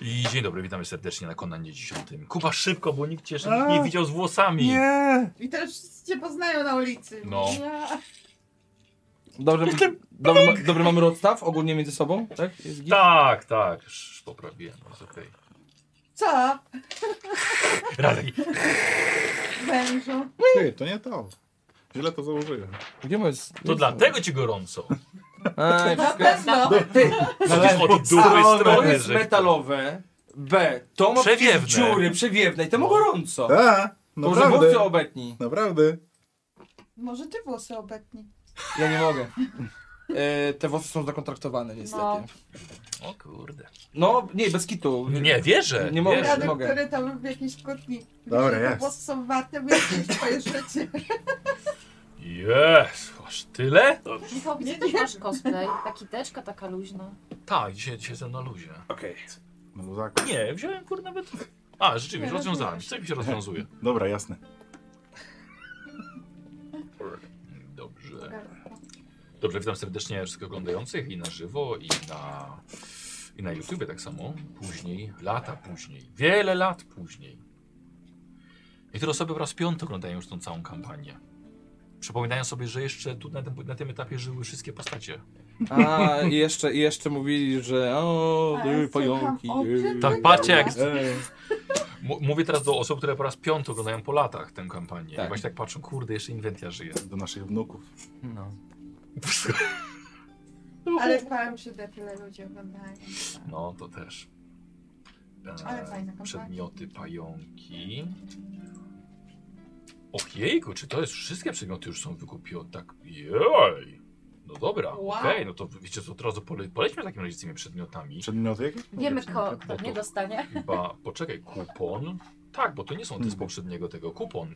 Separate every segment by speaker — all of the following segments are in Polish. Speaker 1: I dzień dobry, witamy serdecznie na Konanie 10. Kuba szybko, bo nikt cię jeszcze
Speaker 2: A.
Speaker 1: nie widział z włosami.
Speaker 2: Nie!
Speaker 3: I teraz wszyscy cię poznają na ulicy.
Speaker 1: No.
Speaker 3: Ja.
Speaker 4: Dobrze, dobry, ma- dobry mamy rozstaw ogólnie między sobą, tak? Jest git?
Speaker 1: Tak, tak, już poprawiłem, no, jest okej.
Speaker 3: Co?
Speaker 1: Radek,
Speaker 3: Mężu?
Speaker 2: Ty, to nie to. Źle to założyłem.
Speaker 4: Gdzie moje jest?
Speaker 1: to dlatego ci gorąco.
Speaker 3: Na
Speaker 4: Ej, wszystko...
Speaker 3: pewno.
Speaker 4: Ty,
Speaker 1: Przecież od dupy
Speaker 4: A, to
Speaker 1: strony,
Speaker 4: jest
Speaker 1: że...
Speaker 4: metalowe, B, to ma jakieś
Speaker 1: Przewiewne. No.
Speaker 4: dziury przewiewne i temu gorąco.
Speaker 2: A,
Speaker 4: To Może włosy
Speaker 2: naprawdę.
Speaker 4: obetnij.
Speaker 2: Naprawdę.
Speaker 3: Może ty włosy obetnij.
Speaker 4: Ja nie mogę. E, te włosy są zakontraktowane niestety. No,
Speaker 3: No.
Speaker 1: O kurde.
Speaker 4: nie, bez kitu.
Speaker 1: Nie, wierzę.
Speaker 4: Nie mogę.
Speaker 1: wierzę.
Speaker 3: Radek,
Speaker 4: mogę.
Speaker 3: który tam w jakiejś kłótni.
Speaker 2: Dobra,
Speaker 3: Myślę, że
Speaker 2: jest.
Speaker 3: Włosy są warte więcej niż twoje życie.
Speaker 1: Jest, aż tyle?
Speaker 5: Michał,
Speaker 3: Nie,
Speaker 5: gdzie ty
Speaker 3: nie.
Speaker 5: masz cosplay? Ta kiteczka taka luźna.
Speaker 1: Tak, dzisiaj, dzisiaj jestem na luzie.
Speaker 4: Okej.
Speaker 2: No luzaku.
Speaker 1: Nie, wziąłem kurde nawet... A, rzeczywiście,
Speaker 5: Nie,
Speaker 1: rozwiązałem.
Speaker 5: rozwiązałeś.
Speaker 1: Co mi się rozwiązuje?
Speaker 2: Dobra, jasne.
Speaker 1: Dobrze. Dobrze, witam serdecznie wszystkich oglądających i na żywo, i na, i na YouTubie tak samo. Później, lata później, wiele lat później. Niektóre osoby po raz piąty oglądają już tą całą kampanię. Przypominają sobie, że jeszcze tu na tym, na tym etapie żyły wszystkie postacie.
Speaker 4: A, i jeszcze, i jeszcze mówili, że o,
Speaker 3: Ale
Speaker 4: ty
Speaker 3: słucham,
Speaker 4: pająki. E.
Speaker 3: o
Speaker 4: ej.
Speaker 3: czym
Speaker 1: Tak, patrzcie jak...
Speaker 2: Eee.
Speaker 1: M- mówię teraz do osób, które po raz piąty oglądają po latach tę kampanię.
Speaker 4: Tak.
Speaker 1: I właśnie tak patrzą, kurde, jeszcze inwentia żyje.
Speaker 2: Do naszych wnuków.
Speaker 4: No.
Speaker 3: Ale bałem się, że tyle ludzi oglądają.
Speaker 1: No, to też. E,
Speaker 3: Ale fajna kampania.
Speaker 1: Przedmioty, pająki. Och jejku, czy to jest wszystkie przedmioty już są wykupione? Tak, jej. No dobra,
Speaker 3: Wow.
Speaker 1: okej, no to wiecie co, od razu pole, polećmy w takim razie z tymi przedmiotami.
Speaker 2: Przedmioty jakieś?
Speaker 5: Wiemy,
Speaker 2: Jakie
Speaker 5: ko,
Speaker 1: tak,
Speaker 2: przedmioty?
Speaker 5: kto nie dostanie.
Speaker 1: Chyba, poczekaj, kupon. Tak, bo to nie są te z
Speaker 2: Mhm.
Speaker 1: poprzedniego tego. Kupon.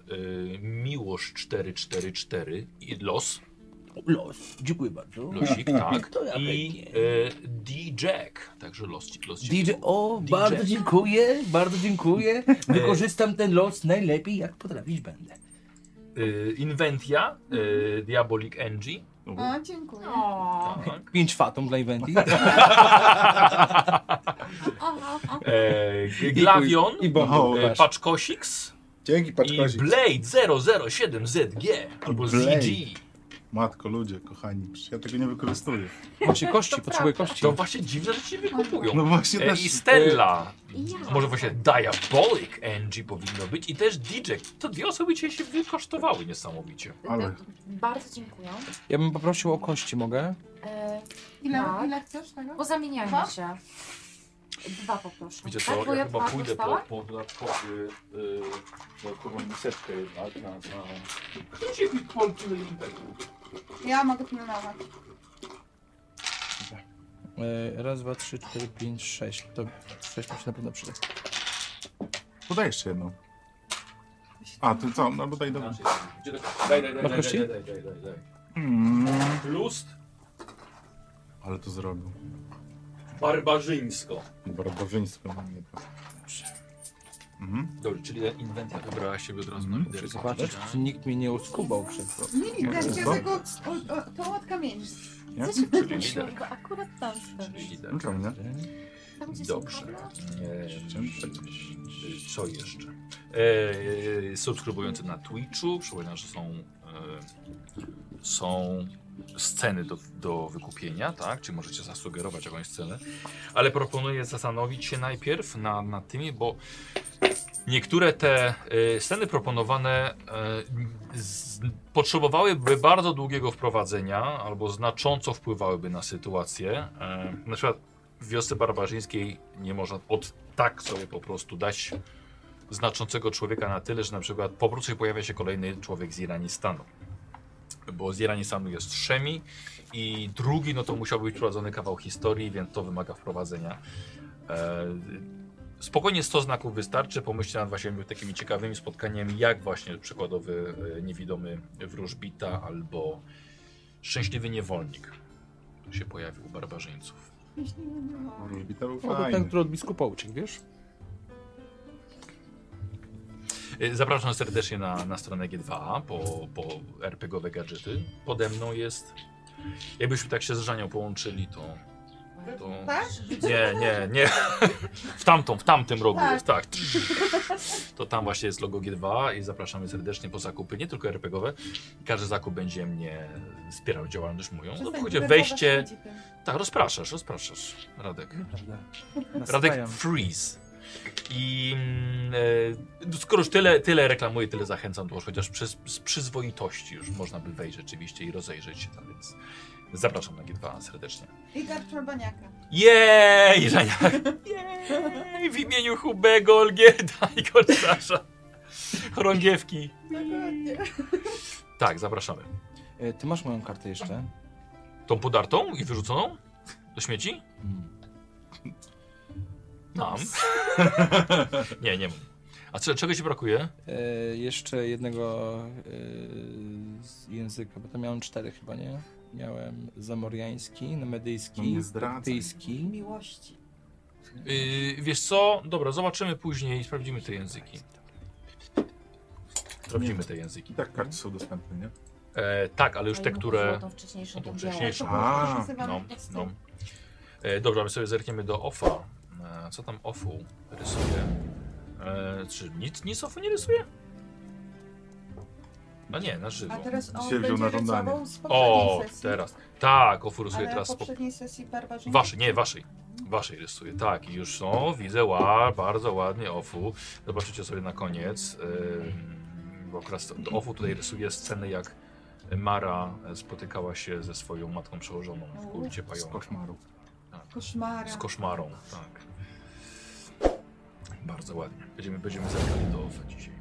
Speaker 1: Y, miłość 444 i los.
Speaker 4: Los, dziękuję bardzo.
Speaker 1: Losik, tak.
Speaker 4: To ja
Speaker 1: I
Speaker 4: chętnie.
Speaker 1: y, D-Jack. Także los, ci- los ci
Speaker 4: DJ, o,
Speaker 1: DJ.
Speaker 4: bardzo dziękuję, bardzo dziękuję. Wykorzystam ten los najlepiej, jak potrafić będę.
Speaker 1: Y, Inventia, y, Diabolic Engie.
Speaker 2: U,
Speaker 3: O, dziękuję.
Speaker 1: Tak.
Speaker 4: Pięć fatum dla Inventii.
Speaker 1: E, Glavion,
Speaker 4: I bomba.
Speaker 1: e, Paczkosix
Speaker 2: Dzięki,
Speaker 1: i
Speaker 2: paczkozik.
Speaker 1: Blade 007ZG albo
Speaker 2: Blade.
Speaker 1: ZG.
Speaker 2: Matko, ludzie, kochani, przecież ja tego nie wykorzystuję.
Speaker 4: Właśnie kości, potrzebuję kości.
Speaker 1: To właśnie dziwne rzeczy nie kupują.
Speaker 2: No właśnie
Speaker 1: E,
Speaker 2: też.
Speaker 1: I Stella,
Speaker 5: I ja.
Speaker 1: może właśnie Diabolic NG powinno być i też DJ. To dwie osoby dzisiaj się wykosztowały niesamowicie.
Speaker 2: Ale-
Speaker 5: Bardzo dziękuję.
Speaker 4: Ja bym poprosił o kości, mogę?
Speaker 5: E,
Speaker 3: Ile,
Speaker 5: Tak.
Speaker 3: ile chcesz tego?
Speaker 5: pozamieniajmy
Speaker 3: Dwa?
Speaker 5: się. Dwa poproszę.
Speaker 1: Wiecie
Speaker 5: Tak,
Speaker 1: co,
Speaker 5: bo
Speaker 1: ja
Speaker 5: dwa
Speaker 1: chyba pójdę po,
Speaker 5: dostałam.
Speaker 1: po dodatkowy, yy, dodatkową miseczkę jednak na... na... Gdzie mi polki
Speaker 3: Ja mogę pilnować.
Speaker 4: E, Raz, dwa, trzy, cztery, pięć, sześć. To sześć mi się na pewno przyda.
Speaker 2: Podaj jeszcze jedną. A, ty co? No daj do...
Speaker 1: Gdzie to- Daj, daj, daj,
Speaker 4: Masz
Speaker 1: daj,
Speaker 4: kości?
Speaker 1: daj, daj, daj, daj, daj.
Speaker 2: Mm,
Speaker 1: Plus
Speaker 2: ale to zrobił.
Speaker 1: barbarzyńsko.
Speaker 2: Barbarzyństwo na mnie to. Mhm.
Speaker 1: Dobrze, czyli inwentarz wybrałaś się od razu
Speaker 2: Mhm.
Speaker 1: na liderkę.
Speaker 4: Zobaczyć, czy nikt mnie nie uskubał przed to.
Speaker 3: Nie widzę cię
Speaker 2: Co?
Speaker 3: tego, o, o, tą od kamieni.
Speaker 2: Ja?
Speaker 5: Co się podnosiło,
Speaker 1: liderka.
Speaker 5: bo akurat tam
Speaker 1: Czyli
Speaker 5: stoi.
Speaker 1: liderka.
Speaker 2: Czemu nie?
Speaker 5: Tam, gdzie są
Speaker 1: Dobrze.
Speaker 5: kable?
Speaker 1: Eee, Co jeszcze? Eee, subskrybujący na Twitchu, przypominam, że są, eee, są sceny do, do wykupienia, tak? Czy możecie zasugerować jakąś scenę? Ale proponuję zastanowić się najpierw na, nad tymi, bo niektóre te eee, sceny proponowane eee, z, potrzebowałyby bardzo długiego wprowadzenia albo znacząco wpływałyby na sytuację. Eee, na przykład w wiosce barbarzyńskiej nie można od tak sobie po prostu dać znaczącego człowieka na tyle, że na przykład po prostu pojawia się kolejny człowiek z Iranistanu. Bo z Iranistanu jest Szemi i drugi, no to musiał być prowadzony kawał historii, więc to wymaga wprowadzenia. E, spokojnie 100 znaków wystarczy, pomyślcie nad właśnie takimi ciekawymi spotkaniami, jak właśnie przykładowy e, niewidomy wróżbita albo szczęśliwy niewolnik się pojawił u barbarzyńców.
Speaker 3: Jeśli nie było.
Speaker 2: Lubi, to był
Speaker 4: O, to No, ten,
Speaker 2: fajny.
Speaker 4: który od biskupa uciekł, wiesz?
Speaker 1: Y, Zapraszam serdecznie na, na stronę G2A po, po RPGowe gadżety. Pode mną jest. Jakbyśmy tak się z Żanią połączyli, to To...
Speaker 3: Tak?
Speaker 1: Nie, nie, nie. W tamtą, w tamtym rogu
Speaker 3: Tak.
Speaker 1: jest, tak. To tam właśnie jest logo G2 i zapraszamy serdecznie po zakupy, nie tylko RPGowe. Każdy zakup będzie mnie wspierał działalność moją. No bo
Speaker 3: Przestań
Speaker 1: chodzi o
Speaker 3: denerwować
Speaker 1: wejście...
Speaker 3: ludzi tym.
Speaker 1: Tak, rozpraszasz, rozpraszasz, Radek.
Speaker 4: Prawda.
Speaker 1: Radek Freeze. I mm, e, skoro już tyle, tyle reklamuję, tyle zachęcam, to już chociaż przez, z przyzwoitości już można by wejść rzeczywiście i rozejrzeć się tam, więc zapraszam na G2 serdecznie.
Speaker 3: I garb czerwoniaka.
Speaker 1: Jej, Żaniak! Jej, w imieniu Hubego, Olgierda i Korsarza. Chorągiewki.
Speaker 3: Dokładnie.
Speaker 1: Tak, zapraszamy.
Speaker 4: E, Ty masz moją kartę jeszcze?
Speaker 1: Tą podartą i wyrzuconą do śmieci?
Speaker 4: Mm.
Speaker 1: Mam. nie, nie mam. A co, czego ci brakuje?
Speaker 4: E, jeszcze jednego e, z języka, bo tam miałem cztery chyba, nie? Miałem zamoriański,
Speaker 2: No
Speaker 4: medyjski,
Speaker 2: nie zdradzaj.
Speaker 4: brytyjski.
Speaker 3: Miłości.
Speaker 1: Yy, wiesz co? Dobra, zobaczymy później i sprawdzimy te języki. Sprawdzimy te języki.
Speaker 2: I tak karty są dostępne, nie?
Speaker 1: E, tak, ale już te, które...
Speaker 5: To wcześniejsze,
Speaker 1: No to
Speaker 5: to
Speaker 1: wcześniejsze.
Speaker 5: wcześniejsze.
Speaker 2: A,
Speaker 1: No, no. E, dobra, my sobie zerkniemy do OFA. E, co tam OFU rysuje? E, czy nic, nic OFU nie rysuje? No nie, na żywo.
Speaker 3: A teraz on
Speaker 2: Dzisiaj wziął
Speaker 3: będzie
Speaker 2: na żądanie.
Speaker 3: rysował z poprzedniej
Speaker 1: O,
Speaker 3: sesji.
Speaker 1: teraz. Tak, OFU rysuje
Speaker 3: Ale
Speaker 1: teraz. Po...
Speaker 3: poprzedniej sesji barbarzyńcy.
Speaker 1: Waszej, nie, waszej. Waszej rysuje, tak. I już, no, widzę, ła, bardzo ładnie OFU. Zobaczycie sobie na koniec. Ym, bo akurat OFU tutaj rysuje sceny, jak Mara spotykała się ze swoją matką przełożoną w kulcie
Speaker 2: Z
Speaker 1: pająka.
Speaker 2: koszmaru.
Speaker 3: Koszmara.
Speaker 1: Z koszmarą, tak. Bardzo ładnie. Będziemy, będziemy zerkali do OFE dzisiaj.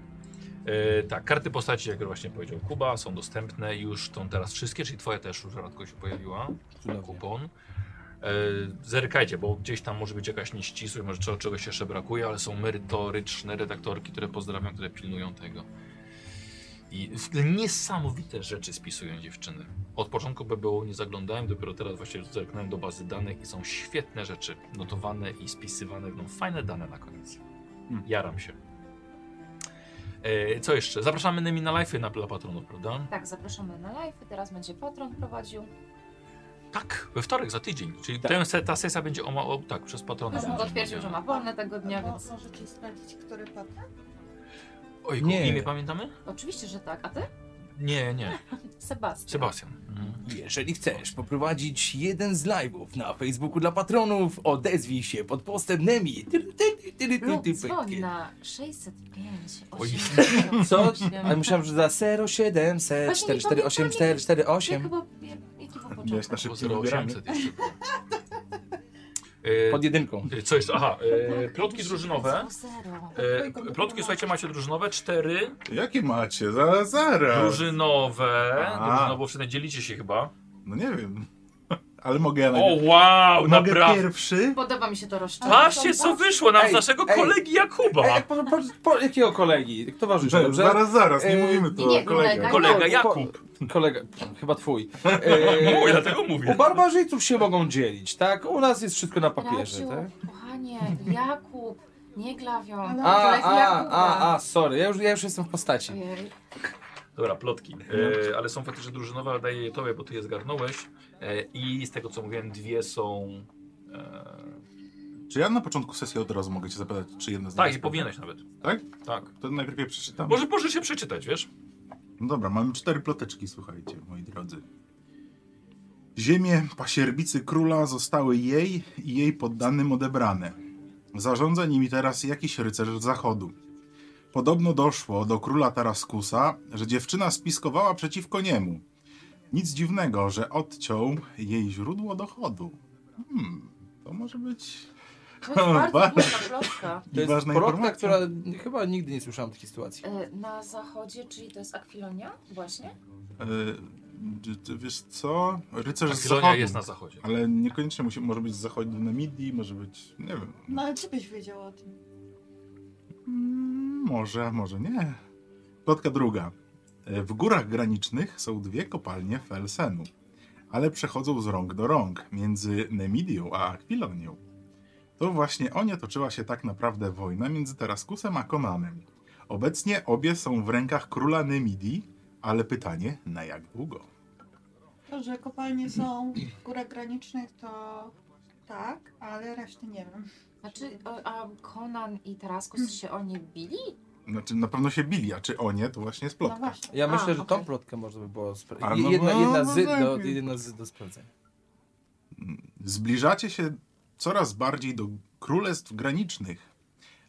Speaker 1: E, tak, karty postaci, jak właśnie powiedział Kuba, są dostępne już tą teraz wszystkie, czyli twoja też już rzadko się pojawiła.
Speaker 4: Cudownie.
Speaker 1: Kupon. E, zerkajcie, bo gdzieś tam może być jakaś nieścisłość, może cze- czegoś jeszcze brakuje, ale są merytoryczne redaktorki, które pozdrawiam, które pilnują tego. I w- niesamowite rzeczy spisują dziewczyny. Od początku BBU nie zaglądałem, dopiero teraz właśnie zerknąłem do bazy danych i są świetne rzeczy notowane i spisywane. No, fajne dane na koniec.
Speaker 2: Hmm.
Speaker 1: Jaram się. E, co jeszcze? Zapraszamy Nemi na live'y na dla patronów, prawda?
Speaker 5: Tak, zapraszamy na live. Teraz będzie patron prowadził.
Speaker 1: No Tak, we wtorek za tydzień. Czyli
Speaker 4: Tak.
Speaker 1: ten se, ta sesja będzie o, ma- o tak, przez patrona.
Speaker 5: Nas
Speaker 1: będzie
Speaker 5: potwierdził, że ma
Speaker 1: omawiana.
Speaker 5: wolne tego dnia,
Speaker 3: Mo-
Speaker 5: więc
Speaker 3: No, Możecie sprawdzić, który patron?
Speaker 1: Ojku,
Speaker 4: Nie.
Speaker 1: imię pamiętamy?
Speaker 5: oczywiście, że tak. A ty?
Speaker 1: Nie, nie.
Speaker 5: Sebastian.
Speaker 1: Sebastian. Mhm.
Speaker 4: Jeżeli chcesz poprowadzić jeden z live'ów na Facebooku dla patronów, odezwij się pod postem Nemi. Ty, ty, ty, ty, ty,
Speaker 5: Lub
Speaker 4: ty,
Speaker 5: dzwoń
Speaker 4: ty.
Speaker 5: na 605
Speaker 1: Oj.
Speaker 5: 80.
Speaker 4: Co? Ale myślałem, że za 07 4
Speaker 5: Właśnie nie
Speaker 4: 4 8 4 4 8
Speaker 2: Miałeś
Speaker 4: Znaczy,
Speaker 2: na
Speaker 1: Bo
Speaker 2: szybkim
Speaker 1: 0800
Speaker 2: wybieraniu.
Speaker 1: jeszcze było. E,
Speaker 4: pod jedynką.
Speaker 1: e, Co jeszcze? Aha, e, plotki drużynowe. E, plotki, słuchajcie, macie drużynowe. Cztery
Speaker 2: Jakie macie? Zaraz, zaraz.
Speaker 1: drużynowe.
Speaker 2: A.
Speaker 1: Drużynowe, bo wtedy dzielicie się chyba.
Speaker 2: No nie wiem. Ale mogę ja
Speaker 1: O,
Speaker 2: najpierw.
Speaker 1: wow,
Speaker 2: Mogę
Speaker 1: naprawdę.
Speaker 2: pierwszy?
Speaker 5: Podoba mi się to roszczenie.
Speaker 1: Patrzcie, co wyszło nam z
Speaker 4: Ej,
Speaker 1: naszego
Speaker 4: ej.
Speaker 1: kolegi Jakuba.
Speaker 4: Ej, E, po, po, po, jakiego kolegi? Towarzysza,
Speaker 2: Zaraz,
Speaker 4: dobrze?
Speaker 2: zaraz, zaraz, nie
Speaker 4: E,
Speaker 2: mówimy tu
Speaker 5: nie,
Speaker 2: o kolegach.
Speaker 5: kolega.
Speaker 1: Kolega
Speaker 4: po-
Speaker 1: Jakub.
Speaker 4: Kolega, chyba twój.
Speaker 1: Mój,
Speaker 4: E,
Speaker 1: dlatego
Speaker 4: u
Speaker 1: mówię.
Speaker 4: barbarzyńców się mogą dzielić, tak? U nas jest wszystko na papierze,
Speaker 5: Radziu,
Speaker 4: tak?
Speaker 5: Kochanie, Jakub, nie glawią.
Speaker 3: Ale-
Speaker 4: A,
Speaker 3: Kolega
Speaker 4: a,
Speaker 3: Jakuba.
Speaker 4: a, a, sorry, ja już, ja już jestem w postaci.
Speaker 5: Ojej.
Speaker 1: Dobra, plotki. E, ale są faktycznie drużynowe, ale daję je tobie, bo ty je zgarnąłeś. E, I z tego co mówiłem, dwie są. E,
Speaker 2: Czy ja na początku sesji od razu mogę cię zapytać, czy jedna z nich
Speaker 1: tak, i
Speaker 2: jest
Speaker 1: powinieneś nawet.
Speaker 2: Tak?
Speaker 1: Tak.
Speaker 2: To najpierw je przeczytam.
Speaker 1: Może możesz się przeczytać, wiesz?
Speaker 2: No dobra, mamy cztery ploteczki, słuchajcie, moi drodzy. Ziemie pasierbicy króla zostały jej i jej poddanym odebrane. Zarządza nimi teraz jakiś rycerz z zachodu. Podobno doszło do króla Taraskusa, że dziewczyna spiskowała przeciwko niemu. Nic dziwnego, że odciął jej źródło dochodu. Hmm, to może być
Speaker 5: To jest
Speaker 2: Ba-
Speaker 5: bardzo duża plotka.
Speaker 4: To jest
Speaker 2: ważna
Speaker 4: porotka,
Speaker 2: informacja.
Speaker 4: która chyba nigdy nie słyszałam takiej sytuacji.
Speaker 5: E, Na zachodzie, czyli to jest akwilonia? Właśnie?
Speaker 2: E, d- d- wiesz co? Rycerz z
Speaker 1: Akwilonia
Speaker 2: zachodu.
Speaker 1: jest na zachodzie.
Speaker 2: Ale niekoniecznie musi, może być z zachodu Namidii, może być. Nie wiem.
Speaker 3: No ale ty byś wiedział o tym.
Speaker 2: Mm, może, może nie. Plotka druga. E, W górach granicznych są dwie kopalnie Felsenu, ale przechodzą z rąk do rąk między Nemidią a Akwilonią. To właśnie o nie toczyła się tak naprawdę wojna między Taraskusem a Konanem. Obecnie obie są w rękach króla Nemidii, ale pytanie na jak długo?
Speaker 3: To, że kopalnie są w górach granicznych, to tak, ale reszty nie wiem. No
Speaker 5: Znaczy, o- a Conan i
Speaker 4: Hmm.
Speaker 5: Taraskus się o nie bili?
Speaker 2: Znaczy, na pewno się bili, a czy o nie, to właśnie jest
Speaker 3: No
Speaker 2: plotka.
Speaker 3: właśnie.
Speaker 4: Ja
Speaker 5: A,
Speaker 4: myślę, że tą
Speaker 5: okej.
Speaker 4: plotkę można by było
Speaker 2: A,
Speaker 4: sprawdzić.
Speaker 2: no
Speaker 4: Jedna,
Speaker 2: bo-
Speaker 4: jedna,
Speaker 2: no
Speaker 4: zy
Speaker 2: tak.
Speaker 4: do, jedna z do sprawdzenia.
Speaker 2: Zbliżacie się coraz bardziej do królestw granicznych,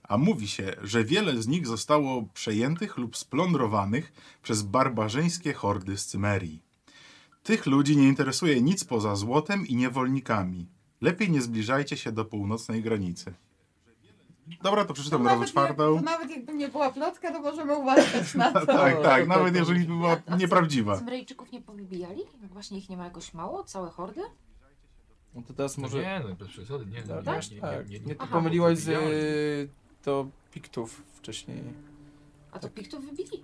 Speaker 2: a mówi się, że wiele z nich zostało przejętych lub splądrowanych przez barbarzyńskie hordy z Cymerii. Tych ludzi nie interesuje nic poza złotem i niewolnikami. Lepiej nie zbliżajcie się do północnej granicy. Dobra, to przeczytam
Speaker 3: No, nawet
Speaker 2: nową
Speaker 3: nie-
Speaker 2: czwartą.
Speaker 3: To nawet jakby nie była plotka, to możemy uważać na no, to.
Speaker 2: Tak, tak, nawet jeżeli by była nieprawdziwa. No,
Speaker 5: Cymryjczyków nie powybijali? Właśnie ich nie ma jakoś mało? Całe hordy?
Speaker 4: No to teraz może...
Speaker 1: Nie, no bez przesady, nie, nie,
Speaker 4: Tak,
Speaker 1: nie, nie,
Speaker 4: tak.
Speaker 1: nie, nie,
Speaker 4: Nie, to
Speaker 5: Aha.
Speaker 4: pomyliłaś z...
Speaker 1: Widziałem.
Speaker 4: y, to piktów wcześniej.
Speaker 5: A to piktów wybili.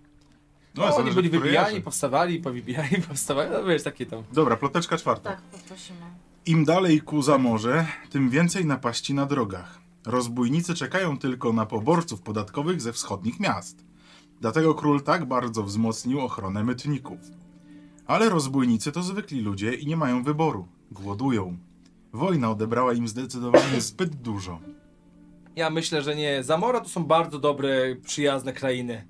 Speaker 2: No,
Speaker 4: No, oni
Speaker 2: zależy,
Speaker 4: byli
Speaker 2: który
Speaker 4: wybijani,
Speaker 2: jeży.
Speaker 4: powstawali, powybijani, powstawali, no wiesz, takie tam.
Speaker 2: Dobra, ploteczka czwarta.
Speaker 5: Tak, poprosimy.
Speaker 2: Im dalej ku zamorze, tym więcej napaści na drogach. Rozbójnicy czekają tylko na poborców podatkowych ze wschodnich miast. Dlatego król tak bardzo wzmocnił ochronę mytników. Ale rozbójnicy to zwykli ludzie i nie mają wyboru. Głodują. Wojna odebrała im zdecydowanie zbyt dużo.
Speaker 4: Ja myślę, że nie. Zamora to są bardzo dobre, przyjazne krainy.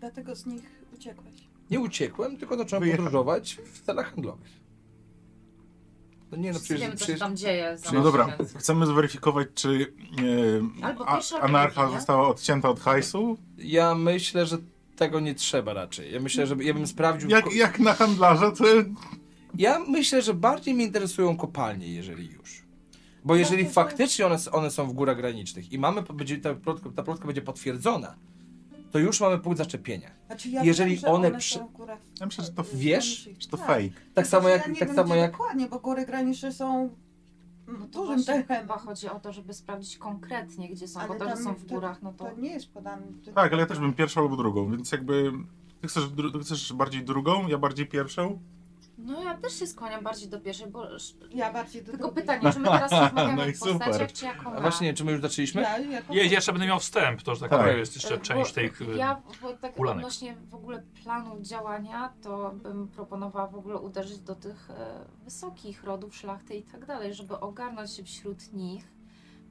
Speaker 3: Dlatego z nich uciekłeś.
Speaker 4: Nie uciekłem, tylko zacząłem
Speaker 2: Wyjechałem.
Speaker 4: podróżować w celach handlowych. No nie, no
Speaker 5: Wszyscy
Speaker 4: przecież...
Speaker 5: wiemy, co się
Speaker 4: przecież...
Speaker 5: tam dzieje. za
Speaker 2: No dobra,
Speaker 5: miesiąc.
Speaker 2: chcemy zweryfikować, czy e,
Speaker 5: Albo
Speaker 2: a,
Speaker 5: pierwsza
Speaker 2: anarcha
Speaker 5: opinia.
Speaker 2: została odcięta od hajsu?
Speaker 4: Ja myślę, że tego nie trzeba raczej. Ja myślę, że ja bym sprawdził...
Speaker 2: Jak, jak na handlarza, to
Speaker 4: Ja myślę, że bardziej mnie interesują kopalnie, jeżeli już. Bo jeżeli
Speaker 3: Bardzo
Speaker 4: faktycznie one, s- one są w górach granicznych i mamy, będzie, ta, plotka, ta plotka będzie potwierdzona, to już mamy punkt zaczepienia. Tak
Speaker 3: Znaczy, ja
Speaker 4: Jeżeli
Speaker 3: wiem, że
Speaker 4: one
Speaker 3: one,
Speaker 4: przy-
Speaker 3: są w górach.
Speaker 2: Ja myślę, że to
Speaker 4: wiesz,
Speaker 2: czy to
Speaker 3: Tak.
Speaker 2: fake.
Speaker 4: Tak samo
Speaker 3: Znaczy,
Speaker 4: jak,
Speaker 3: ja nie
Speaker 4: tak
Speaker 3: wiem,
Speaker 4: samo
Speaker 3: gdzie
Speaker 4: jak
Speaker 3: Dokładnie, bo góry graniczne są
Speaker 5: No to
Speaker 3: dużym
Speaker 5: właśnie
Speaker 3: terenem.
Speaker 5: chyba chodzi o to, żeby sprawdzić konkretnie, gdzie są, bo
Speaker 3: Ale
Speaker 5: to, że
Speaker 3: tam
Speaker 5: są w górach, no to...
Speaker 3: To nie jest podane.
Speaker 2: Tak, ale ja też bym pierwszą albo drugą, więc jakby... Ty chcesz, dru- ty chcesz bardziej drugą, ja bardziej pierwszą?
Speaker 5: No ja też się skłaniam bardziej do pierwszej, bo...
Speaker 3: Ja bardziej do
Speaker 5: Tylko
Speaker 3: drugiej.
Speaker 5: pytanie, czy my teraz rozmawiamy
Speaker 2: No i
Speaker 5: o postaciach,
Speaker 2: super.
Speaker 5: czy jako
Speaker 4: A właśnie, nie, czy my już zaczęliśmy?
Speaker 3: Ja, jako...
Speaker 1: Ja jeszcze będę miał wstęp, to że tak
Speaker 2: Tak.
Speaker 1: naprawdę jest jeszcze część tych... e,
Speaker 5: Ja bo tak
Speaker 1: ulanek.
Speaker 5: odnośnie w ogóle planu działania, to bym proponowała w ogóle uderzyć do tych e, wysokich rodów, szlachty i tak dalej, żeby ogarnąć się wśród nich.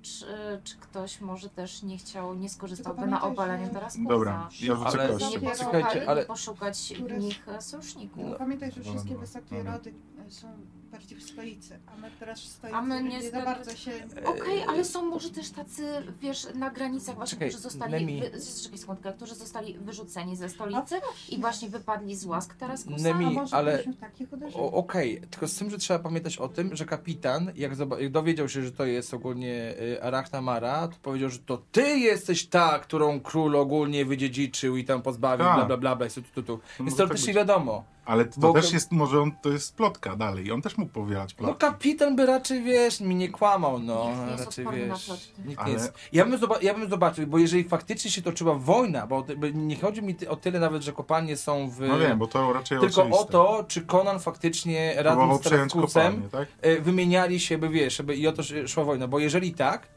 Speaker 5: Czy, czy ktoś może też nie chciał, nie skorzystałby
Speaker 3: Tylko
Speaker 5: na
Speaker 3: pamiętaj,
Speaker 5: obaleniu
Speaker 3: że-
Speaker 5: teraz
Speaker 2: Dobra, ja rzucę
Speaker 4: Ale-
Speaker 2: kością.
Speaker 5: Nie
Speaker 3: Czekajcie,
Speaker 5: posłuchali
Speaker 4: ale-
Speaker 5: i poszukać
Speaker 3: Które-
Speaker 5: w nich e, sojuszników.
Speaker 3: Bo no, Pamiętaj, że
Speaker 2: Dobra,
Speaker 3: wszystkie
Speaker 2: dobra,
Speaker 3: wysokie
Speaker 2: dobra.
Speaker 3: rody e, są bardziej w stolicy, a my teraz w stolicy
Speaker 5: A my
Speaker 3: nie
Speaker 5: niestety-
Speaker 3: za bardzo się...
Speaker 5: Okej, ale są może też tacy, wiesz, na granicach właśnie,
Speaker 4: Czekaj,
Speaker 5: którzy zostali,
Speaker 4: Nemi.
Speaker 5: wy, z- czekaj, sekundkę, którzy zostali wyrzuceni ze stolicy i właśnie wypadli z łask teraz kusa.
Speaker 4: Nemi,
Speaker 3: A może
Speaker 4: ale-
Speaker 3: byśmy takich uderzyli?
Speaker 4: O- Okej, tylko z tym, że trzeba pamiętać o tym, że kapitan, jak, zoba- jak dowiedział się, że to jest ogólnie y, Arachna Mara, to powiedział, że to ty jesteś ta, którą król ogólnie wydziedziczył i tam pozbawił,
Speaker 2: Tak.
Speaker 4: bla bla bla, bla i tu, tu, tu.
Speaker 2: może
Speaker 4: Więc
Speaker 2: tak
Speaker 4: teoretycznie
Speaker 2: być.
Speaker 4: wiadomo.
Speaker 2: Ale to
Speaker 4: Bo-
Speaker 2: też jest, może on, to jest plotka dalej, on też mógł powielać
Speaker 4: No
Speaker 2: plotki.
Speaker 4: kapitan by raczej, wiesz, mi nie kłamał, no.
Speaker 5: Nikt nie jest
Speaker 4: raczej,
Speaker 5: odporny na
Speaker 4: wiesz,
Speaker 5: plotki.
Speaker 4: nikt
Speaker 2: Ale-
Speaker 4: nie jest. Ja bym, zoba- ja bym zobaczył, bo jeżeli faktycznie się toczyła wojna, bo ty- bo nie chodzi mi ty- o tyle nawet, że kopalnie są w...
Speaker 2: No wiem, bo to raczej
Speaker 4: tylko
Speaker 2: oczywiste.
Speaker 4: o to, czy Conan faktycznie razem
Speaker 2: Próbował
Speaker 4: z
Speaker 2: przejąć
Speaker 4: Taraskusem
Speaker 2: kopalnię, tak?
Speaker 4: e, wymieniali się, by wiesz, żeby, i o to sz- szła wojna, bo jeżeli tak,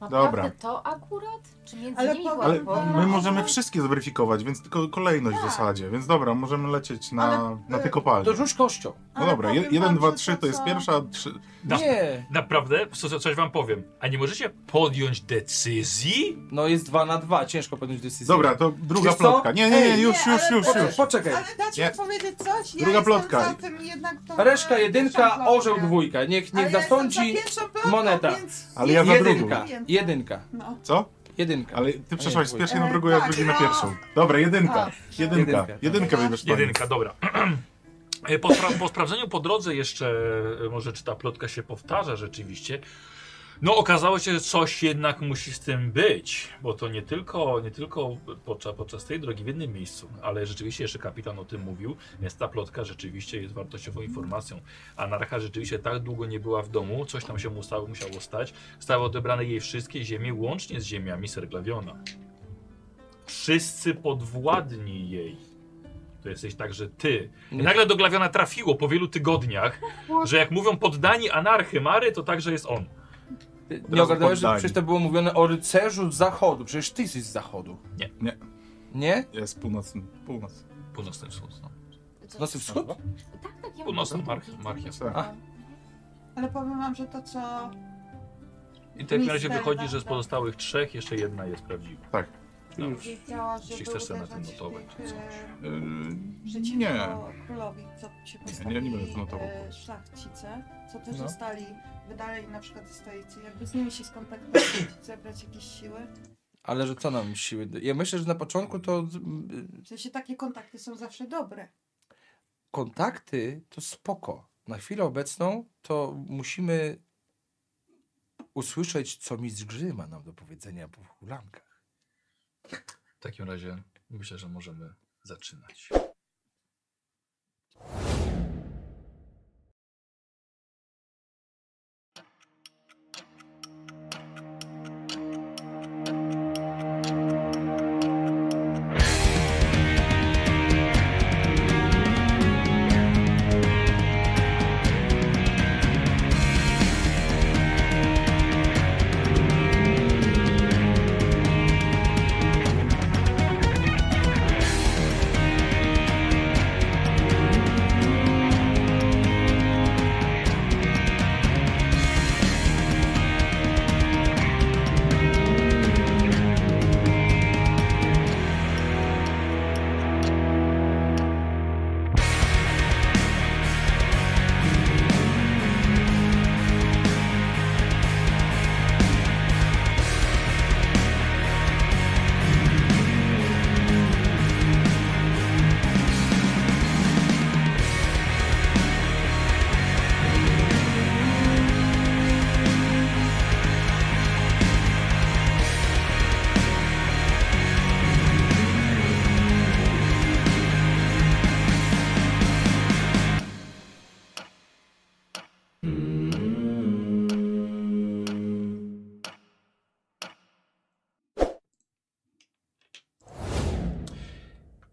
Speaker 5: Naprawdę
Speaker 2: Dobra.
Speaker 5: to akurat? Czy między
Speaker 3: Ale
Speaker 5: nimi
Speaker 3: powiem-
Speaker 5: była
Speaker 2: Ale
Speaker 5: wojna?
Speaker 2: my możemy wszystkie zweryfikować, więc tylko kolejność w
Speaker 5: Tak.
Speaker 2: zasadzie. Więc dobra, możemy lecieć na,
Speaker 3: Ale- y,
Speaker 2: na te kopalnie.
Speaker 4: to rzuć kością.
Speaker 2: No
Speaker 3: Ale
Speaker 2: dobra,
Speaker 3: powiem
Speaker 2: jeden,
Speaker 3: wam,
Speaker 2: dwa,
Speaker 3: że
Speaker 2: trzy to jest
Speaker 3: co-
Speaker 2: pierwsza, trzy...
Speaker 1: Na-
Speaker 4: Nie,
Speaker 1: Naprawdę? Co, co- coś wam powiem. A nie możecie podjąć decyzji?
Speaker 4: no jest dwa na dwa, ciężko podjąć decyzję.
Speaker 2: Dobra, to druga
Speaker 4: Wiesz co?
Speaker 2: plotka. Nie, nie, nie,
Speaker 3: Ej,
Speaker 2: już,
Speaker 3: nie,
Speaker 2: już,
Speaker 3: ale
Speaker 2: już,
Speaker 3: to-
Speaker 4: Poczekaj,
Speaker 2: już.
Speaker 4: poczekaj.
Speaker 3: Ale dacie
Speaker 2: Nie.
Speaker 3: mi powiedzieć coś? Ja
Speaker 2: Druga
Speaker 3: Druga
Speaker 2: plotka.
Speaker 3: plotka. za tym jednak to...
Speaker 4: Reszka
Speaker 3: e, pierwsza
Speaker 4: jedynka,
Speaker 3: plotka.
Speaker 4: orzeł dwójka,
Speaker 3: Ale
Speaker 4: niech, niech
Speaker 3: ja jestem za
Speaker 4: zasądzi
Speaker 3: pierwszą plotką,
Speaker 4: moneta.
Speaker 3: więc-
Speaker 2: Ale ja za
Speaker 4: jedynka,
Speaker 3: drugą.
Speaker 4: jedynka,
Speaker 3: No.
Speaker 2: Co?
Speaker 4: jedynka.
Speaker 2: Ale ty przeszłaś z
Speaker 4: dwójka.
Speaker 2: pierwszej na
Speaker 3: E,
Speaker 2: drugą, a
Speaker 3: tak,
Speaker 2: drugi na
Speaker 3: no. Tak.
Speaker 2: pierwszą. Dobra, jedynka.
Speaker 3: A,
Speaker 2: Jedynka.
Speaker 4: jedynka. tak.
Speaker 2: Jedynkę wybierz pani.
Speaker 1: Jedynka, dobra. E, Po, spra- po sprawdzeniu po drodze jeszcze, e, może czy ta plotka się powtarza rzeczywiście, no okazało się, że coś jednak musi z tym być, bo to nie tylko, nie tylko podczas, podczas tej drogi w jednym miejscu, ale rzeczywiście jeszcze kapitan o tym mówił, więc ta plotka rzeczywiście jest wartościową informacją. Anarcha rzeczywiście tak długo nie była w domu, coś tam się mu stało, musiało stać, zostały odebrane jej wszystkie ziemie, łącznie z ziemiami Serglawiona. Wszyscy podwładni jej. To jesteś także ty. I
Speaker 4: Nie.
Speaker 1: nagle do Glawiona trafiło po wielu tygodniach, że jak mówią poddani anarchy Mary, to także jest on.
Speaker 4: Ty Nie
Speaker 2: Teraz
Speaker 4: ogarnąłeś, że
Speaker 2: poddani.
Speaker 4: przecież to było mówione o rycerzu z zachodu, przecież ty jesteś z zachodu.
Speaker 1: Nie.
Speaker 2: Nie.
Speaker 4: Nie?
Speaker 2: Jest północny. Północ.
Speaker 1: Północny wschód. No.
Speaker 5: Co-
Speaker 4: Północny wschód?
Speaker 5: Tak, tak, ja
Speaker 1: Północny
Speaker 5: mówię.
Speaker 1: march, marchia.
Speaker 2: Tak.
Speaker 4: A.
Speaker 3: Ale powiem wam, że to co...
Speaker 1: I w takim razie
Speaker 3: Mister
Speaker 1: wychodzi, że z
Speaker 3: Lambda.
Speaker 1: pozostałych trzech jeszcze jedna jest prawdziwa.
Speaker 2: Tak.
Speaker 1: No.
Speaker 3: Jej chciała, żeby
Speaker 1: Jeśli chcesz sobie na tym
Speaker 3: uderzać
Speaker 1: notować,
Speaker 3: tych,
Speaker 1: to
Speaker 3: e,
Speaker 1: coś.
Speaker 3: Przeciwko
Speaker 2: Y, nie.
Speaker 3: królowi, co się
Speaker 2: nie,
Speaker 3: postawili
Speaker 2: ja nie będę to notował.
Speaker 3: e, szlachcice, co też
Speaker 4: No.
Speaker 3: zostali wydaleni na przykład ze stolicy. Jakby z nimi się skontaktować, zebrać jakieś siły.
Speaker 4: Ale że co nam siły? da- Ja myślę, że na początku to mm,
Speaker 3: W sensie takie kontakty są zawsze dobre.
Speaker 4: kontakty to spoko. Na chwilę obecną to musimy usłyszeć, co mistrz gry ma nam do powiedzenia po hulankach.
Speaker 1: W takim razie myślę, że możemy zaczynać.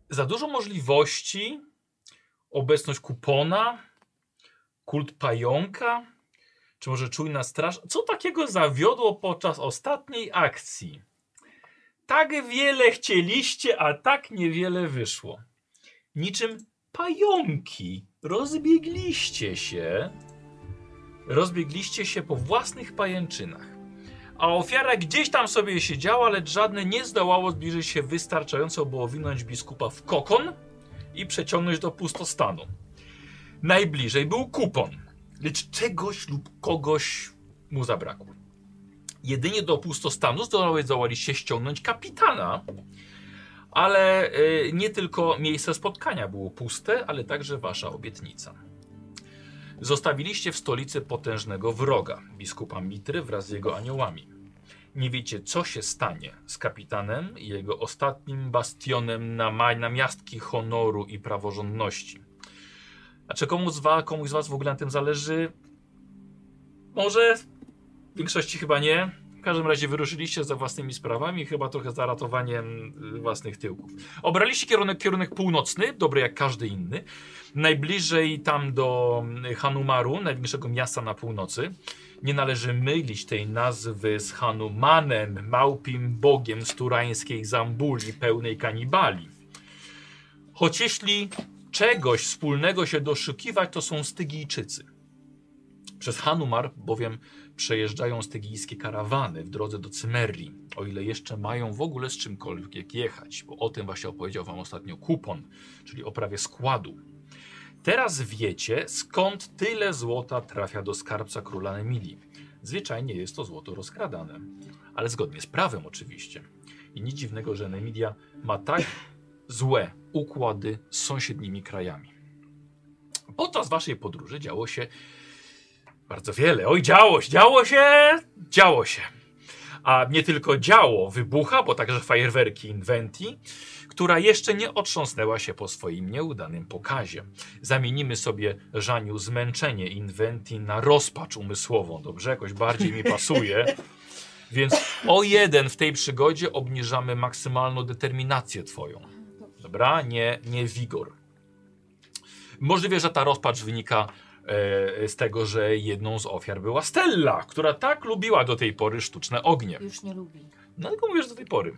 Speaker 1: Za dużo możliwości, obecność kupona, kult pająka, czy może czujna straż. Co takiego zawiodło podczas ostatniej akcji? Tak wiele chcieliście, a tak niewiele wyszło. Niczym pająki rozbiegliście się, rozbiegliście się po własnych pajęczynach. A ofiara gdzieś tam sobie siedziała, lecz żadne nie zdołało zbliżyć się wystarczająco, by owinąć biskupa w kokon i przeciągnąć do pustostanu. Najbliżej był kupon, lecz czegoś lub kogoś mu zabrakło. Jedynie do pustostanu zdołaliście ściągnąć kapitana, ale y, nie tylko miejsce spotkania było puste, ale także wasza obietnica. Zostawiliście w stolicy potężnego wroga, biskupa Mitry wraz z jego aniołami. Nie wiecie, co się stanie z kapitanem i jego ostatnim bastionem na ma- na miastki honoru i praworządności. A czy komuś z, wa- komuś z was w ogóle na tym zależy? Może w większości chyba nie. W każdym razie wyruszyliście za własnymi sprawami, chyba trochę za ratowaniem y, własnych tyłków. Obraliście kierunek, kierunek północny, dobry jak każdy inny. Najbliżej tam do y, Hanumaru, największego miasta na północy. Nie należy mylić tej nazwy z Hanumanem, małpim bogiem z turańskiej Zambuli, pełnej kanibali. Choć jeśli czegoś wspólnego się doszukiwać, to są Stygijczycy. Przez Hanumar bowiem przejeżdżają stygijskie karawany w drodze do Cymerii, o ile jeszcze mają w ogóle z czymkolwiek jechać, bo o tym właśnie opowiedział wam ostatnio Kupon, czyli o prawie składu. Teraz wiecie, skąd tyle złota trafia do skarbca króla Emilii. Zwyczajnie jest to złoto rozkradane, ale zgodnie z prawem oczywiście. I nic dziwnego, że Emilia ma tak złe układy z sąsiednimi krajami. Podczas waszej podróży działo się bardzo wiele. Oj, działo się, działo się, działo się. A nie tylko działo wybucha, bo także fajerwerki Inventi, która jeszcze nie otrząsnęła się po swoim nieudanym pokazie. Zamienimy sobie, Żaniu, zmęczenie Inventi na rozpacz umysłową. Dobrze? Jakoś bardziej mi pasuje. Więc o jeden w tej przygodzie obniżamy maksymalną determinację twoją. Dobra? Nie, nie wigor. Możliwe, że ta rozpacz wynika e, z tego, że jedną z ofiar była Stella, która tak lubiła do tej pory sztuczne ognie.
Speaker 5: Już nie lubi.
Speaker 1: No tylko mówisz do tej pory.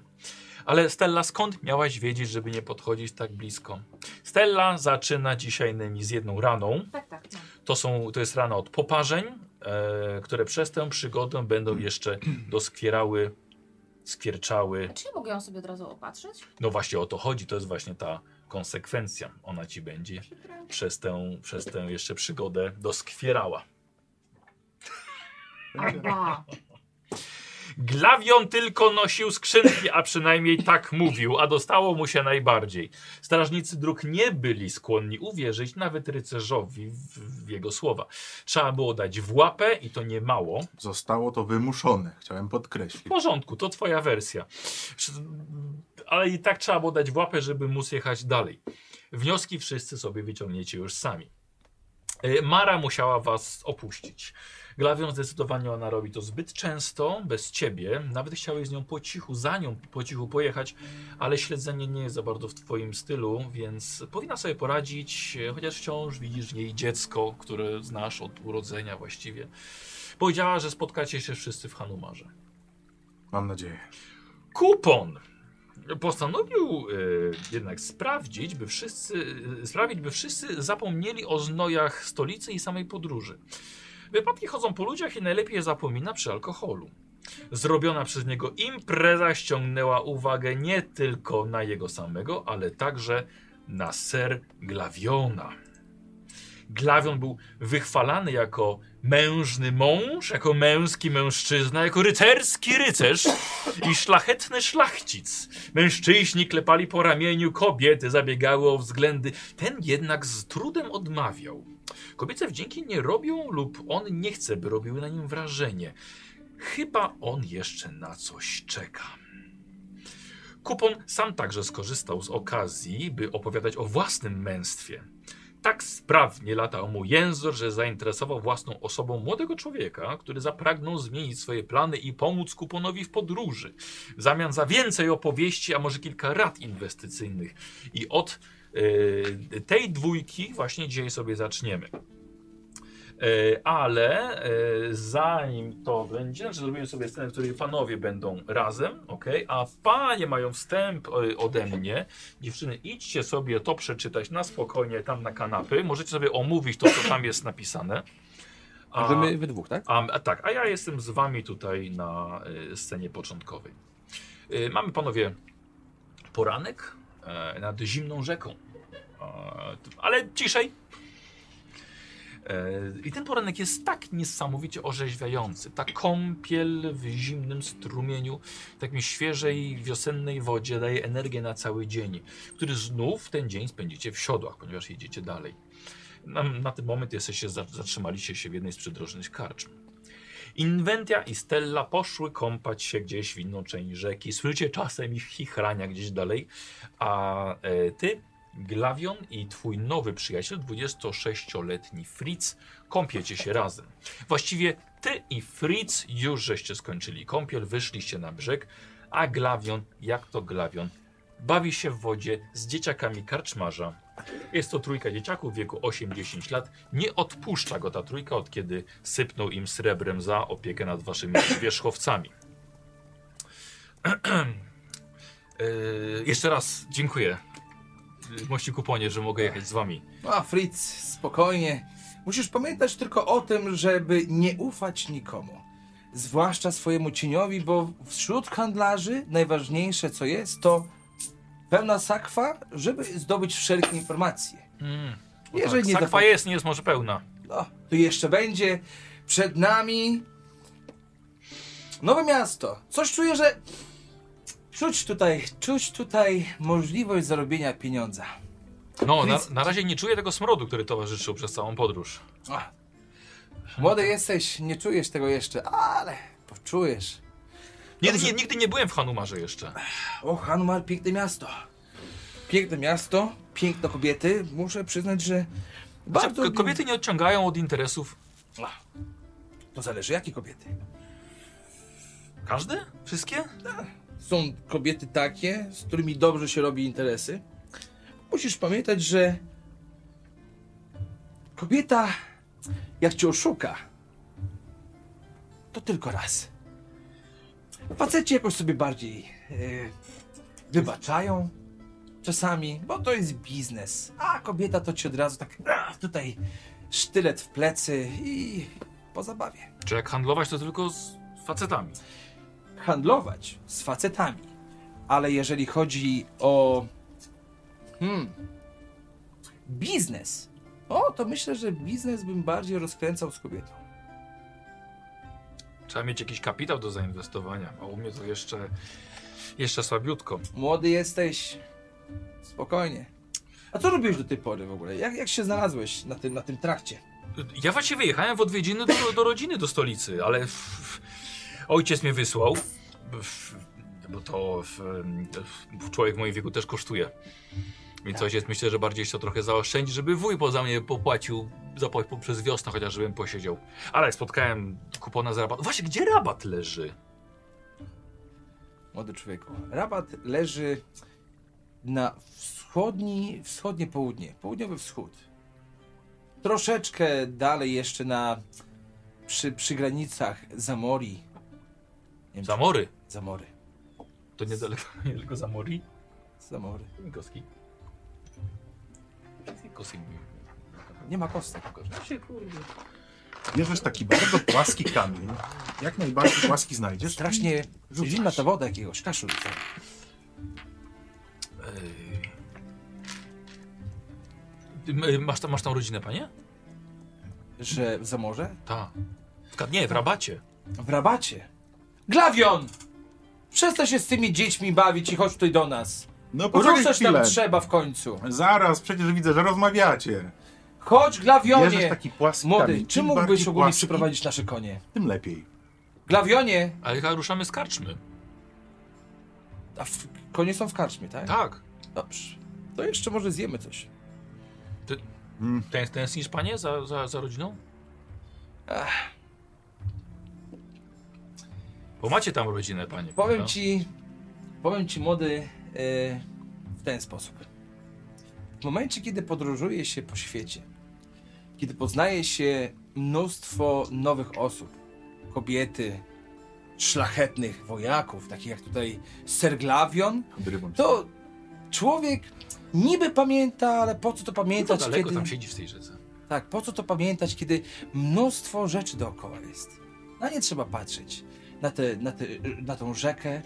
Speaker 1: Ale Stella, skąd miałaś wiedzieć, żeby nie podchodzić tak blisko? Stella zaczyna dzisiaj nymi z jedną raną.
Speaker 5: Tak, tak. No.
Speaker 1: To, są, to jest rana od poparzeń, e, które przez tę przygodę będą jeszcze doskwierały, skierczały.
Speaker 5: A czy ja mogę ją sobie od razu opatrzyć?
Speaker 1: No właśnie o to chodzi, to jest właśnie ta konsekwencja. Ona ci będzie
Speaker 3: Przepraszam.
Speaker 1: przez tę, przez tę jeszcze przygodę doskwierała.
Speaker 5: Aha.
Speaker 1: Glawion tylko nosił skrzynki, a przynajmniej tak mówił, a dostało mu się najbardziej. Strażnicy dróg nie byli skłonni uwierzyć nawet rycerzowi w, w jego słowa. Trzeba było dać w łapę i to nie mało.
Speaker 2: Zostało to wymuszone, chciałem
Speaker 1: W
Speaker 2: podkreślić.
Speaker 1: porządku, to twoja wersja. Przy- Ale i tak trzeba było dać w łapę, żeby móc jechać dalej. Wnioski wszyscy sobie wyciągniecie już sami. E, Mara musiała was opuścić. Glawion zdecydowanie ona robi to zbyt często, bez ciebie. Nawet chciałeś z nią po cichu, za nią po cichu pojechać, ale śledzenie nie jest za bardzo w twoim stylu, więc powinna sobie poradzić, e, chociaż wciąż widzisz w niej dziecko, które znasz od urodzenia właściwie. Powiedziała, że spotkacie się wszyscy w Hanumarze
Speaker 2: Mam nadzieję.
Speaker 1: kupon. Postanowił y, jednak sprawdzić, by wszyscy, y, sprawić, by wszyscy zapomnieli o znojach stolicy i samej podróży. Wypadki chodzą po ludziach i najlepiej je zapomina przy alkoholu. Zrobiona przez niego impreza ściągnęła uwagę nie tylko na jego samego, ale także na ser Glawiona. Glawion był wychwalany jako mężny mąż, jako męski mężczyzna, jako rycerski rycerz i szlachetny szlachcic. Mężczyźni klepali po ramieniu kobiety, zabiegały o względy. Ten jednak z trudem odmawiał. Kobiece wdzięki nie robią lub on nie chce, by robiły na nim wrażenie. Chyba on jeszcze na coś czeka. Kupon sam także skorzystał z okazji, by opowiadać o własnym męstwie. Tak sprawnie latał mu język, że zainteresował własną osobą młodego człowieka, który zapragnął zmienić swoje plany i pomóc kuponowi w podróży. W zamian za więcej opowieści, a może kilka rad inwestycyjnych. I od e, tej dwójki właśnie dzisiaj sobie zaczniemy. E, ale e, zanim to będzie, znaczy zrobimy sobie scenę, w której panowie będą razem, ok? A panie mają wstęp e, ode mnie. Dziewczyny, idźcie sobie to przeczytać na spokojnie tam na kanapy. Możecie sobie omówić to, co tam jest napisane. A,
Speaker 4: Że my we dwóch, tak?
Speaker 1: a, a tak, a ja jestem z wami tutaj na y, scenie początkowej. Y, mamy panowie poranek e, nad zimną rzeką. E, t- ale ciszej. E, I ten poranek jest tak niesamowicie orzeźwiający. Ta kąpiel w zimnym strumieniu, w takiej świeżej, wiosennej wodzie daje energię na cały dzień, który znów ten dzień spędzicie w siodłach, ponieważ jedziecie dalej. Na, na ten moment jesteście, za- zatrzymaliście się w jednej z przydrożnych karczm. Inwentia i Stella poszły kąpać się gdzieś w inną część rzeki. Słyszycie czasem ich chichrania gdzieś dalej, a e, ty, Glawion i twój nowy przyjaciel, 26-letni Fritz, kąpiecie się razem. Właściwie ty i Fritz już żeście skończyli kąpiel, wyszliście na brzeg, a Glawion, jak to Glawion, bawi się w wodzie z dzieciakami karczmarza. Jest to trójka dzieciaków w wieku 8-10 lat. Nie odpuszcza go ta trójka, od kiedy sypnął im srebrem za opiekę nad waszymi wierzchowcami. Yy, jeszcze raz dziękuję. yy, Mości kuponie, że mogę jechać z wami.
Speaker 4: A Fritz, spokojnie. Musisz pamiętać tylko o tym, żeby nie ufać nikomu. Zwłaszcza swojemu cieniowi, bo wśród handlarzy najważniejsze co jest, to pełna sakwa, żeby zdobyć wszelkie informacje.
Speaker 1: Mm.
Speaker 4: Jeżeli nie
Speaker 1: Sakwa
Speaker 4: zapo-
Speaker 1: jest, nie jest może pełna.
Speaker 4: No, tu jeszcze będzie. Przed nami nowe miasto. Coś czuję, że czuć tutaj, czuć tutaj możliwość zarobienia pieniądza.
Speaker 1: No, na,
Speaker 4: Fritz-
Speaker 1: na razie nie czuję tego smrodu, który towarzyszył przez całą podróż.
Speaker 4: Ach. Młody jesteś, nie czujesz tego jeszcze, ale poczujesz.
Speaker 1: Nigdy, nie,
Speaker 4: Dobrze.
Speaker 1: nigdy nie byłem w Hanumarze jeszcze.
Speaker 4: O, Hanumar, piękne miasto. Piękne miasto, piękne kobiety. Muszę przyznać, że bardzo...
Speaker 1: Znaczy, Ko- Kobiety nie odciągają od interesów.
Speaker 4: Ach. To zależy, jakie kobiety.
Speaker 1: Każdy? Wszystkie?
Speaker 4: Są kobiety takie, z którymi dobrze się robi interesy. Musisz pamiętać, że kobieta, jak cię oszuka, to tylko raz. Faceci jakoś sobie bardziej e, wybaczają czasami, bo to jest biznes. A kobieta to ci od razu tak a, tutaj sztylet w plecy i po zabawie.
Speaker 1: Czy jak handlować, to tylko z facetami.
Speaker 4: Handlować z facetami, ale jeżeli chodzi o hmm, biznes, o, to myślę, że biznes bym bardziej rozkręcał z kobietą.
Speaker 1: Trzeba mieć jakiś kapitał do zainwestowania, a u mnie to jeszcze, jeszcze słabiutko.
Speaker 4: Młody jesteś. Spokojnie. A co robiłeś do tej pory w ogóle? Jak, jak się znalazłeś na tym, na tym trakcie?
Speaker 1: Ja właśnie wyjechałem w odwiedziny do, do rodziny, do stolicy, ale f, f, ojciec mnie wysłał, f, bo to f, f, człowiek w moim wieku też kosztuje.
Speaker 4: Tak.
Speaker 1: Więc ojciec myślę, że bardziej chciał trochę zaoszczędzić, żeby wuj poza mnie popłacił zapłacił przez wiosnę, chociażbym posiedział. Ale spotkałem kupona z rabat. Właśnie, gdzie rabat leży?
Speaker 4: Młody człowieku. Rabat leży na wschodni, wschodnie południe, południowy wschód. Troszeczkę dalej jeszcze na przy, przy granicach Zamori. Nie wiem, czy-
Speaker 1: Zamory.
Speaker 4: Zamory.
Speaker 1: To niedaleko, niedaleko Zamori.
Speaker 4: Zamory.
Speaker 1: Koski. Koski.
Speaker 4: Nie ma kostek.
Speaker 2: Bierzesz taki bardzo płaski kamień, jak najbardziej płaski znajdziesz.
Speaker 4: Strasznie
Speaker 2: Rzucasz.
Speaker 4: zimna ta woda jakiegoś kaszu. rzuca.
Speaker 1: Ej. Masz, tam, masz tam rodzinę, panie?
Speaker 4: Że w Zamorze?
Speaker 1: Tak. W Kad- Nie, w rabacie.
Speaker 4: W rabacie. Glawion! Przestań się z tymi dziećmi bawić i chodź tutaj do nas.
Speaker 2: No poczekaj
Speaker 4: Ruszać
Speaker 2: chwilę.
Speaker 4: tam trzeba w końcu.
Speaker 2: Zaraz, przecież widzę, że rozmawiacie.
Speaker 4: Chodź,
Speaker 2: Bierzesz
Speaker 4: Glawionie!
Speaker 2: taki płaski
Speaker 4: Młody,
Speaker 2: kamień.
Speaker 4: czy
Speaker 2: Im
Speaker 4: mógłbyś
Speaker 2: bardziej
Speaker 4: ogólnie
Speaker 2: płaski,
Speaker 4: przyprowadzić nasze konie?
Speaker 2: Tym lepiej.
Speaker 4: Glawionie!
Speaker 1: Ale chyba ruszamy z karczmy.
Speaker 4: A w, konie są w karczmie, tak?
Speaker 1: Tak.
Speaker 4: Dobrze. To jeszcze może zjemy coś.
Speaker 2: Mm.
Speaker 1: Tęs- Tęsknisz, panie, za, za, za rodziną? Bo macie tam rodzinę, panie.
Speaker 4: Powiem
Speaker 1: prawda?
Speaker 4: ci, powiem ci młody e, w ten sposób. W momencie, kiedy podróżuje się po świecie, kiedy poznaje się mnóstwo nowych osób, kobiety, szlachetnych wojaków, takich jak tutaj Ser Glavion,
Speaker 2: Odrywam się.
Speaker 4: to człowiek niby pamięta, ale po
Speaker 1: I
Speaker 4: co to
Speaker 1: No to
Speaker 4: pamiętać,
Speaker 1: daleko
Speaker 4: kiedy...
Speaker 1: tam siedzisz w tej rzece.
Speaker 4: Tak, po co to pamiętać, kiedy mnóstwo rzeczy dookoła jest? Na nie trzeba patrzeć. Na, te, na, te, na tą rzekę,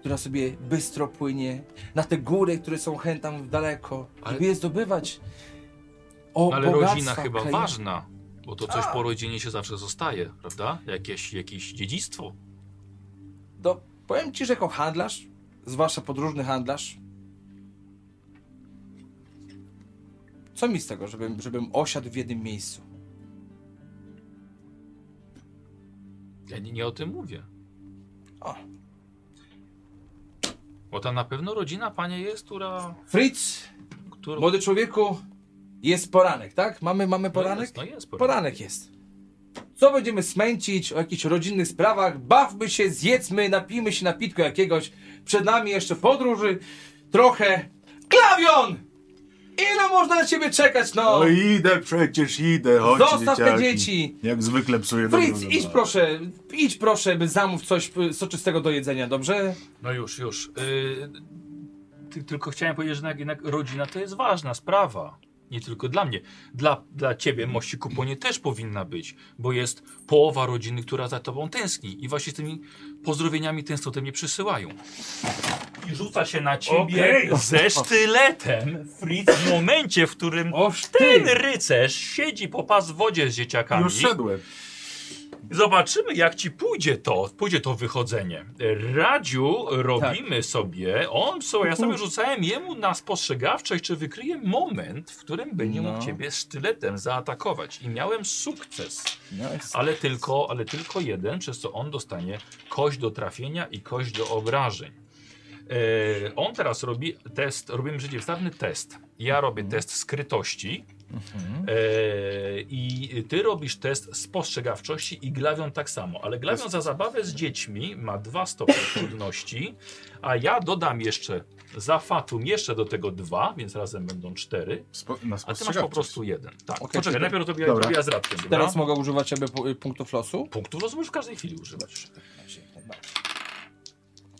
Speaker 4: która sobie bystro płynie, na te góry, które są chęt tam daleko,
Speaker 1: Ale-
Speaker 4: żeby je zdobywać. O,
Speaker 1: Ale rodzina
Speaker 4: bogactwa
Speaker 1: chyba
Speaker 4: kraju.
Speaker 1: ważna, bo to coś
Speaker 4: A.
Speaker 1: po rodzinie się zawsze zostaje, prawda? Jakieś, jakieś dziedzictwo.
Speaker 4: No, powiem ci, że jako handlarz, zwłaszcza podróżny handlarz, co mi z tego, żebym, żebym osiadł w jednym miejscu?
Speaker 1: Ja nie, nie o tym mówię.
Speaker 4: O.
Speaker 1: Bo tam na pewno rodzina, panie, jest, która...
Speaker 4: Fritz,
Speaker 1: która...
Speaker 4: młody człowieku, jest poranek, tak? Mamy, mamy
Speaker 1: No
Speaker 4: poranek?
Speaker 1: jest, no jest poranek.
Speaker 4: Poranek jest. Co będziemy smęcić o jakichś rodzinnych sprawach? Bawmy się, zjedzmy, napijmy się napitku jakiegoś. Przed nami jeszcze podróży. Trochę. Klawion! Ile można na ciebie czekać, no?
Speaker 2: O, idę przecież, idę. Chodź,
Speaker 4: Zostaw te
Speaker 2: dzieciaki.
Speaker 4: dzieci.
Speaker 2: Jak zwykle psuję dobrą
Speaker 4: Fritz,
Speaker 2: zabawę.
Speaker 4: idź proszę, idź proszę, by zamów coś y, soczystego do jedzenia, dobrze?
Speaker 1: No już, już. Yy, ty, tylko chciałem powiedzieć, że jednak, jednak rodzina to jest ważna sprawa. Nie tylko dla mnie. Dla, dla ciebie, mości kuponie, też powinna być, bo jest połowa rodziny, która za tobą tęskni i właśnie z tymi pozdrowieniami tęsknotem nie przysyłają. I rzuca się na ciebie ze sztyletem, Fritz, w momencie, w którym
Speaker 4: Oż
Speaker 1: ten rycerz siedzi po pas w wodzie z dzieciakami.
Speaker 2: Już szedłem.
Speaker 1: Zobaczymy, jak ci pójdzie to, pójdzie to wychodzenie. Radziu robimy sobie, on sobie, ja sobie rzucałem jemu na spostrzegawczość, czy wykryje moment, w którym będzie
Speaker 4: No.
Speaker 1: mógł ciebie sztyletem zaatakować. I miałem sukces,
Speaker 4: Nice.
Speaker 1: ale tylko, ale tylko jeden, przez co on dostanie kość do trafienia i kość do obrażeń. E, on teraz robi test, robimy przeciwstawny test. Ja robię test skrytości. E, I ty robisz test spostrzegawczości i glawion tak samo, ale glawion za zabawę z dziećmi ma dwa stopnie trudności, a ja dodam jeszcze za fatum jeszcze do tego dwa, więc razem będą cztery,
Speaker 2: Spo,
Speaker 1: a
Speaker 2: na
Speaker 1: ty masz po
Speaker 2: spostrzegawczość.
Speaker 1: prostu jeden. Tak,
Speaker 4: Okej,
Speaker 1: poczekaj,
Speaker 4: czyli-
Speaker 1: najpierw to
Speaker 2: Dobra.
Speaker 1: ja z radkiem, dobra?
Speaker 4: Teraz mogę używać jakby pu- punktów losu? tak
Speaker 1: Punktów rozumiesz w każdej chwili używać.
Speaker 4: Dobrze.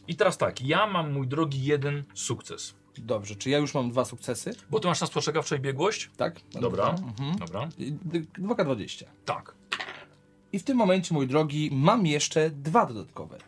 Speaker 1: I teraz tak, ja mam, mój drogi, jeden sukces.
Speaker 4: Dobrze, czy ja już mam dwa sukcesy?
Speaker 1: Bo ty masz na spostrzegawczość biegłość?
Speaker 4: Tak?
Speaker 1: Dobra.
Speaker 4: Mhm.
Speaker 1: Dobra.
Speaker 4: I- d- 2K20.
Speaker 1: Tak.
Speaker 4: I w tym momencie, mój drogi, mam jeszcze dwa dodatkowe.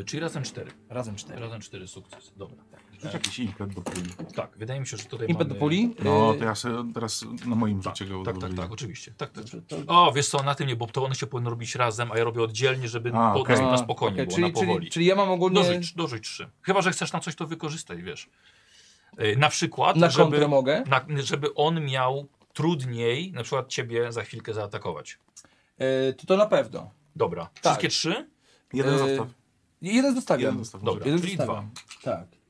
Speaker 1: E, czyli razem cztery.
Speaker 4: Razem cztery.
Speaker 1: Razem cztery sukcesy. Dobra.
Speaker 2: Rzuć jakiś impet do puli.
Speaker 1: Tak, wydaje mi się, że tutaj
Speaker 4: Impet do
Speaker 1: mamy...
Speaker 4: puli.
Speaker 2: No,
Speaker 4: y,
Speaker 2: to ja sobie teraz na moim
Speaker 1: Tak,
Speaker 2: życiu go
Speaker 1: tak, tak,
Speaker 2: odłożyłem.
Speaker 1: tak, oczywiście. Tak, tak. O, wiesz co, na tym nie, bo to one się powinny robić razem, a ja robię oddzielnie, żeby
Speaker 2: A,
Speaker 1: po,
Speaker 2: okej.
Speaker 1: na,
Speaker 4: a,
Speaker 1: na spokojnie
Speaker 4: okej,
Speaker 1: było,
Speaker 4: czyli,
Speaker 1: na powoli. No,
Speaker 4: Czyli, czyli ja mam ogólnie
Speaker 1: Dożyć, dożyć trzy. Chyba, że chcesz na coś to wykorzystać, wiesz. E, Na przykład,
Speaker 4: na kontrę
Speaker 1: żeby,
Speaker 4: mogę.
Speaker 1: na, żeby on miał trudniej na przykład ciebie za chwilkę zaatakować.
Speaker 4: Y, to to na pewno.
Speaker 1: Dobra,
Speaker 4: Tak.
Speaker 1: wszystkie trzy?
Speaker 2: Jeden
Speaker 1: E,
Speaker 4: Y,
Speaker 2: zostaw.
Speaker 4: Jeden zostawiam.
Speaker 2: Jeden zostaw.
Speaker 1: Dobra,
Speaker 4: Jeden
Speaker 1: czyli
Speaker 4: zostawiam. Tak.
Speaker 1: dwa.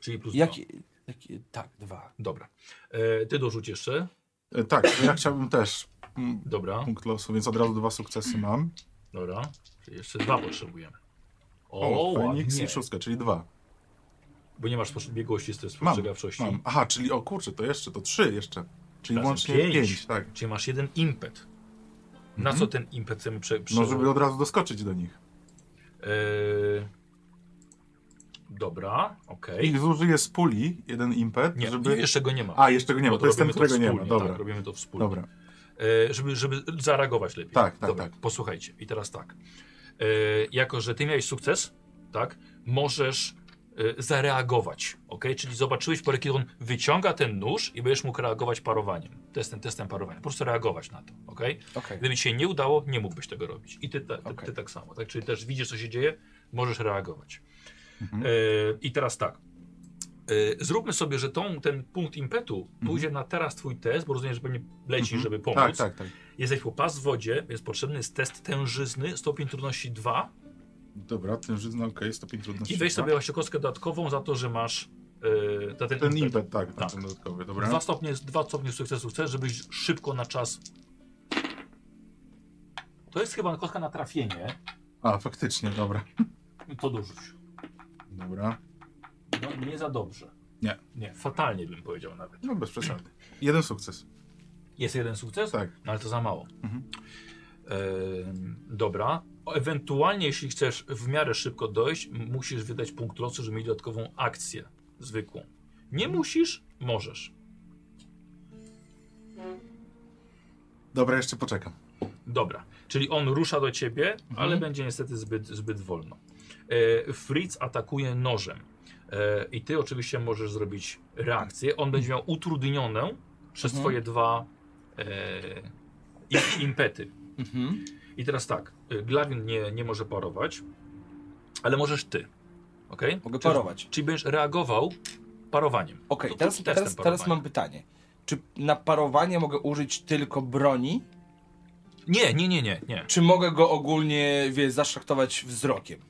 Speaker 1: Czyli plus
Speaker 4: Jak,
Speaker 1: dwa.
Speaker 4: jak, tak, dwa.
Speaker 1: Dobra. E, ty dorzuć jeszcze.
Speaker 2: E, Tak, to ja chciałbym też mm,
Speaker 1: Dobra,
Speaker 2: punkt losu, więc od razu dwa sukcesy mam.
Speaker 1: dobra. Czyli jeszcze dwa potrzebujemy. O,
Speaker 2: O, Feniks
Speaker 1: ładnie.
Speaker 2: i szóstka, czyli dwa.
Speaker 1: Bo nie masz posz- biegłości, to jest
Speaker 2: Mam,
Speaker 1: spostrzegawczości.
Speaker 2: Mam. Aha, czyli o kurczę, to jeszcze, to trzy jeszcze. Czyli
Speaker 1: Razem
Speaker 2: łącznie
Speaker 1: pięć.
Speaker 2: pięć. tak.
Speaker 1: Czyli masz jeden impet. Na
Speaker 2: Mhm.
Speaker 1: co ten impet chcemy prze, prze...
Speaker 2: No, żeby od razu doskoczyć do nich.
Speaker 1: Eee, Dobra, okej.
Speaker 2: I zużyję z puli jeden impet,
Speaker 1: Nie,
Speaker 2: żeby...
Speaker 1: jeszcze go nie ma.
Speaker 2: A, jeszcze go nie ma,
Speaker 1: Bo
Speaker 2: to jest ten,
Speaker 1: robimy
Speaker 2: którego nie ma.
Speaker 1: wspólnie,
Speaker 2: Dobra,
Speaker 1: Tak, robimy to wspólnie.
Speaker 2: dobra.
Speaker 1: E, żeby, żeby zareagować lepiej.
Speaker 2: Tak, tak,
Speaker 1: Dobra,
Speaker 2: tak.
Speaker 1: Posłuchajcie, i teraz tak. E, jako, że ty miałeś sukces, tak, możesz e, zareagować, ok? Czyli zobaczyłeś porę, kiedy on wyciąga ten nóż i będziesz mógł reagować parowaniem, testem, testem parowania. Po prostu reagować na to, ok?
Speaker 4: Okej.
Speaker 1: Gdyby ci się nie udało, nie mógłbyś tego robić. I ty, ta, ty,
Speaker 4: Okej.
Speaker 1: ty tak samo, tak? Czyli też widzisz, co się dzieje, możesz reagować.
Speaker 2: Mhm.
Speaker 1: E, I teraz tak. E, zróbmy sobie, że tą, ten punkt impetu pójdzie na teraz twój test, bo rozumiem, że pewnie lecisz,
Speaker 2: Mhm.
Speaker 1: żeby pomóc.
Speaker 2: Tak, tak, tak.
Speaker 1: Jesteś po pas w wodzie, więc potrzebny jest test tężyzny, stopień trudności 2.
Speaker 2: Dobra, ten żyzna, okej, stopień trudności. tak.
Speaker 1: I weź
Speaker 2: dwa.
Speaker 1: sobie właśnie kostkę dodatkową za to, że masz e, za ten,
Speaker 2: Ten impet, tak,
Speaker 1: Tak.
Speaker 2: tak. ten dodatkowy,
Speaker 1: Dwa
Speaker 2: dobra.
Speaker 1: stopnie, dwa stopnie sukcesu chcesz, żebyś szybko na czas. To jest chyba kostka na trafienie.
Speaker 2: A, faktycznie, dobra.
Speaker 1: To dorzuć.
Speaker 2: Dobra,
Speaker 1: No, nie za dobrze.
Speaker 2: Nie.
Speaker 1: Nie, fatalnie bym powiedział nawet.
Speaker 2: no bez przesady. Jeden sukces,
Speaker 1: Jest jeden sukces?
Speaker 2: tak.
Speaker 1: No ale to za mało.
Speaker 2: Mhm.
Speaker 1: Em, dobra. O, Ewentualnie, jeśli chcesz w miarę szybko dojść, m- musisz wydać punkt losu, żeby mieć dodatkową akcję zwykłą. Nie
Speaker 2: Mhm.
Speaker 1: musisz, możesz.
Speaker 2: Dobra, jeszcze poczekam.
Speaker 1: Dobra. Czyli on rusza do ciebie,
Speaker 4: Mhm.
Speaker 1: ale będzie niestety zbyt, zbyt wolno. E, Fritz atakuje nożem. E, I ty oczywiście możesz zrobić reakcję. On będzie miał utrudnioną przez
Speaker 4: Mhm.
Speaker 1: twoje dwa e, i- impety.
Speaker 4: Mhm.
Speaker 1: I teraz tak, y, Glavin nie, nie może parować, ale możesz ty. Ok?
Speaker 4: Mogę parować.
Speaker 1: Czyli będziesz reagował parowaniem.
Speaker 4: Okej,
Speaker 1: To- to
Speaker 4: teraz,
Speaker 1: testem
Speaker 4: teraz, teraz
Speaker 1: parowania.
Speaker 4: mam pytanie. Czy na parowanie mogę użyć tylko broni,
Speaker 1: Nie, nie, nie, nie, nie.
Speaker 4: czy mogę go ogólnie, wie, zaszachtować wzrokiem?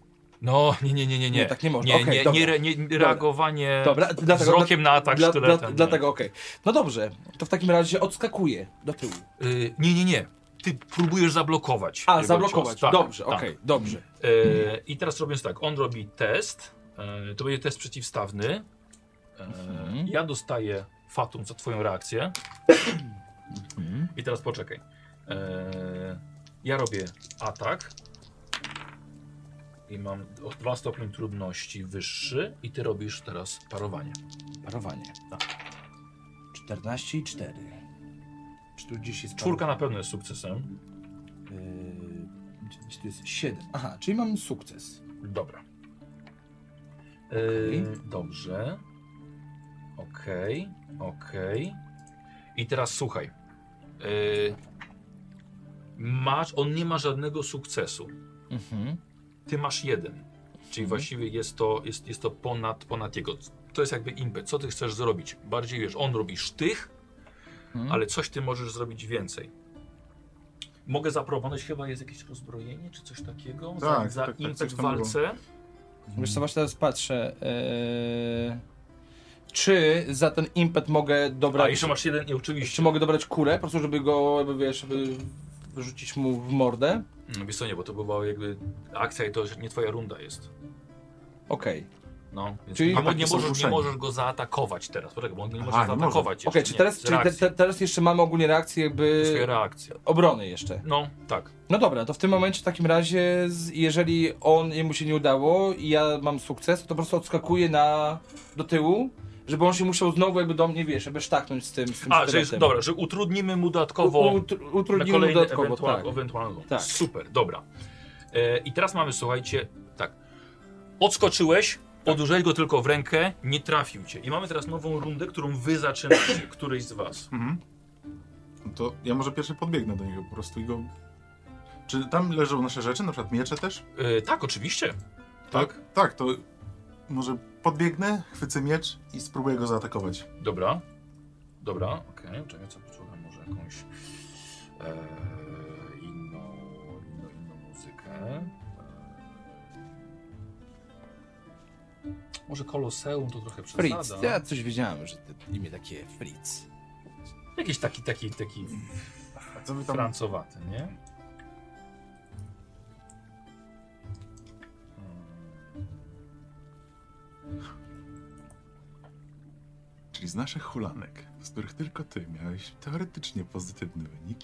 Speaker 1: No, nie, nie, nie, nie.
Speaker 4: Nie, tak nie można.
Speaker 1: Nie,
Speaker 4: Okej,
Speaker 1: nie,
Speaker 4: dobra.
Speaker 1: nie, re, nie, nie reagowanie
Speaker 4: Dobra, dlatego-
Speaker 1: wzrokiem na atak
Speaker 4: Dla, dla,
Speaker 1: Tak, sztyletem. nie.
Speaker 4: dlatego okej. No dobrze, to w takim razie odskakuję do tyłu.
Speaker 1: Y, nie, nie, nie. Ty próbujesz zablokować.
Speaker 4: A,
Speaker 1: jego
Speaker 4: zablokować.
Speaker 1: cios. Tak,
Speaker 4: dobrze,
Speaker 1: tak.
Speaker 4: okej, dobrze.
Speaker 1: E, I teraz robiąc tak, on robi test. E, to będzie test przeciwstawny. E,
Speaker 4: Mhm.
Speaker 1: Ja dostaję fatum za twoją reakcję. I teraz poczekaj. E, ja robię atak. I mam o dwa stopnie trudności wyższy. I ty robisz teraz parowanie.
Speaker 4: Parowanie.
Speaker 1: Tak.
Speaker 4: 14 i 4. Czy tu gdzieś jest
Speaker 1: Czwórka na pewno jest sukcesem.
Speaker 4: Yy, gdzie to jest 7. Aha, czyli mam sukces.
Speaker 1: Dobra. E, Dobrze. Okej, okej. I teraz słuchaj. E, masz, on nie ma żadnego sukcesu.
Speaker 4: Mhm.
Speaker 1: Ty masz jeden. Czyli
Speaker 4: Mhm.
Speaker 1: właściwie jest to, jest, jest to ponad, ponad jego. To jest jakby impet. Co ty chcesz zrobić? Bardziej wiesz, on robi sztych,
Speaker 4: Mhm.
Speaker 1: ale coś ty możesz zrobić więcej. Mogę zaproponować, chyba jest jakieś rozbrojenie czy coś takiego?
Speaker 2: Tak,
Speaker 1: za za
Speaker 2: tak, tak,
Speaker 1: impet
Speaker 2: coś
Speaker 1: w
Speaker 2: tam było.
Speaker 1: walce.
Speaker 4: Wiesz co, właśnie teraz patrzę. Yy, czy za ten impet mogę
Speaker 1: A
Speaker 4: dobrać...
Speaker 1: jeszcze masz jeden i oczywiście.
Speaker 4: Czy mogę dobrać kurę, po prostu żeby go, jakby, wiesz, żeby rzucić mu w mordę?
Speaker 1: No wiesz co, nie, bo to była jakby akcja i to że nie twoja runda jest.
Speaker 4: Okej.
Speaker 1: No, więc
Speaker 4: Czyli-
Speaker 1: Czyli nie,
Speaker 2: Ataki
Speaker 1: nie,
Speaker 2: są
Speaker 1: możesz, nie
Speaker 2: zruszeni.
Speaker 1: możesz go zaatakować teraz, poczekaj, bo on nie może
Speaker 2: Aha, nie może.
Speaker 1: zaatakować
Speaker 4: Okej,
Speaker 1: jeszcze.
Speaker 4: czy
Speaker 1: nie,
Speaker 4: teraz,
Speaker 1: z
Speaker 4: czyli te,
Speaker 1: reakcji.
Speaker 4: te, teraz jeszcze mamy ogólnie reakcję
Speaker 1: To
Speaker 4: jakby
Speaker 1: jest reakcja.
Speaker 4: obrony jeszcze.
Speaker 1: No, tak.
Speaker 4: No dobra, to w tym momencie w takim razie, z- jeżeli on, jemu się nie udało i ja mam sukces, to po prostu odskakuję na, do tyłu żeby on się musiał znowu jakby do mnie, wiesz, jakby sztaknąć z tym, z tym
Speaker 1: A, że jest,
Speaker 4: sztyletem.
Speaker 1: dobra, że utrudnimy mu dodatkowo
Speaker 4: U, utr-
Speaker 1: na
Speaker 4: utrudnił mu
Speaker 1: kolejny
Speaker 4: dodatkowo,
Speaker 1: ewentual,
Speaker 4: tak.
Speaker 1: ewentualną.
Speaker 4: Tak.
Speaker 1: Super, dobra. E, I teraz mamy, słuchajcie, tak. Odskoczyłeś, podłużyłeś go tylko w rękę, nie trafił cię. I mamy teraz nową rundę, którą wy zaczynacie, któryś z was.
Speaker 2: Mhm. No To ja może pierwszy podbiegnę do niego po prostu i go... Czy tam leżą nasze rzeczy, na przykład miecze też?
Speaker 1: E, tak, oczywiście.
Speaker 2: Tak. Tak, to może podbiegnę, chwycę miecz i spróbuję go zaatakować.
Speaker 1: Dobra. Dobra, okej. Czekaj, co posłucham może jakąś e, inną, inną, inną muzykę. E, może Koloseum to trochę
Speaker 4: Fritz,
Speaker 1: przesada.
Speaker 4: ja coś wiedziałem, że te imię takie Fritz.
Speaker 1: Jakiś taki, taki, taki
Speaker 2: A co wy tam...
Speaker 1: francowaty, nie?
Speaker 2: Czyli z naszych hulanek, z których tylko ty miałeś teoretycznie pozytywny wynik.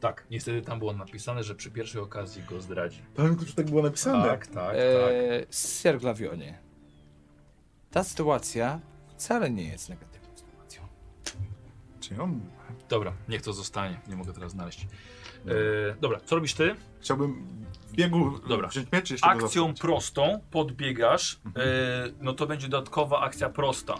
Speaker 1: Tak, niestety tam było napisane, że przy pierwszej okazji go zdradzi.
Speaker 2: Tam już tak było napisane.
Speaker 1: Tak, tak, tak.
Speaker 4: Eee, Sir Glavionie, ta sytuacja wcale nie jest negatywną sytuacją.
Speaker 2: Czy on...
Speaker 1: Dobra, niech to zostanie, nie mogę teraz znaleźć. E, dobra, co robisz ty?
Speaker 2: Chciałbym w biegu
Speaker 1: Dobra.
Speaker 2: wziąć miecz i jeszcze go
Speaker 1: Akcją
Speaker 2: zaatakować.
Speaker 1: prostą podbiegasz,
Speaker 2: Mhm.
Speaker 1: e, no to będzie dodatkowa akcja prosta.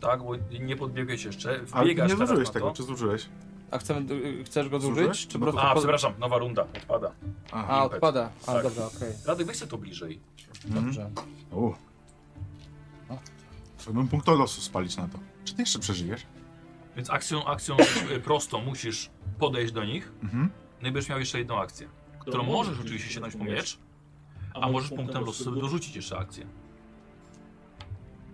Speaker 1: Tak, bo nie podbiegłeś jeszcze,
Speaker 2: Ale ty
Speaker 1: wbiegasz
Speaker 2: nie
Speaker 1: teraz
Speaker 2: zużyłeś
Speaker 1: na
Speaker 2: tego,
Speaker 1: to.
Speaker 2: czy zużyłeś?
Speaker 4: A chcemy, y, chcesz go
Speaker 2: Zużyłeś?
Speaker 4: zużyć? Czy
Speaker 2: No
Speaker 4: po
Speaker 2: to-
Speaker 4: prostu
Speaker 1: A,
Speaker 4: po-
Speaker 1: przepraszam, nowa runda, odpada.
Speaker 4: A,
Speaker 2: Aha.
Speaker 1: impet.
Speaker 4: odpada. A,
Speaker 1: Tak.
Speaker 4: dobra, okej.
Speaker 1: Radek, weź sobie to bliżej.
Speaker 2: Mhm.
Speaker 4: Dobrze.
Speaker 2: U. Chciałbym punkt losu spalić na to. Czy ty jeszcze przeżyjesz?
Speaker 1: Więc akcją, akcją e, prostą musisz podejść do nich,
Speaker 2: Mhm.
Speaker 1: no i będziesz miał jeszcze jedną akcję, którą możesz oczywiście sięgnąć po miecz, a możesz punktem losu sobie dorzucić jeszcze akcję.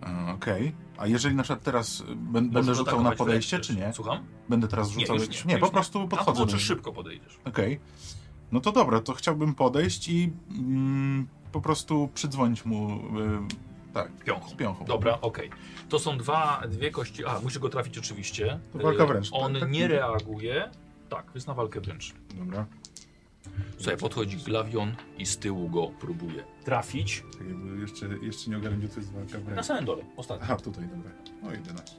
Speaker 2: E, Okej. A jeżeli na przykład teraz y, ben, będę
Speaker 1: Możesz
Speaker 2: rzucał na
Speaker 1: atakować
Speaker 2: podejście,
Speaker 1: wręcz
Speaker 2: czy
Speaker 1: też.
Speaker 2: nie?
Speaker 1: tak Słucham?
Speaker 2: Będę teraz rzucał.
Speaker 1: już nie, już
Speaker 2: po
Speaker 1: nie.
Speaker 2: prostu
Speaker 1: Podchodzę.
Speaker 2: podchodzę. do
Speaker 1: czy
Speaker 2: niego.
Speaker 1: szybko podejdziesz.
Speaker 2: Okej. No to dobra, to chciałbym podejść i mm, po prostu przydzwonić mu. y, tak, z
Speaker 1: Piąchą.
Speaker 2: piąchą.
Speaker 1: Dobra, okej. To są dwa, dwie kości. A, musisz go trafić oczywiście.
Speaker 2: To walka
Speaker 1: Y,
Speaker 2: wręcz,
Speaker 1: On
Speaker 2: tak, tak?
Speaker 1: nie reaguje. Tak, jest na walkę wręcz.
Speaker 2: Dobra.
Speaker 1: Słuchaj, podchodzi glawion i z tyłu go próbuje trafić.
Speaker 2: Tak jakby jeszcze, jeszcze nie ogarnę, gdzie to jest walka
Speaker 1: Na
Speaker 2: wręcz.
Speaker 1: samym dole, ostatni.
Speaker 2: Aha, tutaj, dobra. No 11.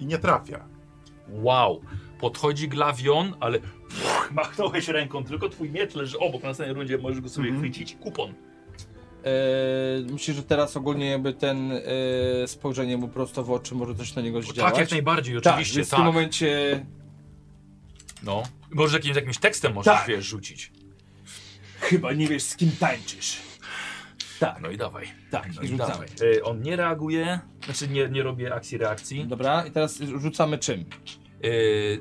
Speaker 2: I nie trafia.
Speaker 1: Wow. Podchodzi glawion, ale pff, machnąłeś ręką, tylko twój miecz leży obok. Na samej rundzie możesz go sobie
Speaker 2: Mhm.
Speaker 1: chwycić. Kupon. Tak
Speaker 4: Eee, myślisz, że teraz ogólnie jakby ten eee, spojrzenie mu prosto w oczy może coś na niego zdziałać?
Speaker 1: Tak, jak najbardziej,
Speaker 4: Tak,
Speaker 1: oczywiście.
Speaker 4: więc
Speaker 1: Tak,
Speaker 4: w tym momencie
Speaker 1: No. Możesz jakimś, jakimś tekstem możesz,
Speaker 4: Tak.
Speaker 1: wiesz, rzucić.
Speaker 4: chyba nie wiesz z kim tańczysz. Tak,
Speaker 1: No i dawaj.
Speaker 4: tak,
Speaker 1: No
Speaker 4: i
Speaker 1: i
Speaker 4: rzucamy.
Speaker 1: dawaj. Y, on nie reaguje, znaczy nie, nie robi akcji reakcji.
Speaker 4: Dobra, i teraz rzucamy czym?
Speaker 1: Yy,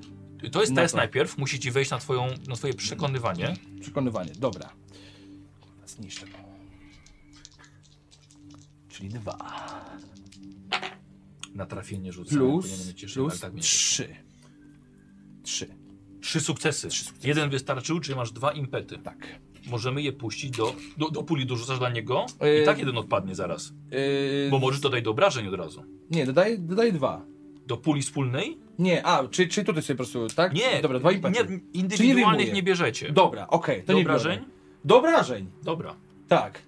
Speaker 1: to jest
Speaker 4: Na
Speaker 1: test
Speaker 4: to.
Speaker 1: najpierw, musi ci wejść na, twoją, na twoje przekonywanie.
Speaker 4: Przekonywanie, dobra. Zniszczę go. Czyli dwa.
Speaker 1: Na trafienie rzucę.
Speaker 4: Plus, plus
Speaker 1: tak trzy.
Speaker 4: trzy. Trzy,
Speaker 1: trzy sukcesy. Jeden wystarczył, czyli masz dwa impety.
Speaker 4: tak.
Speaker 1: Możemy je puścić do, do, do puli, dorzucasz dla niego
Speaker 4: Yy.
Speaker 1: i tak jeden odpadnie zaraz.
Speaker 4: Eee,
Speaker 1: Bo możesz dodać do obrażeń od razu.
Speaker 4: Nie, dodaję, dodaję dwa.
Speaker 1: Do puli wspólnej?
Speaker 4: Nie, a, czy, czy tutaj sobie po prostu, tak?
Speaker 1: Nie.
Speaker 4: Dobra, dwa
Speaker 1: nie
Speaker 4: impety.
Speaker 1: Indywidualnych
Speaker 4: wyjmuję?
Speaker 1: nie, bierzecie.
Speaker 4: Dobra, okej, to
Speaker 1: do
Speaker 4: nie biorę.
Speaker 1: obrażeń?
Speaker 4: Do obrażeń,
Speaker 1: Dobra.
Speaker 4: tak.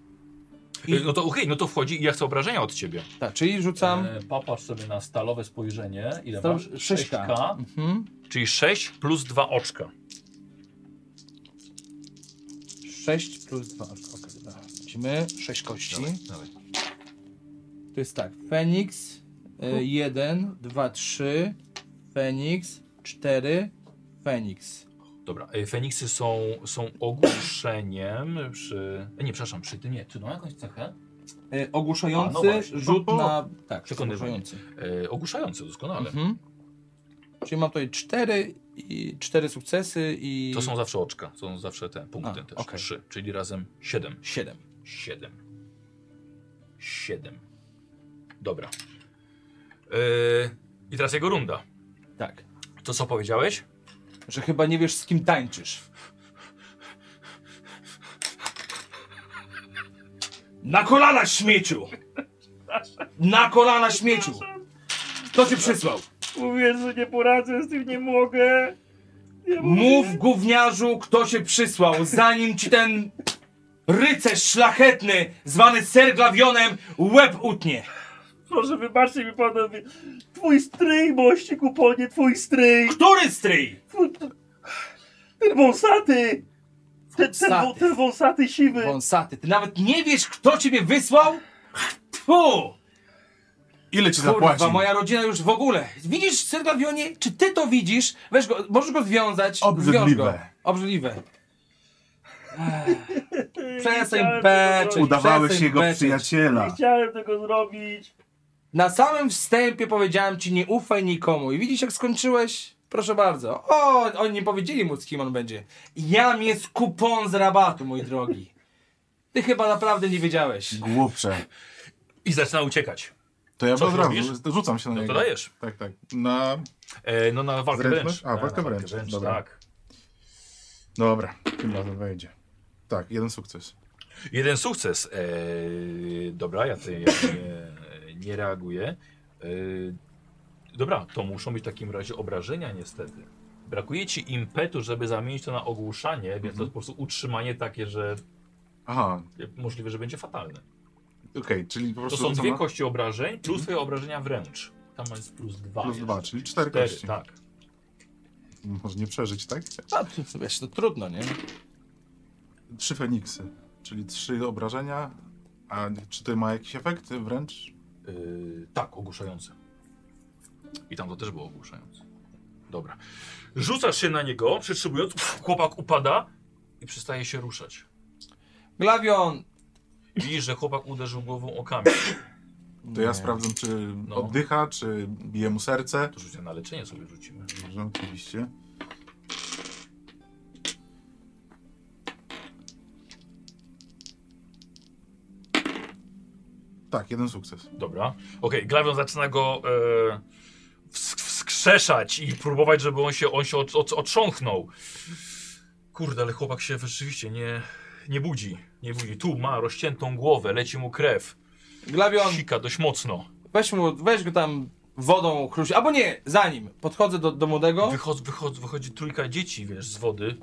Speaker 4: I-
Speaker 1: Yy, No to okej, no to wchodzi i ja chcę obrażenia od ciebie.
Speaker 4: Tak, czyli rzucam...
Speaker 1: E, popatrz sobie na stalowe spojrzenie. Ile
Speaker 4: Stal-
Speaker 1: masz?
Speaker 4: sześćka.
Speaker 1: 6K.
Speaker 4: Mhm.
Speaker 1: Czyli 6 plus 2 oczka.
Speaker 4: 6 plus 2. Ok, dobra. Widzimy 6 kości. To jest tak. Feniks e, 1, 2, 3. Feniks 4. Feniks.
Speaker 1: Dobra, e, Feniksy są, są ogłuszeniem przy... e, Nie, przepraszam, przy tym nie. Czy no jakąś cechę? A,
Speaker 4: E,
Speaker 1: no
Speaker 4: Ogłuszający
Speaker 1: właśnie.
Speaker 4: rzut
Speaker 2: O, o.
Speaker 4: na. Tak,
Speaker 1: Przekonywanie.
Speaker 4: ogłuszający.
Speaker 1: E, ogłuszające, doskonale.
Speaker 4: Mhm. Czyli mam tutaj 4 i 4 sukcesy i.
Speaker 1: To są zawsze oczka, to są zawsze te punkty
Speaker 4: A,
Speaker 1: też.
Speaker 4: okej.
Speaker 1: Trzy, czyli razem siedem.
Speaker 4: 7.
Speaker 1: Siedem. Siedem. Dobra. E, I teraz jego runda.
Speaker 4: Tak.
Speaker 1: To co powiedziałeś?
Speaker 4: Że chyba nie wiesz z kim tańczysz. Na kolana śmieciu! Na kolana śmieciu! Kto cię przysłał?
Speaker 6: Mówię, że nie poradzę z tym, nie mogę.
Speaker 4: Mów gówniarzu, kto cię przysłał, zanim ci ten rycerz szlachetny, zwany serglawionem, łeb utnie.
Speaker 6: Proszę, wybaczcie mi panowie. Twój stryj, mości kuponie, twój stryj.
Speaker 4: Który stryj?
Speaker 6: Twój... Ten wąsaty. Ten, ten, wą- ten wąsaty siwy.
Speaker 4: Wąsaty, ty nawet nie wiesz, kto ciebie wysłał? Tfu!
Speaker 2: Ile ci zapłaci?
Speaker 4: Kurwa, moja rodzina już w ogóle. Widzisz, Sergawionie, czy ty to widzisz? Weź go, możesz go związać.
Speaker 2: Obrzydliwe.
Speaker 4: Zwiąż go. Obrzydliwe.
Speaker 6: Ej,
Speaker 4: Przestań
Speaker 6: chciałem tego
Speaker 4: beczeć.
Speaker 6: zrobić.
Speaker 2: Udawałeś
Speaker 4: Przestań
Speaker 2: jego
Speaker 4: beczeć.
Speaker 6: Nie
Speaker 2: przyjaciela.
Speaker 6: chciałem tego zrobić.
Speaker 4: Na samym wstępie powiedziałem ci, nie ufaj nikomu. I widzisz, jak skończyłeś? Proszę bardzo. O, oni nie powiedzieli mu, z kim on będzie. Jam jest kupon z rabatu, mój drogi. Ty chyba naprawdę nie wiedziałeś.
Speaker 2: Głupcze.
Speaker 1: I zaczyna uciekać.
Speaker 2: To ja
Speaker 1: Co
Speaker 2: od razu
Speaker 1: robisz?
Speaker 2: rzucam się na
Speaker 1: No
Speaker 2: niego.
Speaker 1: to dajesz.
Speaker 2: Tak, tak. Na...
Speaker 1: E, no na walkę
Speaker 2: Zręczność?
Speaker 1: wręcz.
Speaker 2: A,
Speaker 1: Tak,
Speaker 2: walkę
Speaker 1: na
Speaker 2: wręcz, dobra.
Speaker 1: Tak.
Speaker 2: Dobra, tym razem wejdzie. Tak, jeden sukces.
Speaker 1: Jeden sukces. E, dobra, ja tutaj ja nie, nie reaguję. E, dobra, to muszą być w takim razie obrażenia niestety. Brakuje ci impetu, żeby zamienić to na ogłuszanie, więc
Speaker 2: Mhm.
Speaker 1: to jest po prostu utrzymanie takie, że
Speaker 2: Aha,
Speaker 1: możliwe, że będzie fatalne.
Speaker 2: okej, czyli
Speaker 1: To
Speaker 2: po prostu...
Speaker 1: są
Speaker 2: rzucam
Speaker 1: dwie
Speaker 2: na- Mhm.
Speaker 1: kości obrażeń plus twoje obrażenia wręcz. Tam jest plus dwa.
Speaker 2: Plus
Speaker 1: jeszcze.
Speaker 2: dwa, czyli cztery
Speaker 1: Cztery,
Speaker 2: kości.
Speaker 1: tak.
Speaker 2: Może nie przeżyć, tak?
Speaker 4: A, ty, wiesz, to trudno, nie?
Speaker 2: Trzy Feniksy, czyli trzy obrażenia. A czy to ma jakiś efekt wręcz?
Speaker 1: Yy, tak, ogłuszające. I tam to też było ogłuszające. Dobra. Rzucasz się na niego, przytrzymując, pff, chłopak upada i przestaje się ruszać.
Speaker 4: Glawion!
Speaker 1: Widzisz, że chłopak uderzył głową o kamień.
Speaker 2: To ja sprawdzam, czy
Speaker 1: No.
Speaker 2: oddycha, czy bije mu serce.
Speaker 1: To rzucie na leczenie sobie rzucimy.
Speaker 2: Dobrze, oczywiście. Tak, jeden sukces.
Speaker 1: Dobra. Okej, Glawion zaczyna go e, wsk- wskrzeszać i próbować, żeby on się, on się od, od, otrząchnął. Kurde, ale chłopak się rzeczywiście nie, nie budzi. Nie budzi. Tu ma rozciętą głowę, leci mu krew.
Speaker 4: Glawion!
Speaker 1: Sika dość mocno.
Speaker 4: Weź, mu, weź go tam wodą chruś. Albo nie, zanim. Podchodzę do, do młodego.
Speaker 1: Wychodzi, wychodzi, wychodzi trójka dzieci, wiesz, z wody.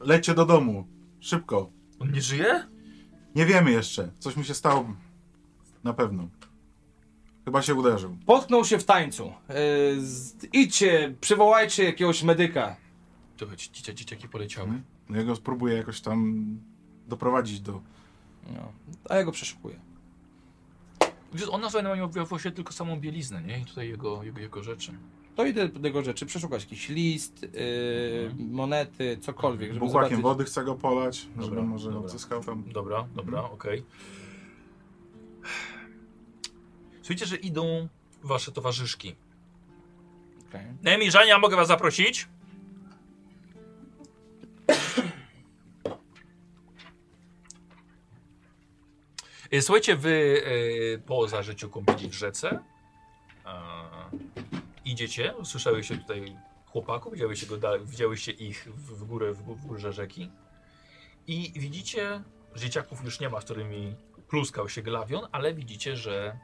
Speaker 2: Lecie do domu. Szybko.
Speaker 1: On nie żyje?
Speaker 2: Nie wiemy jeszcze. Coś mu się stało. Na pewno. Chyba się uderzył.
Speaker 4: Potknął się w tańcu. Yy, z, idźcie, przywołajcie jakiegoś medyka.
Speaker 1: To chodź, dzieciaki, dzieciaki poleciały.
Speaker 2: No ja go spróbuję jakoś tam doprowadzić do...
Speaker 4: No, a ja go przeszukuję.
Speaker 1: Wiesz, on na pewno miał właśnie tylko samą bieliznę, nie? I tutaj jego, jego, jego rzeczy.
Speaker 4: To idę do tego rzeczy, przeszukać jakiś list, yy, monety, cokolwiek, żeby
Speaker 2: Bukłakiem
Speaker 4: zobaczyć.
Speaker 2: wody chcę go polać, żeby
Speaker 1: Dobra,
Speaker 2: może
Speaker 1: dobra.
Speaker 2: odzyskał tam...
Speaker 1: Dobra, dobra, okej. Słuchajcie, że idą wasze towarzyszki.
Speaker 4: Okej.
Speaker 1: Nemi, Żania, mogę was zaprosić? Y, Słuchajcie, wy y, po zażyciu kąpieli w rzece a, idziecie, słyszałyście tutaj chłopaków, widziałyście, go dal- widziałyście ich w, w górę, w, gó- w górze rzeki i widzicie, że dzieciaków już nie ma, z którymi pluskał się glawion, ale widzicie, że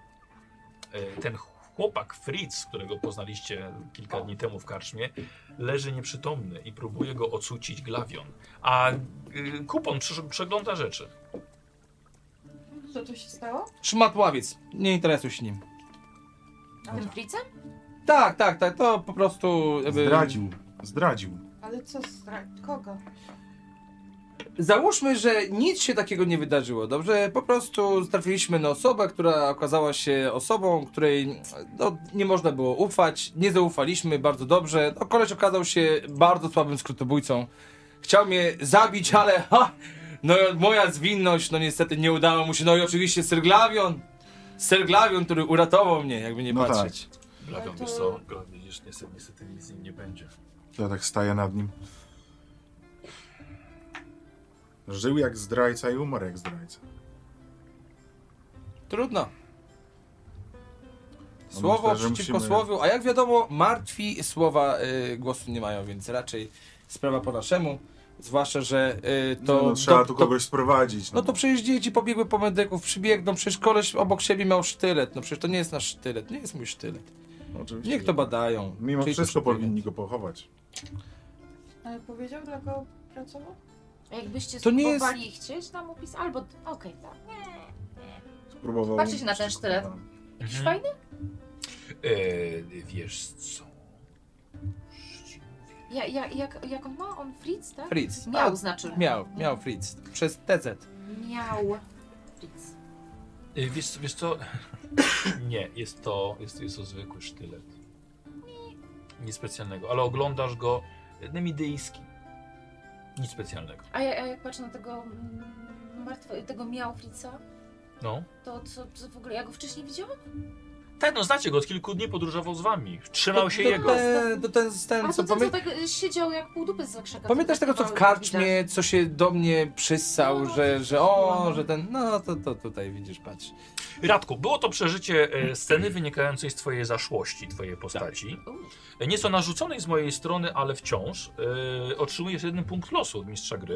Speaker 1: E, ten chłopak Fritz, którego poznaliście kilka dni temu w karczmie, leży nieprzytomny i próbuje go ocucić glawion. A y, kupon przy- przegląda rzeczy.
Speaker 3: Co tu się stało?
Speaker 4: Szmatławiec, nie interesuj się nim.
Speaker 5: Tym fricem?
Speaker 4: Tak, tak, tak, to po prostu... jakby-
Speaker 2: Zdradził. Zdradził.
Speaker 3: Ale co stra... Kogo?
Speaker 4: Załóżmy, że nic się takiego nie wydarzyło, dobrze? Po prostu trafiliśmy na osobę, która okazała się osobą, której no, nie można było ufać, nie zaufaliśmy bardzo dobrze. No, koleś okazał się bardzo słabym skrótobójcą. Chciał mnie zabić, ale ha! No moja zwinność, no niestety nie udało mu się. No i oczywiście Serglawion, Serglawion, który uratował mnie, jakby nie
Speaker 2: No tak.
Speaker 4: patrzeć.
Speaker 1: Glawion,
Speaker 3: Ale to-
Speaker 1: wiesz co? Glawion, widzisz, niestety, niestety nic z nim nie będzie.
Speaker 2: Ja tak staję nad nim. Żył jak zdrajca i umarł jak zdrajca.
Speaker 4: Trudno.
Speaker 2: No
Speaker 4: Słowo
Speaker 2: myślę, że
Speaker 4: przeciwko
Speaker 2: musimy-
Speaker 4: słowiu, a jak wiadomo, martwi słowa y, głosu nie mają, więc raczej sprawa po naszemu. Zwłaszcza, że y,
Speaker 2: No,
Speaker 4: to.
Speaker 2: no, trzeba
Speaker 4: to,
Speaker 2: tu
Speaker 4: to-
Speaker 2: kogoś sprowadzić.
Speaker 4: No to przecież dzieci pobiegły po medyków, przybiegną, przecież koleś obok siebie miał sztylet. No przecież to nie jest nasz sztylet, nie jest mój sztylet.
Speaker 2: No, Oczywiście.
Speaker 4: Niech to badają.
Speaker 2: Mimo
Speaker 4: Czyli to
Speaker 2: wszystko
Speaker 4: sztylet.
Speaker 2: powinni go pochować.
Speaker 3: Ale powiedział, dla kogo pracował?
Speaker 5: A Jakbyście
Speaker 4: To nie jest-
Speaker 5: spróbowali chcieć nam opis, albo okej, tak.
Speaker 2: Spróbował.
Speaker 5: Patrzcie się na ten sztylet. Jakiś fajny?
Speaker 1: E, wiesz co?
Speaker 5: Ja, ja, jak, jak on ma? On Fritz, tak?
Speaker 4: Fritz.
Speaker 5: Miał, znaczy.
Speaker 4: Miał, miał Fritz. Przez TZ.
Speaker 5: Miał Fritz.
Speaker 1: E, wiesz, co- wiesz co? Nie, jest to, jest, jest to zwykły sztylet. Nic specjalnego, ale oglądasz go nemidyjski. Nic specjalnego.
Speaker 5: A, ja, a jak patrzę na tego mm, martwego, tego miał Fritza,
Speaker 1: No.
Speaker 5: to co, co w ogóle, ja go wcześniej widziałam?
Speaker 1: Tak, no znacie go, od kilku dni podróżował z wami. Trzymał się jego.
Speaker 4: Ten, to ten, ten
Speaker 5: A
Speaker 4: co
Speaker 5: to ten, co
Speaker 4: pamię...
Speaker 5: tak y, siedział jak pół dupy z zakrzaka.
Speaker 4: Pamiętasz
Speaker 5: tak
Speaker 4: tego, co w
Speaker 5: mały
Speaker 4: karczmie, co się do mnie przyssał,
Speaker 5: No,
Speaker 4: że, że o,
Speaker 5: no.
Speaker 4: że ten, no to, to tutaj widzisz, patrz.
Speaker 1: Radku, było to przeżycie e, sceny wynikającej z twojej zaszłości, twojej postaci.
Speaker 5: widać. U,
Speaker 1: E, Nieco narzuconej z mojej strony, ale wciąż. E, otrzymujesz jeden punkt losu od mistrza gry.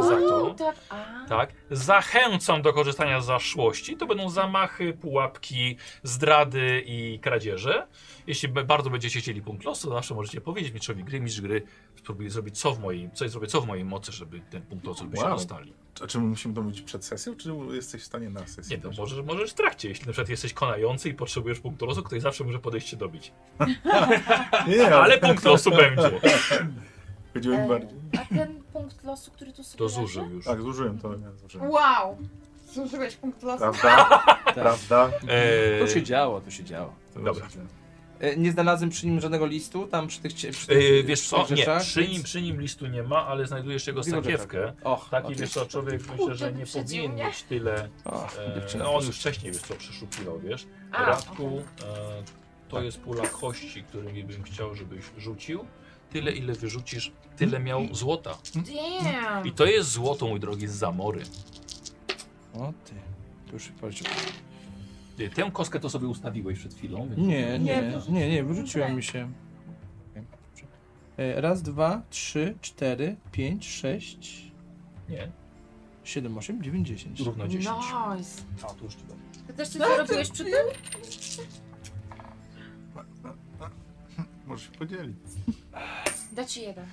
Speaker 1: Za to.
Speaker 5: Wow, tak, a,
Speaker 1: Tak. Zachęcam do korzystania z zaszłości. To będą zamachy, pułapki, zdrady i kradzieże. Jeśli b- bardzo będziecie chcieli punkt losu, to zawsze możecie powiedzieć mistrzowi gry, mistrz gry spróbuję zrobić co w mojej, coś zrobię co w mojej mocy, żeby ten punkt losu byście
Speaker 2: Wow.
Speaker 1: dostali.
Speaker 2: A czy my musimy to mówić przed sesją, czy jesteś w stanie na sesji?
Speaker 1: Nie, to
Speaker 2: też?
Speaker 1: możesz, możesz w trakcie. Jeśli na przykład jesteś konający i potrzebujesz punktu losu, ktoś zawsze może podejść się dobić.
Speaker 2: Nie, ale
Speaker 1: Ale punkt losu będzie.
Speaker 2: chodziło mi bardziej.
Speaker 5: a ten punkt losu, który tu sobie
Speaker 1: To
Speaker 5: leży?
Speaker 1: zużył już.
Speaker 2: Tak, zużyłem to. Nie, zużyłem.
Speaker 3: Wow! Zużyłeś punkt losu.
Speaker 2: Prawda? Prawda?
Speaker 4: To tak. się
Speaker 1: Eee,
Speaker 4: działo, to się działo.
Speaker 1: Dobra.
Speaker 4: E, Nie znalazłem przy nim żadnego listu, tam przy tych, cie- przy tych
Speaker 1: eee, wiesz co,
Speaker 4: tych
Speaker 1: nie,
Speaker 4: rzeczach,
Speaker 1: przy
Speaker 4: więc-
Speaker 1: nim, przy nim listu nie ma, ale znajdujesz jego
Speaker 4: W jego
Speaker 1: sakiewkę.
Speaker 4: rzeczach. Och,
Speaker 1: Taki
Speaker 4: oczywiście.
Speaker 1: wiesz co, człowiek myślę, że nie
Speaker 5: wyprzedził
Speaker 1: powinien
Speaker 5: mnie.
Speaker 1: mieć tyle.
Speaker 4: Och,
Speaker 1: E,
Speaker 4: dziewczyna.
Speaker 1: no on już wcześniej wiesz co przeszukiwał, wiesz.
Speaker 5: A,
Speaker 1: Radku, e, to jest pula kości, którymi bym chciał, żebyś rzucił. Tyle ile wyrzucisz, tyle miał złota.
Speaker 5: Damn!
Speaker 1: I to jest złoto, mój drogi, z zamory.
Speaker 4: O ty, to już powiedział.
Speaker 1: Ty, Tę kostkę to sobie ustawiłeś przed chwilą. więc-
Speaker 4: Nie, nie,
Speaker 5: wyrzuciłem.
Speaker 4: nie, nie, wyrzuciła mi się. E, Raz, dwa, trzy, cztery, pięć, sześć,
Speaker 1: Nie,
Speaker 4: siedem, osiem, dziewięć, dziesięć.
Speaker 1: równo 10.
Speaker 5: Nice!
Speaker 1: A, tu już ci dam.
Speaker 5: Ty też
Speaker 4: Tak,
Speaker 5: coś zarobiłeś przy tym?
Speaker 2: Możesz się podzielić.
Speaker 5: Da ci jeden.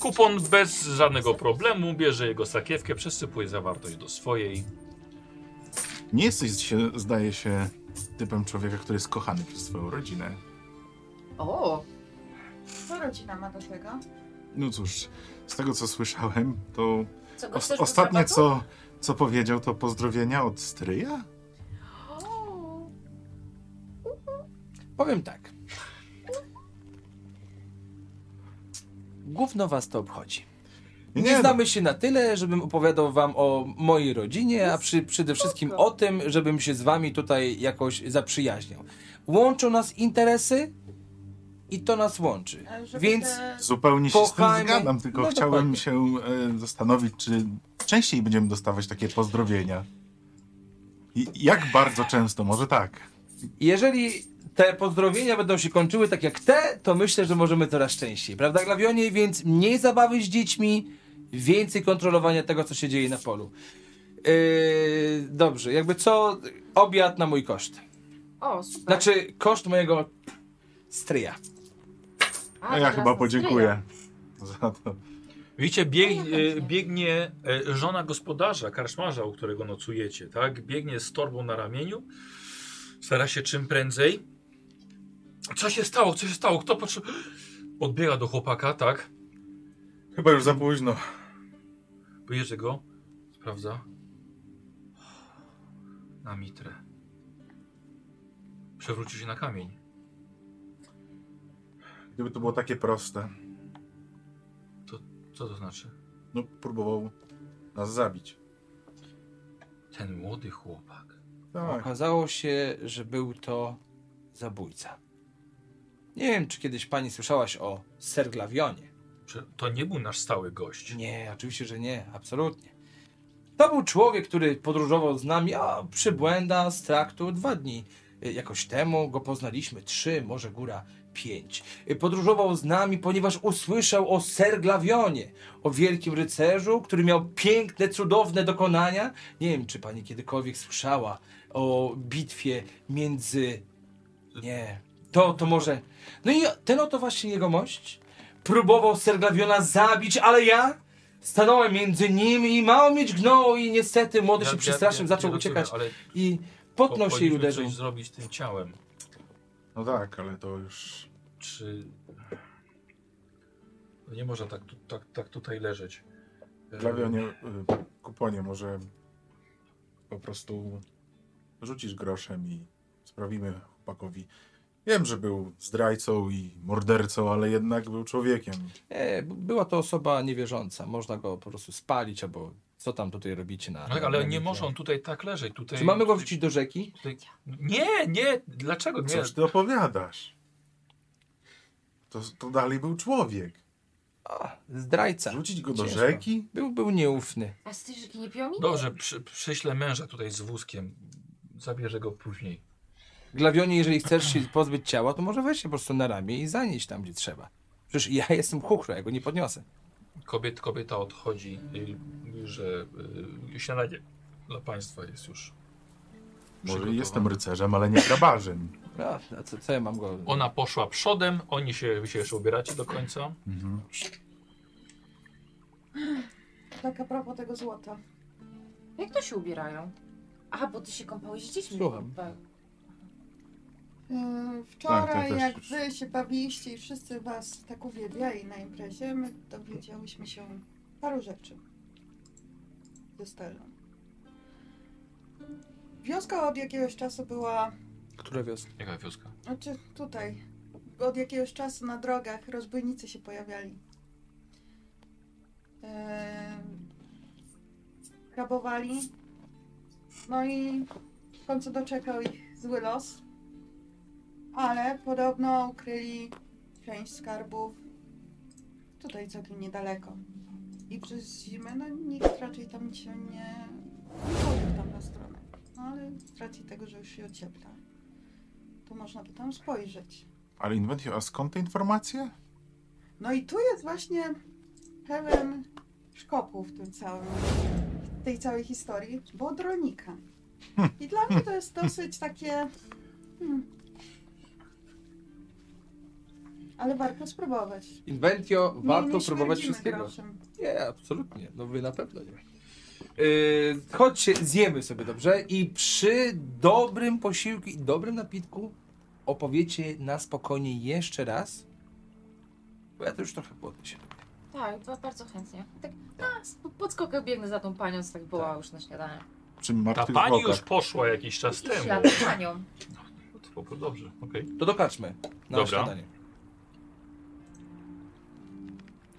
Speaker 1: Kupon bez żadnego problemu bierze jego sakiewkę, przesypuje zawartość do swojej.
Speaker 2: Nie jesteś, się, zdaje się, typem człowieka, który jest kochany przez swoją rodzinę.
Speaker 5: O!
Speaker 3: Co rodzina ma do tego?
Speaker 2: No cóż, z tego co słyszałem, to
Speaker 5: Co go
Speaker 2: os
Speaker 5: chcesz
Speaker 2: ostatnie
Speaker 5: do zabatu?
Speaker 2: co, co powiedział, to pozdrowienia od stryja?
Speaker 5: O,
Speaker 4: Powiem tak. Gówno was to obchodzi.
Speaker 2: Nie,
Speaker 4: Nie
Speaker 2: no,
Speaker 4: znamy się na tyle, żebym opowiadał wam o mojej rodzinie, a przy,
Speaker 2: No
Speaker 4: przede wszystkim o tym, żebym się z wami tutaj jakoś zaprzyjaźniał. Łączą nas interesy i to nas łączy.
Speaker 3: E, żeby
Speaker 4: Więc
Speaker 3: te-
Speaker 2: zupełnie się z
Speaker 4: Kochamy-
Speaker 2: tym zgadzam, tylko
Speaker 4: no
Speaker 2: chciałem
Speaker 4: dokładnie.
Speaker 2: się e, zastanowić, czy częściej będziemy dostawać takie pozdrowienia. I, jak bardzo często, może tak.
Speaker 4: jeżeli te pozdrowienia będą się kończyły tak jak te, to myślę, że możemy coraz częściej, prawda Glawionie? Więc mniej zabawy z dziećmi, więcej kontrolowania tego, co się dzieje na polu. Yy, dobrze, jakby co, obiad na mój koszt.
Speaker 5: o super.
Speaker 4: Znaczy, koszt mojego stryja.
Speaker 5: A,
Speaker 2: A ja
Speaker 5: teraz
Speaker 2: chyba
Speaker 5: nas
Speaker 2: podziękuję za to.
Speaker 1: Widzicie, bieg,
Speaker 5: No ja chętnie.
Speaker 1: e, biegnie e, żona gospodarza, karczmarza, u którego nocujecie, tak? Biegnie z torbą na ramieniu, stara się czym prędzej. Co się stało? Co się stało? Kto potrzebuje? Podbiega do chłopaka, tak?
Speaker 2: Chyba już za późno.
Speaker 1: Bierze go, sprawdza. Na mitrę. Przewrócił się na kamień.
Speaker 2: Gdyby to było takie proste.
Speaker 1: Co to znaczy?
Speaker 2: No, próbował nas zabić.
Speaker 1: Ten młody chłopak.
Speaker 2: Tak.
Speaker 4: Okazało się, że był to zabójca. Nie wiem, czy kiedyś pani słyszałaś o Ser Glawionie.
Speaker 1: Prze- To nie był nasz stały gość.
Speaker 4: Nie, oczywiście, że nie, absolutnie. To był człowiek, który podróżował z nami, a przybłęda z traktu dwa dni. y, Jakoś temu go poznaliśmy, trzy, może góra pięć. Y, Podróżował z nami, ponieważ usłyszał o Ser Glawionie, o wielkim rycerzu, który miał piękne, cudowne dokonania. Nie wiem, czy pani kiedykolwiek słyszała o bitwie między... Nie, to, to może... No i ten oto właśnie jegomość próbował Serglawiona zabić, ale ja stanąłem między nim i mało mieć gnął i niestety młody się przestraszył, zaczął
Speaker 1: nie
Speaker 4: uciekać
Speaker 1: rozumiem,
Speaker 4: i
Speaker 1: Ale
Speaker 4: potnął się i
Speaker 1: powinniśmy
Speaker 4: uderzył.
Speaker 1: coś zrobić tym ciałem.
Speaker 2: No tak, ale to już...
Speaker 1: Czy... No Nie może tak, tu- tak, tak tutaj leżeć. E,
Speaker 2: Glawionie, y, kuponie, może po prostu rzucisz groszem i sprawimy chłopakowi. Wiem, że był zdrajcą i mordercą, ale jednak był człowiekiem.
Speaker 4: Nie, E, b- była to osoba niewierząca, można go po prostu spalić albo co tam tutaj robicie na...
Speaker 1: No tak, ale nie może on tutaj tak leżeć. Tutaj,
Speaker 4: Czy mamy go wrzucić do rzeki?
Speaker 1: Tutaj... Nie, nie, dlaczego nie?
Speaker 2: Coś ty opowiadasz? To, to dalej był człowiek.
Speaker 4: A,
Speaker 1: Tak.
Speaker 4: zdrajca.
Speaker 2: Rzucić go do
Speaker 4: Ciężko.
Speaker 2: rzeki?
Speaker 4: Był, był nieufny.
Speaker 5: A z tej rzeki nie piją mi?
Speaker 1: Dobrze, przy, przyślę męża tutaj z wózkiem. Zabierze go później.
Speaker 4: Glawionie, jeżeli chcesz się pozbyć ciała, to może weź się po prostu na ramię i zanieść tam, gdzie trzeba. Przecież ja jestem chuchra, ja go nie podniosę.
Speaker 1: Kobiet, kobieta odchodzi i mówi, że y, śniadanie dla państwa jest już
Speaker 2: Może
Speaker 1: przygotowane.
Speaker 2: jestem rycerzem, ale nie grabarzem.
Speaker 4: No, a co, co ja mam go...
Speaker 1: Ona poszła przodem, oni się, wy się jeszcze ubieracie do końca.
Speaker 7: Tak a propos tego złota.
Speaker 5: Jak to się ubierają? Aha, bo ty się kąpałeś z dziećmi.
Speaker 4: Słucham.
Speaker 5: Tak.
Speaker 7: Yy,
Speaker 2: Tak,
Speaker 7: Wczoraj,
Speaker 2: to też
Speaker 7: jak
Speaker 2: już-
Speaker 7: wy się bawiliście i wszyscy was tak uwielbiali na imprezie, my dowiedziałyśmy się paru rzeczy ze Stellą. Wioska od jakiegoś czasu była,
Speaker 4: Która wioska?
Speaker 1: Jaka wioska?
Speaker 7: znaczy tutaj, od jakiegoś czasu na drogach rozbójnicy się pojawiali. Yy, rabowali. No i w końcu doczekał ich zły los. Ale podobno ukryli część skarbów tutaj całkiem niedaleko. I przez zimę, no nikt raczej tam się nie chodził w tamtą stronę. No ale z racji tego, że już się ociepla, to można by tam spojrzeć.
Speaker 2: Ale Inventio, a skąd te informacje?
Speaker 7: No i tu jest właśnie pełen szkopu w tym całym, w tej całej historii, bo dronika. I dla mnie to jest dosyć takie... Hmm. Ale warto spróbować.
Speaker 4: Inventio,
Speaker 7: Nie-
Speaker 4: warto
Speaker 7: nie
Speaker 4: próbować
Speaker 7: śmierdzimy
Speaker 4: wszystkiego.
Speaker 7: groszem.
Speaker 4: Nie, absolutnie. No wy na pewno nie. Yy, chodźcie, zjemy sobie dobrze i przy dobrym posiłku i dobrym napitku opowiecie na spokojnie jeszcze raz. Bo ja to już trochę głodny się robię.
Speaker 5: Tak, ba- bardzo chętnie. Tak, a, pod- podskokę biegnę za tą panią, co tak była
Speaker 4: Tak.
Speaker 5: już na śniadanie.
Speaker 2: Przy martwych
Speaker 1: Ta pani
Speaker 2: zwłokach.
Speaker 1: już poszła jakiś czas
Speaker 5: I
Speaker 1: temu.
Speaker 5: ślad za panią.
Speaker 1: Po- po- Dobrze, okej.
Speaker 4: To dokaczmy na
Speaker 1: Dobra.
Speaker 4: śniadanie.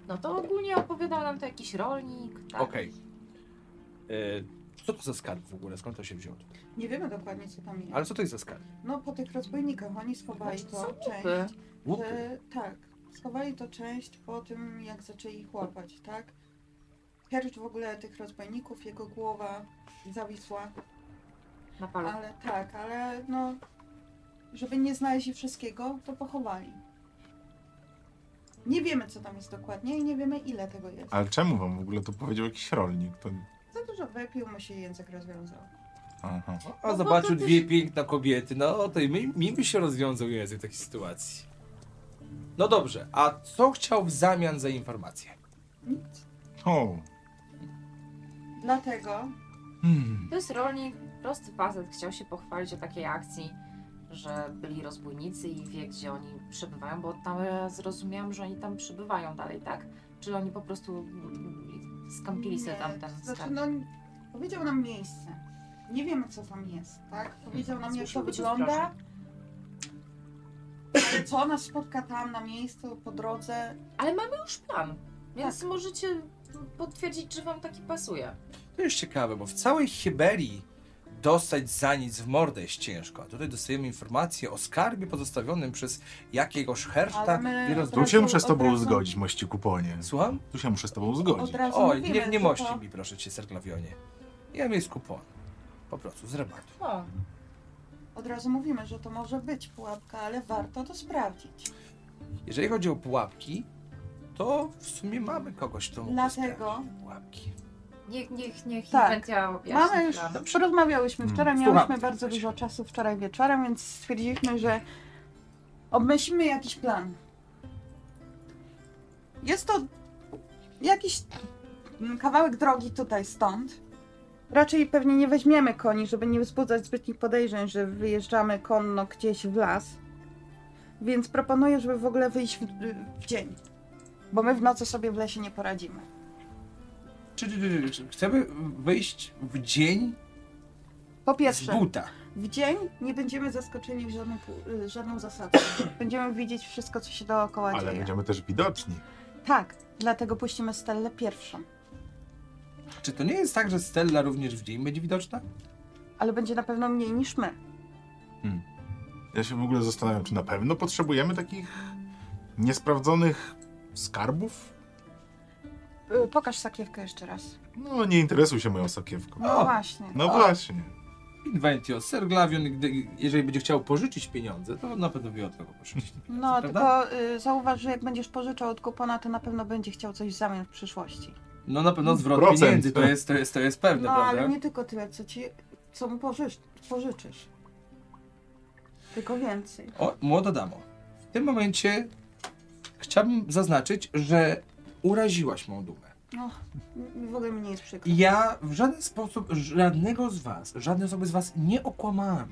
Speaker 5: No to ogólnie opowiadał nam to jakiś rolnik. Tak.
Speaker 4: Okej. Yy, co to za skarb w ogóle? Skąd to się wzięło?
Speaker 7: Nie wiemy dokładnie, co tam jest.
Speaker 4: Ale co to jest za skarb?
Speaker 7: No po tych rozbójnikach oni schowali
Speaker 5: Znaczy, są
Speaker 7: to
Speaker 5: łupy.
Speaker 7: część.
Speaker 5: E,
Speaker 4: Łupy.
Speaker 7: Że, tak, schowali to część po tym, jak zaczęli ich łapać, tak? Pierw w ogóle tych rozbójników, jego głowa zawisła,
Speaker 5: Na palu.
Speaker 7: ale tak, ale no, żeby nie znaleźli wszystkiego, to pochowali. Nie wiemy, co tam jest dokładnie i nie wiemy, ile tego jest.
Speaker 2: Ale czemu wam w ogóle to powiedział jakiś rolnik? To...
Speaker 7: Za dużo wypił, mu się język rozwiązał.
Speaker 2: Aha.
Speaker 5: No
Speaker 4: A
Speaker 5: bo
Speaker 4: zobaczył
Speaker 5: to
Speaker 4: dwie piękne kobiety. No to i mi, mi by się rozwiązał język w takiej sytuacji. No dobrze, a co chciał w zamian za informację?
Speaker 7: Nic.
Speaker 2: O,
Speaker 7: Dlatego
Speaker 2: hmm.
Speaker 5: To jest rolnik, prosty facet, chciał się pochwalić o takiej akcji, że byli rozbójnicy i wie, gdzie oni przebywają, bo tam e, zrozumiałam, że oni tam przebywają dalej, tak? Czy oni po prostu mm, skampili sobie
Speaker 7: Nie,
Speaker 5: tam ten
Speaker 7: Znaczy,
Speaker 5: skarb?
Speaker 7: no, powiedział nam miejsce. Nie wiemy, co tam jest, tak? Powiedział nam, jak
Speaker 5: Słyszy
Speaker 7: to
Speaker 5: ludzi
Speaker 7: wygląda. Ale co nas spotka tam na miejscu, po drodze?
Speaker 5: Ale mamy już plan, więc możecie potwierdzić, czy wam taki pasuje.
Speaker 4: To jest ciekawe, bo w całej Hyberii dostać za nic w mordę jest ciężko. A tutaj dostajemy informację o skarbie pozostawionym przez jakiegoś herszta
Speaker 7: Ale my
Speaker 4: i
Speaker 2: Tu
Speaker 4: rozdruś...
Speaker 2: się muszę z tobą
Speaker 7: Obrazu-
Speaker 2: zgodzić, mości kuponie.
Speaker 4: Słucham?
Speaker 2: Tu się muszę z tobą
Speaker 7: Od
Speaker 2: zgodzić.
Speaker 7: razu
Speaker 4: Oj,
Speaker 7: mówimy,
Speaker 4: nie, nie
Speaker 7: co
Speaker 4: mości
Speaker 7: to-
Speaker 4: mi proszę cię, Serglawionie. Ja mi jest kupon. Po prostu, z rabatu.
Speaker 5: No,
Speaker 7: Od razu mówimy, że to może być pułapka, ale warto to sprawdzić.
Speaker 4: Jeżeli chodzi o pułapki, to w sumie mamy kogoś, kto mógłby
Speaker 7: Dlatego-
Speaker 4: sprawdzić te pułapki.
Speaker 5: niech, niech, niech
Speaker 7: Tak.
Speaker 5: inwentia objaśni
Speaker 7: Mamy już,
Speaker 5: plan.
Speaker 7: rozmawiałyśmy wczoraj,
Speaker 4: Słucham.
Speaker 7: miałyśmy bardzo dużo czasu wczoraj wieczorem, więc stwierdziliśmy, że Obmyślmy jakiś plan. Jest to jakiś mm, kawałek drogi tutaj stąd. Raczej pewnie nie weźmiemy koni, żeby nie wzbudzać zbytnich podejrzeń, że wyjeżdżamy konno gdzieś w las. Więc proponuję, żeby w ogóle wyjść w, w dzień. Bo my w nocy sobie w lesie nie poradzimy.
Speaker 4: Czy, czy, czy, czy chcemy wyjść w dzień
Speaker 7: Po
Speaker 4: z
Speaker 7: pierwsze,
Speaker 4: buta?
Speaker 7: w dzień nie będziemy zaskoczeni w żadną, pu- y, żadną zasadą. Będziemy widzieć wszystko, co się dookoła
Speaker 2: Ale
Speaker 7: dzieje.
Speaker 2: będziemy też widoczni.
Speaker 7: Tak, dlatego puścimy Stellę pierwszą.
Speaker 4: Czy to nie jest tak, że Stella również w dzień będzie widoczna?
Speaker 7: Ale będzie na pewno mniej niż my.
Speaker 2: Ja się w ogóle zastanawiam, czy na pewno potrzebujemy takich niesprawdzonych skarbów?
Speaker 7: Y, Pokaż sakiewkę jeszcze raz.
Speaker 2: No, nie interesuj się moją sakiewką.
Speaker 7: No właśnie.
Speaker 2: No
Speaker 4: O.
Speaker 2: właśnie.
Speaker 4: Inventio, Ser Glavion, gdy- jeżeli będzie chciał pożyczyć pieniądze, to na pewno wie od kogo pożyczyć.
Speaker 7: No,
Speaker 4: prawda?
Speaker 7: tylko y, zauważ, że jak będziesz pożyczał od kupona, to na pewno będzie chciał coś w zamian w przyszłości.
Speaker 4: No na pewno zwrot
Speaker 2: Procent.
Speaker 4: pieniędzy, to jest, to jest, to jest pewne,
Speaker 7: No, ale
Speaker 4: prawda?
Speaker 7: nie tylko tyle, co ci, co mu pożycz, pożyczysz. Tylko więcej.
Speaker 4: O, młoda damo, w tym momencie chciałbym zaznaczyć, że uraziłaś mą dumę.
Speaker 7: No, m- w ogóle mi nie jest przykro.
Speaker 4: Ja w żaden sposób żadnego z was, żadnej osoby z was nie okłamałem.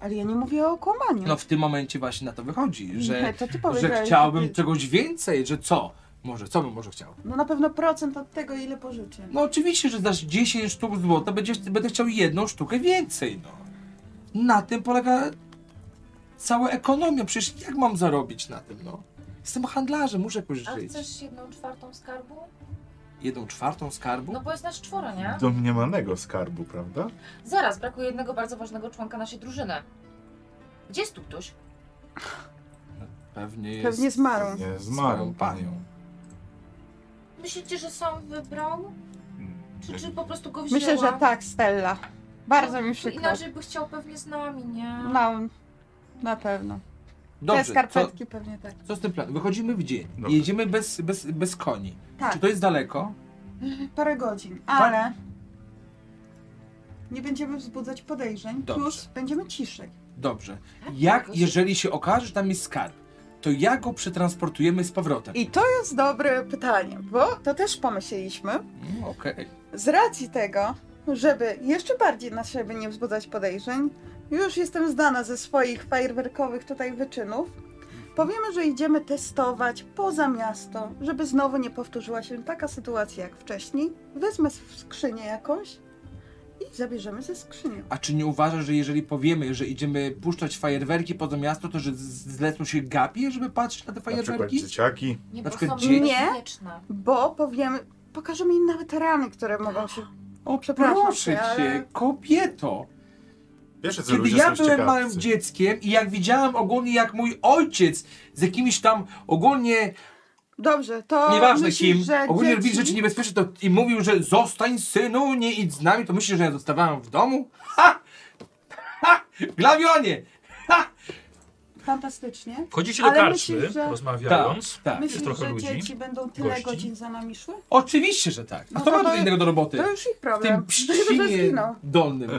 Speaker 7: Ale ja nie mówię o kłamaniu.
Speaker 4: No w tym momencie właśnie na to wychodzi,
Speaker 7: nie,
Speaker 4: że,
Speaker 7: to ty
Speaker 4: że
Speaker 7: Tak, powiedziałeś,
Speaker 4: chciałbym
Speaker 7: że-
Speaker 4: czegoś więcej, że co? Może, co bym może chciał?
Speaker 7: No na pewno procent od tego, ile pożyczy.
Speaker 4: No oczywiście, że dasz 10 sztuk złota, będziesz, będę chciał jedną sztukę więcej, no. Na tym polega cała ekonomia, przecież jak mam zarobić na tym, no? Jestem handlarzem, muszę jakoś
Speaker 5: A
Speaker 4: żyć.
Speaker 5: chcesz jedną czwartą skarbu?
Speaker 4: Jedną czwartą skarbu?
Speaker 5: No bo jest nas czworo, nie?
Speaker 2: Domniemanego skarbu, prawda?
Speaker 5: Zaraz, brakuje jednego bardzo ważnego członka naszej drużyny. Gdzie jest tu ktoś?
Speaker 4: Pewnie jest...
Speaker 7: Pewnie zmarł.
Speaker 2: Nie,
Speaker 4: swoją
Speaker 2: zmarł.
Speaker 4: panią.
Speaker 5: Myślicie, że sam wybrał? Czy, czy po prostu go wzięła?
Speaker 7: Myślę, że tak, Stella. Bardzo mi
Speaker 5: Bo
Speaker 7: przykro.
Speaker 5: Inaczej by chciał pewnie z nami, nie?
Speaker 7: No, na pewno. Te
Speaker 4: Dobrze, co,
Speaker 7: skarpetki pewnie tak.
Speaker 4: co z tym planem? Wychodzimy w dzień,
Speaker 2: Dobrze.
Speaker 4: jedziemy bez, bez, bez koni.
Speaker 7: Tak.
Speaker 4: Czy to jest daleko?
Speaker 7: parę godzin, ale nie będziemy wzbudzać podejrzeń,
Speaker 4: Dobrze.
Speaker 7: plus będziemy ciszej.
Speaker 4: Dobrze. Jak, jeżeli się okaże, że tam jest skarb, to jak go przetransportujemy z powrotem?
Speaker 7: I to jest dobre pytanie, bo to też pomyśleliśmy.
Speaker 4: Mm, Okej.
Speaker 7: Z racji tego, żeby jeszcze bardziej na siebie nie wzbudzać podejrzeń, już jestem znana ze swoich fajerwerkowych tutaj wyczynów. Powiemy, że idziemy testować poza miasto, żeby znowu nie powtórzyła się taka sytuacja jak wcześniej. Wezmę skrzynię jakąś i zabierzemy ze skrzynią.
Speaker 4: A czy nie uważasz, że jeżeli powiemy, że idziemy puszczać fajerwerki poza miasto, to że z- zlecą się gapie, żeby patrzeć na te
Speaker 2: Na przykład
Speaker 4: fajerwerki?
Speaker 2: dzieciaki.
Speaker 5: Nie,
Speaker 4: Na
Speaker 5: bo
Speaker 4: przykład
Speaker 5: są
Speaker 4: dzieci?
Speaker 5: niebezpieczne.
Speaker 7: Bo powiemy, pokażemy im nawet rany, które mogą się.
Speaker 4: O,
Speaker 7: przepraszam
Speaker 4: proszę
Speaker 7: cię, ale-
Speaker 4: cię, kobieto!
Speaker 2: Wiesz, że
Speaker 4: Kiedy
Speaker 2: ludzie
Speaker 4: ja
Speaker 2: są
Speaker 4: byłem
Speaker 2: ciekawcy.
Speaker 4: małym dzieckiem i jak widziałem ogólnie, jak mój ojciec z jakimiś tam ogólnie,
Speaker 7: Dobrze, to.
Speaker 4: nieważne
Speaker 7: myślisz,
Speaker 4: kim,
Speaker 7: że
Speaker 4: ogólnie
Speaker 7: dzieci...
Speaker 4: robił rzeczy niebezpieczne to, i mówił, że zostań synu, nie idź z nami, to myślisz, że ja zostawałem w domu? Ha! Ha! Glawionie! Ha!
Speaker 7: Fantastycznie.
Speaker 1: Wchodzicie do
Speaker 7: Ale
Speaker 1: karczmy,
Speaker 7: myślisz, że-
Speaker 1: rozmawiając.
Speaker 4: Tak, tak.
Speaker 7: Myślisz,
Speaker 1: trochę
Speaker 7: że
Speaker 1: ludzi,
Speaker 7: dzieci będą tyle
Speaker 1: gości.
Speaker 7: godzin za nami szły?
Speaker 4: Oczywiście, że tak. A
Speaker 7: No
Speaker 4: to
Speaker 7: to
Speaker 4: ma do
Speaker 7: to-
Speaker 4: innego do roboty.
Speaker 7: To już ich
Speaker 4: W tym
Speaker 7: problem. Dlatego, że
Speaker 4: pszczynie
Speaker 7: zginął.
Speaker 4: dolnym.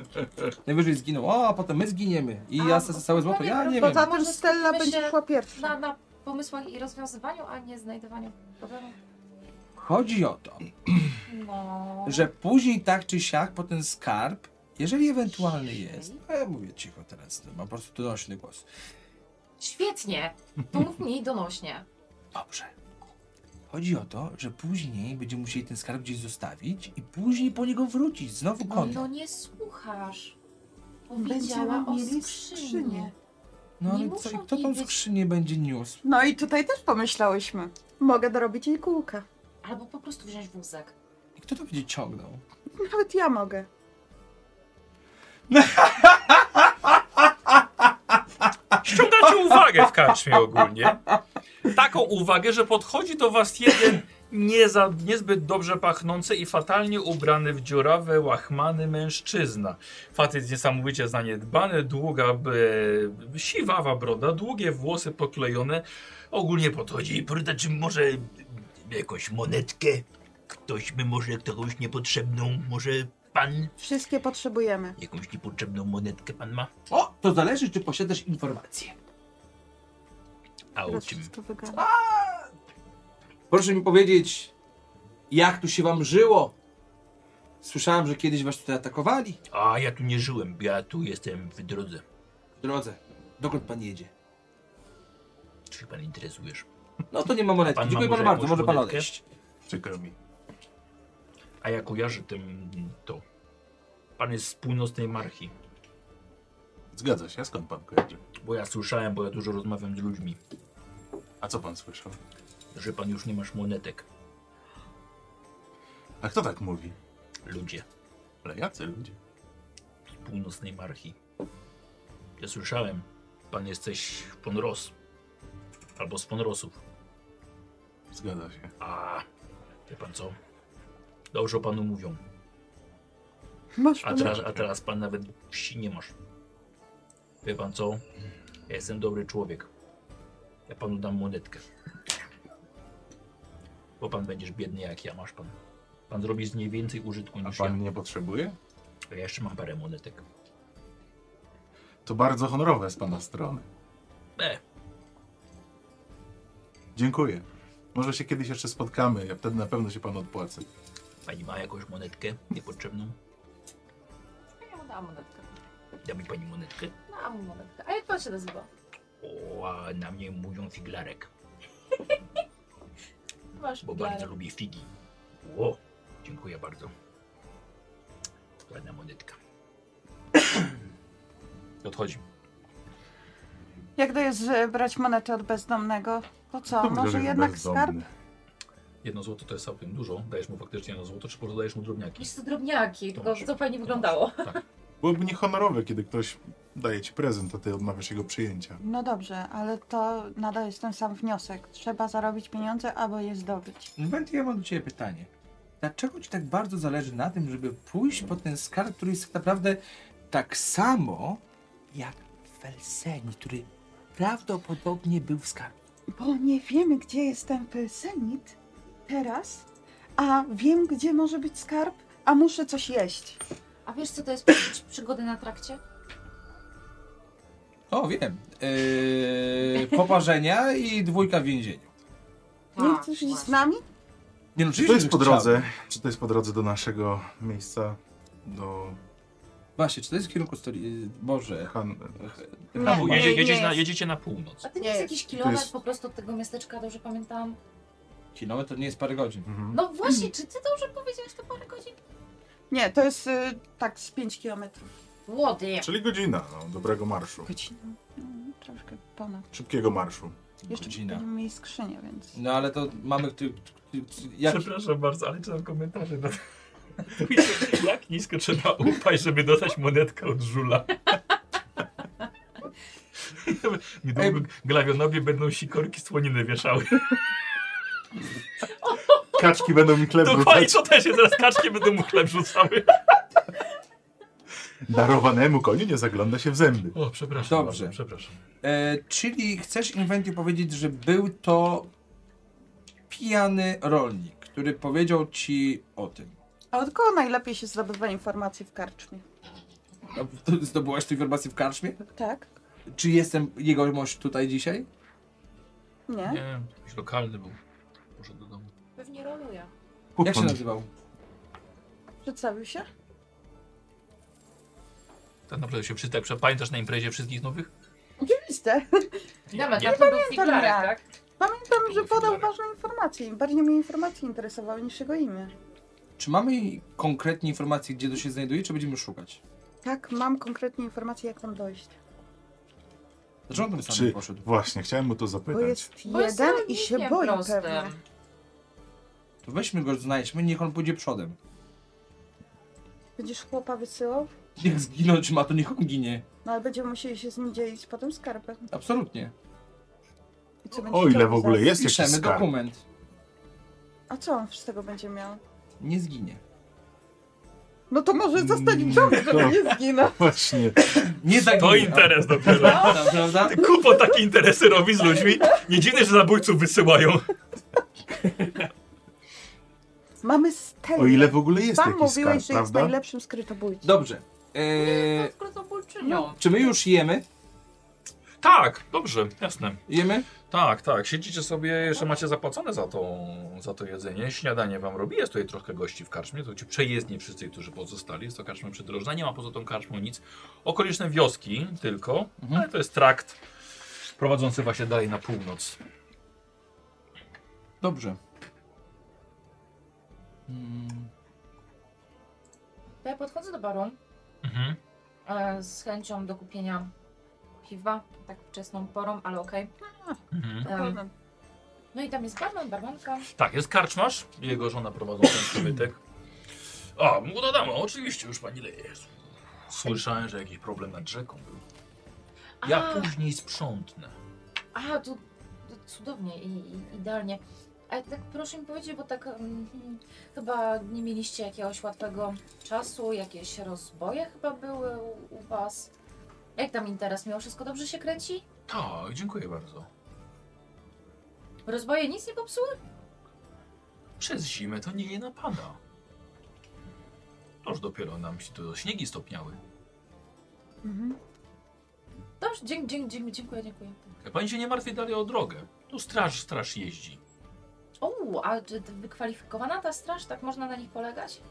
Speaker 4: Najwyżej zginął. O, a potem my zginiemy. I
Speaker 5: A,
Speaker 4: ja za całe złoto. Ja nie wiem.
Speaker 7: Poza tym
Speaker 5: Może
Speaker 7: Stella
Speaker 5: skupmy
Speaker 7: będzie
Speaker 5: się
Speaker 7: szła pierwsza.
Speaker 5: Na, na pomysłach i rozwiązywaniu, a nie znajdowaniu problemów.
Speaker 4: Chodzi o to,
Speaker 5: No.
Speaker 4: że później tak czy siak po ten skarb, jeżeli ewentualny jest, no ja mówię cicho teraz, no, mam po prostu donośny głos.
Speaker 5: Świetnie! To mów mniej donośnie.
Speaker 4: Dobrze. Chodzi o to, że później będziemy musieli ten skarb gdzieś zostawić i później po niego wrócić, znowu
Speaker 5: No
Speaker 4: konno.
Speaker 5: nie słuchasz.
Speaker 7: Będziemy
Speaker 5: Powiedziała o
Speaker 7: mieli
Speaker 5: skrzyni.
Speaker 7: skrzynię.
Speaker 4: No
Speaker 5: nie
Speaker 4: ale
Speaker 5: muszą
Speaker 4: co, kto tą
Speaker 5: wiedzieć.
Speaker 4: skrzynię będzie niósł?
Speaker 7: No i tutaj też pomyślałyśmy. Mogę dorobić jej kółka.
Speaker 5: Albo po prostu wziąć wózek.
Speaker 4: I kto to będzie ciągnął?
Speaker 7: Nawet ja mogę.
Speaker 1: Ściągacie uwagę w karczmie ogólnie. Taką uwagę, że podchodzi do was jeden nie za, niezbyt dobrze pachnący i fatalnie ubrany w dziurawe, łachmany mężczyzna. Facet niesamowicie zaniedbany, długa, e, siwawa broda, długie włosy poklejone. Ogólnie podchodzi i pyta, czy może jakąś monetkę?
Speaker 8: Ktoś by może kogoś niepotrzebną, może pan
Speaker 7: Wszystkie potrzebujemy.
Speaker 8: jakąś niepotrzebną monetkę pan ma?
Speaker 4: O, to zależy, czy posiadasz informacje.
Speaker 1: A o
Speaker 9: Teraz
Speaker 1: czym?
Speaker 9: wszystko wygadam.
Speaker 4: Proszę mi powiedzieć, jak tu się wam żyło? Słyszałem, że kiedyś was tutaj atakowali.
Speaker 1: A ja tu nie żyłem, ja tu jestem w drodze.
Speaker 4: W drodze, dokąd pan jedzie?
Speaker 1: Czy się pan interesujesz?
Speaker 4: No to nie ma monetki.
Speaker 1: pan ma
Speaker 4: Dziękuję
Speaker 1: może
Speaker 4: panu bardzo,
Speaker 1: jakąś
Speaker 4: może pan
Speaker 1: monetkę?
Speaker 4: odejść.
Speaker 2: Przykro mi.
Speaker 1: A ja kojarzę tym to. Pan jest z północnej marchi,
Speaker 2: Zgadza się, a skąd pan kojarzy?
Speaker 1: bo ja słyszałem, bo ja dużo rozmawiam z ludźmi,
Speaker 2: A co pan słyszał?
Speaker 1: że pan już nie masz monetek.
Speaker 2: A kto tak mówi?
Speaker 1: Ludzie
Speaker 2: Ale jacy ludzie?
Speaker 1: z północnej marchi. Ja słyszałem, pan jesteś ponros. Albo z ponrosów.
Speaker 2: Zgadza się.
Speaker 1: A, wie pan co? Dobrze o panu mówią.
Speaker 9: Masz
Speaker 2: No
Speaker 1: A
Speaker 9: pan
Speaker 1: teraz, a teraz pan nawet wsi nie masz. Wie pan co? Ja jestem dobry człowiek. Ja panu dam monetkę. Bo pan będziesz biedny jak ja, masz pan. Pan zrobi z niej więcej użytku
Speaker 2: A
Speaker 1: niż
Speaker 2: pan nie potrzebuje?
Speaker 1: ja. Ja jeszcze mam parę monetek.
Speaker 2: To bardzo honorowe z pana strony.
Speaker 1: E,
Speaker 2: Dziękuję. Może się kiedyś jeszcze spotkamy, ja wtedy na pewno się pan odpłacę.
Speaker 1: pani ma jakąś monetkę niepotrzebną?
Speaker 5: No Ja mu dałam monetkę.
Speaker 1: Da mi pani monetkę?
Speaker 5: Dałam mu monetkę. A jak pan się nazywa?
Speaker 1: O, a na mnie mówią figlarek,
Speaker 5: Masz
Speaker 1: bo
Speaker 5: miarę.
Speaker 1: bardzo lubię figi. O, dziękuję bardzo. Ładna monetka.
Speaker 10: I odchodzi.
Speaker 7: Jak to jest, że brać monetę od bezdomnego? To co,
Speaker 2: To
Speaker 7: może
Speaker 2: jest
Speaker 7: jednak
Speaker 2: bezdomny.
Speaker 7: skarb?
Speaker 10: Jedno złoto to jest całkiem dużo. Dajesz mu faktycznie jedno złoto, czy po prostu dajesz mu drobniaki?
Speaker 5: Jakieś to drobniaki, tylko
Speaker 10: Dobrze.
Speaker 5: to fajnie wyglądało.
Speaker 10: Tak.
Speaker 2: Byłoby niehonorowe, kiedy ktoś daje ci prezent, a ty odmawiasz jego przyjęcia.
Speaker 7: No dobrze, ale to nadal jest ten sam wniosek. Trzeba zarobić pieniądze, aby je zdobyć.
Speaker 4: Wendy, ja mam do ciebie pytanie. Dlaczego ci tak bardzo zależy na tym, żeby pójść po ten skarb, który jest tak naprawdę tak samo jak Felseni, który prawdopodobnie był w skarbie?
Speaker 7: Bo nie wiemy, gdzie jest ten pelsenit teraz, a wiem, gdzie może być skarb, a muszę coś jeść.
Speaker 5: A wiesz co to jest poczuć przygody na trakcie?
Speaker 4: O, wiem. Yy, poparzenia i dwójka w więzieniu.
Speaker 5: Tak,
Speaker 7: Nie chcesz iść z nami?
Speaker 4: Nie, no,
Speaker 2: Czy
Speaker 4: oczywiście,
Speaker 2: to jest
Speaker 4: że
Speaker 2: po
Speaker 4: chciałbym.
Speaker 2: drodze? Czy to jest po drodze do naszego miejsca? Do
Speaker 4: Właśnie, czy to jest w kierunku stoli... Boże...
Speaker 2: Han...
Speaker 10: Na pół-
Speaker 7: nie,
Speaker 10: Tak, jedzie,
Speaker 7: nie
Speaker 10: jedziecie, na,
Speaker 7: jest.
Speaker 10: jedziecie na północ.
Speaker 5: A ty
Speaker 7: Nie
Speaker 5: nie jest
Speaker 7: jest.
Speaker 5: jakiś kilometr
Speaker 2: jest-
Speaker 5: po prostu od tego miasteczka, dobrze pamiętam?
Speaker 4: Kilometr nie jest parę godzin.
Speaker 2: Mhm.
Speaker 5: No właśnie, czy ty dobrze powiedziałeś to parę godzin?
Speaker 7: Nie, to jest y, tak z 5 kilometrów.
Speaker 5: Łody.
Speaker 2: Czyli godzina no, dobrego marszu.
Speaker 7: Godzina. Mm, Troszkę ponad.
Speaker 2: Szybkiego marszu.
Speaker 7: Jeszcze
Speaker 4: Godzina.
Speaker 7: będziemy mieli skrzynię, więc...
Speaker 4: No ale to mamy... Ty, ty, ty, jak...
Speaker 10: Przepraszam bardzo, ale czytam komentarze. Na... Jak nisko trzeba upaść, żeby dostać monetkę od żula? Niedługo glawionowie będą sikorki słoniny wieszały.
Speaker 2: Kaczki będą mi chleb
Speaker 10: Dokładnie,
Speaker 2: wrzucać.
Speaker 10: to też jest, teraz kaczki będą mu chleb rzucały.
Speaker 2: Darowanemu koniu nie zagląda się w zęby.
Speaker 10: O, przepraszam.
Speaker 4: Dobrze.
Speaker 10: bardzo, Przepraszam.
Speaker 4: E, czyli chcesz Inventio powiedzieć, że był to pijany rolnik, który powiedział ci o tym.
Speaker 7: A od kogo najlepiej się zdobywa informacji w karczmie?
Speaker 4: No, Zdobyłaś tę informację w karczmie?
Speaker 7: Tak?
Speaker 4: Czy jestem jego mąż tutaj dzisiaj?
Speaker 7: Nie?
Speaker 10: Nie, jakiś lokalny był. Może do domu.
Speaker 5: Pewnie roluje.
Speaker 4: Jak się
Speaker 2: Hukman.
Speaker 4: nazywał?
Speaker 7: Przedstawił się?
Speaker 10: Tak naprawdę się wszyscy, tak pamiętasz na imprezie wszystkich nowych?
Speaker 7: Oczywiście.
Speaker 5: Dobra,
Speaker 10: nie.
Speaker 5: tam to był figlarek,
Speaker 7: jak.
Speaker 5: tak?
Speaker 7: Pamiętam, że podał
Speaker 10: Filarek.
Speaker 7: ważne informacje. i Bardziej mnie informacje interesowały niż jego imię.
Speaker 4: Czy mamy konkretnie informacje, gdzie to się znajduje, czy będziemy szukać?
Speaker 7: Tak, mam konkretnie informacje, jak tam dojść.
Speaker 4: Dlaczego on tam sam
Speaker 2: Czy...
Speaker 4: nie poszedł?
Speaker 2: Właśnie, chciałem mu to
Speaker 7: Bo
Speaker 2: zapytać.
Speaker 7: jest
Speaker 5: Bo jest
Speaker 7: jeden i się
Speaker 5: rolnikiem
Speaker 7: boi
Speaker 5: prostym.
Speaker 7: pewnie.
Speaker 4: To weźmy go, znajdźmy, niech on pójdzie przodem.
Speaker 7: Będziesz chłopa wysyłał?
Speaker 4: Niech zginąć ma, to niech on ginie.
Speaker 7: No ale będziemy musieli się z nim dzielić potem skarbem.
Speaker 4: Absolutnie.
Speaker 7: I co będzie
Speaker 2: O ile
Speaker 7: chciał
Speaker 2: w ogóle
Speaker 7: za-
Speaker 2: jest jakiś
Speaker 4: Piszemy
Speaker 2: skarb.
Speaker 4: dokument.
Speaker 7: A co on z tego będzie miał?
Speaker 4: Nie zginie.
Speaker 7: No to może zostać
Speaker 2: Mm,
Speaker 7: w domu,
Speaker 2: to-
Speaker 7: żeby nie zginął.
Speaker 2: Właśnie.
Speaker 4: Nie zaginie.
Speaker 10: To interes dopiero.
Speaker 4: Prawda, prawda?
Speaker 10: Kupo takie interesy robi z ludźmi. Nie dziwne, że zabójców wysyłają.
Speaker 7: Mamy stelę.
Speaker 2: O ile w ogóle jest
Speaker 7: Sam
Speaker 2: jakiś
Speaker 7: mówiłeś,
Speaker 2: skarb,
Speaker 7: że jest
Speaker 2: prawda?
Speaker 7: najlepszym skrytobójcą.
Speaker 4: Dobrze. Eee,
Speaker 5: Skrótobójczynią.
Speaker 4: czy my już jemy?
Speaker 1: Tak, dobrze, jasne.
Speaker 4: Jemy?
Speaker 1: Tak, tak. Siedzicie sobie, jeszcze macie zapłacone za to, za to jedzenie. Śniadanie wam robi. Jest tutaj trochę gości w karczmie. To ci przejezdni wszyscy, którzy pozostali. Jest to karczma przydrożna. Nie ma poza tą karczmą nic. Okoliczne wioski tylko, ale to jest trakt prowadzący właśnie dalej na północ.
Speaker 4: Dobrze.
Speaker 5: To ja podchodzę do baru
Speaker 1: Mhm.
Speaker 5: e, z chęcią do kupienia piwa, tak wczesną porą, ale okej.
Speaker 1: Mhm.
Speaker 5: Em, No i tam jest barman, barmanka.
Speaker 1: Tak, jest karczmarz. Jego żona prowadzą ten przybytek. A, młoda dama, oczywiście, już pani leje. Słyszałem, że jakiś problem nad rzeką był. Ja
Speaker 5: A,
Speaker 1: później sprzątnę.
Speaker 5: a tu tu cudownie i, i idealnie. A tak proszę mi powiedzieć, bo tak mm, mm, chyba nie mieliście jakiegoś łatwego czasu, jakieś rozboje chyba były u, u was. Jak tam interes? Miło wszystko dobrze się kręci?
Speaker 1: Tak, dziękuję bardzo.
Speaker 5: Rozboje nic nie popsuły?
Speaker 1: Przez zimę to nie napada. Toż dopiero nam się tu śniegi stopniały.
Speaker 11: Mhm.
Speaker 5: Dobrze, dzięk, dzięk, dzięk, dziękuję, dziękuję.
Speaker 1: Pani się nie martwi dalej o drogę. Tu straż, straż jeździ.
Speaker 5: O, a czy ty wykwalifikowana ta straż? Tak można na nich polegać?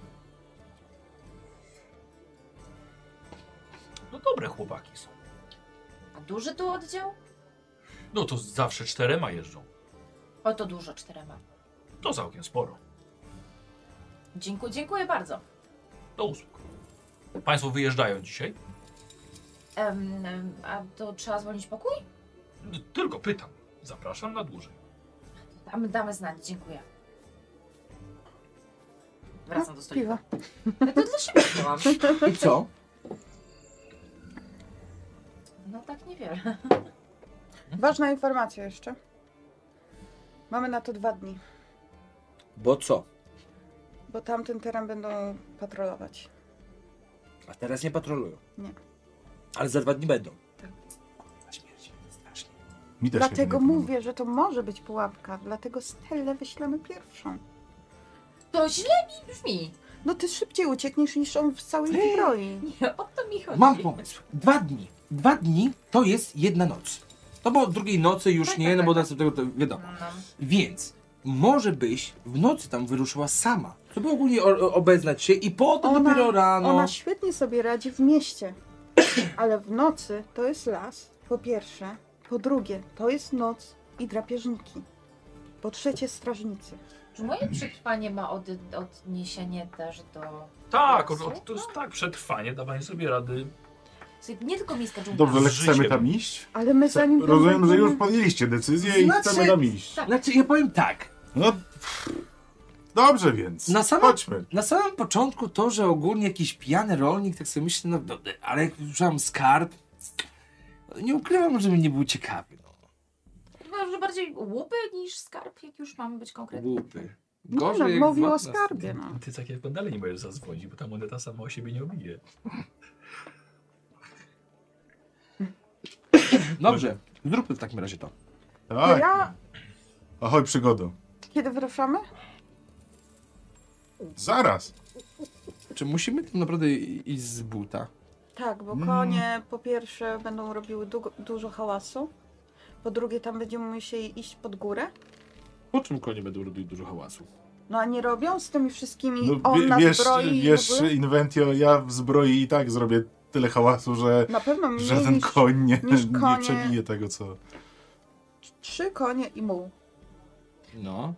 Speaker 1: No dobre chłopaki są.
Speaker 5: A duży tu oddział?
Speaker 1: No to zawsze czterema jeżdżą.
Speaker 5: O, to dużo, czterema.
Speaker 1: To całkiem sporo.
Speaker 5: Dziękuję, dziękuję bardzo.
Speaker 1: Do usług. Państwo wyjeżdżają dzisiaj?
Speaker 5: Em, em, a to trzeba zwolnić pokój?
Speaker 1: Tylko pytam. Zapraszam na dłużej.
Speaker 5: Damy, damy znać, dziękuję. Wracam do stolika.
Speaker 7: No,
Speaker 11: Piwa.
Speaker 5: Ja to dla siebie chciałam.
Speaker 4: I co?
Speaker 5: No tak niewiele.
Speaker 7: Ważna informacja jeszcze. Mamy na to dwa dni,
Speaker 4: Bo co?
Speaker 7: bo tamten teren będą patrolować.
Speaker 4: A teraz nie patrolują.
Speaker 7: Nie.
Speaker 4: Ale za dwa dni będą.
Speaker 7: Tak.
Speaker 4: Strasznie.
Speaker 2: Mi też się
Speaker 7: dlatego
Speaker 2: nie podoba.
Speaker 7: mówię, że to może być pułapka, dlatego Stellę wyślemy pierwszą.
Speaker 5: To źle mi brzmi.
Speaker 7: No ty szybciej uciekniesz niż on w całej zbroi.
Speaker 5: Nie, o to mi chodzi.
Speaker 4: Mam pomysł. Dwa dni. Dwa dni to jest jedna noc. No bo drugiej nocy już
Speaker 5: Tak,
Speaker 4: nie,
Speaker 5: tak,
Speaker 4: no bo
Speaker 5: tak.
Speaker 4: następnego to wiadomo.
Speaker 5: No,
Speaker 4: Więc może byś w nocy tam wyruszyła sama, żeby ogólnie o- o- obeznać się i potem
Speaker 7: Ona-
Speaker 4: dopiero rano.
Speaker 7: Ona świetnie sobie radzi w mieście, ale w nocy to jest las, po pierwsze. Po drugie, to jest noc i drapieżniki. Po trzecie, strażnicy.
Speaker 5: Czy moje przetrwanie ma od, odniesienie też do...
Speaker 1: Tak, o,
Speaker 5: Lasu?
Speaker 1: o, to jest tak, przetrwanie, dawanie sobie rady.
Speaker 5: Słuchaj, Nie tylko miejska dżungla.
Speaker 2: Dobrze, ale
Speaker 1: z
Speaker 2: chcemy
Speaker 1: życiem.
Speaker 2: tam iść?
Speaker 7: Ale my zanim tam
Speaker 2: Rozumiem, że
Speaker 7: będziemy-
Speaker 2: już podjęliście decyzję i
Speaker 4: Znaczy-
Speaker 2: chcemy tam iść.
Speaker 5: Tak.
Speaker 4: Znaczy, ja powiem tak.
Speaker 2: No, dobrze więc,
Speaker 4: Na samym-
Speaker 2: chodźmy.
Speaker 4: Na samym początku to, że ogólnie jakiś pijany rolnik, tak sobie myślę, no dobra, ale jak usłyszałem skarb, nie ukrywam, że mi nie był ciekawy. No.
Speaker 5: Może bardziej łupy niż skarb, jak już mamy być konkretni.
Speaker 4: Głupy.
Speaker 7: No, no,
Speaker 4: jak
Speaker 7: mówił o
Speaker 4: władna-
Speaker 7: skarbie. No.
Speaker 1: Ty tak jak dalej nie możesz zadzwonić, bo ta moneta sama o siebie nie obije.
Speaker 4: Dobrze, zróbmy w takim razie to.
Speaker 7: To
Speaker 2: Tak.
Speaker 7: ja,
Speaker 2: Ahoj, przygodo.
Speaker 7: kiedy wyruszamy?
Speaker 2: Zaraz.
Speaker 4: Czy musimy tam naprawdę i- iść z buta?
Speaker 7: Tak,
Speaker 2: Mm.
Speaker 7: bo konie po pierwsze będą robiły du- dużo hałasu. Po drugie, tam będziemy musieli iść pod górę.
Speaker 4: Po czym konie będą robić dużo hałasu?
Speaker 7: No a nie robią z tymi wszystkimi
Speaker 2: No,
Speaker 7: on
Speaker 2: wie-
Speaker 7: na
Speaker 2: wiesz,
Speaker 7: zbroi i w
Speaker 2: wiesz
Speaker 7: ogóle?
Speaker 2: Inventio, ja w zbroi i tak zrobię tyle hałasu, że
Speaker 7: Na pewno mniej
Speaker 2: żaden
Speaker 7: niż
Speaker 2: koń nie,
Speaker 7: niż
Speaker 2: nie
Speaker 7: konie.
Speaker 2: przebije tego, co...
Speaker 7: trzy konie i muł.
Speaker 4: No.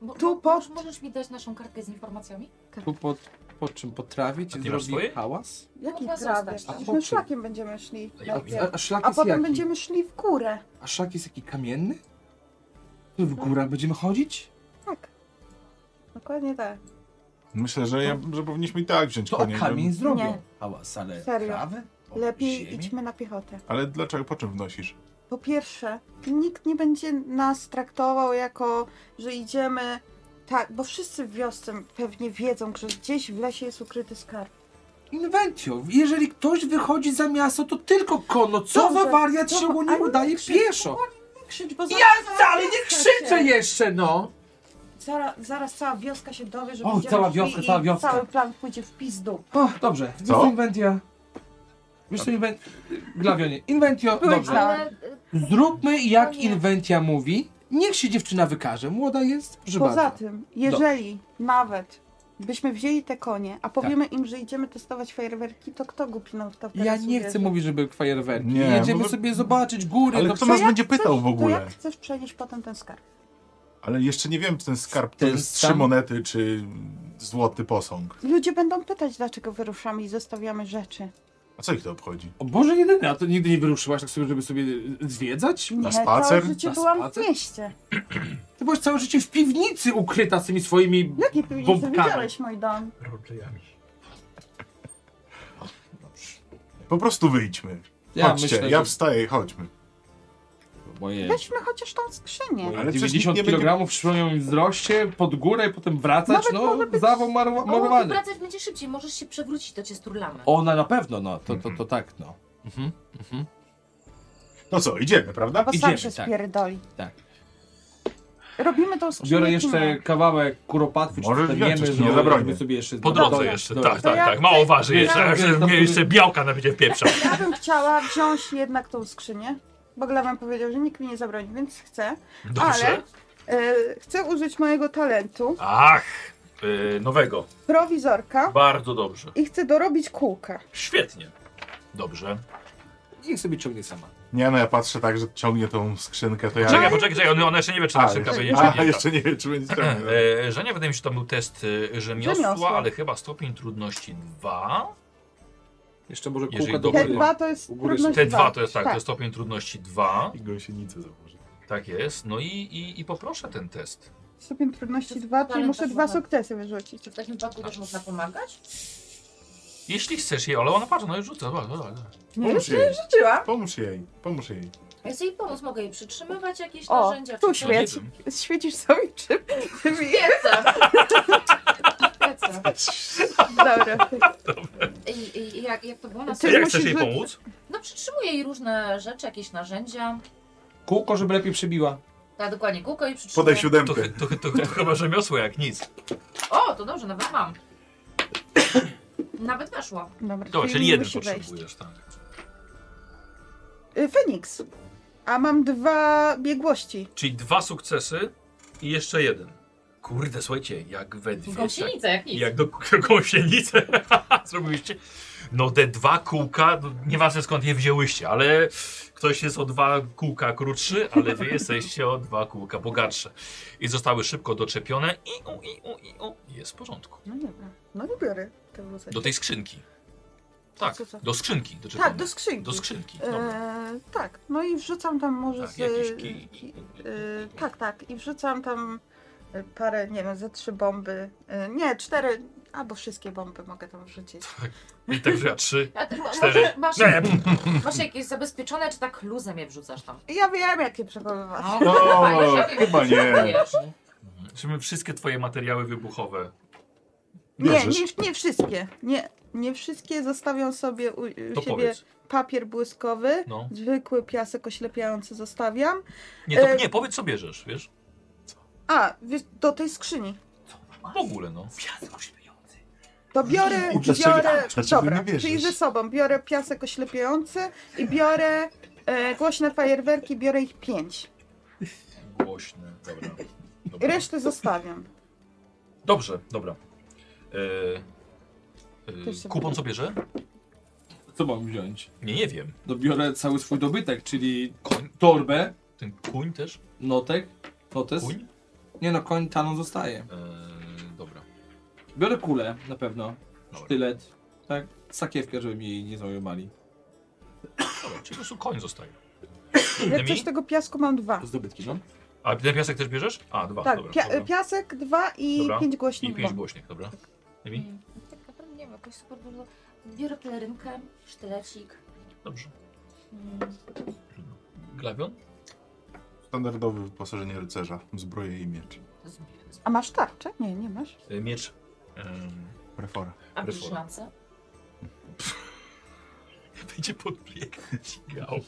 Speaker 5: Mo-
Speaker 7: Tu
Speaker 5: mo-
Speaker 7: pod-
Speaker 5: Możesz mi dać naszą kartkę z informacjami?
Speaker 4: Tu po, po czym? Po trawie ci
Speaker 1: A ty masz
Speaker 4: zrobi
Speaker 1: swoje?
Speaker 4: hałas?
Speaker 7: Jaki
Speaker 5: Mogła
Speaker 7: trawie?
Speaker 5: zostać.
Speaker 7: Przecież
Speaker 4: A po
Speaker 7: my
Speaker 4: czym?
Speaker 7: szlakiem będziemy szli.
Speaker 1: A ja
Speaker 7: najpierw.
Speaker 1: wiem.
Speaker 4: A, a szlak
Speaker 7: A
Speaker 4: jest
Speaker 7: potem
Speaker 4: jaki?
Speaker 7: będziemy szli w górę.
Speaker 4: A szlak jest jaki kamienny? Tu w górę będziemy chodzić?
Speaker 7: Tak. Dokładnie tak.
Speaker 2: Myślę, że, ja, że powinniśmy i tak wziąć
Speaker 4: To o
Speaker 2: konie. no.
Speaker 4: kamień zrobią.
Speaker 7: Nie.
Speaker 4: Hałas, ale
Speaker 7: Serio.
Speaker 4: trawę? O,
Speaker 7: Lepiej
Speaker 4: ziemię?
Speaker 7: idźmy na piechotę.
Speaker 2: Ale dlaczego, po czym wnosisz?
Speaker 7: Po pierwsze, nikt nie będzie nas traktował jako, że idziemy. Tak, bo wszyscy w wiosce pewnie wiedzą, że gdzieś w lesie jest ukryty skarb.
Speaker 4: Inwentio, jeżeli ktoś wychodzi za miasto, to tylko konno. Co
Speaker 7: Dobrze,
Speaker 4: za wariat
Speaker 7: dobra,
Speaker 4: się u
Speaker 7: ale
Speaker 4: niego
Speaker 7: nie
Speaker 4: daje
Speaker 7: krzycz,
Speaker 4: pieszo?
Speaker 7: Nie krzycz, bo zaraz.
Speaker 4: Ja
Speaker 7: cała
Speaker 4: dalej nie
Speaker 7: wioska
Speaker 4: krzyczę
Speaker 7: się-
Speaker 4: jeszcze, no!
Speaker 7: Zaraz, zaraz cała wioska się dowie, że
Speaker 4: O,
Speaker 7: będziemy
Speaker 4: cała
Speaker 7: szli
Speaker 4: wioska,
Speaker 7: i
Speaker 4: cała wioska.
Speaker 7: Cały plan pójdzie w pizdu.
Speaker 4: O, dobrze,
Speaker 2: Co?
Speaker 4: Inwentio. Wiesz co, inwen... Glawionie, Inventio, dobrze.
Speaker 5: Ale e,
Speaker 4: Zróbmy jak
Speaker 5: No nie.
Speaker 4: Inwentia mówi. Niech się dziewczyna wykaże. Młoda jest, proszę
Speaker 7: Poza
Speaker 4: bardzo.
Speaker 7: tym, jeżeli nawet byśmy wzięli te konie, a powiemy im, że idziemy testować fajerwerki, to kto głupiną w to teraz
Speaker 4: Tak. Ja nie chcę
Speaker 7: uwierzy?
Speaker 4: mówić, żeby fajerwerki.
Speaker 2: Nie,
Speaker 4: Jedziemy
Speaker 2: bo wy-
Speaker 4: sobie zobaczyć góry.
Speaker 2: Ale
Speaker 4: no
Speaker 2: kto
Speaker 4: przecież-
Speaker 2: nas będzie pytał w
Speaker 7: To jak
Speaker 2: ogóle?
Speaker 7: chcesz przenieść potem ten skarb?
Speaker 2: Ale jeszcze nie wiem, czy ten skarb to
Speaker 4: Ten
Speaker 2: jest
Speaker 4: sam-
Speaker 2: trzy monety, czy złoty posąg.
Speaker 7: Ludzie będą pytać, dlaczego wyruszamy i zostawiamy rzeczy.
Speaker 2: A co ich to obchodzi?
Speaker 4: O Boże, jedyny, a to nigdy nie wyruszyłaś tak sobie, żeby sobie y, zwiedzać?
Speaker 7: Nie,
Speaker 2: spacer?
Speaker 7: Całe życie
Speaker 4: Na
Speaker 7: byłam
Speaker 4: spacer?
Speaker 7: w mieście.
Speaker 4: Ty byłaś całe życie w piwnicy ukryta z tymi swoimi...
Speaker 7: Jakie piwnicy?
Speaker 4: Bombkami.
Speaker 7: Widziałeś mój dom.
Speaker 12: Roleplayami.
Speaker 2: Po prostu wyjdźmy.
Speaker 4: Ja
Speaker 2: Chodźcie,
Speaker 4: myślę,
Speaker 2: ja
Speaker 4: że-
Speaker 2: wstaję, chodźmy.
Speaker 4: Moje...
Speaker 7: Weźmy chociaż tą skrzynię.
Speaker 2: Ale przecież nikt
Speaker 4: 90
Speaker 2: nie będzie-
Speaker 4: kg przy moim wzroście, pod górę, potem wracać,
Speaker 7: Nawet
Speaker 4: no,
Speaker 7: może być-
Speaker 4: zawał
Speaker 5: o,
Speaker 4: morowanie.
Speaker 5: wracać będzie szybciej, możesz się przewrócić, to cię sturlamy.
Speaker 4: Ona na pewno, no, to, to, to tak, no. Mhm, mhm.
Speaker 2: No co, idziemy, prawda?
Speaker 7: Bo
Speaker 4: idziemy,
Speaker 7: sam się
Speaker 4: tak.
Speaker 7: spierdoli.
Speaker 4: Tak.
Speaker 7: Robimy tą skrzynię.
Speaker 4: Biorę
Speaker 7: czy
Speaker 4: jeszcze
Speaker 7: nie?
Speaker 4: kawałek kuropatwy,
Speaker 2: Może
Speaker 4: czy
Speaker 2: wziąć,
Speaker 4: wiemy,
Speaker 2: coś
Speaker 4: że
Speaker 2: nie zabronię.
Speaker 4: sobie jeszcze... No,
Speaker 1: Po
Speaker 4: Dobra,
Speaker 1: drodze jeszcze,
Speaker 4: dobra.
Speaker 1: tak,
Speaker 7: No To
Speaker 1: tak,
Speaker 7: ja
Speaker 1: tak. Mało
Speaker 7: chcę-
Speaker 1: waży jeszcze,
Speaker 4: Ja-
Speaker 1: jeszcze,
Speaker 4: ja-
Speaker 1: jeszcze białka na będzie pieprza.
Speaker 7: Ja bym chciała wziąć jednak tą skrzynię, bo Glawen powiedział, że nikt mi nie zabroni, więc chcę.
Speaker 1: Dobrze.
Speaker 7: Ale e, chcę użyć mojego talentu,
Speaker 1: Ach, y, nowego.
Speaker 7: prowizorka
Speaker 1: Bardzo dobrze.
Speaker 7: i chcę dorobić kółka.
Speaker 1: Świetnie. Dobrze.
Speaker 4: Niech sobie ciągnie sama.
Speaker 2: Nie no, ja patrzę tak, że ciągnie tą skrzynkę, to ja...
Speaker 1: Czekaj, poczekaj, czekaj, on- ona jeszcze nie wie, czy ta
Speaker 2: A,
Speaker 1: szybka
Speaker 2: jeszcze-
Speaker 1: będzie
Speaker 2: a,
Speaker 1: czy nie.
Speaker 2: jeszcze nie wiem, czy będzie ciągnie. no.
Speaker 1: E, Żenia, wydaje mi się, że to był test e, rzemiosła,
Speaker 7: Rzemiosła.
Speaker 1: ale chyba stopień trudności 2.
Speaker 4: Jeszcze może
Speaker 1: Jeżeli
Speaker 4: kółka do
Speaker 1: dobrze-
Speaker 7: Te
Speaker 1: Dobra.
Speaker 7: dwa to jest
Speaker 4: U góry
Speaker 7: trudność
Speaker 1: Te
Speaker 7: dwa.
Speaker 1: dwa to jest tak, to jest stopień trudności 2.
Speaker 2: I gąsienicę założę.
Speaker 1: Tak jest. No i, i, i poproszę ten test.
Speaker 7: Stopień trudności dwa, czyli
Speaker 5: Talent
Speaker 7: muszę
Speaker 5: też
Speaker 7: dwa
Speaker 5: można.
Speaker 7: sukcesy wyrzucić.
Speaker 5: Czy w takim przypadku też można pomagać?
Speaker 1: Jeśli chcesz jej, ale ona patrzy, no i rzuca. Dobra, dobra, dobra.
Speaker 2: Pomóż jej,
Speaker 7: Rzuciłam.
Speaker 2: pomóż jej, pomóż jej.
Speaker 5: Ja chcę jej pomóc, mogę jej przytrzymywać jakieś
Speaker 7: O,
Speaker 5: narzędzia.
Speaker 7: tu
Speaker 5: czy coś?
Speaker 1: No, nie
Speaker 7: świeci.
Speaker 1: wiem.
Speaker 7: Świecisz sobie czym? czym
Speaker 5: Świecę. Świecę.
Speaker 7: Dobra.
Speaker 5: I, i, jak, jak to było na
Speaker 7: Ty-
Speaker 1: Jak
Speaker 7: musisz
Speaker 1: chcesz jej
Speaker 7: rzu-
Speaker 1: pomóc?
Speaker 5: No przytrzymuję jej różne rzeczy, jakieś narzędzia.
Speaker 4: Kółko, żeby lepiej przebiła.
Speaker 5: Tak, dokładnie kółko i przytrzymuję.
Speaker 2: Podaj
Speaker 1: To,
Speaker 2: siódemkę.
Speaker 1: chy- to, chy- to, to chyba rzemiosło jak nic.
Speaker 5: O, to dobrze, nawet mam. Nawet weszło.
Speaker 7: Dobra,
Speaker 1: Dobra, czyli
Speaker 7: nie
Speaker 1: jeden
Speaker 7: musi wejść.
Speaker 1: potrzebujesz, tak.
Speaker 7: Y, Feniks. A mam dwa biegłości.
Speaker 1: Czyli dwa sukcesy i jeszcze jeden. Kurde, słuchajcie, jak we dwie... tak-
Speaker 5: Gąsienica jak nic.
Speaker 1: Jak do gąsienicy zrobiliście. No te dwa kółka, no, nieważne skąd je wzięłyście, ale ktoś jest o dwa kółka krótszy, ale wy jesteście o dwa kółka bogatsze. I zostały szybko doczepione i u, i u, i u. Jest w porządku.
Speaker 7: No dobra. No nie biorę tego wózka.
Speaker 1: Do tej skrzynki. Tak,
Speaker 7: Co, co?
Speaker 1: do skrzynki doczepione.
Speaker 7: Tak, do skrzynki.
Speaker 1: Do skrzynki, dobra.
Speaker 7: Eee, tak, no i wrzucam tam może
Speaker 1: Tak,
Speaker 7: z... e,
Speaker 1: jakiś kij.
Speaker 7: ki- eee, tak, tak, i wrzucam tam e, parę, nie wiem, ze trzy bomby. E, nie, cztery, albo wszystkie bomby mogę tam wrzucić.
Speaker 1: I tak wzięła trzy.
Speaker 5: A ty ma-
Speaker 1: Cztery.
Speaker 5: może Masz,
Speaker 1: Nie.
Speaker 5: masz jakieś zabezpieczone, czy tak luzem je wrzucasz tam?
Speaker 7: Ja wiem, jak je przechowywać.
Speaker 2: O,
Speaker 5: fajnie, że jak je
Speaker 2: chyba nie.
Speaker 5: wrzucujesz.
Speaker 1: Żeby wszystkie twoje materiały wybuchowe.
Speaker 7: Nie,
Speaker 2: Bierzesz.
Speaker 7: nie, nie wszystkie. Nie, nie wszystkie zostawiam sobie u,
Speaker 1: To
Speaker 7: u siebie
Speaker 1: powiedz.
Speaker 7: papier błyskowy,
Speaker 1: No.
Speaker 7: zwykły piasek oślepiający zostawiam.
Speaker 1: Nie, to,
Speaker 7: E,
Speaker 1: nie, powiedz co bierzesz, wiesz?
Speaker 7: A, wiesz, do tej skrzyni.
Speaker 1: W ogóle, no.
Speaker 7: To biorę,
Speaker 2: Dlaczego-
Speaker 7: biorę,
Speaker 2: dlaczego
Speaker 7: dobra,
Speaker 2: nie bierzesz?
Speaker 7: czyli ze sobą biorę piasek oślepiający i biorę e, głośne fajerwerki, biorę ich pięć.
Speaker 1: Głośne, dobra.
Speaker 7: I
Speaker 1: dobra.
Speaker 7: Resztę zostawiam.
Speaker 1: Dobrze, dobra. E,
Speaker 7: Też
Speaker 1: e,
Speaker 7: sobie-
Speaker 1: kupon co bierze?
Speaker 4: Co mam wziąć?
Speaker 1: Nie, nie wiem.
Speaker 4: No biorę cały swój dobytek, czyli
Speaker 1: Koń,
Speaker 4: torbę,
Speaker 1: ten kuń też?
Speaker 4: notek, notes.
Speaker 1: Kuń?
Speaker 4: Nie no, koń taną zostaje.
Speaker 1: E, dobra.
Speaker 4: Biorę kulę, na pewno.
Speaker 1: Dobra.
Speaker 4: Sztylet. Tak, sakiewkę, żeby mi jej nie zajmowali.
Speaker 1: dobra, czyli po prostu koń zostaje.
Speaker 7: Jak
Speaker 1: Dymi?
Speaker 7: coś tego piasku mam dwa.
Speaker 4: Zdobytki, no.
Speaker 1: A ten piasek też bierzesz? A, dwa,
Speaker 7: Tak,
Speaker 1: dobra.
Speaker 7: pia
Speaker 1: dobra.
Speaker 7: piasek dwa i
Speaker 1: Dobra.
Speaker 7: pięć
Speaker 1: I
Speaker 7: głośnych
Speaker 1: pięć
Speaker 7: bomb.
Speaker 1: głośnych, dobra. Emi?
Speaker 5: Mm, Tak naprawdę nie wiem, jakoś super dużo. Biorę pelerynkę, sztylecik.
Speaker 1: Dobrze.
Speaker 5: mm,
Speaker 1: Glawion?
Speaker 2: Standardowe wyposażenie rycerza, zbroje i miecz.
Speaker 5: z- z-
Speaker 7: A masz tarczę? Nie, nie masz.
Speaker 1: E, miecz. Em,
Speaker 2: Refora.
Speaker 5: A
Speaker 1: Reform.
Speaker 5: bierzesz lance?
Speaker 1: będzie podbiegać. Gał.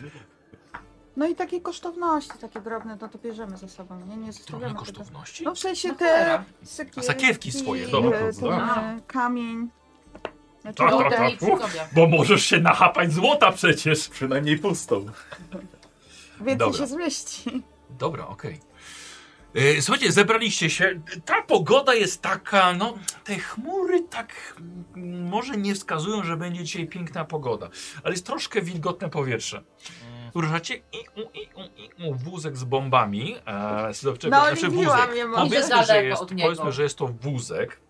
Speaker 7: No i takie kosztowności, takie drobne, no to bierzemy ze sobą, nie? Nie
Speaker 1: Drobne
Speaker 7: zostawiamy tego.
Speaker 1: kosztowności?
Speaker 7: No w sensie
Speaker 5: No
Speaker 7: te
Speaker 5: cholera.
Speaker 7: sakiewki,
Speaker 1: A sakiewki swoje,
Speaker 7: e,
Speaker 1: dobra.
Speaker 7: ten, e, kamień, e, Znaczy,
Speaker 5: Tak,
Speaker 7: o,
Speaker 5: tak,
Speaker 7: tak,
Speaker 5: tak. Przydobia.
Speaker 13: Bo możesz się nachapać złota przecież.
Speaker 2: Przynajmniej pustą.
Speaker 7: więcej
Speaker 1: tak. Dobra.
Speaker 7: się zmieści.
Speaker 1: Dobra, okej. E, Słuchajcie, zebraliście się. Ta pogoda jest taka, no, te chmury tak mm, może nie wskazują, że będzie dzisiaj piękna pogoda, ale jest troszkę wilgotne powietrze. Ruszacie i, u, i, u, i u, wózek z bombami. E, z dowczego,
Speaker 7: No,
Speaker 1: znaczy
Speaker 7: liniła
Speaker 1: wózek.
Speaker 7: mnie mama.
Speaker 5: Idzie
Speaker 1: Powiedzmy,
Speaker 5: daleko
Speaker 1: że jest,
Speaker 5: od niego.
Speaker 1: powiedzmy, że jest to wózek.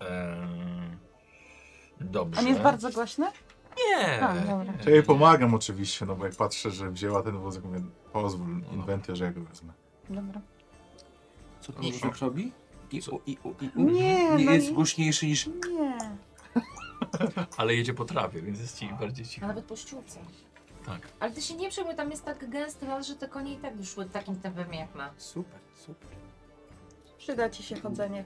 Speaker 1: E, dobrze.
Speaker 7: On jest bardzo głośny?
Speaker 1: Nie. E,
Speaker 7: A, dobra.
Speaker 1: nie.
Speaker 2: Ja jej pomagam oczywiście, no bo jak patrzę, że wzięła ten wózek, mówię, pozwól, inwentarz, ja go wezmę.
Speaker 7: Dobra.
Speaker 4: Co to wózek robi? I, u, i, u, i, u.
Speaker 7: Nie,
Speaker 4: nie
Speaker 7: no
Speaker 4: jest
Speaker 7: i-
Speaker 4: głośniejszy niż...
Speaker 7: Nie.
Speaker 1: Ale jedzie po trawie, więc jest ci bardziej
Speaker 5: A
Speaker 1: cicho.
Speaker 5: nawet po ściółce.
Speaker 1: Tak.
Speaker 5: Ale ty się nie przejmuj, tam jest tak gęsty las, że te konie i tak już szły takim tempem jak my.
Speaker 4: Super, super.
Speaker 7: Przyda ci się chodzenie.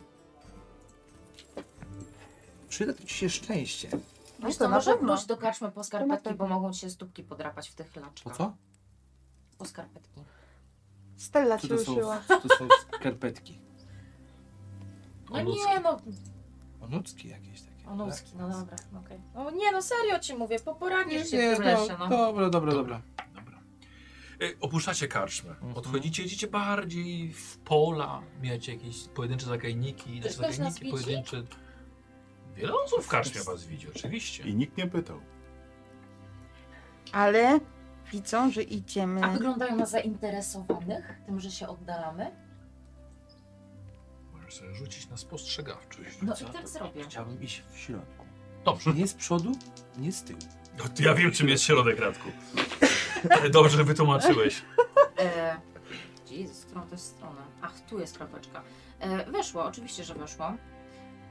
Speaker 4: Przyda to ci się szczęście.
Speaker 5: Wiesz
Speaker 7: No to
Speaker 5: co,
Speaker 7: na
Speaker 5: może
Speaker 7: pewno.
Speaker 5: pójść do karczmy po skarpetki, bo mogą ci się stópki podrapać w tych
Speaker 4: Po
Speaker 5: laczkach.
Speaker 4: co?
Speaker 5: Po skarpetki.
Speaker 7: Stella
Speaker 4: Co
Speaker 7: ci
Speaker 4: to są,
Speaker 7: ruszyła.
Speaker 4: co to są skarpetki?
Speaker 5: No
Speaker 1: Onucki.
Speaker 5: nie no,
Speaker 4: Onucki jakieś takie.
Speaker 5: onuski,
Speaker 4: tak?
Speaker 5: no dobra, okej. No nie no, serio ci mówię,
Speaker 4: Nie,
Speaker 5: poporanisz się
Speaker 4: nie,
Speaker 5: w tym lesie,
Speaker 4: no,
Speaker 5: no.
Speaker 4: dobra, dobra, dobra.
Speaker 1: Dobra. E, Opuszczacie karczmę.
Speaker 4: Mhm.
Speaker 1: Odchodzicie, idziecie bardziej w pola. Mijacie jakieś pojedyncze zagajniki,
Speaker 5: Ktoś nas
Speaker 1: zagajniki
Speaker 5: widzi?
Speaker 1: pojedyncze. Wiele osób w karczmie was widzi, oczywiście.
Speaker 2: I nikt nie pytał.
Speaker 7: Ale widzą, że idziemy.
Speaker 5: A wyglądają na zainteresowanych tym, że się oddalamy?
Speaker 1: Możesz sobie rzucić na spostrzegawczość.
Speaker 5: No
Speaker 1: Co?
Speaker 5: i tak zrobię.
Speaker 4: Chciałbym iść w środku.
Speaker 1: Dobrze.
Speaker 4: Nie z przodu, nie z tyłu.
Speaker 1: No, to ja wiem, czym jest środek, Radku. Ale dobrze że wytłumaczyłeś.
Speaker 5: E, Jezus, którą to jest stronę? Ach, tu jest kropeczka. E, weszło, oczywiście, że weszło.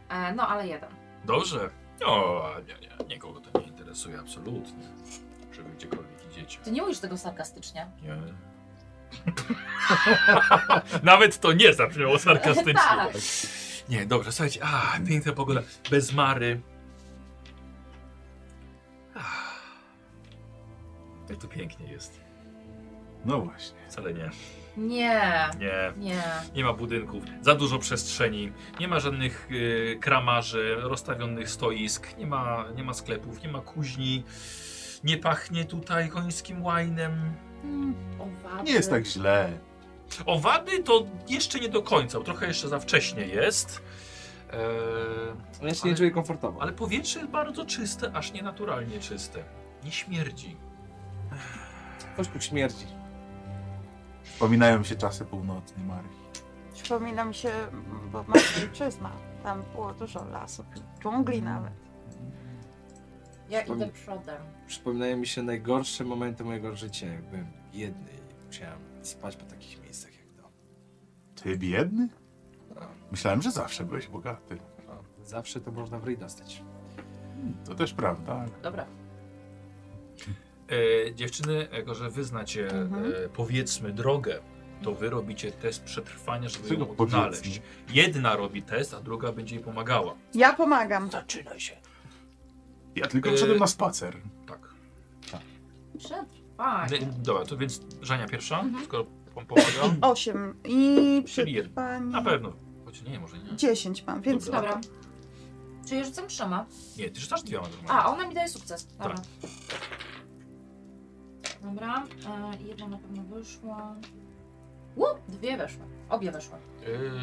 Speaker 5: E, no, ale jeden.
Speaker 1: Dobrze. O, nie, nie, nikogo to nie interesuje absolutnie. Czy wy gdziekolwiek idziecie.
Speaker 5: Ty nie mówisz tego sarkastycznie.
Speaker 1: Nie. Nawet to nie zabrzmiało sarkastycznie.
Speaker 5: Tak.
Speaker 1: Nie, dobrze, słuchajcie. A, piękna pogoda. Bez mary. Ah. Jak tu pięknie jest.
Speaker 2: No właśnie.
Speaker 1: Wcale nie.
Speaker 5: Nie,
Speaker 1: Nie.
Speaker 5: nie.
Speaker 1: Nie ma budynków, za dużo przestrzeni, nie ma żadnych y, kramarzy, rozstawionych stoisk, nie ma, nie ma sklepów, nie ma kuźni, nie pachnie tutaj końskim łajnem.
Speaker 5: Owady.
Speaker 2: Nie jest tak źle.
Speaker 1: Owady to jeszcze nie do końca, bo trochę jeszcze za wcześnie jest. Eee,
Speaker 4: Ja się
Speaker 1: Ale-
Speaker 4: nie czuję komfortowo.
Speaker 1: Ale powietrze jest bardzo czyste, aż nienaturalnie czyste. Nie śmierdzi.
Speaker 4: Coś tu śmierdzi.
Speaker 2: Wspominają się czasy północnej Marii.
Speaker 7: Przypomina mi się, bo Matryczyzna. Tam było dużo lasów, dżungli nawet.
Speaker 5: Ja idę przodem.
Speaker 4: Przypominają mi się najgorsze momenty mojego życia, jak byłem biedny i musiałem spać po takich miejscach jak to.
Speaker 2: Ty biedny? Myślałem, że zawsze byłeś bogaty.
Speaker 4: O, zawsze to można w ryj dostać.
Speaker 2: To też prawda.
Speaker 5: Dobra.
Speaker 1: E, dziewczyny, jako że wy znacie,
Speaker 7: Mhm.
Speaker 1: e, powiedzmy, drogę, to wy robicie test przetrwania, żeby
Speaker 2: Czego
Speaker 1: ją
Speaker 2: powiedzmy?
Speaker 1: odnaleźć. Jedna robi test, a druga będzie jej pomagała.
Speaker 7: Ja pomagam.
Speaker 13: Zaczyna się.
Speaker 2: Ja tylko
Speaker 1: Yy.
Speaker 2: wyszedłem na spacer.
Speaker 1: Tak.
Speaker 5: Przetrwanie.
Speaker 1: Ne- Dobra, to więc Żania pierwsza,
Speaker 7: Mhm.
Speaker 1: skoro wam pomaga.
Speaker 7: Osiem i
Speaker 1: Czyli jeden. Na
Speaker 7: przetrwanie.
Speaker 1: pewno. Choć nie, może nie.
Speaker 7: Dziesięć mam, więc
Speaker 1: Dobra.
Speaker 5: Dobra. Czyli rzucam trzema.
Speaker 1: Nie, ty rzucasz dwiema
Speaker 5: A,
Speaker 1: normalnie.
Speaker 5: ona mi daje sukces. Dobra. Dobra. E, jedna na pewno wyszła. U, dwie weszły. Obie weszły.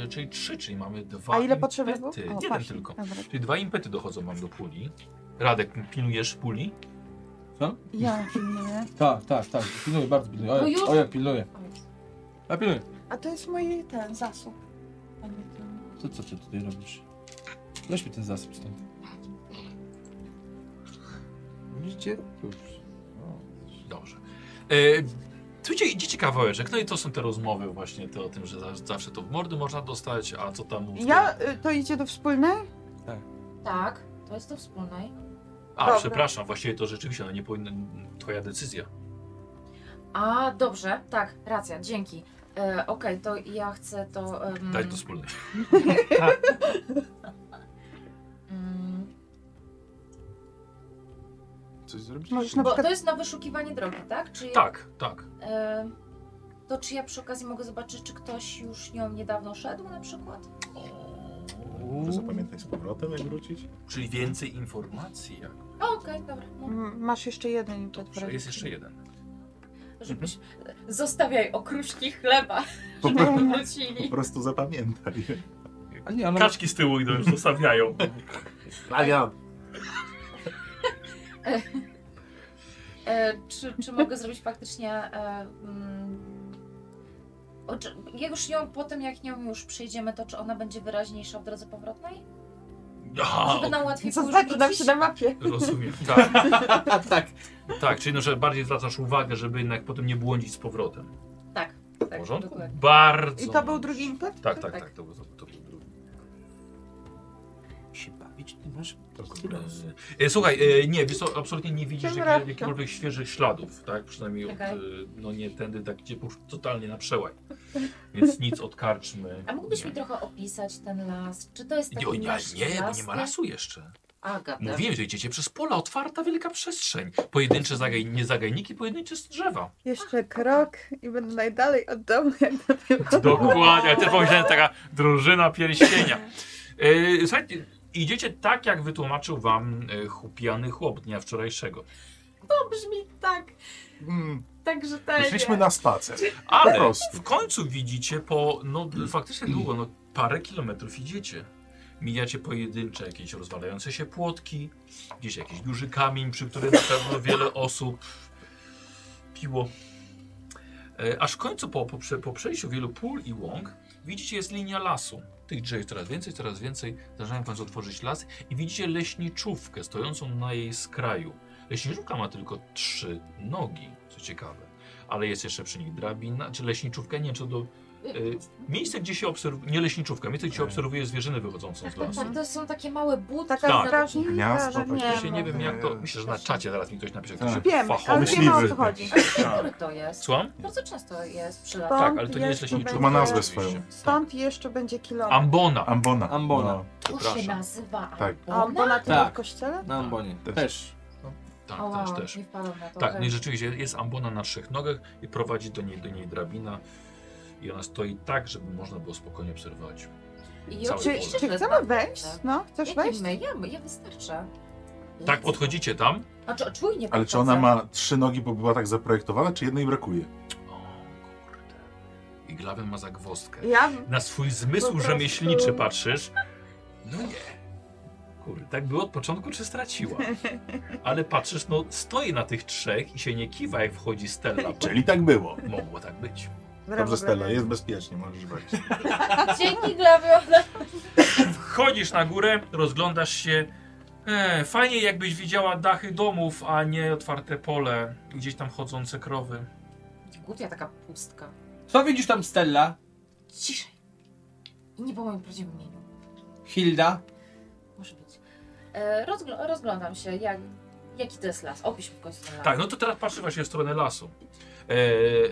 Speaker 1: E, czyli trzy, czyli mamy dwa
Speaker 7: A ile potrzeba było?
Speaker 1: impety. Jeden
Speaker 7: patrzę.
Speaker 1: tylko.
Speaker 7: Dobra.
Speaker 1: Czyli dwa impety dochodzą wam do puli. Radek, pilnujesz puli?
Speaker 7: Ja pilnuję.
Speaker 4: Tak, tak, tak. Pilnuję, bardzo pilnuję.
Speaker 5: No już?
Speaker 4: ja pilnuję.
Speaker 5: O, jest.
Speaker 4: Ja pilnuję.
Speaker 7: A to jest mój ten zasób. A nie ten.
Speaker 4: To co ty tutaj robisz? Weź mi ten zasób stąd. Widzicie? Już. O.
Speaker 1: Dobrze. E, tu idzie, idziecie kawałeczek, no i to są te rozmowy właśnie te o tym, że za, zawsze to w mordy można dostać, a co tam... u-
Speaker 7: Ja, y, to idzie do wspólnej?
Speaker 5: Tak, to jest do wspólnej.
Speaker 1: A,
Speaker 7: Dobra.
Speaker 1: przepraszam, właściwie to rzeczywiście, no nie powinno... Twoja decyzja.
Speaker 5: A, dobrze, tak, racja, dzięki. E, Okej, to ja chcę to. em,
Speaker 1: Dać do wspólnej.
Speaker 5: mm,
Speaker 2: Coś zrobić?
Speaker 7: Możesz na
Speaker 5: Bo
Speaker 7: przykład...
Speaker 5: to jest na wyszukiwanie drogi, tak? Czy,
Speaker 1: Tak, tak.
Speaker 5: e, to czy ja przy okazji mogę zobaczyć, czy ktoś już nią niedawno szedł na przykład?
Speaker 1: O,
Speaker 2: Może zapamiętaj z powrotem, jak wrócić.
Speaker 1: Czyli więcej informacji, jak
Speaker 5: O, Okej, dobra. No,
Speaker 7: M- Masz jeszcze jeden impet
Speaker 1: dobrze. Jest jeszcze jeden.
Speaker 5: żebyś... Zostawiaj okruszki chleba,
Speaker 2: Po,
Speaker 5: żeby
Speaker 2: pro- po
Speaker 5: wrócili.
Speaker 2: prostu zapamiętaj.
Speaker 4: A nie,
Speaker 6: No.
Speaker 4: ona...
Speaker 6: Kaczki z tyłu idą, już zostawiają.
Speaker 13: Klawia!
Speaker 5: E, czy, czy mogę zrobić faktycznie... E, mm, o, czy, jak już ją, potem jak nią już przyjdziemy, to czy ona będzie wyraźniejsza w drodze powrotnej?
Speaker 1: Aha,
Speaker 5: Żeby nam łatwiej było
Speaker 7: Zaznaczy nam
Speaker 5: rzucić?
Speaker 7: się na mapie.
Speaker 1: rozumiem. Tak,
Speaker 4: A tak.
Speaker 1: tak, czyli no, że bardziej zwracasz uwagę, żeby jednak potem nie błądzić z powrotem.
Speaker 5: Tak,
Speaker 1: W
Speaker 5: tak,
Speaker 1: porządku?
Speaker 5: dokładnie.
Speaker 1: Bardzo.
Speaker 7: I to był drugi impet?
Speaker 1: Tak, tak,
Speaker 5: Tak.
Speaker 1: tak, to był, to był drugi.
Speaker 13: Się bawić, ty masz
Speaker 1: E, Słuchaj, e, nie, wiesz co, absolutnie nie widzisz
Speaker 7: Tym
Speaker 1: jak,
Speaker 7: razem.
Speaker 1: jakichkolwiek świeżych śladów, tak? Przynajmniej od,
Speaker 5: Okej.
Speaker 1: e, no nie tędy, tak gdzie posz- totalnie na przełaj. Więc nic od karczmy.
Speaker 5: A mógłbyś
Speaker 1: nie.
Speaker 5: mi trochę opisać ten las? Czy to jest taki
Speaker 1: Nie, o, nie,
Speaker 5: nasz
Speaker 1: nie, bo nie ma
Speaker 5: las?
Speaker 1: lasu jeszcze.
Speaker 5: Agata.
Speaker 1: Mówiłem, że idziecie przez pola, otwarta wielka przestrzeń. Pojedyncze zagaj, nie zagajniki, pojedyncze z drzewa.
Speaker 7: Jeszcze krok i będę najdalej od domu, jak do
Speaker 1: Dokładnie, ja też pomyślałem, taka drużyna pierścienia. E, Słuchajcie, idziecie tak, jak wytłumaczył wam e, chupiany chłop dnia wczorajszego.
Speaker 5: To brzmi tak,
Speaker 2: Mm,
Speaker 5: tak rzetelnie.
Speaker 2: Wyszliśmy na spacer. Po
Speaker 1: Ale
Speaker 2: prostu.
Speaker 1: w końcu widzicie po, no faktycznie długo, no parę kilometrów idziecie. Mijacie pojedyncze jakieś rozwalające się płotki, gdzieś jakiś duży kamień, przy którym na pewno wiele osób piło. E, Aż w końcu po, po, prze- po przejściu wielu pól i łąk widzicie jest linia lasu. Tych drzew coraz więcej, coraz więcej. Zaczynają w końcu otworzyć las i widzicie leśniczówkę stojącą na jej skraju. Leśniczówka ma tylko trzy nogi, co ciekawe ale jest jeszcze przy nich drabina, czy leśniczówka, nie, czy do... y, miejsce, gdzie się obserwuje, nie leśniczówka, miejsce,
Speaker 2: E.
Speaker 1: gdzie się obserwuje zwierzyny wychodzącą z lasu.
Speaker 5: Tak, to są takie małe buty.
Speaker 7: Taka
Speaker 1: Tak.
Speaker 7: strażnika,
Speaker 2: Gniazdo
Speaker 7: że
Speaker 2: takie.
Speaker 7: nie
Speaker 1: Właśnie nie
Speaker 7: ma.
Speaker 1: wiem jak to, myślę, że znaczy. na czacie zaraz mi ktoś napisze, kto
Speaker 2: E. Tak.
Speaker 1: się
Speaker 7: Wiemy, ale
Speaker 1: fachowy...
Speaker 7: wiemy o co
Speaker 2: Myśliwy.
Speaker 7: chodzi.
Speaker 1: Tak.
Speaker 5: Który
Speaker 2: Tak.
Speaker 5: to jest?
Speaker 1: Słucham?
Speaker 5: Bardzo często jest przy lasach.
Speaker 1: Tak, ale to nie jest
Speaker 7: Stąd
Speaker 1: leśniczówka.
Speaker 7: jeszcze
Speaker 2: To ma nazwę
Speaker 7: będzie-
Speaker 1: oczywiście.
Speaker 2: swoją.
Speaker 7: Stąd jeszcze będzie kilometr.
Speaker 1: Ambona.
Speaker 2: Ambona.
Speaker 4: Ambona.
Speaker 2: No,
Speaker 5: To się
Speaker 1: przepraszam.
Speaker 5: nazywa
Speaker 2: Tak.
Speaker 7: A
Speaker 5: Ambona?
Speaker 7: bo na tym
Speaker 4: Tak.
Speaker 7: kościele?
Speaker 4: Na ambonie.
Speaker 2: Też.
Speaker 4: Też.
Speaker 1: Tak,
Speaker 5: O,
Speaker 1: też,
Speaker 5: wow,
Speaker 1: też.
Speaker 5: nie wpadłam na to.
Speaker 1: Tak,
Speaker 5: okej.
Speaker 1: no i rzeczywiście jest ambona na trzech nogach i prowadzi do niej, do niej drabina. I ona stoi tak, żeby można było spokojnie obserwować. cały
Speaker 5: I
Speaker 7: Czy,
Speaker 1: Ambona.
Speaker 5: oczywiście,
Speaker 7: czy
Speaker 5: że
Speaker 7: chcemy
Speaker 5: znam
Speaker 7: wejść?
Speaker 5: te-
Speaker 7: No, chcesz
Speaker 5: Jakie
Speaker 7: wejść?
Speaker 5: my? Ja, ja wystarczę.
Speaker 1: Tak, podchodzicie tam.
Speaker 5: Znaczy, czujnie
Speaker 2: Ale czy ona ma trzy nogi, bo była tak zaprojektowana, czy jednej brakuje?
Speaker 1: O kurde. I glawę ma zagwozdkę.
Speaker 7: Ja
Speaker 1: na swój zmysł
Speaker 7: Po prostu.
Speaker 1: rzemieślniczy patrzysz. No nie. Kurde, tak było od początku, czy straciła? Ale patrzysz, no stoi na tych trzech i się nie kiwa, jak wchodzi Stella. bo
Speaker 2: Czyli tak było.
Speaker 1: Mogło tak być.
Speaker 2: Dobrze, Stella, jest bezpiecznie, możesz wejść.
Speaker 5: Dzięki, Glawio.
Speaker 1: Wchodzisz na górę, rozglądasz się. E, fajnie jakbyś widziała dachy domów, a nie otwarte pole. Gdzieś tam chodzące krowy.
Speaker 5: Głupia taka pustka.
Speaker 4: Co widzisz tam, Stella?
Speaker 5: Ciszej. I nie po moim prawdziwym imieniu.
Speaker 4: Hilda?
Speaker 5: Może być. E, rozgl- rozglądam się, jak, jaki to jest las. Opisz mi w końcu ten las.
Speaker 1: Tak, no to teraz patrzy właśnie w stronę lasu. E,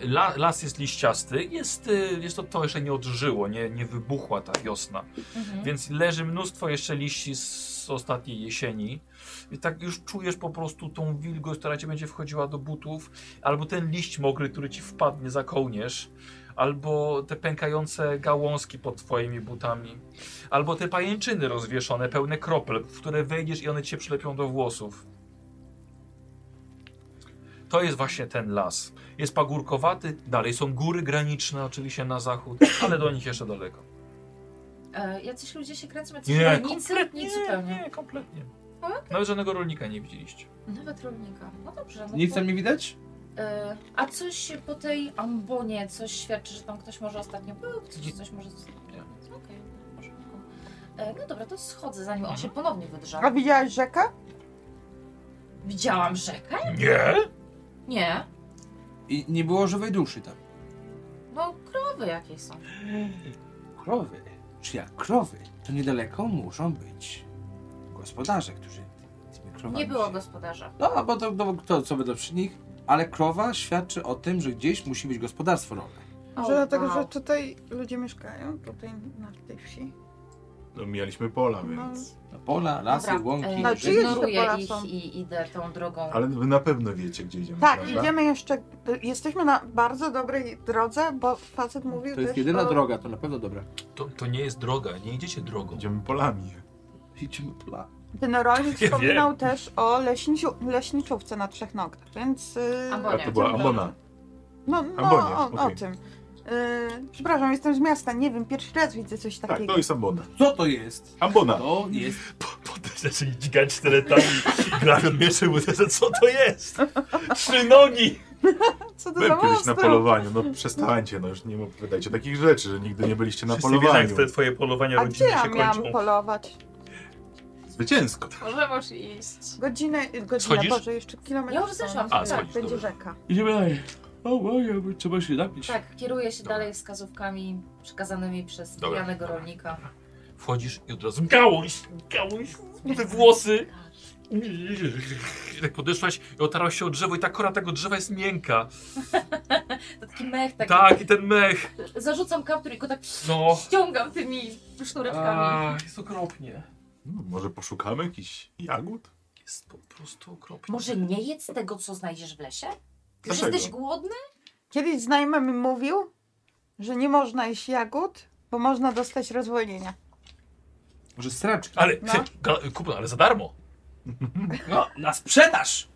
Speaker 1: la, las jest liściasty, jest, e, jest to, to jeszcze nie odżyło, nie, nie wybuchła ta wiosna.
Speaker 5: Mhm.
Speaker 1: Więc leży mnóstwo jeszcze liści z ostatniej jesieni. I tak już czujesz po prostu tą wilgoć, która ci będzie wchodziła do butów, albo ten liść mokry, który ci wpadnie za kołnierz, albo te pękające gałązki pod twoimi butami, albo te pajęczyny rozwieszone, pełne kropel, w które wejdziesz i one ci się przylepią do włosów. To jest właśnie ten las. Jest pagórkowaty, dalej są góry graniczne oczywiście na zachód, ale do nich jeszcze daleko.
Speaker 5: E, jacyś ludzie się kręcą, jacyś
Speaker 1: Nie,
Speaker 5: rolnicy? Nic zupełnie.
Speaker 1: nie, kompletnie.
Speaker 5: Okej.
Speaker 1: Nawet żadnego rolnika nie widzieliście.
Speaker 5: Nawet rolnika. No dobrze. No
Speaker 4: Nic
Speaker 5: to,
Speaker 4: tam nie widać?
Speaker 5: e, a coś po tej ambonie, coś świadczy, że tam ktoś może ostatnio był, coś, coś może zostało.
Speaker 1: Nie.
Speaker 5: Okej, w porządku. E, no dobra, to schodzę, zanim on się ponownie
Speaker 7: A
Speaker 5: wydrza.
Speaker 7: widziałaś rzekę?
Speaker 5: Widziałam rzekę?
Speaker 1: Nie?
Speaker 5: Nie.
Speaker 4: I nie było żywej duszy tam.
Speaker 5: No krowy jakieś są.
Speaker 4: Krowy? Czy jak krowy? To niedaleko muszą być gospodarze, którzy tymi krowami
Speaker 5: Nie było
Speaker 4: się...
Speaker 5: gospodarza.
Speaker 4: No, a bo to, to, to co będą przy nich. Ale krowa świadczy o tym, że gdzieś musi być gospodarstwo rolne.
Speaker 7: Może dlatego, że tutaj ludzie mieszkają, tutaj na tej wsi.
Speaker 2: No, mijaliśmy pola,
Speaker 7: No.
Speaker 2: więc...
Speaker 4: Pola, lasy,
Speaker 5: Dobra,
Speaker 4: łąki,
Speaker 5: e,
Speaker 7: No,
Speaker 4: rzeki.
Speaker 7: czy jest-
Speaker 5: ignoruję
Speaker 7: Pola
Speaker 5: ich
Speaker 7: są.
Speaker 5: i idę tą drogą.
Speaker 2: Ale wy na pewno wiecie, gdzie idziemy,
Speaker 7: Tak,
Speaker 2: prawda?
Speaker 7: idziemy jeszcze. y, Jesteśmy na bardzo dobrej drodze, bo facet mówił
Speaker 4: To jest
Speaker 7: też
Speaker 4: jedyna
Speaker 7: o...
Speaker 4: droga, to na pewno dobra.
Speaker 13: To, to nie jest droga, nie idziecie drogą.
Speaker 2: Idziemy polami.
Speaker 4: Idziemy pola.
Speaker 7: Generalnie
Speaker 6: wiem.
Speaker 7: wspominał też o leśniciu, leśniczówce na trzech nogach, więc. y,
Speaker 5: Ambonia.
Speaker 2: A to była Amona.
Speaker 7: No, no
Speaker 2: Ambonia,
Speaker 7: o, o
Speaker 2: okej.
Speaker 7: tym. Y, przepraszam, jestem z miasta, nie wiem, pierwszy raz widzę coś
Speaker 2: Tak,
Speaker 7: takiego.
Speaker 2: to jest Ambona.
Speaker 4: Co to jest?
Speaker 2: Ambona!
Speaker 4: To jest
Speaker 13: Potem zaczęli dźgać sztyletami, grabią miecze, uderza, co to jest? Trzy nogi!
Speaker 7: Co to za
Speaker 2: Byłem kiedyś na
Speaker 7: monstrum?
Speaker 2: polowaniu, no przestańcie, no już nie opowiadajcie takich rzeczy, że nigdy nie byliście na
Speaker 6: Wszyscy wiedzą,
Speaker 2: polowaniu.
Speaker 6: jak te twoje polowania
Speaker 7: A gdzie
Speaker 6: rodzinne
Speaker 7: ja
Speaker 6: się kończą.
Speaker 7: miałam polować?
Speaker 2: Zwycięsko.
Speaker 5: Może możesz iść.
Speaker 7: Godzinę, godzinę,
Speaker 1: Schodzisz?
Speaker 7: Boże, jeszcze kilometr.
Speaker 5: Ja już
Speaker 7: stąd.
Speaker 5: zeszłam.
Speaker 1: A,
Speaker 7: Tak,
Speaker 1: schodzisz,
Speaker 7: będzie
Speaker 1: dobra.
Speaker 7: rzeka.
Speaker 6: Idziemy dalej. O, oj, trzeba się napić.
Speaker 5: Tak, kieruję się
Speaker 1: Dobra.
Speaker 5: dalej wskazówkami przekazanymi przez
Speaker 1: Dobra.
Speaker 5: pijanego rolnika.
Speaker 1: Wchodzisz i od razu
Speaker 6: Gałąź, gałąź, te włosy.
Speaker 1: I tak podeszłaś i otarłaś się o drzewo i ta kora tego drzewa jest miękka.
Speaker 5: To taki mech, taki.
Speaker 1: Tak, i ten mech.
Speaker 5: Zarzucam kaptur i go tak
Speaker 1: No.
Speaker 5: ściągam tymi sznureczkami.
Speaker 1: Ach, jest okropnie.
Speaker 2: No, może poszukamy jakichś jagód?
Speaker 1: Jest po prostu okropnie.
Speaker 5: Może nie jedz tego, co znajdziesz w lesie? Już
Speaker 2: Dlaczego?
Speaker 5: jesteś głodny?
Speaker 7: Kiedyś znajomy mi mówił, że nie można jeść jagód, bo można dostać rozwolnienia.
Speaker 4: może straczki.
Speaker 1: Ale,
Speaker 7: No.
Speaker 1: no. kupno, ale za darmo.
Speaker 4: No, na sprzedaż!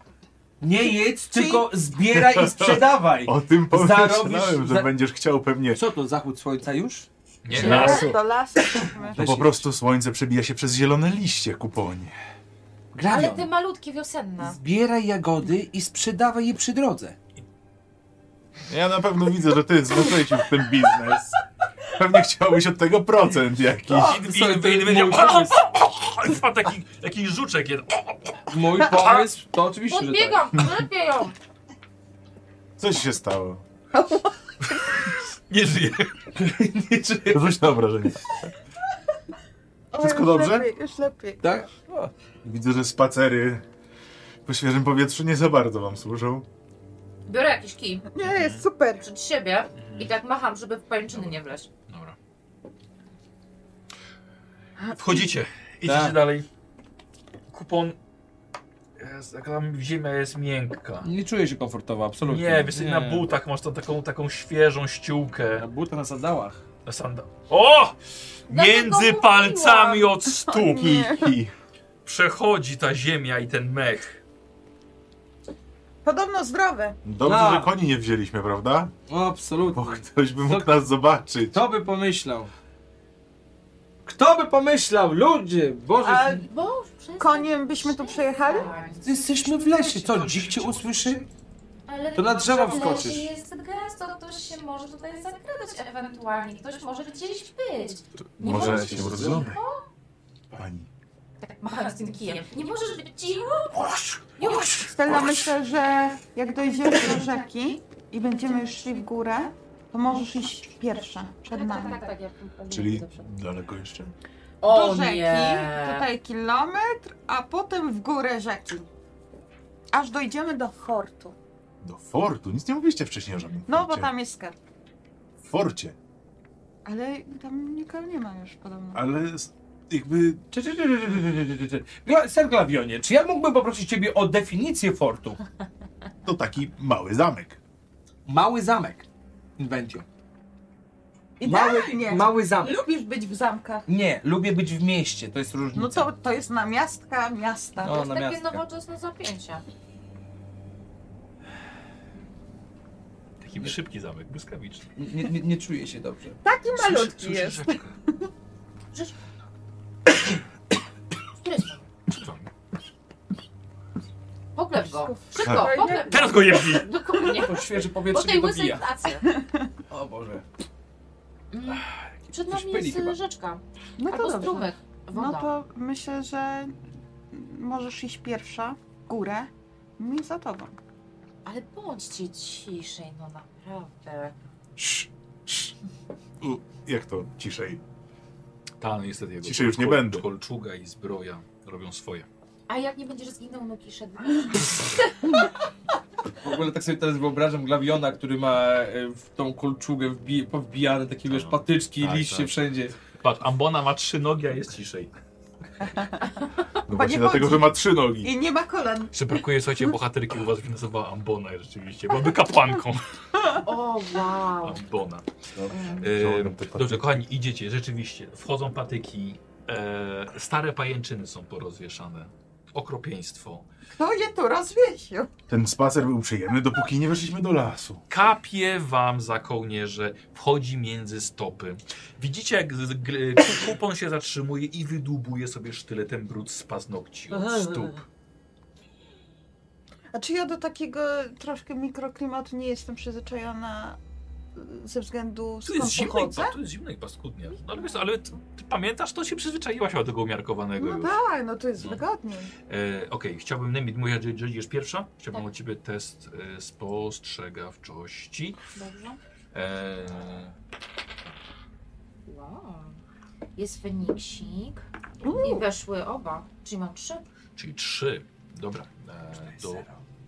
Speaker 4: Nie jedz, tylko zbieraj i sprzedawaj!
Speaker 2: O tym pomyślałem,
Speaker 4: Zarobisz-
Speaker 2: że
Speaker 4: za-
Speaker 2: będziesz chciał pewnie...
Speaker 4: Co to, zachód słońca już?
Speaker 1: Nie,
Speaker 2: Na lasu.
Speaker 7: Do lasu. jesteśmy.
Speaker 2: No po prostu słońce przebija się przez zielone liście, kuponie.
Speaker 5: Ale
Speaker 4: Grawion,
Speaker 5: ty malutkie wiosenne.
Speaker 4: zbieraj jagody i sprzedawaj je przy drodze.
Speaker 2: Ja na pewno widzę, że ty zwróciłeś się w ten biznes. Pewnie chciałbyś od tego procent jakiś.
Speaker 4: Sorry, to jest mój pomysł.
Speaker 1: I wpadł taki, taki żuczek jeden.
Speaker 4: Mój pomysł to oczywiście, że tak.
Speaker 5: Podbiegam, lepiej ją!
Speaker 2: Coś się stało.
Speaker 1: Nie żyje.
Speaker 4: Nie, czy-
Speaker 2: Rzuć na obrażenia.
Speaker 7: O,
Speaker 2: Wszystko
Speaker 7: już
Speaker 2: dobrze?
Speaker 7: Lepiej, już lepiej.
Speaker 4: Tak?
Speaker 2: Widzę, że spacery po świeżym powietrzu nie za bardzo wam służą.
Speaker 5: Biorę jakiś kij
Speaker 7: Nie, jest super.
Speaker 5: przed siebie i tak macham, żeby w pajęczyny nie wleźć.
Speaker 1: Dobra. Wchodzicie. Idziecie
Speaker 4: Tak.
Speaker 1: dalej. Kupon. Jest, jaka tam ziemia jest miękka.
Speaker 4: Nie czuję się komfortowo, absolutnie.
Speaker 1: Nie, wiesz, na butach masz tam taką, taką świeżą
Speaker 4: Na
Speaker 1: ściółkę.
Speaker 4: buta na sandałach.
Speaker 1: Na sanda. O!
Speaker 5: Dlatego
Speaker 1: Między
Speaker 5: mówiłam.
Speaker 1: palcami od stóp
Speaker 2: I, i
Speaker 1: przechodzi ta ziemia i ten mech.
Speaker 7: Podobno zdrowe.
Speaker 2: dobrze,
Speaker 4: Tak.
Speaker 2: że koni nie wzięliśmy, prawda?
Speaker 4: O,
Speaker 2: Bo
Speaker 4: absolutnie.
Speaker 2: ktoś by mógł nas zobaczyć.
Speaker 4: Kto by pomyślał? Kto by pomyślał? Ludzie! Boże,
Speaker 7: A
Speaker 5: Bo przestań.
Speaker 7: koniem byśmy tu przejechali?
Speaker 4: jesteśmy w lesie. Co, dzik cię usłyszy?
Speaker 5: Ale
Speaker 4: To na drzewa wskoczysz.
Speaker 5: Jeśli jest gęsto, to ktoś się może tutaj zakradać ewentualnie. Ktoś może gdzieś być. Nie
Speaker 2: Może
Speaker 5: możesz
Speaker 2: się
Speaker 5: być
Speaker 2: rozglądaj.
Speaker 5: cicho?
Speaker 2: Pani.
Speaker 5: Tak machając tym kijem. Nie możesz być cicho? Już!
Speaker 7: Stella, myślę, że jak dojdziemy do rzeki i będziemy szli w górę, to możesz iść pierwsza, przed
Speaker 5: Tak,
Speaker 7: nami.
Speaker 5: tak, tak, ja
Speaker 2: Czyli daleko jeszcze?
Speaker 5: O
Speaker 7: do rzeki,
Speaker 5: nie!
Speaker 7: tutaj kilometr, a potem w górę rzeki. Aż dojdziemy do fortu.
Speaker 2: Do fortu? Nic nie mówiliście wcześniej o żadnym
Speaker 7: No, bo
Speaker 2: forcie.
Speaker 7: tam jest skarb.
Speaker 2: W forcie.
Speaker 7: Ale tam nikogo nie ma już podobno.
Speaker 2: Ale s- jakby...
Speaker 4: Czy, czy, czy, czy, czy, czy, czy, czy, czy. Gla- Ser Glawionie, czy ja mógłbym poprosić ciebie o definicję fortu?
Speaker 2: To taki mały zamek.
Speaker 4: Mały zamek. Będzie. Mały,
Speaker 7: Idealnie!
Speaker 4: mały zamek.
Speaker 7: tak Lubisz być w zamkach.
Speaker 4: Nie, lubię być w mieście, to jest różnica.
Speaker 7: No to, to jest namiastka miasta.
Speaker 4: No.
Speaker 5: To jest takie
Speaker 4: namiastka.
Speaker 5: nowoczesne zapięcie.
Speaker 1: Taki szybki zamek, błyskawiczny.
Speaker 4: nie, nie, nie czuję się dobrze.
Speaker 7: Taki malutki
Speaker 1: Słyszę-
Speaker 7: jest.
Speaker 1: słyszę rzepkę.
Speaker 5: Który jest?
Speaker 1: Czekam.
Speaker 5: Poklep go. Szybko,
Speaker 2: Wszystko
Speaker 4: Tak.
Speaker 5: poklep go.
Speaker 6: Teraz go jeździ.
Speaker 5: Dokładnie.
Speaker 4: To świeże
Speaker 5: Po
Speaker 4: powietrze
Speaker 5: tej
Speaker 4: mnie
Speaker 5: łysej
Speaker 4: dobija.
Speaker 5: stacji.
Speaker 4: O Boże.
Speaker 5: Mm. Przed
Speaker 4: Coś
Speaker 5: nami
Speaker 4: pyli
Speaker 5: jest y,
Speaker 4: chyba.
Speaker 5: rzeczka.
Speaker 7: No to
Speaker 5: Albo
Speaker 7: dobrze.
Speaker 5: strumyk. Woda.
Speaker 7: No to myślę, że możesz iść pierwsza w górę. Mi za tobą.
Speaker 5: Ale bądźcie ciszej, no naprawdę.
Speaker 2: U, jak to? Ciszej.
Speaker 1: Ta, no niestety jego
Speaker 2: Ciszej już nie
Speaker 1: kol-
Speaker 2: będę.
Speaker 1: Kolczuga i zbroja robią swoje.
Speaker 5: A jak nie będziesz zginął, no kiszek.
Speaker 4: W ogóle tak sobie teraz wyobrażam Glawiona, który ma e, w tą kolczugę wbi powbijane takie wiesz, patyczki,
Speaker 1: Tak,
Speaker 4: liście
Speaker 1: tak.
Speaker 4: wszędzie.
Speaker 1: Patrz, ambona ma trzy nogi, a jest ciszej.
Speaker 2: No
Speaker 7: nie
Speaker 2: właśnie dlatego,
Speaker 7: chodzi.
Speaker 2: że ma trzy nogi.
Speaker 7: I nie ma kolan.
Speaker 1: Czy brakuje, słuchajcie, bohaterki u was by nazywała ambona i rzeczywiście, byłaby kapłanką.
Speaker 5: O, wow.
Speaker 1: Ambona.
Speaker 14: Założę
Speaker 1: Ym,
Speaker 14: te patyki.
Speaker 1: dobrze, kochani, idziecie, rzeczywiście. Wchodzą patyki, e, stare pajęczyny są porozwieszane. Okropieństwo.
Speaker 7: Kto je tu rozwiesił?
Speaker 2: Ten spacer był przyjemny, dopóki nie weszliśmy do lasu.
Speaker 1: kapie wam za kołnierze, wchodzi między stopy. Widzicie, jak z- gr- ku- kupon się zatrzymuje i wydłubuje sobie sztyletem brud z paznokci od stóp.
Speaker 7: A czy ja do takiego troszkę mikroklimatu nie jestem przyzwyczajona y, ze względu
Speaker 1: To jest
Speaker 7: skąd
Speaker 1: zimno i,
Speaker 7: pochodzę?
Speaker 1: pa- to jest zimno i paskudnie. No, ale, wiesz, co, ale ty, ty pamiętasz, to się przyzwyczaiłaś do tego umiarkowanego
Speaker 7: No
Speaker 1: już.
Speaker 7: tak, no to jest wygodniej.
Speaker 1: E, Okej, chciałbym, Nemid, mówić, że że idziesz pierwsza. Chciałbym
Speaker 5: Tak.
Speaker 1: od ciebie test e, spostrzegawczości.
Speaker 5: Dobrze.
Speaker 1: E,
Speaker 5: Wow. Jest Feniksik.
Speaker 7: Uuu.
Speaker 5: I weszły oba. Czyli mam trzy.
Speaker 1: czyli trzy. Dobra, e, do,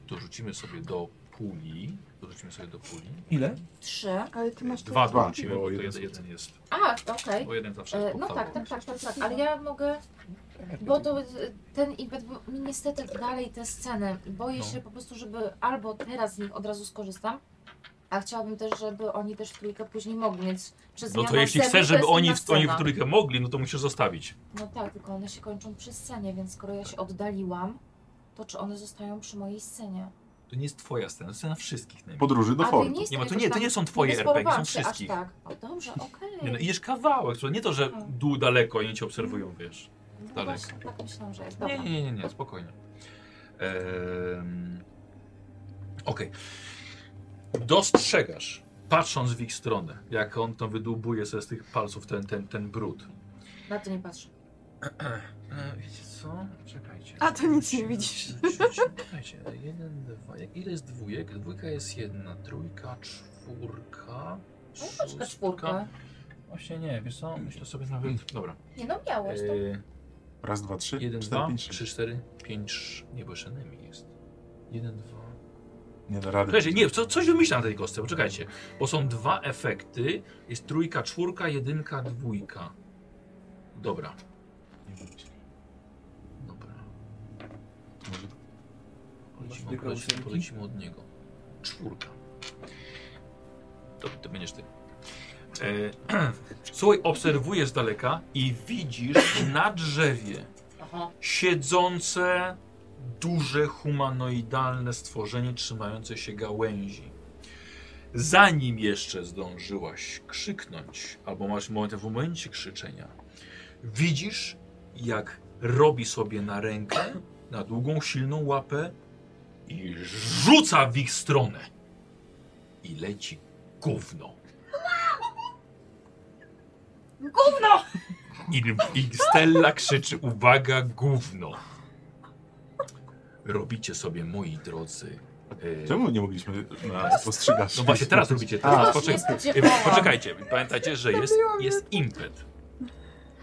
Speaker 1: dorzucimy sobie do puli. Dorzucimy sobie do puli. E,
Speaker 4: Ile?
Speaker 5: Trzy.
Speaker 7: Ale ty masz
Speaker 1: Dwa
Speaker 2: Dwa,
Speaker 1: dorzucimy, bo
Speaker 2: bo
Speaker 1: to
Speaker 2: jeden
Speaker 1: jeden,
Speaker 2: sobie.
Speaker 1: jeden jest.
Speaker 5: A, okej.
Speaker 1: Bo jeden zawsze
Speaker 5: E,
Speaker 1: jest
Speaker 5: No
Speaker 1: podstawą.
Speaker 5: tak, tak, tak, tak, tak, ale ja mogę, bo to e, ten impet, bo mi niestety dalej te sceny, boję
Speaker 1: No.
Speaker 5: się po prostu, żeby albo teraz z nich od razu skorzystam, a chciałabym też, żeby oni też w trójkę później mogli, więc przez
Speaker 1: No to jeśli chcesz, żeby oni w, oni w
Speaker 5: trójkę...
Speaker 1: trójkę mogli, no to musisz zostawić.
Speaker 5: No tak, tylko one się kończą przy scenie, więc skoro ja się oddaliłam, to czy one zostają przy mojej scenie?
Speaker 1: To nie jest twoja scena, to scena wszystkich. Najmniej.
Speaker 2: Podróży do
Speaker 5: A, to
Speaker 2: fortu.
Speaker 5: jest
Speaker 1: Nie ma, to
Speaker 5: jakoś
Speaker 1: nie, to
Speaker 5: tam-
Speaker 1: nie są twoje RPG,
Speaker 5: rozporowałam
Speaker 1: są
Speaker 5: się aż
Speaker 1: wszystkich.
Speaker 5: tak. O, dobrze, okej.
Speaker 1: Nie, no, idziesz kawałek, słuchaj, nie to, że dół daleko i oni cię obserwują, wiesz.
Speaker 5: No
Speaker 1: daleko.
Speaker 5: właśnie, tak myślałam, że jest. Dobra.
Speaker 1: Nie, nie, nie, nie, nie spokojnie. Ehm, Okej. Dostrzegasz, patrząc w ich stronę, jak on to wydłubuje sobie z tych palców ten, ten, ten brud.
Speaker 5: Na to nie patrzę.
Speaker 1: E, Wiecie co? Czekajcie.
Speaker 7: A, to nic nie widzisz.
Speaker 1: Czekajcie, jeden, dwa. Jak ile jest dwójek? Dwójka jest jedna, trójka, czwórka.
Speaker 5: No i patrz na czwórkę.
Speaker 1: Właśnie nie, wiesz co? Myślę sobie nawet. Dobra.
Speaker 5: Nie no, miałeś to.
Speaker 1: E,
Speaker 2: Raz, dwa, trzy,
Speaker 1: jeden,
Speaker 2: cztery,
Speaker 1: dwa,
Speaker 2: pięć, sześć.
Speaker 1: trzy, cztery, pięć. sz- Nie, bo jeszcze Nemi jest. Jeden, dwa.
Speaker 2: Nie da rady.
Speaker 1: Czekajcie, nie, co, coś wymyślę na tej kostce, poczekajcie. Bo są dwa efekty. Jest trójka, czwórka, jedynka, dwójka. Dobra,
Speaker 2: Nie wymyślę.
Speaker 1: dobra.
Speaker 2: Może
Speaker 1: Polecimy,
Speaker 4: tylko
Speaker 1: polecimy,
Speaker 4: ósemki?
Speaker 1: polecimy od niego. Czwórka. To, to będziesz ty. E, Słuchaj, obserwujesz z daleka i widzisz na drzewie
Speaker 5: Aha.
Speaker 1: siedzące duże humanoidalne stworzenie trzymające się gałęzi. Zanim jeszcze zdążyłaś krzyknąć, albo masz moment w momencie krzyczenia, widzisz, jak robi sobie na rękę, na długą, silną łapę i rzuca w ich stronę. I leci gówno.
Speaker 5: Gówno!
Speaker 1: I, i Stella krzyczy, uwaga, gówno. Robicie sobie, moi drodzy. e,
Speaker 2: Czemu nie mogliśmy na spostrzegawczość?
Speaker 1: No właśnie teraz robicie
Speaker 2: A,
Speaker 1: teraz.
Speaker 5: Właśnie
Speaker 1: Poczekaj,
Speaker 5: spodziewałam.
Speaker 1: e, poczekajcie, pamiętajcie, że jest, jest impet.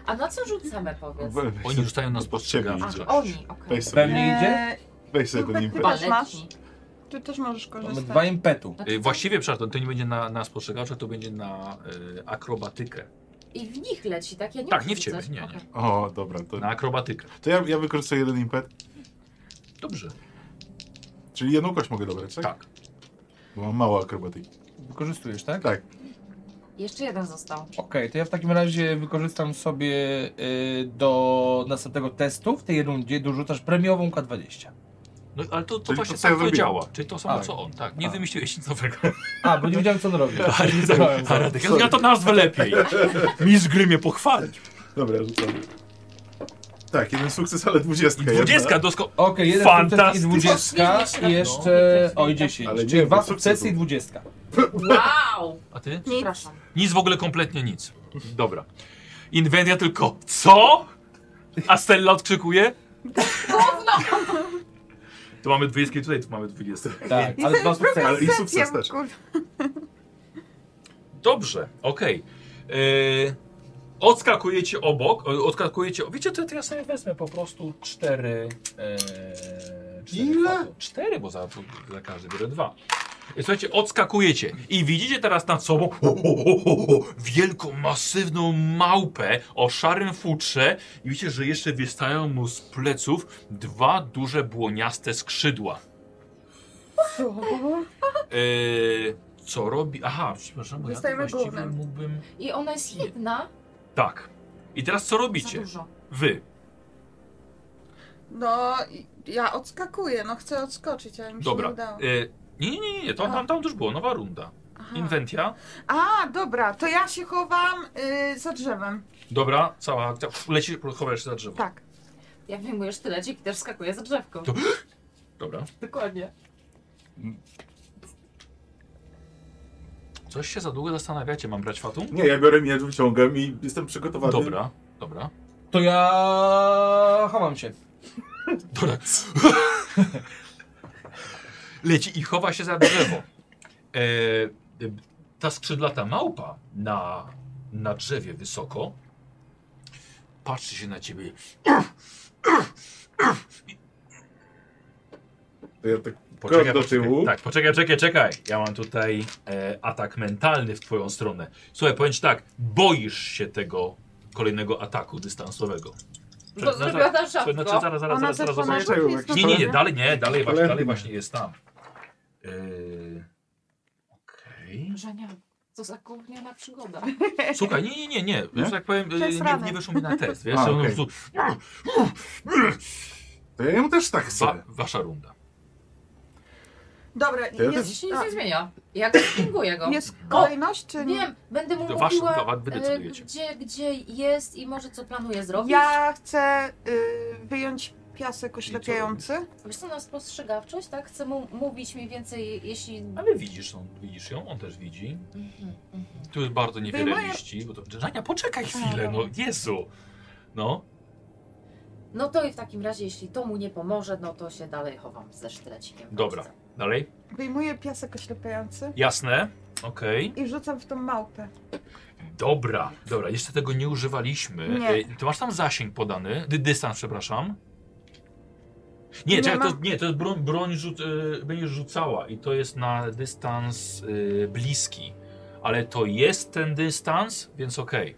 Speaker 5: A na co rzucamy, powiedz?
Speaker 2: We- weź
Speaker 1: Oni
Speaker 2: sobie-
Speaker 1: rzucają na
Speaker 2: pod ciebie
Speaker 5: A,
Speaker 1: spostrzegawczość.
Speaker 5: oni, okej.
Speaker 2: Weź sobie,
Speaker 4: Steli idzie?
Speaker 7: E,
Speaker 2: weź sobie ten
Speaker 7: Super,
Speaker 2: impet.
Speaker 7: chyba- Też masz?
Speaker 5: Baletni.
Speaker 7: ty też możesz
Speaker 4: Mamy dwa
Speaker 7: korzystać.
Speaker 4: impetu.
Speaker 1: E, Właściwie, przepraszam, to nie będzie na, na spostrzegawcze, to będzie na e, akrobatykę.
Speaker 5: I w nich leci, tak? Ja nie
Speaker 1: Tak,
Speaker 5: muszę
Speaker 1: nie w ciebie,
Speaker 5: rzucać.
Speaker 1: nie, nie.
Speaker 5: Okej.
Speaker 2: O, dobra, to,
Speaker 1: Na akrobatykę.
Speaker 2: to ja, ja wykorzystuję jeden impet,
Speaker 1: Dobrze,
Speaker 2: czyli jedną kość mogę dobrać, tak?
Speaker 1: tak.
Speaker 2: Bo mam mało akrobatyki.
Speaker 4: Wykorzystujesz, tak?
Speaker 2: Tak,
Speaker 5: Jeszcze jeden został.
Speaker 4: Okej, to ja w takim razie wykorzystam sobie y, do następnego testu w tej rundzie dorzucasz premiową K20.
Speaker 1: No ale to, to
Speaker 2: Czyli
Speaker 1: właśnie
Speaker 2: to, co
Speaker 1: tak
Speaker 2: ja
Speaker 1: to
Speaker 2: zrobiłem.
Speaker 1: działa. Czyli to samo
Speaker 4: Tak.
Speaker 1: co on, tak. Nie
Speaker 4: Tak.
Speaker 1: wymyśliłeś nic nowego.
Speaker 4: A, bo nie wiedziałem co on robi. Nie zdałem.
Speaker 1: A Radek, ja to nazwę lepiej. Mistrz gry mnie pochwalił.
Speaker 2: dobra, rzucamy. Tak, jeden sukces, ale dwudziestka. jedna.
Speaker 1: 20 dosko...
Speaker 4: Okej, jeden sukces i
Speaker 1: Fantastycznie.
Speaker 4: 20 i jeszcze... Oj, 10.
Speaker 2: Ale nie,
Speaker 4: Czyli dwa
Speaker 2: bo sukces
Speaker 4: sukcesy i
Speaker 2: był.
Speaker 4: 20.
Speaker 5: Wow!
Speaker 1: A ty?
Speaker 5: Przepraszam.
Speaker 1: Nic w ogóle, kompletnie nic. Dobra. Inwendia tylko, co? A Stella odkrzykuje? Tu mamy 20 tutaj, tu mamy 20.
Speaker 4: Tak, ale dwa
Speaker 2: Ale
Speaker 4: sukcesy.
Speaker 2: i sukces też.
Speaker 7: Kur...
Speaker 1: Dobrze, okej. Yy, odskakujecie obok, o- odskakujecie... Wiecie, to, to ja sobie wezmę po prostu cztery... Yy, cztery
Speaker 2: Ile?
Speaker 1: foto. Cztery, bo za, za każdy biorę dwa. Słuchajcie, odskakujecie i widzicie teraz nad sobą ho, ho, ho, ho, ho, wielką, masywną małpę o szarym futrze i widzicie, że jeszcze wystają mu z pleców dwa duże błoniaste skrzydła. Yy, co robi? Aha, przepraszam, bo ja to
Speaker 14: Zostajemy
Speaker 1: właściwie
Speaker 14: głównym.
Speaker 1: mógłbym...
Speaker 5: I ona jest jedna.
Speaker 1: Tak. I teraz co
Speaker 5: Za
Speaker 1: robicie?
Speaker 5: dużo.
Speaker 1: Wy.
Speaker 3: No, i- ja odskakuję, no chcę odskoczyć, ale mi się nie
Speaker 1: Dobra.
Speaker 3: udało.
Speaker 1: Yy, nie, nie, nie, nie, tam, tam, tam już było, nowa runda.
Speaker 3: Aha.
Speaker 1: Inwentia.
Speaker 3: A, dobra, to ja się chowam y, za drzewem.
Speaker 1: Dobra, cała akcja. Lecisz, chowasz się za drzewo.
Speaker 3: Tak.
Speaker 5: Ja wyjmuję sztylecik i też skakuję za drzewko.
Speaker 1: To- Dobra.
Speaker 5: Dokładnie.
Speaker 1: Coś się za długo zastanawiacie, mam brać fatum?
Speaker 2: Nie, ja biorę miecz, wyciągam i jestem przygotowany.
Speaker 1: Dobra, dobra.
Speaker 4: To ja chowam się.
Speaker 1: Dobra. Leci i chowa się za drzewo. E, e, ta skrzydlata małpa na, na drzewie wysoko patrzy się na ciebie.
Speaker 2: To ja tak
Speaker 1: Poczekaj,
Speaker 2: krok do tyłu.
Speaker 1: Tak, poczekaj, czekaj, czekaj. Ja mam tutaj e, atak mentalny w twoją stronę. Słuchaj, powiem ci tak, boisz się tego kolejnego ataku dystansowego.
Speaker 5: Bo
Speaker 1: Prze-
Speaker 5: zrobiła tam
Speaker 1: Słuchaj, no,
Speaker 5: szafko.
Speaker 1: zaraz, zaraz,
Speaker 7: Ona
Speaker 1: zaraz,
Speaker 7: też
Speaker 1: zaraz,
Speaker 7: po
Speaker 1: zaraz.
Speaker 7: naszych
Speaker 2: zobaczymy.
Speaker 7: jest
Speaker 1: Nie, nie, nie,
Speaker 7: normalna.
Speaker 1: dalej nie, dalej właśnie,
Speaker 2: Cholerny.
Speaker 1: dalej właśnie jest tam. Yy, Okej.
Speaker 5: Żenia, to za gówniana przygoda.
Speaker 1: Słuchaj, nie, nie, nie, nie.
Speaker 2: Nie?
Speaker 1: Że tak powiem, yy,
Speaker 7: Przez
Speaker 1: nie,
Speaker 7: ranę.
Speaker 1: nie wyszło mi na test. Wiesz,
Speaker 2: A,
Speaker 1: że on
Speaker 2: okej.
Speaker 1: po prostu-
Speaker 2: To ja ją też tak
Speaker 1: Wa,
Speaker 2: chcę.
Speaker 1: wasza runda.
Speaker 3: Dobra,
Speaker 2: To ja
Speaker 3: jest,
Speaker 5: Dziś się nic
Speaker 3: a,
Speaker 5: nie zmienia. Ja go spinguję go.
Speaker 7: Jest kolejność, czy nie?
Speaker 5: Wiem, będę mu
Speaker 1: To wasz-
Speaker 5: mówiła,
Speaker 1: to wa- wy
Speaker 5: e,
Speaker 1: decydujecie.
Speaker 5: gdzie, gdzie jest i może co planuje zrobić.
Speaker 7: Ja chcę y, wyjąć piasek oślepiający.
Speaker 5: Wiesz co, na spostrzegawczość, tak? Chcę mu mówić mniej więcej, jeśli...
Speaker 1: Ale widzisz, on, widzisz ją, on też widzi.
Speaker 5: Mhm, mhm.
Speaker 1: Tu jest bardzo niewiele
Speaker 7: Wyjmuję-
Speaker 1: liści, bo to... Żania, poczekaj chwilę,
Speaker 5: A,
Speaker 1: no Jezu. No,
Speaker 5: No to i w takim razie, jeśli to mu nie pomoże, no to się dalej chowam ze sztylecikiem. w
Speaker 1: Dobra.
Speaker 5: ręce.
Speaker 1: dalej.
Speaker 7: Wyjmuję piasek oślepiający
Speaker 1: Jasne, okej.
Speaker 7: i wrzucam w tą małpę.
Speaker 1: Dobra, dobra, jeszcze tego nie używaliśmy.
Speaker 7: Nie.
Speaker 1: Nie. Ty masz tam zasięg podany, dy, dystans, przepraszam. Nie,
Speaker 7: Nie
Speaker 1: czekaj, to,
Speaker 7: mam.
Speaker 1: nie, to jest broń, broń rzut, y, będziesz rzucała i to jest na dystans y, bliski. Ale to jest ten dystans, więc okej.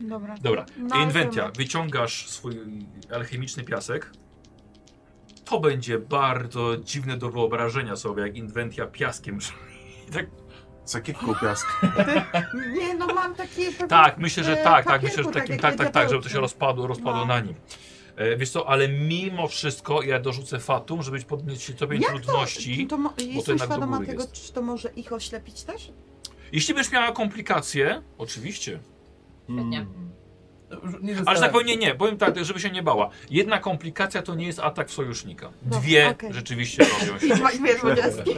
Speaker 7: Dobra.
Speaker 1: Dobra,
Speaker 7: No,
Speaker 1: Inwentia, wyciągasz swój alchemiczny piasek. To będzie bardzo dziwne do wyobrażenia sobie, jak Inwentia piaskiem. I tak,
Speaker 2: Sakiewką piasku.
Speaker 7: Nie, no mam takie... pewne-
Speaker 1: tak, myślę, że
Speaker 7: e,
Speaker 1: tak, tak,
Speaker 7: papierku,
Speaker 1: myślę, że
Speaker 7: tak
Speaker 1: takim,
Speaker 7: jak
Speaker 1: tak, tak, tak, żeby to
Speaker 7: diabełki.
Speaker 1: się rozpadło, rozpadło
Speaker 7: No.
Speaker 1: na nim. E, wiesz co, ale mimo wszystko ja dorzucę fatum, żeby podnieść sobie
Speaker 7: Jak to-
Speaker 1: trudności.
Speaker 7: To mo- jestem
Speaker 1: jednak do
Speaker 7: świadoma
Speaker 1: góry
Speaker 7: tego,
Speaker 1: jest.
Speaker 7: czy to może ich oślepić też?
Speaker 1: Jeśli będziesz miała komplikacje, oczywiście.
Speaker 7: Tak.
Speaker 5: Świetnie.
Speaker 2: Hmm.
Speaker 4: Nie
Speaker 1: Ale że tak
Speaker 4: zostawiam.
Speaker 1: powiem, nie, nie, powiem tak, żeby się nie bała. Jedna komplikacja to nie jest atak sojusznika.
Speaker 7: Dobra,
Speaker 1: Dwie
Speaker 7: okej. Tak,
Speaker 1: rzeczywiście robią się. tak
Speaker 7: Dwie dwudziestki.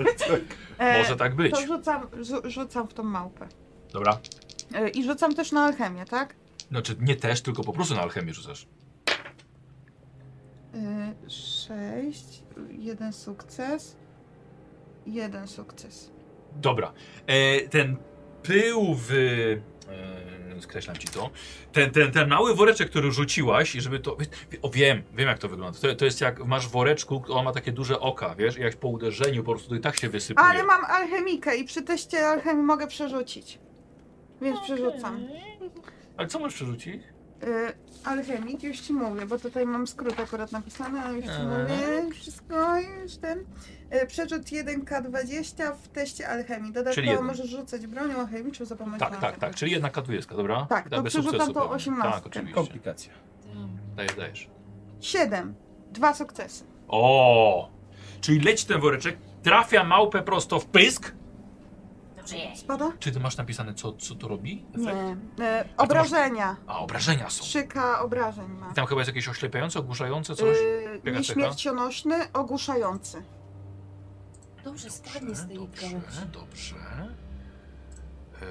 Speaker 7: E,
Speaker 1: Może tak być.
Speaker 7: To rzucam, rzu- rzucam w tą małpę.
Speaker 1: Dobra.
Speaker 7: E, I rzucam też na alchemię, tak?
Speaker 1: Znaczy nie też, tylko po prostu na alchemię rzucasz.
Speaker 7: Y, Sześć, jeden sukces, jeden sukces.
Speaker 1: Dobra. E, ten pył w... E, skreślam ci to. Ten, ten, ten mały woreczek, który rzuciłaś i żeby to... O, wiem, wiem jak to wygląda. To, to jest jak masz w woreczku, on ma takie duże oka, wiesz? I jak po uderzeniu po prostu to i tak się wysypuje.
Speaker 7: Ale mam alchemikę i przy teście alchemii mogę przerzucić. Więc przerzucam.
Speaker 1: Ale co możesz przerzucić?
Speaker 7: Y, alchemik, już ci mówię, bo tutaj mam skrót akurat napisany, ale już ci
Speaker 1: Eee.
Speaker 7: mówię. Wszystko, już ten. Y, przerzut 1K20 w teście alchemii. Dodatkowo
Speaker 1: jeden.
Speaker 7: możesz rzucać bronią alchemiczną za pomocą
Speaker 1: Tak, tak,
Speaker 7: alchemii.
Speaker 1: tak. Czyli jedna K20, dobra?
Speaker 7: Tak, to
Speaker 1: Da- bez
Speaker 7: przerzucam
Speaker 1: sukcesu
Speaker 7: tą
Speaker 1: pewnie. Tak,
Speaker 7: osiemnastkę.
Speaker 1: oczywiście.
Speaker 4: Komplikacja.
Speaker 1: Dajesz, dajesz.
Speaker 7: Siedem. Dwa sukcesy.
Speaker 1: O! Czyli leci ten woreczek, trafia małpę prosto w pysk.
Speaker 5: Dobrze jest.
Speaker 7: Spada?
Speaker 1: Czy ty masz napisane, co, co to robi?
Speaker 7: Nie.
Speaker 1: Efekt?
Speaker 7: E, obrażenia.
Speaker 1: A, obrażenia są.
Speaker 7: 3K obrażeń ma.
Speaker 1: I tam chyba jest jakieś oślepiające, ogłuszające coś.
Speaker 7: Yy,
Speaker 1: Czeka,
Speaker 7: nieśmiercionośny, ogłuszający.
Speaker 5: Dobrze, spadnie z tej
Speaker 1: dobrze,
Speaker 5: gałęzi.
Speaker 1: dobrze. Eee,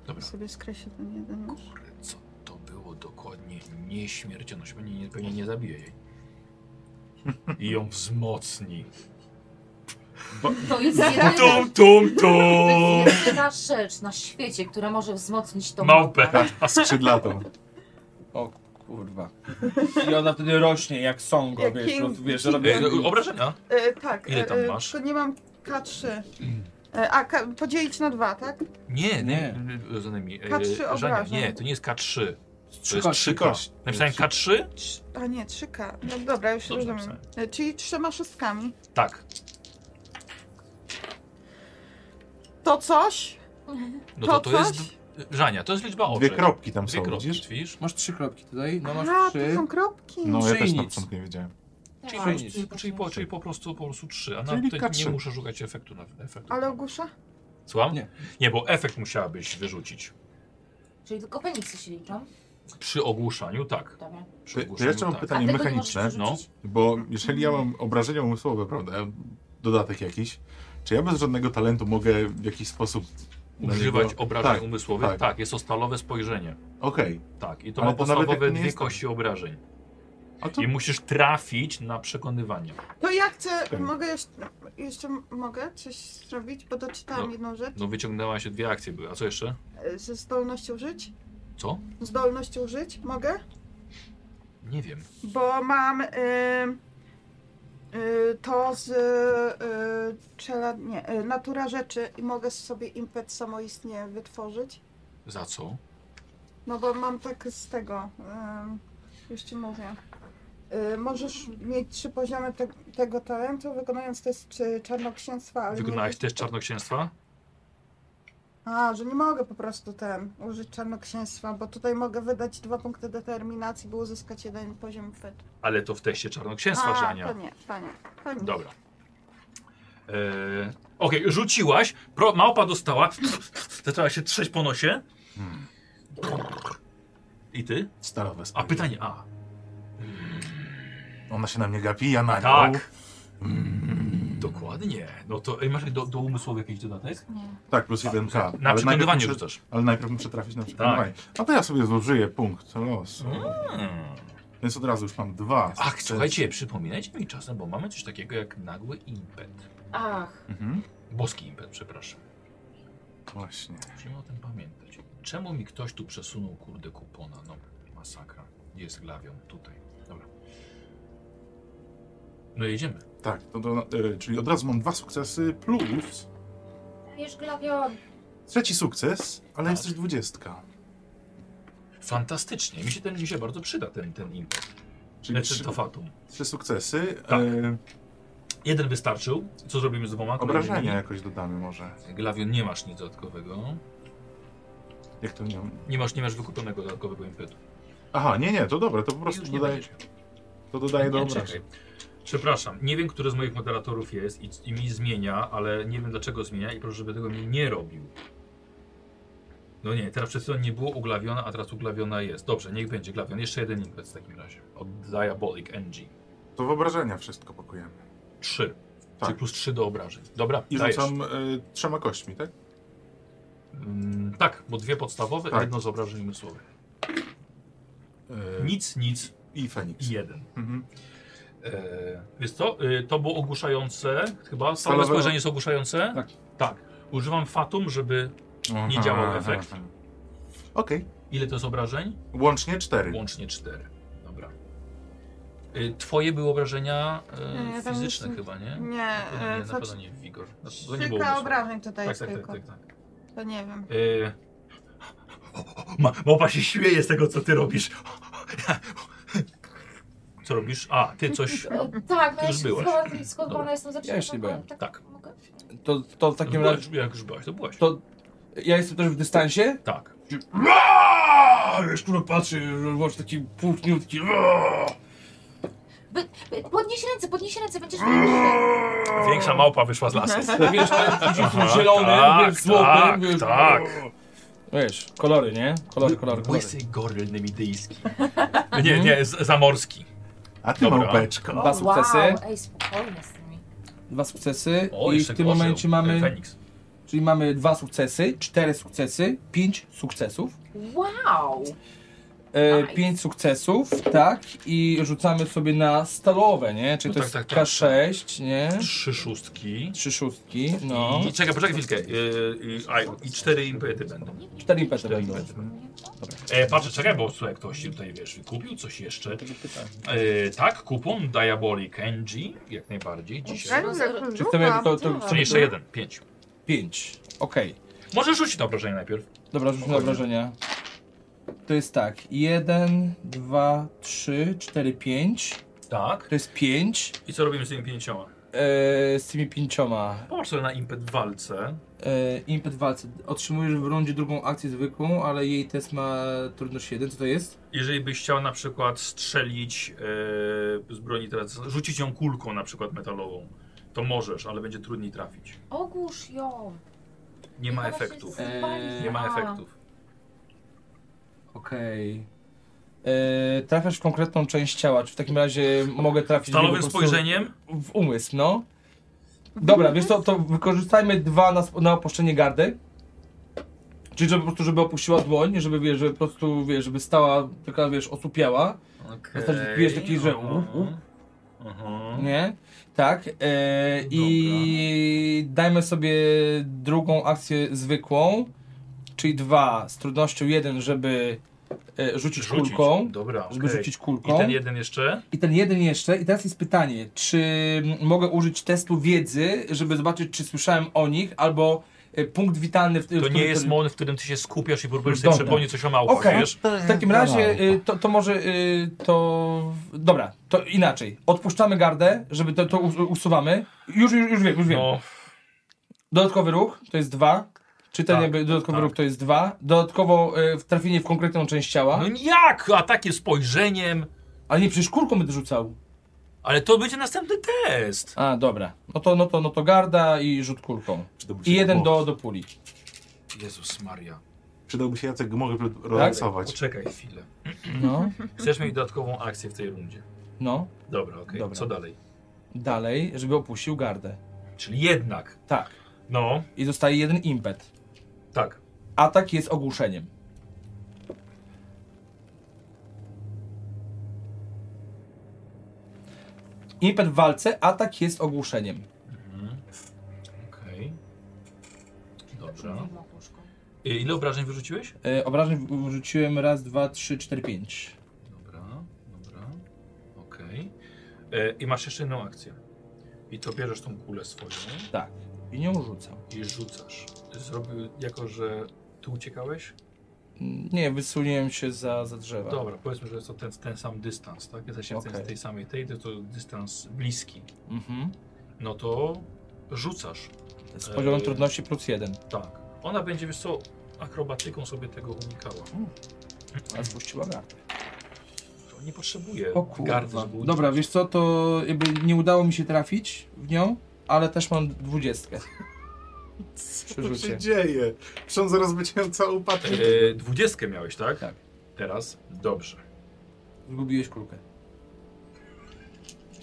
Speaker 7: Ja
Speaker 1: Dobra,
Speaker 7: sobie skreślę ten jeden. już.
Speaker 1: kurde, Yy, co to było dokładnie? Nieśmiertelność, pewnie nie, pewnie nie zabije jej. I ją wzmocni.
Speaker 5: To jest jedyna,
Speaker 1: Tum, tum,
Speaker 5: to
Speaker 1: tum!
Speaker 5: jest jedyna rzecz na świecie, która może wzmocnić tą
Speaker 2: Yy,
Speaker 1: Małpę.
Speaker 2: Tak, skrzydlatą.
Speaker 4: O Kurwa. I ona wtedy rośnie jak songo,
Speaker 7: Jakie
Speaker 4: wiesz, no, wiesz,
Speaker 7: dzikie.
Speaker 4: robi...
Speaker 1: E, e, obrażenia?
Speaker 7: E, tak.
Speaker 1: Ile tam
Speaker 7: e,
Speaker 1: masz? Mm.
Speaker 7: Tylko nie mam K3. E, a, K, podzielić na dwa, tak?
Speaker 1: Nie,
Speaker 4: Nie.
Speaker 1: nie. yy, Rozumiem.
Speaker 7: K3 obrażeń.
Speaker 1: Nie, to nie jest K3. To
Speaker 4: Trzy
Speaker 1: jest
Speaker 4: kości.
Speaker 1: 3 kości. Napisałem K3?
Speaker 7: Trz- A nie, 3K. No dobra, już
Speaker 1: Dobrze
Speaker 7: rozumiem. E, czyli trzema szóstkami.
Speaker 1: Tak.
Speaker 7: To coś?
Speaker 1: No
Speaker 7: To
Speaker 1: to to jest...
Speaker 7: coś?
Speaker 1: Żania, to jest liczba
Speaker 2: Dwie
Speaker 1: oczek.
Speaker 2: kropki tam
Speaker 1: Dwie
Speaker 2: są,
Speaker 1: kropki,
Speaker 2: widzisz?
Speaker 1: widzisz?
Speaker 4: Masz trzy kropki tutaj, no
Speaker 7: A,
Speaker 4: masz
Speaker 7: to
Speaker 4: trzy.
Speaker 7: są kropki.
Speaker 2: No ja
Speaker 4: Czyli
Speaker 2: też na
Speaker 4: nic.
Speaker 2: początku nie wiedziałem.
Speaker 1: Czyli,
Speaker 5: Tak.
Speaker 1: po
Speaker 4: nic.
Speaker 1: prostu, czyli, po, czyli po prostu po prostu trzy, a na
Speaker 2: Czyli
Speaker 1: te,
Speaker 2: K3.
Speaker 1: nie muszę szukać efektu na efektu.
Speaker 7: Ale ogłusza?
Speaker 1: Słucham?
Speaker 4: Nie.
Speaker 1: Nie. nie, bo efekt musiałabyś wyrzucić.
Speaker 5: Czyli tylko wynik się liczą?
Speaker 1: Przy ogłuszaniu tak.
Speaker 5: Dobra.
Speaker 1: Przy
Speaker 2: To- to
Speaker 1: ogłuszaniu
Speaker 2: jeszcze mam
Speaker 1: tak.
Speaker 5: A
Speaker 2: pytanie
Speaker 5: tego nie
Speaker 2: mechaniczne,
Speaker 5: możesz
Speaker 1: No.
Speaker 5: wyrzucić?
Speaker 2: bo jeżeli ja mam obrażenia umysłowe, prawda, dodatek jakiś, czy ja bez żadnego talentu mogę w jakiś sposób na
Speaker 1: Używać
Speaker 2: niego-
Speaker 1: obrażeń
Speaker 2: Tak,
Speaker 1: umysłowych?
Speaker 2: tak.
Speaker 1: Tak. jest to stalowe spojrzenie.
Speaker 2: Okej,
Speaker 1: Tak, i to
Speaker 2: Ale
Speaker 1: ma
Speaker 2: to nawet jak
Speaker 1: podstawowe
Speaker 2: nie
Speaker 1: dwie
Speaker 2: jestem.
Speaker 1: kości obrażeń.
Speaker 2: a to
Speaker 1: I musisz trafić na przekonywanie.
Speaker 7: To ja chcę,
Speaker 2: Okej.
Speaker 7: mogę jeszcze, jeszcze mogę coś zrobić, bo doczytałam
Speaker 1: No.
Speaker 7: jedną rzecz.
Speaker 1: No wyciągnęła się dwie akcje były, a co jeszcze?
Speaker 7: E, Ze zdolnością żyć?
Speaker 1: Co?
Speaker 7: Zdolnością żyć mogę?
Speaker 1: Nie wiem.
Speaker 7: Bo mam y, y, to z y, czela, nie, y, natura rzeczy i mogę sobie impet samoistnie wytworzyć.
Speaker 1: Za co?
Speaker 7: No bo mam tak z tego, y, już ci mówię. Y, możesz mieć trzy poziomy te, tego talentu, wykonując test czy czarnoksięstwa, ale nie
Speaker 1: Wykonałaś
Speaker 7: możesz-
Speaker 1: też czarnoksięstwa?
Speaker 7: A, że nie mogę po prostu ten użyć czarnoksięstwa, bo tutaj mogę wydać dwa punkty determinacji, by uzyskać jeden poziom fetu.
Speaker 1: Ale to w teście czarnoksięstwa,
Speaker 7: A,
Speaker 1: Żania.
Speaker 7: to nie, to nie, to nie.
Speaker 1: Dobra. E, Okej, rzuciłaś, pro, małpa dostała, zaczęła się trzeć po nosie. I ty?
Speaker 2: stalowe
Speaker 1: A
Speaker 2: spojrzenie.
Speaker 1: pytanie, a,
Speaker 2: Ona się na mnie gapi, ja na nią.
Speaker 1: tak. Dokładnie. No to ej, masz do, do umysłowy jakiś dodatek?
Speaker 5: Nie.
Speaker 2: Tak, plus 1K.
Speaker 1: Na
Speaker 2: ale najpierw,
Speaker 1: przekonywanie
Speaker 2: muszę,
Speaker 1: rzucasz. Tak.
Speaker 2: ale najpierw muszę trafić na przekonywanie. A to ja sobie zużyję punkt losu.
Speaker 1: Hmm.
Speaker 2: Więc od razu już mam dwa.
Speaker 1: Ach,
Speaker 2: sukcesy.
Speaker 1: słuchajcie, przypominajcie mi czasem, bo mamy coś takiego jak nagły impet.
Speaker 5: Ach,
Speaker 2: Mhm.
Speaker 1: Boski impet, przepraszam.
Speaker 2: Właśnie.
Speaker 1: Musimy o tym pamiętać. Czemu mi ktoś tu przesunął kurde kupona? No, masakra. Gdzie Jest glawią tutaj. Dobra. No jedziemy.
Speaker 2: Tak, to do, e, czyli od razu mam dwa sukcesy plus
Speaker 5: wiesz, glawion.
Speaker 2: trzeci sukces, ale
Speaker 1: Tak.
Speaker 2: jest też dwudziestka.
Speaker 1: Fantastycznie. Mi się ten mi się bardzo przyda ten, ten impet.
Speaker 2: Czyli
Speaker 1: Znaczy
Speaker 2: trzy,
Speaker 1: to fatum.
Speaker 2: trzy sukcesy.
Speaker 1: Tak.
Speaker 2: E,
Speaker 1: Jeden wystarczył. Co zrobimy z dwoma?
Speaker 2: obrażenia jakoś dodamy może.
Speaker 1: Glawion nie masz nic dodatkowego.
Speaker 2: Jak to nie
Speaker 1: Nie masz, nie masz wykupionego dodatkowego impetu.
Speaker 2: Aha, nie, nie, to dobra, to po prostu
Speaker 1: Już nie
Speaker 2: dodaję,
Speaker 1: będziesz.
Speaker 2: to dodaję do
Speaker 1: Nie,
Speaker 2: obrażeń.
Speaker 1: czekaj. Przepraszam, nie wiem, który z moich moderatorów jest i, i mi zmienia, ale nie wiem dlaczego zmienia i proszę, żeby tego mi nie robił. No nie, teraz przed chwilą nie było uglawiona, a teraz uglawiona jest. Dobrze, niech będzie glawion. Jeszcze jeden impet w takim razie. Od Diabolic NG.
Speaker 2: To w obrażenia wszystko pakujemy.
Speaker 1: Trzy.
Speaker 2: Tak.
Speaker 1: Czyli plus trzy do obrażeń. Dobra,
Speaker 2: I
Speaker 1: dajesz.
Speaker 2: rzucam e, trzema kośćmi, tak?
Speaker 1: Mm, tak, bo dwie podstawowe,
Speaker 2: Tak.
Speaker 1: jedno z obrażeń umysłowych.
Speaker 2: E,
Speaker 1: Nic, nic
Speaker 2: I
Speaker 1: i
Speaker 2: Feniks.
Speaker 1: jeden.
Speaker 2: Mhm.
Speaker 1: Eee, wiesz co, e, to było ogłuszające, chyba. Stalowe
Speaker 2: Stalowe-
Speaker 1: spojrzenie jest ogłuszające?
Speaker 4: Tak.
Speaker 1: Tak. Używam Fatum, żeby...
Speaker 2: Aha,
Speaker 1: działał
Speaker 2: aha,
Speaker 1: efekt.
Speaker 2: aha. Okej,
Speaker 1: Ile to jest obrażeń?
Speaker 2: łącznie cztery.
Speaker 1: Łącznie cztery. Dobra. E, Twoje były obrażenia e,
Speaker 7: Nie, ja tam
Speaker 1: fizyczne
Speaker 7: już-
Speaker 1: chyba, nie?
Speaker 7: Nie,
Speaker 1: Na pewno
Speaker 7: e,
Speaker 1: nie, na
Speaker 7: to
Speaker 1: pewno nie Wigor. Znaczy, to nie było
Speaker 7: Kilka
Speaker 1: umysłu.
Speaker 7: obrażeń tutaj
Speaker 1: Tak,
Speaker 7: jest
Speaker 1: tak, tak,
Speaker 7: tylko.
Speaker 1: tak. tak.
Speaker 7: To nie wiem.
Speaker 1: E, Ma, małpa się śmieje z tego, co ty robisz. Co robisz? A, ty coś...
Speaker 5: E, Tak, no
Speaker 1: Ty
Speaker 5: ja
Speaker 1: już
Speaker 5: się
Speaker 1: byłaś.
Speaker 5: zgodziłam, skończona
Speaker 1: Dobra.
Speaker 5: jestem zaczynam.
Speaker 4: Ja już nie byłem.
Speaker 5: Tak.
Speaker 1: Tak.
Speaker 5: Mogę?
Speaker 4: To, to w takim
Speaker 1: byłaś,
Speaker 4: razie...
Speaker 1: No, Jak już byłaś, to byłaś.
Speaker 4: To ja jestem też w dystansie?
Speaker 1: Tak.
Speaker 4: Aaaa! Wiesz, kurwa, patrzy, łącz taki płótniutki. Aaaa!
Speaker 5: Wy- wy- Podnieś ręce, podnieś ręce, będziesz...
Speaker 1: Większa małpa wyszła z lasu.
Speaker 4: No Wiesz, taki
Speaker 1: Aha,
Speaker 4: zielony,
Speaker 1: tak,
Speaker 4: wiesz, złoty.
Speaker 1: tak,
Speaker 4: wiesz,
Speaker 1: tak.
Speaker 4: Wiesz, kolory, nie? Kolory, kolory, kolory.
Speaker 1: Łysy gorl nemidyjski. Nie, nie, z- zamorski.
Speaker 2: A ty
Speaker 1: Dobra.
Speaker 2: małpeczko.
Speaker 4: Dwa sukcesy.
Speaker 5: Wow, ej, spokojnie z tymi.
Speaker 4: Dwa sukcesy.
Speaker 1: O,
Speaker 4: I w
Speaker 1: jeszcze
Speaker 4: tym
Speaker 1: gorzeł.
Speaker 4: momencie mamy...
Speaker 1: Feniks.
Speaker 4: Czyli mamy dwa sukcesy, cztery sukcesy, pięć sukcesów.
Speaker 5: Wow!
Speaker 4: E,
Speaker 5: Nice.
Speaker 4: pięć sukcesów, tak, i rzucamy sobie na stalowe, nie? Czyli
Speaker 1: No
Speaker 4: to
Speaker 1: tak,
Speaker 4: jest
Speaker 1: tak, tak.
Speaker 4: K6, nie?
Speaker 1: Trzy szóstki.
Speaker 4: Trzy szóstki, no.
Speaker 1: I czekaj, poczekaj chwilkę. Yy, yy, a, I cztery impety będą.
Speaker 4: Cztery impety
Speaker 1: Cztery
Speaker 4: będą.
Speaker 1: impety będą. E, patrzę, czekaj, bo słuchaj, ktoś ci tutaj, wiesz, kupił coś jeszcze. E, tak, kupon Diabolic NG, jak najbardziej, dzisiaj.
Speaker 5: Zero, zero.
Speaker 4: Czy chcemy to, to
Speaker 1: Czyli jeszcze jeden, pięć.
Speaker 4: pięć. Okej.
Speaker 1: Może rzucić na obrażenie najpierw.
Speaker 4: Dobra, rzuć na
Speaker 1: Spokojnie.
Speaker 4: obrażenia. To jest tak, jeden, dwa, trzy, cztery, pięć.
Speaker 1: Tak.
Speaker 4: To jest pięć.
Speaker 1: I co robimy z tymi pięcioma?
Speaker 4: E, z tymi pięcioma.
Speaker 1: Popatrz sobie na impet w walce.
Speaker 4: E, impet walcy. Otrzymujesz w rundzie drugą akcję zwykłą, ale jej test ma trudność jeden. Co to jest?
Speaker 1: Jeżeli byś chciał na przykład strzelić e, z broni teraz, rzucić ją kulką na przykład metalową, to możesz, ale będzie trudniej trafić.
Speaker 5: Ogłusz ją.
Speaker 1: Nie ma
Speaker 5: Ona się
Speaker 1: efektów.
Speaker 5: zwaliła.
Speaker 1: Nie ma efektów.
Speaker 4: Okej. E, Trafiasz w konkretną część ciała, czy w takim razie mogę trafić w niego
Speaker 1: Stalowym
Speaker 4: po prostu
Speaker 1: spojrzeniem
Speaker 4: W umysł, no. Dobra, wiesz co, to wykorzystajmy dwa na, sp- na opuszczenie gardy. Czyli żeby po prostu, żeby opuściła dłoń, żeby, wiesz, żeby po prostu, wiesz, żeby stała taka, wiesz, osupiała. Wystarczy, wiesz, taki, że-
Speaker 1: Aha.
Speaker 4: Nie? Tak. E, I dajmy sobie drugą akcję zwykłą, czyli dwa z trudnością jeden, żeby e, rzucić,
Speaker 1: Rzucić.
Speaker 4: kulką.
Speaker 1: Dobra,
Speaker 4: Żeby
Speaker 1: okej.
Speaker 4: rzucić
Speaker 1: I
Speaker 4: kulką.
Speaker 1: ten jeden jeszcze?
Speaker 4: I ten jeden jeszcze. I teraz jest pytanie, czy m, mogę użyć testu wiedzy, żeby zobaczyć, czy słyszałem o nich, albo e, punkt witalny w w
Speaker 1: To
Speaker 4: którym-
Speaker 1: nie jest
Speaker 4: który-
Speaker 1: moment, w którym ty się skupiasz i próbujesz sobie
Speaker 4: Dobra.
Speaker 1: przypomnieć coś o małpach,
Speaker 4: Okej.
Speaker 1: wiesz?
Speaker 4: W takim razie y, to, to może y, to. Dobra, to inaczej. Odpuszczamy gardę, żeby to, to us- usuwamy. Już, już, już wiem, już wiem.
Speaker 1: No,
Speaker 4: Dodatkowy ruch to jest dwa. Czy ten
Speaker 1: Tak,
Speaker 4: jakby dodatkowy
Speaker 1: tak.
Speaker 4: ruch to jest dwa. Dodatkowo y, w trafienie w konkretną część ciała.
Speaker 1: no jak? A takie spojrzeniem?
Speaker 4: Ale nie, przecież kulką będę rzucał.
Speaker 1: Ale to będzie następny test.
Speaker 4: A, dobra. No to, no to, no to garda i rzut kulką.
Speaker 2: Przydałby się
Speaker 4: I jeden
Speaker 2: gmor.
Speaker 4: do, do puli.
Speaker 1: Jezus Maria.
Speaker 2: Przydałby się Jacek Gmory pl- relaksować.
Speaker 4: Tak?
Speaker 1: Poczekaj chwilę.
Speaker 4: No,
Speaker 1: Chcesz mieć dodatkową akcję w tej rundzie.
Speaker 4: no.
Speaker 1: Dobra, okej.
Speaker 4: Dobra.
Speaker 1: Co dalej?
Speaker 4: Dalej, żeby opuścił gardę.
Speaker 1: Czyli jednak.
Speaker 4: Tak.
Speaker 1: No,
Speaker 4: I zostaje jeden impet.
Speaker 1: tak.
Speaker 4: Atak jest ogłuszeniem. Impet w walce, atak jest ogłuszeniem.
Speaker 1: Okej. Dobrze.
Speaker 5: Rzucam ogłuszką.
Speaker 1: I ile obrażeń wyrzuciłeś?
Speaker 4: E, obrażeń w- wrzuciłem raz, dwa, trzy, cztery, pięć.
Speaker 1: Dobra, dobra. Okej. E, I masz jeszcze jedną akcję. I to bierzesz tą kulę swoją
Speaker 4: Tak. I nią rzucam.
Speaker 1: i rzucasz. Zrobił, jako że ty uciekałeś?
Speaker 4: Mm, Nie, wysuniłem się za, za drzewa.
Speaker 1: Dobra, powiedzmy, że jest to ten, ten sam dystans, tak? Jesteś okay.
Speaker 4: Tak. Okej.
Speaker 1: z tej samej tej, to, to dystans bliski.
Speaker 4: Mhm.
Speaker 1: No to rzucasz.
Speaker 4: Z poziomem
Speaker 1: E,
Speaker 4: trudności plus jeden.
Speaker 1: Tak. Ona będzie, wiesz co, akrobatyką sobie tego unikała.
Speaker 4: Ale spuściła gardę.
Speaker 1: To nie potrzebuje
Speaker 4: O
Speaker 1: gardy,
Speaker 4: kurwa.
Speaker 1: żeby unikać.
Speaker 4: Dobra, wiesz co, to jakby nie udało mi się trafić w nią, ale też mam dwudziestkę.
Speaker 2: Co tu się
Speaker 4: Przerzucie.
Speaker 2: dzieje? Czy on zaraz będzie całą patrzeć?
Speaker 4: Y,
Speaker 1: E, dwudziestkę miałeś, tak?
Speaker 4: Tak.
Speaker 1: Teraz? Dobrze.
Speaker 4: Zgubiłeś kulkę.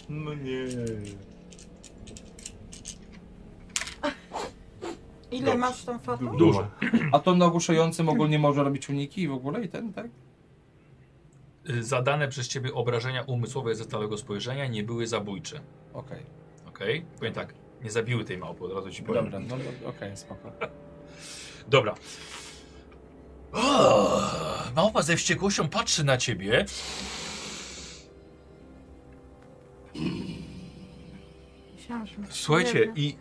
Speaker 2: No nie.
Speaker 7: Ile
Speaker 1: Dobrze.
Speaker 7: masz tą fatą?
Speaker 1: Dużo.
Speaker 4: A to na ogłuszającym ogólnie może robić uniki i w ogóle i ten, tak?
Speaker 1: Y, Zadane przez ciebie obrażenia umysłowe ze stałego spojrzenia nie były zabójcze.
Speaker 4: Okej.
Speaker 1: Okej? Powiem tak, nie zabiły tej małpy, od razu ci powiem.
Speaker 4: Dobra, no do- okej, spoko.
Speaker 1: Dobra. O, małpa ze wściekłością patrzy na ciebie.
Speaker 7: Myślałam, że masz
Speaker 1: Słuchajcie,
Speaker 7: jedno.
Speaker 1: i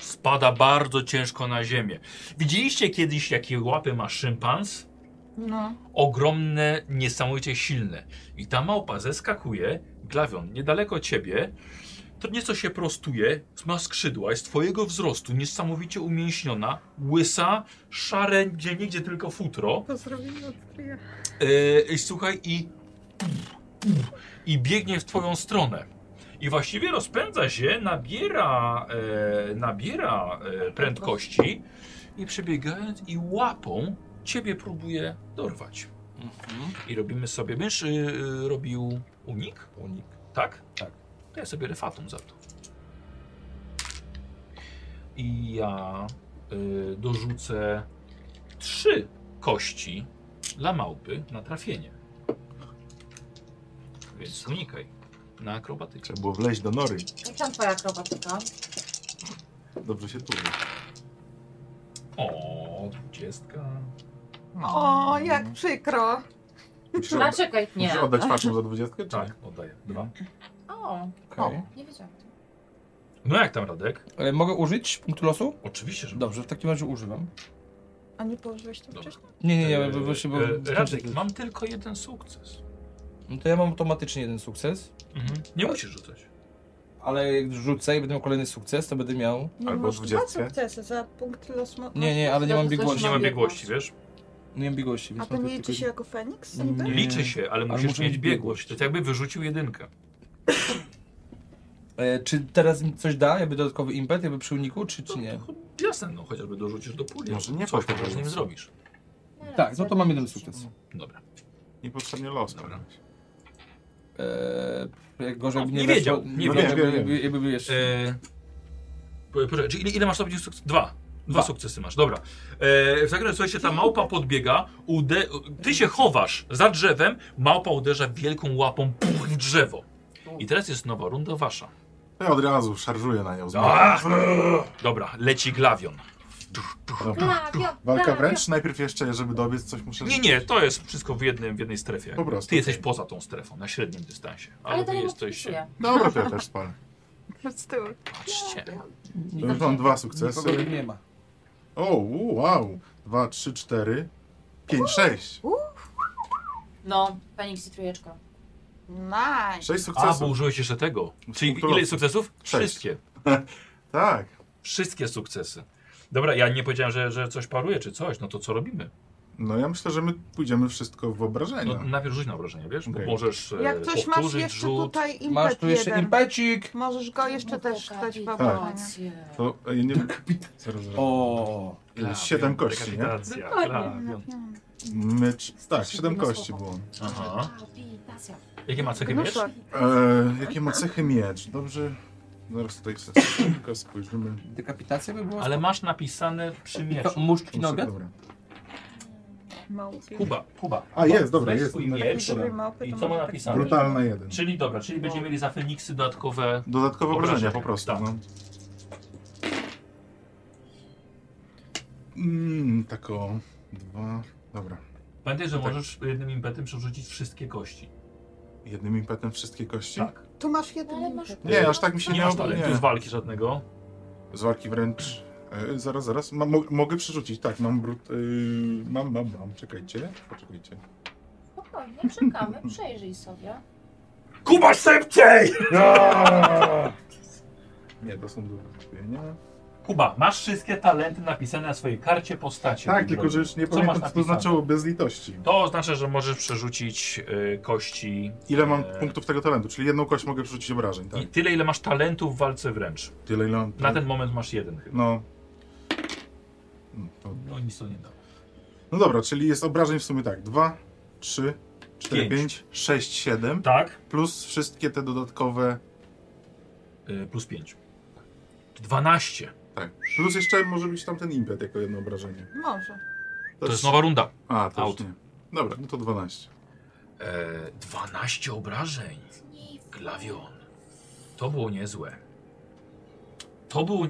Speaker 1: spada bardzo ciężko na ziemię. Widzieliście kiedyś, jakie łapy ma szympans?
Speaker 7: No.
Speaker 1: Ogromne, niesamowicie silne. I ta małpa zeskakuje, glawion, niedaleko ciebie, to nieco się prostuje, ma skrzydła, jest twojego wzrostu, niesamowicie umięśniona, łysa, szare, gdzie nigdzie tylko futro.
Speaker 7: To zrobimy od tria.
Speaker 1: Yy, i słuchaj, i, i biegnie w twoją stronę. I właściwie rozpędza się, nabiera, e, nabiera e, prędkości i przebiegając i łapą ciebie próbuje dorwać. I robimy sobie, mysz y, y, robił unik? Unik. Tak?
Speaker 4: Tak.
Speaker 1: To ja sobie refatum za to. I ja y, dorzucę trzy kości dla małpy na trafienie. Więc unikaj. Na akrobatykę.
Speaker 2: Trzeba było wleźć do nory.
Speaker 5: I tam twoja akrobatyka.
Speaker 2: Dobrze się tuli.
Speaker 1: O, dwudziestka.
Speaker 4: No.
Speaker 7: O, jak przykro.
Speaker 2: Musisz
Speaker 5: A
Speaker 2: odda-
Speaker 5: czekaj, Znaczy, nie.
Speaker 2: musisz oddać waszą za dwudziestkę?
Speaker 1: Tak, oddaję. Dwa.
Speaker 5: O,
Speaker 4: Okej.
Speaker 5: nie wiedziałam.
Speaker 1: No jak tam, Radek?
Speaker 4: E, Mogę użyć punktu losu?
Speaker 1: Oczywiście, że
Speaker 4: Dobrze, w takim razie używam.
Speaker 7: A nie położyłeś to
Speaker 1: Dobra.
Speaker 7: wcześniej?
Speaker 4: Nie, nie, nie,
Speaker 1: Eee,
Speaker 4: bo właśnie... Bo,
Speaker 1: e, Radek, mam tylko jeden sukces.
Speaker 4: No to ja mam automatycznie jeden sukces,
Speaker 1: Nie musisz rzucać.
Speaker 4: ale jak rzucę i będę miał kolejny sukces, to będę miał...
Speaker 7: Nie
Speaker 2: Albo
Speaker 7: masz dwa
Speaker 2: dwudziestkę.
Speaker 7: sukcesy za punkt los mo-
Speaker 4: Nie, nie, ale nie mam
Speaker 5: No to coś
Speaker 4: biegłości.
Speaker 1: Nie ma
Speaker 5: mam
Speaker 1: biegłości, wiesz?
Speaker 4: Nie mam biegłości,
Speaker 7: A
Speaker 4: więc
Speaker 7: to
Speaker 4: mam
Speaker 7: nie
Speaker 4: tylko-
Speaker 7: liczy się jako Feniks? Niby?
Speaker 4: Nie.
Speaker 1: Liczy się, ale musisz
Speaker 4: muszę
Speaker 1: mieć
Speaker 4: mieć
Speaker 1: biegłość. To jest jakby wyrzucił jedynkę.
Speaker 4: E, Czy teraz mi coś da, jakby dodatkowy impet, jakby przy uniku, czy, czy nie?
Speaker 1: No, cho- Jasne, no chociażby dorzucisz do puli.
Speaker 2: Może nie
Speaker 1: Coś
Speaker 2: po
Speaker 1: po z nim
Speaker 2: prostu.
Speaker 1: zrobisz.
Speaker 4: Tak, no to mam jeden sukces.
Speaker 1: Dobra.
Speaker 2: Niepotrzebnie los.
Speaker 1: Dobra.
Speaker 2: pewnie.
Speaker 4: Eee, jak gorzej
Speaker 1: No,
Speaker 4: by
Speaker 1: nie
Speaker 4: weszło-
Speaker 1: wiedział, nie
Speaker 4: no
Speaker 2: wiedział.
Speaker 4: jakby-
Speaker 2: Wiem, wiem,
Speaker 4: jakby- jakby jeszcze.
Speaker 1: E, po- poczekaj, czyli ile, ile masz stopni sukcesu? Dwa. Dwa
Speaker 4: Dwa.
Speaker 1: sukcesy masz, dobra. E, w takim razie, słuchajcie, ta małpa podbiega, ude... ty się chowasz za drzewem, małpa uderza wielką łapą puch, w drzewo. I teraz jest nowa runda wasza.
Speaker 2: To ja od razu szarżuję na nią. z
Speaker 1: Ach! Dobra, leci glawion.
Speaker 2: Dobra.
Speaker 5: Glawion,
Speaker 2: Walka
Speaker 5: glawion.
Speaker 2: wręcz? Najpierw jeszcze, żeby dobiec coś muszę...
Speaker 1: Nie, nie, to jest wszystko w, jednym, w jednej strefie.
Speaker 2: Po prostu.
Speaker 1: Ty jesteś poza tą strefą, na średnim dystansie. Ale,
Speaker 5: Ale to
Speaker 1: wy
Speaker 5: nie
Speaker 1: jesteście.
Speaker 5: jesteście.
Speaker 2: Dobra, to ja też spalę.
Speaker 7: Z tyłu.
Speaker 1: Patrzcie.
Speaker 2: To już mam dwa sukcesy.
Speaker 4: Nikogo nie ma.
Speaker 2: O, u, wow. Dwa, trzy, cztery, pięć, sześć.
Speaker 5: No, Feniks i trójeczka.
Speaker 7: Nice.
Speaker 2: Sześć
Speaker 1: A, bo
Speaker 2: sukcesów.
Speaker 1: użyłeś jeszcze tego. Czyli
Speaker 2: Punktu
Speaker 1: ile
Speaker 2: losu.
Speaker 1: sukcesów?
Speaker 2: Sześć.
Speaker 1: Wszystkie.
Speaker 2: Tak.
Speaker 1: Wszystkie sukcesy. Dobra, ja nie powiedziałem, że, że coś paruje czy coś, no to co robimy?
Speaker 2: No ja myślę, że my pójdziemy wszystko w
Speaker 1: No,
Speaker 2: obrażenia.
Speaker 1: najpierw rzuć na obrażenie, wiesz? Bo
Speaker 2: Okej.
Speaker 1: możesz e,
Speaker 7: Jak coś masz
Speaker 1: powtórzyć
Speaker 7: jeszcze
Speaker 1: rzut.
Speaker 7: tutaj impet
Speaker 4: Masz tu jeszcze
Speaker 7: jeden.
Speaker 4: impecik.
Speaker 7: Możesz go jeszcze też dać w obronię.
Speaker 5: Kapitacje.
Speaker 2: To e, ja nie...
Speaker 1: Tak,
Speaker 2: Zaraz, zaraz.
Speaker 4: O.
Speaker 1: Glawion,
Speaker 2: Siedem kości, nie?
Speaker 1: dekapitacja, glawion.
Speaker 2: Mycz... Tak, siedem kości było.
Speaker 1: Aha.
Speaker 5: Kapitacja.
Speaker 1: Jakie ma cechy miecz?
Speaker 7: Gnusza.
Speaker 2: E, jakie ma cechy miecz? Dobrze. Zaraz tutaj sobie tylko spojrzymy.
Speaker 4: Dekapitacja by była.
Speaker 1: Ale masz napisane przy
Speaker 4: To
Speaker 1: mieczu.
Speaker 4: Muszki na obiad?
Speaker 2: Dobra.
Speaker 4: Tak.
Speaker 7: Małpie.
Speaker 1: Kuba, Kuba.
Speaker 2: A, jest, dobra,
Speaker 1: Weź
Speaker 2: jest.
Speaker 1: swój
Speaker 2: Dobra.
Speaker 1: miecz
Speaker 7: Dobrej małpy
Speaker 1: i
Speaker 7: to
Speaker 1: co ma
Speaker 7: może tak- No.
Speaker 1: napisane?
Speaker 2: Brutalna jeden.
Speaker 1: Czyli dobra, czyli będziemy mieli za Feniksy dodatkowe
Speaker 2: Dodatkowe obrażenia
Speaker 1: Obrażenia,
Speaker 2: po prostu.
Speaker 1: tak.
Speaker 2: No. Mm, tak o. Dwa. Dobra.
Speaker 1: Pamiętaj, że
Speaker 2: Tak.
Speaker 1: możesz jednym impetem przerzucić wszystkie kości.
Speaker 2: Jednym impetem wszystkie kości?
Speaker 1: Tak.
Speaker 7: Tu masz jeden.
Speaker 5: Ale masz-
Speaker 2: Nie, aż tak mi się
Speaker 1: Nie
Speaker 2: nie
Speaker 1: masz
Speaker 2: obawiam.
Speaker 1: talentu z walki żadnego.
Speaker 2: Z walki wręcz. E, zaraz, zaraz. Ma, mo, mogę przerzucić. Tak, mam brut. E, mam, mam, mam. Czekajcie. Poczekajcie.
Speaker 5: Spokojnie, czekamy, przejrzyj sobie.
Speaker 1: Kuba szybciej!
Speaker 2: Nie, to są do wykupienia.
Speaker 1: Kuba, masz wszystkie talenty napisane na swojej karcie postaci.
Speaker 2: Tak,
Speaker 1: mój
Speaker 2: tylko
Speaker 1: drogi.
Speaker 2: że już nie
Speaker 1: Co masz
Speaker 2: pamiętam, co to znaczy.
Speaker 1: napisane?
Speaker 2: znaczyło bez litości.
Speaker 1: To oznacza, że możesz przerzucić y, kości.
Speaker 2: Ile mam
Speaker 1: e,
Speaker 2: punktów tego talentu? Czyli jedną kość mogę przerzucić obrażeń, tak?
Speaker 1: I tyle, ile masz talentów w walce wręcz.
Speaker 2: Tyle, ile mam.
Speaker 1: Na ten moment masz jeden chyba.
Speaker 2: No. Mm, To
Speaker 1: No nic to nie da.
Speaker 2: No dobra, czyli jest obrażeń w sumie tak. 2, 3, 4,
Speaker 1: Pięć.
Speaker 2: 5, 6, 7
Speaker 1: Tak?
Speaker 2: plus wszystkie te dodatkowe.
Speaker 1: Y, plus 5. 12.
Speaker 2: Tak. Plus jeszcze może być tam ten impet jako jedno obrażenie.
Speaker 7: Może.
Speaker 1: To jest
Speaker 2: nowa.
Speaker 1: nowa runda.
Speaker 2: A, to
Speaker 1: Out.
Speaker 2: już nie. Dobra, no to 12.
Speaker 1: E, 12 obrażeń. Glawion. To było niezłe. To było.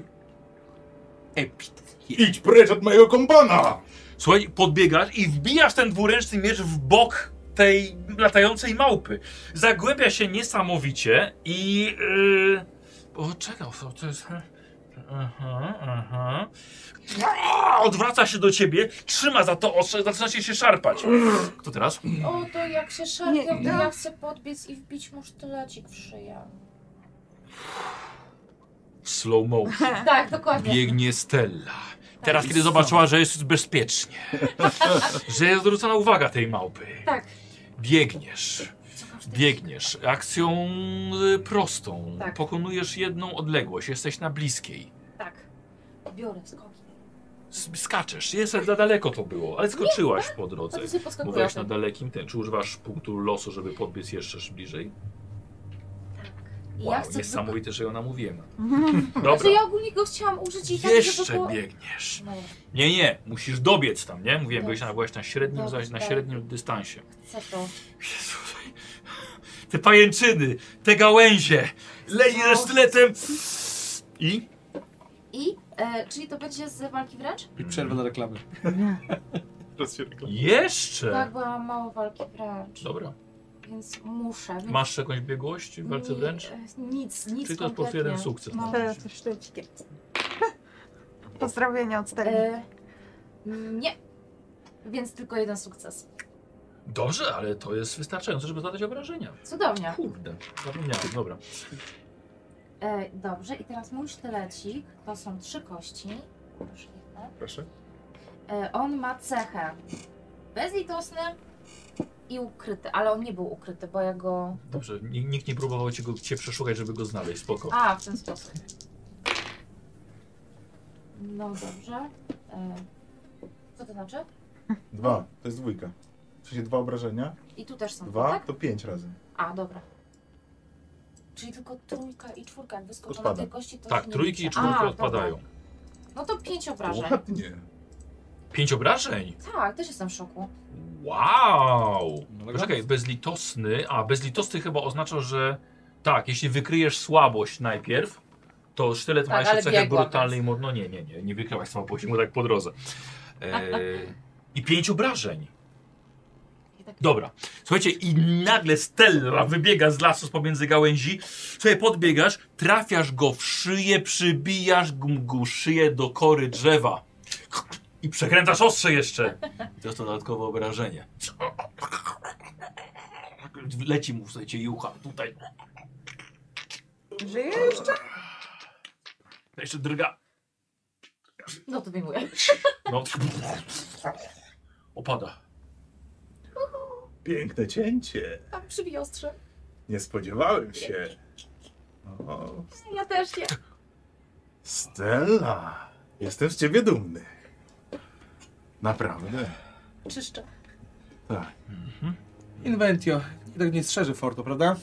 Speaker 2: Idź precz od mojego kompana!
Speaker 1: Słuchaj, podbiegasz i wbijasz ten dwuręczny miecz w bok tej latającej małpy. Zagłębia się niesamowicie i. Yy... O, czekał, co to jest. e, Aha, aha. Aaa, Odwraca się do ciebie, trzyma za to ostrze, zaczyna się się szarpać. Kto teraz?
Speaker 5: O, to jak się
Speaker 7: Nie,
Speaker 5: szarpią, to
Speaker 7: no.
Speaker 5: ja chcę podbiec i wbić mu sztylecik w szyję.
Speaker 1: Slow motion.
Speaker 5: Tak, dokładnie.
Speaker 1: biegnie Stella. Teraz, kiedy zobaczyła, że jest bezpiecznie, że jest zwrócona uwaga tej małpy,
Speaker 5: Tak.
Speaker 1: biegniesz.
Speaker 5: Co masz ty?
Speaker 1: Biegniesz akcją y, prostą.
Speaker 5: Tak.
Speaker 1: Pokonujesz jedną odległość, jesteś na bliskiej.
Speaker 5: Tak. Biorę skoki.
Speaker 1: S- Skaczesz, jest za daleko to było, ale skoczyłaś po
Speaker 5: A
Speaker 1: drodze.
Speaker 5: ty sobie podskakujesz.
Speaker 1: Mówiłaś na dalekim ten. Czy używasz punktu losu, żeby podbiec jeszcze bliżej?
Speaker 5: Tak. I
Speaker 1: Wow,
Speaker 5: ja chcę
Speaker 1: niesamowite, że ją namówiłem.
Speaker 5: Znaczy
Speaker 1: Dobra,
Speaker 5: ja ogólnie go chciałam użyć i tak, żeby
Speaker 1: jeszcze
Speaker 5: było...
Speaker 1: biegniesz.
Speaker 5: No,
Speaker 1: Nie, nie, musisz dobiec tam, nie? Mówiłem,
Speaker 5: Dobrze.
Speaker 1: byłeś na, byłaś na średnim,
Speaker 5: Dobrze,
Speaker 1: zaś na
Speaker 5: tak.
Speaker 1: średnim dystansie.
Speaker 5: chcę to.
Speaker 1: Jezu, te pajęczyny, te gałęzie, leni
Speaker 5: No.
Speaker 1: ze sztyletem. I?
Speaker 5: I, e, czyli to będzie z walki wręcz?
Speaker 4: I przerwę na reklamy.
Speaker 5: Tak,
Speaker 1: Jeszcze!
Speaker 5: bo ja mam mało walki wręcz,
Speaker 1: Dobra.
Speaker 5: więc muszę. Więc
Speaker 1: Masz jakąś biegłość w walce
Speaker 5: ni-
Speaker 1: wręcz?
Speaker 5: e, Nic, nic
Speaker 1: Czyli to jest po prostu
Speaker 5: kompletnie.
Speaker 1: jeden sukces. tak?
Speaker 5: No.
Speaker 7: Teraz już sztuczki. Pozdrowienia od Steli.
Speaker 5: E, nie, więc tylko jeden sukces.
Speaker 1: Dobrze, ale to jest wystarczające, żeby zadać obrażenia.
Speaker 5: Cudownie.
Speaker 1: Kurde, zapomniałem, dobra.
Speaker 5: E, dobrze, i teraz mój sztylecik, to są trzy kości. Proszę.
Speaker 14: Proszę.
Speaker 5: E, on ma cechę bezlitosny i ukryty, ale on nie był ukryty, bo ja go...
Speaker 1: Dobrze, ni- nikt nie próbował cię, go, cię przeszukać, żeby go znaleźć, spoko.
Speaker 5: A, w ten sposób. No dobrze. E, co to znaczy?
Speaker 2: Dwa, to jest dwójka. W sensie dwa obrażenia.
Speaker 5: I tu też są,
Speaker 2: Dwa
Speaker 5: tak?
Speaker 2: to pięć razy.
Speaker 5: A, dobra. Czyli tylko trójka i czwórka, jak wyskoczą na
Speaker 2: Odpada.
Speaker 5: tej kości, to
Speaker 1: Tak,
Speaker 5: się nie
Speaker 1: trójki
Speaker 5: liczy.
Speaker 1: i czwórki
Speaker 5: A,
Speaker 1: odpadają.
Speaker 5: Dobra. No to pięć obrażeń.
Speaker 2: Ładnie.
Speaker 1: Pięć obrażeń?
Speaker 5: Tak, też jestem w szoku.
Speaker 1: Wow!
Speaker 4: No,
Speaker 1: Poczekaj, bezlitosny. A, bezlitosny chyba oznacza, że tak, jeśli wykryjesz słabość najpierw, to sztylet
Speaker 5: Tak,
Speaker 1: ma jeszcze
Speaker 5: ale
Speaker 1: cechę
Speaker 5: biegła,
Speaker 1: brutalnej mor... No nie, nie, nie, nie wykryłaś słabości, mu tak po drodze.
Speaker 5: Tak,
Speaker 1: E, I pięć obrażeń.
Speaker 5: I tak-
Speaker 1: Dobra. Słuchajcie, i nagle Stella wybiega z lasu z pomiędzy gałęzi. Słuchaj, podbiegasz, trafiasz go w szyję, przybijasz mu szyję do kory drzewa. I przekręcasz ostrze jeszcze. I to jest to dodatkowe obrażenie. Leci mu, słuchajcie, jucha tutaj.
Speaker 7: Żyje jeszcze?
Speaker 1: Jeszcze drga.
Speaker 5: No to wyjmuję.
Speaker 1: No. Opada.
Speaker 14: Piękne cięcie.
Speaker 5: Tam przybij ostrze.
Speaker 14: Nie spodziewałem się. O,
Speaker 5: Ja też nie.
Speaker 2: Stella,
Speaker 14: jestem z ciebie dumny.
Speaker 2: naprawdę.
Speaker 5: Czyszczę.
Speaker 2: Tak.
Speaker 4: Inventio. I tak nie strzeży fortu, prawda?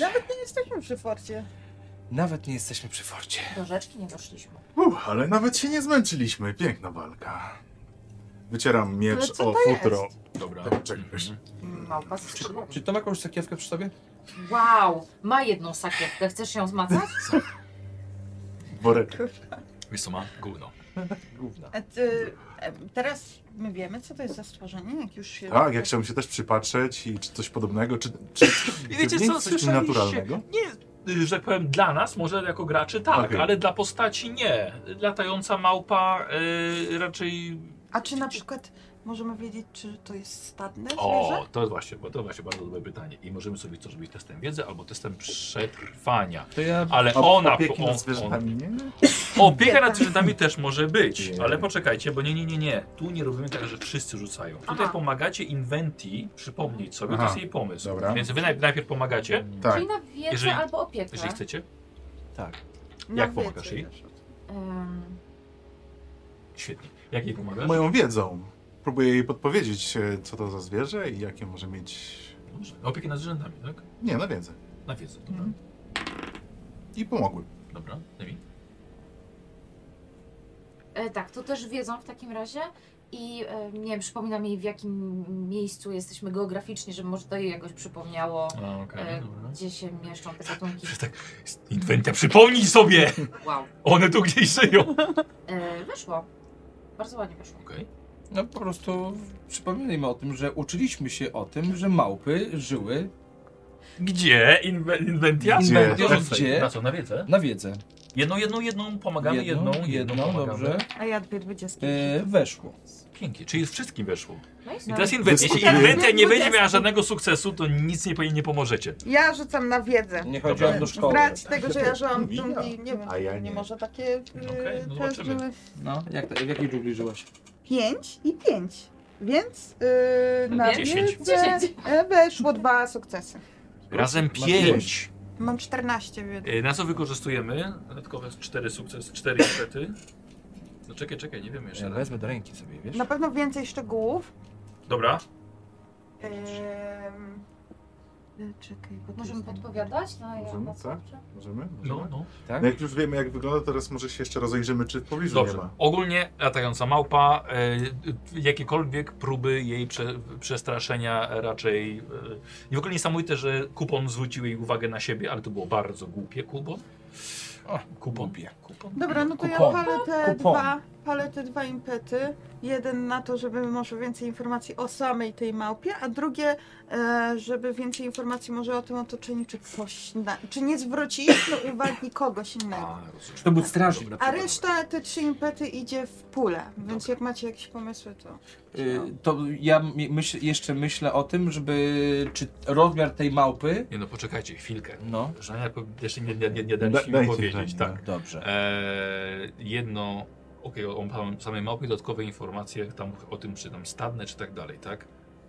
Speaker 3: Nawet nie jesteśmy przy forcie.
Speaker 4: Nawet nie jesteśmy przy forcie.
Speaker 5: Do rzeczki nie doszliśmy.
Speaker 2: Uff, ale nawet się nie zmęczyliśmy. Piękna walka. Wycieram
Speaker 3: Ale
Speaker 2: miecz
Speaker 3: co
Speaker 2: o
Speaker 3: to jest?
Speaker 2: futro.
Speaker 1: Dobra.
Speaker 2: Tak, czegoś.
Speaker 5: Małpa z skrzydłami.
Speaker 4: Czy to ma jakąś sakiewkę przy sobie?
Speaker 5: Wow, ma jedną sakiewkę. Chcesz ją zmacać?
Speaker 2: Worek.
Speaker 1: Wiesz co ma? Gówno. No.
Speaker 4: Główna.
Speaker 3: A ty, e, teraz my wiemy, co to jest za stworzenie, jak już się...
Speaker 2: Tak, ja chciałbym się też przypatrzeć i czy coś podobnego, czy, czy,
Speaker 1: I wiecie
Speaker 2: czy w nim
Speaker 1: co,
Speaker 2: coś
Speaker 1: słyszeliście?
Speaker 2: naturalnego.
Speaker 1: Y, że tak powiem, dla nas, może jako graczy tak,
Speaker 2: Okej.
Speaker 1: ale dla postaci nie. Latająca małpa y, raczej...
Speaker 7: A czy na przykład możemy wiedzieć, czy to jest stadne zwierzę?
Speaker 1: O, to jest właśnie, bo to właśnie bardzo dobre pytanie. I możemy sobie to zrobić testem wiedzy albo testem przetrwania.
Speaker 4: To ja...
Speaker 1: Ale
Speaker 2: O,
Speaker 1: ona...
Speaker 2: opieki
Speaker 1: on-
Speaker 2: nad
Speaker 1: on-
Speaker 2: zwierzętami, nie?
Speaker 1: Opieka nad zwierzętami też może być,
Speaker 2: Nie.
Speaker 1: ale poczekajcie, bo nie, nie, nie, nie. Tu nie robimy tak, że wszyscy rzucają. Tutaj
Speaker 5: Aha.
Speaker 1: pomagacie Inventi przypomnieć sobie,
Speaker 2: Aha.
Speaker 1: to jest jej pomysł.
Speaker 2: Dobra.
Speaker 1: Więc wy naj- najpierw pomagacie,
Speaker 2: Tak.
Speaker 5: Czyli na wiedzę
Speaker 1: Jeżeli-
Speaker 5: albo opiekę.
Speaker 1: jeżeli chcecie.
Speaker 3: Na
Speaker 1: jak pomagasz
Speaker 3: wiece
Speaker 1: jej?
Speaker 3: wiesz o tym.
Speaker 5: Ym,
Speaker 1: Świetnie. Jak jej pomagasz?
Speaker 2: Moją wiedzą. Próbuję jej podpowiedzieć, e, co to za zwierzę i jakie może mieć...
Speaker 1: Dobrze. Opiekę nad zwierzętami, tak?
Speaker 2: Nie, na wiedzę.
Speaker 1: Na wiedzę, dobra.
Speaker 2: I pomogły.
Speaker 1: Dobra, Demi.
Speaker 5: e, tak, to też wiedzą w takim razie. I e, nie wiem, przypominam jej w jakim miejscu jesteśmy geograficznie, żeby może to jej jakoś przypomniało,
Speaker 1: A, okej,
Speaker 5: e,
Speaker 1: dobra.
Speaker 5: gdzie się mieszczą te gatunki.
Speaker 1: Inwentia, przypomnij sobie!
Speaker 5: Wow.
Speaker 1: One tu gdzieś żyją!
Speaker 5: E, wyszło. Bardzo ładnie wyszło.
Speaker 1: Okej.
Speaker 4: No po prostu przypominajmy o tym, że uczyliśmy się o tym, że małpy żyły
Speaker 1: Gdzie? Inwe- inwentia?
Speaker 2: Gdzie?
Speaker 4: Inwentia,
Speaker 1: Rzucaj.
Speaker 4: gdzie?
Speaker 1: Na co, na wiedzę?
Speaker 4: na wiedzę.
Speaker 1: Jedną, jedną, jedną, pomagamy jedną, jedną, pomagamy.
Speaker 4: dobrze.
Speaker 7: A ja dwie dwudziestki.
Speaker 4: E, weszło.
Speaker 1: Pięknie, czyli wszystkim weszło.
Speaker 5: No i
Speaker 1: I
Speaker 5: super.
Speaker 1: teraz inwentia. Jeśli
Speaker 2: Dyskutujemy.
Speaker 1: inwentia nie będzie miała żadnego sukcesu, to nic nie, nie pomożecie.
Speaker 7: Ja rzucam na wiedzę.
Speaker 4: Nie chodziłam do szkoły.
Speaker 3: Brać tego, że ja żyłam w
Speaker 2: Mówi,
Speaker 3: dżungli, nie wiem,
Speaker 2: a ja
Speaker 3: Tak, nie.
Speaker 2: nie.
Speaker 3: może takie
Speaker 1: Okej, no
Speaker 3: okay, też
Speaker 1: zobaczymy.
Speaker 3: były
Speaker 4: No, jak, w jakiej dżungli żyłaś?
Speaker 3: 5 i 5. Więc yy, na
Speaker 1: No Dziesięć.
Speaker 3: wiedzę
Speaker 5: Dziesięć.
Speaker 3: e, weszło dwa sukcesy.
Speaker 1: Razem
Speaker 4: Masz
Speaker 1: pięć.
Speaker 7: Mam 14 wiedzy.
Speaker 1: Y, Na co wykorzystujemy? Dodatkowe cztery sukcesy, cztery niestety. No czekaj, czekaj, nie wiem
Speaker 4: Ja
Speaker 1: jeszcze.
Speaker 4: wezmę do ręki sobie, wiesz?
Speaker 7: Na pewno więcej szczegółów.
Speaker 1: Dobra,
Speaker 7: Em, Y, Ehm, Czekaj, bo to
Speaker 5: Możemy
Speaker 7: jest-
Speaker 5: podpowiadać? No, ja
Speaker 14: Możemy,
Speaker 5: na
Speaker 14: tak?
Speaker 5: co?
Speaker 14: Możemy?
Speaker 1: No,
Speaker 14: Możemy?
Speaker 1: no.
Speaker 4: tak?
Speaker 14: No jak już wiemy jak wygląda, teraz może się jeszcze rozejrzymy, czy w pobliżu nie
Speaker 1: Dobrze.
Speaker 14: ma.
Speaker 1: Ogólnie latająca małpa, e, e, jakiekolwiek próby jej prze, przestraszenia raczej. E, I w ogóle niesamowite, że kupon zwrócił jej uwagę na siebie, ale to było bardzo głupie, Kubon.
Speaker 4: O,
Speaker 1: Kupon.
Speaker 4: głupie.
Speaker 1: kupon.
Speaker 7: Dobra, no to ja
Speaker 4: Kupon.
Speaker 7: palę te,
Speaker 4: Kupon.
Speaker 7: dwa, palę te dwa impety. Jeden na to, żeby może więcej informacji o samej tej małpie, a drugie, e, żeby więcej informacji może o tym otoczeniu, czy ktoś na, czy nie zwróciliśmy uwagi kogoś innego.
Speaker 1: A, rozumiem.
Speaker 4: To był strażnik.
Speaker 1: Dobra,
Speaker 7: A
Speaker 1: dobra,
Speaker 7: reszta, te trzy impety idzie w pulę, więc jak macie jakieś pomysły, to...
Speaker 4: Y, To ja mi- myśl, jeszcze myślę o tym, żeby. Czy rozmiar tej małpy.
Speaker 1: dobra. Nie no, poczekajcie chwilkę.
Speaker 4: No,
Speaker 1: Żania po- jeszcze nie, nie, nie, nie
Speaker 2: Da-
Speaker 1: daliście mi
Speaker 2: dajcie no.
Speaker 1: powiedzieć,
Speaker 2: Żanie,
Speaker 1: tak.
Speaker 4: dobrze.
Speaker 1: E, jedno, okej, o- o samej- samej małpie dodatkowe informacje tam o tym, czy tam stadne, czy tak dalej, tak?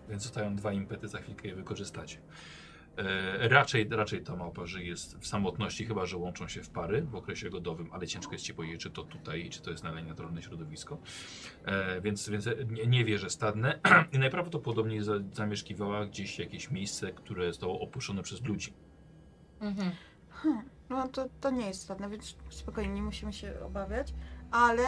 Speaker 1: Więc zostają dwa impety, za chwilkę je wykorzystacie. E, raczej, raczej ta małpa żyje jest w samotności, chyba że łączą się w pary w okresie godowym, ale ciężko jest ci powiedzieć, czy to tutaj, czy to jest dalej naturalne środowisko. E, więc więc nie, nie wie, że stadne. I najprawdopodobniej za, zamieszkiwała gdzieś jakieś miejsce, które zostało opuszczone przez ludzi.
Speaker 5: Mhm.
Speaker 7: Hmm, no to, to nie jest istotne, więc spokojnie, nie musimy się obawiać, ale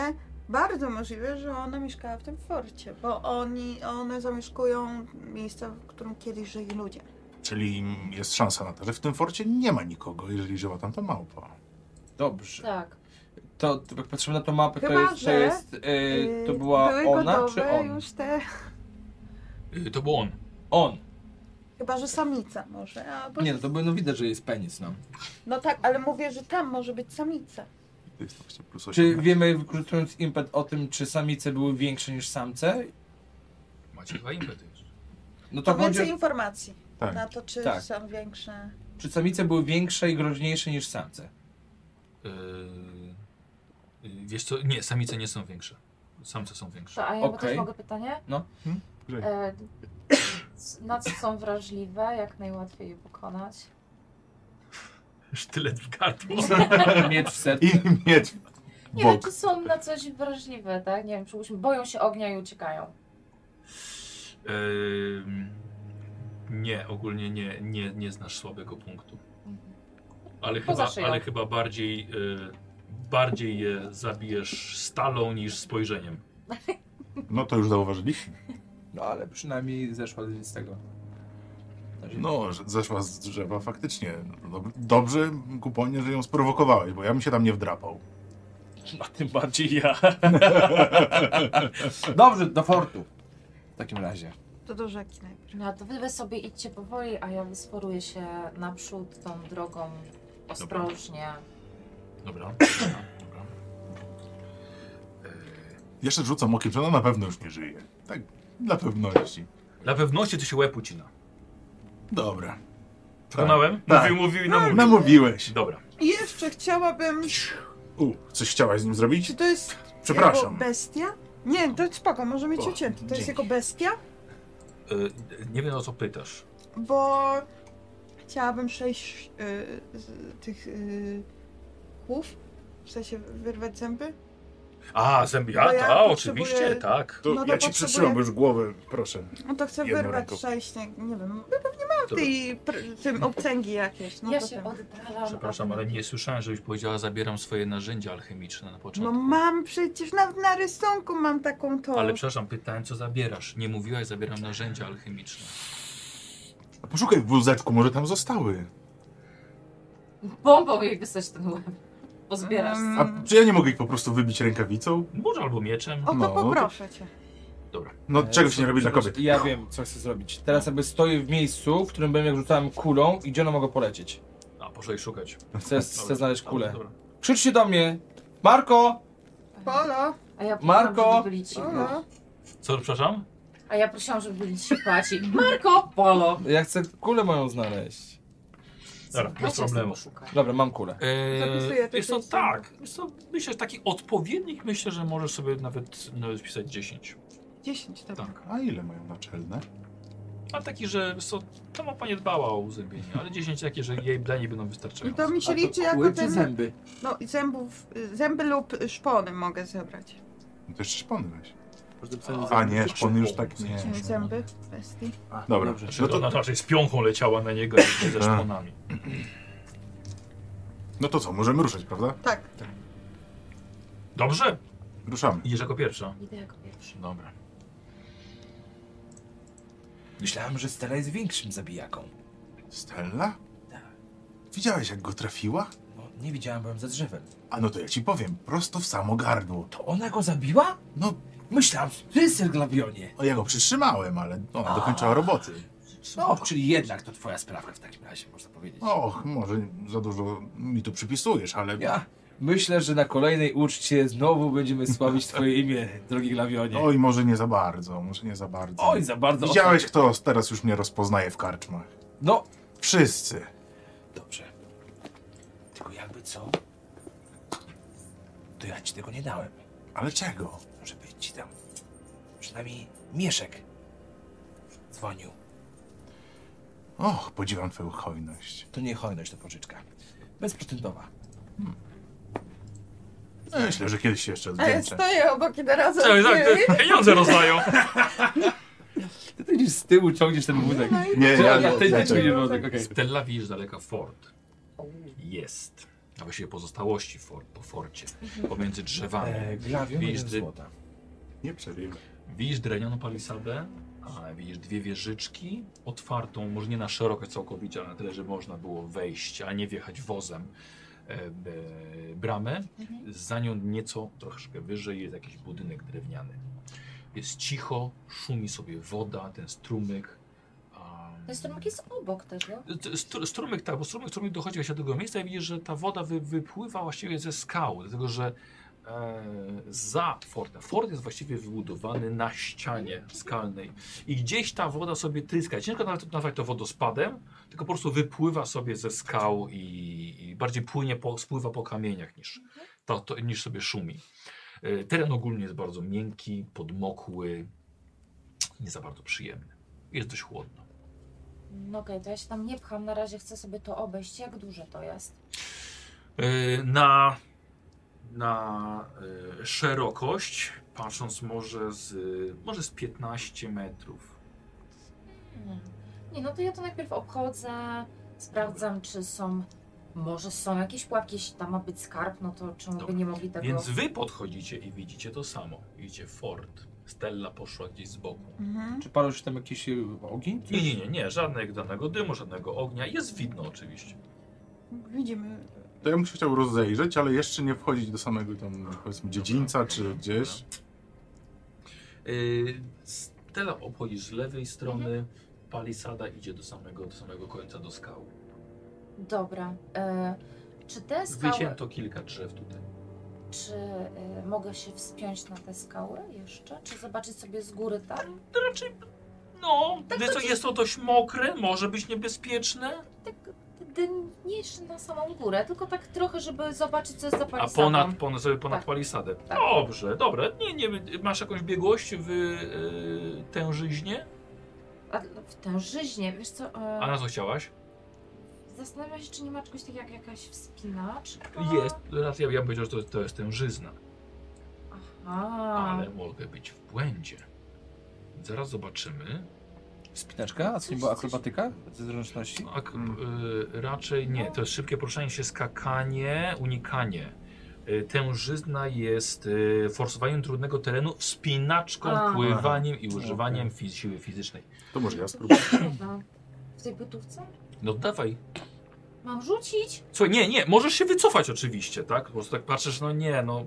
Speaker 7: bardzo możliwe, że ona mieszkała w tym forcie, bo oni, one zamieszkują miejsca, w którym kiedyś żyli ludzie.
Speaker 2: Czyli jest szansa na to, że w tym forcie nie ma nikogo, jeżeli żyła tam ta małpa.
Speaker 4: Dobrze.
Speaker 5: Tak.
Speaker 4: To, to jak patrzymy na tą mapę, to
Speaker 7: Chyba,
Speaker 4: jest. To,
Speaker 7: że,
Speaker 4: jest, y, to
Speaker 7: Yy,
Speaker 4: była
Speaker 7: były
Speaker 4: ona
Speaker 7: gotowe
Speaker 4: czy on?
Speaker 7: już te...
Speaker 1: E, to był on.
Speaker 4: On.
Speaker 7: Chyba, że samica może, albo...
Speaker 4: Nie, no to było no widać, że jest penis. No.
Speaker 7: No tak, ale mówię, że tam może być samica.
Speaker 2: To jest właśnie plus
Speaker 4: Czy
Speaker 2: 8.
Speaker 4: wiemy, wykorzystując impet, o tym, czy samice były większe niż samce?
Speaker 1: Macie dwa impety jeszcze.
Speaker 4: No to
Speaker 7: To więcej
Speaker 4: chodzi, o-
Speaker 7: informacji
Speaker 2: Tak.
Speaker 7: na to, czy
Speaker 4: Tak.
Speaker 7: są większe...
Speaker 4: czy samice były większe i groźniejsze niż samce?
Speaker 1: Yy, yy, wiesz co, nie, samice nie są większe. Samce są większe.
Speaker 5: To, a ja okay.
Speaker 4: Okej.
Speaker 5: też mogę pytanie?
Speaker 4: No.
Speaker 2: Hmm, grzeje.
Speaker 5: E, c- na co są wrażliwe? Jak najłatwiej je pokonać?
Speaker 1: Sztylet w gardło.
Speaker 4: Miecz w sercu.
Speaker 2: I mieć
Speaker 5: Nie wiem,
Speaker 2: bok.
Speaker 5: czy są na coś wrażliwe, tak? Nie wiem, czy uśm- boją się ognia i uciekają.
Speaker 1: Yy, nie, ogólnie nie, nie, nie znasz słabego punktu.
Speaker 7: Mhm. No
Speaker 1: Ale
Speaker 5: Poza
Speaker 1: chyba,
Speaker 5: szyją.
Speaker 1: ale chyba bardziej, yy, bardziej je zabijesz stalą niż spojrzeniem.
Speaker 7: znaczy-
Speaker 2: No to już zauważyliśmy.
Speaker 4: No ale przynajmniej zeszła z tego. Na ziemię.
Speaker 2: No, że zeszła z drzewa faktycznie. Dob- Dobrze, kuponie, że ją sprowokowałeś, bo ja bym się tam nie wdrapał.
Speaker 4: A tym bardziej ja. Dobrze, do fortu. W takim razie.
Speaker 7: To do rzeki najpierw.
Speaker 5: No to wy, wy sobie idźcie powoli, a ja wysporuję się naprzód tą drogą ostrożnie.
Speaker 1: Dobra, dobra, dobra.
Speaker 2: Jeszcze rzucam okiem, że ona na pewno już nie żyje. Tak, dla pewności.
Speaker 1: Dla pewności to się łeb ucina.
Speaker 2: Dobra.
Speaker 1: Przekonałem?
Speaker 2: Tak.
Speaker 1: Mówił, No, mówił i namówił.
Speaker 2: Namówiłeś.
Speaker 1: Dobra.
Speaker 7: I jeszcze chciałabym...
Speaker 2: U, coś chciałaś z nim zrobić?
Speaker 7: Czy to jest
Speaker 2: Przepraszam.
Speaker 7: Jego bestia? Nie, to spoko, może mieć
Speaker 2: O,
Speaker 7: ucięty. To jest
Speaker 2: dzięki.
Speaker 7: jego bestia,
Speaker 1: Yy, nie wiem o co pytasz.
Speaker 7: bo chciałabym przejść y, z tych y, kłów. W sensie wyrwać zęby.
Speaker 1: A, zęby,
Speaker 7: Bo
Speaker 1: a,
Speaker 7: No ja
Speaker 1: ta,
Speaker 7: potrzebuję-
Speaker 1: oczywiście, tak.
Speaker 14: To
Speaker 7: No to
Speaker 14: ja ci
Speaker 7: potrzebuję-
Speaker 14: przytrzymam już głowę, proszę.
Speaker 7: No to chcę
Speaker 14: Jedną
Speaker 7: wyrwać
Speaker 14: ręką.
Speaker 7: przejść, nie, nie wiem, w tej, pr, tym obcęgi jakieś. No
Speaker 5: ja
Speaker 7: to
Speaker 5: się
Speaker 7: ten.
Speaker 5: oddalam.
Speaker 1: Przepraszam, ale nie słyszałem, żebyś powiedziała, zabieram swoje narzędzia alchemiczne na
Speaker 7: No
Speaker 1: początku.
Speaker 7: mam przecież, na, na rysunku mam taką tą.
Speaker 1: Ale przepraszam, pytałem, co zabierasz. Nie mówiłaś, zabieram narzędzia alchemiczne.
Speaker 2: Poszukaj w wózeczku, może tam zostały.
Speaker 5: Bombą jej wysać ten łeb. Pozbierasz.
Speaker 7: Mm,
Speaker 2: A czy ja nie mogę ich po prostu wybić rękawicą?
Speaker 1: Może albo mieczem.
Speaker 7: O to
Speaker 2: No, to-
Speaker 7: poproszę cię.
Speaker 2: No,
Speaker 4: E,
Speaker 2: czegoś nie
Speaker 4: co-
Speaker 2: robi dla
Speaker 4: przepraszam,
Speaker 2: kobiet.
Speaker 4: Ja wiem, co chcę zrobić. Teraz jakby stoję w miejscu, w którym byłem, jak rzucałem kulą i gdzie ona mogła polecieć.
Speaker 1: A, poszła jej szukać.
Speaker 4: Chcę, chcę znaleźć kulę.
Speaker 1: Dobra.
Speaker 4: Krzyczcie do mnie! Marko!
Speaker 7: Polo,
Speaker 5: A ja
Speaker 4: Marko!
Speaker 5: prosiłam, żeby byli ci-
Speaker 7: polo.
Speaker 1: Co, przepraszam?
Speaker 5: A ja prosiłam, żeby byli ci płaci. Marko! Polo!
Speaker 4: Ja chcę kulę moją znaleźć.
Speaker 1: Dobra, bez problemu.
Speaker 4: Dobra, mam kulę.
Speaker 7: Zapisuję
Speaker 1: Eee,
Speaker 7: to
Speaker 1: wiesz co,
Speaker 7: gdzieś tam.
Speaker 1: tak. Wiesz co, myślę, że taki odpowiednik, myślę, że możesz sobie nawet, nawet pisać 10.
Speaker 7: 10 tam.
Speaker 1: Tak.
Speaker 2: A ile mają naczelne?
Speaker 1: A taki, że wiesz co, ta mapa nie dbała o uzębienie, ale 10 takie, że jej dla niej będą
Speaker 7: I
Speaker 1: wystarczające.
Speaker 7: No to mi się liczy jako
Speaker 4: Kły czy
Speaker 7: ten
Speaker 4: zęby?
Speaker 7: No i zębów, zęby lub szpony mogę zebrać.
Speaker 2: No to jeszcze szpony weź.
Speaker 14: Każdym samym
Speaker 2: A
Speaker 14: zajmie
Speaker 2: nie,
Speaker 14: się
Speaker 2: on już
Speaker 14: szpą.
Speaker 2: tak nie.
Speaker 7: Cię zęby bestii.
Speaker 14: A,
Speaker 2: Dobra.
Speaker 14: dobrze.
Speaker 1: No
Speaker 2: No
Speaker 1: to
Speaker 2: to,
Speaker 1: ona raczej z piąchą leciała na niego niż ze szponami.
Speaker 2: no to co, możemy ruszyć, prawda?
Speaker 7: Tak.
Speaker 1: Dobrze?
Speaker 2: Ruszamy.
Speaker 1: Idziesz jako pierwsza.
Speaker 5: Idę jako pierwszy.
Speaker 1: Dobra.
Speaker 4: Myślałem, że Stella jest większym zabijaką.
Speaker 2: Stella? Widziałeś, jak go trafiła?
Speaker 4: No, nie widziałem, byłem za drzewem.
Speaker 2: A no to ja ci powiem, prosto w samo gardło.
Speaker 4: To ona go zabiła?
Speaker 2: No,
Speaker 4: Myślałem, że ty, Serglabionie.
Speaker 2: no ja go przytrzymałem, ale ona dokończała roboty.
Speaker 4: No, czyli jednak to twoja sprawka w takim razie, można powiedzieć.
Speaker 2: Och, może za dużo mi tu przypisujesz, ale...
Speaker 4: Ja myślę, że na kolejnej uczcie znowu będziemy sławić twoje imię, drogi Glawionie.
Speaker 2: Oj, może nie za bardzo, może nie za bardzo.
Speaker 4: Oj, za bardzo.
Speaker 2: Widziałeś, kto teraz już mnie rozpoznaje w karczmach.
Speaker 4: No,
Speaker 2: Wszyscy.
Speaker 4: dobrze. Tylko jakby co? To ja ci tego nie dałem.
Speaker 2: Ale czego?
Speaker 4: Żeby ci tam przynajmniej mieszek dzwonił.
Speaker 2: Och, podziwiam twoją hojność.
Speaker 4: To nie hojność, to pożyczka. Bezprzytędowa.
Speaker 2: No, Myślę, że kiedyś się
Speaker 5: E,
Speaker 2: jeszcze
Speaker 7: A ja
Speaker 2: odwdzięczę.
Speaker 7: stoję obok i teraz
Speaker 13: Tak, tak, te pieniądze rozdają.
Speaker 4: Ty, ty gdzieś z tyłu ciągniesz ten wózek.
Speaker 2: Nie, ja...
Speaker 4: ja, ten
Speaker 2: ja,
Speaker 4: nie czuję wózek, okej.
Speaker 1: Stella widzisz z daleka Ford. Jest. A właściwie pozostałości Ford, po Forcie. Pomiędzy drzewami.
Speaker 4: E, Glawion
Speaker 1: Widzisz,
Speaker 4: jeden
Speaker 1: ty-
Speaker 4: złota.
Speaker 2: nie przerywaj.
Speaker 1: Widzisz drenioną palisadę, a widzisz dwie wieżyczki, otwartą, może nie na szeroko całkowicie, ale na tyle, że można było wejść, a nie wjechać wozem, e, e, bramę.
Speaker 5: Mhm.
Speaker 1: Za nią nieco, troszkę wyżej jest jakiś budynek drewniany. Jest cicho, szumi sobie woda, ten strumyk. a-
Speaker 5: Ten strumyk jest obok tego.
Speaker 1: T- stru- Strumyk, tak, bo strumyk, strumyk dochodzi właśnie do tego miejsca i widzisz, że ta woda wy, wypływa właściwie ze skał, dlatego że e, za fortem, fort jest właściwie wybudowany na ścianie skalnej i gdzieś ta woda sobie tryska. Ciężko nawet nazwać to wodospadem, tylko po prostu wypływa sobie ze skał i, i bardziej płynie, po, spływa po kamieniach niż, to, to, niż sobie szumi. E, teren ogólnie jest bardzo miękki, podmokły, nie za bardzo przyjemny. Jest dość chłodno.
Speaker 5: No okej, to ja się tam nie pcham, na razie chcę sobie to obejść. Jak duże to jest?
Speaker 1: Yy, na, na yy, szerokość, patrząc może z, może z 15 metrów.
Speaker 5: Hmm. Nie, no to ja to najpierw obchodzę, sprawdzam, czy są. Może są jakieś pułapki, jeśli tam ma być skarb, no to czemu by
Speaker 1: Dobra.
Speaker 5: nie mogli tego.
Speaker 1: Więc wy podchodzicie i widzicie to samo. Widzicie Ford. Stella poszła gdzieś z boku.
Speaker 7: Mhm.
Speaker 4: Czy parę tam jakiś y, ogień?
Speaker 1: Nie, nie, nie, nie. Żadnego danego dymu, żadnego ognia. Jest widno oczywiście.
Speaker 7: Widzimy.
Speaker 2: To ja bym się chciał rozejrzeć, ale jeszcze nie wchodzić do samego tam, powiedzmy, dziedzińca czy gdzieś.
Speaker 1: Yy, Stella obchodzi z lewej strony. Palisada idzie do samego, do samego końca, do skał.
Speaker 5: Dobra. E, czy te skały.
Speaker 1: Wycięto kilka drzew tutaj.
Speaker 5: Czy e, mogę się wspiąć na te skały jeszcze? Czy zobaczyć sobie z góry tak? tam?
Speaker 13: To raczej, no,
Speaker 5: Tak
Speaker 13: jest, to,
Speaker 5: chodzi.
Speaker 13: jest to dość mokre, może być niebezpieczne.
Speaker 5: Tak dynniejszy na samą górę, tylko tak trochę, żeby zobaczyć, co jest za
Speaker 1: A
Speaker 5: palisadą.
Speaker 1: ponad, ponad, sobie ponad
Speaker 5: Tak.
Speaker 1: palisadę.
Speaker 5: Tak.
Speaker 1: Dobrze, dobra. Nie, nie, masz jakąś biegłość w y, tężyźnie?
Speaker 5: A no, w tę żyźnię, wiesz co? E,
Speaker 1: A na co chciałaś?
Speaker 5: Zastanawiam się, czy nie ma czegoś takiego jak jakaś wspinaczka.
Speaker 1: Jest, raczej ja bym powiedział, że to, to jest tężyzna,
Speaker 5: Aha.
Speaker 1: ale mogę być w błędzie. Zaraz zobaczymy.
Speaker 4: Spinaczka? A co nie była akrobatyka? Ze zręczności?
Speaker 1: Ak- y, raczej nie, to jest szybkie poruszanie się, skakanie, unikanie. Y, Tężyzna jest y, forsowaniem trudnego terenu, wspinaczką,
Speaker 5: A.
Speaker 1: pływaniem i używaniem fiz- siły fizycznej.
Speaker 2: To może ja
Speaker 5: To
Speaker 2: spróbuję.
Speaker 5: trudno. No. W tej gotówce?
Speaker 1: No dawaj,
Speaker 5: Mam rzucić?
Speaker 1: Słuchaj, nie, nie, możesz się wycofać oczywiście, tak? Po prostu tak patrzysz, no nie, no.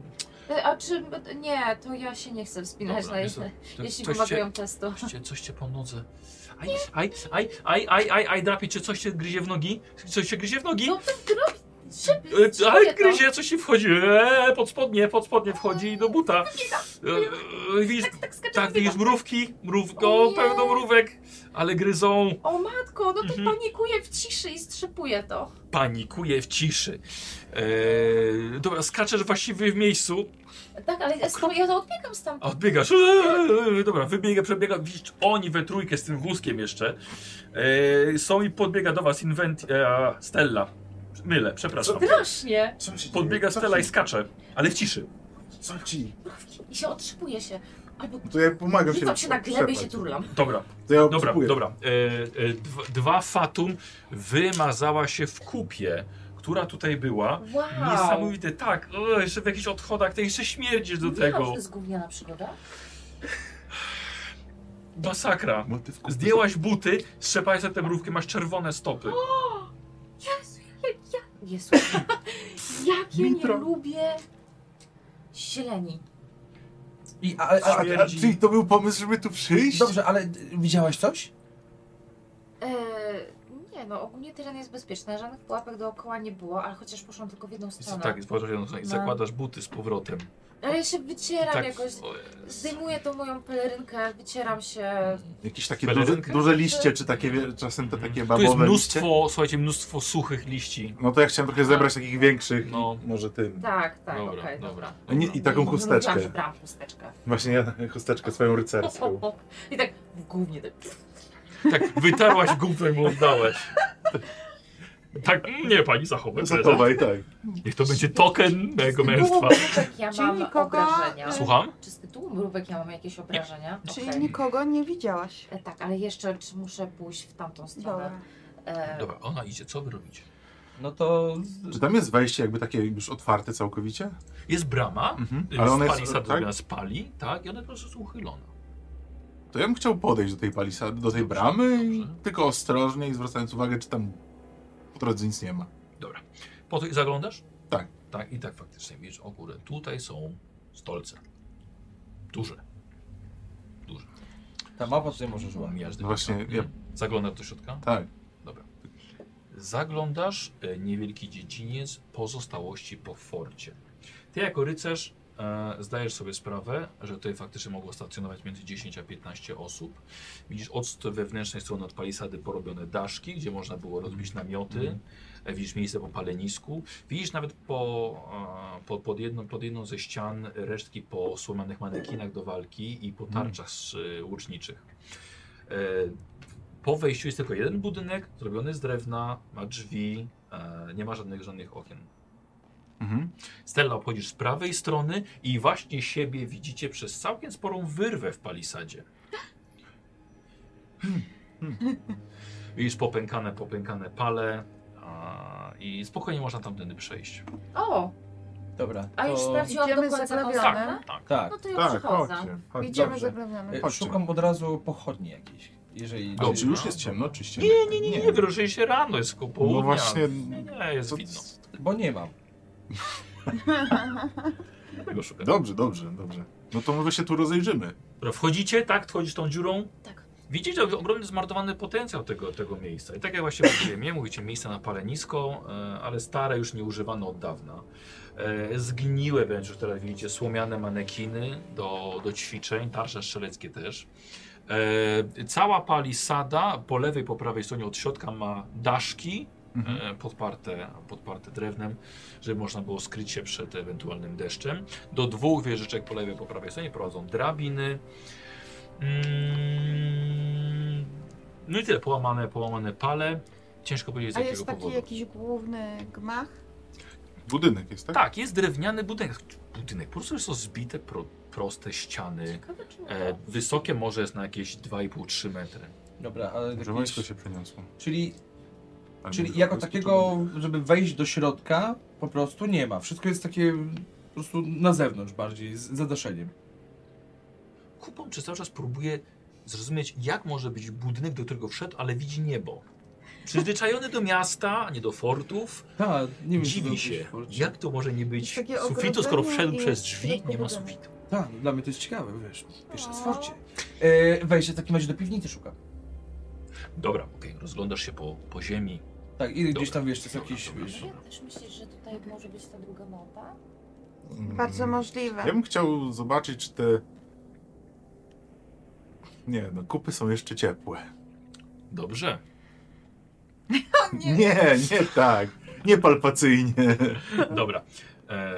Speaker 5: E, A czy... Nie, to ja się nie chcę wspinać
Speaker 1: Dobra,
Speaker 5: na
Speaker 1: jest to-
Speaker 5: jeźdź-
Speaker 1: to-
Speaker 5: jeśli
Speaker 1: coś
Speaker 5: wymagają testu.
Speaker 1: Cię, coś, cię, coś cię po nodze. Aj, aj, aj, aj, aj, aj, aj, drapie cię, coś cię gryzie w nogi. Coś cię gryzie w nogi.
Speaker 5: No to robi...
Speaker 1: E,
Speaker 5: Szybko,
Speaker 1: Ale gryzie, coś ci wchodzi. Eee, pod spodnie, pod spodnie wchodzi do buta. E, e, widzisz,
Speaker 5: No, Tak skacze
Speaker 1: tak,
Speaker 5: mówię,
Speaker 1: widzisz mrówki, mrówko,
Speaker 5: O nie.
Speaker 1: pełno mrówek, ale gryzą.
Speaker 5: O matko, no to
Speaker 1: Mhm.
Speaker 5: panikuję w ciszy i strzepuję to.
Speaker 1: Panikuje w ciszy. E, dobra, skaczesz właściwie w miejscu.
Speaker 5: Tak, ale ja skoro ja to odbiegam stamtąd.
Speaker 1: A odbiegasz. Eee, Dobra, wybiega, przebiega. Widzisz, oni we trójkę z tym wózkiem jeszcze. Eee, są i podbiega do was Invent... E, Stella. Mylę, przepraszam.
Speaker 5: Strasznie.
Speaker 2: Co się dzieje?
Speaker 1: Podbiega
Speaker 2: Co
Speaker 1: Stella i
Speaker 2: ci-
Speaker 1: skacze, ale w ciszy.
Speaker 2: Co ci?
Speaker 5: I się otrzepuje się. Albo
Speaker 15: No To ja pomagam się.
Speaker 5: rzucam się na glebę i się
Speaker 15: trzepać.
Speaker 5: turlam.
Speaker 1: Dobra,
Speaker 15: To ja
Speaker 1: dobra,
Speaker 15: obserwuję.
Speaker 1: dobra. E, e, dwa, dwa fatum wymazała się w kupie, która tutaj była.
Speaker 5: Wow!
Speaker 1: Niesamowite, tak. O, jeszcze w jakichś odchodach, to jeszcze śmierdzisz do
Speaker 5: Mówiłam, że
Speaker 1: tego.
Speaker 5: to jest gówniana przygoda.
Speaker 1: Masakra.
Speaker 15: Motyw kupy.
Speaker 1: Zdjęłaś buty, strzepaj sobie te mrówki, masz czerwone stopy.
Speaker 5: Jezu, jak ja... Jezu. jak ja nie
Speaker 15: Mitro.
Speaker 5: lubię zieleni.
Speaker 4: I, a, a, a,
Speaker 2: A, czyli to był pomysł, żeby tu przyjść?
Speaker 4: dobrze, ale y, widziałaś coś?
Speaker 5: Eee, nie no, ogólnie teren jest bezpieczny, żadnych pułapek dookoła nie było, ale chociaż poszłam tylko w jedną
Speaker 1: Jest,
Speaker 5: stronę.
Speaker 1: tak, jest bardzo jedno, i
Speaker 5: No.
Speaker 1: zakładasz buty z powrotem.
Speaker 5: Ale ja się wycieram
Speaker 1: Tak,
Speaker 5: jakoś,
Speaker 1: o,
Speaker 5: zdejmuję tą moją pelerynkę, wycieram się.
Speaker 2: Jakieś takie duże,
Speaker 1: Pelerynkę?
Speaker 2: duże liście, czy takie, wie- czasem te takie
Speaker 1: Mhm. Tu
Speaker 2: babowe
Speaker 1: jest
Speaker 2: liście?
Speaker 1: mnóstwo, słuchajcie, mnóstwo suchych liści.
Speaker 2: No to ja chciałem trochę zebrać takich większych.
Speaker 1: No.
Speaker 15: Może tym.
Speaker 5: Tak, tak, okej,
Speaker 1: Dobra, dobra. No.
Speaker 5: dobra. No,
Speaker 2: A No Nie, I taką chusteczkę.
Speaker 5: Wybrałam, wybrałam chusteczkę.
Speaker 15: Właśnie ja chusteczkę swoją rycerską.
Speaker 5: I tak w gównie tak.
Speaker 1: Tak, wytarłaś gumę i mu oddałeś. Tak, nie pani,
Speaker 2: No,
Speaker 1: zachowaj. prezent.
Speaker 15: Zachowaj, tak.
Speaker 1: Niech to będzie token mojego
Speaker 5: Z
Speaker 1: męstwa.
Speaker 5: tytułu mrówek ja
Speaker 7: Czyli
Speaker 5: mam
Speaker 7: nikogo-
Speaker 5: obrażenia.
Speaker 1: Słucham?
Speaker 5: Czy z tytułu mrówek ja mam jakieś obrażenia?
Speaker 7: Czyli
Speaker 5: Okej.
Speaker 7: nikogo nie widziałaś.
Speaker 5: E, Tak, ale jeszcze czy muszę pójść w tamtą stronę.
Speaker 7: Dobra.
Speaker 5: E,
Speaker 1: Dobra, ona idzie, co wy robicie?
Speaker 4: No to...
Speaker 2: Czy tam jest wejście jakby takie już otwarte całkowicie?
Speaker 1: Jest brama,
Speaker 2: Mhm.
Speaker 1: ale
Speaker 2: Ale ona
Speaker 1: spali
Speaker 2: jest, tak?
Speaker 1: tak? spali, tak, i ona po prostu jest uchylona.
Speaker 2: To ja bym chciał podejść do tej palisady, do tej
Speaker 1: Dobrze,
Speaker 2: bramy, i
Speaker 1: dobrze.
Speaker 2: tylko ostrożnie i zwracając uwagę, czy tam po drodze nic nie ma.
Speaker 1: Po to i zaglądasz?
Speaker 2: Tak.
Speaker 1: Tak, i tak faktycznie widzisz, o górę, tutaj są stolce. Duże. Duże.
Speaker 4: Ta mapa tutaj może żyła.
Speaker 1: Miażdżę.
Speaker 2: No właśnie, ja-
Speaker 1: Zaglądasz do środka?
Speaker 2: Tak.
Speaker 1: Zaglądasz e, niewielki dziedziniec pozostałości po forcie. Ty jako rycerz e, zdajesz sobie sprawę, że tutaj faktycznie mogło stacjonować między 10 a 15 osób. Widzisz od st- wewnętrznej strony od palisady porobione daszki, gdzie można było rozbić
Speaker 2: Mhm.
Speaker 1: namioty. E, Widzisz miejsce po palenisku. Widzisz nawet po, e, po, pod, jedną, pod jedną ze ścian resztki po słomianych manekinach do walki i po
Speaker 2: Mhm.
Speaker 1: tarczach z, e, łuczniczych. E, po wejściu jest tylko jeden budynek, zrobiony z drewna, ma drzwi, e, nie ma żadnych żadnych okien.
Speaker 2: Mhm.
Speaker 1: Stella obchodzisz z prawej strony i właśnie siebie widzicie przez całkiem sporą wyrwę w palisadzie. Hmm, Widzisz popękane, popękane pale a, i spokojnie można tamtędy przejść.
Speaker 5: O,
Speaker 4: Dobra,
Speaker 5: a już
Speaker 4: to...
Speaker 5: sprawdziłam
Speaker 7: Idziemy
Speaker 5: do końca
Speaker 7: zaglebione.
Speaker 5: konstantę?
Speaker 1: Tak.
Speaker 4: Tak,
Speaker 5: No to ja
Speaker 2: Tak,
Speaker 5: przychodzę.
Speaker 2: chodźcie. chodźcie.
Speaker 7: Idziemy
Speaker 4: dobrze.
Speaker 5: No
Speaker 7: zaglądamy.
Speaker 4: E,
Speaker 2: Chodźcie.
Speaker 4: Szukam od razu pochodni jakiejś, jeżeli...
Speaker 2: A
Speaker 1: Dobrze.
Speaker 2: czy już jest ciemno, oczywiście?
Speaker 1: Nie, nie, nie, nie, nie wyruszyli się rano, jest koło południa.
Speaker 2: No właśnie,
Speaker 1: Nie, nie jest
Speaker 2: co-
Speaker 1: widno.
Speaker 4: Bo nie mam.
Speaker 1: Dlatego szukam.
Speaker 2: Dobrze, dobrze, dobrze. No to może się tu rozejrzymy.
Speaker 1: Dobra, wchodzicie, tak? Wchodzisz tą dziurą?
Speaker 5: Tak.
Speaker 1: Widzicie og- ogromny zmarnowany potencjał tego, tego miejsca. I tak jak właśnie mówiłem, nie mówicie miejsce na palenisko, e, ale stare już nie używane od dawna. E, Zgniłe wręcz już teraz widzicie słomiane manekiny do, do ćwiczeń, tarcze strzeleckie też. E, Cała palisada po lewej, po prawej stronie od środka ma daszki e, podparte, podparte drewnem, żeby można było skryć się przed ewentualnym deszczem. Do dwóch wieżyczek po lewej, po prawej stronie prowadzą drabiny. Mm, No i tyle, połamane, połamane pale. Ciężko powiedzieć z
Speaker 7: A
Speaker 1: jakiego
Speaker 7: jest taki
Speaker 1: powodu.
Speaker 7: jakiś główny gmach?
Speaker 2: Budynek jest, tak?
Speaker 1: Tak, jest drewniany budynek. Budynek, po prostu są zbite pro, proste ściany.
Speaker 5: Ciekawe, czy
Speaker 1: E,
Speaker 5: uda.
Speaker 1: wysokie może jest na jakieś 2,5-3 metry.
Speaker 4: Dobra, ale...
Speaker 2: Że
Speaker 4: Jakieś...
Speaker 2: wojsko się przeniosło. Tak,
Speaker 4: Czyli,
Speaker 2: Ale
Speaker 4: czyli
Speaker 2: może
Speaker 4: jako
Speaker 2: wojsko
Speaker 4: takiego, żeby wejść do środka, po prostu nie ma. Wszystko jest takie po prostu na zewnątrz bardziej, z zadaszeniem.
Speaker 1: Kupon przez cały czas próbuje zrozumieć, jak może być budynek, do którego wszedł, ale widzi niebo. Przyzwyczajony do miasta, a nie do fortów,
Speaker 4: Tak, nie wiem,
Speaker 1: dziwi
Speaker 4: czy to
Speaker 1: się,
Speaker 4: jest w-
Speaker 1: jak to może nie
Speaker 7: Jest
Speaker 1: być
Speaker 7: takie
Speaker 1: sufitu, skoro
Speaker 7: ogrodzenie
Speaker 1: wszedł
Speaker 7: i
Speaker 1: przez
Speaker 7: jest
Speaker 1: drzwi, nie ma
Speaker 7: ogrodzenie.
Speaker 1: sufitu.
Speaker 4: Tak, dla mnie to jest ciekawe, wiesz, wiesz,
Speaker 1: No.
Speaker 4: na
Speaker 7: O.
Speaker 4: sforcie. E, wejdź, ja w takim razie do piwnicy szukam.
Speaker 1: Dobra, okej, rozglądasz się po, po ziemi.
Speaker 4: Tak, i gdzieś tam, wiesz, to jest
Speaker 1: Dobra,
Speaker 4: jakiś,
Speaker 1: dobra,
Speaker 4: wiesz...
Speaker 5: Ja też myślisz, że tutaj może być ta druga mapa?
Speaker 2: tu- Mm.
Speaker 7: Bardzo możliwe.
Speaker 2: Ja bym chciał zobaczyć, czy te... Nie, no kupy są jeszcze ciepłe.
Speaker 1: Dobrze.
Speaker 2: Nie, nie, tak. Nie palpacyjnie.
Speaker 1: Dobra. Eee,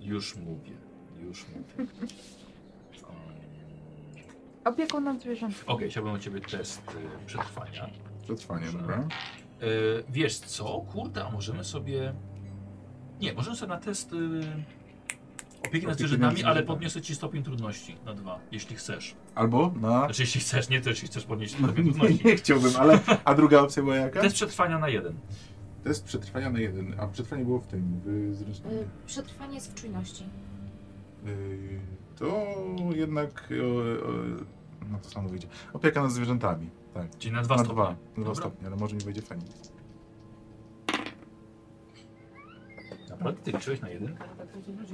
Speaker 1: już mówię. Już mówię. Um,
Speaker 7: Opieką nad zwierzętami.
Speaker 1: Okej, chciałbym od ciebie test y, przetrwania.
Speaker 2: Przetrwanie, no.
Speaker 1: Dobrze.
Speaker 2: dobra.
Speaker 1: E, wiesz co? Kurde, a możemy sobie. Nie, możemy sobie na test y, Opieki y, nad
Speaker 2: Opieki
Speaker 1: zwierzętami,
Speaker 2: nad
Speaker 1: ale
Speaker 2: zwierzętami.
Speaker 1: podniosę ci stopień trudności na dwa, jeśli chcesz.
Speaker 2: Albo na...
Speaker 1: Znaczy, jeśli chcesz, nie to, jeśli chcesz podnieść
Speaker 2: No,
Speaker 1: stopień
Speaker 2: nie,
Speaker 1: trudności.
Speaker 2: nie chciałbym, ale... A druga opcja była jaka?
Speaker 1: Test przetrwania na jeden.
Speaker 2: To jest przetrwania na jeden, a przetrwanie było w tym, w zręcznym.
Speaker 5: Y, Przetrwanie jest w czujności.
Speaker 2: Yy, To jednak... e, e, No to samo wyjdzie. Opieka nad zwierzętami, tak.
Speaker 1: Czyli na dwa
Speaker 2: na
Speaker 1: stopnie.
Speaker 2: dwa, na
Speaker 1: Dobra.
Speaker 2: dwa stopnie, ale może mi wejdzie Feniks.
Speaker 1: Naprawdę ty liczyłeś na jeden?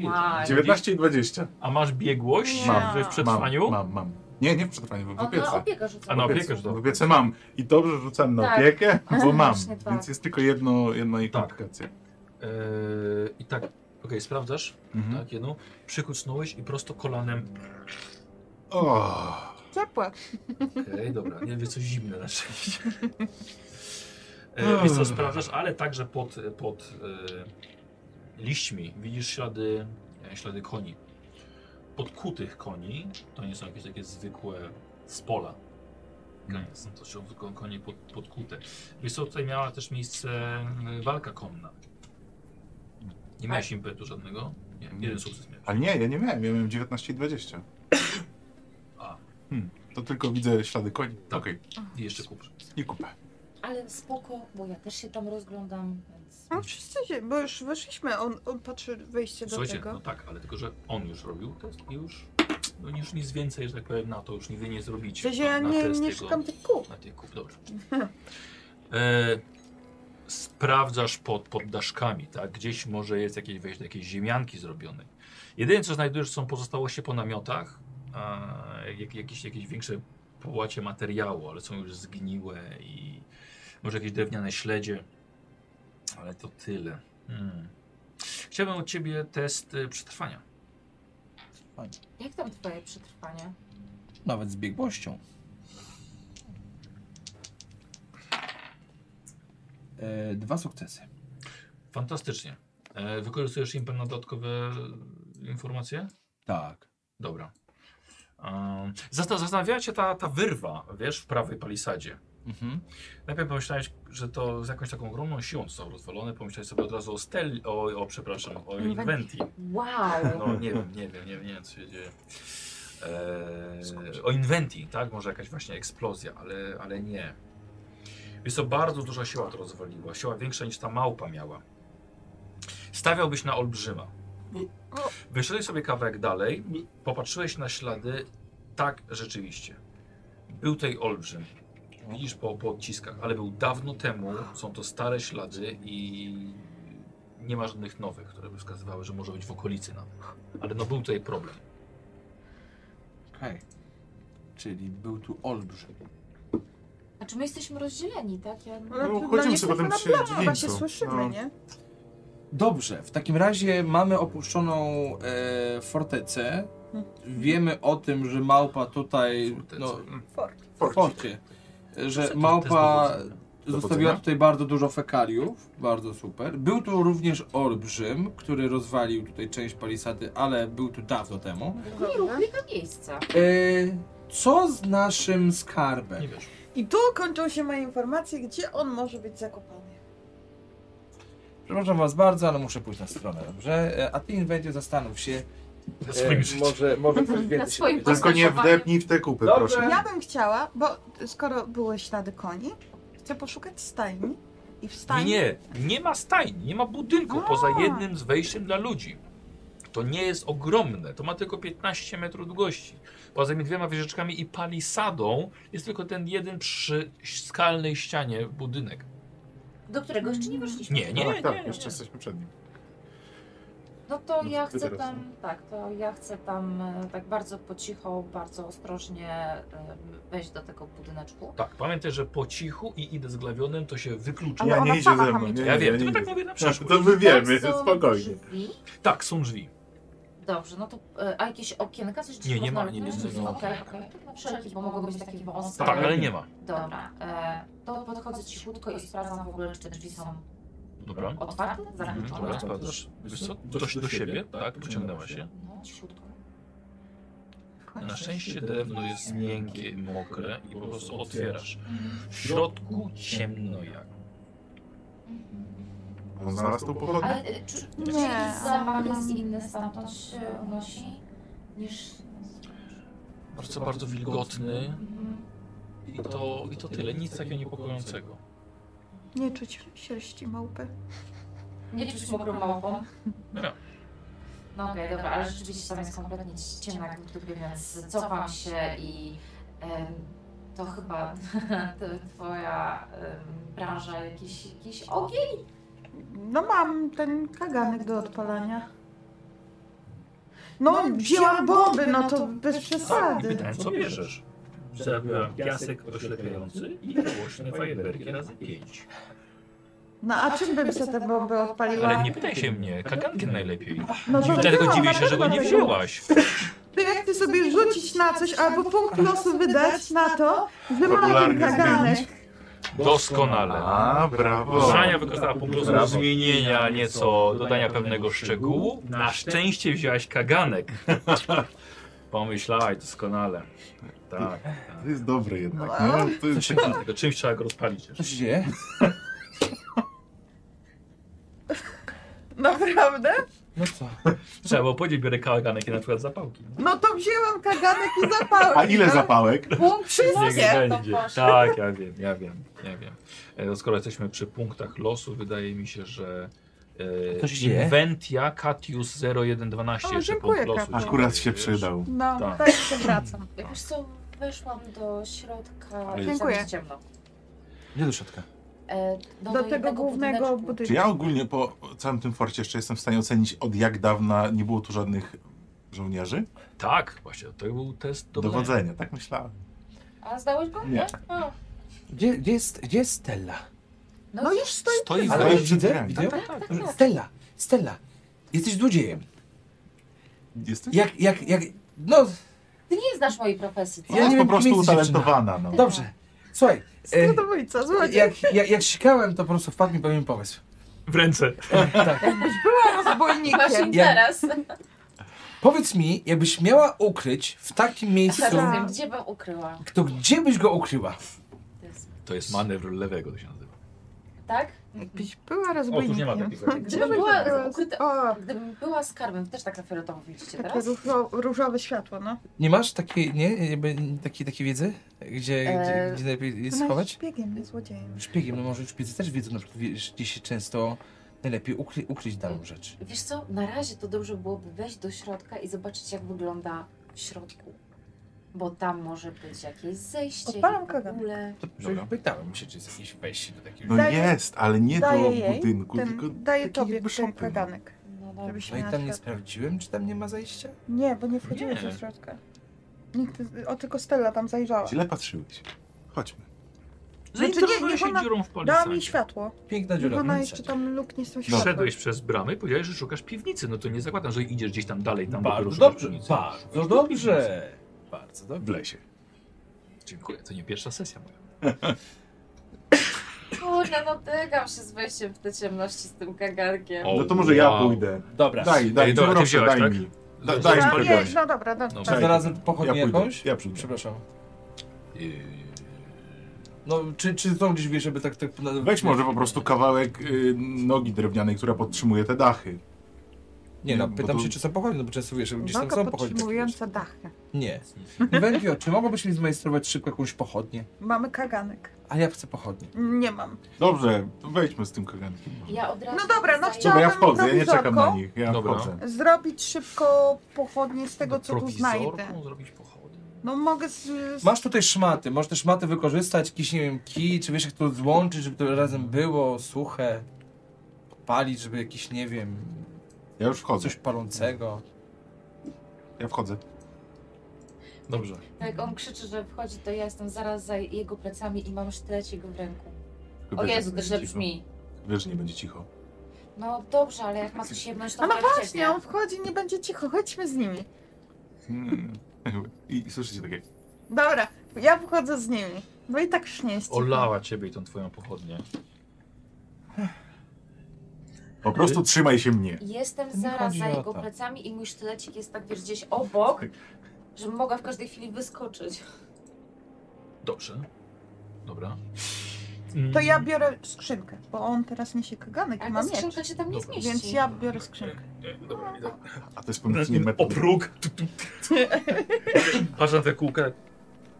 Speaker 5: Wow.
Speaker 2: 19 i 20.
Speaker 1: A masz biegłość
Speaker 7: Mam.
Speaker 1: w przetrwaniu?
Speaker 2: Mam, mam, mam. Nie, nie w przetrwaniu, w
Speaker 5: On na
Speaker 2: opiece.
Speaker 5: opiekę
Speaker 1: A na
Speaker 5: rzucał.
Speaker 1: opiekę
Speaker 2: Opiece.
Speaker 1: rzucam.
Speaker 2: W opiece mam. I dobrze rzucam na
Speaker 5: Tak.
Speaker 2: opiekę, bo mam.
Speaker 5: Właśnie tak.
Speaker 2: Więc jest tylko jedno, jedna jej
Speaker 1: Tak. Mhm.
Speaker 2: komplikacja.
Speaker 1: Yy, I tak, okej, sprawdzasz?
Speaker 2: Mhm.
Speaker 1: Tak, jedną. Przykucnąłeś i prosto kolanem.
Speaker 2: O,
Speaker 7: Zapłacz.
Speaker 1: Okej, dobra, nie wie co zimne na szczęście. Yy, Wiesz co, sprawdzasz, ale także pod, pod yy, liśćmi widzisz ślady, e, ślady koni. Podkutych koni, to nie są jakieś takie zwykłe z pola.
Speaker 16: Mm.
Speaker 1: Są to są tylko konie pod, podkute. Wiesz co, tutaj miała też miejsce e, walka konna. Nie miałeś impetu żadnego? Nie, jeden sukces miałeś.
Speaker 2: ale nie, ja nie miałem, ja miałem 19 i 20.
Speaker 1: A.
Speaker 2: Hmm. To tylko widzę ślady koni.
Speaker 1: Tak.
Speaker 2: Okej,
Speaker 1: I jeszcze kupsz.
Speaker 2: i kupę.
Speaker 5: Ale spoko, bo ja też się tam rozglądam, więc...
Speaker 7: No wszyscy, się- bo już weszliśmy, on, on patrzy wejście do
Speaker 1: Słuchajcie,
Speaker 7: tego.
Speaker 1: no tak, ale tylko, że on już robił test i już, no już nic więcej, że tak powiem, na to już wy nie
Speaker 7: W
Speaker 1: zrobicie.
Speaker 7: sensie
Speaker 1: na,
Speaker 7: ja
Speaker 1: na
Speaker 7: nie,
Speaker 1: test
Speaker 7: nie
Speaker 1: jego-
Speaker 7: szukam tych kół.
Speaker 1: Na tych kup, dobrze. E, sprawdzasz pod, pod daszkami, tak? Gdzieś może jest jakieś wejście do jakiejś ziemianki zrobionej. Jedyne, co znajdujesz, są pozostałości po namiotach, a, jak, jakieś, jakieś większe połacie materiału, ale są już zgniłe i może jakieś drewniane śledzie, ale to tyle. Hmm. Chciałbym od ciebie test y, przetrwania.
Speaker 5: Jak tam twoje przetrwanie?
Speaker 4: Nawet z biegłością. E, dwa sukcesy.
Speaker 1: Fantastycznie. E, wykorzystujesz impet na dodatkowe informacje?
Speaker 4: Tak.
Speaker 1: Dobra. Um, zasta- zastanawia cię ta, ta wyrwa, wiesz, w prawej palisadzie.
Speaker 4: Mhm.
Speaker 1: Najpierw pomyślałeś, że to z jakąś taką ogromną siłą zostało rozwalone, pomyślałeś sobie od razu o Stel, o, o przepraszam, o
Speaker 5: Inwentii.
Speaker 1: Inventi.
Speaker 5: Wow!
Speaker 1: No nie wiem, nie wiem, nie wiem, nie wiem co się dzieje. Eee, o Inventi, tak? Może jakaś właśnie eksplozja, ale, ale nie. Jest to bardzo duża siła to rozwaliła, siła większa niż ta małpa miała. Stawiałbyś na olbrzyma. Wyszedłeś sobie kawałek dalej, popatrzyłeś na ślady, tak rzeczywiście. Był tej olbrzym. Widzisz po, po odciskach, ale był dawno temu, są to stare ślady i nie ma żadnych nowych, które by wskazywały, że może być w okolicy nawet. Ale no był tutaj problem.
Speaker 4: Okej. Czyli był tu olbrzym.
Speaker 5: Znaczy my jesteśmy rozdzieleni, tak? Ja...
Speaker 7: No,
Speaker 2: No,
Speaker 7: to
Speaker 2: chodzimy
Speaker 7: dla
Speaker 2: sobie
Speaker 7: mnie
Speaker 2: potem
Speaker 7: na
Speaker 2: przy
Speaker 7: plaży, chyba
Speaker 2: dźwięku.
Speaker 7: się słyszymy,
Speaker 2: No.
Speaker 7: nie?
Speaker 4: Dobrze, w takim razie mamy opuszczoną e, fortecę.
Speaker 1: Mhm.
Speaker 4: Wiemy o tym, że małpa tutaj.
Speaker 1: Fortecę.
Speaker 4: No,
Speaker 7: Fort.
Speaker 4: w forcie. Że małpa zostawiła tutaj bardzo dużo fekaliów. Bardzo super. Był tu również olbrzym, który rozwalił tutaj część palisady, ale był tu dawno temu.
Speaker 5: Nie rób mi to miejsca.
Speaker 4: E, co z naszym skarbem?
Speaker 1: Nie wiesz.
Speaker 7: I tu kończą się moje informacje, gdzie on może być zakopany.
Speaker 4: Przepraszam was bardzo, ale muszę pójść na stronę, dobrze? E, A ty, Inwentiu, zastanów się.
Speaker 1: Na swoim
Speaker 4: e,
Speaker 1: życiu.
Speaker 4: może, może coś więcej
Speaker 5: Na
Speaker 4: się
Speaker 5: swoim
Speaker 4: dowiesz.
Speaker 2: Tylko nie
Speaker 5: Postępowanie.
Speaker 2: wdepnij w te kupy,
Speaker 4: Dobrze.
Speaker 2: proszę.
Speaker 7: Ja bym chciała, bo skoro były ślady koni, chcę poszukać stajni i w stajni...
Speaker 1: Nie, nie ma stajni, nie ma budynku
Speaker 7: A.
Speaker 1: poza jednym z wejściem dla ludzi. To nie jest ogromne, to ma tylko 15 metrów długości. Poza tymi dwiema wieżyczkami i palisadą jest tylko ten jeden przy skalnej ścianie budynek.
Speaker 5: Do którego jeszcze nie weszliśmy.
Speaker 1: Nie, nie, nie,
Speaker 2: tak, tak,
Speaker 1: nie, nie.
Speaker 2: jeszcze jesteśmy przed nim.
Speaker 5: No to
Speaker 2: No,
Speaker 5: ja
Speaker 2: wy
Speaker 5: chcę
Speaker 2: teraz,
Speaker 5: tam, tak, to ja chcę tam e, tak bardzo po cichu, bardzo ostrożnie e, wejść do tego budyneczku.
Speaker 1: Tak, pamiętaj, że po cichu i idę zglawionym to się wyklucza.
Speaker 7: Ale
Speaker 2: Ja
Speaker 7: ona
Speaker 2: nie idzie
Speaker 7: sama
Speaker 2: ze
Speaker 7: tam
Speaker 2: mną.
Speaker 7: idzie.
Speaker 2: nie,
Speaker 1: Ja
Speaker 2: nie,
Speaker 1: wiem,
Speaker 2: nie
Speaker 1: tylko tak
Speaker 2: idę.
Speaker 1: mówię na
Speaker 2: To
Speaker 1: przeszłość.
Speaker 2: my wiemy,
Speaker 5: Tam są
Speaker 2: spokojnie.
Speaker 5: drzwi.
Speaker 1: Tak, są drzwi.
Speaker 5: Dobrze, no to e, a jakieś okienka, coś
Speaker 1: Nie, nie ma,
Speaker 5: można-
Speaker 1: nie ma, nie ma.
Speaker 5: Okej, okej. Na wszelki, bo mogą być takie wąskie.
Speaker 1: Tak, ale nie ma.
Speaker 5: Dobra, e, to podchodzę cichutko i sprawdzam w ogóle, czy te drzwi są
Speaker 1: Dobra.
Speaker 5: otwarte,
Speaker 1: Mhm, Dobra,
Speaker 5: zamknięte.
Speaker 1: spadasz. Wiesz co? Dość do siebie, tak? Pociągnęła się.
Speaker 5: No, cichutko.
Speaker 1: Na szczęście drewno jest miękkie, mokre i po prostu otwierasz. W środku ciemno jak.
Speaker 2: On znalazł tą pochodnię.
Speaker 5: Ale y, czy, czy
Speaker 7: Nie,
Speaker 5: jakiś zapach
Speaker 7: ale-
Speaker 5: jest inny stamtąd się unosi niż...
Speaker 1: Bardzo, bardzo wilgotny
Speaker 5: Mhm.
Speaker 1: i to, i to tyle, nic takiego niepokojącego.
Speaker 7: Nie czuć sierści małpy.
Speaker 5: Nie czuć mokrą małpą.
Speaker 1: No.
Speaker 5: No okej, dobra, ale rzeczywiście tam jest kompletnie ciemna jak w dupie, więc cofam się i em, to chyba to twoja em, branża, jakiś, jakiś ogień?
Speaker 7: No mam ten kaganek do odpalania. No, wzięłam bomby, no to bez przesady.
Speaker 13: Pytałem, co bierzesz? Zabiłam piasek oślepiający i głośne fajerwerki razy pięć.
Speaker 7: No a czym bym sobie te bomby
Speaker 1: Ale
Speaker 7: odpaliła?
Speaker 1: nie pytaj się mnie, kagankiem najlepiej.
Speaker 7: No to
Speaker 1: Dlatego
Speaker 7: wzięłam,
Speaker 1: dziwię się, że go nie
Speaker 7: naprawdę.
Speaker 1: wzięłaś.
Speaker 7: To jak ty sobie rzucić na coś albo punkt losu wydać na to, że mam ten
Speaker 2: Popularny
Speaker 7: kaganek.
Speaker 1: Doskonale.
Speaker 2: A, brawo.
Speaker 13: Zania wykorzystała po prostu do
Speaker 2: Brawo.
Speaker 1: zmienienia nieco, dodania pewnego szczegółu. Na szczęście wzięłaś kaganek. Pomyślałaś doskonale. Tak.
Speaker 2: To jest dobre jednak. No, to jest
Speaker 1: Trzeba Tego czymś trzeba go rozpalić.
Speaker 4: Co się dzieje?
Speaker 7: Naprawdę?
Speaker 4: No co?
Speaker 1: Trzeba było powiedzieć, biorę kaganek i na przykład zapałki.
Speaker 7: No to wzięłam kaganek i zapałem.
Speaker 2: A ile
Speaker 7: no?
Speaker 2: zapałek?
Speaker 7: Punkt wszystkie.
Speaker 1: Tak, ja wiem, ja wiem, ja wiem. E, no Skoro jesteśmy przy punktach losu, wydaje mi się, że e,
Speaker 4: To się
Speaker 1: Inventia Catius 0112
Speaker 7: O,
Speaker 1: jeszcze
Speaker 7: dziękuję,
Speaker 1: punkt losu.
Speaker 7: Katius.
Speaker 2: Akurat
Speaker 1: ci
Speaker 2: się
Speaker 1: wiesz.
Speaker 2: przydał.
Speaker 7: No,
Speaker 1: Tak.
Speaker 7: tak się wracam.
Speaker 5: Jak już co, weszłam do środka,
Speaker 1: jest-
Speaker 5: tam
Speaker 7: Dziękuję.
Speaker 5: jest ciemno.
Speaker 4: Gdzie do środka?
Speaker 5: E,
Speaker 7: Do, tego głównego
Speaker 5: budyneczku.
Speaker 2: Czy
Speaker 7: budynku.
Speaker 2: ja ogólnie po całym tym forcie jeszcze jestem w stanie ocenić, od jak dawna nie było tu żadnych żołnierzy?
Speaker 1: Tak, właśnie, to był test dowodzenia.
Speaker 2: Dowodzenia, tak myślałem.
Speaker 5: A zdałeś go?
Speaker 2: Nie.
Speaker 5: A.
Speaker 4: Gdzie, gdzie, jest, gdzie jest Stella?
Speaker 5: No,
Speaker 7: No
Speaker 5: i
Speaker 7: już stoi.
Speaker 1: Stoi w
Speaker 2: Ale-
Speaker 1: wejściu.
Speaker 4: widzę,
Speaker 2: tak,
Speaker 4: widzę.
Speaker 5: tak, tak.
Speaker 4: Stella, Stella, jesteś złodziejem.
Speaker 2: Jesteś?
Speaker 4: Jak, jak, jak, no,
Speaker 5: ty nie znasz mojej profesji, co?
Speaker 4: Ja
Speaker 2: Ona
Speaker 4: nie
Speaker 2: jest po
Speaker 4: wiem, kim
Speaker 2: prostu
Speaker 4: jest ta dziewczyna.
Speaker 2: utalentowana. No.
Speaker 4: dobrze. Słuchaj, e,
Speaker 7: Skradowujca, złodziej.
Speaker 4: jak, jak, jak sikałem, to po prostu wpadł mi pewien pomysł.
Speaker 13: w ręce.
Speaker 5: Właśnie
Speaker 7: Rozbójnikiem.
Speaker 4: Ja-
Speaker 5: teraz.
Speaker 4: Powiedz mi, jakbyś miała ukryć w takim miejscu,
Speaker 5: Teraz wiem, gdzie bym ukryła.
Speaker 4: to gdzie byś go ukryła?
Speaker 5: To jest-
Speaker 1: To jest manewr lewego, to się nazywa.
Speaker 5: Tak?
Speaker 7: Jakbyś była
Speaker 1: Otóż nie ma
Speaker 7: rozbójnikiem.
Speaker 1: takiego.
Speaker 5: Gdybym była
Speaker 7: No była?
Speaker 5: ukryta...
Speaker 7: O,
Speaker 5: Gdybym była skarbem, też tak na fioletowo widzicie
Speaker 7: takie
Speaker 5: teraz?
Speaker 7: różo, różowe światło, no.
Speaker 4: Nie masz takiej, nie, jakby takiej, takiej wiedzy? Gdzie,
Speaker 5: E,
Speaker 4: gdzie, gdzie najlepiej jest
Speaker 7: Ona
Speaker 4: schować?
Speaker 7: jest biegiem, jest złodziejem.
Speaker 4: Szpiegiem, no może szpiedzy też wiedzą, na przykład, wiesz, gdzie się często najlepiej ukry, ukryć daną rzecz.
Speaker 5: Wiesz co, na razie to dobrze byłoby wejść do środka i zobaczyć jak wygląda w środku. Bo tam może być jakieś zejście
Speaker 7: Odpalam
Speaker 5: i w ogóle.
Speaker 4: To
Speaker 2: Dobra.
Speaker 4: pytałem się, czy jest jakieś wejście do takiego...
Speaker 2: No
Speaker 7: Daję-
Speaker 2: jest, ale nie do
Speaker 7: Daję jej
Speaker 2: budynku, tylko
Speaker 7: ten, daję
Speaker 2: taki
Speaker 7: tobie
Speaker 2: jakby
Speaker 7: ten
Speaker 2: szopy, no.
Speaker 7: kaganek.
Speaker 5: No dobra.
Speaker 7: Żebyś
Speaker 4: No i
Speaker 7: miała
Speaker 4: tam nie
Speaker 7: światło.
Speaker 4: sprawdziłem, czy tam nie ma zejścia?
Speaker 7: Nie, bo nie wchodziłeś
Speaker 1: Nie.
Speaker 7: do środka. Nikt, o tylko Stella tam zajrzała.
Speaker 2: Źle patrzyłeś. Chodźmy.
Speaker 7: Znaczy, nie,
Speaker 13: Zainteresowałeś Znaczy, się
Speaker 7: ona
Speaker 13: dziurą w
Speaker 7: Dała mi
Speaker 13: palisadzie.
Speaker 7: światło.
Speaker 4: Piękna dziura.
Speaker 7: Ona
Speaker 4: no,
Speaker 7: jeszcze tak. tam luk nie są światła.
Speaker 13: Wszedłeś przez bramę i powiedziałeś, że szukasz piwnicy. No to nie zakładam, że idziesz gdzieś tam dalej. Tam dopiero
Speaker 4: Bardzo
Speaker 13: szukasz
Speaker 4: dobrze,
Speaker 13: piwnicy.
Speaker 4: bardzo dobrze. Bardzo
Speaker 2: W
Speaker 4: dobrze.
Speaker 2: lesie.
Speaker 1: Dziękuję, to nie pierwsza sesja moja.
Speaker 5: Kurde, no dygam się z wejściem w te ciemności z tym kagarkiem.
Speaker 1: O,
Speaker 2: No to może ja
Speaker 1: wow.
Speaker 2: pójdę.
Speaker 4: Dobra.
Speaker 2: Daj, daj,
Speaker 1: dobra, ty
Speaker 2: proszę,
Speaker 1: wzięłaś,
Speaker 2: daj
Speaker 1: tak?
Speaker 2: mi.
Speaker 1: Zobacz,
Speaker 2: daj
Speaker 1: jak
Speaker 7: A,
Speaker 2: mi
Speaker 1: bardzo
Speaker 7: nie,
Speaker 2: kaganek.
Speaker 7: no dobra, no,
Speaker 1: No,
Speaker 7: tak.
Speaker 4: Czy znalazłem pochodnię
Speaker 2: Ja pójdę.
Speaker 4: jakąś?
Speaker 2: Ja przyjdę.
Speaker 4: Przepraszam.
Speaker 1: Yy,
Speaker 4: No, czy, czy są gdzieś, wiesz, żeby tak... tak na-
Speaker 2: Weź może po prostu kawałek y, nogi drewnianej, która podtrzymuje te dachy.
Speaker 4: Nie, no,
Speaker 2: Nie, bo
Speaker 4: pytam
Speaker 2: to-
Speaker 4: się, czy są pochodnie, no bo często wiesz, gdzieś tam
Speaker 7: Noga
Speaker 4: są pochodnie. takie, wiesz.
Speaker 7: podtrzymująca dachy.
Speaker 4: Nie. Wępio, czy mogłabyś mi zmajstrować szybko jakąś pochodnię?
Speaker 7: Mamy kaganek.
Speaker 4: A ja chcę pochodnię.
Speaker 7: Nie mam.
Speaker 2: Dobrze, to wejdźmy z tym kagankiem.
Speaker 5: Ja od razu
Speaker 7: No dobra, no
Speaker 5: zaję-
Speaker 2: Dobra,
Speaker 7: chciałabym
Speaker 2: ja wchodzę, ja nie czekam na
Speaker 7: prowizorką.
Speaker 2: nich. Ja
Speaker 1: Dobra.
Speaker 2: wchodzę.
Speaker 7: Zrobić szybko pochodnie z tego,
Speaker 1: do
Speaker 7: co tu znajdę.
Speaker 1: prowizorką zrobić pochody.
Speaker 7: No mogę z... z...
Speaker 4: Masz tutaj szmaty, możesz te szmaty wykorzystać, jakiś, nie wiem, kij, czy wiesz, jak to złączyć, żeby to razem było suche, palić, żeby jakiś, nie wiem,
Speaker 2: Ja już wchodzę.
Speaker 4: coś palącego.
Speaker 2: Ja wchodzę.
Speaker 1: Dobrze.
Speaker 5: Jak on krzyczy, że wchodzi, to ja jestem zaraz za jego plecami i mam sztylecik w ręku.
Speaker 2: Tylko
Speaker 5: O
Speaker 2: wiesz,
Speaker 5: Jezu,
Speaker 2: jak
Speaker 5: to
Speaker 2: będzie
Speaker 5: źle
Speaker 2: cicho.
Speaker 5: brzmi.
Speaker 2: Wiesz, że nie będzie cicho.
Speaker 5: No dobrze, ale jak ma coś jedność, to
Speaker 7: A no
Speaker 5: chyba w
Speaker 7: właśnie,
Speaker 5: ciebie.
Speaker 7: on wchodzi, nie będzie cicho, chodźmy z nimi.
Speaker 2: Hmm. I, I słyszycie takie.
Speaker 7: Dobra, ja wchodzę z nimi. Bo i tak już nie jest cicho.
Speaker 1: Olała ciebie i tą twoją pochodnię.
Speaker 2: Po prostu trzymaj się mnie.
Speaker 5: Jestem
Speaker 4: To nie
Speaker 5: zaraz
Speaker 4: chodzi
Speaker 5: za
Speaker 4: o
Speaker 5: jego
Speaker 4: to.
Speaker 5: plecami i mój sztylecik jest tak wiesz gdzieś obok, żebym mogła w każdej chwili wyskoczyć.
Speaker 1: Dobrze. Dobra.
Speaker 7: To ja biorę skrzynkę, bo on teraz niesie kaganek i
Speaker 5: Ale
Speaker 7: ma
Speaker 5: ta
Speaker 7: miecz.
Speaker 5: skrzynka się tam nie
Speaker 17: Dobra.
Speaker 5: zmieści.
Speaker 7: Więc ja biorę skrzynkę.
Speaker 17: Dobra, idę.
Speaker 2: A to jest pomyślnie
Speaker 1: O
Speaker 2: metoda.
Speaker 1: próg. Tu, tu, tu. Patrz na te kółka.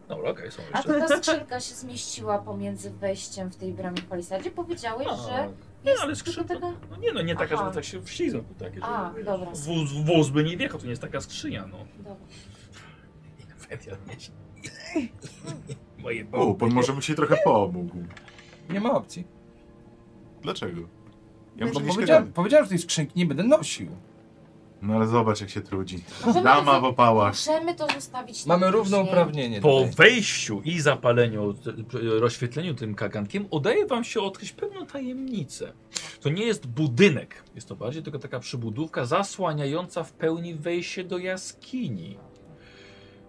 Speaker 1: Dobra, okej, są
Speaker 7: A
Speaker 1: jeszcze.
Speaker 7: to
Speaker 5: Ta skrzynka się zmieściła pomiędzy wejściem w tej bramie w palisadzie. Powiedziałeś,
Speaker 13: No,
Speaker 5: że
Speaker 1: Nie,
Speaker 5: jest
Speaker 1: ale
Speaker 5: tylko
Speaker 1: skrzynka.
Speaker 5: Tego...
Speaker 1: No nie, no nie taka,
Speaker 5: Aha.
Speaker 1: żeby tak się wślizgnął tu takie. że-
Speaker 5: A, dobra.
Speaker 1: Wóz, wóz by nie wjechał, to nie jest taka skrzynia, no.
Speaker 5: Dobra.
Speaker 1: Fedia niesie. Moje
Speaker 2: O, pan może by się trochę pomógł.
Speaker 4: Nie ma opcji.
Speaker 2: Dlaczego?
Speaker 4: Bo
Speaker 2: Ja muszę nieść
Speaker 4: No powiedziałem,
Speaker 2: kaganek.
Speaker 4: powiedziałem, że tej skrzynki nie będę nosił.
Speaker 2: No ale zobacz jak się trudzi.
Speaker 5: Możemy
Speaker 2: Dama
Speaker 5: to-
Speaker 2: w opałach.
Speaker 5: Możemy to zostawić. na
Speaker 4: Mamy
Speaker 5: później.
Speaker 4: równouprawnienie.
Speaker 1: Po
Speaker 4: tutaj.
Speaker 1: wejściu i zapaleniu, t- p- rozświetleniu tym kagankiem udaje wam się odkryć pewną tajemnicę. To nie jest budynek, jest to bardziej tylko taka przybudówka zasłaniająca w pełni wejście do jaskini.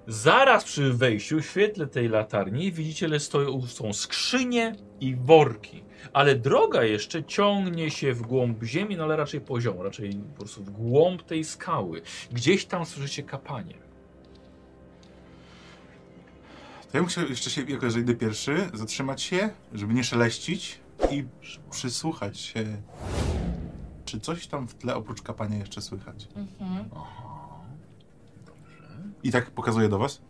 Speaker 1: Zaraz przy wejściu, w świetle tej latarni, widzicie, że stoją, są skrzynie i worki. Ale droga jeszcze ciągnie się w głąb ziemi, no ale raczej poziomo, raczej po prostu w głąb tej skały. Gdzieś tam słyszycie kapanie.
Speaker 2: To ja muszę jeszcze się, jako że idę pierwszy, zatrzymać się, żeby nie szeleścić i przysłuchać się, czy coś tam w tle oprócz kapania jeszcze słychać.
Speaker 5: Mhm.
Speaker 2: I tak pokazuję do was.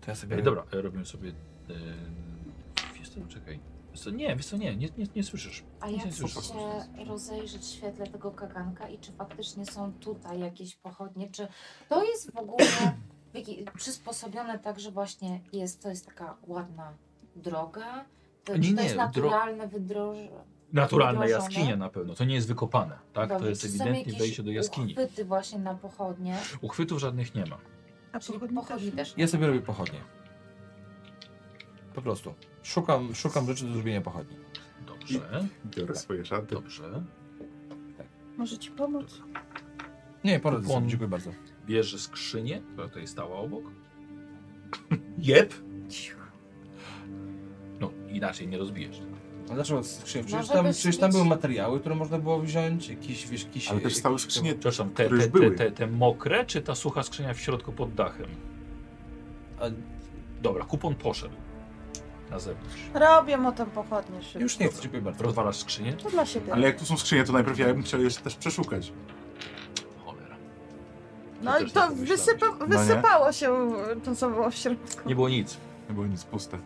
Speaker 4: To ja sobie...
Speaker 2: Mhm.
Speaker 1: Ej, dobra, e, robimy sobie. E, wiesz co, no czekaj. Wiesz co, nie, wiesz co, nie, nie, nie, nie słyszysz.
Speaker 5: A ja
Speaker 1: Nie
Speaker 5: chcę
Speaker 1: słyszę.
Speaker 5: się rozejrzeć w świetle tego kaganka i czy faktycznie są tutaj jakieś pochodnie, czy to jest w ogóle w jaki- przysposobione tak, że właśnie jest, to jest taka ładna droga, to,
Speaker 1: Nie,
Speaker 5: czy
Speaker 1: nie,
Speaker 5: to jest
Speaker 1: dro-
Speaker 5: naturalne wydroże.
Speaker 1: Naturalna
Speaker 5: Wydrożone?
Speaker 1: jaskinia na pewno, to nie jest wykopane, tak?
Speaker 5: Dobrze,
Speaker 1: to jest
Speaker 5: czy są
Speaker 1: ewidentnie
Speaker 5: jakieś
Speaker 1: wejście do jaskini.
Speaker 5: uchwyty właśnie na pochodnie,
Speaker 1: Uchwytów żadnych nie ma.
Speaker 7: A
Speaker 5: czyli
Speaker 7: pochodni
Speaker 5: pochodni też.
Speaker 4: Ja sobie robię pochodnie. Po prostu. Szukam, szukam rzeczy do zrobienia pochodni.
Speaker 1: Dobrze,
Speaker 18: Biorę swoje szaty.
Speaker 1: dobrze.
Speaker 7: Może ci pomóc?
Speaker 4: Nie, poradzę
Speaker 1: Kupon.
Speaker 4: sobie, dziękuję bardzo.
Speaker 1: Bierze skrzynię, która tutaj stała obok. Jep. No, inaczej nie rozbijesz.
Speaker 4: A dlaczego skrzynia? Przecież
Speaker 5: Może
Speaker 4: tam,
Speaker 5: byś
Speaker 4: przecież tam
Speaker 5: mieć-
Speaker 4: były materiały, które można było wziąć, jakieś, wiesz, jakieś...
Speaker 2: Ale też
Speaker 4: jakieś-
Speaker 2: stały skrzynie.
Speaker 1: Przepraszam, te,
Speaker 2: Które już
Speaker 1: te, te,
Speaker 2: były.
Speaker 1: te, te mokre, czy ta sucha skrzynia w środku pod dachem?
Speaker 4: A-
Speaker 1: Dobra, kupon poszedł. Na zewnątrz.
Speaker 7: Robię mu tam pochodnie szybko.
Speaker 4: Już nie chcę, dziękuję bardzo.
Speaker 1: Rozwalasz skrzynię?
Speaker 7: To dla siebie.
Speaker 2: Ale jak tu są skrzynie, to najpierw ja bym chciał je też przeszukać.
Speaker 1: Cholera.
Speaker 7: No
Speaker 1: też
Speaker 7: i
Speaker 1: tak
Speaker 7: to
Speaker 1: pomyślałem.
Speaker 7: wysypa-
Speaker 2: nie.
Speaker 7: wysypało się to, co było w środku.
Speaker 1: Nie było nic.
Speaker 2: Nie było nic puste.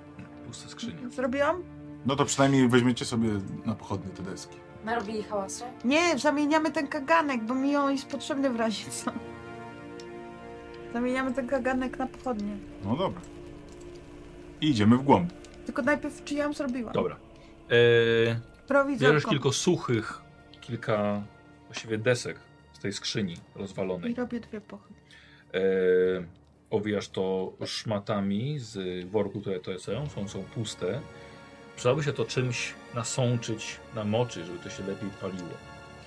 Speaker 1: Puste skrzynie.
Speaker 7: Zrobiłam?
Speaker 2: No to przynajmniej weźmiecie sobie na pochodnie te deski.
Speaker 5: Narobili hałasu?
Speaker 7: Nie, zamieniamy ten kaganek, bo mi on jest potrzebny w razie co. Zamieniamy ten kaganek na pochodnie.
Speaker 2: No dobra. I idziemy w głąb.
Speaker 7: Tylko najpierw czy ja ją zrobiłam?
Speaker 1: Dobra. Eee, bierzesz
Speaker 7: Prowizorką.
Speaker 1: kilka suchych, kilka właściwie desek z tej skrzyni rozwalonej.
Speaker 7: I robię dwie pochodnie.
Speaker 1: Eee, owijasz to szmatami z worku, które to są, są, są puste. Przydałoby się to czymś nasączyć, namoczyć, żeby to się lepiej paliło.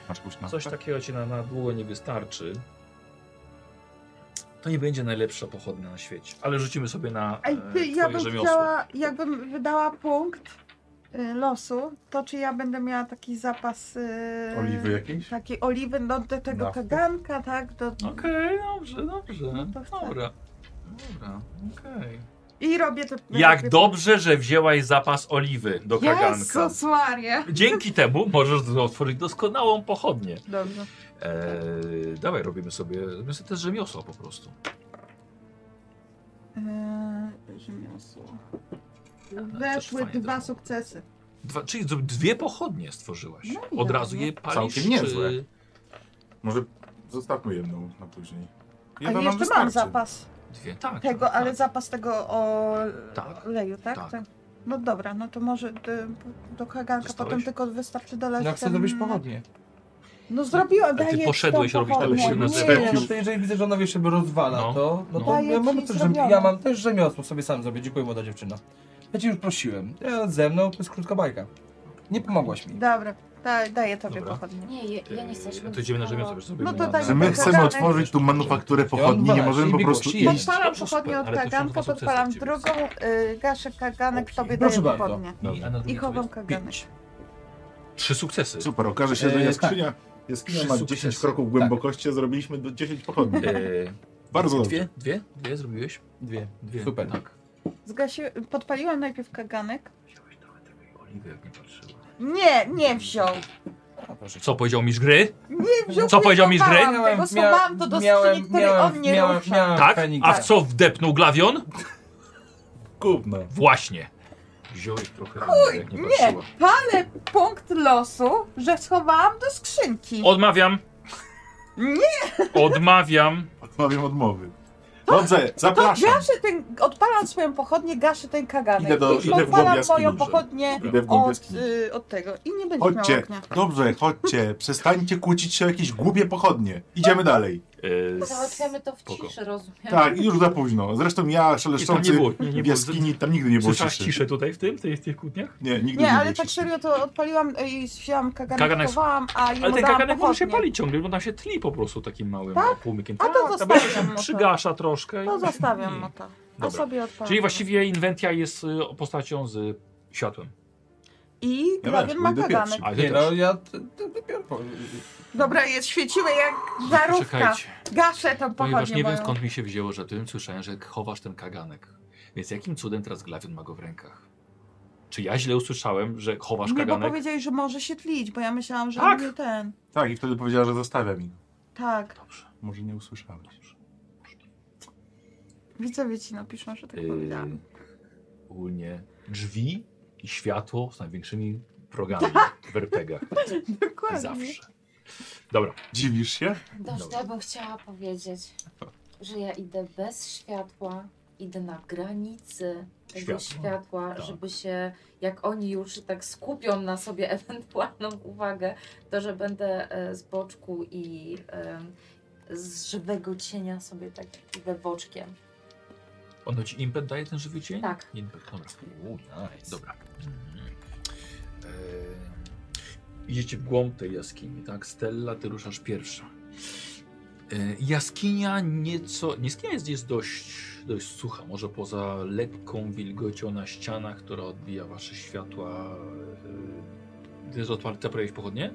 Speaker 2: Masz jakąś na tak?
Speaker 1: Coś takiego ci na, na długo nie wystarczy. To nie będzie najlepsza pochodna na świecie, ale rzucimy sobie na
Speaker 7: Ej,
Speaker 1: e,
Speaker 7: ty,
Speaker 1: twoje
Speaker 7: ja bym
Speaker 1: rzemiosło.
Speaker 7: chciała, jakbym wydała punkt y, losu, to czy ja będę miała taki zapas... y,
Speaker 18: Oliwy jakiejś?
Speaker 7: Takiej oliwy do, do tego
Speaker 18: Nafty?
Speaker 7: kaganka, tak? Do,
Speaker 1: Okej, dobrze, dobrze.
Speaker 7: No to chcę. No
Speaker 1: Dobra. Dobra, okej.
Speaker 7: I robię to...
Speaker 1: Jak dobrze, że wzięłaś zapas oliwy do kaganka.
Speaker 7: Jezus Maria!
Speaker 1: Dzięki temu możesz otworzyć doskonałą pochodnię.
Speaker 7: Dobrze.
Speaker 1: Eee, dawaj, robimy sobie, robimy sobie też rzemiosło po prostu.
Speaker 7: Eee, rzemiosło. Weszły
Speaker 1: fajnie to
Speaker 7: dwa
Speaker 1: było.
Speaker 7: sukcesy.
Speaker 1: Dwa, czyli zro- dwie pochodnie stworzyłaś.
Speaker 7: No i
Speaker 1: Od razu
Speaker 7: ładnie.
Speaker 1: je palisz.
Speaker 2: Całkiem niezłe.
Speaker 1: czy- tak-
Speaker 2: Może zostawmy jedną na później.
Speaker 7: Ale
Speaker 2: nam
Speaker 7: jeszcze mam
Speaker 2: wystarczy.
Speaker 7: zapas
Speaker 1: Dwie, tak.
Speaker 7: tego,
Speaker 1: tak,
Speaker 7: ale
Speaker 1: tak.
Speaker 7: zapas tego o
Speaker 1: Tak.
Speaker 7: oleju, tak?
Speaker 1: Tak.
Speaker 7: Tak. No dobra, no to może ty, do kaganka
Speaker 1: Zostałeś?
Speaker 7: potem tylko wystarczy dolać
Speaker 4: No chcę
Speaker 7: ten-
Speaker 4: zrobić pochodnie.
Speaker 7: No zrobiłam,
Speaker 1: A ty
Speaker 7: daję ci
Speaker 1: poszedłeś
Speaker 7: tą
Speaker 1: robić te
Speaker 7: pochodnię.
Speaker 1: poszedł na
Speaker 7: Nie,
Speaker 1: cmentarz.
Speaker 4: Nie, no to jeżeli widzę, że ona wiesz, żeby rozwala
Speaker 1: No.
Speaker 4: to, no,
Speaker 1: No.
Speaker 4: to
Speaker 7: Daję
Speaker 4: ja mam,
Speaker 7: ci
Speaker 4: też,
Speaker 7: zrobione.
Speaker 4: ja mam też rzemiosło, sobie sam zrobię, dziękuję młoda dziewczyna. Ja cię już prosiłem, ja, ze mną to jest krótka bajka. Nie pomogłaś mi.
Speaker 7: Dobra, da, daję tobie
Speaker 1: Dobra.
Speaker 7: pochodnie.
Speaker 5: Nie, je, ja nie chcę.
Speaker 1: Eee,
Speaker 5: żebym
Speaker 1: to idziemy na rzemiosło,
Speaker 5: została-
Speaker 1: żeby sobie
Speaker 7: No to
Speaker 1: na-
Speaker 7: tak-
Speaker 2: Że my
Speaker 7: Kaganek.
Speaker 2: chcemy otworzyć tu manufakturę pochodni, nie
Speaker 4: dwanaście,
Speaker 2: możemy po
Speaker 4: i
Speaker 2: prostu
Speaker 4: miłość, i-
Speaker 2: iść.
Speaker 7: Podpalam
Speaker 1: Iść.
Speaker 7: pochodnie od
Speaker 1: Ale to już
Speaker 7: kaganka,
Speaker 1: są dwa
Speaker 7: podpalam
Speaker 1: sukcesy
Speaker 7: drugą, y, gaszę kaganek,
Speaker 1: Okej.
Speaker 7: tobie
Speaker 4: Proszę
Speaker 7: daję
Speaker 4: bardzo.
Speaker 7: pochodnie.
Speaker 1: I, a na drugie
Speaker 7: I
Speaker 1: to
Speaker 7: chowam
Speaker 1: jest
Speaker 7: kaganek.
Speaker 1: Trzy sukcesy.
Speaker 2: Super, okaże się, że
Speaker 1: E,
Speaker 4: Eee,
Speaker 2: jest skrzynia. Jaskinia
Speaker 1: Trzy
Speaker 2: ma
Speaker 1: sukcesy.
Speaker 2: 10 kroków głębokości, a zrobiliśmy do 10 pochodni.
Speaker 1: Eee,
Speaker 2: Bardzo dobrze.
Speaker 1: Tak. dwie, dwie, dwie zrobiłeś?
Speaker 4: Dwie.
Speaker 1: Dwie.
Speaker 4: Super.
Speaker 1: Tak.
Speaker 7: Zgasi... Podpaliłam najpierw kaganek.
Speaker 1: Wziąłeś nawet takiej oliwy, jak nie patrzyła.
Speaker 7: Nie, nie wziął.
Speaker 4: A, proszę.
Speaker 1: Co powiedział mistrz gry?
Speaker 7: Nie wziął.
Speaker 1: Co powiedział mi z gry?
Speaker 7: próbowałam Tego schowałam to do skrzyni, której on nie
Speaker 4: miałem,
Speaker 7: rusza.
Speaker 4: miałem
Speaker 1: Tak?
Speaker 4: Feniks.
Speaker 1: A w co wdepnął glawion?
Speaker 2: Gówno.
Speaker 1: Właśnie. Wziąłeś trochę oliwy, jak nie
Speaker 7: nie.
Speaker 1: patrzyła.
Speaker 7: Palę punkt losu, że schowałam do skrzynki.
Speaker 13: Odmawiam.
Speaker 7: Nie,
Speaker 13: Odmawiam.
Speaker 2: Odmawiam odmowy. Dobrze,
Speaker 7: to
Speaker 2: zapraszam.
Speaker 7: gaszę ten, odpalam swoją pochodnię, gaszę ten kaganek.
Speaker 2: Idę do-
Speaker 7: I
Speaker 2: idę w głąb
Speaker 7: odpalam
Speaker 2: jaskini,
Speaker 7: moją
Speaker 2: dobrze.
Speaker 7: pochodnię
Speaker 2: Idę w głąb
Speaker 7: od,
Speaker 2: jaskini.
Speaker 7: y, od tego. I nie będzie miała
Speaker 2: Chodźcie,
Speaker 7: oknia.
Speaker 2: dobrze, chodźcie. Przestańcie kłócić się o jakieś głupie pochodnie. Idziemy dalej.
Speaker 1: Eee,
Speaker 7: No
Speaker 5: Załatwiamy to w
Speaker 1: Spoko.
Speaker 5: ciszy, rozumiem.
Speaker 2: Tak, i już za późno. Zresztą ja
Speaker 1: I tam nie
Speaker 2: szeleszczący
Speaker 1: było- nie- nie
Speaker 2: w
Speaker 1: było-
Speaker 2: jaskini, tam nigdy nie było
Speaker 1: Słyszałaś
Speaker 2: ciszy.
Speaker 1: ciszę tutaj w tym, w tych, w tych kłótniach?
Speaker 2: Nie, nigdy nie
Speaker 7: Nie,
Speaker 2: było
Speaker 7: ale tak
Speaker 2: ciszy.
Speaker 7: serio to odpaliłam y, i wzięłam kaganek,
Speaker 1: Kaganek-
Speaker 7: schowałam, a jemu
Speaker 1: Ale ten
Speaker 7: dałam
Speaker 1: kaganek może się
Speaker 7: pochodnię.
Speaker 1: palić ciągle, bo tam się tli po prostu takim małym płomykiem.
Speaker 7: Tak? A to
Speaker 1: tam będzie
Speaker 7: zostawiam, no
Speaker 1: się
Speaker 7: to.
Speaker 1: przygasza troszkę. i-
Speaker 7: To zostawiam
Speaker 1: i-
Speaker 7: mota. A
Speaker 1: Mm. Dobra.
Speaker 7: sobie odpalam.
Speaker 1: Czyli właściwie inwentia jest y, postacią z światłem.
Speaker 7: I
Speaker 2: Ja
Speaker 7: Glawion
Speaker 2: też,
Speaker 7: ma
Speaker 2: pójdę
Speaker 7: kaganek.
Speaker 2: pierwszy.
Speaker 1: Ale
Speaker 4: Nie
Speaker 1: ty
Speaker 4: no,
Speaker 1: też.
Speaker 4: ja t- t- dopiero powiem.
Speaker 7: Dobra, jest świeciły jak żarówka.
Speaker 1: Czekajcie,
Speaker 7: Gaszę tą
Speaker 1: ponieważ
Speaker 7: pochodnię
Speaker 1: nie wiem
Speaker 7: moją.
Speaker 1: skąd mi się wzięło, że tym słyszałem, że chowasz ten kaganek. Więc jakim cudem teraz Glawion ma go w rękach? Czy ja źle usłyszałem, że chowasz
Speaker 7: Nie, bo
Speaker 1: kaganek?
Speaker 7: powiedzieli, że może się tlić, bo ja myślałam, że
Speaker 1: Tak.
Speaker 7: nie ten.
Speaker 2: Tak, i wtedy powiedziała, że zostawiam ich.
Speaker 7: Tak.
Speaker 1: Dobrze.
Speaker 2: Może nie usłyszałeś.
Speaker 7: Widzowie ci napiszą, że tak
Speaker 1: Yy,
Speaker 7: powiedziałam.
Speaker 1: ogólnie drzwi i światło z największymi progami w RPGach.
Speaker 7: Tak. Dokładnie.
Speaker 1: Zawsze. Dobra.
Speaker 2: Dziwisz się?
Speaker 5: Dobrze,
Speaker 1: Dobra.
Speaker 5: ja bym chciała powiedzieć, że ja idę bez światła, idę na granicy tego
Speaker 1: Światło,
Speaker 5: światła,
Speaker 1: tak.
Speaker 5: żeby się, jak oni już tak skupią na sobie ewentualną uwagę, to że będę e, z boczku i em, z żywego cienia sobie tak idę boczkiem.
Speaker 1: Ono ci impet daje ten żywy cień?
Speaker 5: Tak.
Speaker 1: Impet, dobra. Uuu, nice. Dobra. Mhm. E, idziecie w głąb tej jaskini, tak? Stella, ty ruszasz pierwsza. E, jaskinia nieco... Jaskinia jest, jest dość, dość sucha, może poza lekką wilgocią na ścianach, która odbija wasze światła. E, to jest otwarte prawie pochodnie?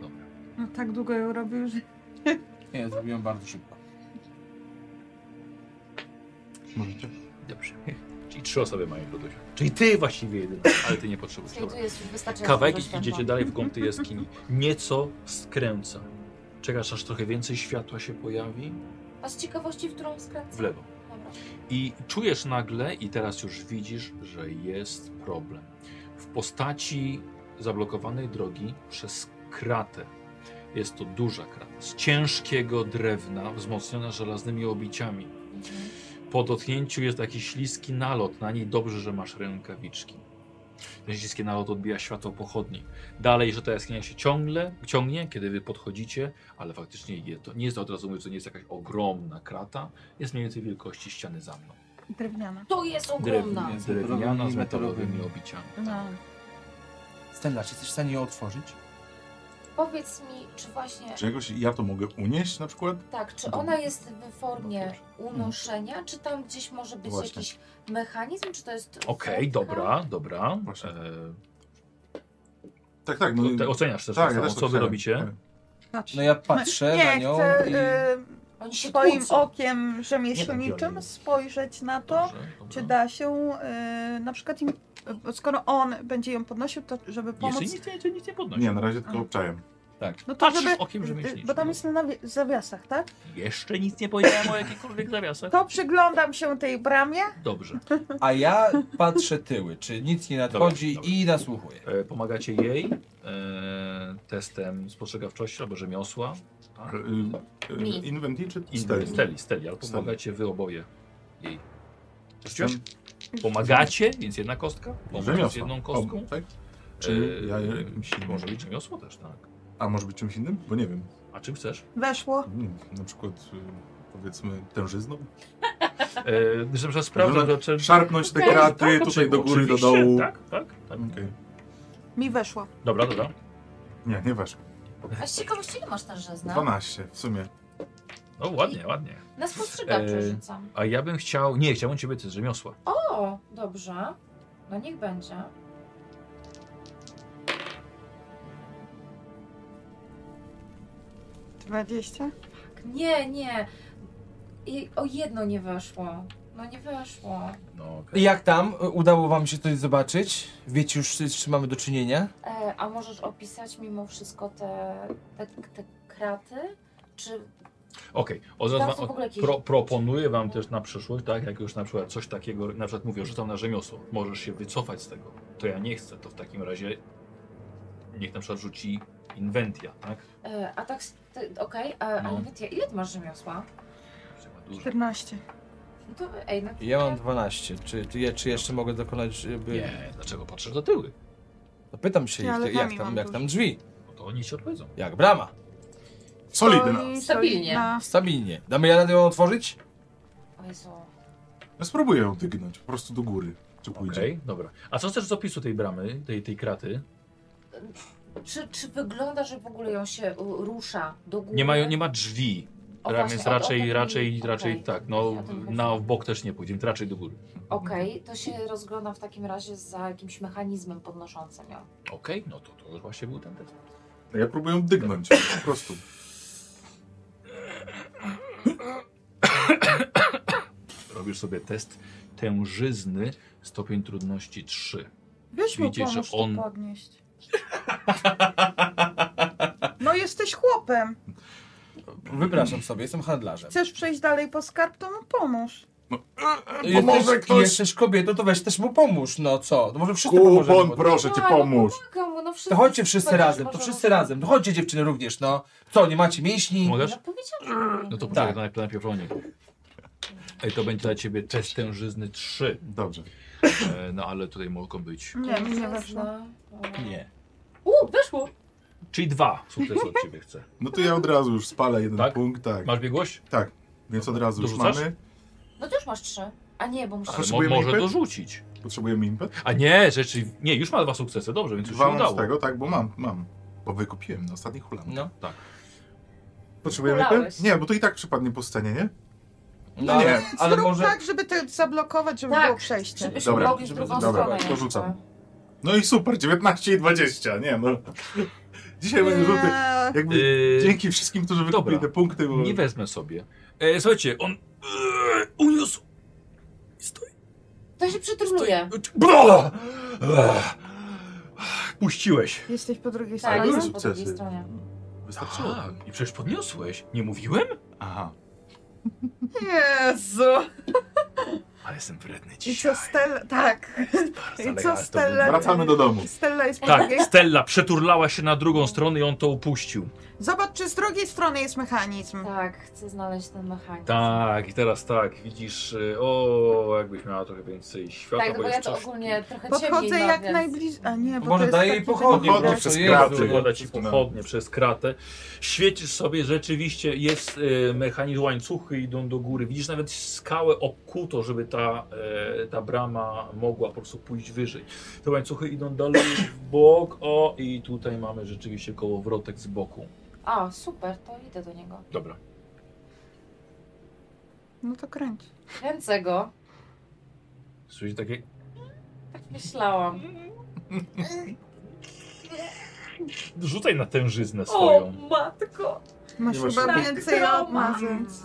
Speaker 1: Dobra.
Speaker 7: No, tak długo ją robił, że...
Speaker 4: Nie, zrobiłem bardzo szybko.
Speaker 2: Możecie?
Speaker 1: Dobrze. Czyli trzy osoby mają do doświadczenia. Czyli ty właściwie jedyna, ale ty nie potrzebujesz.
Speaker 5: Czyli
Speaker 1: Dobra.
Speaker 5: tu jest już wystarczająco
Speaker 1: Kawałek
Speaker 5: dużo światła.
Speaker 1: idziecie dalej w głąb tej jaskini. Nieco skręca. Czekasz aż trochę więcej światła się pojawi
Speaker 5: A z ciekawości, w którą skręcę?
Speaker 1: w lewo.
Speaker 5: Dobra.
Speaker 1: I czujesz nagle, i teraz już widzisz, że jest problem. W postaci zablokowanej drogi przez kratę. Jest to duża krata z ciężkiego drewna, wzmocniona żelaznymi obiciami.
Speaker 5: Mhm.
Speaker 1: Po dotknięciu jest taki śliski nalot. Na niej dobrze, że masz rękawiczki. Ten śliski nalot odbija światło pochodni. Dalej, że ta jaskinia się ciągle, ciągnie, kiedy wy podchodzicie, ale faktycznie je to, nie jest to od razu mówię, to nie jest jakaś ogromna krata. Jest mniej więcej wielkości ściany za mną.
Speaker 7: Drewniana.
Speaker 5: To jest ogromna.
Speaker 1: Drewniana, z
Speaker 4: metalowymi,
Speaker 1: drewniana, z metalowymi
Speaker 4: metalowymi.
Speaker 1: obiciami.
Speaker 7: No.
Speaker 4: Stella, czy jesteś w stanie ją otworzyć?
Speaker 5: Powiedz mi, czy właśnie
Speaker 2: Czegoś ja to mogę unieść na przykład?
Speaker 5: Tak, czy
Speaker 2: Dobra.
Speaker 5: ona jest w formie
Speaker 2: Dobra,
Speaker 1: Mhm.
Speaker 5: unoszenia, czy tam gdzieś może być
Speaker 2: Właśnie.
Speaker 5: jakiś mechanizm, czy to jest...
Speaker 1: Okej,
Speaker 5: furtka?
Speaker 1: dobra, dobra.
Speaker 2: Proszę.
Speaker 1: E,
Speaker 2: Tak, tak.
Speaker 1: to te oceniasz też
Speaker 2: Tak,
Speaker 1: tak,
Speaker 2: ja
Speaker 1: samo,
Speaker 2: też
Speaker 1: co wy
Speaker 2: tak.
Speaker 1: robicie.
Speaker 4: No ja patrzę
Speaker 7: nie,
Speaker 4: na nią
Speaker 7: chcę
Speaker 4: i...
Speaker 5: Oni
Speaker 7: y,
Speaker 5: się
Speaker 7: swoim
Speaker 5: kłócą.
Speaker 7: okiem rzemieślniczym spojrzeć na to,
Speaker 1: Dobrze, dobra.
Speaker 7: czy da się y, na przykład im, y, skoro on będzie ją podnosił, to żeby pomóc...
Speaker 1: Jeszcze nic, nie- nic nie podnosi. Tak.
Speaker 2: Nie, na razie tylko obczajem.
Speaker 7: No to
Speaker 1: Patrzysz
Speaker 7: żeby...
Speaker 1: okiem, że
Speaker 7: y,
Speaker 1: myślisz.
Speaker 7: Bo tam
Speaker 1: no.
Speaker 7: jest na nawi- zawiasach, tak?
Speaker 1: Jeszcze nic nie powiedziałem o jakichkolwiek zawiasach.
Speaker 7: To przyglądam się tej bramie.
Speaker 1: Dobrze.
Speaker 4: A ja patrzę tyły, czy nic nie nadchodzi
Speaker 1: Dobra,
Speaker 4: i nasłuchuję.
Speaker 1: E, pomagacie jej e, testem spostrzegawczości albo rzemiosła. Tak?
Speaker 2: Y, y,
Speaker 5: Mi.
Speaker 2: Inwenty czy
Speaker 1: I
Speaker 2: Steli?
Speaker 1: steli, steli, ale
Speaker 2: Steli.
Speaker 1: pomagacie wy oboje jej.
Speaker 2: Jestem
Speaker 1: Pomagacie, więc jedna kostka. Pomagasz
Speaker 2: rzemiosła.
Speaker 1: jedną kostką.
Speaker 2: O, tak? Czy
Speaker 1: E,
Speaker 2: ja jakimś innym?
Speaker 1: Może być rzemiosło też, tak.
Speaker 2: A może być czymś innym? Bo nie wiem.
Speaker 1: A czym chcesz?
Speaker 7: Weszło.
Speaker 2: Mm, Na przykład y, powiedzmy tężyzną?
Speaker 1: E, że- że sprawdzam, że... czy-
Speaker 2: Szarpnąć te
Speaker 5: Okej,
Speaker 2: kraty
Speaker 1: tak,
Speaker 2: tutaj do góry, do
Speaker 1: oczywiście,
Speaker 2: dołu.
Speaker 1: Tak, tak. tak.
Speaker 2: Okej.
Speaker 7: Mi weszło.
Speaker 1: Dobra, dobra.
Speaker 2: Nie, nie weszło.
Speaker 5: A z ciekawości ile masz ten żezna?
Speaker 2: 12 w sumie.
Speaker 1: No ładnie, ładnie.
Speaker 5: Na spostrzegawczy
Speaker 1: Eee.
Speaker 5: rzucam.
Speaker 1: A ja bym chciał... Nie, chciałbym ciebie test rzemiosła.
Speaker 5: O, dobrze. No niech będzie.
Speaker 7: 20?
Speaker 5: Tak, Nie, nie. I o jedno nie weszło. No nie weszło.
Speaker 1: No, okej.
Speaker 4: I jak tam? Udało wam się coś zobaczyć? Wiecie już, z czym mamy do czynienia?
Speaker 5: E, a możesz opisać mimo wszystko te, te, te kraty? Czy
Speaker 1: Okej, od razu
Speaker 5: tam
Speaker 1: wam-
Speaker 5: są w ogóle jakieś...
Speaker 1: Pro, proponuję wam też na przyszłość, tak, jak już na przykład coś takiego, na przykład mówię, rzucam na rzemiosło, możesz się wycofać z tego, to ja nie chcę, to w takim razie niech na przykład rzuci inwentia, tak?
Speaker 5: E, a tak, s- ty- okej, a,
Speaker 1: No.
Speaker 5: a nawet ja, ile ty masz rzemiosła?
Speaker 1: Że ma dużo.
Speaker 7: 14.
Speaker 5: No to ej, no to
Speaker 4: Ja mam 12. Czy, czy, ja- czy jeszcze mogę dokonać... Żeby...
Speaker 1: Nie, dlaczego patrzysz do tyły?
Speaker 4: No Pytam się
Speaker 7: Ja
Speaker 4: ich,
Speaker 7: lewami
Speaker 4: jak,
Speaker 7: mam
Speaker 4: tam, jak tam
Speaker 7: dużo.
Speaker 4: drzwi,
Speaker 1: No to oni ci odpowiedzą.
Speaker 4: jak brama.
Speaker 2: Solidna.
Speaker 7: Stoi-
Speaker 5: Stabilnie.
Speaker 7: solidna.
Speaker 4: Stabilnie. Damy radę ją otworzyć?
Speaker 5: O Jezu.
Speaker 2: Ja spróbuję ją dygnąć, po prostu do góry. Czy
Speaker 1: Okej,
Speaker 2: pójdzie?
Speaker 1: dobra. A co chcesz z opisu tej bramy, tej, tej kraty?
Speaker 5: Czy, czy wygląda, że w ogóle ją się y, rusza do góry?
Speaker 1: Nie ma, nie ma drzwi,
Speaker 5: O,
Speaker 1: ra-
Speaker 5: właśnie,
Speaker 1: więc
Speaker 5: o- o
Speaker 1: raczej,
Speaker 5: tym-
Speaker 1: raczej,
Speaker 5: okej.
Speaker 1: raczej tak, no
Speaker 5: Ja o tym
Speaker 1: na
Speaker 5: myślę.
Speaker 1: w bok też nie pójdziemy, raczej do góry.
Speaker 5: Okej, to się rozgląda w takim razie za jakimś mechanizmem podnoszącym ją.
Speaker 1: Okej, no to to już właśnie był ten test.
Speaker 2: Ja próbuję ją dygnąć, po prostu.
Speaker 1: Robisz sobie test tężyzny, stopień trudności 3.
Speaker 7: Mhm. Weź mu
Speaker 1: Widzisz, że
Speaker 7: pomóż
Speaker 1: on-
Speaker 7: on... podnieść. No jesteś chłopem.
Speaker 4: Wypraszam sobie, jestem handlarzem.
Speaker 7: Chcesz przejść dalej po skarb, to mu pomóż.
Speaker 4: Jesteś,
Speaker 2: ktoś?
Speaker 4: jesteś kobietą, to weź też mu pomóż, no co? No może wszyscy pomożemy.
Speaker 2: Kupon,
Speaker 4: bo-
Speaker 2: proszę cię,
Speaker 5: No, ale
Speaker 2: pomóż.
Speaker 5: Pomaga mu, no wszyscy,
Speaker 4: To chodźcie wszyscy
Speaker 5: Powiesz,
Speaker 4: razem, to
Speaker 5: może-
Speaker 4: wszyscy razem. To chodźcie dziewczyny również, no. Co, nie macie mięśni?
Speaker 1: Możesz?
Speaker 5: No powiedziałam. że
Speaker 1: No to
Speaker 5: nie.
Speaker 1: poczekaj,
Speaker 4: Tak.
Speaker 1: to najpierw najpierw o nich. Ej, to będzie dla ciebie test tężyzny 3.
Speaker 2: Dobrze.
Speaker 1: E, no ale tutaj mogą być.
Speaker 7: Nie, mi nie weszło.
Speaker 4: Nie.
Speaker 5: no, U, weszło.
Speaker 1: Czyli dwa sukcesy od ciebie chcę.
Speaker 2: No to ja od razu już spalę jeden
Speaker 1: Tak?
Speaker 2: punkt, tak.
Speaker 1: Masz biegłość?
Speaker 2: Więc od razu już
Speaker 1: Dorzucasz?
Speaker 2: mamy.
Speaker 5: No to już masz trzy. A nie, bo
Speaker 1: Ale
Speaker 5: musisz...
Speaker 1: mo
Speaker 2: Potrzebujemy
Speaker 1: może
Speaker 2: impet?
Speaker 1: dorzucić.
Speaker 2: Potrzebujemy impet?
Speaker 1: A nie, rzeczywiście. Nie, już ma dwa sukcesy, dobrze, więc już
Speaker 2: Dwa
Speaker 1: się
Speaker 2: mam z
Speaker 1: udało.
Speaker 2: tego, tak, bo mam, mam. Bo wykupiłem na ostatnich hulach.
Speaker 4: No.
Speaker 2: Potrzebujemy
Speaker 5: Hulałeś.
Speaker 2: impet? Nie, bo to i tak przypadnie po scenie, nie?
Speaker 4: No,
Speaker 2: nie,
Speaker 4: ale, ale
Speaker 7: Zrób
Speaker 4: może...
Speaker 7: tak, żeby to zablokować, żeby
Speaker 5: Tak.
Speaker 7: było przejście.
Speaker 5: Żebyś
Speaker 2: Dobra,
Speaker 5: mogli w
Speaker 4: żeby-
Speaker 5: drugą
Speaker 4: dobra,
Speaker 5: stronę.
Speaker 2: to
Speaker 5: jeszcze.
Speaker 2: rzucam. No i super, 19 i 20, nie no. Dzisiaj będzie rzuty.
Speaker 7: Eee,
Speaker 2: Jakby
Speaker 1: Yy,
Speaker 2: dzięki wszystkim, którzy wykupili
Speaker 1: dobra.
Speaker 2: te punkty, bo...
Speaker 1: Nie wezmę sobie. E, słuchajcie, on. E, uniósł.
Speaker 5: To się przytruluje.
Speaker 1: Bro! Puściłeś.
Speaker 7: Jesteś po drugiej
Speaker 5: Tak,
Speaker 7: stronie.
Speaker 5: były
Speaker 2: Były
Speaker 5: po drugiej
Speaker 2: sukcesy.
Speaker 5: stronie.
Speaker 2: Wystarczyło.
Speaker 1: Tak, i przecież podniosłeś. Nie mówiłem?
Speaker 2: Aha.
Speaker 7: Jezu.
Speaker 1: Ale jestem wredny
Speaker 7: I
Speaker 1: dzisiaj.
Speaker 7: co Stella... Tak. I
Speaker 1: ale
Speaker 7: co
Speaker 1: ja- to był-
Speaker 7: Stella...
Speaker 2: Wracamy do domu.
Speaker 7: Stella jest po
Speaker 1: Tak,
Speaker 7: drugiej...
Speaker 1: Stella przeturlała się na drugą stronę i on to upuścił.
Speaker 7: Zobacz, czy z drugiej strony jest mechanizm.
Speaker 5: Tak, chcę znaleźć ten mechanizm.
Speaker 1: Tak, i teraz tak, widzisz, y, o, jakbyś miała trochę więcej światła,
Speaker 5: Tak, no bo
Speaker 1: jest
Speaker 5: ja to
Speaker 1: coś-
Speaker 5: ogólnie trochę ciemniej
Speaker 7: Podchodzę
Speaker 5: mam,
Speaker 7: jak
Speaker 5: więc-
Speaker 7: najbliżej... A nie, bo to
Speaker 4: Może
Speaker 7: jest
Speaker 4: daje
Speaker 7: taki
Speaker 4: jej pochodnie.
Speaker 7: wygodny-
Speaker 2: Pochodnie
Speaker 4: no,
Speaker 2: przez
Speaker 4: to Jezu,
Speaker 2: kraty.
Speaker 4: no.
Speaker 1: Przekłada ci pochodnie przez kratę. Świecisz sobie, rzeczywiście jest y, mechanizm, łańcuchy idą do góry. Widzisz nawet skałę obkuto, żeby ta, e, ta brama mogła po prostu pójść wyżej. Te łańcuchy idą dalej w bok, o i tutaj mamy rzeczywiście kołowrotek z boku.
Speaker 5: A, super, to idę do niego.
Speaker 1: Dobra.
Speaker 7: No to kręć.
Speaker 5: Kręcę go.
Speaker 1: Słyszycie takie
Speaker 5: Tak myślałam.
Speaker 1: Rzucaj na tężyznę
Speaker 5: O,
Speaker 1: swoją.
Speaker 5: matko.
Speaker 7: Masz
Speaker 2: Nie masz
Speaker 7: chyba
Speaker 5: tak
Speaker 7: więcej od nas,
Speaker 5: trauma.
Speaker 7: więc...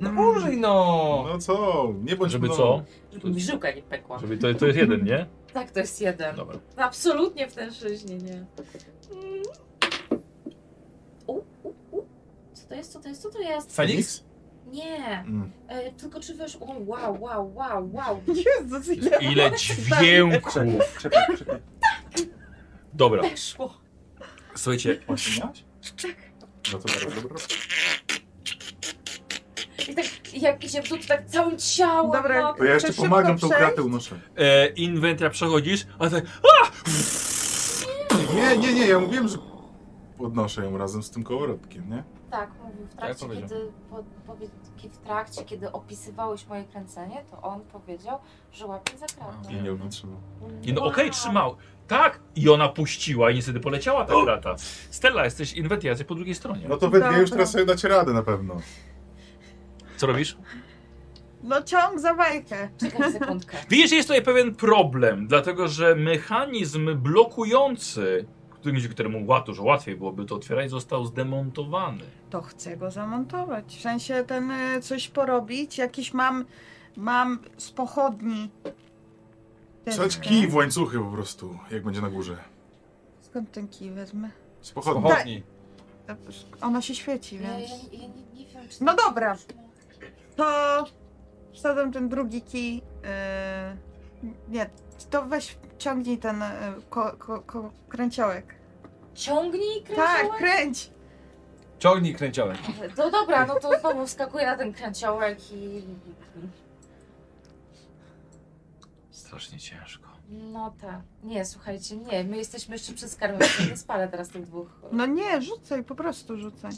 Speaker 4: No użyj no!
Speaker 2: No co, nie no- bądź
Speaker 1: Żeby
Speaker 2: mną.
Speaker 1: co?
Speaker 5: Żeby mi żyłka nie pękła.
Speaker 1: Żeby to, to jest jeden, nie?
Speaker 5: Tak, to jest jeden.
Speaker 1: Dobra.
Speaker 5: Absolutnie w tężyźnie, nie. Mm. U, u, u. Co to jest, co to jest, co to jest?
Speaker 4: Felix?
Speaker 5: Nie,
Speaker 2: Mm.
Speaker 5: e, tylko czy wiesz, o wow, wow, wow, wow.
Speaker 7: Jezus, ile...
Speaker 1: Ile dźwięku!
Speaker 2: Czekaj, czekaj, czekaj.
Speaker 1: Dobra,
Speaker 5: Weszło.
Speaker 1: słuchajcie,
Speaker 2: Osiem miałaś? No to bardzo dobra.
Speaker 5: I tak, jak idzie w dół, to tak całym ciałem.
Speaker 7: Dobra,
Speaker 5: no.
Speaker 2: To ja jeszcze
Speaker 7: To szybko
Speaker 2: pomagam, tą
Speaker 7: przejść?
Speaker 2: kratę unoszę.
Speaker 1: e, inwentia przechodzisz, a tak
Speaker 2: Nie, nie, nie, ja mówiłem, że podnoszę ją razem z tym kołorodkiem, nie?
Speaker 5: Tak, mówił w trakcie,
Speaker 4: powiedział.
Speaker 5: kiedy, po, powie, ki- w trakcie, kiedy opisywałeś moje kręcenie, to on powiedział, że łapie za kratę.
Speaker 2: I nie wytrzymał.
Speaker 1: Nie, no
Speaker 5: Wow.
Speaker 1: okej, trzymał. Tak! I ona puściła i niestety poleciała ta krata. Stella, jesteś inwentia, jesteś po drugiej stronie.
Speaker 2: No to we dwie już
Speaker 7: Dobra.
Speaker 2: teraz sobie dacie radę na pewno.
Speaker 1: Co robisz?
Speaker 7: No ciąg za bajkę.
Speaker 5: Czekaj sekundkę.
Speaker 1: Widzisz, jest tutaj pewien problem, dlatego że mechanizm blokujący,
Speaker 13: któremuś, któremu łat, dużo łatwiej byłoby to otwierać, został zdemontowany.
Speaker 7: To chcę go zamontować. W sensie ten y, coś porobić. Jakiś mam. Mam z pochodni. Ten-
Speaker 14: Wsadź kij w łańcuchy po prostu, jak będzie na górze.
Speaker 7: Skąd ten kij wezmę?
Speaker 14: Z
Speaker 2: No.
Speaker 14: pochodni.
Speaker 7: Tak.
Speaker 4: Pochodni.
Speaker 7: Ona się świeci,
Speaker 5: Ja, ja,
Speaker 7: więc.
Speaker 5: ja, nie, nie wiem, czy
Speaker 7: No dobra. To wsadzam ten drugi kij. y, nie, to weź ciągnij ten y, ko, ko, ko, kręciołek.
Speaker 5: Ciągnij
Speaker 7: Tak,
Speaker 5: kręciołek?
Speaker 7: kręć!
Speaker 4: Ciągnij kręciołek.
Speaker 5: Tak. No dobra, no to znowu wskakuję na ten kręciołek i...
Speaker 1: Strasznie ciężko.
Speaker 5: No tak. Nie, słuchajcie, nie, my jesteśmy jeszcze przed skarbem, więc nie spalę teraz tych dwóch.
Speaker 7: No nie, rzucaj, po prostu rzucaj.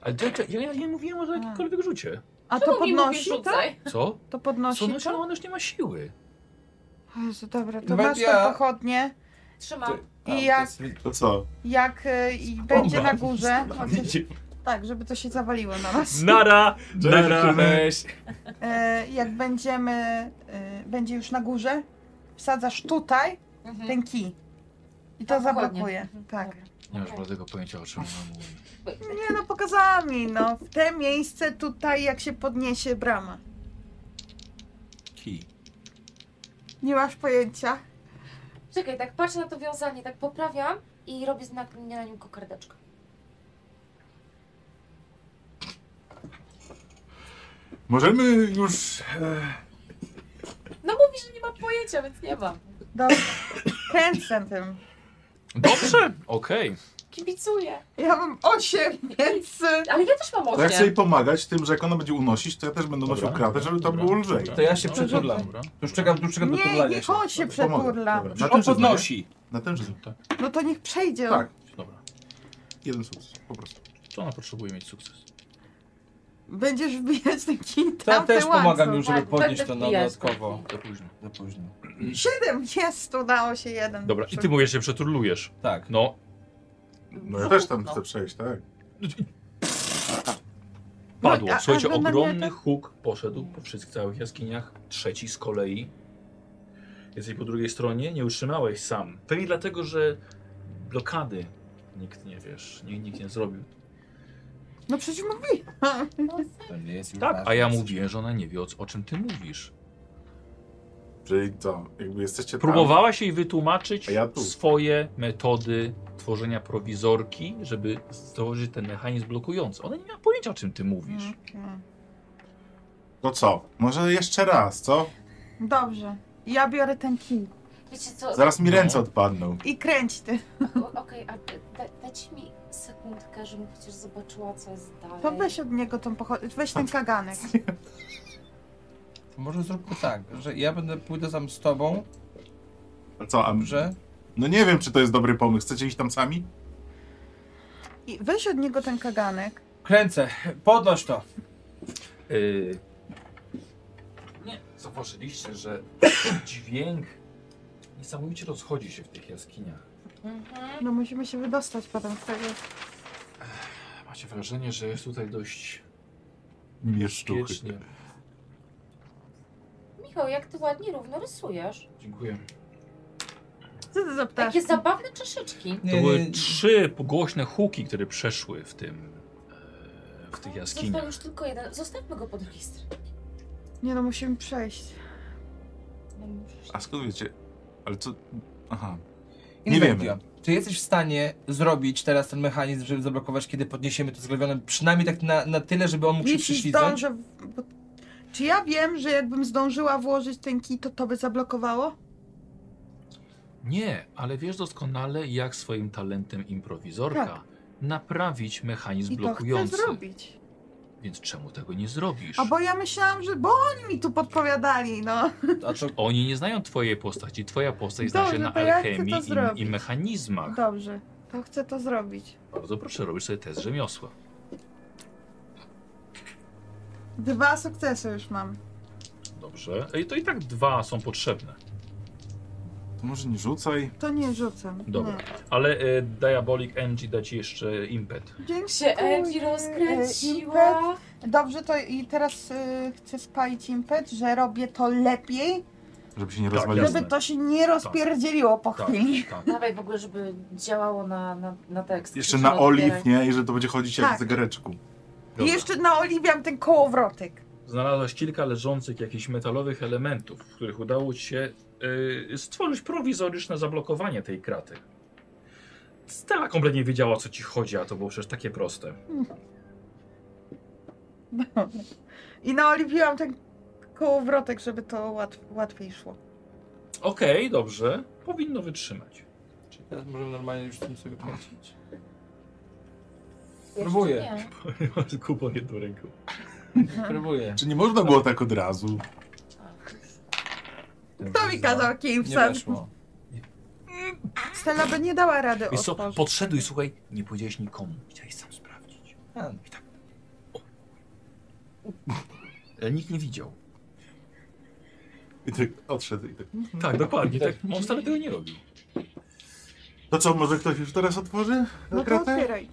Speaker 1: Ale to, ja, ja nie mówiłem o jakimkolwiek rzucie.
Speaker 7: A
Speaker 5: Czemu
Speaker 7: to
Speaker 5: mi mówisz,
Speaker 7: podnosi? tak? To,
Speaker 5: rzucaj?
Speaker 1: Co?
Speaker 7: to
Speaker 1: Co?
Speaker 7: podnosi.
Speaker 1: No, ale ona już nie ma siły.
Speaker 7: O Jezu, dobra, to
Speaker 4: Nawet
Speaker 7: masz
Speaker 4: ja-
Speaker 7: tą pochodnię.
Speaker 5: Trzymam.
Speaker 4: Tam,
Speaker 7: I jak-
Speaker 4: to jest-
Speaker 14: To co?
Speaker 7: Jak y, i będzie na górze. Chociaż,
Speaker 1: Idzie.
Speaker 7: tak, żeby to się zawaliło na nas.
Speaker 13: Nara!
Speaker 14: Nara.
Speaker 4: Weź.
Speaker 7: E, jak będziemy, e, będzie już na górze, wsadzasz tutaj
Speaker 5: Mhm.
Speaker 7: ten kij. I to
Speaker 5: A, dokładnie.
Speaker 7: zablokuje.
Speaker 5: Mhm,
Speaker 7: Tak.
Speaker 5: dobra.
Speaker 1: Nie masz
Speaker 5: Okej.
Speaker 1: bladego pojęcia o czym ona mówi.
Speaker 7: Nie no, pokazała mi, no. W te miejsce tutaj, jak się podniesie brama.
Speaker 1: Kij.
Speaker 7: Nie masz pojęcia?
Speaker 5: Czekaj, tak patrzę na to wiązanie, tak poprawiam i robię znak nie na nim kokardeczka.
Speaker 14: Możemy już... E,
Speaker 5: No mówi, że nie ma pojęcia, więc nie mam.
Speaker 7: Dobra. Kręcę tym.
Speaker 1: Dobrze! Okej.
Speaker 5: Kibicuję.
Speaker 7: Ja mam osiem, więc... y,
Speaker 5: Ale ja też mam
Speaker 14: to jak sobie
Speaker 5: osiem.
Speaker 14: pomagać tym, że jak ona będzie unosić, to ja też będę nosił
Speaker 1: Dobra,
Speaker 14: kratę, żeby to
Speaker 1: dobra.
Speaker 14: było lżej.
Speaker 4: To ja się
Speaker 1: Dobra,
Speaker 4: przytulam.
Speaker 1: dobra.
Speaker 4: Już czekam, już czekam do
Speaker 7: Nie,
Speaker 4: turlania
Speaker 7: niech
Speaker 4: się.
Speaker 7: on się
Speaker 14: Pomogę.
Speaker 7: przeturla.
Speaker 14: Dobra,
Speaker 4: Przecież
Speaker 14: ten
Speaker 4: on
Speaker 14: rzut, nie?
Speaker 4: podnosi.
Speaker 14: Na ten rzut, tak.
Speaker 7: No to niech przejdzie.
Speaker 14: Tak, dobra. Jeden sukces, po prostu.
Speaker 1: To ona potrzebuje mieć sukces.
Speaker 7: Będziesz wbijać ten kij tam
Speaker 4: To ja też
Speaker 7: ten łańcuch.
Speaker 4: pomagam już, żeby
Speaker 5: Tak,
Speaker 4: podnieść
Speaker 5: będę
Speaker 4: to na
Speaker 5: wbijać.
Speaker 4: dodatkowo.
Speaker 1: Za późno.
Speaker 4: Za późno.
Speaker 7: Siedem, jest, udało się jeden.
Speaker 1: Dobra, i ty mówisz, że się przeturlujesz.
Speaker 4: Tak.
Speaker 1: No,
Speaker 14: No ja też tam chcę przejść, tak?
Speaker 1: padło.
Speaker 7: No, a- a
Speaker 1: Słuchajcie,
Speaker 7: wy na mnie
Speaker 1: ogromny
Speaker 7: to-
Speaker 1: huk poszedł po wszystkich całych jaskiniach. Trzeci z kolei. Jesteś po drugiej stronie, nie utrzymałeś sam. Pewnie dlatego, że blokady nikt nie wiesz, nikt, nikt nie zrobił.
Speaker 7: No przecież mówi.
Speaker 4: To nie jest już
Speaker 1: Tak,
Speaker 4: ważne.
Speaker 1: a ja mówię, że ona nie wie o, o czym ty mówisz.
Speaker 14: Czyli to, jakby jesteście tam.
Speaker 1: Próbowałaś jej wytłumaczyć
Speaker 14: A ja tu.
Speaker 1: swoje metody tworzenia prowizorki, żeby stworzyć ten mechanizm blokujący. Ona nie miała pojęcia, o czym ty mówisz.
Speaker 7: Okay.
Speaker 14: To co? Może jeszcze raz, co?
Speaker 7: Dobrze. Ja biorę ten kij.
Speaker 5: Wiecie co,
Speaker 14: Zaraz mi
Speaker 1: No.
Speaker 14: ręce odpadną.
Speaker 7: I kręć ty.
Speaker 5: o- okej, a da, dajcie mi sekundkę, żebym chociaż zobaczyła, co jest dalej.
Speaker 7: To weź od niego tą pochodnię. Weź ten kaganek.
Speaker 4: To Może zróbmy tak, że ja będę pójdę tam z tobą,
Speaker 14: A co, a
Speaker 4: że...
Speaker 14: No nie wiem, czy to jest dobry pomysł. Chcecie iść tam sami?
Speaker 7: I weź od niego ten kaganek.
Speaker 4: Kręcę, podnoś to.
Speaker 1: Yy, nie, zauważyliście, że dźwięk niesamowicie rozchodzi się w tych jaskiniach.
Speaker 5: Mhm.
Speaker 7: No musimy się wydostać potem tak z tego.
Speaker 1: Macie wrażenie, że jest tutaj dość
Speaker 14: Mieszczuchy.
Speaker 1: piecznie.
Speaker 5: Michał, jak ty ładnie równo rysujesz.
Speaker 1: Dziękuję.
Speaker 7: Co to za ptaszki?
Speaker 5: Takie zabawne czaszyczki.
Speaker 1: To
Speaker 4: Nie,
Speaker 1: były
Speaker 4: nie, nie.
Speaker 1: trzy głośne huki, które przeszły w tym, e, w tych
Speaker 5: Został
Speaker 1: jaskiniach.
Speaker 5: już tylko jeden. Zostawmy go pod listry.
Speaker 7: Nie no, musimy przejść.
Speaker 5: No
Speaker 14: A skąd wiecie? Ale co? Aha. Nie
Speaker 4: Inwentio, czy jesteś w stanie zrobić teraz ten mechanizm, żeby zablokować, kiedy podniesiemy to zglewionem, przynajmniej tak na, na tyle, żeby on mógł się
Speaker 7: Jeśli
Speaker 4: przyślizgnąć?
Speaker 7: zdążę... w- Bo... Czy ja wiem, że jakbym zdążyła włożyć ten kij, to to by zablokowało?
Speaker 1: Nie, ale wiesz doskonale, jak swoim talentem improwizorka
Speaker 7: Tak.
Speaker 1: naprawić mechanizm
Speaker 7: I to chcę
Speaker 1: blokujący.
Speaker 7: zrobić.
Speaker 1: Więc czemu tego nie zrobisz?
Speaker 7: A bo ja myślałam, że... Bo oni mi tu podpowiadali, no.
Speaker 4: A to
Speaker 1: Oni nie znają twojej postaci. Twoja postać zna
Speaker 7: Dobrze,
Speaker 1: się na
Speaker 7: to ja chcę
Speaker 1: alchemii
Speaker 7: to
Speaker 1: i, i
Speaker 7: zrobić.
Speaker 1: mechanizmach.
Speaker 7: Dobrze. To chcę to zrobić.
Speaker 1: Bardzo proszę, robisz sobie test rzemiosła.
Speaker 7: Dwa sukcesy już mam.
Speaker 1: Dobrze. I to i tak dwa są potrzebne.
Speaker 14: To może nie rzucaj.
Speaker 7: To nie rzucam.
Speaker 1: Dobra.
Speaker 7: Hmm.
Speaker 1: Ale e, Diabolic Energy da ci jeszcze impet.
Speaker 7: Nie. Dziękuję. E,
Speaker 5: Się Ewi
Speaker 7: Impet.
Speaker 5: rozkręciła.
Speaker 7: Dobrze, to i teraz y, chcę spalić impet, że robię to lepiej
Speaker 2: Żeby się nie
Speaker 1: Tak,
Speaker 2: rozwaliło.
Speaker 1: jasne.
Speaker 7: Żeby to się nie rozpierdzieliło po
Speaker 1: Tak,
Speaker 7: chwili.
Speaker 1: tak.
Speaker 5: Dawaj w ogóle, żeby działało na, na, na tekst.
Speaker 2: Jeszcze
Speaker 5: Musimy
Speaker 2: na oliw,
Speaker 5: odbierać.
Speaker 2: nie? I że to będzie chodzić jak
Speaker 7: Tak.
Speaker 2: w zegareczku.
Speaker 7: I jeszcze naoliwiam ten kołowrotek.
Speaker 13: Znalazłeś kilka leżących jakichś metalowych elementów, w których udało ci się y, stworzyć prowizoryczne zablokowanie tej kraty. Stella kompletnie wiedziała, o co ci chodzi, a to było przecież takie proste.
Speaker 7: I naoliwiłam ten kołowrotek, żeby to łat, łatwiej szło.
Speaker 13: Okej, dobrze. Powinno wytrzymać.
Speaker 4: Czyli teraz możemy normalnie już tym sobie płacić.
Speaker 5: Jeszcze
Speaker 4: Próbuję.
Speaker 5: nie.
Speaker 13: Masz kupon jedną ręką.
Speaker 4: Próbuję.
Speaker 2: Czy nie można było tak od razu?
Speaker 7: Kto mi kazał kijem
Speaker 4: Nie weszło.
Speaker 7: Stella by nie dała rady
Speaker 1: Wiesz co,
Speaker 7: otworzyć.
Speaker 1: podszedł i słuchaj, nie powiedziałeś nikomu. Chciałeś sam sprawdzić.
Speaker 4: A,
Speaker 1: Ale nikt nie widział.
Speaker 14: I tak odszedł i tak.
Speaker 13: Tak, dokładnie. Tak, on wcale tego nie robił.
Speaker 2: To co, może ktoś już teraz otworzy
Speaker 7: No to
Speaker 2: kratę?
Speaker 7: otwieraj.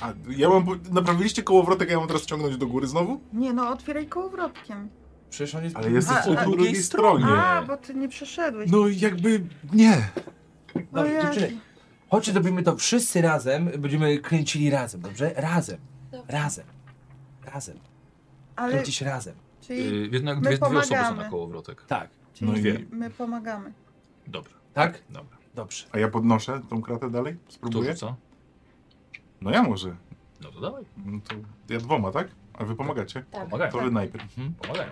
Speaker 2: A, ja mam... po- Naprawiliście kołowrotek, a ja mam teraz ciągnąć do góry znowu?
Speaker 7: Nie no, otwieraj kołowrotkiem.
Speaker 4: Przecież on jest...
Speaker 2: Ale jesteś
Speaker 7: A,
Speaker 2: po
Speaker 7: a-
Speaker 2: drugiej stronie.
Speaker 7: A, bo ty nie przeszedłeś.
Speaker 2: No jakby... Nie.
Speaker 1: no,
Speaker 7: O
Speaker 4: Dobrze,
Speaker 7: Jezu.
Speaker 4: dziewczyny, chodźcie, zrobimy to wszyscy razem. Będziemy kręcili razem, dobrze? Razem.
Speaker 5: Dobrze.
Speaker 4: Razem. Razem.
Speaker 7: Ale,
Speaker 4: Kręcić razem.
Speaker 7: czyli,
Speaker 1: Yy, jednak
Speaker 7: My
Speaker 1: dwie, dwie osoby są
Speaker 7: pomagamy.
Speaker 1: na kołowrotek.
Speaker 4: Tak.
Speaker 2: No
Speaker 7: czyli
Speaker 2: i...
Speaker 7: my pomagamy.
Speaker 1: Dobra,
Speaker 4: Tak?
Speaker 1: dobra.
Speaker 4: Dobrze.
Speaker 2: A ja podnoszę tą kratę dalej?
Speaker 1: Kto
Speaker 2: Spróbuję?
Speaker 1: rzuca?
Speaker 2: No ja może.
Speaker 1: No to dawaj,
Speaker 2: No to ja dwoma, tak? A wy pomagacie?
Speaker 5: Tak.
Speaker 1: pomagają.
Speaker 2: To wy najpierw.
Speaker 1: Pomagają.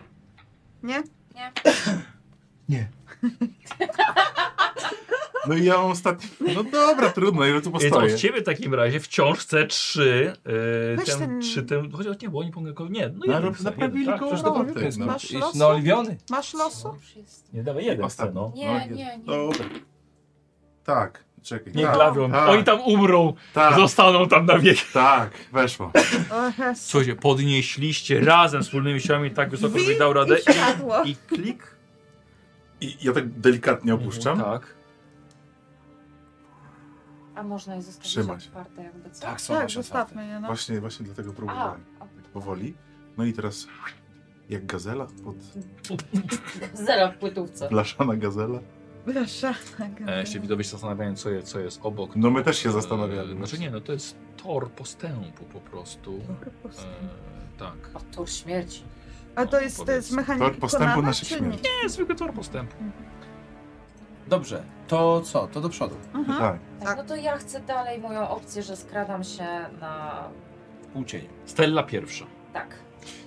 Speaker 7: Nie?
Speaker 2: Tak, No i ja mam ostatni... No dobra, trudno, ile tu
Speaker 13: Więc od
Speaker 2: postoję.
Speaker 13: ciebie w takim razie wciąż chce trzy. Yy,
Speaker 7: Weź
Speaker 13: ten,
Speaker 7: ten-
Speaker 13: Trzy ten. Chociaż nie, bo oni pomagają. Nie, no jeden.
Speaker 2: Narób,
Speaker 13: chce,
Speaker 2: naprawili
Speaker 13: jeden, tak,
Speaker 2: koło
Speaker 13: przecież
Speaker 4: to
Speaker 2: roboty.
Speaker 4: jest
Speaker 2: No.
Speaker 7: Masz
Speaker 4: Jest
Speaker 7: losu?
Speaker 4: naoliwiony.
Speaker 7: Masz losu?
Speaker 5: Już jest.
Speaker 13: Nie dawaj jeden chce,
Speaker 2: Ostatni.
Speaker 13: no.
Speaker 5: Nie,
Speaker 2: no,
Speaker 5: nie, nie.
Speaker 2: Dobra. Tak, czekaj.
Speaker 13: Nie
Speaker 2: tak,
Speaker 13: glawią.
Speaker 2: tak,
Speaker 13: Oni tam umrą.
Speaker 2: tak,
Speaker 13: Zostaną tam na wieki.
Speaker 2: tak, weszło.
Speaker 7: O, hes.
Speaker 13: Słuchajcie, podnieśliście razem wspólnymi siłami tak wysoko, że dał radę.
Speaker 7: I siadło.
Speaker 13: I, I klik.
Speaker 2: I ja tak delikatnie
Speaker 1: Mhm,
Speaker 2: opuszczam.
Speaker 13: Tak.
Speaker 5: A można je zostawić
Speaker 2: Trzymaj się.
Speaker 5: otwarte jakby co?
Speaker 4: Tak, są
Speaker 7: Tak,
Speaker 4: nasze otwarte.
Speaker 7: zostawmy je, no.
Speaker 2: Właśnie, właśnie dlatego
Speaker 5: A,
Speaker 2: próbowałem. Powoli. No i teraz jak gazela, pod
Speaker 1: Tak.
Speaker 5: zero w płytówce.
Speaker 2: blaszana gazela.
Speaker 7: Blaszana.
Speaker 1: E, się widowie się zastanawiają, co, je, co jest obok.
Speaker 2: No my też się zastanawiamy.
Speaker 1: E, znaczy nie, no to jest tor postępu po prostu. E, tak.
Speaker 5: O, tur śmierci.
Speaker 7: A to jest, to jest
Speaker 1: Powiedz.
Speaker 7: mechanika
Speaker 2: Tor postępu
Speaker 7: Konana,
Speaker 2: naszych
Speaker 7: czy nie?
Speaker 2: śmierci.
Speaker 1: Nie, zwykły tor postępu.
Speaker 4: Dobrze. To co? To do przodu.
Speaker 7: Aha.
Speaker 2: Tak.
Speaker 5: Tak, no to ja chcę dalej moją opcję, że skradam się na...
Speaker 4: Półcień.
Speaker 1: Stella pierwsza.
Speaker 5: Tak.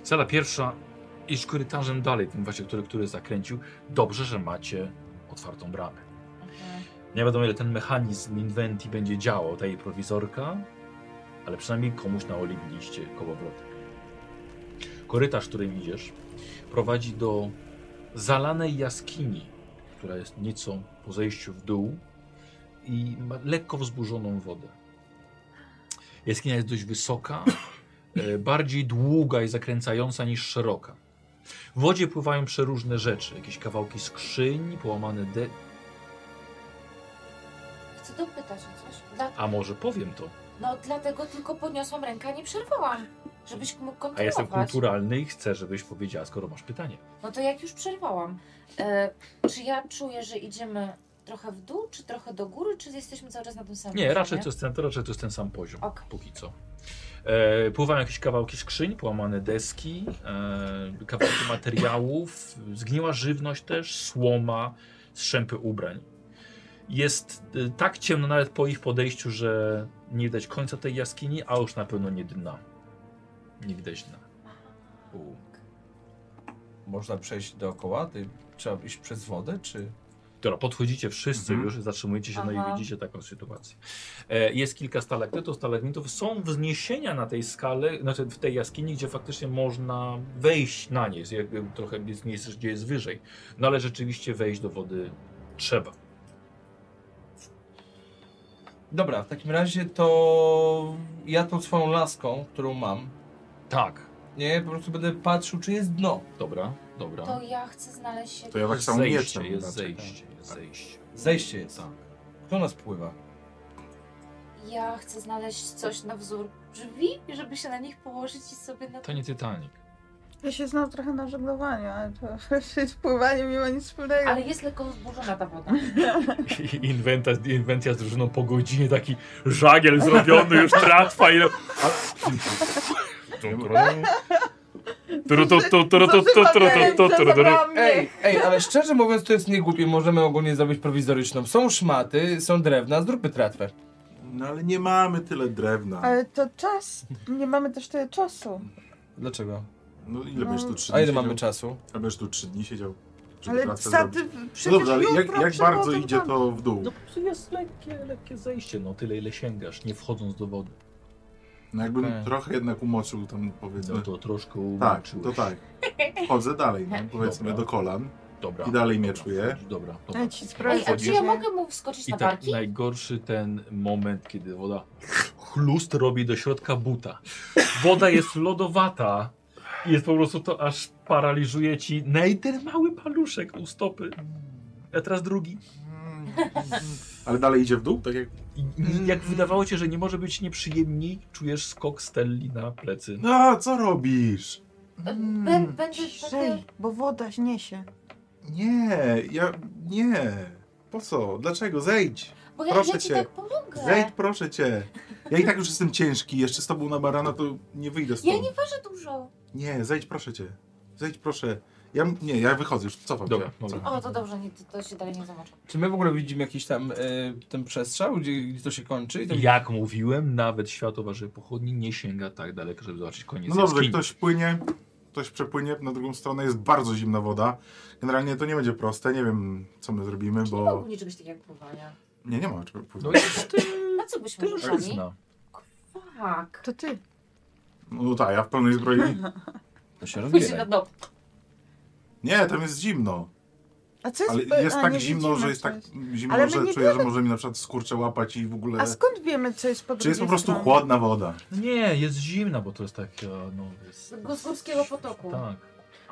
Speaker 1: Stella pierwsza, iż korytarzem dalej, tym właśnie, który, który zakręcił. Dobrze, że macie otwartą bramę.
Speaker 5: Mhm.
Speaker 1: Nie wiadomo, ile ten mechanizm Inventi będzie działał, ta jej prowizorka, ale przynajmniej komuś naoliwiliście kołowrotek. Korytarz, którym idziesz, prowadzi do zalanej jaskini, która jest nieco po zejściu w dół i ma lekko wzburzoną wodę. Jaskinia jest dość wysoka, e, bardziej długa i zakręcająca niż szeroka. W wodzie pływają przeróżne rzeczy, jakieś kawałki skrzyń, połamane de-
Speaker 5: Chcę dopytać o coś. Dla...
Speaker 1: A może powiem to,
Speaker 5: No dlatego tylko podniosłam rękę, a nie przerwałam. Żebyś mógł kontynuować.
Speaker 1: a jestem kulturalny i chcę, żebyś powiedziała, skoro masz pytanie.
Speaker 5: No to jak już przerwałam. E, czy ja czuję, że idziemy trochę w dół, czy trochę do góry, czy jesteśmy cały czas na tym samym
Speaker 1: Nie,
Speaker 5: poziomie?
Speaker 1: raczej to jest ten, to raczej to jest ten sam poziom,
Speaker 5: Okej.
Speaker 1: póki co. E, pływają jakieś kawałki skrzyń, połamane deski, e, kawałki materiałów, zgniła żywność też, słoma, strzępy ubrań. Jest e, tak ciemno nawet po ich podejściu, że nie widać końca tej jaskini, a już na pewno nie dna. Nie widać dna.
Speaker 4: U. Można przejść dookoła? Ty, trzeba iść przez wodę, czy...
Speaker 1: Dobra, podchodzicie wszyscy
Speaker 2: Mhm.
Speaker 1: już, zatrzymujecie się, no i
Speaker 5: Aha.
Speaker 1: widzicie taką sytuację. E, jest kilka stalaktytów, stalagmitów. Są wzniesienia na tej skale, znaczy w tej jaskini, gdzie faktycznie można wejść na nie. Jest jakby trochę jest miejsce, gdzie jest wyżej. No ale rzeczywiście wejść do wody trzeba.
Speaker 4: Dobra, w takim razie to ja tą swoją laską, którą mam,
Speaker 1: Tak,
Speaker 4: nie, po prostu będę patrzył, czy jest dno.
Speaker 1: dobra, dobra.
Speaker 5: To ja chcę znaleźć się...
Speaker 2: To ja tak
Speaker 1: Jest
Speaker 2: samo
Speaker 1: zejście,
Speaker 2: mieczem. tak.
Speaker 1: jest
Speaker 2: raczej.
Speaker 1: zejście, jest zejście.
Speaker 4: Zejście jest.
Speaker 1: Tak.
Speaker 4: Kto nas pływa?
Speaker 5: Ja chcę znaleźć coś na wzór drzwi, żeby się na nich położyć i sobie na...
Speaker 1: To nie Titanic.
Speaker 7: Ja się znam trochę na żeglowaniu, ale to z pływaniem nie ma nic
Speaker 2: Tak.
Speaker 7: wspólnego.
Speaker 5: Ale jest lekko wzburzona ta woda.
Speaker 1: Inwenta, inwentia z drużyną po godzinie taki żagiel zrobiony, już tratwa i...
Speaker 4: Ej, ej, ale szczerze mówiąc, to jest niegłupie. Możemy ogólnie zrobić prowizoryczną. Są szmaty, są drewna, zróbmy tratwę.
Speaker 2: No ale nie mamy tyle drewna.
Speaker 7: Ale to czas. Nie mamy też tyle czasu.
Speaker 4: Dlaczego?
Speaker 2: No ile będziesz tu trzy
Speaker 4: A
Speaker 2: dni
Speaker 4: ile
Speaker 2: siedział?
Speaker 4: mamy czasu?
Speaker 2: A będziesz tu trzy dni siedział. żeby
Speaker 7: Ale
Speaker 2: pracę
Speaker 7: za,
Speaker 2: zrobić?
Speaker 7: ty, przecież
Speaker 2: No dobrze, ale jak,
Speaker 7: jutro
Speaker 2: jak
Speaker 7: przychodzą
Speaker 2: bardzo
Speaker 7: tam-
Speaker 2: idzie to w dół?
Speaker 1: No po prostu jest lekkie, lekkie zejście, no tyle ile sięgasz, nie wchodząc do wody.
Speaker 2: No jakbym
Speaker 4: Okej.
Speaker 2: trochę jednak umoczył tam
Speaker 1: No
Speaker 2: powiedzmy.
Speaker 1: to troszkę
Speaker 2: Tak,
Speaker 1: umoczyłeś.
Speaker 2: to tak. Chodzę dalej, no, powiedzmy
Speaker 1: Dobra.
Speaker 2: do kolan.
Speaker 1: Dobra.
Speaker 2: I dalej mnie
Speaker 1: Dobra,
Speaker 2: czuję.
Speaker 1: wchodzisz, Dobra, dobra.
Speaker 7: Ja ci
Speaker 5: Ej, a czy
Speaker 7: sprawdzę.
Speaker 5: ja mogę mu wskoczyć
Speaker 1: I
Speaker 5: na
Speaker 1: tak,
Speaker 5: barki?
Speaker 1: najgorszy ten moment, kiedy woda chlust robi do środka buta. Woda jest lodowata i jest po prostu to, aż paraliżuje ci naj- ten mały paluszek u stopy. A teraz drugi.
Speaker 2: Ale dalej idzie w dół, tak jak...
Speaker 1: I jak wydawało ci, że nie może być nieprzyjemniej, czujesz skok Stelli na plecy.
Speaker 2: No, co robisz? Hmm.
Speaker 5: Bę-
Speaker 2: Mm.
Speaker 5: Będzie
Speaker 7: Ciszej,
Speaker 5: takie...
Speaker 7: bo woda niesie.
Speaker 2: Nie, ja... Nie. Po co? Dlaczego? Zejdź.
Speaker 5: Bo ja,
Speaker 2: Proszę
Speaker 5: ja ci
Speaker 2: cię.
Speaker 5: tak pomogę.
Speaker 2: Zejdź, proszę cię. Ja i tak już jestem ciężki, jeszcze z tobą na barana to nie wyjdę
Speaker 5: Ja
Speaker 2: stąd.
Speaker 5: nie ważę dużo.
Speaker 2: Nie, zejdź, proszę cię. Zejdź, proszę. Ja, nie, ja wychodzę już, cofam
Speaker 1: Dobra,
Speaker 2: się.
Speaker 1: dobra.
Speaker 5: O, to dobrze, nie, to, to się dalej nie zobaczę.
Speaker 4: Czy my w ogóle widzimy jakiś tam e, ten przestrzał, gdzie, gdzie to się kończy? I to...
Speaker 1: Jak mówiłem, nawet światło waszej pochodni nie sięga tak daleko, żeby zobaczyć koniec
Speaker 2: No dobrze,
Speaker 1: jaskini.
Speaker 2: ktoś płynie, ktoś przepłynie na drugą stronę, jest bardzo zimna woda. Generalnie to nie będzie proste, nie wiem co my zrobimy,
Speaker 5: Nie ma
Speaker 2: bo...
Speaker 5: ogólnie czegoś takiego jak pływania.
Speaker 2: Nie, nie ma czego
Speaker 1: No
Speaker 2: płynąć.
Speaker 1: jest
Speaker 5: Na co byśmy rzucali?
Speaker 1: żyzna.
Speaker 5: Tak.
Speaker 7: To ty.
Speaker 2: No tak, ja w pełnej zbroi...
Speaker 4: To się
Speaker 5: Pójdźcie na
Speaker 4: rozbiera.
Speaker 5: dno.
Speaker 2: Nie, tam jest zimno.
Speaker 7: A co jest
Speaker 2: Ale
Speaker 7: pe-
Speaker 2: jest
Speaker 7: a,
Speaker 2: tak
Speaker 7: nie
Speaker 2: zimno,
Speaker 7: widzimy,
Speaker 2: że jest
Speaker 7: co
Speaker 2: tak zimno,
Speaker 7: Ale my
Speaker 2: że
Speaker 7: nie
Speaker 2: czuję, że może mi na przykład skurcze łapać i w ogóle...
Speaker 7: A skąd no? wiemy, co jest po
Speaker 2: E, Czy jest po
Speaker 7: drugiej
Speaker 2: prostu
Speaker 7: stronie?
Speaker 2: chłodna woda?
Speaker 1: No Nie, jest zimna, bo to jest taka, no... Jest,
Speaker 5: Go- Z górskiego potoku.
Speaker 1: tak.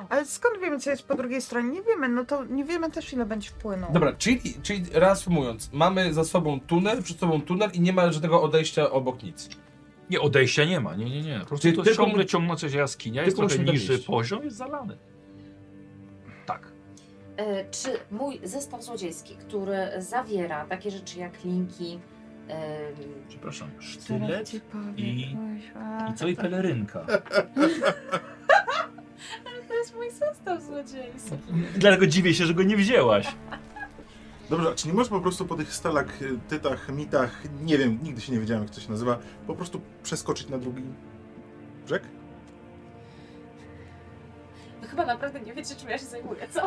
Speaker 7: Ale skąd wiemy, co jest po drugiej stronie? Nie wiemy, no to nie wiemy też, ile będzie wpłynął.
Speaker 4: Dobra, czyli, czyli reasumując, mamy za sobą tunel, przed sobą tunel i nie ma żadnego odejścia obok nic.
Speaker 1: Nie, odejścia nie ma, nie, nie, nie. Po prostu
Speaker 4: Czyli
Speaker 1: to
Speaker 4: tylko-
Speaker 1: ciągle ciągnąca się jaskinia, jest
Speaker 4: tylko
Speaker 1: trochę
Speaker 4: musimy
Speaker 1: niższy
Speaker 4: dowieść.
Speaker 1: poziom, jest zalany. Tak.
Speaker 5: E, Czy mój zestaw złodziejski, który zawiera takie rzeczy jak linki, em,
Speaker 1: Przepraszam,
Speaker 7: Zaraz
Speaker 1: sztylet
Speaker 7: ci powiem,
Speaker 1: i-
Speaker 7: kuźwa.
Speaker 1: i co i pelerynka.
Speaker 5: to jest mój zestaw złodziejski.
Speaker 1: Dlatego dziwię się, że go nie wzięłaś.
Speaker 2: Dobrze, a czy nie możesz po prostu po tych stalaktytach, mitach, nie wiem, nigdy się nie wiedziałem jak to się nazywa, po prostu przeskoczyć na drugi brzeg?
Speaker 5: Wy chyba naprawdę nie wiecie, czym ja się zajmuję, co?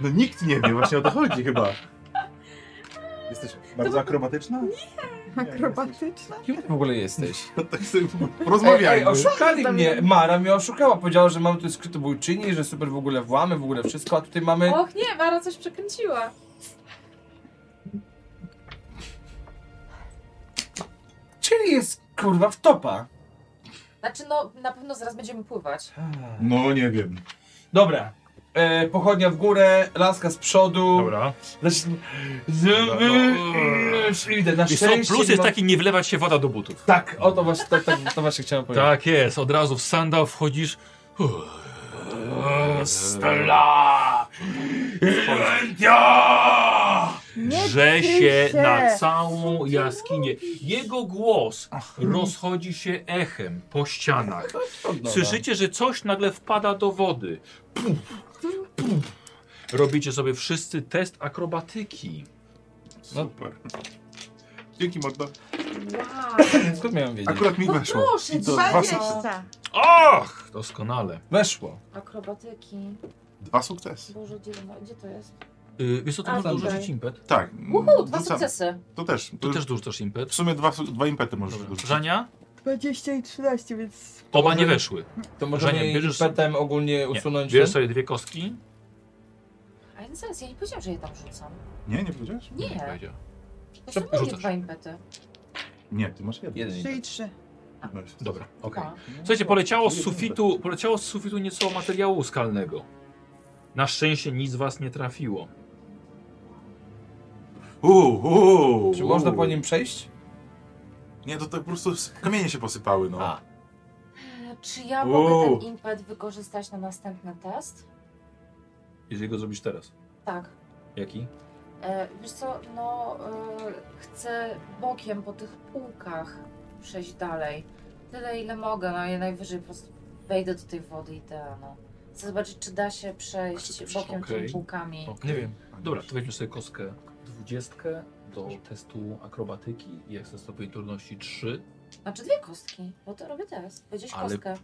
Speaker 2: No nikt nie wie, właśnie o to chodzi chyba. Jesteś bardzo akrobatyczna? Nie.
Speaker 7: Akrobatyczna?
Speaker 4: Kim ty w ogóle jesteś?
Speaker 2: No tak sobie
Speaker 4: Ej, ej,
Speaker 2: porozmawiajmy.
Speaker 4: oszukali mnie. Mara mnie oszukała. Powiedziała, że mamy tu skrytobójczyni, że super w ogóle włamy, w ogóle wszystko, a tutaj mamy...
Speaker 5: Och nie, Mara coś przekręciła.
Speaker 4: Czyli jest, kurwa, w topa.
Speaker 5: Znaczy no, na pewno zaraz będziemy pływać.
Speaker 2: No nie wiem.
Speaker 4: Dobra. E, pochodnia w górę, laska z przodu.
Speaker 1: Dobra.
Speaker 4: Lecz...
Speaker 1: Dobra, no.
Speaker 4: Idę, na
Speaker 1: Wiesz co,
Speaker 4: szczęście
Speaker 1: plus
Speaker 4: nie
Speaker 1: jest
Speaker 4: ma-
Speaker 1: taki, nie wlewać się woda do butów.
Speaker 4: Tak, o to właśnie, to, to, to właśnie chciałem powiedzieć.
Speaker 1: Tak jest, od razu w sandał wchodzisz. Stella!
Speaker 7: Nie
Speaker 1: Drze
Speaker 7: krzyj
Speaker 1: się
Speaker 7: się.
Speaker 1: na całą jaskinię. Jego głos rozchodzi się echem po ścianach.
Speaker 5: No
Speaker 4: Od nowa.
Speaker 1: Słyszycie, że coś nagle wpada do wody. Pum, pum. Robicie sobie wszyscy test akrobatyki.
Speaker 7: No.
Speaker 2: Super. Dzięki Magda.
Speaker 5: Wow.
Speaker 4: Skąd miałem wiedzieć?
Speaker 2: Akurat mi
Speaker 5: No
Speaker 2: weszło.
Speaker 5: proszę
Speaker 2: I to
Speaker 5: cię.
Speaker 2: dwa, suk-
Speaker 7: Dwadzieścia.
Speaker 1: Och! Doskonale.
Speaker 4: Weszło.
Speaker 5: Akrobatyki.
Speaker 2: dwa sukcesy.
Speaker 5: Boże, gdzie, no, gdzie to jest?
Speaker 1: Yy, wiesz co, to
Speaker 5: A,
Speaker 1: można
Speaker 5: dobra.
Speaker 1: rzucić impet.
Speaker 2: Tak.
Speaker 5: Uhu, dwa
Speaker 2: to sam-
Speaker 5: sukcesy.
Speaker 2: To też. To,
Speaker 1: Tu też
Speaker 2: też.
Speaker 1: dorzucasz
Speaker 2: W
Speaker 1: impet.
Speaker 2: sumie dwa, su- dwa impety możesz
Speaker 1: Dobra.
Speaker 2: dorzucić.
Speaker 1: Żania?
Speaker 7: 20 i 13, więc...
Speaker 1: Oba nie weszły.
Speaker 4: To może
Speaker 1: Żenia,
Speaker 4: nie
Speaker 1: bierzesz-
Speaker 4: petem ogólnie
Speaker 1: Nie.
Speaker 4: usunąć
Speaker 1: Bierzesz
Speaker 4: ten?
Speaker 1: sobie dwie kostki.
Speaker 5: A ja zaraz, ja nie powiedziałam, że je tam rzucam.
Speaker 2: Nie, nie powiedziałeś?
Speaker 5: Nie,
Speaker 1: Będzie.
Speaker 5: to są
Speaker 1: Rzucasz.
Speaker 5: moje dwa impety.
Speaker 2: Nie, ty masz No jedno.
Speaker 4: Jeden.
Speaker 7: 3 i 3.
Speaker 1: Dobra, okej.
Speaker 5: Dwa.
Speaker 1: Słuchajcie, poleciało z sufitu, poleciało z sufitu nieco materiału skalnego. Na szczęście nic z was nie trafiło.
Speaker 2: Uuu, uuu,
Speaker 4: Czy można
Speaker 2: uuu.
Speaker 4: po nim przejść?
Speaker 2: Nie, to tak po prostu s- kamienie się posypały, no.
Speaker 4: A.
Speaker 5: E, Czy ja mogę
Speaker 2: Uuu.
Speaker 5: ten impet wykorzystać na następny test?
Speaker 1: Jeżeli go zrobisz teraz.
Speaker 5: Tak.
Speaker 1: Jaki?
Speaker 5: E, wiesz co, no e, chcę bokiem po tych półkach przejść dalej. Tyle ile mogę, no i najwyżej po prostu wejdę do tej wody i tyle, no. Chcę zobaczyć, czy da się przejść
Speaker 1: Czy- czy-
Speaker 5: bokiem
Speaker 1: okej.
Speaker 5: czy półkami.
Speaker 4: Nie wiem.
Speaker 1: Dobra, to weźmy sobie kostkę 20 do testu akrobatyki i jak ze stopień trudności 3.
Speaker 5: Znaczy dwie kostki, bo to robię test. Powiedziałeś
Speaker 1: Ale-
Speaker 5: kostkę.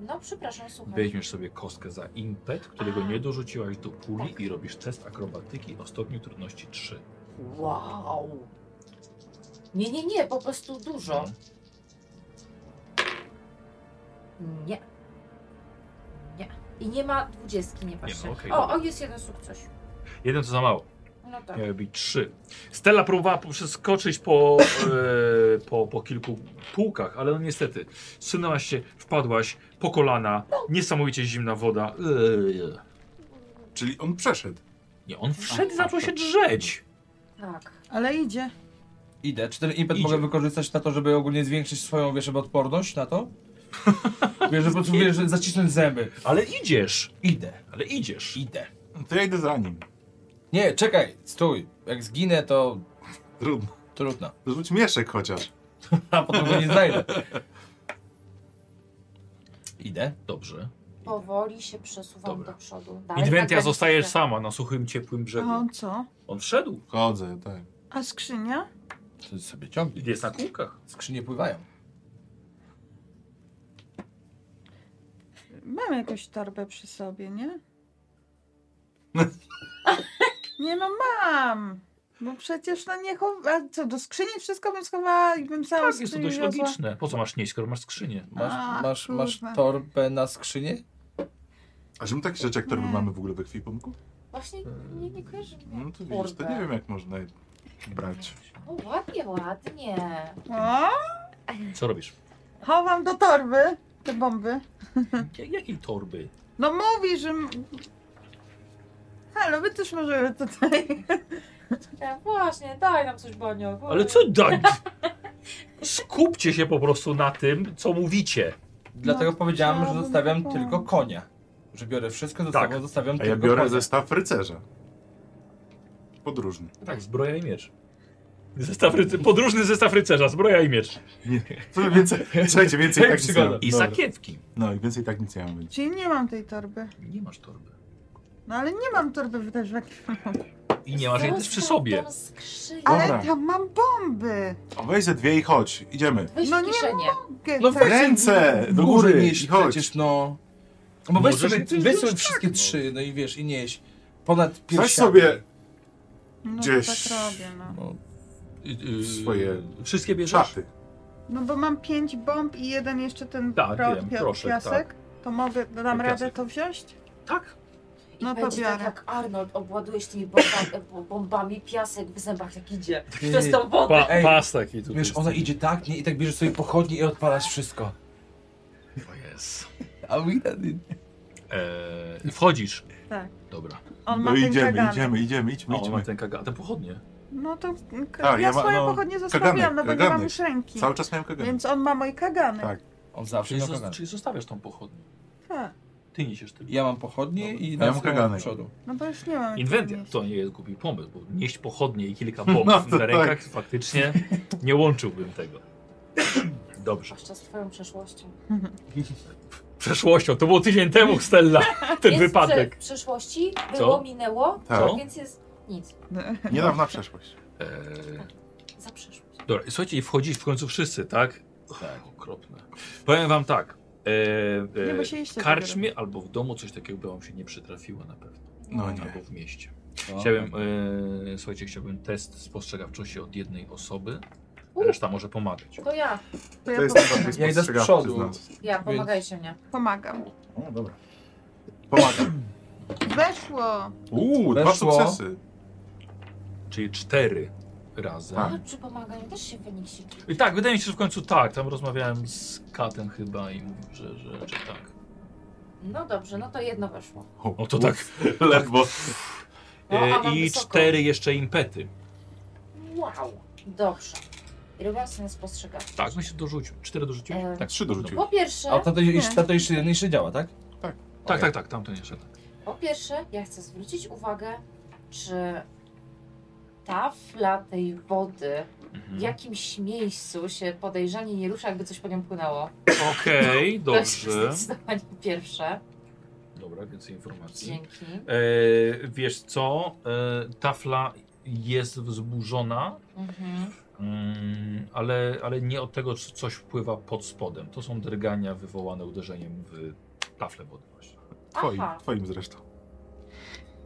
Speaker 5: No przepraszam, słucham.
Speaker 1: Weźmiesz sobie kostkę za impet, którego
Speaker 5: A.
Speaker 1: nie dorzuciłaś do puli
Speaker 5: Tak.
Speaker 1: i robisz test akrobatyki o stopniu trudności 3.
Speaker 5: Wow. Nie, nie, nie, po prostu dużo. Nie. Nie. I nie ma dwudziestki, nie patrzę.
Speaker 1: okej,
Speaker 5: o,
Speaker 1: dobra.
Speaker 5: o, jest jeden sukces.
Speaker 13: Jeden to za mało.
Speaker 5: No tak.
Speaker 13: Miały być trzy. Stella próbowała przeskoczyć po, e, po, po kilku półkach, ale no niestety. Sunęłaś się, wpadłaś po kolana, niesamowicie zimna woda. Eee.
Speaker 2: Czyli on przeszedł.
Speaker 1: Nie, on wszedł.
Speaker 13: Wszedł zaczął się drzeć.
Speaker 5: Tak.
Speaker 7: Ale idzie.
Speaker 4: Idę. Czy ten impet
Speaker 1: Idzie.
Speaker 4: mogę wykorzystać na to, żeby ogólnie zwiększyć swoją, wiesz, żeby odporność na to? Wiesz, że po prostu wiesz, że zacisnąć zęby.
Speaker 1: Ale idziesz,
Speaker 4: Idę.
Speaker 1: ale idziesz.
Speaker 4: Idę.
Speaker 2: To ja idę za nim.
Speaker 4: Nie, czekaj, stój. Jak zginę, to
Speaker 2: Trudno.
Speaker 4: trudno.
Speaker 2: Rzuć mieszek chociaż.
Speaker 4: A potem go nie znajdę. Idę.
Speaker 1: Dobrze.
Speaker 5: Powoli się przesuwam
Speaker 1: Dobra.
Speaker 5: do przodu. Dalej
Speaker 13: Inwentia
Speaker 5: na
Speaker 13: zostajesz
Speaker 5: granicę.
Speaker 13: sama na suchym, ciepłym
Speaker 7: A
Speaker 13: brzegu.
Speaker 7: on co?
Speaker 1: On wszedł.
Speaker 2: Chodzę, tak.
Speaker 7: A skrzynia?
Speaker 4: To sobie ciągnij.
Speaker 13: Jest na kółkach.
Speaker 4: Skrzynie pływają.
Speaker 7: Mam jakąś torbę przy sobie, nie? nie no mam! Bo przecież no nie chowam. Co, do skrzyni wszystko bym schowała i bym sama
Speaker 13: Tak, jest to dość logiczne. Po co masz nieść, skoro masz skrzynię?
Speaker 4: Masz,
Speaker 7: A,
Speaker 4: masz, masz
Speaker 7: kurwa.
Speaker 4: torbę na skrzynię?
Speaker 2: A że my takie rzeczy jak torby
Speaker 5: Mm.
Speaker 7: Nie.
Speaker 2: mamy w ogóle we kwipunku?
Speaker 5: Właśnie nie, nie kojarzy mnie.
Speaker 2: No to widzisz, to nie wiem jak można je brać.
Speaker 5: O, ładnie, ładnie.
Speaker 7: O,
Speaker 1: Co robisz?
Speaker 7: chowam do torby te bomby.
Speaker 1: Ja- Jakiej torby?
Speaker 7: No mówi, że. m- Halo, my też możemy tutaj.
Speaker 5: Ja, E, właśnie, daj nam coś, Banio.
Speaker 13: Ale co dać? Skupcie się po prostu na tym, co mówicie.
Speaker 4: Dlatego powiedziałam, że
Speaker 7: No, chciałabym
Speaker 4: zostawiam
Speaker 7: taką.
Speaker 4: tylko konia. Że biorę wszystko ze
Speaker 13: Tak.
Speaker 4: sobą, zostawiam
Speaker 2: A
Speaker 4: tylko
Speaker 2: ja biorę
Speaker 4: konia.
Speaker 2: zestaw rycerza. Podróżny.
Speaker 1: Tak, zbroja i miecz.
Speaker 13: Zestaw ryce- podróżny zestaw rycerza, zbroja i miecz.
Speaker 2: Co więcej, słuchajcie, więcej tak nic nie
Speaker 4: Przygoda.
Speaker 2: mam.
Speaker 13: I
Speaker 2: Dobra.
Speaker 13: sakiewki.
Speaker 2: No i więcej tak nic nie mam.
Speaker 7: Czyli nie mam tej torby.
Speaker 1: Nie masz torby.
Speaker 7: No ale nie mam torby wydać w jakimś
Speaker 1: I nie masz jej też przy sobie.
Speaker 5: Skrzynię.
Speaker 2: Dobra.
Speaker 7: Ale tam mam bomby!
Speaker 2: O, weź ze dwie i chodź, idziemy.
Speaker 5: Weź
Speaker 7: No
Speaker 5: w
Speaker 7: nie
Speaker 5: kieszenie.
Speaker 4: No
Speaker 7: tak.
Speaker 4: weź
Speaker 2: Ręce E, do
Speaker 4: Może
Speaker 2: góry
Speaker 4: nieść
Speaker 2: i chodź.
Speaker 4: przecież, no. No Bo weź
Speaker 1: Możesz
Speaker 4: sobie,
Speaker 1: i ty
Speaker 4: weź
Speaker 1: zrób
Speaker 4: sobie
Speaker 1: tak,
Speaker 4: wszystkie
Speaker 1: no.
Speaker 4: trzy, no i wiesz, i nieś. Ponad piersiami.
Speaker 2: Weź sobie
Speaker 7: No
Speaker 2: Gdzieś.
Speaker 7: tak robię, no.
Speaker 4: No,
Speaker 1: Y, y,
Speaker 2: Swoje
Speaker 1: Wszystkie bierzesz?
Speaker 2: szaty.
Speaker 7: No bo mam pięć bomb i jeden jeszcze ten
Speaker 1: Tak,
Speaker 7: pro,
Speaker 1: wiem,
Speaker 7: pio-
Speaker 1: proszę, tak.
Speaker 7: piasek. To mogę, dam
Speaker 1: Piasek.
Speaker 7: radę to wziąć?
Speaker 1: Tak.
Speaker 5: I
Speaker 7: No to
Speaker 5: będzie tak
Speaker 7: biorę.
Speaker 5: jak Arnold, obładujesz tymi bombami, bombami piasek w zębach jak idzie.
Speaker 4: Nie, nie,
Speaker 5: Przez tą wodę.
Speaker 13: Pa,
Speaker 4: Ej,
Speaker 13: pas taki tutaj.
Speaker 4: Wiesz, ona idzie tak, nie? I tak bierzesz sobie pochodnie i odpalasz wszystko.
Speaker 1: To jest.
Speaker 4: A mi
Speaker 1: Eee, wchodzisz.
Speaker 7: Tak.
Speaker 1: Dobra.
Speaker 7: On ma
Speaker 2: No
Speaker 7: ten
Speaker 2: idziemy,
Speaker 7: kagan.
Speaker 2: idziemy, idziemy, idźmy,
Speaker 1: No, on ma
Speaker 2: idźmy.
Speaker 1: ten kagan, te pochodnie.
Speaker 7: No to k-
Speaker 2: A,
Speaker 7: ja,
Speaker 2: ja ma-
Speaker 7: swoje
Speaker 2: no,
Speaker 7: pochodnie zostawiam,
Speaker 2: kaganek,
Speaker 7: no bo nie mam
Speaker 2: kaganek.
Speaker 7: już ręki.
Speaker 2: Cały czas miałem kagan.
Speaker 7: Więc on ma moje kagany.
Speaker 2: Tak.
Speaker 4: On zawsze
Speaker 1: Czyli,
Speaker 4: ma
Speaker 1: zo-
Speaker 4: kagan.
Speaker 1: czyli zostawiasz tą pochodnię.
Speaker 7: Tak.
Speaker 1: Ty niesiesz tylko.
Speaker 4: Ja mam pochodnie i
Speaker 2: Ja mam
Speaker 4: Nancy
Speaker 2: kaganek.
Speaker 4: przodu.
Speaker 7: No bo już nie mam.
Speaker 5: Tak,
Speaker 7: jak
Speaker 13: Inwentia.
Speaker 7: mieć.
Speaker 1: To nie jest głupi pomysł, bo nieść pochodnie i kilka
Speaker 13: Bo
Speaker 1: bomb
Speaker 2: No to
Speaker 1: na rękach
Speaker 2: tak.
Speaker 1: faktycznie nie łączyłbym tego. Dobrze.
Speaker 5: Zwłaszcza z twoją przeszłością.
Speaker 13: Przeszłością. To było tydzień temu, Stella. Ten
Speaker 5: Jest
Speaker 13: wypadek.
Speaker 5: prze- W przeszłości
Speaker 1: Co?
Speaker 5: było, minęło, tak.
Speaker 2: Co?
Speaker 5: więc jest nic.
Speaker 2: Niedawna przeszłość.
Speaker 1: Eee,
Speaker 5: Za przeszłość.
Speaker 1: Dobra, i słuchajcie, i wchodzić w końcu wszyscy, tak? Tak, okropne. Powiem wam tak. E,
Speaker 7: Nie
Speaker 1: e,
Speaker 7: musieliście
Speaker 1: w
Speaker 7: tego
Speaker 1: karczmie albo w domu coś takiego by wam się nie przytrafiło na pewno.
Speaker 2: No nie.
Speaker 1: Albo w mieście.
Speaker 4: No.
Speaker 1: Chciałbym, e, słuchajcie, chciałbym test spostrzegawczości od jednej osoby.
Speaker 5: U.
Speaker 1: Reszta może pomagać.
Speaker 5: To ja,
Speaker 7: To ja
Speaker 2: To jest
Speaker 7: pomagam.
Speaker 2: najbardziej
Speaker 4: Ja idę z
Speaker 2: spostrzegawczy
Speaker 4: przodu.
Speaker 2: z nas.
Speaker 5: ja, pomagajcie mnie.
Speaker 7: pomagam.
Speaker 2: O, dobra. Pomagam.
Speaker 7: Weszło!
Speaker 2: Uuu, dwa
Speaker 4: Weszło.
Speaker 2: sukcesy.
Speaker 1: Czyli cztery razy.
Speaker 5: A
Speaker 2: Tak.
Speaker 5: przy pomaganiu też się wyniksi.
Speaker 1: I tak, wydaje mi się, że w końcu tak. Tam rozmawiałem z Katem chyba i mówił, że, że, że tak.
Speaker 5: No dobrze, no to jedno weszło.
Speaker 1: O to tak.
Speaker 2: Ledwo.
Speaker 5: No, a
Speaker 1: E,
Speaker 5: mam
Speaker 1: I
Speaker 5: wysoko.
Speaker 1: cztery jeszcze impety.
Speaker 5: Wow. Dobrze. Ile was nas postrzegawczość?
Speaker 1: Tak, myślę, dorzucił. Cztery dorzuciłeś?
Speaker 5: E,
Speaker 1: Tak,
Speaker 14: Trzy dorzuciłeś.
Speaker 5: Po pierwsze,
Speaker 4: A tamto jeszcze,
Speaker 7: Nie.
Speaker 4: tamto jeszcze, jeszcze działa, tak?
Speaker 1: tak,
Speaker 4: Okej.
Speaker 1: tak, tak, tamten jeszcze.
Speaker 5: po pierwsze, ja chcę zwrócić uwagę, czy tafla tej wody w
Speaker 1: Mhm.
Speaker 5: jakimś miejscu się podejrzanie nie rusza, jakby coś po nią płynęło.
Speaker 1: Okej,
Speaker 5: No. To
Speaker 1: dobrze.
Speaker 5: jest zdecydowanie pierwsze.
Speaker 1: Dobra, więcej informacji.
Speaker 5: Dzięki.
Speaker 1: E, wiesz co? E, tafla jest wzburzona,
Speaker 5: Mhm.
Speaker 1: mm, ale, ale nie od tego, czy coś wpływa pod spodem. To są drgania wywołane uderzeniem w taflę wody. właśnie.
Speaker 14: Twoim,
Speaker 5: Aha.
Speaker 14: twoim zresztą.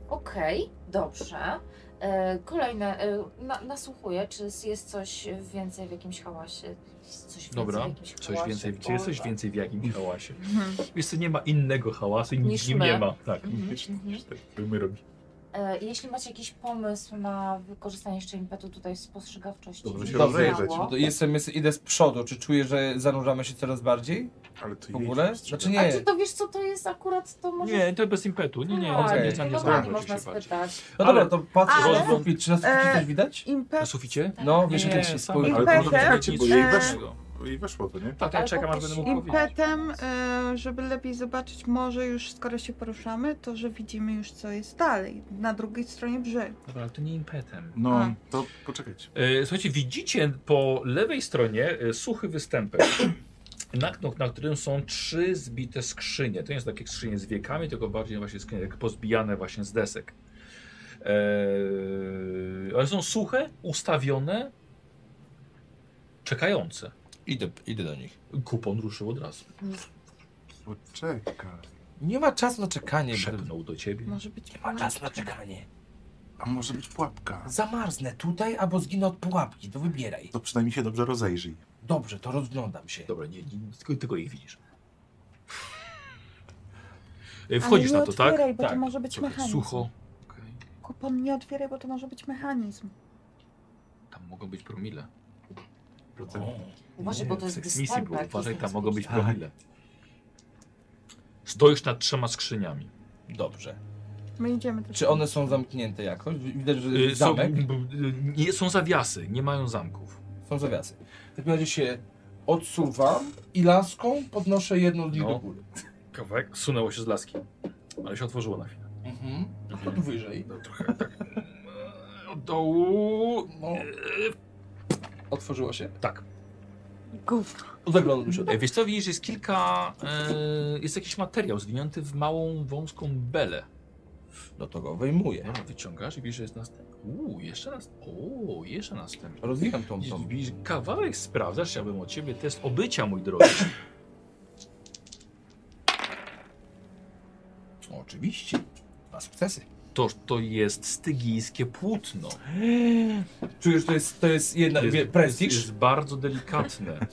Speaker 5: Okej, dobrze. E, Kolejne, e, na, nasłuchuję, czy s- jest coś więcej w jakimś hałasie. Jest Coś więcej
Speaker 1: Dobra,
Speaker 5: w jakimś
Speaker 1: Coś
Speaker 5: hałasie.
Speaker 1: więcej, czy jest coś
Speaker 5: Boże.
Speaker 1: więcej w jakimś hałasie?
Speaker 7: Mhm.
Speaker 1: Wiesz co, nie ma innego hałasu i nic
Speaker 5: Niż
Speaker 1: nim
Speaker 5: my.
Speaker 1: nie ma. Tak.
Speaker 5: Mhm,
Speaker 14: Niż-
Speaker 5: mhm.
Speaker 14: niż te, które my robimy.
Speaker 5: E, Jeśli macie jakiś pomysł na wykorzystanie jeszcze impetu tutaj w spostrzegawczości,
Speaker 14: Dobrze
Speaker 5: żeby
Speaker 14: się
Speaker 5: działało,
Speaker 14: rozejrzeć.
Speaker 4: No to Jestem, jest, idę z przodu. Czy czuję, że zanurzamy się coraz bardziej?
Speaker 14: Ale to
Speaker 4: W ogóle? Znaczy
Speaker 5: A
Speaker 4: nie.
Speaker 5: czy to wiesz co to jest akurat, to może...
Speaker 1: Nie, to bez impetu. Nie, nie,
Speaker 5: Tak,
Speaker 1: nie,
Speaker 4: Okej.
Speaker 1: nie, nie,
Speaker 5: chyba
Speaker 1: nie,
Speaker 5: nie można spytać.
Speaker 4: No
Speaker 1: Ale-
Speaker 4: dobra, to patrzę
Speaker 7: Ale-
Speaker 4: ale... sufit. Czy na suficie
Speaker 7: E,
Speaker 4: coś widać?
Speaker 1: Na
Speaker 7: Impet,
Speaker 1: suficie?
Speaker 4: No, wiesz,
Speaker 1: Tak. Nie,
Speaker 4: jak
Speaker 1: same-
Speaker 4: się spojrzy.
Speaker 1: ale
Speaker 7: Impet-
Speaker 1: to może być
Speaker 14: Czekajcie,
Speaker 1: nic
Speaker 14: bo jej
Speaker 7: e,
Speaker 14: weszło. I weszło to, nie?
Speaker 1: Tak, ja
Speaker 5: Albo
Speaker 1: czekam, aż będę
Speaker 5: też
Speaker 1: mógł powiedzieć.
Speaker 7: impetem, y, żeby lepiej zobaczyć, może już skoro się poruszamy, to że widzimy już co jest dalej, na drugiej stronie brzegu.
Speaker 1: Dobra, ale to nie impetem.
Speaker 2: No,
Speaker 7: A.
Speaker 14: To poczekajcie.
Speaker 1: E, Słuchajcie, widzicie po lewej stronie e, suchy występek, na, kno- na którym są trzy zbite skrzynie. To nie są takie skrzynie z wiekami, tylko bardziej właśnie skrzynie jak pozbijane właśnie z desek. E, ale są suche, ustawione, czekające.
Speaker 4: Idę, idę do nich.
Speaker 1: Kupon ruszył od razu.
Speaker 14: Poczekaj.
Speaker 4: Nie ma czasu na czekanie.
Speaker 1: Szepnął do ciebie.
Speaker 7: Może być
Speaker 4: Nie ma czasu na czekanie.
Speaker 14: A może być pułapka?
Speaker 4: Zamarznę tutaj albo zginę od pułapki. To wybieraj.
Speaker 14: To przynajmniej się dobrze rozejrzyj.
Speaker 4: Dobrze, to rozglądam się.
Speaker 1: Dobra, nie, nie, tylko, tylko ich widzisz. E, Wchodzisz
Speaker 7: Ale
Speaker 1: na
Speaker 7: nie
Speaker 1: to, tak?
Speaker 7: otwieraj, bo
Speaker 1: tak.
Speaker 7: to może być
Speaker 1: Trochę
Speaker 7: mechanizm.
Speaker 1: Sucho. Okej.
Speaker 7: Kupon nie otwieraj, bo to może być mechanizm.
Speaker 1: Tam mogą być promile.
Speaker 14: Procent.
Speaker 5: Uważaj, bo to jest
Speaker 1: seks misji, bo
Speaker 5: występek.
Speaker 1: uważaj,
Speaker 5: jest
Speaker 1: tam mogą być
Speaker 5: niebezpieczne.
Speaker 1: promile. Stoisz nad trzema skrzyniami.
Speaker 4: Dobrze.
Speaker 7: My idziemy do
Speaker 4: Czy one są zamknięte jakoś? Widać, że
Speaker 1: Y, Są,
Speaker 4: zamek.
Speaker 1: b- b- nie, są zawiasy, nie mają zamków.
Speaker 4: Są zawiasy. W takim razie się odsuwam i laską podnoszę jedną z nich
Speaker 1: No.
Speaker 4: do góry.
Speaker 1: Kawałek sunęło się z laski, ale się otworzyło na chwilę.
Speaker 4: Mhm. No to wyżej.
Speaker 1: E, Od dołu...
Speaker 4: No, otworzyło się.
Speaker 1: Tak.
Speaker 7: Gówno.
Speaker 4: Zaglądam się.
Speaker 1: E, Wiesz co, widzisz, jest kilka... E, jest jakiś materiał zwinięty w małą, wąską belę.
Speaker 4: No to go wyjmuję.
Speaker 1: No, wyciągasz i widzisz, że jest następny. Uuu, jeszcze następny. Uuu, jeszcze następny.
Speaker 4: Rozwijam tą
Speaker 1: Widzisz,
Speaker 4: tą.
Speaker 1: widzisz, Kawałek sprawdzasz, chciałbym od ciebie test obycia, mój drogi.
Speaker 4: Oczywiście. Dwa sukcesy.
Speaker 1: To, to jest stygijskie płótno.
Speaker 4: Czujesz, że to jest, to jest jedna wie- prestiż?
Speaker 1: Jest bardzo delikatne.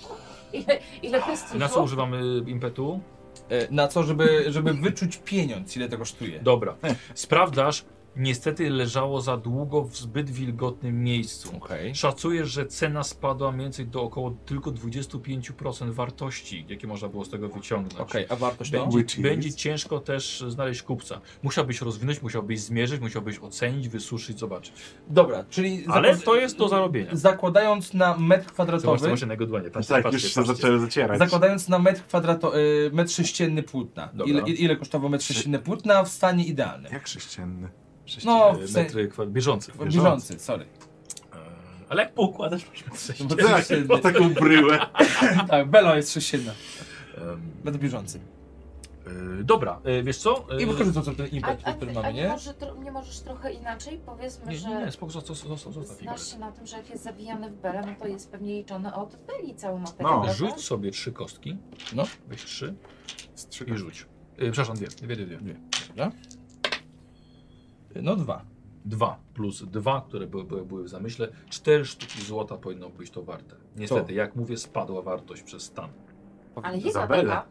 Speaker 5: Ile, ile testów?
Speaker 1: Na co używamy impetu?
Speaker 4: E, Na co, żeby, żeby wyczuć pieniądz, ile to kosztuje.
Speaker 1: Dobra. Sprawdzasz, niestety leżało za długo w zbyt wilgotnym miejscu.
Speaker 4: Okej.
Speaker 1: Szacujesz, że cena spadła mniej więcej do około tylko 25% wartości, jakie można było z tego wyciągnąć.
Speaker 4: Okej, a wartość to?
Speaker 14: Which
Speaker 1: Będzie,
Speaker 14: is?
Speaker 1: będzie ciężko też znaleźć kupca. Musiałbyś rozwinąć, musiałbyś zmierzyć, musiałbyś ocenić, wysuszyć, zobaczyć.
Speaker 4: Dobra, czyli...
Speaker 1: Ale
Speaker 4: zakład-
Speaker 1: to jest do zarobienia.
Speaker 4: Zakładając na metr
Speaker 1: Zobacz,
Speaker 4: kwadratowy...
Speaker 1: zobacz jednego dłonie. Patrzcie,
Speaker 14: Tak, już
Speaker 1: patrzcie,
Speaker 14: się
Speaker 1: patrzcie.
Speaker 14: zaczęły zacierać.
Speaker 4: Zakładając na metr kwadrato, y, metr sześcienny płótna.
Speaker 1: Dobra.
Speaker 4: Ile, i- ile kosztował metr sześcienny płótna w stanie idealnym?
Speaker 14: Jak chrześcijanny?
Speaker 4: No, w
Speaker 1: Y,
Speaker 4: sensie,
Speaker 1: Metry kwa- bieżące.
Speaker 4: bieżący, sorry.
Speaker 1: E, Ale jak poukładasz, masz
Speaker 4: No bo to
Speaker 14: Tak,
Speaker 4: sześcienny.
Speaker 14: o taką bryłę.
Speaker 4: tak, Bela jest sześcienna.
Speaker 1: Em,
Speaker 4: Metr bieżący.
Speaker 1: y, E, Dobra, y, wiesz co? Y,
Speaker 4: I wykorzystam sobie ten
Speaker 5: A,
Speaker 4: impet,
Speaker 5: a,
Speaker 4: który
Speaker 5: a
Speaker 4: mamy,
Speaker 5: nie,
Speaker 4: nie?
Speaker 5: może, tro- nie możesz trochę inaczej? Powiedzmy,
Speaker 1: Nie,
Speaker 5: że...
Speaker 1: nie, nie, spoko, zostaw, zostaw, zostaw
Speaker 5: Znasz się na tym, że jak jest zawijany w belę, no to jest pewnie liczone od beli cały
Speaker 14: No,
Speaker 5: materiał. No,
Speaker 1: Rzuć sobie trzy kostki.
Speaker 4: No.
Speaker 1: Weź trzy i
Speaker 14: Strzykam.
Speaker 1: rzuć. Y, Przepraszam, dwie. Dwie, dwie, dwie.
Speaker 4: No dwa.
Speaker 1: Dwa plus dwa, które były, były, były w zamyśle. Cztery sztuki złota powinno być to warte. Niestety,
Speaker 4: To.
Speaker 1: jak mówię, spadła wartość przez stan.
Speaker 5: Ale jest
Speaker 14: Za belę.
Speaker 5: taka.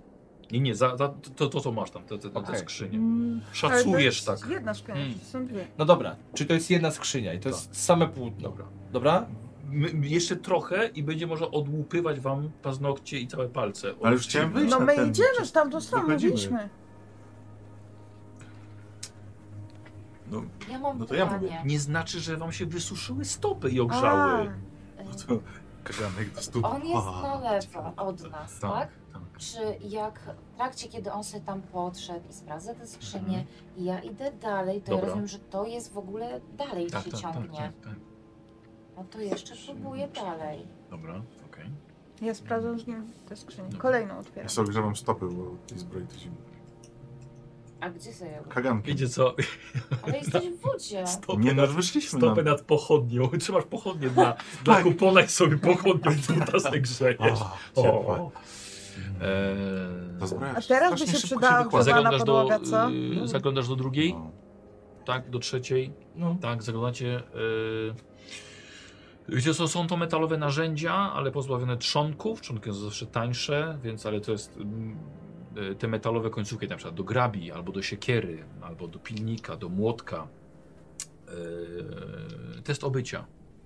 Speaker 1: Nie, nie, za, za, to, to co masz tam, te, te, te
Speaker 4: Okej.
Speaker 1: skrzynie.
Speaker 7: Mm, ale to
Speaker 1: Szacujesz
Speaker 7: jest
Speaker 1: tak.
Speaker 7: Jedna szkoda,
Speaker 4: Mm.
Speaker 7: są dwie.
Speaker 4: No dobra, czy to jest jedna skrzynia i to jest same płótno.
Speaker 1: Dobra.
Speaker 4: Dobra?
Speaker 1: My, my jeszcze trochę i będzie można odłupywać wam paznokcie i całe palce.
Speaker 14: Ale już chciałem wyjść.
Speaker 7: No
Speaker 14: na
Speaker 7: my
Speaker 14: ten-
Speaker 7: idziemy w tamtą stronę,
Speaker 14: Wychodzimy.
Speaker 7: mówiliśmy.
Speaker 14: No,
Speaker 5: Ja mam
Speaker 14: No to ja
Speaker 5: pytanie.
Speaker 1: Nie znaczy, że wam się wysuszyły stopy i ogrzały.
Speaker 7: A,
Speaker 14: no to kaganek do stóp.
Speaker 5: Y, On jest na lewo od nas, tak?
Speaker 1: tak.
Speaker 5: Czy jak w trakcie, kiedy on sobie tam podszedł i sprawdza te skrzynie, i ja idę dalej, to
Speaker 1: Mhm. Dobra.
Speaker 5: ja rozumiem, że to jest w ogóle dalej
Speaker 1: Tak,
Speaker 5: się
Speaker 1: tak, tak,
Speaker 5: ciągnie.
Speaker 1: tak, tak.
Speaker 5: No to jeszcze próbuję dalej.
Speaker 1: Dobra, okej.
Speaker 7: Ja sprawdzam z nim tę skrzynię. Kolejną
Speaker 14: Ja
Speaker 7: otwieram.
Speaker 14: sobie ogrzewam stopy, bo tej zbroi to zimno.
Speaker 5: A gdzie sobie?
Speaker 14: Kaganki.
Speaker 13: Wiecie co?
Speaker 5: Tak. Ale jesteś w wodzie.
Speaker 13: Stopy,
Speaker 14: Nie, no
Speaker 13: nad,
Speaker 14: już wyszliśmy
Speaker 13: stopy
Speaker 14: na... Tak.
Speaker 13: nad pochodnią. Trzymasz pochodnie dla, dla kupona i sobie pochodnią buta grzejesz.
Speaker 14: O, ciepłe.
Speaker 13: O,
Speaker 14: Ta zbroja
Speaker 7: A teraz by
Speaker 14: strasznie
Speaker 7: się
Speaker 14: szybko No,
Speaker 7: przydała
Speaker 14: wykłada.
Speaker 1: E,
Speaker 7: Wkładana
Speaker 1: Zaglądasz do,
Speaker 7: podłoga, co?
Speaker 1: y, zaglądasz do drugiej,
Speaker 14: No.
Speaker 1: tak, do trzeciej,
Speaker 4: No.
Speaker 1: tak, zaglądacie. Y, wiecie co, są to metalowe narzędzia, ale pozbawione trzonków, trzonki są zawsze tańsze, więc ale to jest mm, y, te metalowe końcówki, na przykład do grabi, albo do siekiery, albo do pilnika, do młotka. Y, test obycia.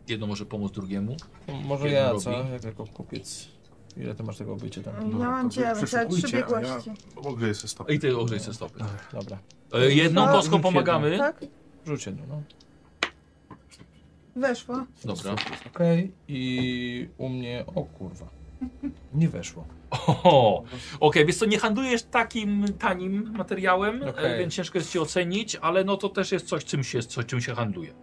Speaker 1: Jedno może pomóc drugiemu.
Speaker 4: Może
Speaker 1: Jeden
Speaker 4: ja
Speaker 1: robi.
Speaker 4: co? Jak jako kupiec. Ile ty masz tego bycia tam?
Speaker 2: Mm.
Speaker 7: Ja
Speaker 14: no, Dobra, to
Speaker 7: mam
Speaker 14: wy
Speaker 7: dziewięć, ale trzy
Speaker 14: przeszukujcie, a
Speaker 7: biegłości.
Speaker 14: Ja ogleję sobie stopy.
Speaker 1: I ty ogrzej sobie stopy.
Speaker 4: Dobra.
Speaker 1: Y, jedną
Speaker 7: No,
Speaker 1: kostką
Speaker 4: Tak. jedną.
Speaker 1: pomagamy.
Speaker 7: Tak?
Speaker 4: Rzuć jedno, no.
Speaker 7: Weszło.
Speaker 1: Dobra.
Speaker 4: Okej. I u mnie... O kurwa. Nie weszło.
Speaker 1: O, okej, więc to nie handlujesz takim tanim materiałem,
Speaker 4: Okej.
Speaker 1: e, więc ciężko jest ci ocenić, ale no to też jest coś, czym się, coś, czym się handluje.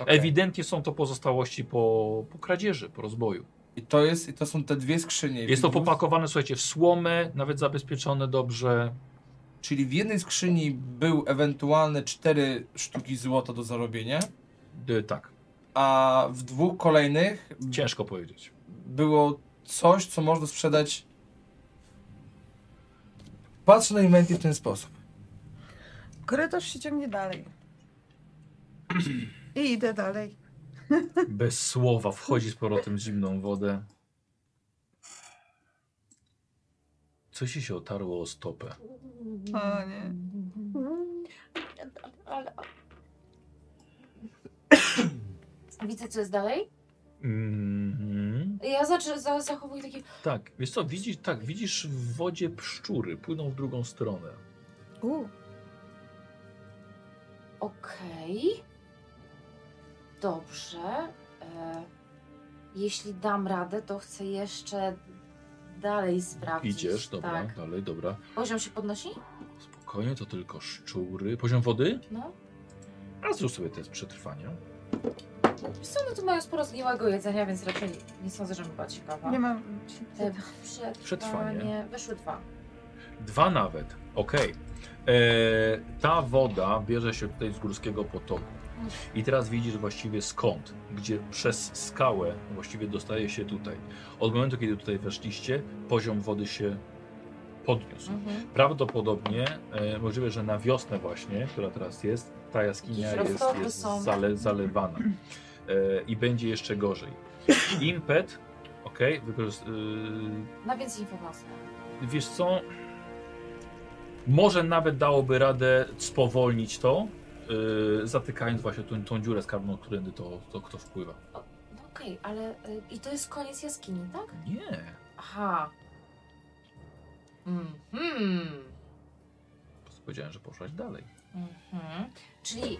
Speaker 4: Okej.
Speaker 1: Ewidentnie są to pozostałości po, po kradzieży, po rozboju.
Speaker 4: I to jest... I to są te dwie skrzynie.
Speaker 1: Jest to
Speaker 4: widzów.
Speaker 1: popakowane, słuchajcie, w słomę, nawet zabezpieczone dobrze.
Speaker 4: Czyli w jednej skrzyni był ewentualne cztery sztuki złota do zarobienia,
Speaker 1: E, tak,
Speaker 4: a w dwóch kolejnych
Speaker 1: ciężko powiedzieć.
Speaker 4: było coś, co można sprzedać. Patrzę na inwenty w ten sposób.
Speaker 7: Korytarz się ciągnie dalej. I idę dalej.
Speaker 1: Bez słowa wchodzi z powrotem w zimną wodę. Coś jej się otarło o stopę.
Speaker 7: O nie.
Speaker 5: Ale... Widzę, co jest dalej?
Speaker 1: Mhm.
Speaker 5: Ja zaczy- za- zachowuję taki...
Speaker 1: Tak, wiesz co, widzisz, tak, widzisz w wodzie pszczury, płyną w drugą stronę.
Speaker 7: U,
Speaker 5: Okej. Dobrze. E, jeśli dam radę, to chcę jeszcze dalej sprawdzić.
Speaker 1: Idziesz, dobra,
Speaker 5: Tak.
Speaker 1: dalej, dobra.
Speaker 5: Poziom się podnosi?
Speaker 1: Spokojnie, to tylko szczury. Poziom wody?
Speaker 5: No.
Speaker 1: A zrób sobie test przetrwania.
Speaker 5: Wiesz co, no tu mają sporo zgniłego jedzenia, więc raczej nie sądzę, żebym była ciekawa. E,
Speaker 7: nie mam.
Speaker 5: Te przetrwanie.
Speaker 1: Przetrwanie.
Speaker 5: Wyszły dwa.
Speaker 1: Dwa nawet, okej. E, Ta woda bierze się tutaj z górskiego potoku. I teraz widzisz właściwie skąd, gdzie przez skałę właściwie dostaje się tutaj. Od momentu, kiedy tutaj weszliście, poziom wody się podniósł.
Speaker 5: Mhm.
Speaker 1: Prawdopodobnie e, możliwe, że na wiosnę właśnie, która teraz jest, ta jaskinia
Speaker 5: Jakieś
Speaker 1: jest,
Speaker 5: roztopy
Speaker 1: jest
Speaker 5: są.
Speaker 1: zale, zalewana. E, I będzie jeszcze gorzej. Impet, okej, wykorzys-
Speaker 5: Na więcej informacji.
Speaker 1: y, wiesz co, może nawet dałoby radę spowolnić to, y, zatykając właśnie tą, tą dziurę skarbną, którędy to, to kto wpływa.
Speaker 5: No okej, ale... y, I to jest koniec jaskini, tak?
Speaker 1: Nie,
Speaker 5: Aha. Mhm.
Speaker 1: po prostu powiedziałem, że poszłaś dalej.
Speaker 5: Mhm. Czyli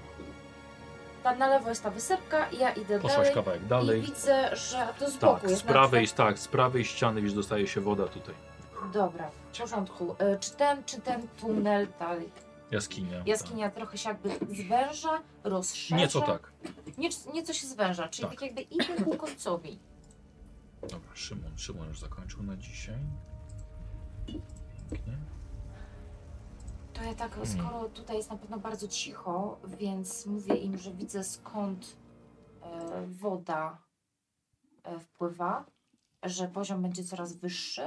Speaker 5: tam na lewo jest ta wysepka, ja idę
Speaker 1: Poszłaś
Speaker 5: dalej,
Speaker 1: kawałek dalej.
Speaker 5: i widzę, że to z boku
Speaker 1: Tak,
Speaker 5: jest
Speaker 1: z
Speaker 5: na
Speaker 1: prawej,
Speaker 5: przykład-
Speaker 1: tak, z prawej ściany, wiesz, dostaje się woda tutaj.
Speaker 5: Dobra, w porządku. E, Czy ten, czy ten tunel, ta
Speaker 1: Jaskinia.
Speaker 5: jaskinia trochę się jakby zwęża,
Speaker 1: Tak.
Speaker 5: rozszerza?
Speaker 1: Nieco tak.
Speaker 5: Nieco, nieco się zwęża, czyli
Speaker 1: Tak.
Speaker 5: tak, jakby idę ku końcowi.
Speaker 1: Dobra, Szymon. Szymon już zakończył na dzisiaj. Pięknie.
Speaker 5: To ja tak, skoro tutaj jest na pewno bardzo cicho, więc mówię im, że widzę skąd e, woda e, wpływa, że poziom będzie coraz wyższy.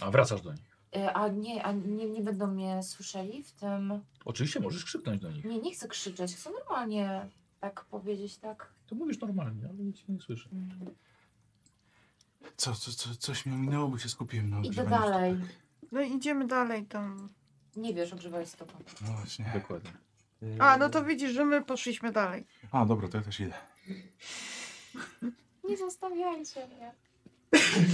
Speaker 1: A wracasz do nich.
Speaker 5: E, A nie, a nie, nie będą mnie słyszeli w tym.
Speaker 1: Oczywiście możesz krzyknąć do nich.
Speaker 5: Nie, nie chcę krzyczeć, chcę normalnie tak powiedzieć, tak.
Speaker 1: To mówisz normalnie, ale nic nie słyszy.
Speaker 5: Mm.
Speaker 2: Co, co, co, coś mi ominęło, bo się skupiłem na
Speaker 5: Idę
Speaker 2: ogrzewaniu
Speaker 5: dalej.
Speaker 7: No idziemy dalej tam.
Speaker 5: Nie wiesz, ogrzewaj stopą.
Speaker 2: stóp. No właśnie.
Speaker 1: Dokładnie.
Speaker 7: A, no to widzisz, że my poszliśmy dalej.
Speaker 2: A, dobra, to ja też idę.
Speaker 5: Nie zostawiajcie mnie.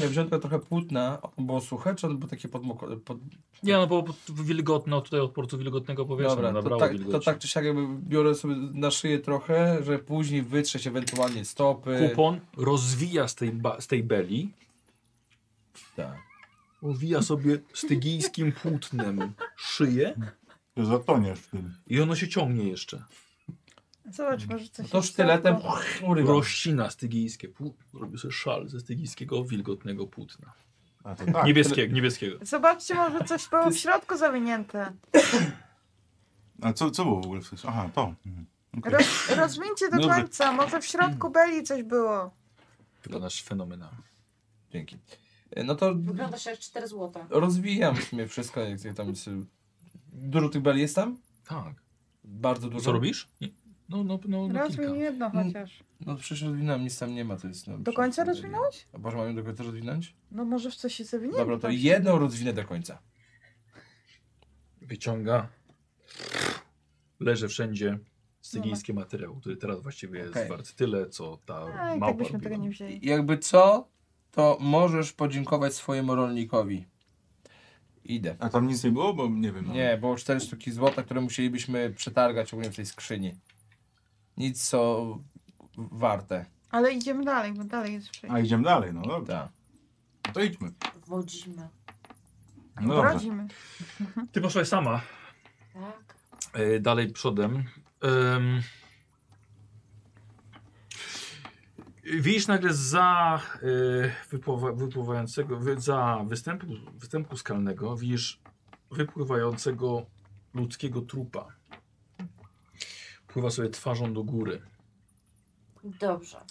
Speaker 4: Ja wziąłem tylko trochę płótna, ono było suche, czy ono było takie podmokłe? Pod...
Speaker 13: Nie, no bo pod- wilgotno, tutaj od portu wilgotnego powietrza Dobra,
Speaker 4: to
Speaker 13: nabrało
Speaker 4: tak, to
Speaker 13: wilgoci.
Speaker 4: tak czy siak jakby biorę sobie na szyję trochę, że później wytrzeć ewentualnie stopy.
Speaker 13: Kupon rozwija z tej, ba- z tej beli,
Speaker 4: Tak.
Speaker 13: owija sobie stygijskim płótnem szyję
Speaker 2: Ty zatoniesz w tym.
Speaker 13: i ono się ciągnie jeszcze.
Speaker 7: Zobacz, może coś
Speaker 4: No to
Speaker 7: jest
Speaker 4: sztyletem
Speaker 7: złego.
Speaker 4: urywam.
Speaker 13: Rościna stygijskie płótno, robi sobie szal ze stygijskiego wilgotnego płótna.
Speaker 2: A to tak.
Speaker 13: Niebieskiego, niebieskiego.
Speaker 7: Zobaczcie, może coś było w środku zawinięte.
Speaker 2: A co, co było w ogóle w tym? Aha, to. Mhm. Okej.
Speaker 7: Roz, rozwincie do
Speaker 2: Dobrze.
Speaker 7: końca, może w środku beli coś było.
Speaker 1: Wyglądasz fenomenalnie.
Speaker 4: Dzięki. E, No to
Speaker 5: Wygląda się jak 4 złota.
Speaker 4: rozwijam w sumie wszystko, jak jak tam jest. y, Dużo tych beli jest tam?
Speaker 1: Tak.
Speaker 4: Bardzo dużo.
Speaker 1: Co robisz? Nie. No, no, no, no kilka.
Speaker 7: Rozwin jedno chociaż.
Speaker 4: No przecież rozwinąłem, nic tam nie ma, to jest... No,
Speaker 7: Do końca
Speaker 4: przecież-
Speaker 7: rozwinąłeś?
Speaker 4: A Boże, mam ją do końca rozwinąć?
Speaker 7: No może w coś się zawinięte.
Speaker 4: Dobra, to jedną rozwinę do końca.
Speaker 1: Wyciąga. Leży wszędzie stygijski materiał, który teraz właściwie jest
Speaker 4: Okej.
Speaker 1: wart tyle, co ta
Speaker 7: A, i tak
Speaker 1: małpa
Speaker 7: byśmy
Speaker 1: robiła.
Speaker 7: tego nie wzięli.
Speaker 4: Jakby co, to możesz podziękować swojemu rolnikowi. Idę.
Speaker 2: A tam nic nie było, bo nie wiem. no.
Speaker 4: Nie, było cztery sztuki złota, które musielibyśmy przetargać ogólnie w tej skrzyni. Nic co warte.
Speaker 7: Ale idziemy dalej, bo dalej jest przejście.
Speaker 2: A idziemy dalej, no dobra.
Speaker 4: Tak.
Speaker 2: To idźmy.
Speaker 5: Wodzimy.
Speaker 2: No dobrze.
Speaker 7: Poradzimy.
Speaker 13: Ty poszłaś sama.
Speaker 5: Tak.
Speaker 1: E, Dalej przodem. Em,
Speaker 13: Widzisz nagle za y,
Speaker 1: e,
Speaker 13: wypływa, wypływającego, wy, za występu, występu skalnego, widzisz wypływającego ludzkiego trupa. Pływa sobie twarzą do góry.
Speaker 5: Dobrze.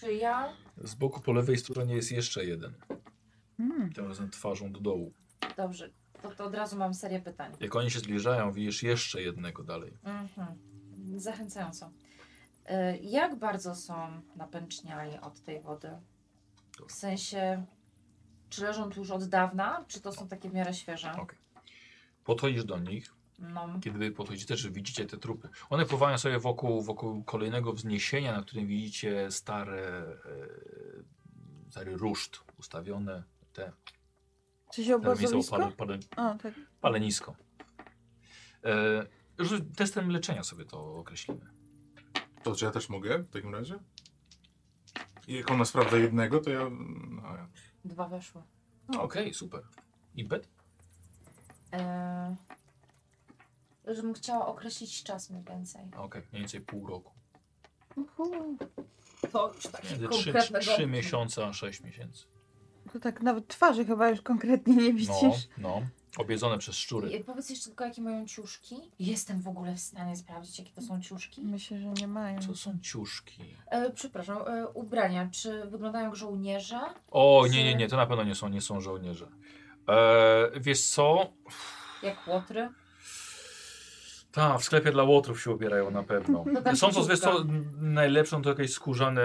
Speaker 5: Czy ja
Speaker 1: z boku po lewej stronie jest jeszcze jeden.
Speaker 7: Mm.
Speaker 1: Tym razem twarzą do dołu.
Speaker 5: Dobrze, to, to od razu mam serię pytań.
Speaker 1: Jak oni się zbliżają, widzisz jeszcze jednego dalej.
Speaker 5: Mhm. Zachęcająco. E, Jak bardzo są napęczniali od tej wody? W sensie, czy leżą tu już od dawna, czy to są takie w miarę świeże?
Speaker 1: Podchodzisz do nich,
Speaker 5: No,
Speaker 1: kiedy wy podchodzicie, też widzicie te trupy. One pływają sobie wokół, wokół kolejnego wzniesienia, na którym widzicie stare, e, stary ruszt ustawione, te
Speaker 7: Czy się
Speaker 1: na miejscu
Speaker 7: obozowisko?
Speaker 1: opale, pale,
Speaker 7: A, tak.
Speaker 1: palenisko. E, rzu- testem leczenia sobie to określimy.
Speaker 14: To czy ja też mogę w takim razie?
Speaker 2: I Jak ona sprawdza jednego, to ja... No, ja.
Speaker 5: dwa weszły.
Speaker 1: No, Okej, super. Impet?
Speaker 5: E, żebym chciała określić czas mniej więcej.
Speaker 1: No, Okej, mniej więcej pół roku.
Speaker 7: Uhu.
Speaker 5: To już takie
Speaker 1: Między trzy,
Speaker 5: konkretnego...
Speaker 1: trzy miesiące a sześć miesięcy.
Speaker 7: To tak nawet twarzy chyba już konkretnie nie
Speaker 1: No,
Speaker 7: widzisz.
Speaker 1: no. Obiedzone przez szczury.
Speaker 5: I Powiedz jeszcze tylko, jakie mają ciuszki. Jestem w ogóle w stanie sprawdzić, jakie to są ciuszki.
Speaker 7: Myślę, że nie mają.
Speaker 1: Co są ciuszki?
Speaker 5: E, przepraszam, e, ubrania. Czy wyglądają jak żołnierze?
Speaker 1: O, nie, nie, nie, to na pewno nie są, nie są żołnierze. E, wiesz co?
Speaker 5: Jak łotry?
Speaker 1: Ta, Tak, w sklepie dla łotrów się ubierają na pewno.
Speaker 5: No tam
Speaker 1: Są to,
Speaker 5: ciuszka.
Speaker 1: wiesz co, n- najlepszą to jakieś skórzane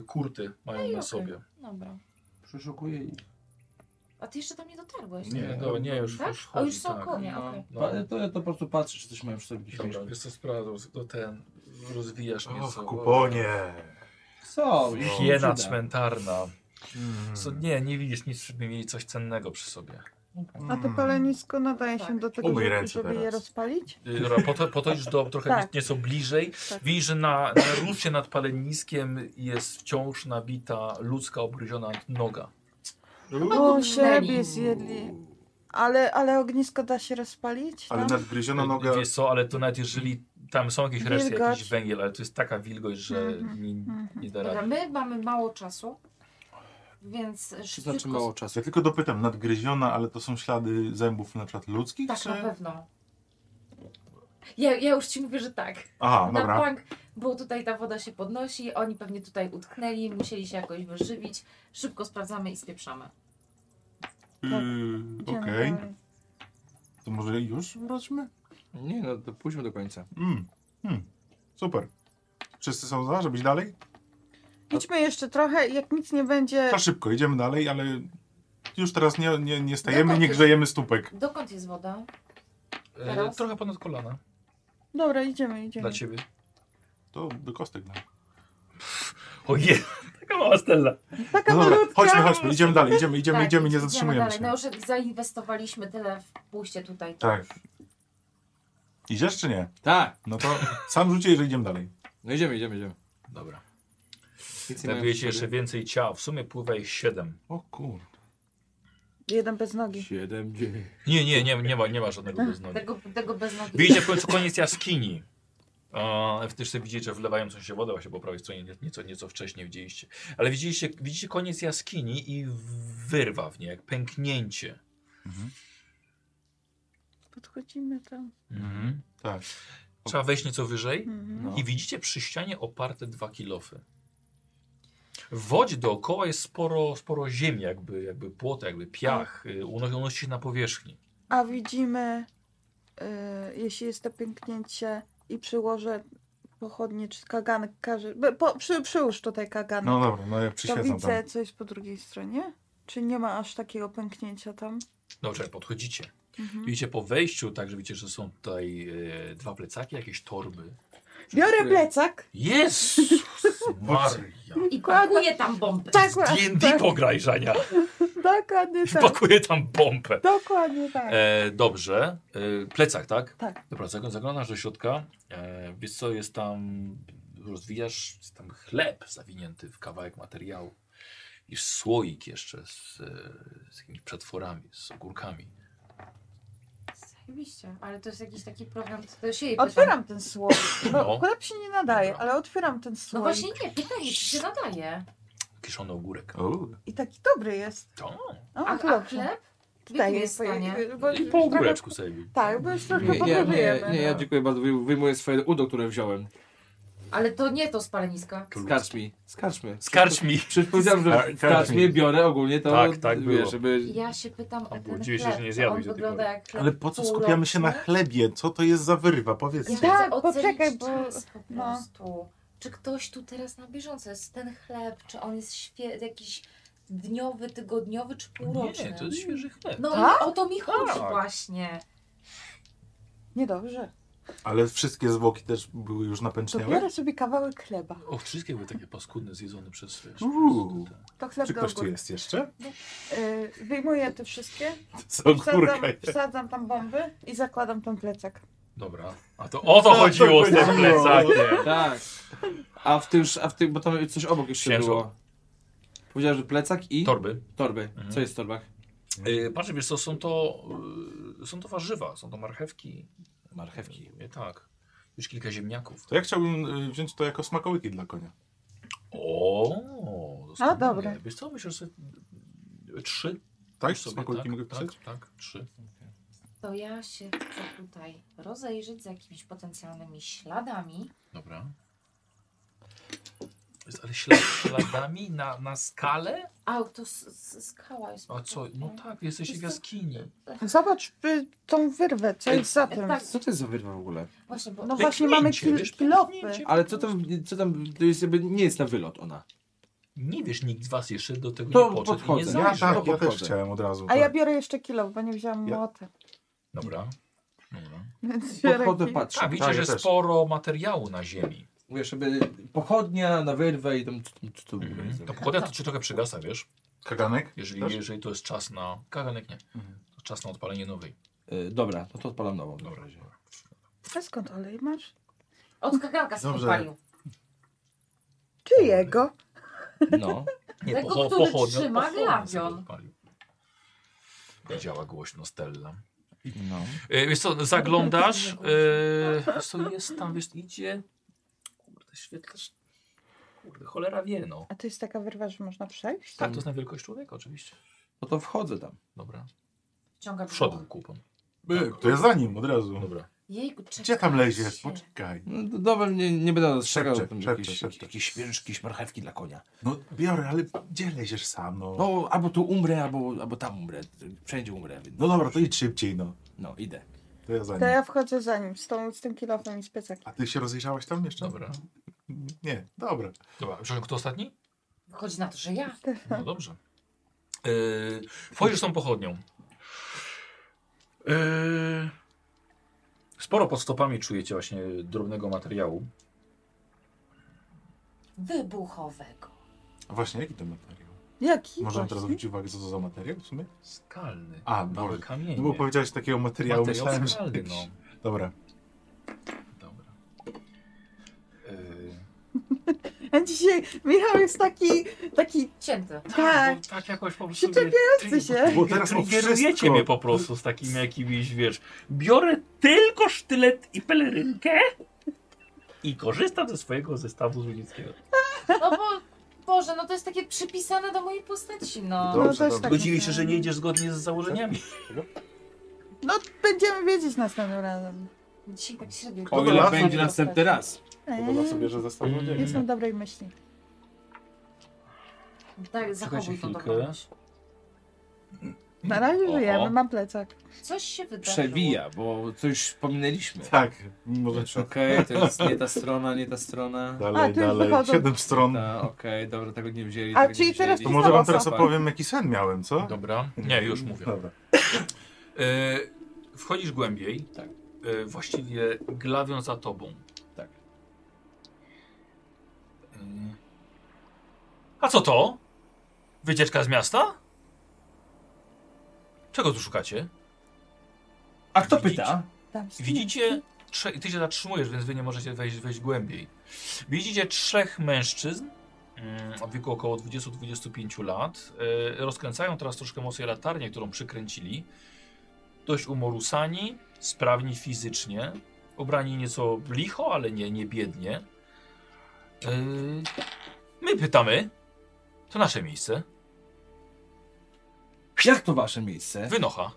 Speaker 1: y, kurty mają na
Speaker 5: No okej.
Speaker 1: sobie.
Speaker 5: Dobra.
Speaker 4: Przeszukuję i...
Speaker 5: A ty jeszcze tam nie dotarłeś?
Speaker 1: Nie, no, dobra, nie, już,
Speaker 5: Tak?
Speaker 1: już
Speaker 5: O, już
Speaker 1: chodzi,
Speaker 5: są
Speaker 1: tak.
Speaker 5: konie, okej.
Speaker 1: No.
Speaker 4: Pa- To ja to po prostu patrzę, czy coś mają przy sobie gdzieś
Speaker 1: Dobra,
Speaker 4: mieszkać.
Speaker 1: wiesz co, sprawdzą, to ten, rozwijasz
Speaker 14: O, w
Speaker 1: nieco.
Speaker 14: kuponie.
Speaker 4: Co?
Speaker 1: Hiena cmentarna.
Speaker 14: Mm.
Speaker 1: Co, nie, nie widzisz nic, żeby mieli coś cennego przy sobie.
Speaker 7: A to palenisko nadaje się
Speaker 5: Tak.
Speaker 7: do tego,
Speaker 14: Umyj
Speaker 7: żeby,
Speaker 14: ręce
Speaker 7: żeby je
Speaker 14: teraz.
Speaker 7: rozpalić?
Speaker 1: Y, Dobra, poto- potoczysz do trochę
Speaker 7: Tak.
Speaker 1: nie- nieco bliżej.
Speaker 7: Tak.
Speaker 1: Widzisz, że na, na rusie nad paleniskiem jest wciąż nabita ludzka obgryziona noga.
Speaker 2: No,
Speaker 7: O,
Speaker 5: Uuu.
Speaker 7: siebie zjedli. Tak? Ale, ale ognisko da się rozpalić?
Speaker 14: Ale
Speaker 7: tam?
Speaker 14: nadgryziona noga...
Speaker 1: Wiesz co, Y, ale to nawet jeżeli tam są jakieś reszty,
Speaker 7: Wilgoć.
Speaker 1: jakiś węgiel, ale to jest taka wilgoć, że
Speaker 7: Mhm,
Speaker 1: nie, nie da
Speaker 5: Dobra,
Speaker 1: rady.
Speaker 5: my mamy mało czasu, więc
Speaker 4: To
Speaker 5: szybciutko...
Speaker 4: znaczy mało czasu.
Speaker 2: Ja tylko dopytam, nadgryziona, ale to są ślady zębów na przykład ludzkich?
Speaker 5: Tak,
Speaker 2: czy...
Speaker 5: na pewno. Ja, ja już ci mówię, że tak.
Speaker 2: Aha,
Speaker 5: Na
Speaker 2: dobra.
Speaker 5: bank, bo tutaj ta woda się podnosi, oni pewnie tutaj utknęli, musieli się jakoś wyżywić. Szybko sprawdzamy i spieprzamy.
Speaker 2: Yy,
Speaker 7: Idziemy
Speaker 2: Okej,
Speaker 7: dalej.
Speaker 2: to może już wróćmy?
Speaker 4: Nie no, to pójdźmy do końca.
Speaker 2: Mm. Mm. Super. Wszyscy są za, żebyś dalej?
Speaker 7: Idźmy jeszcze trochę, jak nic nie będzie...
Speaker 2: To szybko, idziemy dalej, ale już teraz nie, nie, nie stajemy,
Speaker 5: Dokąd
Speaker 2: nie
Speaker 5: jest?
Speaker 2: grzejemy stópek.
Speaker 5: Dokąd jest woda?
Speaker 1: E,
Speaker 5: Teraz?
Speaker 1: trochę ponad kolana
Speaker 7: Dobra, idziemy,
Speaker 1: dla
Speaker 7: idziemy.
Speaker 1: ciebie.
Speaker 2: To do kostek dam.
Speaker 1: O je,
Speaker 6: Taka mała Stella.
Speaker 7: Taka
Speaker 2: No dobra,
Speaker 7: malutka.
Speaker 2: chodźmy, chodźmy, idziemy dalej, idziemy, idziemy,
Speaker 5: Tak,
Speaker 2: idziemy, nie zatrzymujemy
Speaker 5: dalej.
Speaker 2: się.
Speaker 5: No już zainwestowaliśmy tyle w pójście tutaj.
Speaker 2: Tak. Idziesz czy nie?
Speaker 4: Tak.
Speaker 2: No to sam rzucie, że idziemy dalej.
Speaker 4: No idziemy, idziemy, idziemy.
Speaker 1: Dobra.
Speaker 4: Nic nie mają
Speaker 1: Znajdujecie
Speaker 4: przy
Speaker 1: jeszcze
Speaker 4: sobie.
Speaker 1: więcej ciał. W sumie pływa ich siedem.
Speaker 2: O kur...
Speaker 7: Jeden bez nogi.
Speaker 4: Siedem, dziewięć.
Speaker 1: Nie, nie, nie, nie ma, nie ma żadnego bez nogi.
Speaker 5: Tego, tego bez nogi.
Speaker 1: Widzicie w końcu koniec jaskini. E, W też widzicie, że wlewającą się wodę właśnie po prawej stronie nie- nieco, nieco wcześniej widzieliście. Ale widzieliście, widzicie koniec jaskini i wyrwa w niej, jak pęknięcie.
Speaker 7: Podchodzimy tam.
Speaker 2: Tak.
Speaker 1: Trzeba wejść nieco wyżej
Speaker 7: Mhm.
Speaker 1: i widzicie przy ścianie oparte dwa kilofy. W wodzie dookoła jest sporo, sporo ziemi, jakby, jakby płota, jakby piach. y, Unosi, unosi się na powierzchni.
Speaker 7: A widzimy, y, jeśli jest to pęknięcie i przyłożę pochodnie czy kaganek, każe, be- po, przy, przyłóż tutaj kaganek.
Speaker 2: No dobra, no jak
Speaker 7: to
Speaker 2: przyświecam tam.
Speaker 7: widzę, co jest po drugiej stronie. Czy nie ma aż takiego pęknięcia tam?
Speaker 1: Dobrze, podchodzicie.
Speaker 7: Mhm.
Speaker 1: Widzicie po wejściu, także widzicie, że są tutaj e, dwa plecaki, jakieś torby.
Speaker 7: Biorę plecak.
Speaker 1: Jest! Maria!
Speaker 5: I pakuje tam bombę.
Speaker 7: Tak,
Speaker 1: D&D
Speaker 7: tak,
Speaker 1: pograj, Żania!
Speaker 7: dokładnie tak.
Speaker 1: Pakuje tam bombę!
Speaker 7: Dokładnie tak.
Speaker 1: E, dobrze. E, plecak, tak?
Speaker 7: Tak.
Speaker 1: Dobra, zagl- zaglądasz do środka. E, wiesz co, jest tam... Rozwijasz jest tam chleb zawinięty w kawałek materiału. I słoik jeszcze z, e, z jakimiś przetworami, z ogórkami.
Speaker 5: Zajebiście, ale to jest jakiś taki program, to też jej pytam.
Speaker 7: Otwieram ten słoik.
Speaker 1: No.
Speaker 7: No, chleb się nie nadaje,
Speaker 1: Dobra.
Speaker 7: ale otwieram ten
Speaker 5: No
Speaker 7: słoik.
Speaker 5: właśnie nie, pytanie, czy się nadaje.
Speaker 1: Kiszony ogórek.
Speaker 2: O,
Speaker 7: I taki dobry jest.
Speaker 1: To?
Speaker 7: O,
Speaker 5: A,
Speaker 7: to
Speaker 5: a
Speaker 7: dobrze.
Speaker 5: chleb? W
Speaker 7: Tutaj
Speaker 5: jakim
Speaker 7: jest
Speaker 5: jest stanie?
Speaker 7: bo-
Speaker 1: I po
Speaker 7: trochę-
Speaker 1: E, ogóreczku sobie.
Speaker 7: Tak, bo już trochę
Speaker 4: Nie, nie, nie,
Speaker 7: pochorujemy.
Speaker 4: nie,
Speaker 5: no.
Speaker 4: ja dziękuję bardzo. Wyjm- Wyjmuję swoje udo, które wziąłem.
Speaker 5: Ale to nie to z paleniska.
Speaker 4: Skarcz mi. Skarcz mi.
Speaker 1: Skarcz mi!
Speaker 4: Przecież powiedziałem, że
Speaker 2: Skar-
Speaker 4: w karczmie
Speaker 2: karczmie.
Speaker 4: biorę ogólnie to,
Speaker 1: Tak, tak
Speaker 4: wiesz,
Speaker 1: było.
Speaker 4: żeby...
Speaker 5: Ja się pytam o ten
Speaker 1: dziwię się,
Speaker 5: chleb,
Speaker 1: że nie
Speaker 5: to
Speaker 1: zjadłeś
Speaker 5: on
Speaker 1: do tej
Speaker 5: wygląda
Speaker 1: pory.
Speaker 5: jak chleb
Speaker 2: Ale po co skupiamy się na
Speaker 5: półroczny?
Speaker 2: chlebie? Co to jest za wyrwa?
Speaker 5: Ja
Speaker 2: Powiedzcie.
Speaker 7: Tak,
Speaker 5: chcę ocenić
Speaker 7: poczekaj, bo-
Speaker 5: czas po
Speaker 7: no.
Speaker 5: prostu. Czy ktoś tu teraz na bieżąco jest ten chleb, czy on jest świe- jakiś dniowy, tygodniowy, czy półroczny?
Speaker 1: Nie, to jest świeży chleb.
Speaker 5: No
Speaker 7: Tak?
Speaker 5: i o to mi chodzi
Speaker 1: Tak.
Speaker 5: właśnie.
Speaker 7: Niedobrze.
Speaker 2: Ale wszystkie zwłoki też były już
Speaker 7: To
Speaker 2: napęczniałe?
Speaker 7: biorę sobie kawałek chleba.
Speaker 1: O, wszystkie były takie paskudne, zjedzone przez... wiesz,
Speaker 2: Uuu.
Speaker 1: przez te-
Speaker 7: To chleb
Speaker 2: Czy
Speaker 7: do
Speaker 2: ktoś tu
Speaker 7: ogórka.
Speaker 2: jest jeszcze?
Speaker 7: Tak Y, wyjmuję te wszystkie,
Speaker 2: Z
Speaker 7: wsadzam,
Speaker 2: ogórka jest.
Speaker 7: wsadzam tam bomby i zakładam ten plecak.
Speaker 1: Dobra, a to o No, to chodziło z tym
Speaker 2: chodziło.
Speaker 1: plecakiem.
Speaker 4: Tak. A w tym, a w tym, bo tam coś obok jeszcze
Speaker 1: Księżą.
Speaker 4: było. Powiedział, że plecak i
Speaker 1: Torby.
Speaker 4: torby.
Speaker 1: Mhm.
Speaker 4: Co jest w torbach?
Speaker 1: Yy, patrz, wiesz co, są to, y, są to warzywa, są to marchewki.
Speaker 4: Marchewki.
Speaker 1: Nie, tak. Już kilka ziemniaków.
Speaker 2: To ja chciałbym y, wziąć to jako smakołyki dla konia.
Speaker 1: O,
Speaker 7: A, dobra.
Speaker 1: Wiesz co, myślę, że sobie, y, trzy.
Speaker 2: Tak?
Speaker 1: Już sobie,
Speaker 2: Smakołyki
Speaker 1: tak,
Speaker 2: mogę
Speaker 1: tak,
Speaker 2: pisać?
Speaker 1: tak, trzy.
Speaker 5: To ja się chcę tutaj rozejrzeć z jakimiś potencjalnymi śladami.
Speaker 1: Dobra. Jest, Ale ślad, śladami na, na skalę?
Speaker 5: A, to s- s- skała jest.
Speaker 1: A co? No tak, jesteś w
Speaker 5: Jest to-
Speaker 1: jaskini.
Speaker 7: Zobacz y, tą wyrwę, co jest za tym.
Speaker 5: tak.
Speaker 4: Co to jest za wyrwa w ogóle?
Speaker 5: Właśnie, bo
Speaker 7: No właśnie mamy kil,
Speaker 1: wiesz,
Speaker 7: kilofy.
Speaker 1: pęknięcie.
Speaker 4: Ale co tam, co tam, to jest jakby, nie jest na wylot ona.
Speaker 1: Nie wiesz, nikt z was jeszcze do tego
Speaker 4: To
Speaker 1: nie podszedł i nie
Speaker 4: podchodzę.
Speaker 2: Ja
Speaker 1: zajrzał.
Speaker 2: tak, ja też
Speaker 4: podchodzę.
Speaker 2: chciałem od razu.
Speaker 7: A ja
Speaker 2: tak.
Speaker 7: biorę jeszcze kilo, bo nie wziąłam
Speaker 2: Ja-
Speaker 7: młota.
Speaker 1: Dobra. Dobra.
Speaker 7: Więc biorę
Speaker 4: Podchodzę,
Speaker 7: kilo.
Speaker 4: patrzę.
Speaker 1: Tak, widzicie,
Speaker 2: Tak, ja
Speaker 1: że
Speaker 2: też.
Speaker 1: sporo materiału na ziemi.
Speaker 4: Mówię, żeby pochodnia na wyrwę i tam, co tam, co to w
Speaker 5: Mhm.
Speaker 4: ogóle jest.
Speaker 1: To pochodnia to ci trochę przygasa, wiesz?
Speaker 2: Kaganek?
Speaker 1: Jeżeli,
Speaker 2: Też?
Speaker 1: jeżeli to jest czas na... Kaganek nie.
Speaker 2: Mhm.
Speaker 1: To czas na odpalenie nowej.
Speaker 4: Y, Dobra, no to odpalam nową.
Speaker 1: Dobra.
Speaker 7: A skąd olej masz?
Speaker 5: od kaganka się
Speaker 2: Dobrze.
Speaker 5: odpalił.
Speaker 7: Czy jego?
Speaker 4: No.
Speaker 1: Nie,
Speaker 5: Tego,
Speaker 1: pocho-
Speaker 5: który
Speaker 1: pochodnia-
Speaker 5: trzyma
Speaker 1: pochodnia
Speaker 5: glawion.
Speaker 1: sobie odpalił. Powiedziała głośno Stella.
Speaker 4: no.
Speaker 1: E, Wiesz co, zaglądasz. E, wiesz co jest tam, wiesz, idzie. Kurde, świetlasz. Kurde, cholera wie, no.
Speaker 7: A to jest taka wyrwa, że można przejść?
Speaker 1: Tak, to jest na wielkość człowieka, oczywiście.
Speaker 4: No to wchodzę tam.
Speaker 1: Dobra.
Speaker 5: Ciąga
Speaker 1: Wszedł kupon.
Speaker 2: By, To ja za nim od razu.
Speaker 1: Dobra.
Speaker 5: Jejku, czekaj.
Speaker 2: Gdzie tam leziesz? Poczekaj.
Speaker 4: No, d- dobra, nie, nie będę dostrzegał
Speaker 2: Szepcze,
Speaker 4: tam
Speaker 2: szepcze,
Speaker 4: jakieś,
Speaker 2: szepcze.
Speaker 4: jakieś świeżyczki, jakieś marchewki dla konia.
Speaker 2: No biorę, ale gdzie leziesz sam? No,
Speaker 4: No, albo tu umrę, albo, albo tam umrę. Wszędzie umrę. Więc...
Speaker 2: no dobra, to idź szybciej, no.
Speaker 4: No, idę.
Speaker 2: To ja za
Speaker 7: To
Speaker 2: nim.
Speaker 7: ja wchodzę za nim, z, tą, z tym kilofem i z plecakiem.
Speaker 2: A ty się rozejrzałaś tam jeszcze?
Speaker 1: Dobra.
Speaker 2: Nie, dobra.
Speaker 1: Dobra. Przepraszam, kto ostatni?
Speaker 5: Wychodzi na to, że ja.
Speaker 1: No
Speaker 13: Tak.
Speaker 1: dobrze.
Speaker 13: E,
Speaker 1: Yy, wchodzisz tą pochodnią. Yy, sporo pod stopami czujecie właśnie drobnego materiału.
Speaker 5: Wybuchowego.
Speaker 2: A właśnie, jaki to materiał?
Speaker 7: Jaki?
Speaker 2: Możemy teraz
Speaker 7: Właśnie?
Speaker 2: zwrócić uwagę, co to za materiał w sumie?
Speaker 13: Skalny.
Speaker 2: A,
Speaker 13: Małe
Speaker 2: Boże.
Speaker 13: kamienie.
Speaker 2: No bo powiedziałeś takiego materiału,
Speaker 13: Materiał
Speaker 2: myślałem, że...
Speaker 13: skalny,
Speaker 2: jakiś-
Speaker 13: no.
Speaker 2: Dobra.
Speaker 13: Dobra. Yy,
Speaker 7: A dzisiaj Michał jest taki, taki,
Speaker 5: Cięty.
Speaker 7: tak,
Speaker 13: bo tak jakoś po prostu...
Speaker 7: Przyczepiający
Speaker 13: mnie
Speaker 7: się.
Speaker 13: trig-
Speaker 2: Bo teraz o
Speaker 13: Triggerujecie
Speaker 2: wszystko.
Speaker 13: mnie po prostu z takimi jakimiś, wiesz, biorę tylko sztylet i pelerynkę i korzystam ze swojego zestawu złodziejskiego.
Speaker 5: No bo, Boże, no to jest takie przypisane do mojej postaci, no.
Speaker 7: no
Speaker 14: Dobrze,
Speaker 7: też
Speaker 14: dobrze.
Speaker 7: tak.
Speaker 13: Zgodzili się, że nie idziesz zgodnie z założeniami.
Speaker 7: No będziemy wiedzieć następnym razem.
Speaker 5: Dzisiaj tak średnio.
Speaker 2: O
Speaker 5: No,
Speaker 2: ile
Speaker 5: no,
Speaker 2: będzie
Speaker 5: no, tak.
Speaker 4: raz.
Speaker 14: Podoba
Speaker 7: Eee,
Speaker 14: sobie, że zestaw
Speaker 13: Mm.
Speaker 14: mm.
Speaker 7: jestem dobrej myśli.
Speaker 5: Tak, zachowuj to
Speaker 13: chwilkę.
Speaker 5: dobrać.
Speaker 7: Na razie
Speaker 13: Oho.
Speaker 7: żyjemy, mam plecak.
Speaker 5: Coś się
Speaker 4: tak.
Speaker 5: wydarzyło.
Speaker 4: Przewija, bo coś pominęliśmy.
Speaker 2: Tak, mimo że
Speaker 4: Wiesz, Okej, to jest nie ta strona, nie ta strona.
Speaker 7: A,
Speaker 2: dalej,
Speaker 7: tu już
Speaker 2: dalej,
Speaker 7: wychodzą.
Speaker 2: siedem stron.
Speaker 1: Tak.
Speaker 4: Ta, okej, dobra, tego nie wzięli.
Speaker 7: A,
Speaker 4: tego nie
Speaker 7: czyli teraz
Speaker 2: To
Speaker 4: wzięli.
Speaker 2: może wam teraz
Speaker 4: Tak.
Speaker 2: opowiem, jaki sen miałem, co?
Speaker 13: Dobra.
Speaker 1: Nie, już mówię.
Speaker 2: Dobra.
Speaker 1: E, wchodzisz głębiej.
Speaker 4: Tak.
Speaker 1: E, właściwie glawią za tobą.
Speaker 4: Tak.
Speaker 1: E, a co to? Wycieczka z miasta? Czego tu szukacie?
Speaker 4: A kto pyta?
Speaker 7: Tam są
Speaker 1: Widzicie. Trze- ty się zatrzymujesz, więc wy nie możecie wejść, wejść głębiej. Widzicie trzech mężczyzn mm, o wieku około 20-25 lat. E, rozkręcają teraz troszkę mocniej latarnię, którą przykręcili. Dość umorusani, sprawni fizycznie. Ubrani nieco licho, ale nie, nie biednie. E, my pytamy. To nasze miejsce.
Speaker 4: Jak to wasze miejsce?
Speaker 1: Wynocha.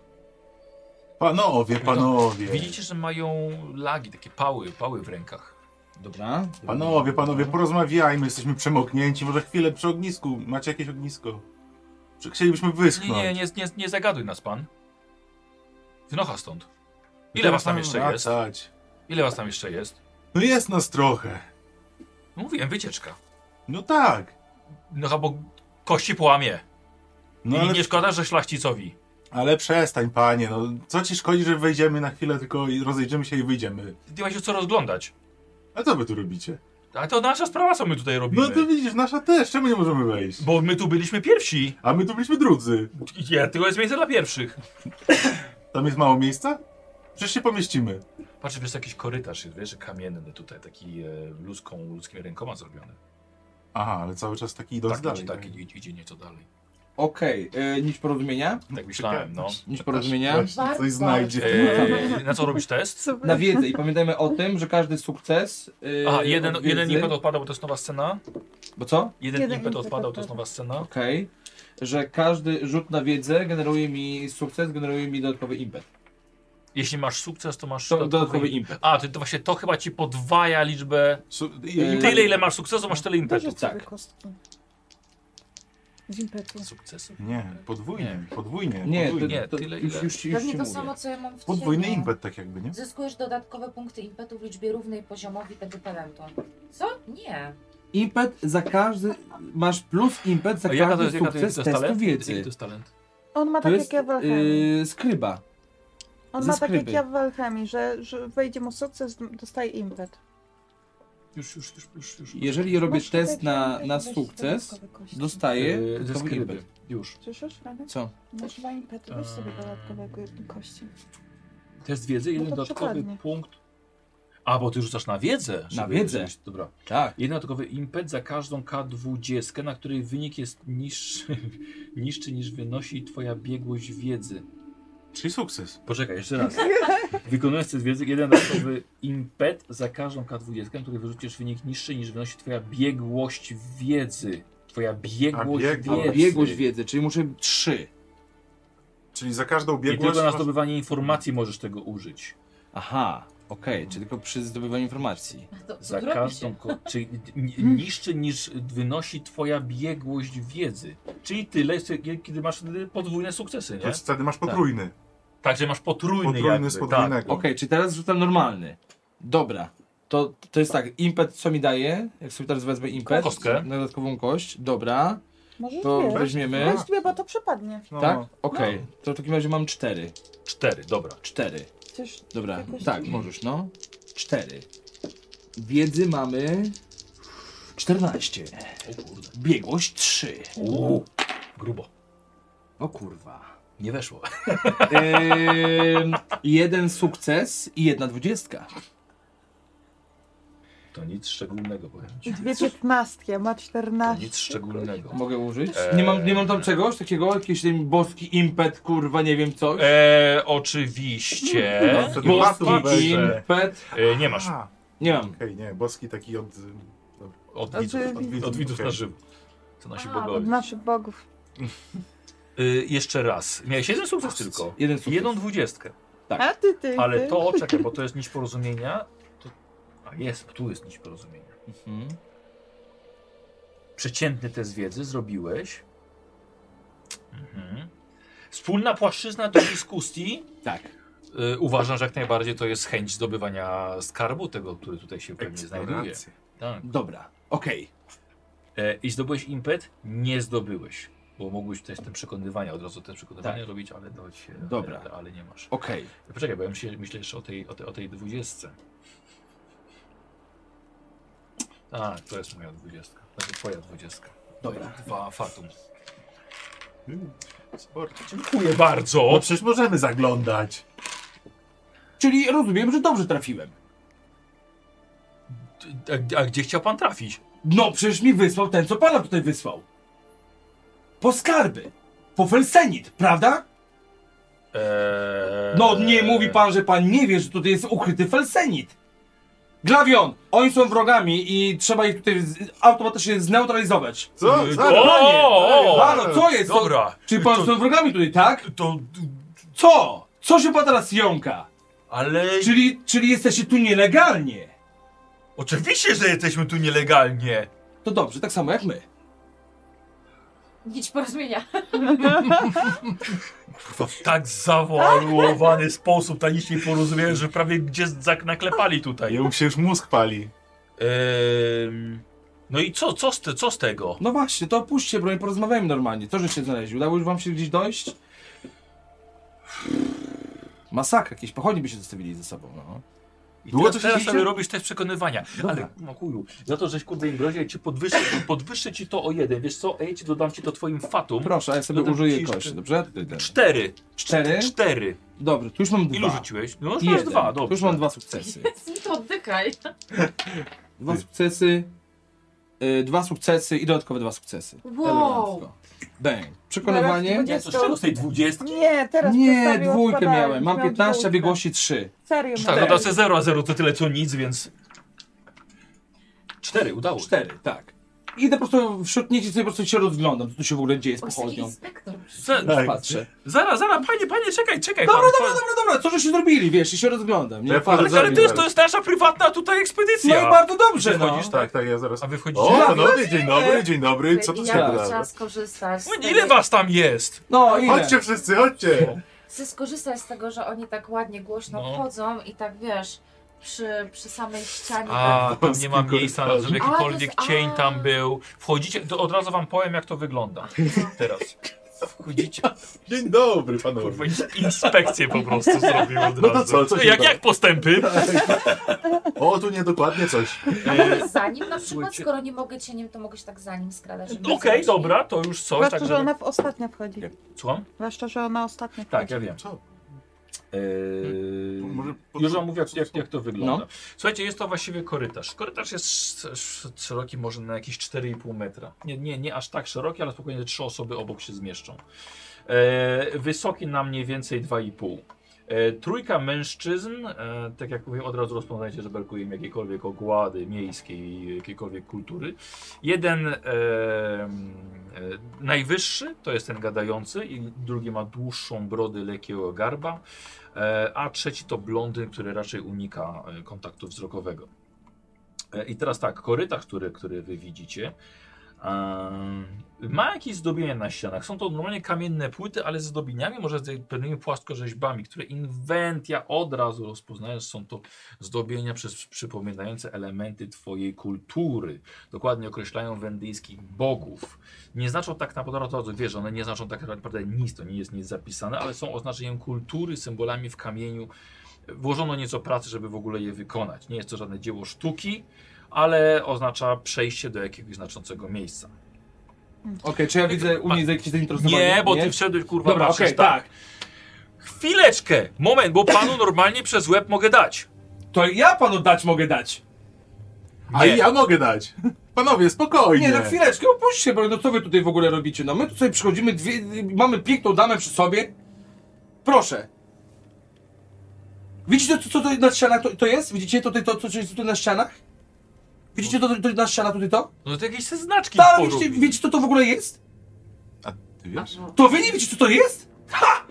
Speaker 2: Panowie, panowie.
Speaker 1: Widzicie, że mają lagi, takie pały, pały w rękach.
Speaker 4: Dobra.
Speaker 2: Panowie, panowie, porozmawiajmy, jesteśmy przemoknięci, może chwilę przy ognisku. Macie jakieś ognisko? Czy chcielibyśmy
Speaker 1: Nie,
Speaker 2: wyschnąć?
Speaker 1: nie, nie, nie, nie zagaduj nas pan. Wynocha stąd. Ile was tam
Speaker 2: tak,
Speaker 1: jeszcze jest?
Speaker 2: Wracać.
Speaker 1: Ile was tam jeszcze jest?
Speaker 2: No jest nas trochę.
Speaker 1: No Mówiłem, wycieczka.
Speaker 2: No tak.
Speaker 1: No bo kości połamie.
Speaker 2: No
Speaker 1: I
Speaker 2: ale,
Speaker 1: nie szkoda, że szlachcicowi.
Speaker 2: ale przestań, panie. No, co ci szkodzi, że wejdziemy na chwilę tylko i rozejrzymy się i wyjdziemy?
Speaker 1: Ty masz już co rozglądać.
Speaker 2: A co wy tu robicie?
Speaker 1: Ale to nasza sprawa, co my tutaj robimy.
Speaker 2: No to widzisz, nasza też. Czemu nie możemy wejść?
Speaker 1: Bo my tu byliśmy pierwsi.
Speaker 2: A my tu byliśmy drudzy.
Speaker 1: I Ja, tylko jest miejsce dla pierwszych.
Speaker 2: Tam jest mało miejsca? Przecież się pomieścimy.
Speaker 1: Patrz, wiesz, jakiś korytarz jest, wiesz, kamienny tutaj, taki e, ludzką, ludzkimi rękoma zrobiony.
Speaker 2: Aha, ale cały czas taki idąc
Speaker 1: Tak,
Speaker 2: dalej. no.
Speaker 1: dalej, tak, idzie, idzie nieco dalej.
Speaker 4: Okej, okay, nic porozumienia?
Speaker 1: Tak myślałem, no.
Speaker 4: Nic porozumienia?
Speaker 2: Właśnie, Coś znajdzie.
Speaker 1: E, na co robisz test?
Speaker 7: super.
Speaker 4: Na wiedzę i pamiętajmy o tym, że każdy sukces. Yy,
Speaker 1: Aha, jeden,
Speaker 4: od
Speaker 1: jeden
Speaker 4: wiedzy-
Speaker 1: impet odpada, bo to jest nowa scena.
Speaker 4: Bo co?
Speaker 1: Jeden,
Speaker 7: Jeden
Speaker 1: impet
Speaker 7: impet
Speaker 1: odpadał, to
Speaker 7: odpada.
Speaker 1: jest nowa scena.
Speaker 4: Okej. Że każdy rzut na wiedzę generuje mi sukces, generuje mi dodatkowy impet.
Speaker 1: Jeśli masz sukces, to masz
Speaker 4: To dodatkowy impet.
Speaker 1: A, to, to właśnie to chyba ci podwaja liczbę.
Speaker 2: Su- i-
Speaker 4: Yy,
Speaker 1: Tyle, ile masz sukcesu, masz tyle impetu.
Speaker 7: Dużo
Speaker 4: tak.
Speaker 7: tak. kostki. Z
Speaker 1: Tak.
Speaker 7: impetu.
Speaker 1: Sukcesu.
Speaker 2: Nie, podwójnie, podwójnie.
Speaker 4: Nie, to,
Speaker 2: podwójnie.
Speaker 1: Nie,
Speaker 4: to,
Speaker 1: tyle,
Speaker 4: już,
Speaker 1: ile.
Speaker 4: już, już
Speaker 5: Pewnie
Speaker 4: ci
Speaker 5: to
Speaker 4: mówię.
Speaker 5: samo, co ja mam w
Speaker 2: Podwójny
Speaker 5: cieniu.
Speaker 2: impet, tak jakby, nie?
Speaker 5: Zyskujesz dodatkowe punkty impetu w liczbie równej poziomowi tego talentu. Co? Nie.
Speaker 4: Impet za każdy. Masz plus impet za
Speaker 1: A jaka to
Speaker 4: każdy
Speaker 1: jest, jaka to
Speaker 4: Tak
Speaker 1: jest,
Speaker 4: sukces
Speaker 1: to jest
Speaker 4: testu
Speaker 1: talent? Jaki
Speaker 4: wiedzy.
Speaker 1: to jest talent?
Speaker 7: On ma
Speaker 4: To
Speaker 7: tak
Speaker 4: jest
Speaker 7: jak ja w alchemii.
Speaker 4: yy, skryba.
Speaker 7: On
Speaker 4: ze
Speaker 7: ma tak jak
Speaker 4: skryby.
Speaker 7: ja w alchemii, że, że wejdzie mu sukces, dostaje impet.
Speaker 1: Już, już, już, już. już.
Speaker 4: Jeżeli robię
Speaker 7: Masz
Speaker 4: test
Speaker 7: tutaj
Speaker 4: na,
Speaker 7: impet,
Speaker 4: na
Speaker 7: weź
Speaker 4: sukces,
Speaker 7: dodatkowe kości.
Speaker 4: dostaję
Speaker 1: Yy, ze
Speaker 4: dodatkowy
Speaker 1: skryby.
Speaker 4: impet.
Speaker 1: Już.
Speaker 7: Słyszysz, Radek?
Speaker 4: Co?
Speaker 7: Masz dwa impety, weź
Speaker 4: Eee.
Speaker 7: sobie dodatkowe ko- kości.
Speaker 1: Test wiedzy, jeden
Speaker 7: No to
Speaker 1: dodatkowy
Speaker 7: przykładnie.
Speaker 1: punkt. A, bo ty rzucasz na wiedzę. żeby-
Speaker 4: wiedzę.
Speaker 1: żebyś- Dobra.
Speaker 4: Tak.
Speaker 1: Jeden dodatkowy impet za każdą K20, na której wynik jest niższy, niższy niż wynosi twoja biegłość wiedzy.
Speaker 2: Czyli sukces.
Speaker 1: Poczekaj, jeszcze raz. Wykonując test wiedzy, jeden dodatkowy impet za każdą K20, który wyrzucisz wynik niższy niż wynosi twoja biegłość wiedzy. Twoja biegłość
Speaker 2: bieg- a
Speaker 1: wiedzy.
Speaker 4: Biegłość wiedzy, czyli muszę trzy.
Speaker 2: Czyli za każdą
Speaker 1: I
Speaker 2: biegłość...
Speaker 1: tylko na zdobywanie informacji możesz tego użyć.
Speaker 4: Aha, okej, czyli tylko przy zdobywaniu informacji.
Speaker 5: To, to
Speaker 1: Za
Speaker 5: robi
Speaker 1: każdą,
Speaker 5: się.
Speaker 1: ko- czy n- niższy niż wynosi twoja biegłość wiedzy. Czyli tyle, co- kiedy masz wtedy podwójne sukcesy, nie?
Speaker 2: To wtedy masz potrójny.
Speaker 1: Także masz potrójny,
Speaker 2: Potrójny
Speaker 1: jakby,
Speaker 2: z
Speaker 1: Tak.
Speaker 2: podwójnego.
Speaker 4: Okej, czyli teraz rzucam normalny. Dobra. To, to jest tak, impet co mi daje? Jak sobie teraz wezmę impet.
Speaker 1: Kostkę.
Speaker 4: Na dodatkową kość. Dobra.
Speaker 7: Możesz
Speaker 4: To
Speaker 7: dwie.
Speaker 4: weźmiemy.
Speaker 7: Weź dwie, bo to przepadnie.
Speaker 2: No,
Speaker 4: Tak? Okej. To w takim razie mam cztery.
Speaker 1: Cztery, dobra.
Speaker 4: Cztery.
Speaker 7: Przecież
Speaker 4: Dobra.
Speaker 7: Jakoś-
Speaker 4: Tak, możesz, no. Cztery. Wiedzy mamy. 14.
Speaker 1: O kurde.
Speaker 4: Biegłość 3.
Speaker 1: Uuu, grubo.
Speaker 4: O kurwa.
Speaker 1: Nie weszło.
Speaker 4: Ym, jeden sukces i jedna dwudziestka.
Speaker 1: To nic szczególnego, powiem ci.
Speaker 7: Dwie piętnastki, a ma
Speaker 1: To
Speaker 7: czternaście.
Speaker 1: nic szczególnego.
Speaker 4: Mogę użyć?
Speaker 1: Eee.
Speaker 4: Nie, mam, nie mam tam czegoś takiego? Jakiś ten boski impet, kurwa, nie wiem coś?
Speaker 1: E, oczywiście.
Speaker 14: No, wtedy
Speaker 4: Boski
Speaker 14: łatwiej będzie.
Speaker 4: impet.
Speaker 1: E, nie masz.
Speaker 14: A,
Speaker 4: Nie mam.
Speaker 14: Okej, nie, boski taki od...
Speaker 1: Od
Speaker 7: A
Speaker 1: widzów,
Speaker 7: ty-
Speaker 1: od widzów, od widzów na żywo. To nasi
Speaker 5: A,
Speaker 1: bogowie.
Speaker 7: Od naszych bogów.
Speaker 1: E, jeszcze raz. Miałeś jeden sukces tylko.
Speaker 4: Jeden sukces.
Speaker 1: Jedną dwudziestkę.
Speaker 4: Tak.
Speaker 7: A ty, ty, ty.
Speaker 1: Ale to, czekaj, bo to jest nić porozumienia. To... A jest, tu jest nić porozumienia.
Speaker 4: Mhm.
Speaker 1: Przeciętny test wiedzy zrobiłeś. Mhm. Wspólna płaszczyzna do dyskusji.
Speaker 4: Tak.
Speaker 1: Y, uważam, że jak najbardziej to jest chęć zdobywania skarbu tego, który tutaj się pewnie znajduje.
Speaker 14: Eksploracja.
Speaker 1: Tak.
Speaker 4: Dobra. Okej.
Speaker 1: E, I zdobyłeś impet? Nie zdobyłeś. Bo mógłbyś też ten przekonywania, od razu te przekonywania robić, ale, do się,
Speaker 4: Tak. Dobra.
Speaker 1: ale, ale nie masz. E,
Speaker 4: Okej.
Speaker 1: Poczekaj, bo ja myślę, myślę jeszcze o tej, o, tej, o tej dwudziestce. Tak, to jest moja dwudziestka. To jest twoja dwudziestka.
Speaker 4: Dobra.
Speaker 1: Dwa fatum.
Speaker 14: Sport.
Speaker 1: Dziękuję bardzo.
Speaker 14: No przecież możemy zaglądać.
Speaker 4: Czyli rozumiem, że dobrze trafiłem.
Speaker 1: A, a gdzie chciał pan trafić?
Speaker 4: No przecież mi wysłał ten, co pana tutaj wysłał. Po skarby. Po felsenit, prawda?
Speaker 1: Eee...
Speaker 4: No nie mówi pan, że pan nie wie, że tutaj jest ukryty felsenit. Glawion, oni są wrogami i trzeba ich tutaj z- automatycznie zneutralizować.
Speaker 14: Co?
Speaker 2: Yy,
Speaker 1: Y,
Speaker 14: Zaraz,
Speaker 1: o,
Speaker 14: panie,
Speaker 1: o,
Speaker 14: panie,
Speaker 4: Halo, co jest? To-
Speaker 1: Dobra.
Speaker 4: Czy pan
Speaker 1: To-
Speaker 4: są wrogami tutaj, tak?
Speaker 1: To...
Speaker 4: Co? Co się pan teraz jąka?
Speaker 1: Ale...
Speaker 4: Czyli, czyli jesteście tu nielegalnie.
Speaker 1: Oczywiście, że jesteśmy tu nielegalnie.
Speaker 4: To dobrze, tak samo jak my.
Speaker 5: Nic porozumienia.
Speaker 1: To w tak zawaluowany sposób, ta nic nie porozumiałem, że prawie gdzie zak- naklepali tutaj.
Speaker 14: Jemu się już mózg pali.
Speaker 1: Ehm, no i co, co, z te, co z tego?
Speaker 4: No właśnie, to opuśćcie broń, porozmawiajmy normalnie. To, że się znaleźli. Udało już wam się gdzieś dojść? Masakra, jakieś pochodnie by się zostawili ze sobą, no.
Speaker 1: I
Speaker 14: Długo
Speaker 1: teraz,
Speaker 14: to się
Speaker 1: teraz
Speaker 14: dzieje?
Speaker 1: sobie robisz te przekonywania.
Speaker 4: Dobra.
Speaker 1: Ale no kuju, za to, żeś kurde im grozi, ja ci podwyższę, podwyższę ci to o jeden. Wiesz co, ej, ci dodam ci to twoim fatum.
Speaker 4: Proszę, a ja sobie
Speaker 1: Dodam ci
Speaker 4: użyję
Speaker 1: jeszcze-
Speaker 4: kości, dobrze?
Speaker 1: Cztery,
Speaker 4: Cztery?
Speaker 1: cztery.
Speaker 4: Dobrze, tu już mam dwa.
Speaker 1: Ilu rzuciłeś? No już masz
Speaker 4: Jeden.
Speaker 1: dwa,
Speaker 4: Tu
Speaker 1: dobrze.
Speaker 4: już mam dwa sukcesy.
Speaker 5: Nic to oddychaj.
Speaker 4: Dwa sukcesy, y, dwa sukcesy i dodatkowe dwa sukcesy.
Speaker 5: Wow.
Speaker 4: Elegancko. Bang. Przekonywanie.
Speaker 1: Nie, to z czego z tej dwudziestki?
Speaker 7: Nie, teraz
Speaker 4: Nie,
Speaker 7: przestawił,
Speaker 4: dwójkę
Speaker 7: odpadałem.
Speaker 4: miałem. Mam
Speaker 7: Miałam
Speaker 4: 15, a
Speaker 7: dwójkę.
Speaker 4: biegłości 3.
Speaker 7: Serio,
Speaker 1: Tak,
Speaker 4: no
Speaker 7: mam.
Speaker 1: dodam sobie zero, a zero to tyle co nic, więc... Cztery, udało się.
Speaker 4: Cztery, tak. Idę po prostu wśród nich i sobie po prostu się rozglądam, co tu się w ogóle dzieje z
Speaker 5: Oj, jest taki
Speaker 4: pochodnią.
Speaker 5: inspektor.
Speaker 1: Za-
Speaker 14: Tak.
Speaker 4: Patrzę.
Speaker 1: Zaraz, zaraz, panie, panie, czekaj, czekaj.
Speaker 4: Dobra,
Speaker 1: pan,
Speaker 4: dobra,
Speaker 1: pan-
Speaker 4: dobra, dobra, co żeście zrobili, wiesz, i się rozglądam, nie?
Speaker 14: Ja
Speaker 4: Patrzę.
Speaker 14: wchodzę
Speaker 1: Ale,
Speaker 14: za
Speaker 1: ale
Speaker 14: nim
Speaker 1: to, jest, to
Speaker 14: zaraz.
Speaker 1: jest nasza prywatna tutaj
Speaker 4: No
Speaker 1: ekspedycja.
Speaker 4: i bardzo dobrze,
Speaker 1: Ty
Speaker 4: no.
Speaker 1: wchodzisz?
Speaker 14: Tak, tak, ja zaraz...
Speaker 1: A wy wchodzicie?
Speaker 14: O,
Speaker 1: na-
Speaker 14: no dobry, dzień dobry, dzień dobry, No co tu się
Speaker 5: Ja bym
Speaker 14: wydarzyło?
Speaker 5: chciała skorzystać. z
Speaker 1: Oj,
Speaker 5: tej-
Speaker 1: Ile was tam jest?
Speaker 4: No ile?
Speaker 14: Chodźcie wszyscy, chodźcie!
Speaker 5: Chcę skorzystać z tego, że oni tak ładnie, głośno
Speaker 1: No.
Speaker 5: wchodzą i tak wiesz, przy, przy samej ścianie.
Speaker 1: A,
Speaker 5: tak-
Speaker 1: tam nie ma miejsca, na- żeby
Speaker 5: A, to
Speaker 1: jakikolwiek
Speaker 5: jest-
Speaker 1: cień
Speaker 5: a.
Speaker 1: tam był. Wchodzicie, to od razu wam powiem, jak to wygląda. Teraz. Wchodzicie,
Speaker 14: Dzień dobry,
Speaker 1: kurwa,
Speaker 14: panowie.
Speaker 1: ins- inspekcję po prostu zrobił od
Speaker 14: No to
Speaker 1: razu.
Speaker 14: co, co się
Speaker 1: jak,
Speaker 14: udało?
Speaker 1: jak postępy?
Speaker 14: O, tu niedokładnie coś.
Speaker 5: A może tak za nim na przykład,
Speaker 1: Słuchajcie.
Speaker 5: skoro nie mogę cieniem, to mogę się tak za nim skradać. żeby
Speaker 1: Okej,
Speaker 5: zobaczyć.
Speaker 1: dobra, to już coś. Tak,
Speaker 7: Zwłaszcza, że
Speaker 1: żeby...
Speaker 7: ona w ostatnia wchodzi.
Speaker 1: Słucham?
Speaker 7: Zwłaszcza, że ona ostatnia wchodzi.
Speaker 1: Tak, ja wiem.
Speaker 14: Co? E,
Speaker 1: Eee,
Speaker 14: Może pod-
Speaker 1: Już wam mówię, jak, jak, jak to wygląda.
Speaker 4: No.
Speaker 1: Słuchajcie, jest to właściwie korytarz. Korytarz jest sz- sz- szeroki może na jakieś 4,5 metra. Nie, nie, nie aż tak szeroki, ale spokojnie trzy osoby obok się zmieszczą. Eee, wysoki na mniej więcej 2,5. E, trójka mężczyzn, e, tak jak mówię, od razu rozpoznajcie, że brakuje im jakiejkolwiek ogłady miejskiej, jakiejkolwiek kultury. Jeden e, mm, e, najwyższy, to jest ten gadający, i drugi ma dłuższą brodę, lekkiego garba, e, a trzeci to blondyn, który raczej unika e, kontaktu wzrokowego. E, I teraz tak, korytarz, który, który wy widzicie, em, ma jakieś zdobienia na ścianach. Są to normalnie kamienne płyty, ale z zdobieniami, może z pewnymi płaskorzeźbami, które inwentia od razu rozpoznajesz. Są to zdobienia przez, przypominające elementy twojej kultury. Dokładnie określają wendyjskich bogów. Nie znaczą tak naprawdę, od razu wiesz, one nie znaczą tak naprawdę nic, to nie jest nic zapisane, ale są oznaczeniem kultury, symbolami w kamieniu. Włożono nieco pracy, żeby w ogóle je wykonać. Nie jest to żadne dzieło sztuki, ale oznacza przejście do jakiegoś znaczącego miejsca.
Speaker 4: Okej, czy ja widzę u niej jakieś zainteresowanie?
Speaker 1: Nie, bo ty wszedłeś, kurwa,
Speaker 4: Dobra,
Speaker 1: patrzysz,
Speaker 4: okej, tak.
Speaker 1: Chwileczkę! Moment, bo panu normalnie przez łeb mogę dać.
Speaker 4: To ja panu dać mogę dać.
Speaker 2: A
Speaker 1: Nie.
Speaker 2: ja mogę dać. Panowie, spokojnie.
Speaker 4: Nie, no chwileczkę, opuśćcie, bo no co wy tutaj w ogóle robicie? No my tutaj przychodzimy, dwie, mamy piękną damę przy sobie. Proszę. Widzicie to, co tutaj na ścianach to, to jest? Widzicie to, to, to, co jest tutaj na ścianach? Widzicie to, to, to na ścianach tutaj to?
Speaker 1: No to jakieś te znaczki
Speaker 4: Tak,
Speaker 1: porób.
Speaker 4: widzicie, widzicie to, to w ogóle jest?
Speaker 2: A ty wiesz?
Speaker 4: To wy nie wiecie, co to jest? Ha!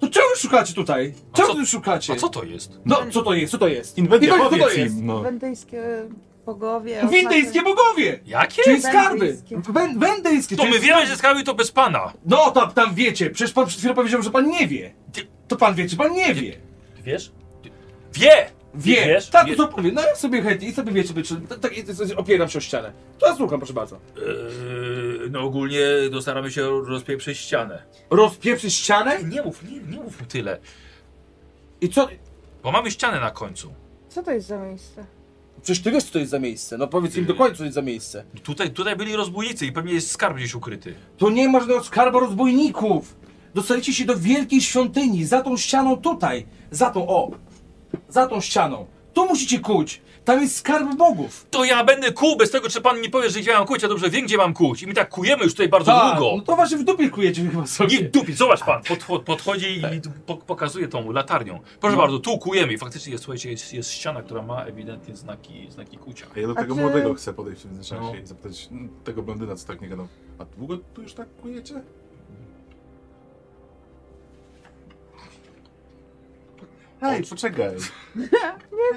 Speaker 4: To czego wy szukacie tutaj?
Speaker 1: A
Speaker 4: Czego
Speaker 1: co-
Speaker 4: wy szukacie?
Speaker 1: A co to jest?
Speaker 4: No, co to jest, co to jest?
Speaker 2: Inwentia,
Speaker 4: Nie, co to
Speaker 2: powiedz
Speaker 4: jest?
Speaker 2: im, no.
Speaker 7: Wendyjskie e, bogowie.
Speaker 4: Windyjskie bogowie!
Speaker 1: Jakie?
Speaker 4: Czyli skarby!
Speaker 7: Wendyjskie.
Speaker 4: Wen- Wendyjskie!
Speaker 1: To
Speaker 4: czyli
Speaker 1: my wiemy, że skarby to bez pana.
Speaker 4: No, tam, tam wiecie. Przecież pan przed chwilą powiedział, że pan nie wie.
Speaker 1: Ty-
Speaker 4: To pan wie, czy pan nie wie?
Speaker 1: Wiesz? Wie!
Speaker 4: Wie.
Speaker 1: wiesz?
Speaker 4: tak,
Speaker 1: Wie-
Speaker 4: to powiem. No ja sobie chętnie i sobie wiecie, by- czy... Tak, tak, i- i- opieram się o ścianę. To ja słucham, proszę bardzo.
Speaker 1: Eee, no ogólnie no, staramy się rozpieprzyć ścianę.
Speaker 4: Rozpieprzy ścianę?
Speaker 1: Nie mów, nie, nie mów mu tyle.
Speaker 4: I co?
Speaker 1: Bo mamy ścianę na końcu.
Speaker 7: Co to jest za miejsce?
Speaker 4: Przecież ty wiesz, co to jest za miejsce. No powiedz im
Speaker 1: Yy.
Speaker 4: dokładnie, co to jest za miejsce.
Speaker 1: Tutaj, tutaj byli rozbójnicy i pewnie jest skarb gdzieś ukryty.
Speaker 4: To nie ma żadnego skarba rozbójników. Dostaliście się do wielkiej świątyni, za tą ścianą tutaj. Za tą, o. Za tą ścianą. Tu musicie kuć. Tam jest skarb bogów.
Speaker 1: To ja będę kół, bez tego czy pan mi powie, że gdzie mam kuć, a dobrze wiem, gdzie mam kuć. I my tak kujemy już tutaj bardzo
Speaker 4: Tak,
Speaker 1: długo.
Speaker 4: No to właśnie w dupie kujecie chyba sobie.
Speaker 1: Nie dupi, zobacz pan, podcho- podchodzi i tu po- pokazuje tą latarnią. Proszę bardzo, tu kujemy i faktycznie jest, słuchajcie, jest, jest ściana, która ma ewidentnie znaki, znaki kucia.
Speaker 2: A ja do
Speaker 7: A
Speaker 2: tego
Speaker 7: ty-
Speaker 2: młodego chcę podejść w tym czasie
Speaker 14: No.
Speaker 2: i zapytać mm, tego blondyna, co tak nie gadał. A długo tu już tak kujecie? Hej, poczekaj.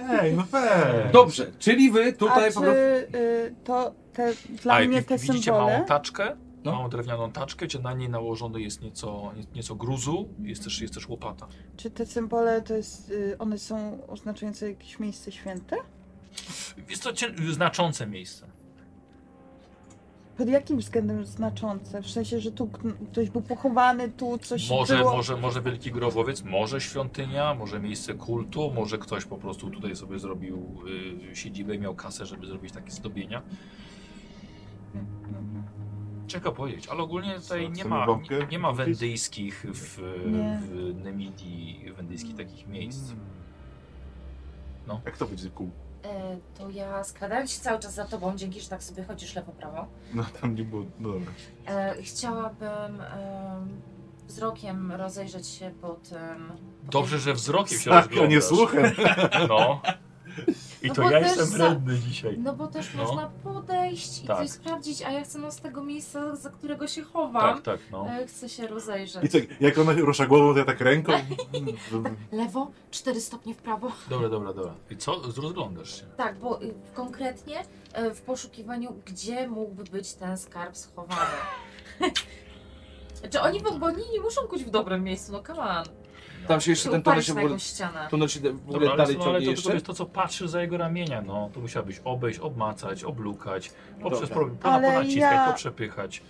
Speaker 2: Hej, no fej.
Speaker 4: Dobrze, czyli wy tutaj
Speaker 7: A
Speaker 4: po
Speaker 7: czy
Speaker 4: prostu...
Speaker 7: y, to te, dla
Speaker 1: A
Speaker 7: mnie
Speaker 1: jak
Speaker 7: te
Speaker 1: widzicie
Speaker 7: symbole?
Speaker 1: małą taczkę,
Speaker 4: No.
Speaker 1: małą drewnianą taczkę, gdzie na niej nałożony jest nieco, nie- nieco gruzu, jest też, jest też łopata.
Speaker 7: Czy te symbole to jest, y, one są oznaczające jakieś miejsce święte?
Speaker 1: Jest to cię- znaczące miejsce.
Speaker 7: Pod jakim względem znaczące? W sensie, że tu kn- ktoś był pochowany, tu coś
Speaker 1: Może,
Speaker 7: było.
Speaker 1: może, może wielki grobowiec, może świątynia, może miejsce kultu, może ktoś po prostu tutaj sobie zrobił y, siedzibę i miał kasę, żeby zrobić takie zdobienia. Ciekawe powiedzieć, ale ogólnie tutaj
Speaker 2: Co,
Speaker 1: nie
Speaker 2: chcemy
Speaker 1: ma,
Speaker 2: bombkę
Speaker 1: nie, nie ma
Speaker 2: kupić?
Speaker 1: wendyjskich w,
Speaker 7: Nie.
Speaker 1: w Nemidii, wendyjskich takich miejsc.
Speaker 2: Mm.
Speaker 1: No.
Speaker 2: Jak to będzie kół?
Speaker 5: E, to ja skradałem się cały czas za tobą, dzięki, że tak sobie chodzisz lewo-prawo.
Speaker 2: No tam nie było, no dobra.
Speaker 5: E, chciałabym e, wzrokiem rozejrzeć się po tym...
Speaker 1: Dobrze, że wzrokiem się
Speaker 2: Tak, a nie
Speaker 1: rozglądasz.
Speaker 2: słucham.
Speaker 1: No. I
Speaker 5: No
Speaker 1: to
Speaker 5: bo
Speaker 1: ja
Speaker 5: też
Speaker 1: jestem
Speaker 5: za-
Speaker 1: wredny dzisiaj.
Speaker 5: No bo też
Speaker 1: No.
Speaker 5: można podejść i
Speaker 1: Tak.
Speaker 5: coś sprawdzić, a ja chcę no z tego miejsca, za którego się chowam,
Speaker 1: Tak, tak, no.
Speaker 5: e, chcę się rozejrzeć.
Speaker 2: I co, jak ona rusza głową, to ja tak ręką?
Speaker 5: Lewo, 4 stopnie w prawo.
Speaker 1: Dobra, dobra, dobra. I co? Rozglądasz się.
Speaker 5: Tak, bo y, konkretnie e, w poszukiwaniu, gdzie mógłby być ten skarb schowany. Znaczy oni, bo bo oni nie muszą kuć w dobrym miejscu, no come on.
Speaker 4: Tam się jeszcze
Speaker 5: Czy
Speaker 4: ten tunel
Speaker 5: uparć
Speaker 4: się w
Speaker 5: na
Speaker 4: ogóle,
Speaker 5: jakąś ścianę.
Speaker 4: tunel się w ogóle
Speaker 1: Dobra, ale,
Speaker 4: dalej
Speaker 1: co, ale to,
Speaker 4: ciągnie
Speaker 1: to, to
Speaker 4: jeszcze.
Speaker 1: jest to, co patrzysz za jego ramienia, no. To musiałbyś obejść, obmacać, oblukać, poprzez
Speaker 4: Dobra.
Speaker 1: pro, pona,
Speaker 7: Ale
Speaker 1: ponaciskać,
Speaker 7: ja-
Speaker 1: poprzepychać.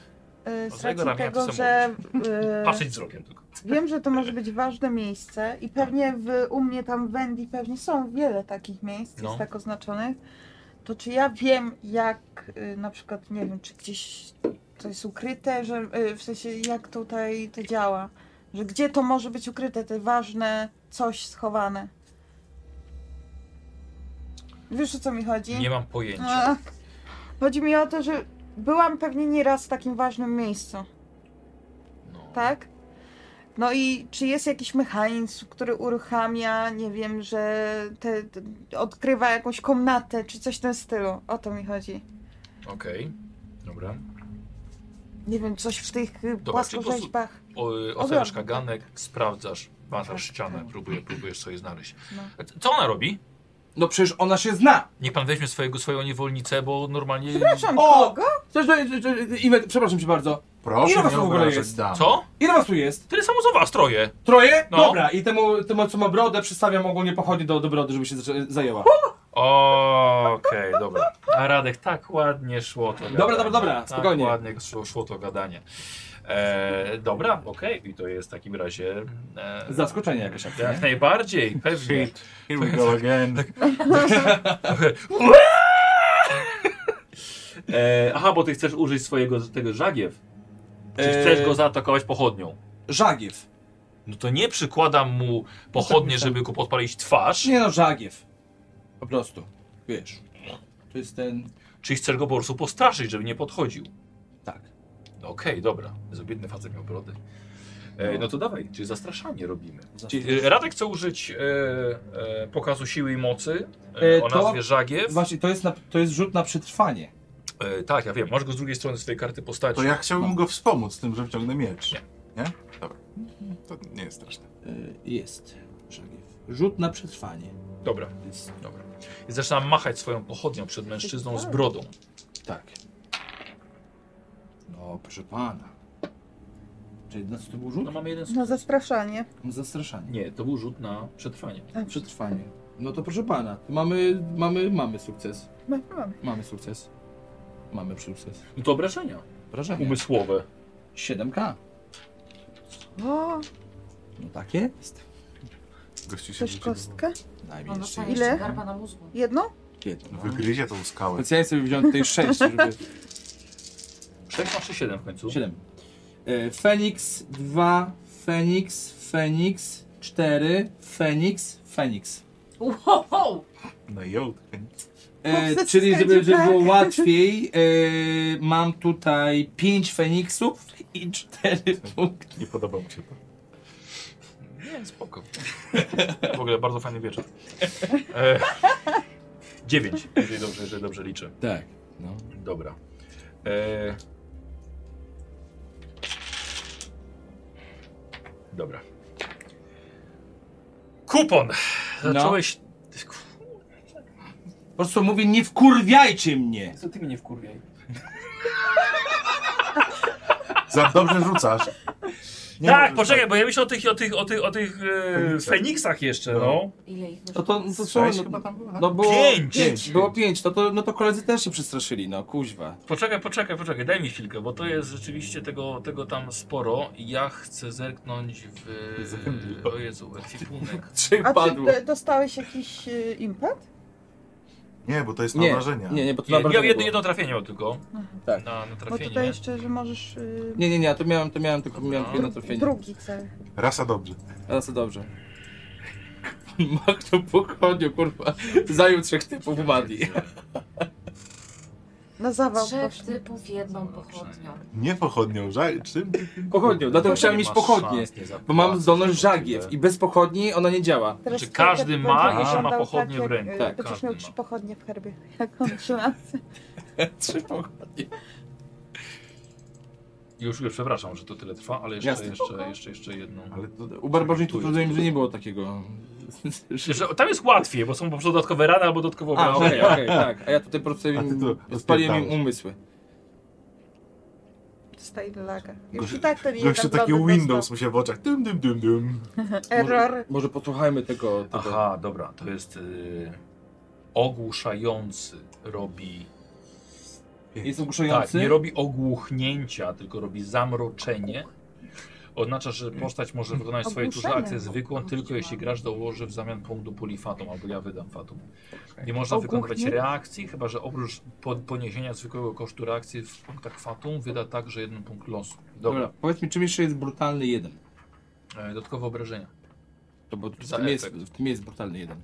Speaker 7: Y, z
Speaker 1: Za jego
Speaker 7: racji
Speaker 1: ramienia
Speaker 7: tego,
Speaker 1: to
Speaker 7: że y,
Speaker 1: Patrzeć wzrokiem tylko.
Speaker 7: wiem, że to może być ważne miejsce i pewnie w, u mnie tam w Wendy pewnie są wiele takich miejsc,
Speaker 1: No.
Speaker 7: jest tak oznaczonych, to czy ja wiem jak y, na przykład, nie wiem, czy gdzieś to jest ukryte, że y, w sensie jak tutaj to działa, że gdzie to może być ukryte, te ważne coś schowane. Wiesz o co mi chodzi?
Speaker 1: Nie mam pojęcia.
Speaker 7: A, Chodzi mi o to, że byłam pewnie nieraz w takim ważnym miejscu,
Speaker 1: No.
Speaker 7: tak? No i czy jest jakiś mechanizm, który uruchamia, nie wiem, że te, te, odkrywa jakąś komnatę, czy coś w tym stylu? O to mi chodzi.
Speaker 1: Okej. Dobra. y,
Speaker 7: Nie wiem, coś w tych y, płaskorzeźbach.
Speaker 1: O, y, Otwierasz
Speaker 7: Oglądam,
Speaker 1: kaganek, sprawdzasz, macasz
Speaker 7: Tak,
Speaker 1: ścianę,
Speaker 7: tak.
Speaker 1: próbujesz, próbujesz sobie znaleźć.
Speaker 7: No.
Speaker 1: A c- Co ona robi?
Speaker 4: No przecież ona się zna.
Speaker 1: Niech pan weźmie swojego, swoją niewolnicę, bo normalnie...
Speaker 7: Przepraszam,
Speaker 4: O!
Speaker 7: kogo?
Speaker 4: Cześć, cześć, cześć, cześć, Iwet, przepraszam cię bardzo.
Speaker 2: Proszę
Speaker 4: Ile was
Speaker 2: nie
Speaker 4: w ogóle
Speaker 2: obrażać
Speaker 4: jest?
Speaker 2: dam.
Speaker 1: Co?
Speaker 4: Ile was tu jest?
Speaker 1: Tyle samo co was, troje.
Speaker 4: Troje?
Speaker 1: No.
Speaker 4: Dobra, i temu, temu co ma brodę, przystawiam ogólnie pochodnie do, do brody, żeby się zaczę- zajęła.
Speaker 1: Okej, dobra. A Radek, tak ładnie szło to
Speaker 4: Dobra, dobra, dobra, spokojnie.
Speaker 1: Tak ładnie szło, szło to gadanie. E, dobra, okej, i to jest w takim razie... E,
Speaker 4: Zaskoczenie jakieś. jak
Speaker 1: Jak
Speaker 4: nie?
Speaker 1: najbardziej, pewnie.
Speaker 2: Shit, here we go again.
Speaker 1: E, aha, bo ty chcesz użyć swojego z- tego żagiew. Czy
Speaker 4: Eee.
Speaker 1: chcesz go zaatakować pochodnią?
Speaker 4: Żagiew.
Speaker 1: No to nie przykładam mu pochodnie, żeby go podpalić twarz.
Speaker 4: Nie no, żagiew. Po prostu. Wiesz. To jest ten...
Speaker 1: Czyli chcesz go po prostu postraszyć, żeby nie podchodził.
Speaker 4: Tak.
Speaker 1: No Okej, dobra. Zobiedny facet miał brodę. E, no to dawaj, czyli zastraszanie robimy. Czyli, e, Radek chce użyć e, e, pokazu siły i mocy e,
Speaker 4: E,
Speaker 1: o
Speaker 4: to-
Speaker 1: nazwie Żagiew.
Speaker 4: Właśnie, to jest, na, to jest rzut na przetrwanie.
Speaker 1: E, tak, ja wiem, masz go z drugiej strony swojej karty postaci.
Speaker 2: To ja chciałbym go wspomóc tym, że wciągnę miecz.
Speaker 1: Nie.
Speaker 2: Nie? Dobra. To nie jest straszne.
Speaker 4: E, Jest. Żagiew. Rzut na przetrwanie.
Speaker 1: Dobra,
Speaker 4: Jest.
Speaker 1: dobra. I zaczynam machać swoją pochodnią przed mężczyzną z brodą.
Speaker 4: Tak. No, proszę pana. Czyli na co to był rzut?
Speaker 1: No mamy jeden
Speaker 7: No zastraszanie.
Speaker 4: Zastraszanie.
Speaker 1: Nie, to był rzut na przetrwanie.
Speaker 4: Przetrwanie. No to proszę pana. Mamy, mamy, mamy sukces.
Speaker 7: No, mamy.
Speaker 4: Mamy sukces. Mamy sukces.
Speaker 1: No to obrażenia
Speaker 4: Wrażenie.
Speaker 1: umysłowe.
Speaker 4: 7K.
Speaker 7: O,
Speaker 4: No takie jest.
Speaker 13: Gościu się
Speaker 7: też
Speaker 13: rzucił.
Speaker 7: kostkę?
Speaker 4: Najmniej jeszcze No,
Speaker 5: On dostanie
Speaker 4: jest.
Speaker 7: Ile?
Speaker 5: jeszcze No, garba na mózgu.
Speaker 7: Jedno?
Speaker 4: Jedno.
Speaker 13: Wygryzie tą skałę.
Speaker 4: Specjalnie sobie wziąłem tutaj 6, żeby...
Speaker 1: 6 masz czy 7 w końcu?
Speaker 4: 7. E, Feniks 2, Feniks, Feniks 4, Feniks, Feniks.
Speaker 5: Wow, wow.
Speaker 2: No i ołd.
Speaker 4: E,
Speaker 7: Chłopcy,
Speaker 4: czyli żeby,
Speaker 7: skarbie,
Speaker 4: żeby było
Speaker 7: tak.
Speaker 4: łatwiej, e, mam tutaj 5 Feniksów i 4 punkty.
Speaker 13: Nie podobał mi się to.
Speaker 1: Nie, spoko. W ogóle bardzo fajny wieczór. E, 9, jeżeli dobrze, jeżeli dobrze liczę.
Speaker 4: Tak. No.
Speaker 1: Dobra. E... Dobra. Kupon! Zacząłeś...
Speaker 4: No. Po prostu mówię, nie wkurwiajcie mnie!
Speaker 1: Co ty mnie wkurwiaj?
Speaker 2: Za dobrze rzucasz. Nie
Speaker 1: tak,
Speaker 2: możesz-
Speaker 1: poczekaj, bo ja myślę o tych, o tych, o tych, o tych e,
Speaker 13: Feniksach.
Speaker 1: Feniksach jeszcze, no.
Speaker 5: Ile ich
Speaker 4: No
Speaker 5: wyszło?
Speaker 4: to, no to
Speaker 2: Sześć
Speaker 4: no,
Speaker 2: chyba tam było. tak?
Speaker 4: no było
Speaker 1: Pięć!
Speaker 4: pięć, było 5, no to, no to koledzy też się przestraszyli, no kuźwa.
Speaker 1: Poczekaj, poczekaj, poczekaj, daj mi chwilkę, bo to jest rzeczywiście tego, tego tam sporo. Ja chcę zerknąć w... O Jezu, ekwipunek.
Speaker 4: Trzech
Speaker 7: A czy
Speaker 4: padło.
Speaker 7: d- dostałeś jakiś y, impet?
Speaker 2: Nie, bo to jest na
Speaker 4: Nie,
Speaker 2: wrażenia.
Speaker 4: nie, nie, bo to
Speaker 1: Nie,
Speaker 4: na
Speaker 1: ja
Speaker 4: bardzo
Speaker 1: jedno,
Speaker 4: było.
Speaker 1: jedno trafienie mam tylko.
Speaker 4: Tak.
Speaker 1: Na, na
Speaker 7: Mhm. Bo
Speaker 1: trafienie.
Speaker 7: tutaj jeszcze, że możesz... Y,
Speaker 4: Nie, nie, nie, to miałem, to miałem tylko miałem
Speaker 1: No.
Speaker 4: jedno trafienie.
Speaker 7: drugi cel.
Speaker 2: Rasa dobrze.
Speaker 4: Teraz to dobrze. Machnął po koniu, kurwa. Zajął trzech typów, umarli.
Speaker 7: Na zawał
Speaker 5: Trzech
Speaker 7: właśnie.
Speaker 5: typów jedną pochodnią.
Speaker 2: Nie pochodnią, żal. Czym?
Speaker 4: Pochodnią, dlatego chciałem mieć pochodnie. Bo mam zdolność żagiew i bez pochodni ona nie działa.
Speaker 7: Teraz
Speaker 1: Znaczy, każdy
Speaker 7: będzie
Speaker 1: ma,
Speaker 7: wyglądał
Speaker 1: jeśli ma
Speaker 7: tak,
Speaker 1: pochodnie
Speaker 7: jak,
Speaker 1: w ręku.
Speaker 7: y,
Speaker 4: Tak,
Speaker 7: Będziesz
Speaker 1: każdy
Speaker 7: miał
Speaker 1: ma.
Speaker 7: trzy pochodnie w herbie. Jak on trzyma.
Speaker 4: Trzy pochodnie.
Speaker 1: Już, już przepraszam, że to tyle trwa, ale jeszcze,
Speaker 4: Jasne.
Speaker 1: jeszcze, jeszcze, jeszcze jedną.
Speaker 2: Ale to...
Speaker 4: U barbarzyńców trudno im, że nie było takiego.
Speaker 1: Że- Tam jest łatwiej, bo są po prostu dodatkowe rany albo dodatkowe
Speaker 4: A,
Speaker 1: obrażenia.
Speaker 4: okej, okej, tak. A ja tutaj po prostu
Speaker 2: A ty
Speaker 4: im,
Speaker 2: to
Speaker 4: spaliłem im
Speaker 2: odpierdałeś.
Speaker 4: umysły.
Speaker 7: Dostaje laga. Już
Speaker 2: Gościu-
Speaker 7: i tak ten jeden
Speaker 2: Gościu taki
Speaker 7: dobry
Speaker 2: Windows mu się w oczach. Dym, dym, dym, dym.
Speaker 7: dostał. Error.
Speaker 4: Może posłuchajmy tego. tego.
Speaker 1: Aha, dobra, to jest y, ogłuszający. Robi.
Speaker 4: Jest
Speaker 1: Tak,
Speaker 4: ogłuszający.
Speaker 1: nie robi ogłuchnięcia, tylko robi zamroczenie. Oznacza, że postać może wykonać swoje turze
Speaker 7: Ogłuszenie.
Speaker 1: akcję zwykłą, tylko jeśli gracz dołoży w zamian punktu polifatum, albo ja wydam fatum. Nie można wykonywać
Speaker 7: Ogłuchnięcie?
Speaker 1: reakcji, chyba że oprócz po- poniesienia zwykłego kosztu reakcji w punktach fatum wyda także jeden punkt losu. Dobra.
Speaker 4: Dobra, powiedz mi, czym jeszcze jest brutalny jeden?
Speaker 1: E, Dodatkowe obrażenia.
Speaker 4: To bo w
Speaker 1: Za
Speaker 4: tym, jest,
Speaker 1: efekt.
Speaker 4: w tym jest brutalny jeden.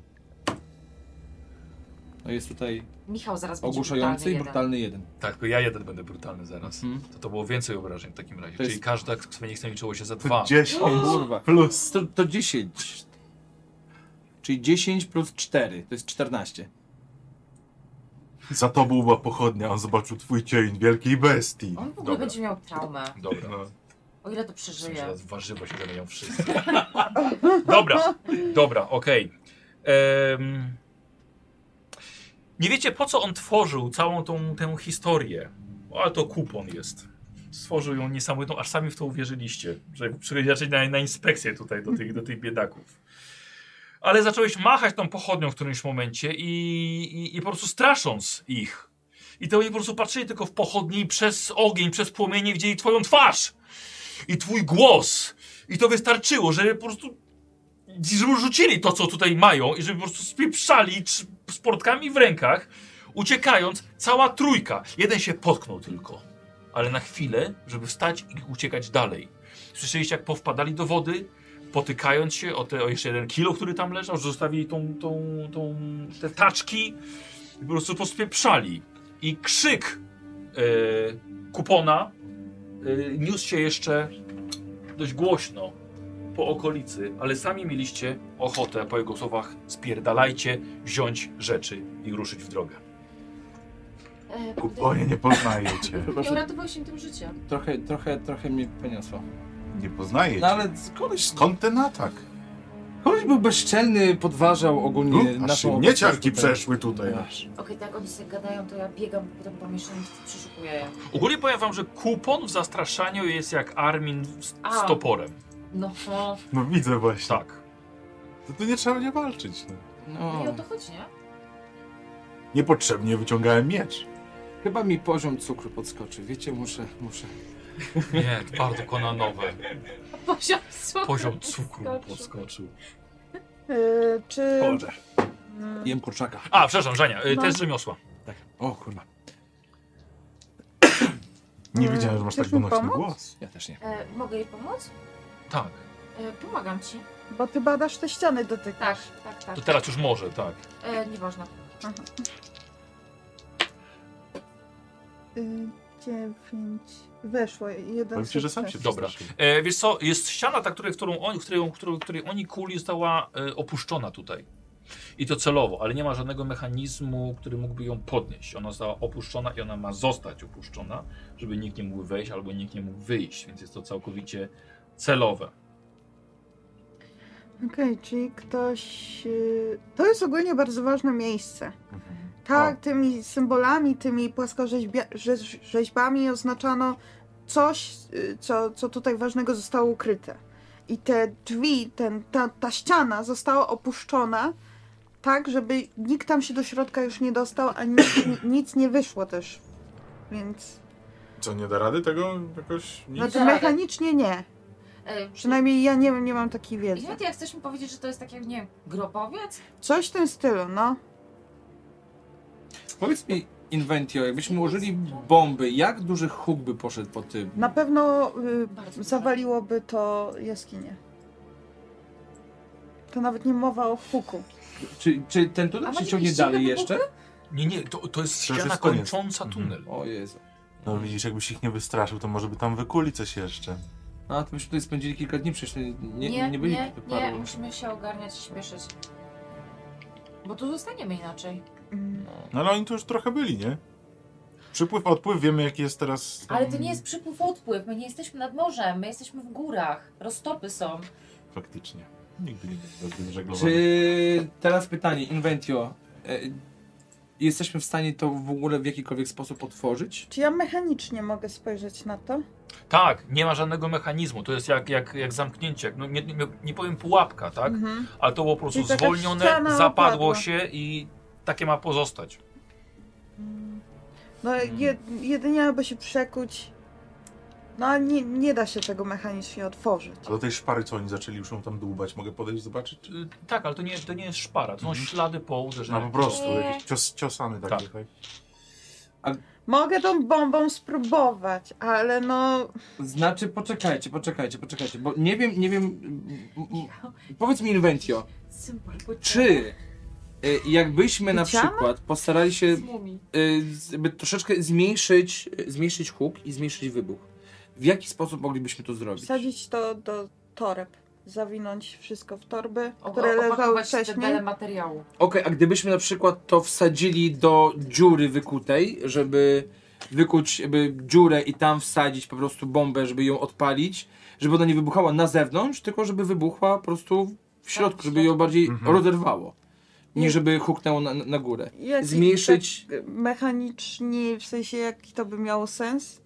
Speaker 4: No jest tutaj
Speaker 5: Michał zaraz będzie
Speaker 4: ogłuszający i
Speaker 5: brutalny
Speaker 4: brutalny jeden.
Speaker 1: Tak, tylko ja jeden będę brutalny zaraz.
Speaker 4: Mhm.
Speaker 1: To to było więcej obrażeń w takim razie.
Speaker 4: To jest-
Speaker 1: Czyli każda z Feniksem liczyło się za
Speaker 2: To
Speaker 1: dwa.
Speaker 2: 10
Speaker 4: Kurwa.
Speaker 2: plus.
Speaker 4: To, to 10. Czyli 10 plus 4, to jest 14.
Speaker 2: Za tobą była pochodnia, on zobaczył twój cień wielkiej bestii.
Speaker 5: jeden. On w ogóle
Speaker 1: Dobra.
Speaker 5: będzie miał traumę.
Speaker 1: Dobra.
Speaker 4: No.
Speaker 5: O ile to
Speaker 1: Myślę, że
Speaker 5: przeżyje.
Speaker 1: teraz warzywo się zamienią wszyscy. dobra, dobra, okej. Em, nie wiecie, po co on tworzył całą tą tę historię, ale to kupon jest. Stworzył ją niesamowitą, aż sami w to uwierzyliście, że przyjedziecie na, na inspekcję tutaj do tych, do tych biedaków. Ale zacząłeś machać tą pochodnią w którymś momencie i, i, i po prostu strasząc ich. I to oni po prostu patrzyli tylko w pochodni i przez ogień, przez płomienie widzieli twoją twarz i twój głos. I to wystarczyło, żeby po prostu żeby rzucili to, co tutaj mają i żeby po prostu spieprzali trz- z portkami w rękach Uciekając, cała trójka. Jeden się potknął tylko, ale na chwilę, żeby wstać i uciekać dalej. Słyszeliście, jak powpadali do wody, potykając się o, te, o jeszcze jeden kilo, który tam leżał, że zostawili tą, tą, tą, te taczki i po prostu pospieprzali. I krzyk e, kupona e, niósł się jeszcze dość głośno po okolicy, ale sami mieliście ochotę, po jego słowach, spierdalajcie, wziąć rzeczy i ruszyć w drogę.
Speaker 5: E,
Speaker 2: Kuponie nie poznajecie.
Speaker 5: Nie uratował się tym życiem.
Speaker 4: Trochę, trochę, trochę mnie poniosło.
Speaker 2: Nie
Speaker 4: No
Speaker 2: poznajecie.
Speaker 4: ale koleś,
Speaker 2: Skąd ten atak?
Speaker 4: koleś był bezczelny, podważał ogólnie
Speaker 2: U, Hm? Hmm? Aż
Speaker 4: naszą
Speaker 2: mnie
Speaker 4: obecność
Speaker 2: ciarki
Speaker 4: tutaj.
Speaker 2: przeszły tutaj.
Speaker 7: No.
Speaker 4: Aż.
Speaker 5: Okej, tak oni sobie gadają, to ja biegam potem po mieszaniu, przeszukuję je.
Speaker 1: Ogólnie powiem wam, że kupon w zastraszaniu jest jak Armin z, z
Speaker 5: A.
Speaker 1: toporem.
Speaker 5: No, no,
Speaker 2: No widzę właśnie.
Speaker 1: Tak.
Speaker 2: To tu nie trzeba nie walczyć. No.
Speaker 4: No,
Speaker 5: i o to chodzi, nie?
Speaker 2: Niepotrzebnie wyciągałem miecz.
Speaker 4: chyba mi poziom cukru podskoczy, wiecie, muszę, muszę.
Speaker 1: Nie, bardzo konanowe.
Speaker 5: Poziom słowa
Speaker 1: Poziom cukru
Speaker 5: wyskoczył.
Speaker 1: podskoczył.
Speaker 7: Yy, czy...
Speaker 4: Boże.
Speaker 7: Mm,
Speaker 4: Jem kurczaka.
Speaker 1: A, przepraszam, Żenia, y,
Speaker 7: No.
Speaker 1: test rzemiosła.
Speaker 4: Tak. O kurwa,
Speaker 2: Nie
Speaker 7: Mm,
Speaker 2: wiedziałem, że masz
Speaker 7: chcesz
Speaker 2: tak
Speaker 7: mi
Speaker 2: donośny
Speaker 7: pomóc?
Speaker 2: głos.
Speaker 4: ja też nie.
Speaker 5: E, mogę jej pomóc?
Speaker 1: Tak.
Speaker 5: E, pomagam ci.
Speaker 7: Bo ty badasz te ściany dotykasz.
Speaker 5: Tak, tak, tak.
Speaker 1: To teraz już może, tak.
Speaker 5: E, nieważne.
Speaker 7: Yy, dziewięć. Weszło, jeden
Speaker 2: Powiem ci, że sam się
Speaker 7: sukces.
Speaker 1: Dobra.
Speaker 2: przestraszyłem.
Speaker 1: E, wiesz co, jest ściana, ta, której, którą, oni, której, którą, której oni kuli została e, opuszczona tutaj. I to celowo, ale nie ma żadnego mechanizmu, który mógłby ją podnieść. Ona została opuszczona i ona ma zostać opuszczona, żeby nikt nie mógł wejść albo nikt nie mógł wyjść, więc jest to całkowicie celowe.
Speaker 7: Okej, czyli ktoś... y, To jest ogólnie bardzo ważne miejsce. Tak, tymi symbolami, tymi płaskorzeźbami oznaczano coś, y, co, co tutaj ważnego zostało ukryte. I te drzwi, ten, ta, ta ściana została opuszczona tak, żeby nikt tam się do środka już nie dostał, a nic, nic nie wyszło też. Więc...
Speaker 19: Co, nie da rady tego jakoś? Nie?
Speaker 7: Znaczy
Speaker 5: da rady.
Speaker 7: mechanicznie nie.
Speaker 5: E,
Speaker 7: Przynajmniej ja nie, nie mam takiej
Speaker 5: I
Speaker 7: wiedzy.
Speaker 5: nawet jak chcesz mi powiedzieć, że to jest tak jak, nie wiem, grobowiec?
Speaker 7: Coś w tym stylu, no.
Speaker 4: Powiedz mi, Inventio, jakbyśmy użyli bomby, jak duży huk by poszedł po tym?
Speaker 7: Na pewno y,
Speaker 5: Bardzo
Speaker 7: zawaliłoby to jaskinię. To nawet nie mowa o huku.
Speaker 4: Czy, czy ten
Speaker 5: A
Speaker 4: tunel się
Speaker 5: macie
Speaker 4: ciągnie
Speaker 5: jakieś
Speaker 4: dalej
Speaker 5: inne
Speaker 4: jeszcze?
Speaker 1: Nie, nie, to, to jest
Speaker 2: To już
Speaker 1: ściana
Speaker 2: jest koniec. Mhm.
Speaker 1: kończąca tunel.
Speaker 4: O Jezu.
Speaker 2: No widzisz, jakbyś ich nie wystraszył, to może by tam wykuli coś jeszcze.
Speaker 4: A, to byśmy tutaj spędzili kilka dni, przecież nie, nie, nie,
Speaker 5: nie,
Speaker 4: byli
Speaker 5: nie, nie,
Speaker 4: paru.
Speaker 5: musimy się ogarniać i śpieszyć. Bo tu zostaniemy inaczej.
Speaker 7: Mm.
Speaker 2: No ale oni tu już trochę byli, nie? Przypływ, odpływ, wiemy jaki jest teraz...
Speaker 5: Ale
Speaker 4: Mm.
Speaker 5: to nie jest przypływ-odpływ, my nie jesteśmy nad morzem, my jesteśmy w górach, roztopy są.
Speaker 2: Faktycznie. Nigdy nie będę żeglowany.
Speaker 4: Czy teraz pytanie, Inventio. E, jesteśmy w stanie to w ogóle w jakikolwiek sposób otworzyć?
Speaker 7: Czy ja mechanicznie mogę spojrzeć na to?
Speaker 1: Tak, nie ma żadnego mechanizmu. To jest jak, jak, jak zamknięcie. jak- No, nie, nie, nie powiem pułapka, tak?
Speaker 7: Mhm.
Speaker 1: Ale to było po prostu
Speaker 7: Czyli taka
Speaker 1: zwolnione,
Speaker 7: ściana
Speaker 1: zapadło
Speaker 7: opadła.
Speaker 1: się i takie ma pozostać.
Speaker 7: No je, jedynie aby się przekuć. No ale nie, nie da się tego mechanicznie otworzyć.
Speaker 2: A do tej szpary, co oni zaczęli już ją tam dłubać, mogę podejść zobaczyć? Czy...
Speaker 1: Y, Tak, ale to nie, to nie jest szpara, to są
Speaker 4: Mhm.
Speaker 1: ślady po uderzeniu.
Speaker 2: No po prostu,
Speaker 5: Nie.
Speaker 2: jakieś cios, ciosany takie,
Speaker 1: Tak.
Speaker 2: tak. tak?
Speaker 7: Mogę tą bombą spróbować, ale no.
Speaker 4: Znaczy, poczekajcie, poczekajcie, poczekajcie, bo nie wiem, nie wiem... m- m- m- Powiedz mi, Inventio,
Speaker 5: Symbol
Speaker 4: czy e, jakbyśmy na
Speaker 7: Widziałam?
Speaker 4: przykład postarali się
Speaker 5: Z mumii.
Speaker 4: e, z- jakby troszeczkę zmniejszyć, e, zmniejszyć huk i zmniejszyć wybuch, w jaki sposób moglibyśmy to zrobić?
Speaker 7: Wsadzić to do toreb. Zawinąć wszystko w torby,
Speaker 5: O-
Speaker 7: które
Speaker 5: o-
Speaker 7: leżały
Speaker 5: opakować
Speaker 7: wcześniej.
Speaker 5: debelem materiału.
Speaker 4: Okej, a gdybyśmy na przykład to wsadzili do dziury wykutej, żeby wykuć jakby dziurę i tam wsadzić po prostu bombę, żeby ją odpalić, żeby ona nie wybuchała na zewnątrz, tylko żeby wybuchła po prostu w środku, żeby ją bardziej rozerwało, nie żeby huknęło na, na górę.
Speaker 7: Jaki-
Speaker 4: Zmniejszyć...
Speaker 7: Tak, mechanicznie, w sensie jaki to by miało sens?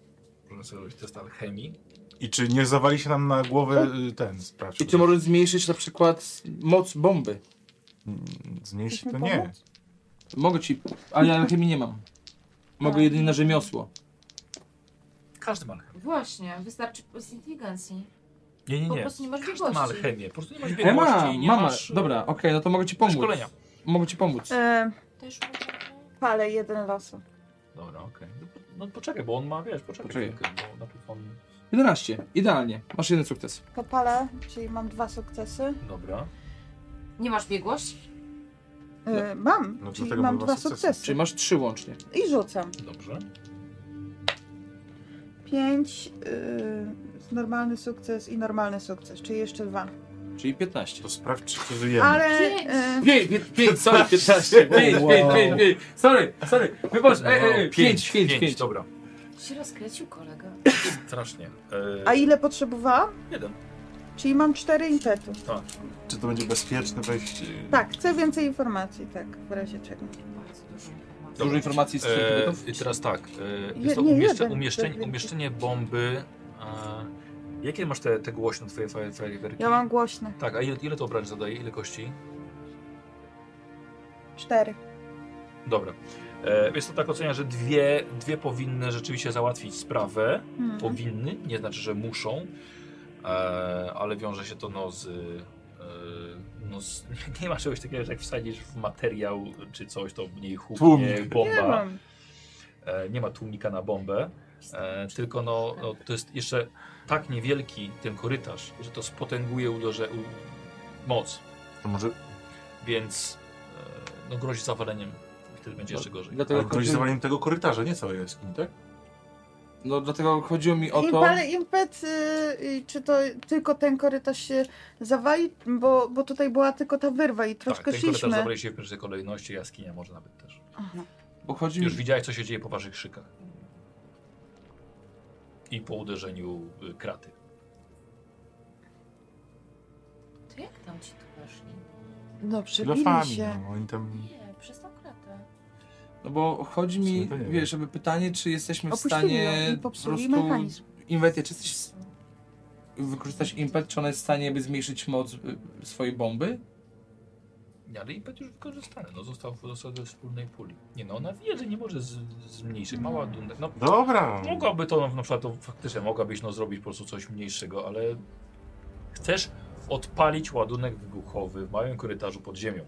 Speaker 1: Możemy sobie robić test alchemii.
Speaker 2: I czy nie zawali się nam na głowę
Speaker 7: No.
Speaker 2: y, ten, sprawdź.
Speaker 4: I czy możesz zmniejszyć na przykład moc bomby.
Speaker 2: Mm, Zmniejszyć
Speaker 7: Chcesz
Speaker 2: to
Speaker 7: mi
Speaker 2: nie.
Speaker 7: pomóc?
Speaker 4: Mogę ci, ale ja alchemii nie mam. Mogę jedynie na rzemiosło.
Speaker 1: Każdy ma alchemię.
Speaker 5: Właśnie, wystarczy z inteligencji.
Speaker 1: Nie, nie,
Speaker 5: Po
Speaker 1: nie.
Speaker 5: prostu nie masz
Speaker 1: Każdy ma
Speaker 5: biegłości.
Speaker 1: alchemię. Po prostu nie masz
Speaker 4: E,
Speaker 1: biegłości,
Speaker 4: mam,
Speaker 1: nie
Speaker 4: mam,
Speaker 1: masz y,
Speaker 4: dobra, okej, no to mogę ci pomóc.
Speaker 1: szkolenia.
Speaker 4: Mogę ci pomóc.
Speaker 7: E,
Speaker 5: Też mogę-
Speaker 7: Palę jeden laser.
Speaker 1: Dobra, okej. No, po- No poczekaj, bo on ma, wiesz, poczekaj
Speaker 4: Poczekaj.
Speaker 1: chwilkę, bo najpierw on...
Speaker 4: 11. Idealnie. Masz jeden sukces.
Speaker 7: To palę, czyli mam dwa sukcesy. Y,
Speaker 1: Dobra.
Speaker 5: Nie masz biegłości?
Speaker 7: E, mam,
Speaker 14: No,
Speaker 7: czyli
Speaker 14: dlatego
Speaker 7: mam
Speaker 14: mam
Speaker 7: dwa
Speaker 14: dwa sukcesy.
Speaker 7: sukcesy.
Speaker 4: Czyli masz trzy łącznie.
Speaker 7: I rzucam.
Speaker 1: Dobrze.
Speaker 7: Pięć, y, normalny sukces i normalny sukces, czyli jeszcze dwa.
Speaker 4: Czyli 15.
Speaker 14: To sprawdź, czy przeżyjemy.
Speaker 7: Ale
Speaker 5: Pięć.
Speaker 7: y,
Speaker 4: 5, 5, sorry, 15. 5, 5, 5, 5. Sorry, sorry. Wybacz, ej, ej, ej. 5, 5, 5.
Speaker 1: No, Dobra,
Speaker 5: Się rozkręcił kolega.
Speaker 1: strasznie.
Speaker 7: a
Speaker 1: E,
Speaker 7: ile potrzebowałam?
Speaker 1: Jeden.
Speaker 7: Czyli mam cztery impetu.
Speaker 14: Czy to będzie bezpieczne wejście?
Speaker 7: Tak, chcę więcej informacji, tak, w razie czego.
Speaker 5: Bardzo dużo informacji.
Speaker 4: Dużo informacji z
Speaker 14: Eee,
Speaker 1: E,
Speaker 4: przedmiotów.
Speaker 1: I teraz tak, e,
Speaker 7: Je-
Speaker 1: jest to
Speaker 7: nie,
Speaker 1: umieszcze,
Speaker 7: jeden.
Speaker 1: umieszczenie, umieszczenie bomby. E, jakie masz te, te głośne twoje fajer- fajerwerki?
Speaker 7: Ja mam głośne.
Speaker 1: Tak, a ile, ile to obrażeń zadaje? Ile kości?
Speaker 7: Cztery.
Speaker 1: Dobra. E, jest to tak ocenia, że dwie, dwie powinny rzeczywiście załatwić sprawę.
Speaker 7: Hmm.
Speaker 1: Powinny, nie znaczy, że muszą, e, ale wiąże się to no z. E, no z nie ma czegoś takiego, że jak wsadzisz w materiał czy coś, to w niej hucznie
Speaker 2: Tłumik.
Speaker 1: bomba.
Speaker 7: Nie mam.
Speaker 1: E, nie ma tłumika na bombę, e, tylko no, no to jest jeszcze tak niewielki ten korytarz, że to spotęguje uderze, u, moc,
Speaker 14: To może
Speaker 1: więc e, no, grozi zawaleniem. Wtedy będzie jeszcze gorzej. Tak,
Speaker 4: Dlatego
Speaker 14: ale grozi
Speaker 4: chodziło,
Speaker 14: zawaleniem tego korytarza, nie całej jaskini, tak?
Speaker 4: no, dlatego chodziło mi o
Speaker 7: I
Speaker 4: to.
Speaker 7: palę impet, y, y, czy to tylko ten korytarz się zawali, bo, bo tutaj była tylko ta wyrwa i
Speaker 1: Tak,
Speaker 7: troszkę
Speaker 1: ten korytarz
Speaker 7: szliśmy.
Speaker 1: zabrali się w pierwszej kolejności, jaskinia może nawet też.
Speaker 4: Bo chodzi mi,
Speaker 1: Już widziałeś, co się dzieje po waszych szykach. I po uderzeniu y, kraty.
Speaker 4: E.
Speaker 5: To jak tam ci tu weszli?
Speaker 7: No, przebili
Speaker 14: Lafami,
Speaker 7: się.
Speaker 14: no, oni tam...
Speaker 5: Nie, przez tą kratę.
Speaker 4: no bo chodzi
Speaker 14: W
Speaker 4: mi,
Speaker 14: sumie to nie
Speaker 4: wiesz, żeby pytanie, czy jesteśmy w
Speaker 7: Opuścili ją
Speaker 4: stanie
Speaker 7: i
Speaker 4: po
Speaker 7: popsuli
Speaker 4: prostu
Speaker 7: mechanizm.
Speaker 4: inwetia, czy jesteś s- wykorzystać impet, czy ona jest w stanie by zmniejszyć moc y, swojej bomby?
Speaker 1: Nie, Ale impet już wykorzystany, no został, został do wspólnej puli. Nie no, ona wie, że nie może z, zmniejszyć. Mała dunda. No,
Speaker 14: Dobra!
Speaker 1: Mogłaby to no, na przykład, to faktycznie mogłabyś no, zrobić po prostu coś mniejszego, ale chcesz odpalić ładunek wybuchowy w małym korytarzu pod ziemią.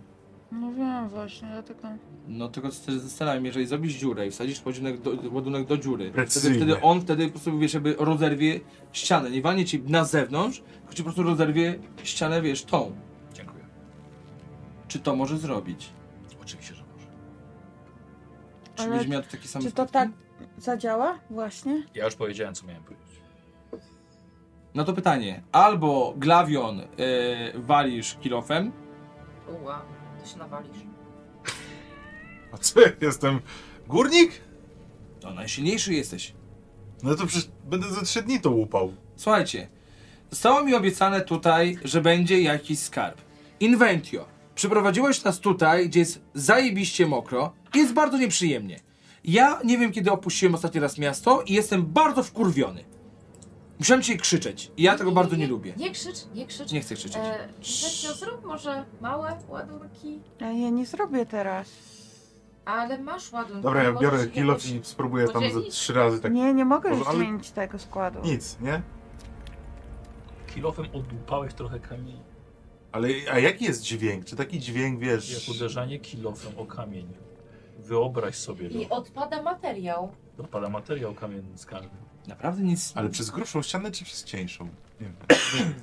Speaker 7: No wiem właśnie, dlatego...
Speaker 4: No tylko co też zastanawiam, jeżeli zrobisz dziurę i wsadzisz ładunek do, ładunek do dziury, wtedy,
Speaker 14: Precyzyjnie.
Speaker 4: wtedy on wtedy po prostu wiesz, jakby rozerwie ścianę. Nie walnie ci na zewnątrz, tylko ci po prostu rozerwie ścianę, wiesz, tą.
Speaker 1: Dziękuję.
Speaker 4: Czy to może zrobić?
Speaker 1: Oczywiście, że tak. może.
Speaker 4: Czy
Speaker 7: Ale
Speaker 4: będzie miał taki sam
Speaker 7: Czy to tak zadziała? Właśnie?
Speaker 1: Ja już powiedziałem, co miałem powiedzieć.
Speaker 4: No to pytanie. Albo glawion e, walisz kilofem,
Speaker 5: Uła, to się nawalisz.
Speaker 14: A co, ja jestem górnik?
Speaker 4: to najsilniejszy jesteś.
Speaker 14: No to przecież będę za trzy dni to łupał.
Speaker 4: Słuchajcie, zostało mi obiecane tutaj, że będzie jakiś skarb. Inventio. Przyprowadziłeś nas tutaj, gdzie jest zajebiście mokro i jest bardzo nieprzyjemnie. Ja nie wiem, kiedy opuściłem ostatni raz miasto i jestem bardzo wkurwiony. Musiałem cię krzyczeć i ja tego bardzo nie lubię.
Speaker 5: Nie krzycz, nie krzycz.
Speaker 4: Nie chcę krzyczeć.
Speaker 5: E, Zeccio, zrób może małe ładunki,
Speaker 7: Ja je nie zrobię teraz.
Speaker 5: ale masz ładunki.
Speaker 14: Dobra, ja
Speaker 5: możesz
Speaker 14: biorę
Speaker 5: jakoś-
Speaker 14: kilof i spróbuję tam ze
Speaker 5: podzielić?
Speaker 14: trzy razy tak...
Speaker 7: Nie, nie mogę
Speaker 14: Boże,
Speaker 7: już
Speaker 14: ale-
Speaker 7: zmienić tego składu.
Speaker 14: Nic, nie?
Speaker 1: Kilofem odłupałeś trochę kamieni.
Speaker 14: Ale a jaki jest dźwięk? Czy taki dźwięk, wiesz...
Speaker 1: Jak uderzanie kilofem o kamień. Wyobraź sobie
Speaker 5: I
Speaker 1: to.
Speaker 5: odpada materiał.
Speaker 1: Dopada materiał kamienny z kamień.
Speaker 4: Naprawdę nic.
Speaker 14: Ale przez grubszą ścianę, czy przez cieńszą? Nie wiem.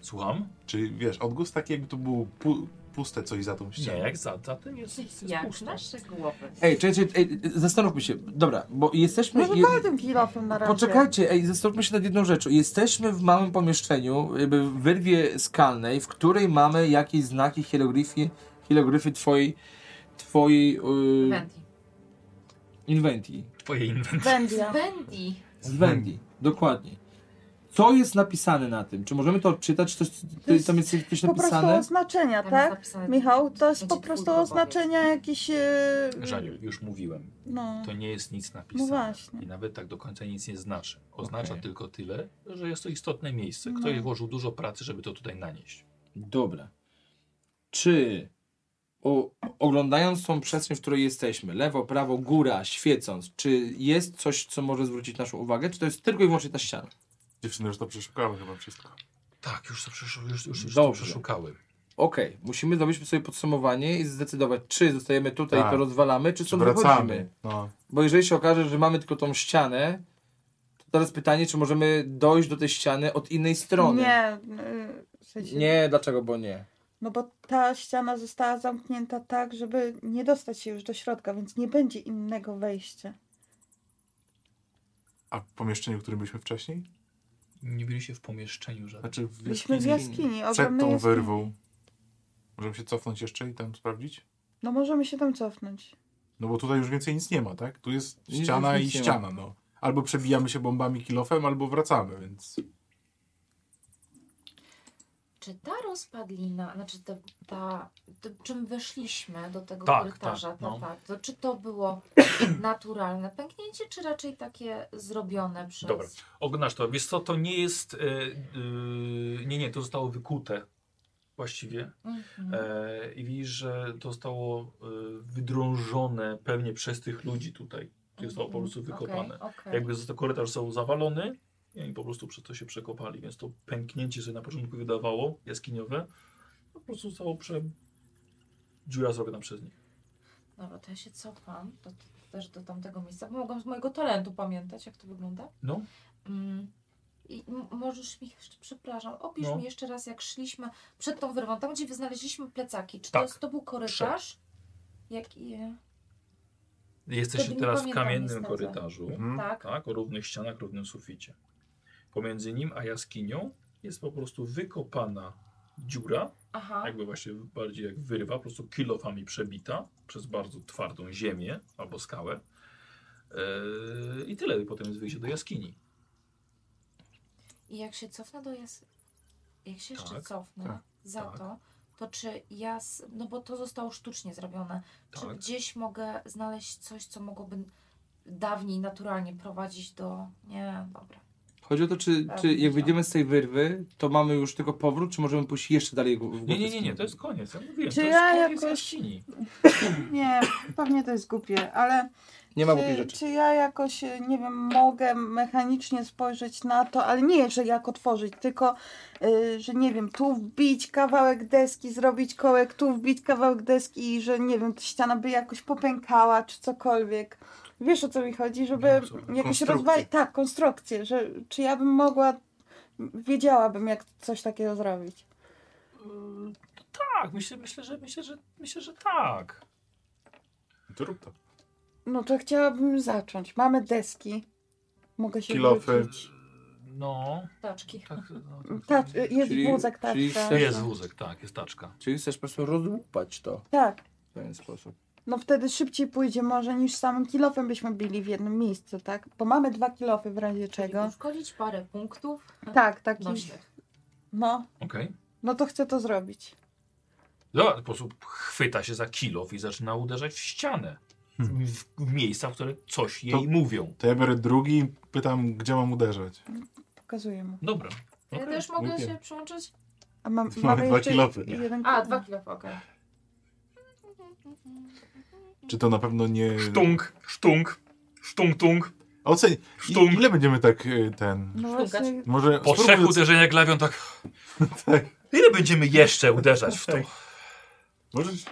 Speaker 1: Słucham?
Speaker 14: Czy wiesz, odgłos taki jakby to było pu puste coś za tą
Speaker 1: Nie,
Speaker 14: ścianą.
Speaker 1: jak za, za tym jest, jest
Speaker 5: Jak
Speaker 1: pusto.
Speaker 5: nasze głowy.
Speaker 4: Ej, czekaj, czekaj, ej, zastanówmy się. Dobra, bo jesteśmy...
Speaker 7: Może
Speaker 4: je-
Speaker 7: palę tym kilofem na razie.
Speaker 4: Poczekajcie, ej, zastanówmy się nad jedną rzeczą. Jesteśmy w małym pomieszczeniu, jakby w wyrwie skalnej, w której mamy jakieś znaki, hieroglify, hieroglify twojej, twojej yy,
Speaker 14: y,
Speaker 5: Wendy.
Speaker 4: inwentii.
Speaker 1: Twoje inwentory.
Speaker 7: Wędlia.
Speaker 5: Wendy.
Speaker 4: Z Wendy, dokładnie. Co jest napisane na tym? Czy możemy to odczytać? Czy to, jest- to jest, tam jest coś
Speaker 7: Po prostu
Speaker 4: napisane?
Speaker 7: oznaczenia,
Speaker 5: Tam jest
Speaker 7: tak?
Speaker 5: napisane-
Speaker 7: Michał, to jest
Speaker 5: Będzie
Speaker 7: po prostu
Speaker 5: twój obowiązek.
Speaker 7: oznaczenia jakiś... Yy...
Speaker 1: Żaniu, już mówiłem.
Speaker 7: No.
Speaker 1: To nie jest nic napisane.
Speaker 7: No właśnie.
Speaker 1: I nawet tak do końca nic nie znaczy. Oznacza
Speaker 4: Okej.
Speaker 1: tylko tyle, że jest to istotne miejsce.
Speaker 7: No.
Speaker 1: Ktoś włożył dużo pracy, żeby to tutaj nanieść.
Speaker 4: Dobra. Czy o, oglądając tą przestrzeń, w której jesteśmy, lewo, prawo, góra, świecąc, czy jest coś, co może zwrócić naszą uwagę? Czy to jest tylko i wyłącznie ta ściana?
Speaker 14: Dziewczyny już to przeszukały chyba wszystko.
Speaker 1: Tak, już to przeszu- już, już, już to
Speaker 4: Dobrze.
Speaker 1: przeszukały.
Speaker 4: Okej, musimy zrobić sobie podsumowanie i zdecydować, czy zostajemy tutaj i
Speaker 2: Tak.
Speaker 4: to rozwalamy, czy stąd wychodzimy.
Speaker 2: Wracamy. No.
Speaker 4: Bo jeżeli się okaże, że mamy tylko tą ścianę, to teraz pytanie, czy możemy dojść do tej ściany od innej strony.
Speaker 7: Nie, y, w sensie,
Speaker 4: Nie, dlaczego, bo nie.
Speaker 7: No bo ta ściana została zamknięta tak, żeby nie dostać się już do środka, więc nie będzie innego wejścia.
Speaker 2: A w pomieszczeniu, w którym byliśmy wcześniej?
Speaker 1: Nie byliście w pomieszczeniu żadnym.
Speaker 2: Znaczy w
Speaker 7: Byliśmy w
Speaker 2: jaskini.
Speaker 7: jaskini,
Speaker 2: Przed
Speaker 7: ogromnej
Speaker 2: tą
Speaker 7: jaskini.
Speaker 2: wyrwą. Możemy się cofnąć jeszcze i tam sprawdzić?
Speaker 7: No możemy się tam cofnąć.
Speaker 2: No bo tutaj już więcej nic nie ma, tak? Tu jest
Speaker 4: Nic-
Speaker 2: ściana
Speaker 4: nic
Speaker 2: i
Speaker 4: nie ma.
Speaker 2: ściana, no. Albo przebijamy się bombami kilofem, albo wracamy, więc...
Speaker 5: Czy ta rozpadlina, znaczy ta, ta to, czym weszliśmy do tego
Speaker 1: Tak,
Speaker 5: korytarza,
Speaker 1: tak,
Speaker 5: to,
Speaker 1: no.
Speaker 5: tak, to czy to było naturalne pęknięcie, czy raczej takie zrobione przez...
Speaker 1: Dobra. Oglądasz to. Wiesz co, to nie jest... E, y, nie, nie, to zostało wykute właściwie.
Speaker 5: Mhm.
Speaker 1: E, I widzisz, że to zostało e, wydrążone pewnie przez tych ludzi tutaj. To Zostało po prostu
Speaker 5: Mhm.
Speaker 1: wykopane.
Speaker 5: Okej, okej.
Speaker 1: Jakby został korytarz został zawalony i oni po prostu przez to się przekopali, więc to pęknięcie sobie na początku wydawało jaskiniowe. Po prostu zostało prze... dziura zrobiona przez nich.
Speaker 5: Dobra, to ja się cofam do, też do tamtego miejsca, bo mogłam z mojego talentu pamiętać, jak to wygląda.
Speaker 1: No.
Speaker 5: Mm. I m- możesz mi jeszcze, przepraszam, opisz
Speaker 1: No.
Speaker 5: mi jeszcze raz, jak szliśmy przed tą wyrwą, tam gdzie wy znaleźliśmy plecaki. Czy
Speaker 1: Tak.
Speaker 5: to, jest, to był korytarz? Jak i...
Speaker 1: Jesteście
Speaker 5: Wtedy nie
Speaker 1: teraz w
Speaker 5: pamiętam
Speaker 1: kamiennym
Speaker 5: niestety.
Speaker 1: korytarzu.
Speaker 2: Mhm.
Speaker 5: Tak.
Speaker 1: Tak, o równych ścianach, równym suficie. Pomiędzy nim a jaskinią jest po prostu wykopana dziura,
Speaker 5: Aha.
Speaker 1: jakby właśnie bardziej jak wyrwa, po prostu kilofami przebita przez bardzo twardą ziemię albo skałę. Yy, I tyle, i potem jest wyjście do jaskini.
Speaker 5: I jak się cofnę do jas... Jak się jeszcze
Speaker 1: Tak,
Speaker 5: cofnę
Speaker 2: tak,
Speaker 5: za
Speaker 1: tak.
Speaker 5: to, to czy ja... s- No bo to zostało sztucznie zrobione. Czy
Speaker 1: Tak.
Speaker 5: gdzieś mogę znaleźć coś, co mogłoby dawniej naturalnie prowadzić do... Nie, dobra.
Speaker 4: Chodzi o to, czy,
Speaker 5: Tak,
Speaker 4: czy jak
Speaker 5: myślę.
Speaker 4: wyjdziemy z tej wyrwy, to mamy już tylko powrót, czy możemy pójść jeszcze dalej w w
Speaker 1: Nie, nie, nie, nie, to jest koniec. Ja mówiłem,
Speaker 7: Czy
Speaker 1: to jest
Speaker 7: ja
Speaker 1: koniec
Speaker 7: jakoś-
Speaker 1: jaskini.
Speaker 20: Nie, pewnie to jest głupie, ale
Speaker 4: Nie ma głupich
Speaker 7: czy,
Speaker 4: rzeczy.
Speaker 7: czy ja jakoś, y, nie wiem, mogę mechanicznie spojrzeć na to, ale nie, że jak otworzyć, tylko, y, że nie wiem, tu wbić kawałek deski, zrobić kołek, tu wbić kawałek deski i że, nie wiem, ściana by jakoś popękała czy cokolwiek. Wiesz o co mi chodzi, żeby
Speaker 1: Wiem, o co chodzi.
Speaker 7: jakoś
Speaker 2: Konstrukcje.
Speaker 7: rozwalić, tak, konstrukcję, że czy ja bym mogła, wiedziałabym jak coś takiego zrobić.
Speaker 1: Yy, tak, myślę, myślę, że, myślę, że, myślę, że tak.
Speaker 2: To rób to.
Speaker 7: No to chciałabym zacząć. Mamy deski. Mogę się
Speaker 2: Kilofy.
Speaker 7: wrócić.
Speaker 1: No,
Speaker 5: Taczki.
Speaker 1: tak. No,
Speaker 7: Tak, jest
Speaker 4: Czyli-
Speaker 7: wózek, tak.
Speaker 4: czyli
Speaker 7: tak.
Speaker 4: chcesz-
Speaker 1: Jest wózek, tak, jest taczka.
Speaker 4: Czyli chcesz po prostu rozłupać to
Speaker 7: Tak.
Speaker 4: w pewien sposób.
Speaker 7: No wtedy szybciej pójdzie może niż samym kilofem byśmy bili w jednym miejscu, tak? Bo mamy dwa kilofy w razie
Speaker 5: Czego?
Speaker 7: czego.
Speaker 5: Uszkodzić parę punktów
Speaker 7: Tak, taki.
Speaker 5: nośnych.
Speaker 7: No,
Speaker 1: Okej.
Speaker 7: no to chcę to zrobić.
Speaker 1: No, po prostu chwyta się za kilof i zaczyna uderzać w ścianę.
Speaker 2: Hmm.
Speaker 1: W, w miejsca, w które coś jej
Speaker 2: To-
Speaker 1: mówią.
Speaker 2: To ja biorę drugi i pytam, gdzie mam uderzać.
Speaker 7: Pokazuję mu.
Speaker 1: Dobra.
Speaker 5: Ja
Speaker 1: Okej.
Speaker 5: też mogę
Speaker 2: Dziękuję.
Speaker 5: się przyłączyć?
Speaker 7: A mam,
Speaker 2: Mamy
Speaker 7: mamy
Speaker 2: dwa
Speaker 7: jeszcze
Speaker 2: kilofy.
Speaker 7: Jeden
Speaker 5: A,
Speaker 7: kilo-
Speaker 5: dwa kilo, okej.
Speaker 2: Czy to na pewno nie...
Speaker 1: Sztunk, sztunk, sztunk, tung.
Speaker 2: Oceń... I-
Speaker 1: Sztunk.
Speaker 2: Ile będziemy tak y, ten...
Speaker 7: No
Speaker 5: Sztukać.
Speaker 7: właśnie,
Speaker 2: Może
Speaker 1: Po trzech
Speaker 2: spróbuj,
Speaker 1: uderzeniach glawią tak... Ile będziemy jeszcze uderzać w to?
Speaker 4: Tak.
Speaker 21: Możesz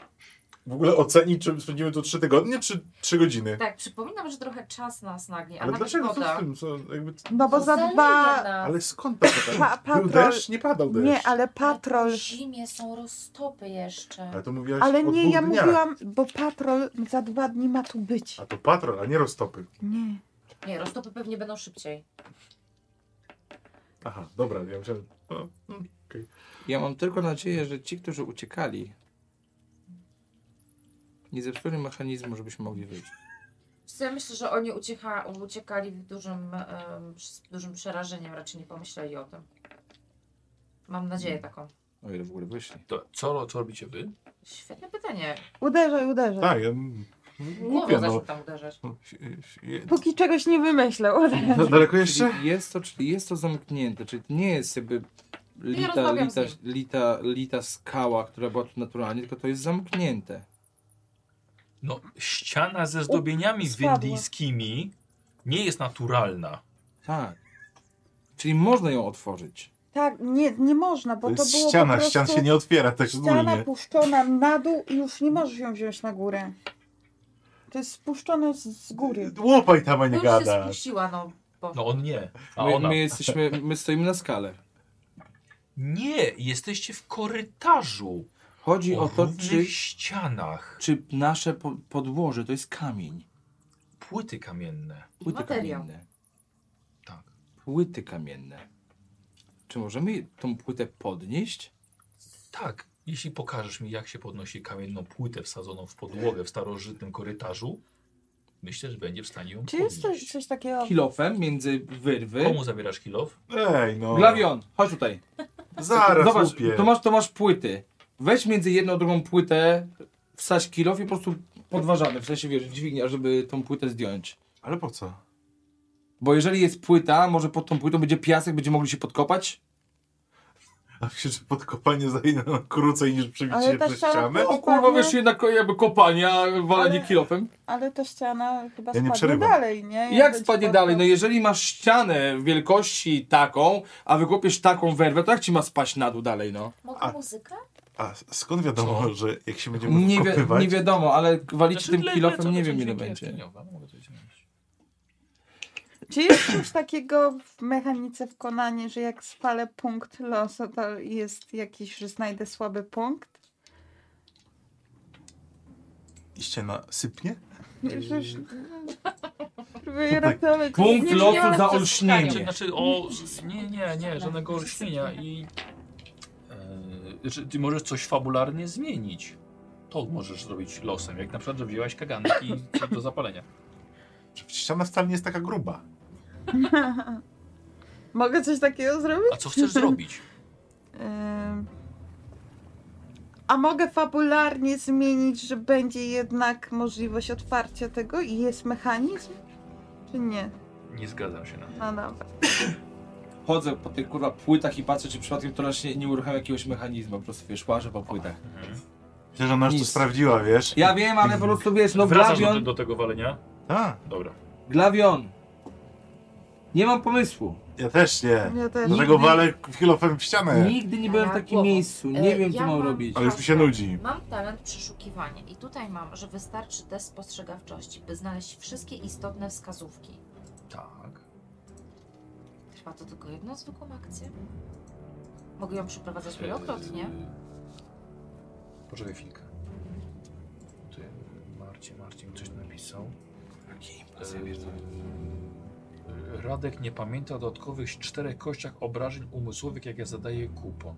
Speaker 21: w ogóle ocenić, czy spędzimy tu trzy tygodnie, czy trzy godziny.
Speaker 5: Tak, przypominam, że trochę czas nas nagnie, a
Speaker 21: Ale
Speaker 5: nawet
Speaker 21: dlaczego co
Speaker 5: woda.
Speaker 21: z tym? Co, jakby...
Speaker 7: no bo
Speaker 5: To
Speaker 7: za
Speaker 5: zaleje
Speaker 7: dwa...
Speaker 5: nas.
Speaker 21: Ale skąd to?
Speaker 7: Pa-
Speaker 21: Był
Speaker 7: patrol-
Speaker 21: deszcz? Nie padał deszcz.
Speaker 7: Nie, ale
Speaker 5: Ale
Speaker 7: patrol...
Speaker 5: W zimie są roztopy jeszcze.
Speaker 21: Ale to mówiłaś
Speaker 7: Ale
Speaker 21: o
Speaker 7: nie,
Speaker 21: dwóch
Speaker 7: ja
Speaker 21: dniach.
Speaker 7: mówiłam, bo patrol za dwa dni ma tu być.
Speaker 21: A to patrol, a nie roztopy.
Speaker 7: Nie.
Speaker 21: Tak.
Speaker 5: Nie, roztopy pewnie będą szybciej.
Speaker 21: Aha, dobra, ja myślałem... No, mm.
Speaker 4: Ja mam tylko nadzieję, że ci, którzy uciekali, nie zepsuli mechanizmu, żebyśmy mogli wyjść.
Speaker 5: Wiesz co, Ja myślę, że oni uciecha, uciekali w dużym, em, z dużym przerażeniem, raczej nie pomyśleli o tym. Mam nadzieję
Speaker 21: Hmm.
Speaker 5: taką.
Speaker 4: O ile w ogóle wyszli.
Speaker 1: to co, ro- co robicie wy?
Speaker 5: Świetne pytanie.
Speaker 7: Uderzaj, uderzaj.
Speaker 2: Tak, ja...
Speaker 5: Głową
Speaker 2: Głupio,
Speaker 5: zaczął
Speaker 2: no.
Speaker 5: tam uderzać.
Speaker 7: Póki czegoś nie wymyślę, uderzaj.
Speaker 2: No, daleko jeszcze?
Speaker 4: Czyli jest, to, czyli jest to zamknięte, czyli to nie jest jakby lita,
Speaker 5: rozmawiam z
Speaker 4: lita,
Speaker 5: nim.
Speaker 4: lita, lita skała, która była tu naturalnie, tylko to jest zamknięte.
Speaker 1: No, ściana ze zdobieniami
Speaker 7: spadła.
Speaker 1: windyjskimi nie jest naturalna.
Speaker 4: Tak. Czyli można ją otworzyć.
Speaker 7: Tak, nie, nie można, bo
Speaker 2: To
Speaker 7: to,
Speaker 2: jest
Speaker 7: było
Speaker 2: ściana,
Speaker 7: po prostu
Speaker 2: ścian się nie otwiera tak
Speaker 7: ściana
Speaker 2: ogólnie.
Speaker 7: puszczona na dół i już nie możesz ją wziąć na górę. To jest spuszczone z, z góry.
Speaker 2: Łopaj tam, a
Speaker 5: No
Speaker 2: nie
Speaker 5: już się
Speaker 2: gadasz.
Speaker 5: spuściła, no.
Speaker 1: No on nie, a
Speaker 4: My,
Speaker 1: ona...
Speaker 4: my jesteśmy, my stoimy na skale.
Speaker 1: Nie, jesteście w korytarzu.
Speaker 4: Chodzi o,
Speaker 1: O
Speaker 4: to, czy,
Speaker 1: równych ścianach.
Speaker 4: czy nasze po, podłoże to jest kamień.
Speaker 1: Płyty kamienne.
Speaker 4: Płyty
Speaker 5: Materiał.
Speaker 4: kamienne.
Speaker 1: Tak.
Speaker 4: Płyty kamienne. Czy możemy tą płytę podnieść?
Speaker 1: Tak, jeśli pokażesz mi, jak się podnosi kamienną płytę wsadzoną w podłogę w starożytnym korytarzu, myślę, że będzie w stanie ją
Speaker 7: Czy
Speaker 1: podnieść.
Speaker 7: jest coś, coś takiego?
Speaker 4: Kilofem między wyrwy.
Speaker 1: Komu zabierasz kilof?
Speaker 2: Ej, no.
Speaker 4: Glawion, chodź tutaj.
Speaker 2: Zaraz,
Speaker 4: Zobacz,
Speaker 2: głupie.
Speaker 4: to masz, to masz płyty. Weź między jedną a drugą płytę, wsadź kilof i po prostu podważamy, w sensie wiesz, dźwignia, żeby tą płytę zdjąć.
Speaker 2: Ale po co?
Speaker 4: Bo jeżeli jest płyta, może pod tą płytą będzie piasek, będziemy mogli się podkopać?
Speaker 2: A myślę, że podkopanie zajmie nam krócej niż przebicie
Speaker 7: Ale ta
Speaker 2: przez
Speaker 7: ściana
Speaker 2: ścianę.
Speaker 7: była-
Speaker 4: O No kurwa,
Speaker 7: Dokładnie.
Speaker 4: wiesz, jednak jakby kopania, walenie
Speaker 7: Ale-
Speaker 4: kilofem.
Speaker 7: Ale ta ściana chyba
Speaker 2: Ja nie
Speaker 7: spadnie
Speaker 2: przerywam.
Speaker 7: dalej, nie?
Speaker 4: Jak
Speaker 7: będzie
Speaker 4: spadnie
Speaker 7: pod-
Speaker 4: dalej? No jeżeli masz ścianę wielkości taką, a wykopiesz taką werwę, to jak ci ma spaść na dół dalej, no?
Speaker 5: Mogę
Speaker 2: A-
Speaker 5: muzykę?
Speaker 2: A skąd wiadomo, że jak się będziemy
Speaker 4: Nie, wi
Speaker 2: podkopywać...
Speaker 4: nie wiadomo, ale walić
Speaker 1: Znaczy,
Speaker 4: tym
Speaker 1: le-
Speaker 4: kilofem
Speaker 1: lecą
Speaker 4: nie
Speaker 1: do
Speaker 4: wiem ile
Speaker 1: dźwignia
Speaker 4: będzie.
Speaker 1: dźwigniowa, mogę to zmienić.
Speaker 7: Czy jest coś takiego w mechanice w Konanie, że jak spalę punkt losu, to jest jakiś, że znajdę słaby punkt?
Speaker 2: I ściana sypnie?
Speaker 7: Już, już,
Speaker 2: Yy. No
Speaker 7: próbuję
Speaker 2: tak.
Speaker 7: ratować.
Speaker 4: Punkt
Speaker 7: Nie
Speaker 4: lotu
Speaker 7: wiedziałam,
Speaker 4: za
Speaker 7: co-
Speaker 4: olśnienie.
Speaker 1: Znaczy, o, nie, nie, nie, żadnego olśnienia i... Yy, znaczy, ty możesz coś fabularnie zmienić. To możesz zrobić losem, jak na przykład, że wzięłaś kaganek i do zapalenia.
Speaker 2: Że przecież ściana wcale nie jest taka gruba.
Speaker 7: Mogę coś takiego zrobić?
Speaker 1: A co chcesz zrobić?
Speaker 7: Ym, A mogę fabularnie zmienić, że będzie jednak możliwość otwarcia tego i jest mechanizm? Czy nie?
Speaker 1: Nie zgadzam się na to.
Speaker 7: No dobra.
Speaker 4: Chodzę po tych kurwa płytach i patrzę, czy przypadkiem to się nie uruchamia jakiegoś mechanizmu, po prostu wiesz, łażę po płytach.
Speaker 2: Myślę, że ona już to
Speaker 4: Nic.
Speaker 2: sprawdziła, wiesz?
Speaker 4: Ja wiem, ale po prostu wiesz, no
Speaker 1: Wracasz do,
Speaker 4: glawion,
Speaker 1: te- do tego walenia?
Speaker 2: A,
Speaker 1: Dobra.
Speaker 4: glawion. Nie mam pomysłu.
Speaker 2: ja też nie.
Speaker 7: Ja też.
Speaker 2: Dlatego walę kilofem w ścianę.
Speaker 4: Nigdy nie byłem w takim
Speaker 5: Głową.
Speaker 4: miejscu, nie
Speaker 5: E,
Speaker 4: wiem co
Speaker 5: ja
Speaker 4: mam
Speaker 5: mam-
Speaker 4: robić.
Speaker 2: Ale już mi się nudzi.
Speaker 5: Mam talent przeszukiwania i tutaj mam, że wystarczy test spostrzegawczości, by znaleźć wszystkie istotne wskazówki.
Speaker 1: Tak.
Speaker 5: Trwa to tylko jedną zwykłą akcję. Mogę ją przeprowadzać wielokrotnie.
Speaker 1: Eee, Poczekaj chwilkę. Ty, Marcin, Marcin coś napisał. Eee,
Speaker 4: Tak,
Speaker 1: Radek nie pamięta o dodatkowych czterech kościach obrażeń umysłowych, jakie zadaje kupon.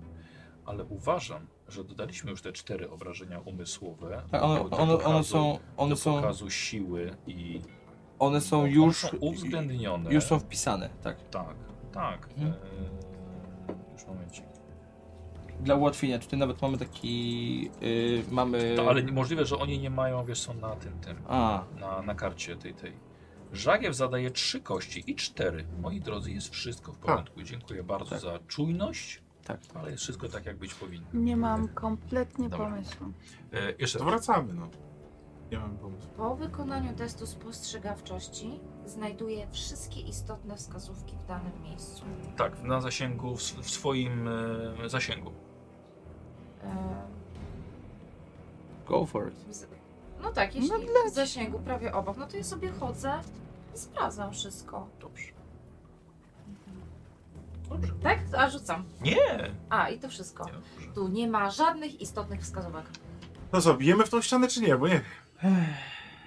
Speaker 1: Ale uważam, że dodaliśmy już te cztery obrażenia umysłowe.
Speaker 4: Tak, one,
Speaker 1: do
Speaker 4: one, one
Speaker 1: pokazu-
Speaker 4: są, one
Speaker 1: do
Speaker 4: są,
Speaker 1: pokazu siły i
Speaker 4: one są już,
Speaker 1: One są uwzględnione.
Speaker 4: już są wpisane, tak.
Speaker 1: Tak, tak.
Speaker 4: Mhm.
Speaker 1: Eee, już momencik.
Speaker 4: Dla ułatwienia, tutaj nawet mamy taki, yy, mamy...
Speaker 1: To, ale możliwe, że oni nie mają, wiesz, są na tym, tym,
Speaker 4: A,
Speaker 1: na, na karcie tej, tej. Żagiew zadaje trzy kości i cztery. Moi drodzy, jest wszystko w porządku. Dziękuję bardzo
Speaker 4: Tak.
Speaker 1: za czujność,
Speaker 4: tak.
Speaker 1: ale jest wszystko tak, jak być powinno.
Speaker 7: Nie mam kompletnie
Speaker 1: Dobra.
Speaker 7: pomysłu.
Speaker 1: E, jeszcze
Speaker 2: To wracamy, no. Nie mam pomysłu.
Speaker 5: Po wykonaniu testu spostrzegawczości znajduję wszystkie istotne wskazówki w danym miejscu.
Speaker 1: tak, na zasięgu, w, s- w swoim e, zasięgu.
Speaker 5: E,
Speaker 4: Go for it.
Speaker 5: z- No tak, jeśli
Speaker 7: No
Speaker 5: w zasięgu prawie obok, no to ja sobie chodzę i sprawdzam wszystko.
Speaker 1: Dobrze. Dobrze.
Speaker 5: Tak? A rzucam.
Speaker 1: Nie!
Speaker 5: A, i to wszystko.
Speaker 1: nie dobrze.
Speaker 5: Tu nie ma żadnych istotnych wskazówek.
Speaker 2: No co, bijemy w tą ścianę czy nie? Bo nie.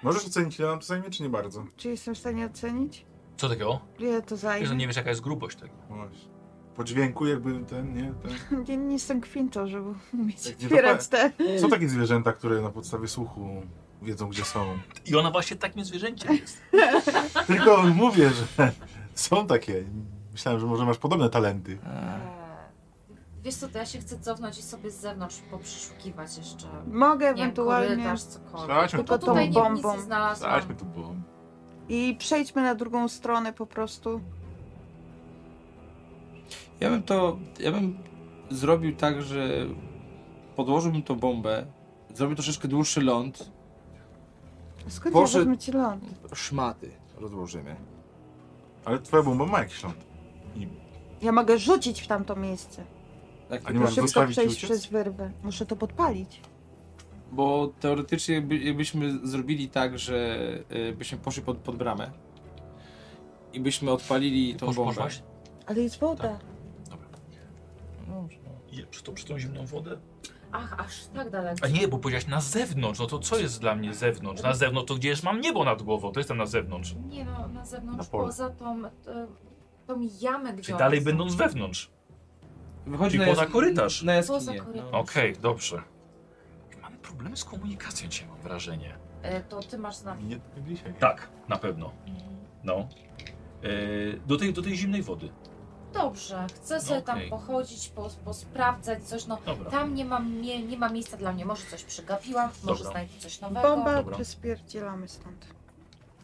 Speaker 2: Możesz ocenić, ile nam to zajmie, czy nie bardzo?
Speaker 7: Czy jestem w stanie ocenić?
Speaker 1: Co takiego?
Speaker 7: Ile to
Speaker 1: Wiesz, że
Speaker 7: zajmie?
Speaker 1: nie wiesz, jaka jest grubość tego.
Speaker 2: Właśnie. Po dźwięku jakby ten, nie? Tak. Ten.
Speaker 7: Nie, nie jestem kwintą, żeby umieć
Speaker 2: Tak, nie
Speaker 7: otwierać te.
Speaker 2: Są takie zwierzęta, które na podstawie słuchu wiedzą, gdzie są.
Speaker 1: I ona właśnie takim zwierzęciem jest.
Speaker 2: Tylko mówię, że są takie. Myślałem, że może masz podobne talenty.
Speaker 4: A,
Speaker 5: E, Wiesz co, to ja się chcę cofnąć i sobie z zewnątrz poprzeszukiwać jeszcze.
Speaker 7: Mogę
Speaker 5: Nie wiem,
Speaker 7: ewentualnie.
Speaker 5: korytarz, cokolwiek.
Speaker 2: Zaćmy
Speaker 7: Tylko
Speaker 5: Bo
Speaker 2: tu
Speaker 5: tutaj nie, nic
Speaker 7: bombą.
Speaker 5: nie znalazłam.
Speaker 2: Zaćmy tu bombą.
Speaker 7: I przejdźmy na drugą stronę po prostu.
Speaker 4: Ja bym to, ja bym zrobił tak, że podłożyłbym tą bombę, zrobił troszeczkę dłuższy ląd,
Speaker 7: Skąd
Speaker 4: Boże-
Speaker 7: ja wezmę ci ląd?
Speaker 4: szmaty rozłożymy.
Speaker 2: Ale twoja bomba ma jakiś ląd. I
Speaker 7: Ja mogę rzucić w tamto miejsce.
Speaker 4: Tak,
Speaker 22: A nie możesz
Speaker 7: Szybko
Speaker 22: zostawić i
Speaker 7: przejść
Speaker 22: uciec?
Speaker 7: przez wyrwę. Muszę to podpalić.
Speaker 4: Bo teoretycznie by- jakbyśmy zrobili tak, że y, byśmy poszli pod, pod bramę i byśmy odpalili tą
Speaker 1: Posz-
Speaker 4: bombę.
Speaker 1: poszłaś?
Speaker 7: Ale jest
Speaker 1: Tak.
Speaker 7: woda.
Speaker 4: No,
Speaker 1: Je, Przez tą, przez tą zimną wodę?
Speaker 5: Ach, aż tak daleko.
Speaker 1: A nie, bo powiedziałeś na zewnątrz. No to co jest dla mnie zewnątrz? Na zewnątrz to gdzieś mam niebo nad głową, to jestem na zewnątrz.
Speaker 5: Nie no, na zewnątrz,
Speaker 23: Na polu.
Speaker 5: poza tą, e, tą jamę, gdzie
Speaker 1: Czyli
Speaker 5: one
Speaker 1: dalej
Speaker 5: są.
Speaker 1: będąc wewnątrz.
Speaker 4: Wychodzi
Speaker 1: Czyli
Speaker 4: na
Speaker 1: poza
Speaker 4: jas-
Speaker 1: korytarz.
Speaker 4: Na jaskinię.
Speaker 5: Poza korytarz.
Speaker 4: No.
Speaker 1: Okej, dobrze. Mamy problemy z komunikacją cię, mam wrażenie.
Speaker 5: E, To ty masz znaki.
Speaker 2: Nie tak jak dzisiaj.
Speaker 1: Tak, na pewno. No. E, do, tej, do tej zimnej wody.
Speaker 5: Dobrze, chcę sobie
Speaker 1: okej.
Speaker 5: tam pochodzić, po, posprawdzać coś, no
Speaker 1: Dobra.
Speaker 7: Tak.
Speaker 5: tam nie ma, nie, nie ma miejsca dla mnie, może coś przegapiłam, może
Speaker 1: Dobra.
Speaker 5: znajdę coś nowego.
Speaker 7: Bomba,
Speaker 1: Dobra.
Speaker 7: przyspierdzielamy stąd.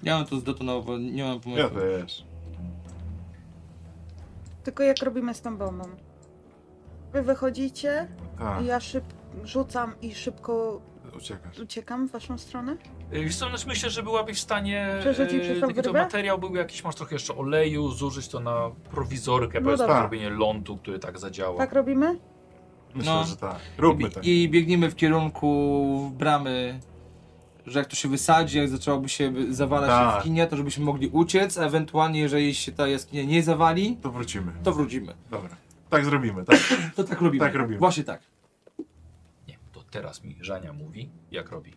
Speaker 4: Ja mam to zdetonował, nie mam
Speaker 2: Ja
Speaker 4: pomysłu.
Speaker 2: też.
Speaker 7: Tylko jak robimy z tą bombą? Wy wychodzicie,
Speaker 2: No
Speaker 22: Tak,
Speaker 7: ja szyb rzucam i szybko
Speaker 22: uciekasz.
Speaker 7: uciekam w waszą stronę.
Speaker 1: E, Wiesz co, znaczy myślę, że byłabyś w stanie yy,
Speaker 7: Przerzucić przez tą
Speaker 1: taki to
Speaker 7: wyrwę?
Speaker 1: materiał był jakiś, masz trochę jeszcze oleju, zużyć to na prowizorkę,
Speaker 7: No
Speaker 1: powiedzmy
Speaker 22: dobra.
Speaker 1: zrobienie lądu, który tak zadziała.
Speaker 7: Tak robimy?
Speaker 2: Myślę,
Speaker 4: No.
Speaker 2: że tak. Róbmy
Speaker 4: I-
Speaker 2: tak.
Speaker 4: I biegniemy w kierunku bramy, że jak to się wysadzi, jak zaczęłaby się wy- zawalać
Speaker 2: Tak.
Speaker 4: jaskinia, to żebyśmy mogli uciec, a ewentualnie jeżeli się ta jaskinia nie zawali,
Speaker 2: To wrócimy.
Speaker 4: to wrócimy.
Speaker 2: Dobra. Tak zrobimy, tak.
Speaker 4: To tak robimy.
Speaker 2: Tak robimy.
Speaker 4: Właśnie tak.
Speaker 1: Nie, to teraz mi Żania mówi, jak robi.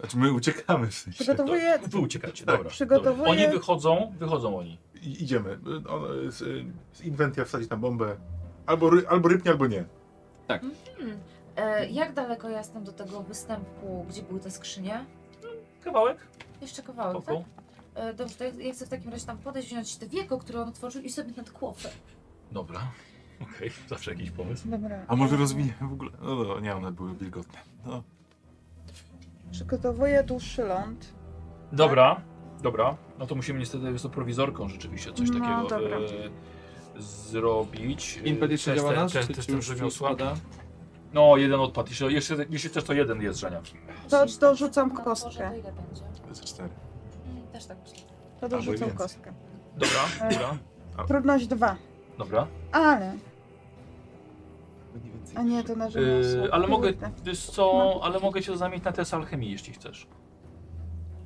Speaker 2: Znaczy my uciekamy w sensie.
Speaker 7: Przygotowuję,
Speaker 1: Wy uciekacie,
Speaker 2: Tak,
Speaker 1: dobra.
Speaker 7: przygotowuję-
Speaker 1: Oni wychodzą, wychodzą oni.
Speaker 2: I, idziemy. On, e, z, z inwentia wsadzi na bombę. Albo, ry, albo rybnie, albo nie.
Speaker 5: E, jak daleko ja jestem do tego występu, gdzie były te skrzynie?
Speaker 1: Kawałek,
Speaker 5: Jeszcze kawałek, tak?
Speaker 1: pokoł.
Speaker 5: E, dobrze, to ja, ja chcę w takim razie tam podejść, wziąć te wieko, które on otworzył i sobie nad głowę.
Speaker 1: Dobra, okej, zawsze jakiś pomysł.
Speaker 7: dobra,
Speaker 22: A może rozwiniemy w ogóle? No, no nie, one były wilgotne. No.
Speaker 7: przygotowuję dłuższy ląd. Tak?
Speaker 1: Dobra, dobra. No to musimy niestety jest to prowizorką rzeczywiście coś
Speaker 7: No,
Speaker 1: takiego
Speaker 7: dobra.
Speaker 1: e, zrobić.
Speaker 4: Impet jeszcze działa nas,
Speaker 1: te,
Speaker 4: czy,
Speaker 1: te,
Speaker 4: czy już
Speaker 1: rzemiosła.
Speaker 4: spada?
Speaker 1: No, jeden odpad. Jeszcze, jeszcze, jeszcze też to jeden jest Żania.
Speaker 7: To
Speaker 5: Jeśli
Speaker 7: dorzucam
Speaker 5: na dworze,
Speaker 7: kostkę.
Speaker 5: To ile będzie?
Speaker 2: Za cztery.
Speaker 5: Mm, też tak myślę.
Speaker 7: To dorzucam
Speaker 2: więcej.
Speaker 7: kostkę.
Speaker 1: Dobra,
Speaker 7: E.
Speaker 1: dobra,
Speaker 7: Trudność dwa.
Speaker 1: dobra.
Speaker 7: Ale. A nie, to na rzemiosło.
Speaker 1: Yy, ale mogę,
Speaker 7: Kurde. No.
Speaker 1: wiesz co, ale mogę cię zamienić na test alchemii, jeśli chcesz.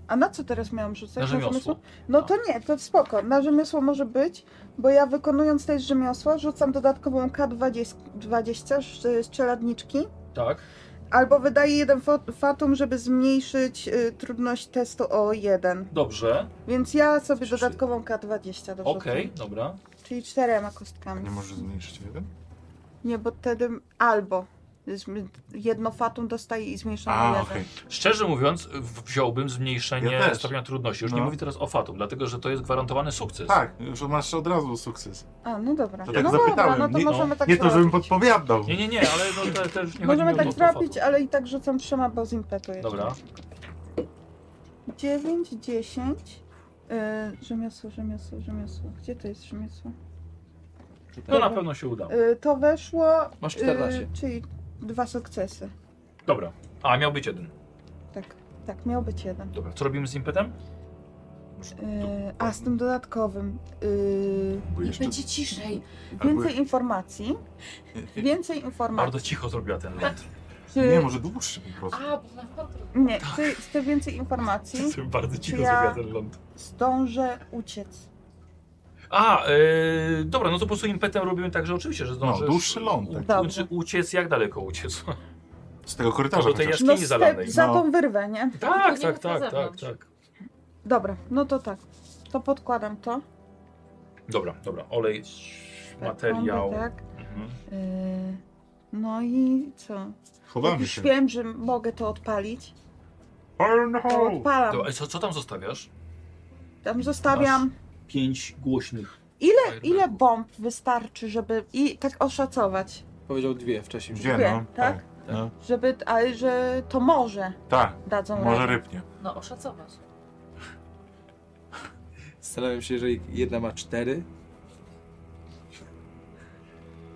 Speaker 7: A na co teraz miałam rzucać?
Speaker 1: Na rzemiosło.
Speaker 7: No to nie, to spoko. Na rzemiosło może być, bo ja wykonując też rzemiosło rzucam dodatkową K20 20 z z czeladniczki.
Speaker 1: Tak.
Speaker 7: Albo wydaję jeden fo- fatum, żeby zmniejszyć y, trudność testu o jeden.
Speaker 1: Dobrze,
Speaker 7: Więc ja sobie
Speaker 1: Trzy.
Speaker 7: dodatkową K20 dorzucam.
Speaker 1: okej, dobra.
Speaker 7: Czyli czterema
Speaker 2: A
Speaker 7: kostkami.
Speaker 2: nie może zmniejszyć o jeden?
Speaker 7: Nie, bo wtedy albo zm- jedno fatum dostaje i zmniejszam o
Speaker 2: A,
Speaker 7: jeden.
Speaker 2: okej.
Speaker 1: Szczerze mówiąc, w- wziąłbym zmniejszenie
Speaker 2: Ja też.
Speaker 1: stopnia trudności. Już nie
Speaker 2: No.
Speaker 1: mówię teraz o fatum, dlatego że to jest gwarantowany sukces.
Speaker 2: Tak, już masz od razu sukces.
Speaker 7: A, no dobra.
Speaker 2: To tak
Speaker 7: no
Speaker 2: zapytałem.
Speaker 7: dobra, no to
Speaker 2: Nie-
Speaker 7: możemy tak
Speaker 2: nie to, żebym
Speaker 7: zrobić.
Speaker 2: podpowiadał.
Speaker 1: Nie, nie, nie, ale no, te, te już nie
Speaker 7: Możemy
Speaker 1: chodzi mi
Speaker 7: tak
Speaker 1: o to
Speaker 7: zrobić,
Speaker 1: fatum.
Speaker 7: ale i tak rzucam trzema, bo z impetu jeszcze.
Speaker 1: Dobra,
Speaker 7: 9, 10. Yy, rzemiosło, rzemiosło, rzemiosło. Gdzie to jest rzemiosło?
Speaker 1: no na pewno się uda.
Speaker 7: Yy, to weszło.
Speaker 4: Masz
Speaker 7: yy,
Speaker 4: 14.
Speaker 7: czyli dwa sukcesy.
Speaker 1: Dobra, a miał być jeden.
Speaker 7: Tak, tak, miał być jeden.
Speaker 1: Dobra, co robimy z impetem?
Speaker 7: Yy, a z tym dodatkowym. Yy,
Speaker 2: Bo
Speaker 5: I
Speaker 2: jeszcze...
Speaker 5: będzie ciszej.
Speaker 7: więcej informacji. Więcej informacji.
Speaker 1: Bardzo cicho zrobiła ten ląd.
Speaker 2: Nie,
Speaker 7: Czy,
Speaker 2: może dłuższy po prostu.
Speaker 5: A, bo na kontru.
Speaker 7: nie, chcę, chcę więcej informacji.
Speaker 1: Bardzo cicho
Speaker 7: Ja-
Speaker 1: zrobiła ten ląd.
Speaker 7: Zdążę uciec.
Speaker 1: A, yy, dobra, no to po prostu impetem robimy tak, że oczywiście, że zdążysz...
Speaker 2: No, dłuższy ląd, tak.
Speaker 1: U,
Speaker 7: Dobrze.
Speaker 1: znaczy uciec, jak daleko uciec?
Speaker 2: Z tego korytarza
Speaker 7: No
Speaker 1: Do tej
Speaker 2: chociaż.
Speaker 1: jaskini
Speaker 7: z
Speaker 1: zalanej.
Speaker 7: za
Speaker 2: No.
Speaker 7: tą wyrwę, nie?
Speaker 1: Tak,
Speaker 5: Tylko nie
Speaker 1: tak,
Speaker 5: mów na
Speaker 1: tak, tak,
Speaker 5: zewnątrz.
Speaker 1: tak.
Speaker 7: Dobra, no to tak. To podkładam to.
Speaker 1: Dobra, dobra, olej,
Speaker 7: Tak,
Speaker 1: materiał.
Speaker 7: bombę, tak.
Speaker 1: Mhm.
Speaker 7: Yy, no i co? Jak
Speaker 2: Chowamy
Speaker 7: już
Speaker 2: się.
Speaker 7: wiem, że mogę to odpalić,
Speaker 2: Burn
Speaker 7: to
Speaker 2: hole!
Speaker 7: odpalam.
Speaker 1: Dobra, a co, co tam zostawiasz?
Speaker 7: Tam zostawiam.
Speaker 1: Pięć głośnych.
Speaker 7: Ile, ile bomb wystarczy, żeby. I tak oszacować.
Speaker 4: Powiedział dwie wcześniej.
Speaker 2: Gdzie
Speaker 7: Dwie,
Speaker 2: no?
Speaker 7: tak?
Speaker 2: No.
Speaker 7: Żeby. Ale że to może
Speaker 2: Tak,
Speaker 7: dadzą
Speaker 2: może
Speaker 7: radę.
Speaker 2: rybnie.
Speaker 5: No, oszacować.
Speaker 4: Zastanawiam się, jeżeli jedna ma cztery,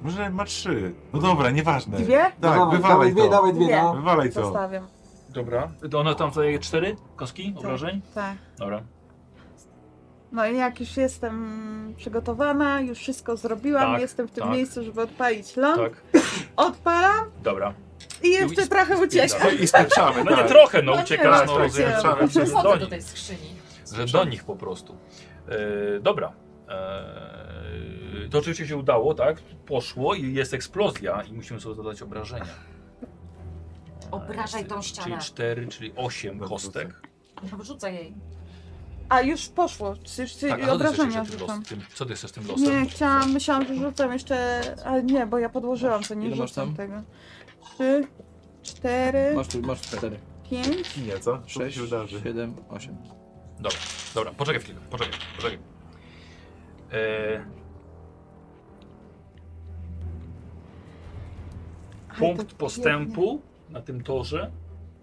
Speaker 2: Może ma trzy. No dobra, nieważne.
Speaker 7: Dwie?
Speaker 2: Tak, wywalaj to.
Speaker 7: dwie, no.
Speaker 2: Wywalaj to.
Speaker 7: Zostawiam.
Speaker 1: Dobra. To ona tam zadaje cztery kostki obrażeń?
Speaker 7: Tak.
Speaker 1: Dobra.
Speaker 7: No i jak już jestem przygotowana, już wszystko zrobiłam,
Speaker 1: Tak,
Speaker 7: jestem w tym
Speaker 1: tak.
Speaker 7: miejscu, żeby odpalić ląd,
Speaker 1: Tak,
Speaker 7: odpalam
Speaker 1: dobra.
Speaker 7: i jeszcze
Speaker 24: i-
Speaker 7: trochę uciekam.
Speaker 2: I spieprzamy,
Speaker 1: No nie
Speaker 2: tak.
Speaker 1: trochę, no
Speaker 7: No nie,
Speaker 1: uciekasz,
Speaker 7: no,
Speaker 1: no,
Speaker 7: tak,
Speaker 1: zjeżdżasz
Speaker 2: tak.
Speaker 1: do
Speaker 5: Wchodzę do
Speaker 1: nich.
Speaker 5: tej skrzyni.
Speaker 1: że do nich po prostu. E, dobra. E, to oczywiście się udało, tak? Poszło i jest eksplozja i musimy sobie dodać obrażenia.
Speaker 7: Tak,
Speaker 5: Obrażaj tą ścianę. No,
Speaker 1: Czyli 4, czyli 8
Speaker 2: Dobrze,
Speaker 1: kostek.
Speaker 5: Wrzucaj jej.
Speaker 7: A już poszło, już ci
Speaker 1: Tak, a co ty chcesz
Speaker 7: obrażenia
Speaker 1: jeszcze tym losem?
Speaker 7: rzucam.
Speaker 1: Tym, co ty chcesz tym losem?
Speaker 7: Nie, chciałam, myślałam, że rzucam jeszcze, ale nie, bo ja podłożyłam, to nie
Speaker 4: Ile masz
Speaker 7: rzucam
Speaker 4: tam?
Speaker 7: tego. Trzy, cztery,
Speaker 4: Masz, tu- masz cztery.
Speaker 7: pięć,
Speaker 2: Nie, co? Co
Speaker 4: Sześć,
Speaker 2: się wydarzy?
Speaker 4: siedem, osiem.
Speaker 1: Dobra, dobra, poczekaj chwilę, poczekaj, poczekaj. E,
Speaker 7: Aj,
Speaker 1: punkt
Speaker 7: to
Speaker 1: postępu na tym torze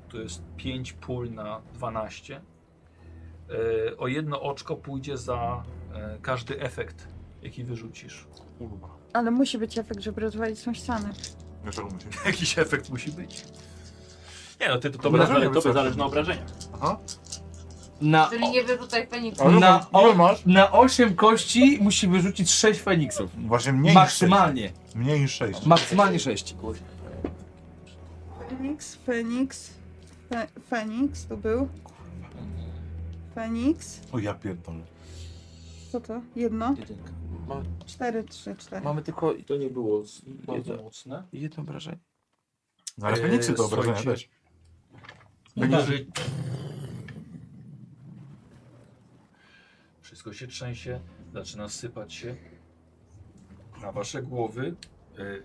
Speaker 1: to jest 5 pól na 12. E, o jedno oczko pójdzie za e, każdy efekt, jaki wyrzucisz.
Speaker 2: Kurwa.
Speaker 7: ale musi być efekt, żeby rozwalić tą ścianę.
Speaker 2: Dlaczego musi?
Speaker 1: Jakiś efekt musi być. Nie no, ty to, to,
Speaker 2: Obrażenia
Speaker 1: zale- to
Speaker 2: wycofaj.
Speaker 1: zależy na obrażenia.
Speaker 2: Aha.
Speaker 4: Na,
Speaker 5: Czyli nie wyrzucaj feniksa.
Speaker 2: Ale
Speaker 4: na,
Speaker 2: ma- ile
Speaker 4: o,
Speaker 2: masz?
Speaker 4: na osiem kości musi wyrzucić sześć feniksów.
Speaker 25: Właśnie mniej niż sześć.
Speaker 4: maksymalnie.
Speaker 25: Mniej niż 6.
Speaker 4: Maksymalnie sześć.
Speaker 7: Feniks, Feniks, Fe, Feniks tu był. Feniks,
Speaker 25: O ja pierdolę.
Speaker 7: co to? Jedno, cztery, trzy, cztery.
Speaker 4: Mamy tylko
Speaker 2: To nie było
Speaker 1: Bardzo mocne.
Speaker 4: jedno obrażenie.
Speaker 25: No ale
Speaker 1: Eee,
Speaker 25: Feniksy to
Speaker 1: słuchajcie.
Speaker 25: obrażenia też.
Speaker 4: No
Speaker 1: Uderzy. Wszystko się trzęsie, zaczyna sypać się na wasze głowy.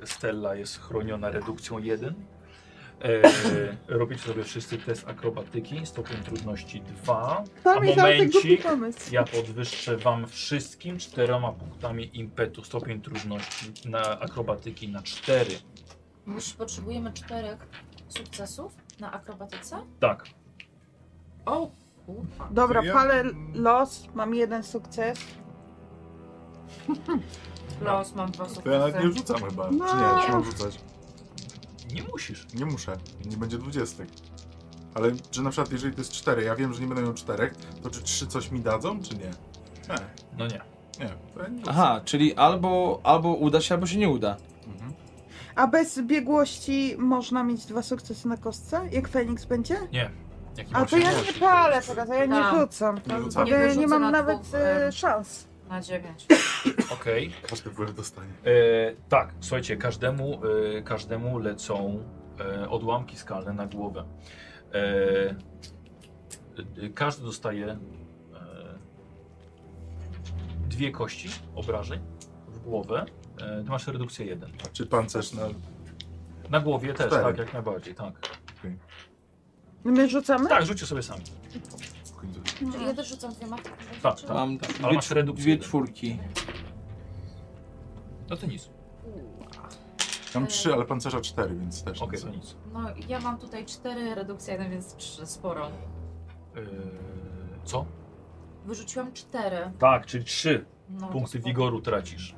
Speaker 1: E, Stella jest chroniona redukcją 1. E, robicie sobie wszyscy test akrobatyki, stopień trudności 2. A
Speaker 7: To mi dał ten
Speaker 1: momencik.
Speaker 7: głupi pomysł.
Speaker 1: Ja podwyższę wam wszystkim czterema punktami impetu stopień trudności na akrobatyki na 4.
Speaker 5: Już potrzebujemy czterech sukcesów na akrobatyce.
Speaker 1: Tak,
Speaker 5: O, kurwa.
Speaker 7: Dobra,
Speaker 2: To ja-
Speaker 7: palę los, mam jeden sukces.
Speaker 5: Los, mam dwa
Speaker 2: Tak. To ja nawet nie
Speaker 5: sukcesy.
Speaker 2: rzucam chyba.
Speaker 7: No.
Speaker 2: Czy nie, czy mam rzucać?
Speaker 1: nie musisz.
Speaker 2: Nie muszę. Nie będzie dwudziestek. Ale czy na przykład jeżeli to jest cztery, ja wiem, że nie będę miał czterech, to czy trzy coś mi dadzą, czy nie? Nie,
Speaker 1: No nie.
Speaker 2: nie. To ja nie rzucam.
Speaker 4: Aha, czyli albo, albo uda się, albo się nie uda.
Speaker 2: Mhm.
Speaker 7: A bez biegłości można mieć dwa sukcesy na kostce? Jak Feniks będzie?
Speaker 1: Jaki
Speaker 7: A
Speaker 1: masz
Speaker 7: to ja
Speaker 1: inny?
Speaker 7: nie palę tego, to ja
Speaker 5: Tak.
Speaker 7: nie rzucam.
Speaker 2: Nie
Speaker 7: To
Speaker 2: rzucam.
Speaker 7: ja nie
Speaker 5: wyrzucę na
Speaker 7: mam nawet
Speaker 5: dwóch, em,
Speaker 7: e, szans.
Speaker 5: Na dziewięć.
Speaker 1: Okej.
Speaker 2: Każdy wpływ dostanie.
Speaker 1: E, tak, słuchajcie, każdemu, e, każdemu lecą e, odłamki skalne na głowę. E, e, każdy dostaje e, dwie kości obrażeń w głowę. E, ty masz redukcję jeden.
Speaker 2: A czy pancerz na...
Speaker 1: Na głowie też,
Speaker 2: Cztery.
Speaker 1: tak, jak najbardziej, tak.
Speaker 7: My rzucamy?
Speaker 1: Tak, rzućcie sobie sami.
Speaker 2: w końcu-
Speaker 7: No.
Speaker 5: Czyli ja też rzucam dwiema. tak?
Speaker 1: Tak, tak.
Speaker 4: Mam
Speaker 1: Ale
Speaker 4: dwie,
Speaker 1: masz redukcję
Speaker 4: dwie
Speaker 1: jeden.
Speaker 4: czwórki.
Speaker 1: No to nic.
Speaker 2: Mam trzy, ale pancerza cztery, więc też
Speaker 1: Okej,
Speaker 2: nic.
Speaker 1: to nic.
Speaker 5: No ja mam tutaj cztery redukcje, jeden, więc trzy, sporo.
Speaker 1: E, co?
Speaker 5: Wyrzuciłam cztery.
Speaker 1: Tak, czyli trzy
Speaker 5: No, to
Speaker 1: punkty
Speaker 5: spoko.
Speaker 1: wigoru tracisz.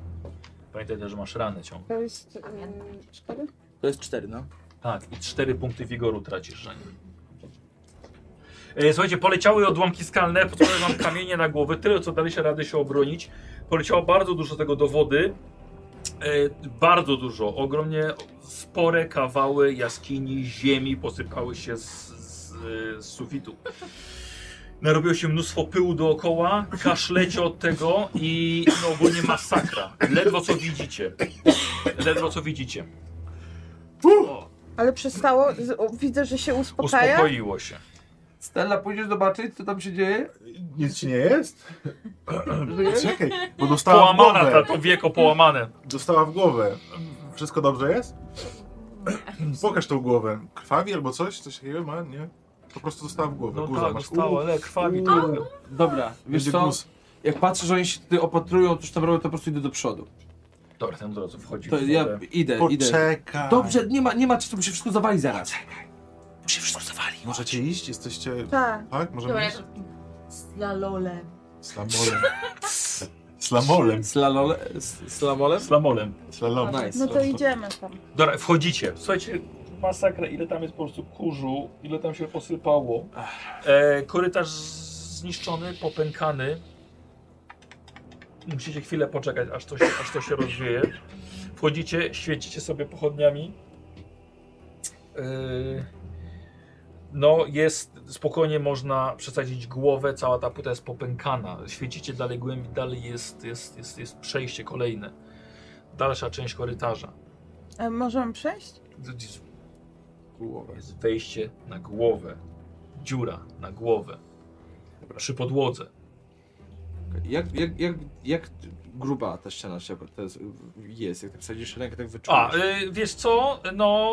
Speaker 1: Pamiętaj też, że masz rany ciągle.
Speaker 7: To jest e,
Speaker 5: Pamiętam.
Speaker 7: cztery?
Speaker 4: To jest cztery, no.
Speaker 1: Tak, i cztery punkty wigoru tracisz, że nie. E, Słuchajcie, poleciały odłamki skalne, podpadały wam kamienie na głowę, tyle co daliście radę się obronić. Poleciało bardzo dużo tego do wody. E, bardzo dużo, ogromnie spore kawały jaskini, ziemi posypały się z, z, z sufitu. Narobiło się mnóstwo pyłu dookoła, kaszlecie od tego i no, ogólnie masakra. Ledwo co widzicie. Ledwo co widzicie. O.
Speaker 7: Ale przestało, z- o, widzę, że się uspokaja.
Speaker 1: Uspokoiło się.
Speaker 4: Stella, pójdziesz zobaczyć, co tam się dzieje?
Speaker 2: Nic ci nie jest?
Speaker 25: Czekaj, bo dostała w
Speaker 1: Połamana ta,
Speaker 25: głowę.
Speaker 1: to wieko połamane.
Speaker 2: Dostała w głowę. Wszystko dobrze jest? Pokaż tą głowę. Krwawi albo coś? Coś takiego ma? Nie? Po prostu dostała w głowę.
Speaker 1: No
Speaker 2: Guza
Speaker 1: tak,
Speaker 2: masz.
Speaker 1: dostała,
Speaker 2: Uuu,
Speaker 1: ale krwawi
Speaker 2: uuu.
Speaker 1: trochę.
Speaker 4: Dobra, wiesz
Speaker 2: Będzie
Speaker 4: co,
Speaker 2: guz.
Speaker 4: jak patrzę, że oni się tutaj opatrują, coś tam robią, to po prostu idę do przodu.
Speaker 1: Dobra, ten od razu wchodzi
Speaker 4: To
Speaker 1: w
Speaker 4: ja
Speaker 1: wodę.
Speaker 4: idę, idę.
Speaker 25: Poczekaj.
Speaker 4: Dobrze, nie ma, nie ma, to by się wszystko zawali zaraz.
Speaker 2: Możecie iść? Jesteście...
Speaker 7: Tak.
Speaker 2: Tak?
Speaker 5: Dobra,
Speaker 2: Możemy
Speaker 5: ja
Speaker 2: iść?
Speaker 5: to... Slalole.
Speaker 2: Slamolem. Slamolem.
Speaker 4: Slalole, s- slamolem?
Speaker 1: Z lamolem.
Speaker 2: Slalom.
Speaker 4: Nice.
Speaker 7: No to idziemy tam.
Speaker 1: Dobra, wchodzicie. Słuchajcie, masakra, ile tam jest po prostu kurzu, ile tam się posypało. E, korytarz zniszczony, popękany. Musicie chwilę poczekać, aż to się, aż to się rozwieje. Wchodzicie, świecicie sobie pochodniami. Yy, No, jest spokojnie można przesadzić głowę, cała ta płyta jest popękana. Świecicie dalej głębiej, dalej jest, jest, jest, jest przejście kolejne. Dalsza część korytarza.
Speaker 7: E, możemy przejść?
Speaker 1: Jest- Jest wejście na głowę. Dziura na głowę. Przy podłodze.
Speaker 4: Jak, jak, jak, jak gruba ta ściana trzeba, to jest, jest, jak tak wsadzisz rękę, tak
Speaker 1: A,
Speaker 4: wyczujesz.
Speaker 1: y, wiesz co, no...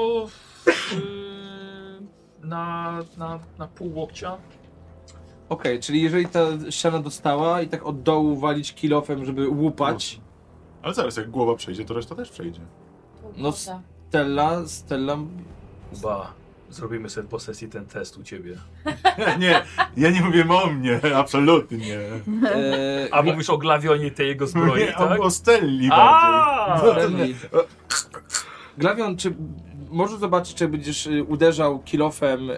Speaker 1: y, na, na, na pół łokcia.
Speaker 4: Okej, czyli jeżeli ta ściana dostała i tak od dołu walić kilofem, żeby łupać,
Speaker 2: Ale zaraz, jak głowa przejdzie, to reszta też przejdzie.
Speaker 4: No,
Speaker 5: Półkota.
Speaker 4: Stella, Stella...
Speaker 1: Ba, zrobimy sobie po sesji ten test u ciebie.
Speaker 2: nie, ja nie mówię o mnie, absolutnie nie.
Speaker 4: E,
Speaker 1: A mówisz o glawionie tej jego zbroi,
Speaker 2: Mówię
Speaker 1: tak?
Speaker 2: o, o Stelli bardziej.
Speaker 1: A! No
Speaker 4: Glavin. Glawion, czy możesz zobaczyć, czy będziesz y, uderzał kilofem y,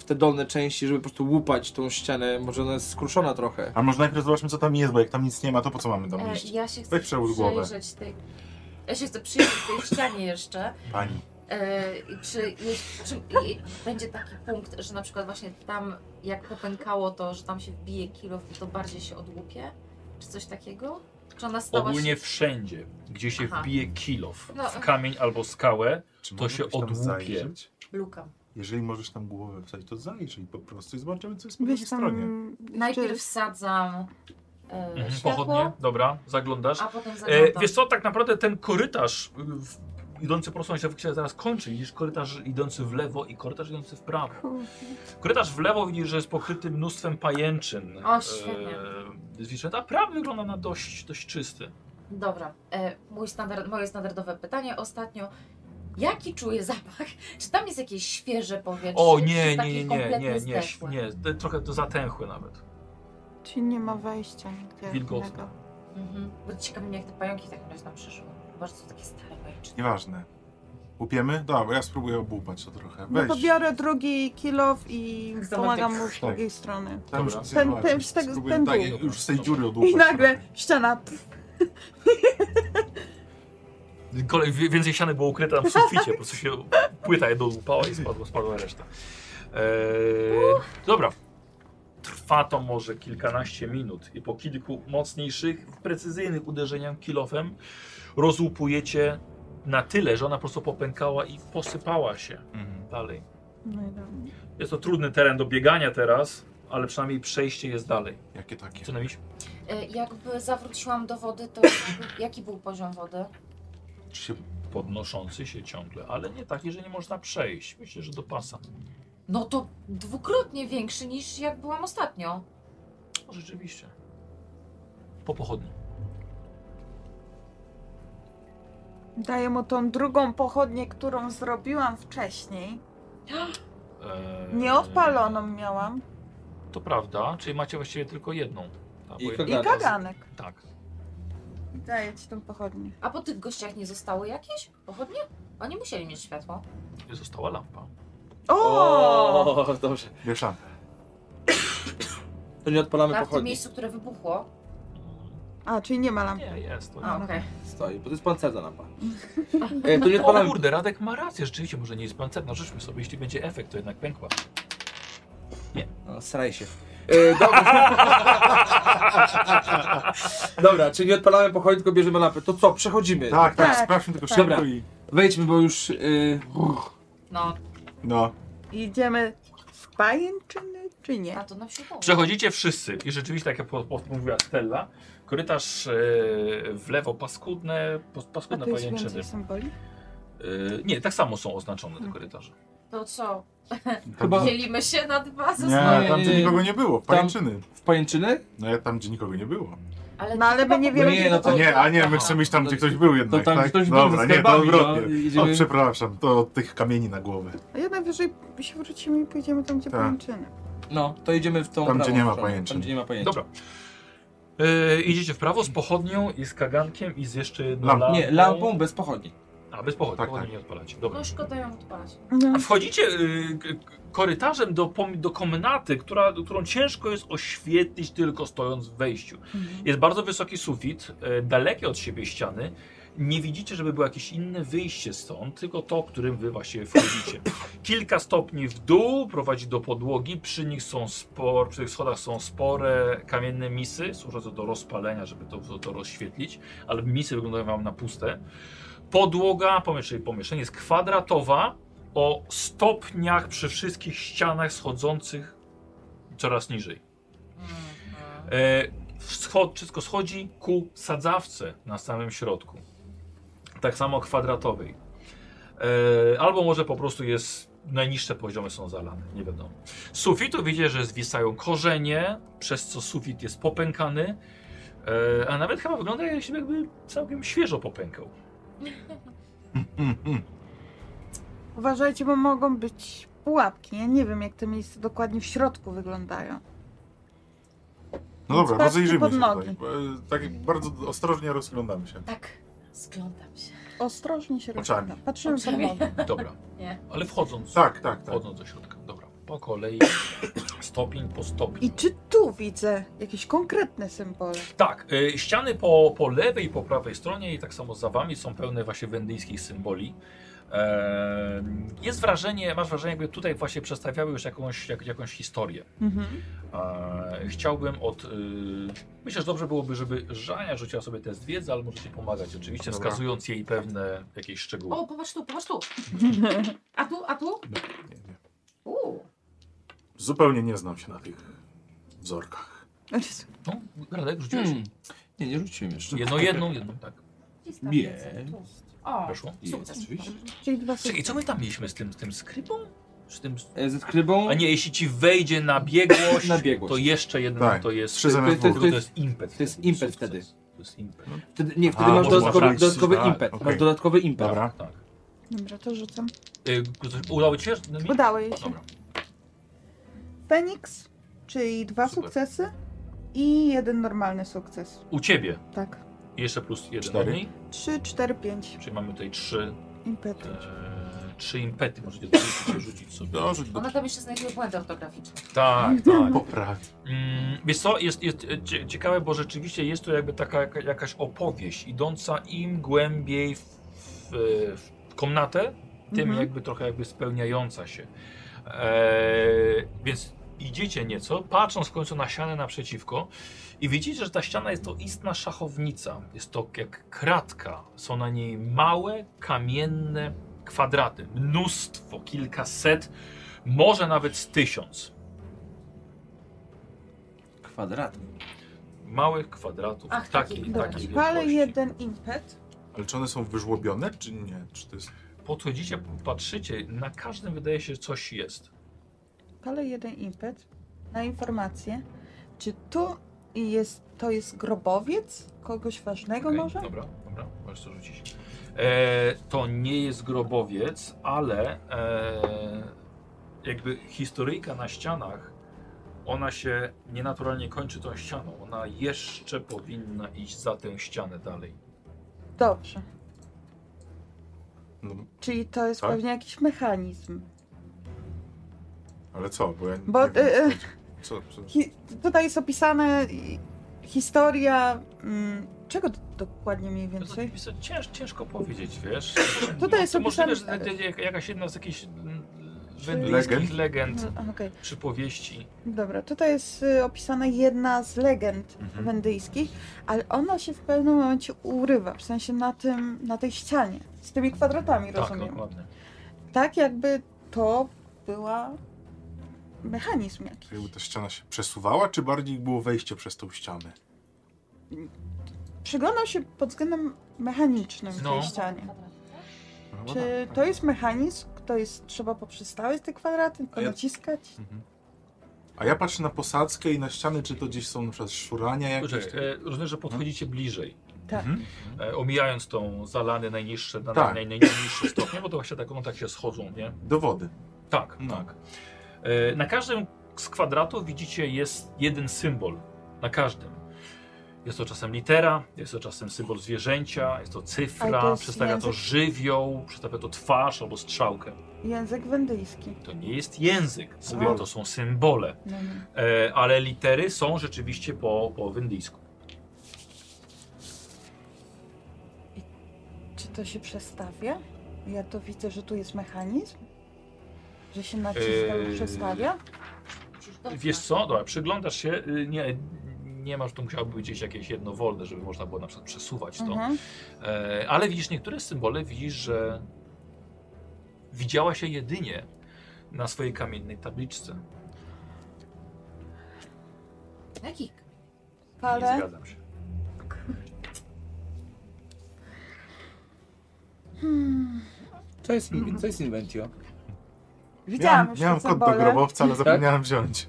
Speaker 4: w te dolne części, żeby po prostu łupać tą ścianę? Może ona jest skruszona trochę.
Speaker 2: A może najpierw zobaczmy, co tam jest, bo jak tam nic nie ma, to po co mamy tam
Speaker 5: E,
Speaker 2: iść?
Speaker 5: ja się chcę
Speaker 2: Weź przełóż głowę.
Speaker 5: przyjrzeć tej... Ja się chcę przyjrzeć tej ścianie jeszcze.
Speaker 2: Pani.
Speaker 5: E, i czy, jest, czy i, będzie taki punkt, że na przykład właśnie tam, jak popękało to, że tam się wbije kilof, to bardziej się odłupie? Czy coś takiego? Czy ona stała
Speaker 1: Ogólnie
Speaker 5: się...
Speaker 1: wszędzie, gdzie się
Speaker 5: Aha.
Speaker 1: wbije kilof
Speaker 5: No.
Speaker 1: w kamień albo skałę,
Speaker 2: Czy
Speaker 1: To się
Speaker 2: mógłbyś tam
Speaker 1: odłupie.
Speaker 2: zajrzeć?
Speaker 5: Luka.
Speaker 2: Jeżeli możesz tam głowę wstać, to zajrzyj po prostu i zobaczymy, co jest po drugiej
Speaker 7: Wiesz, tam...
Speaker 2: stronie.
Speaker 5: Najpierw wsadzam e,
Speaker 1: mhm,
Speaker 5: światło,
Speaker 1: pochodnie, dobra, zaglądasz.
Speaker 5: a potem zaglądam.
Speaker 1: E, wiesz co, tak naprawdę ten korytarz y, w, idący prosto on się się zaraz kończy. Widzisz korytarz idący w lewo i korytarz idący w prawo. Korytarz w lewo widzisz, że jest pokryty mnóstwem pajęczyn.
Speaker 5: O, świetnie.
Speaker 1: E, zwierzęta. a prawy wygląda na dość, dość czysty.
Speaker 5: Znaczy, Dobra, e, mój standard, moje standardowe pytanie ostatnio. Jaki czuję zapach? Czy tam jest jakieś świeże powietrze?
Speaker 1: O
Speaker 5: czy
Speaker 1: nie,
Speaker 5: takie
Speaker 1: nie, nie, nie,
Speaker 5: kompletnie
Speaker 1: nie, nie,
Speaker 5: zdechłe?
Speaker 1: nie, te- trochę to zatęchły nawet.
Speaker 7: Czy nie ma wejścia nigdzie.
Speaker 1: Wilgotne.
Speaker 7: innego.
Speaker 5: Mhm. Bo ciekawi mnie, jak te pająki w takim razie tam przyszły. Bardzo są takie stare pajęczyny.
Speaker 2: Nieważne. Łupiemy? Dobra, ja spróbuję obłupać to trochę.
Speaker 7: No
Speaker 2: Weź.
Speaker 7: to biorę drugi kilof i
Speaker 5: Zobacz,
Speaker 7: pomagam
Speaker 5: jak-
Speaker 7: mu z drugiej strony.
Speaker 2: Tam już
Speaker 1: Dobra.
Speaker 2: chcę
Speaker 7: Ten-
Speaker 2: zobaczyć.
Speaker 7: ten z tego-
Speaker 2: Spróbuję
Speaker 7: ten
Speaker 2: tak,
Speaker 7: dół.
Speaker 2: jak już z tej dziury odłupać.
Speaker 7: I nagle
Speaker 2: trochę.
Speaker 7: ściana. Pff,
Speaker 1: Kolej, wie- więcej siany było ukryte tam w suficie, po prostu się płyta jedną złupała i spadła, spadła reszta. Eee, dobra. Trwa to może kilkanaście minut i po kilku mocniejszych, precyzyjnych uderzeniach kilofem rozłupujecie na tyle, że ona po prostu popękała i posypała się
Speaker 2: Mhm.
Speaker 1: dalej.
Speaker 7: No i dobra.
Speaker 1: Jest to trudny teren do biegania teraz, ale przynajmniej przejście jest dalej.
Speaker 2: Jakie takie?
Speaker 1: Co najmniej?
Speaker 5: E, jakby zawróciłam do wody, to jaki był poziom wody?
Speaker 2: Czy się...
Speaker 1: Podnoszący się ciągle, ale nie taki, że nie można przejść. Myślę, że do pasa.
Speaker 5: No to dwukrotnie większy niż jak byłam ostatnio.
Speaker 1: No, rzeczywiście. Po pochodni.
Speaker 7: Daję mu tą drugą pochodnię, którą zrobiłam wcześniej.
Speaker 1: Eee,
Speaker 7: Nieodpaloną miałam.
Speaker 1: To prawda, czyli macie właściwie tylko jedną. Ta,
Speaker 4: I
Speaker 1: bo-
Speaker 4: kogo-
Speaker 7: I kaganek.
Speaker 1: Tak.
Speaker 7: Daję ci tą pochodnię.
Speaker 5: A po tych gościach nie zostały jakieś pochodnie? Oni musieli mieć światło.
Speaker 1: Została lampa.
Speaker 7: O!
Speaker 4: O, dobrze.
Speaker 2: Wieszam.
Speaker 4: To nie odpalamy
Speaker 5: A w tym
Speaker 4: pochodni.
Speaker 5: miejscu, które wybuchło.
Speaker 7: A, czyli nie ma lampy.
Speaker 1: Nie, No jest. To
Speaker 5: A, okej.
Speaker 4: Stoi, bo to jest pancerna lampa. E, to nie
Speaker 1: O
Speaker 4: odpalamy...
Speaker 1: kurde, Radek ma rację, rzeczywiście może nie jest pancerna, rzućmy sobie, jeśli będzie efekt, to jednak pękła.
Speaker 4: No, staraj się. E, dobra. dobra, czyli nie odpalamy pochodni, tylko bierzemy lampę. To co, przechodzimy.
Speaker 2: Tak, tak,
Speaker 7: Tak,
Speaker 2: sprawdźmy tylko
Speaker 7: tak.
Speaker 2: szybko
Speaker 4: Dobra.
Speaker 2: i...
Speaker 4: Wejdźmy, bo już... Y...
Speaker 5: No,
Speaker 2: No.
Speaker 7: Idziemy w pajęczyny, czy nie?
Speaker 5: na to nam się udało.
Speaker 1: Przechodzicie wszyscy i rzeczywiście, tak jak po- po- mówiła Stella, korytarz e, w lewo paskudne, pos-
Speaker 7: A
Speaker 1: paskudne
Speaker 7: to jest
Speaker 1: pajęczyny.
Speaker 7: więcej symboli?
Speaker 1: E, nie, tak samo są oznaczone te korytarze.
Speaker 5: To co?
Speaker 4: Chyba
Speaker 5: Dzielimy się na dwa
Speaker 2: Nie,
Speaker 5: zostały.
Speaker 2: tam gdzie nikogo nie było, w
Speaker 4: Tam-
Speaker 2: pajęczyny.
Speaker 4: w pajęczyny?
Speaker 2: No ja tam gdzie nikogo nie było.
Speaker 5: Ale
Speaker 7: No ale my nie wiemy,
Speaker 4: Nie,
Speaker 7: gdzie
Speaker 4: no
Speaker 7: to
Speaker 2: A nie, a nie, my
Speaker 5: Aha.
Speaker 2: chcemy iść tam, gdzie
Speaker 4: To-
Speaker 2: ktoś był
Speaker 4: To
Speaker 2: jednak,
Speaker 4: tam
Speaker 2: tak?
Speaker 4: ktoś był
Speaker 2: Dobra,
Speaker 4: ze
Speaker 2: nie, to
Speaker 4: skarbami, no,
Speaker 2: odwrotnie.
Speaker 4: idziemy...
Speaker 2: O, przepraszam, to od tych kamieni na głowę.
Speaker 7: A ja najwyżej się wrócimy i pójdziemy tam, gdzie
Speaker 2: Tak.
Speaker 7: pajęczyny.
Speaker 4: No, to idziemy w tą
Speaker 2: Tam, gdzie
Speaker 4: prawą
Speaker 2: nie ma
Speaker 4: stronę,
Speaker 2: pajęczyn.
Speaker 4: Tam, gdzie nie ma pajęczyn.
Speaker 1: Dobra. Y, E, idziecie w prawo z pochodnią i z kagankiem i z jeszcze jedną
Speaker 2: Lamp-
Speaker 1: lampą.
Speaker 4: Nie, lampą bez pochodni.
Speaker 1: A, bez pochodni,
Speaker 2: Tak,
Speaker 1: pochodni
Speaker 2: tak.
Speaker 1: nie odpalacie. Dobra.
Speaker 5: No szkoda ją odpalać.
Speaker 7: No,
Speaker 1: A wchodzicie y, k- k- korytarzem do, pom- do komnaty, która, którą ciężko jest oświetlić tylko stojąc w wejściu. Jest bardzo wysoki sufit, y, dalekie od siebie ściany. Nie widzicie, żeby było jakieś inne wyjście stąd, tylko to, którym wy właśnie wchodzicie. Kilka stopni w dół prowadzi do podłogi, przy nich są spor, przy tych schodach są spore kamienne misy, służące do rozpalenia, żeby to, to, to rozświetlić, ale misy wyglądają wam na puste. Podłoga, pomieszczenie, pomieszczenie jest kwadratowa, o stopniach przy wszystkich ścianach schodzących coraz niżej. E, wschod, wszystko schodzi ku sadzawce na samym środku. Tak samo kwadratowej. E, albo może po prostu jest najniższe poziomy są zalane, nie wiadomo. Z sufitu widzicie, że zwisają korzenie, przez co sufit jest popękany. E, a nawet chyba wygląda jak- jakby całkiem świeżo popękał.
Speaker 2: Mm,
Speaker 7: Uważajcie, bo mogą być pułapki. Ja nie wiem, jak te miejsca dokładnie w środku wyglądają.
Speaker 2: No dobra,
Speaker 7: Spadki
Speaker 2: rozejrzyjmy
Speaker 7: pod
Speaker 2: się
Speaker 7: nogi.
Speaker 2: tutaj. E, Tak bardzo ostrożnie rozglądamy się.
Speaker 5: Tak, zglądam się.
Speaker 7: Ostrożnie się
Speaker 2: Oczami.
Speaker 7: rozgląda. Patrzymy pod
Speaker 5: Oczami.
Speaker 7: nogi.
Speaker 1: Dobra.
Speaker 5: Nie.
Speaker 1: Ale wchodząc.
Speaker 2: Tak, tak, tak.
Speaker 1: Wchodząc do środka. Dobra. Po kolei, stopień po stopień.
Speaker 7: I czy tu widzę jakieś konkretne symbole?
Speaker 1: Tak, y, ściany po, po lewej i po prawej stronie i tak samo za wami są pełne właśnie wendyjskich symboli. E, Jest wrażenie, masz wrażenie, jakby tutaj właśnie przedstawiały już jakąś, jak, jakąś historię.
Speaker 7: Mhm.
Speaker 1: E, Chciałbym od... y, Myślę, że dobrze byłoby, żeby Żania rzuciła sobie test wiedzy, ale możecie pomagać oczywiście,
Speaker 2: Dobra.
Speaker 1: wskazując jej pewne jakieś szczegóły.
Speaker 5: O, popatrz tu, popatrz tu. A tu, a tu?
Speaker 2: Nie, nie.
Speaker 5: Uuu.
Speaker 2: Zupełnie nie znam się na tych wzorkach.
Speaker 7: Znaczy,
Speaker 1: No, Radek, rzuciłeś?
Speaker 4: Hmm. Nie, nie rzuciłem jeszcze.
Speaker 1: Jedną, jedną, jedną, tak.
Speaker 5: Jest tam
Speaker 4: Nie.
Speaker 5: więcej, tu. O,
Speaker 1: Weszło.
Speaker 4: Jest,
Speaker 5: sukces.
Speaker 4: oczywiście.
Speaker 7: Czyli dwa są.
Speaker 1: Czekaj, co my tam mieliśmy z tym, z tym skrybą? Z tym...
Speaker 4: E, Ze skrybą.
Speaker 1: A nie, jeśli ci wejdzie na biegłość,
Speaker 4: Na biegłość.
Speaker 1: to jeszcze jeden
Speaker 2: Tak,
Speaker 1: to jest...
Speaker 2: Trzy
Speaker 4: Ty-
Speaker 2: zamiast
Speaker 4: ty-
Speaker 2: dwóch. No
Speaker 1: To jest impet.
Speaker 4: to jest
Speaker 1: wtedy,
Speaker 4: impet
Speaker 1: sukces.
Speaker 4: wtedy.
Speaker 1: To jest impet.
Speaker 4: Wtedy, nie, wtedy
Speaker 2: A,
Speaker 4: masz
Speaker 1: może
Speaker 4: dodatkowy,
Speaker 1: zabrać.
Speaker 4: dodatkowy
Speaker 2: Tak,
Speaker 4: impet.
Speaker 2: okej.
Speaker 4: Masz dodatkowy impet.
Speaker 2: Dobra.
Speaker 1: Tak.
Speaker 7: Dobra, to rzucam.
Speaker 1: Y, ktoś- udało ci się? No Nemi?
Speaker 7: Udało jej się.
Speaker 1: Dobra.
Speaker 7: Feniks, czyli dwa
Speaker 1: Super.
Speaker 7: sukcesy i jeden normalny sukces.
Speaker 1: U ciebie.
Speaker 7: Tak.
Speaker 1: Jeszcze plus jeden
Speaker 2: Cztery.
Speaker 1: od niej.
Speaker 7: Trzy, cztery, pięć.
Speaker 1: Czyli mamy tutaj trzy,
Speaker 7: Impety.
Speaker 1: e, trzy impety. Możecie dorzucić- rzucić sobie.
Speaker 2: Dobrze,
Speaker 5: Ona tam jeszcze znajduje błędy ortograficzne.
Speaker 1: Tak, tak.
Speaker 2: Poprawi.
Speaker 1: Mm, Wiesz co, jest, jest e, cie- ciekawe, bo rzeczywiście jest to jakby taka jaka- jakaś opowieść idąca im głębiej w, w, w komnatę, tym
Speaker 7: Mhm.
Speaker 1: jakby trochę jakby spełniająca się. E, więc idziecie nieco, patrząc w końcu na ścianę naprzeciwko i widzicie, że ta ściana jest to istna szachownica. Jest to jak kratka. Są na niej małe, kamienne kwadraty. Mnóstwo, kilkaset, może nawet z tysiąc.
Speaker 4: Kwadrat.
Speaker 1: małych kwadratów.
Speaker 5: Ach,
Speaker 1: takiej, takiej,
Speaker 5: taki,
Speaker 7: Dobra,
Speaker 1: wielkości.
Speaker 7: palę jeden impet.
Speaker 2: Ale czy one są wyżłobione, czy nie? Czy to jest...
Speaker 1: Podchodzicie, patrzycie, na każdym wydaje się, że coś jest.
Speaker 7: Palę jeden impet na informację. Czy tu jest, to jest grobowiec kogoś ważnego
Speaker 1: Okej,
Speaker 7: może?
Speaker 1: Dobra, dobra, możesz to rzucić. E, to nie jest grobowiec, ale e, jakby historyjka na ścianach, ona się nienaturalnie kończy tą ścianą. Ona jeszcze powinna iść za tę ścianę dalej.
Speaker 7: Dobrze.
Speaker 2: No,
Speaker 7: Czyli to jest
Speaker 2: Tak?
Speaker 7: pewnie jakiś mechanizm.
Speaker 2: ale co? Bo ja nie
Speaker 7: Bo
Speaker 2: wiem,
Speaker 7: e, e,
Speaker 2: co, co,
Speaker 7: hi, tutaj jest opisane i- historia. Mm, czego d- dokładnie mniej
Speaker 1: To,
Speaker 7: więcej?
Speaker 1: to, to znaczy, cięż, ciężko powiedzieć, wiesz. No
Speaker 7: Tutaj jest
Speaker 1: to możliwe, że
Speaker 7: opisane-
Speaker 1: to- to jakaś jedna z jakichś mm,
Speaker 2: Legend?
Speaker 1: wendyjskich legend,
Speaker 7: No, Okej,
Speaker 1: przypowieści.
Speaker 7: dobra. Tutaj jest y, opisana jedna z legend
Speaker 2: Mhm.
Speaker 7: wendyjskich, ale ona się w pewnym momencie urywa, w sensie na, tym, na tej ścianie, z tymi kwadratami,
Speaker 1: Tak,
Speaker 7: rozumiem.
Speaker 1: dokładnie.
Speaker 7: Tak, jakby to była mechanizm
Speaker 2: to jakby
Speaker 7: jakiś.
Speaker 2: ta ściana się przesuwała, czy bardziej było wejście przez tą ścianę?
Speaker 7: Przyglądał się pod względem mechanicznym w
Speaker 1: No.
Speaker 7: tej ścianie.
Speaker 2: No chyba
Speaker 7: Czy
Speaker 2: tak,
Speaker 7: to
Speaker 2: tak.
Speaker 7: jest mechanizm, to jest trzeba poprzestawiać te kwadraty, tylko
Speaker 2: A ja-
Speaker 7: naciskać?
Speaker 2: A ja patrzę na posadzkę i na ściany, czy to gdzieś są na przykład szurania jakieś?
Speaker 1: Poczekaj,
Speaker 2: Poczekaj,
Speaker 1: e, rozumiem, że podchodzicie bliżej,
Speaker 7: Tak.
Speaker 1: e, omijając tą zalany najniższe, na
Speaker 2: Mhm. Tak.
Speaker 1: naj, naj, najniższe stopnie, bo to właśnie tak, one tak się schodzą, nie?
Speaker 2: Do wody.
Speaker 1: Tak,
Speaker 2: No.
Speaker 1: tak. E, na każdym z kwadratów widzicie jest jeden symbol, na każdym. Jest to czasem litera, jest to czasem symbol zwierzęcia, jest to cyfra,
Speaker 7: Ale to jest
Speaker 1: przedstawia to
Speaker 7: język-
Speaker 1: żywioł, przedstawia to twarz albo strzałkę.
Speaker 7: Język wendyjski.
Speaker 1: To nie jest język, mówię,
Speaker 7: O.
Speaker 1: to są symbole,
Speaker 7: No, no.
Speaker 1: e, ale litery są rzeczywiście po, po wendyjsku.
Speaker 7: Czy to się przestawia? Ja to widzę, że tu jest mechanizm. Że się naciska
Speaker 1: Eee,
Speaker 7: przestawia.
Speaker 1: Wiesz co, dobra, przyglądasz się, y, nie, nie masz, to musiałoby być gdzieś jakieś jedno wolne, żeby można było na przykład przesuwać to.
Speaker 7: Mhm.
Speaker 1: E, ale widzisz niektóre symbole, widzisz, że widziała się jedynie na swojej kamiennej tabliczce.
Speaker 5: Jakich?
Speaker 1: Nie
Speaker 26: Ale
Speaker 1: zgadzam się.
Speaker 4: Co jest, in- co jest Inventio?
Speaker 7: Widziałam
Speaker 2: Miałem,
Speaker 7: już
Speaker 2: miałem
Speaker 7: te
Speaker 2: kod do
Speaker 7: symbole.
Speaker 2: grobowca, ale zapomniałem wziąć.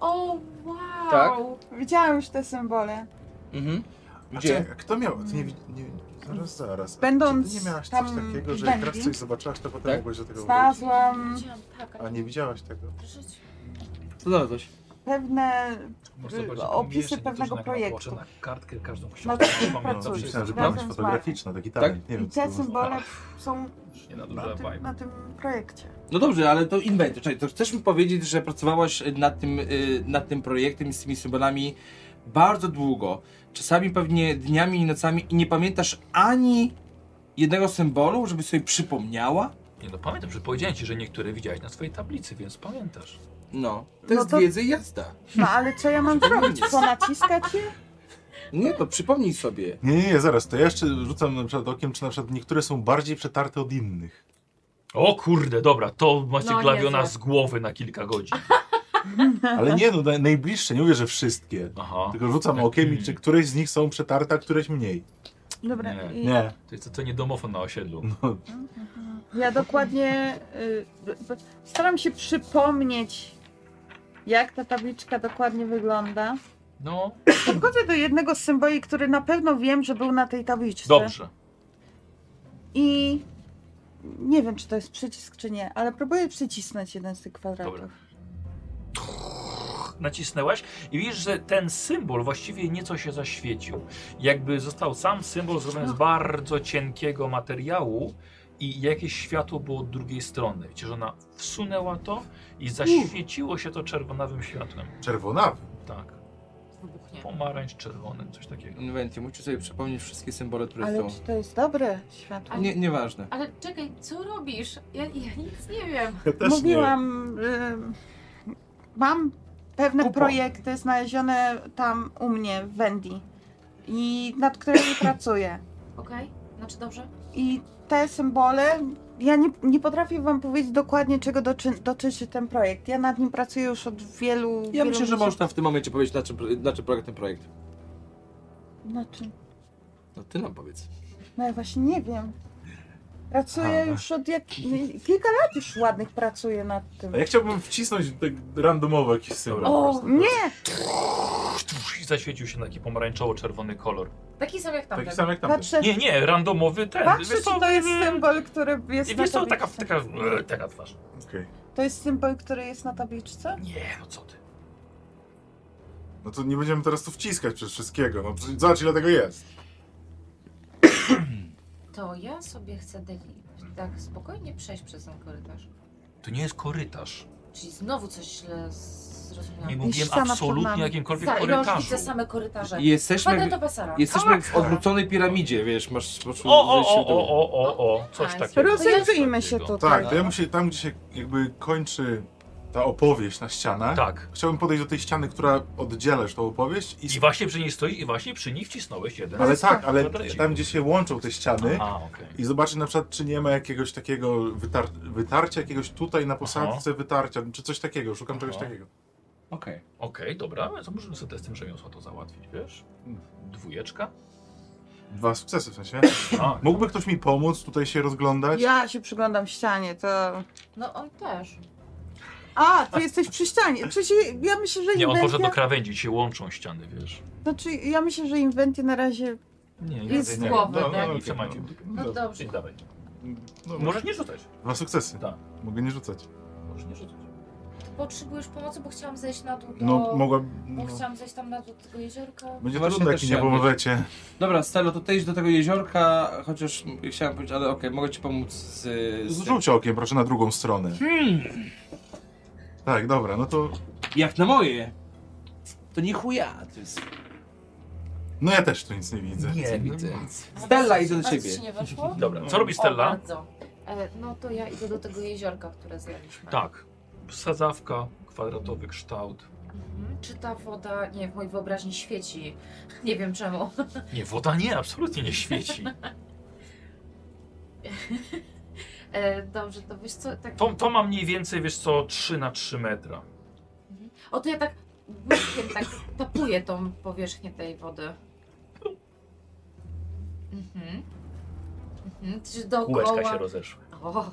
Speaker 5: O, wow!
Speaker 4: Tak.
Speaker 7: Widziałam już te symbole.
Speaker 4: Mhm.
Speaker 2: A
Speaker 4: Gdzie?
Speaker 2: czekaj, kto miał? Ty nie, wi- nie, zaraz, zaraz.
Speaker 7: Będąc
Speaker 2: Czy ty nie miałaś coś
Speaker 7: tam
Speaker 2: takiego,
Speaker 7: w
Speaker 2: że jak raz
Speaker 7: Belgii?
Speaker 2: coś zobaczyłaś, to potem
Speaker 4: Tak.
Speaker 2: mogłeś do tego wrócić?
Speaker 7: Znalazłam
Speaker 5: Widziałam, tak, ale
Speaker 2: A nie widziałaś tego.
Speaker 5: w życiu.
Speaker 4: Co znalazłeś?
Speaker 7: pewne
Speaker 1: Może
Speaker 7: Y,
Speaker 1: zobaczyć, jak
Speaker 7: opisy
Speaker 1: pomijesz się, niektórzy
Speaker 7: pewnego
Speaker 1: nagrają
Speaker 7: projektu.
Speaker 1: oczy Na kartkę każdą
Speaker 7: No
Speaker 1: książkę.
Speaker 7: tak,
Speaker 1: Pamiętam,
Speaker 2: No,
Speaker 7: cóż,
Speaker 1: że
Speaker 2: myślałem, że
Speaker 7: razem
Speaker 2: pamięć
Speaker 7: z
Speaker 2: fotograficzna, taki talent. Nie
Speaker 7: i
Speaker 2: wiem, co to
Speaker 7: te
Speaker 2: było.
Speaker 7: symbole są
Speaker 1: Nie na
Speaker 7: na
Speaker 1: duże
Speaker 7: tym,
Speaker 1: vibe.
Speaker 7: na tym projekcie.
Speaker 4: No dobrze, ale to Inventio. Czekaj, to chcesz mi powiedzieć, że pracowałaś nad tym, y, nad tym projektem i z tymi symbolami bardzo długo. Czasami pewnie dniami i nocami i nie pamiętasz ani jednego symbolu, żeby sobie przypomniała?
Speaker 1: Nie no pamiętam, że powiedziałem ci, że niektóre widziałeś na swojej tablicy, więc pamiętasz.
Speaker 4: No, to
Speaker 7: No
Speaker 4: jest
Speaker 7: to-
Speaker 4: wiedza i jazda.
Speaker 7: No ale co ja mam zrobić? Ponaciskać je?
Speaker 4: Nie, to przypomnij sobie.
Speaker 2: Nie, nie, nie, zaraz, to ja jeszcze rzucam na przykład okiem, czy na przykład niektóre są bardziej przetarte od innych.
Speaker 1: O kurde, dobra, to macie
Speaker 5: No,
Speaker 1: glawiona
Speaker 5: niezłe.
Speaker 1: z głowy na kilka godzin.
Speaker 2: Ale nie, no na- najbliższe, nie mówię, że wszystkie.
Speaker 1: Aha.
Speaker 2: Tylko rzucam okiem i czy któreś z nich są przetarte, a któreś mniej.
Speaker 7: Dobra,
Speaker 1: Nie.
Speaker 7: i
Speaker 2: Nie,
Speaker 1: To jest to nie domofon na osiedlu.
Speaker 2: No.
Speaker 7: ja dokładnie y, b- b- staram się przypomnieć, jak ta tabliczka dokładnie wygląda.
Speaker 1: No,
Speaker 7: Podchodzę do jednego z symboli, który na pewno wiem, że był na tej tabliczce.
Speaker 1: dobrze.
Speaker 7: I nie wiem, czy to jest przycisk, czy nie, ale próbuję przycisnąć jeden z tych kwadratów.
Speaker 1: Dobra. Nacisnęłaś i widzisz, że ten symbol właściwie nieco się zaświecił. Jakby został sam symbol
Speaker 7: No.
Speaker 1: zrobiony z bardzo cienkiego materiału i jakieś światło było od drugiej strony. Widzisz, że ona wsunęła to i zaświeciło się to czerwonawym światłem.
Speaker 2: czerwonawy.
Speaker 1: Tak,
Speaker 5: Wybuchnie.
Speaker 1: pomarańcz, czerwony, coś takiego.
Speaker 4: Inventio, musisz sobie przypomnieć wszystkie symbole, które
Speaker 7: Ale
Speaker 4: są.
Speaker 7: czy to jest dobre światło?
Speaker 4: Nie, nieważne.
Speaker 5: Ale czekaj, co robisz? Ja, ja nic nie wiem.
Speaker 2: Ja też
Speaker 7: Mówiłam, ym, mam pewne
Speaker 4: Kupon.
Speaker 7: projekty znalezione tam u mnie w Wendy i nad którymi pracuję.
Speaker 5: Okej? Znaczy dobrze?
Speaker 7: I te symbole, ja nie, nie potrafię wam powiedzieć dokładnie czego doczy, dotyczy ten projekt. Ja nad nim pracuję już od wielu
Speaker 4: Ja
Speaker 7: wielu
Speaker 4: myślę, że
Speaker 7: miesięcy.
Speaker 4: można w tym momencie powiedzieć, na czym, na czym polega ten projekt.
Speaker 7: Znaczy,
Speaker 4: No ty nam powiedz.
Speaker 7: no ja właśnie nie wiem. Pracuję
Speaker 2: Aha.
Speaker 7: już od jak... no kilka lat już ładnych pracuję nad tym.
Speaker 2: nie. A ja chciałbym wcisnąć tak randomowo jakiś symbol.
Speaker 1: Dobra.
Speaker 7: O,
Speaker 2: tak.
Speaker 7: nie!
Speaker 1: I zaświecił się taki pomarańczowo-czerwony kolor.
Speaker 5: Taki sam jak tamten.
Speaker 2: Taki sam jak tamten.
Speaker 7: Patrzę,
Speaker 1: Nie, nie, randomowy ten.
Speaker 7: patrzę
Speaker 1: Wiesz co,
Speaker 7: czy Tak. to jest
Speaker 1: y,
Speaker 7: symbol, który jest
Speaker 1: I wiesz
Speaker 7: na
Speaker 1: co, taka,
Speaker 7: tablicy.
Speaker 1: taka, e, taka twarz.
Speaker 2: Okej.
Speaker 7: To jest symbol, który jest na tabliczce?
Speaker 1: Nie, no co ty.
Speaker 2: No to nie będziemy teraz tu wciskać przez wszystkiego. No przecież zobacz ile tego jest.
Speaker 5: To ja sobie chcę deli- tak spokojnie przejść przez ten korytarz.
Speaker 1: To nie jest korytarz.
Speaker 5: Czyli znowu coś źle z-
Speaker 1: Nie
Speaker 5: zrozumiałam.
Speaker 1: mówiłem
Speaker 7: sama przed
Speaker 1: absolutnie o
Speaker 7: nami.
Speaker 1: jakimkolwiek
Speaker 5: Za
Speaker 1: korytarzu.
Speaker 5: widzę same korytarze. Tak.
Speaker 4: Jesteśmy,
Speaker 5: Kwadratowa sala.
Speaker 4: jesteśmy w odwróconej piramidzie, wiesz, masz po prostu
Speaker 1: O, o,
Speaker 4: zejście
Speaker 1: o,
Speaker 4: w dół.
Speaker 1: o, o, o, o, coś
Speaker 5: Nice.
Speaker 1: takiego.
Speaker 7: Rozejrzyjmy
Speaker 1: Coś
Speaker 7: się
Speaker 1: takiego.
Speaker 7: tutaj.
Speaker 2: Tak, to ja muszę tam, gdzie się jakby kończy ta opowieść na ścianach.
Speaker 1: Tak.
Speaker 2: Chciałbym podejść do tej ściany, która oddzielasz tą opowieść. I...
Speaker 1: I właśnie przy niej stoi i właśnie przy niej wcisnąłeś jeden.
Speaker 2: Ale tak, ale
Speaker 1: Kwadrat.
Speaker 2: tam gdzie się łączą te ściany
Speaker 1: A, okej.
Speaker 2: i zobaczyć na przykład, czy nie ma jakiegoś takiego wytar... wytarcia, jakiegoś tutaj na posadzce wytarcia, czy coś takiego. Szukam czegoś
Speaker 1: Aha.
Speaker 2: takiego.
Speaker 4: Okej.
Speaker 1: Okej, dobra, to możemy sobie z tym rzemiosła to załatwić, wiesz? Dwójeczka? Tak.
Speaker 2: Dwa sukcesy w sensie.
Speaker 1: A,
Speaker 2: Mógłby ktoś mi pomóc tutaj się
Speaker 1: Tak.
Speaker 2: rozglądać?
Speaker 7: Ja się przyglądam ścianie, to...
Speaker 5: No on też.
Speaker 7: A, ty jesteś przy ścianie. Przecież ja myślę, że
Speaker 1: nie, on poszedł do
Speaker 7: inwentia...
Speaker 1: krawędzi, się łączą ściany, wiesz?
Speaker 7: Znaczy, ja myślę, że inwentia na razie...
Speaker 1: Nie, nie,
Speaker 5: Jest z
Speaker 1: nie.
Speaker 5: głowy,
Speaker 1: No,
Speaker 5: tak?
Speaker 1: no,
Speaker 2: okej,
Speaker 1: co macie?
Speaker 5: No dobrze.
Speaker 1: Idź dawaj.
Speaker 2: No,
Speaker 1: Możesz nie rzucać.
Speaker 2: Dwa sukcesy.
Speaker 1: Tak.
Speaker 2: Mogę nie rzucać.
Speaker 1: Możesz nie rzucać.
Speaker 5: Potrzebujesz pomocy, bo chciałam zejść na dół do...
Speaker 14: No, mogła...
Speaker 5: Bo
Speaker 14: No.
Speaker 5: chciałam zejść tam na dół do tego jeziorka.
Speaker 14: Będzie
Speaker 4: Właśnie
Speaker 14: trudno, jak
Speaker 4: też
Speaker 14: mi nie
Speaker 4: chciałem
Speaker 14: pomożecie.
Speaker 4: Dobra, Stelo, to ty idź do tego jeziorka, chociaż chciałem powiedzieć, ale okej, mogę ci pomóc z... z tym.
Speaker 14: Zrzuć okiem, proszę, na drugą stronę.
Speaker 5: Hmm.
Speaker 14: Tak, dobra, no to...
Speaker 4: Jak na moje. To nie chuja, to jest...
Speaker 14: No ja też tu nic nie widzę.
Speaker 4: Nie
Speaker 1: No
Speaker 4: widzę. Stella idzie do
Speaker 5: Bardzo
Speaker 4: ciebie.
Speaker 5: ci nie weszło?
Speaker 1: Dobra, co robi
Speaker 5: O,
Speaker 1: Stella?
Speaker 5: bardzo. E, no to ja idę do tego jeziorka, które zjadliśmy.
Speaker 1: Tak. Sadzawka, kwadratowy kształt.
Speaker 5: Mhm. Czy ta woda, nie, w mojej wyobraźni świeci. Nie wiem czemu.
Speaker 1: Nie, woda nie, absolutnie nie świeci.
Speaker 5: E, dobrze, to wiesz co, tak...
Speaker 1: To, to ma mniej więcej, wiesz co, 3 na 3 metra.
Speaker 5: O, to ja tak łyżkiem tak tapuję tą powierzchnię tej wody. Mhm. Mhm. Czy dookoła...
Speaker 13: Kółeczka się rozeszły.
Speaker 5: O.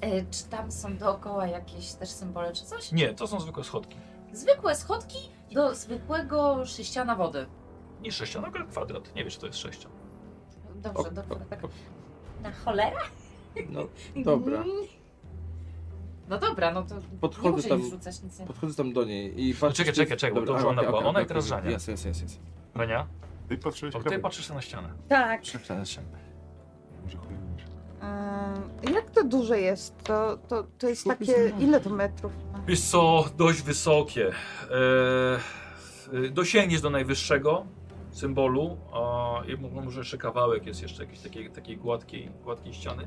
Speaker 5: E, Czy tam są dookoła jakieś też symbole czy coś?
Speaker 1: Nie, to są zwykłe schodki.
Speaker 5: Zwykłe schodki do zwykłego sześciana wody.
Speaker 1: Nie sześcian, ale kwadrat. Nie wiesz, czy to jest sześcian.
Speaker 5: Dobrze,
Speaker 4: O,
Speaker 5: dobrze.
Speaker 4: o,
Speaker 5: Tak.
Speaker 4: o.
Speaker 5: Na cholerę?
Speaker 4: No, dobra.
Speaker 5: Mm. No dobra, no to
Speaker 4: Podchodzę
Speaker 5: nie muszę
Speaker 4: tam-
Speaker 5: tam... rzucać nic. Nie.
Speaker 4: Podchodzę tam do niej i patrzę...
Speaker 1: No Czekaj, czekaj, czekaj, bo to już ona była. Ona i teraz Żania.
Speaker 4: Jest, jest, jest. jest.
Speaker 1: Renia?
Speaker 14: Ty patrzyłeś
Speaker 1: To ty
Speaker 14: kawę.
Speaker 1: patrzysz na ścianę.
Speaker 7: Tak.
Speaker 4: Przepraszam.
Speaker 14: Może chuj mówisz.
Speaker 7: Ym, jak to duże jest? To, to, to jest takie... Ile to metrów ma?
Speaker 1: Wiesz co, dość wysokie. Eee, dosięgniesz do najwyższego symbolu, a i mo- może jeszcze kawałek jest jeszcze jakiejś takiej, takiej gładkiej, gładkiej ściany,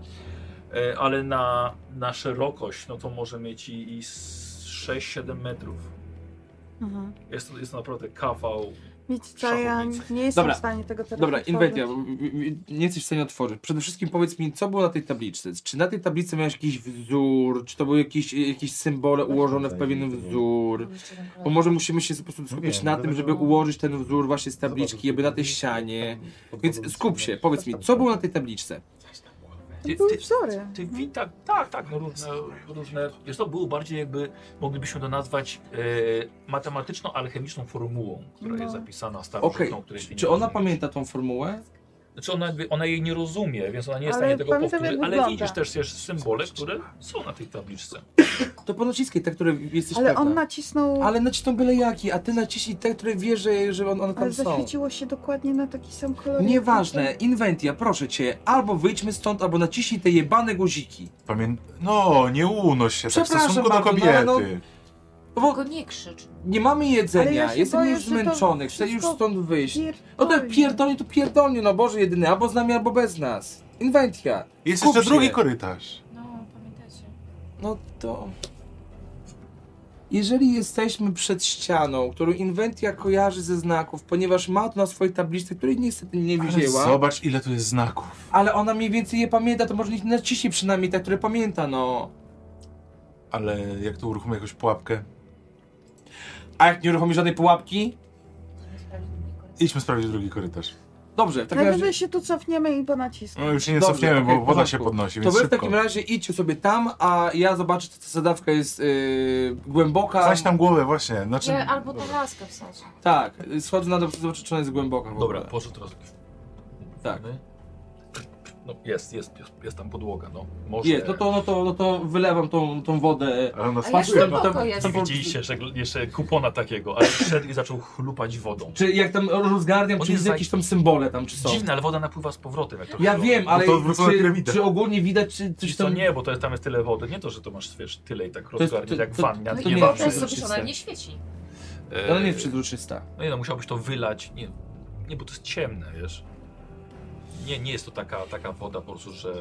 Speaker 1: Eee, ale na, na szerokość no to może mieć i, i z 6-7 metrów.
Speaker 7: Mhm.
Speaker 1: Jest to, jest to naprawdę kawał.
Speaker 7: Wiecie co, ja
Speaker 1: Szachownicy.
Speaker 7: nie jestem
Speaker 4: Dobra.
Speaker 7: w stanie tego teraz
Speaker 4: Dobra,
Speaker 7: otworzyć.
Speaker 4: Inwetia, w- w- nie jesteś w stanie otworzyć. Przede wszystkim powiedz mi, co było na tej tabliczce? Czy na tej tablicy miałeś jakiś wzór? Czy to były jakieś, jakieś symbole ułożone w pewien wzór?
Speaker 5: Jeszcze jeden kolor.
Speaker 4: Bo może musimy się po prostu
Speaker 1: No
Speaker 4: skupić
Speaker 14: wiem,
Speaker 4: na
Speaker 14: dlatego-
Speaker 4: tym, żeby ułożyć ten wzór właśnie z tabliczki, jakby na tej ścianie.
Speaker 1: Tak,
Speaker 4: Więc skup się, powiedz mi, co było na tej tabliczce?
Speaker 1: Ty,
Speaker 7: Były
Speaker 1: ty,
Speaker 7: wzory.
Speaker 1: ty wi- tak, tak, tak, no różne, różne. Wiesz, to było bardziej jakby, moglibyśmy to nazwać eee, matematyczno-alchemiczną formułą, która jest
Speaker 7: No.
Speaker 1: zapisana
Speaker 4: Okej,
Speaker 1: starożytną, której
Speaker 4: czy,
Speaker 1: się
Speaker 4: czy
Speaker 1: nie
Speaker 4: ona
Speaker 1: rozumie.
Speaker 4: pamięta tą formułę?
Speaker 1: Znaczy ona, jakby, ona jej nie rozumie, więc ona nie jest w
Speaker 7: Ale
Speaker 1: stanie tego
Speaker 7: pamiętam,
Speaker 1: powtórzyć,
Speaker 7: jak
Speaker 1: ale
Speaker 7: wygląda.
Speaker 1: widzisz też jeszcze symbole, które są na tej tabliczce.
Speaker 4: To ponaciskaj te, które jesteś
Speaker 7: Ale
Speaker 4: pewna.
Speaker 7: on nacisnął...
Speaker 4: Ale nacisną byle jaki, a ty naciśnij te, które wiesz, że, że on- one
Speaker 7: Ale
Speaker 4: tam są.
Speaker 7: zaświeciło się dokładnie na taki sam kolor. jak
Speaker 4: Nieważne,
Speaker 7: tamten.
Speaker 4: Inventia, proszę cię, albo wyjdźmy stąd, albo naciśnij te jebane guziki.
Speaker 14: Pamię... No, nie unoś się tak w
Speaker 4: Przepraszam
Speaker 14: stosunku do
Speaker 4: bardzo, no
Speaker 14: kobiety.
Speaker 4: ale no- Bo
Speaker 5: Tylko nie krzycz.
Speaker 4: nie mamy jedzenia,
Speaker 7: Ale ja się
Speaker 4: jestem
Speaker 7: boję,
Speaker 4: już
Speaker 7: że to
Speaker 4: zmęczony, chcę już
Speaker 7: wszystko
Speaker 4: stąd wyjść. No tak
Speaker 7: Pierdolnie.
Speaker 4: pierdolnie to pierdolnie, no Boże jedyny, albo z nami, albo bez nas. Inventia.
Speaker 14: Jest
Speaker 4: skup
Speaker 14: jeszcze
Speaker 4: się.
Speaker 14: drugi korytarz.
Speaker 5: No, pamiętacie.
Speaker 4: No to... Jeżeli jesteśmy przed ścianą, którą Inventia kojarzy ze znaków, ponieważ ma to na swojej tabliczce, której niestety nie
Speaker 14: Ale
Speaker 4: wzięła, ale,
Speaker 14: zobacz, ile tu jest znaków.
Speaker 4: ona mniej więcej je pamięta, to może niech naciśnie przynajmniej te, które pamięta, no.
Speaker 14: Ale jak tu uruchomię jakąś pułapkę?
Speaker 4: A jak nie uruchomi żadnej pułapki?
Speaker 5: Nie sprawdzimy nikogo.
Speaker 14: Idźmy sprawdzić drugi korytarz.
Speaker 4: Dobrze, w takim razie...
Speaker 7: Najwyżej się tu cofniemy i ponaciskamy.
Speaker 14: No już się nie
Speaker 4: Dobrze,
Speaker 14: cofniemy,
Speaker 4: okej,
Speaker 14: bo
Speaker 4: w
Speaker 14: woda
Speaker 4: porządku.
Speaker 14: się podnosi,
Speaker 4: To
Speaker 14: więc
Speaker 4: wy w
Speaker 14: szybko.
Speaker 4: takim razie idźcie sobie tam, a ja zobaczę, czy ta zadawka jest yy, głęboka.
Speaker 14: Zaś tam głowę właśnie, znaczy...
Speaker 5: Nie, albo tą laskę wsadź.
Speaker 4: Tak, y, schodzę na dół, zobaczę, czy ona jest głęboka. w ogóle.
Speaker 1: Dobra, poszedł teraz.
Speaker 4: Tak.
Speaker 1: No, jest, jest, jest, jest tam podłoga, no. Może...
Speaker 4: Jest, no to, no to, no to wylewam tą, tą wodę.
Speaker 14: Ale ona
Speaker 5: A ja
Speaker 14: smakuje.
Speaker 5: się
Speaker 4: tam-
Speaker 5: tam,
Speaker 4: tam-
Speaker 5: jest.
Speaker 1: Nie widzieliście jeszcze, jeszcze kupona takiego, ale wszedł i zaczął chlupać wodą.
Speaker 4: Czy jak tam rozgarniam,
Speaker 1: On
Speaker 4: czy
Speaker 1: jest
Speaker 4: widzę
Speaker 1: za-
Speaker 4: jakieś tam symbole tam, czy są.
Speaker 1: Dziwne, ale woda napływa z powrotem. Jak to
Speaker 4: Ja
Speaker 1: chluje.
Speaker 4: wiem, ale
Speaker 14: to odwrócona
Speaker 4: czy,
Speaker 14: piramida.
Speaker 4: czy ogólnie widać, czy
Speaker 1: Wiesz
Speaker 4: coś
Speaker 1: co,
Speaker 4: tam...
Speaker 1: nie, bo to jest, tam jest tyle wody. Nie to, że to masz wiesz, tyle i tak
Speaker 4: jest-
Speaker 1: rozgarnie,
Speaker 4: to-
Speaker 1: jak
Speaker 4: to-
Speaker 1: wannia.
Speaker 5: No
Speaker 4: to
Speaker 5: i
Speaker 4: nie
Speaker 5: to
Speaker 4: ma
Speaker 5: jest
Speaker 4: przejścia.
Speaker 5: zrobione, nie świeci.
Speaker 4: Ona nie jest przezroczysta.
Speaker 1: No nie no, musiałbyś to wylać. Nie, nie bo to jest ciemne, wiesz. Nie, nie jest to taka, taka woda po prostu, że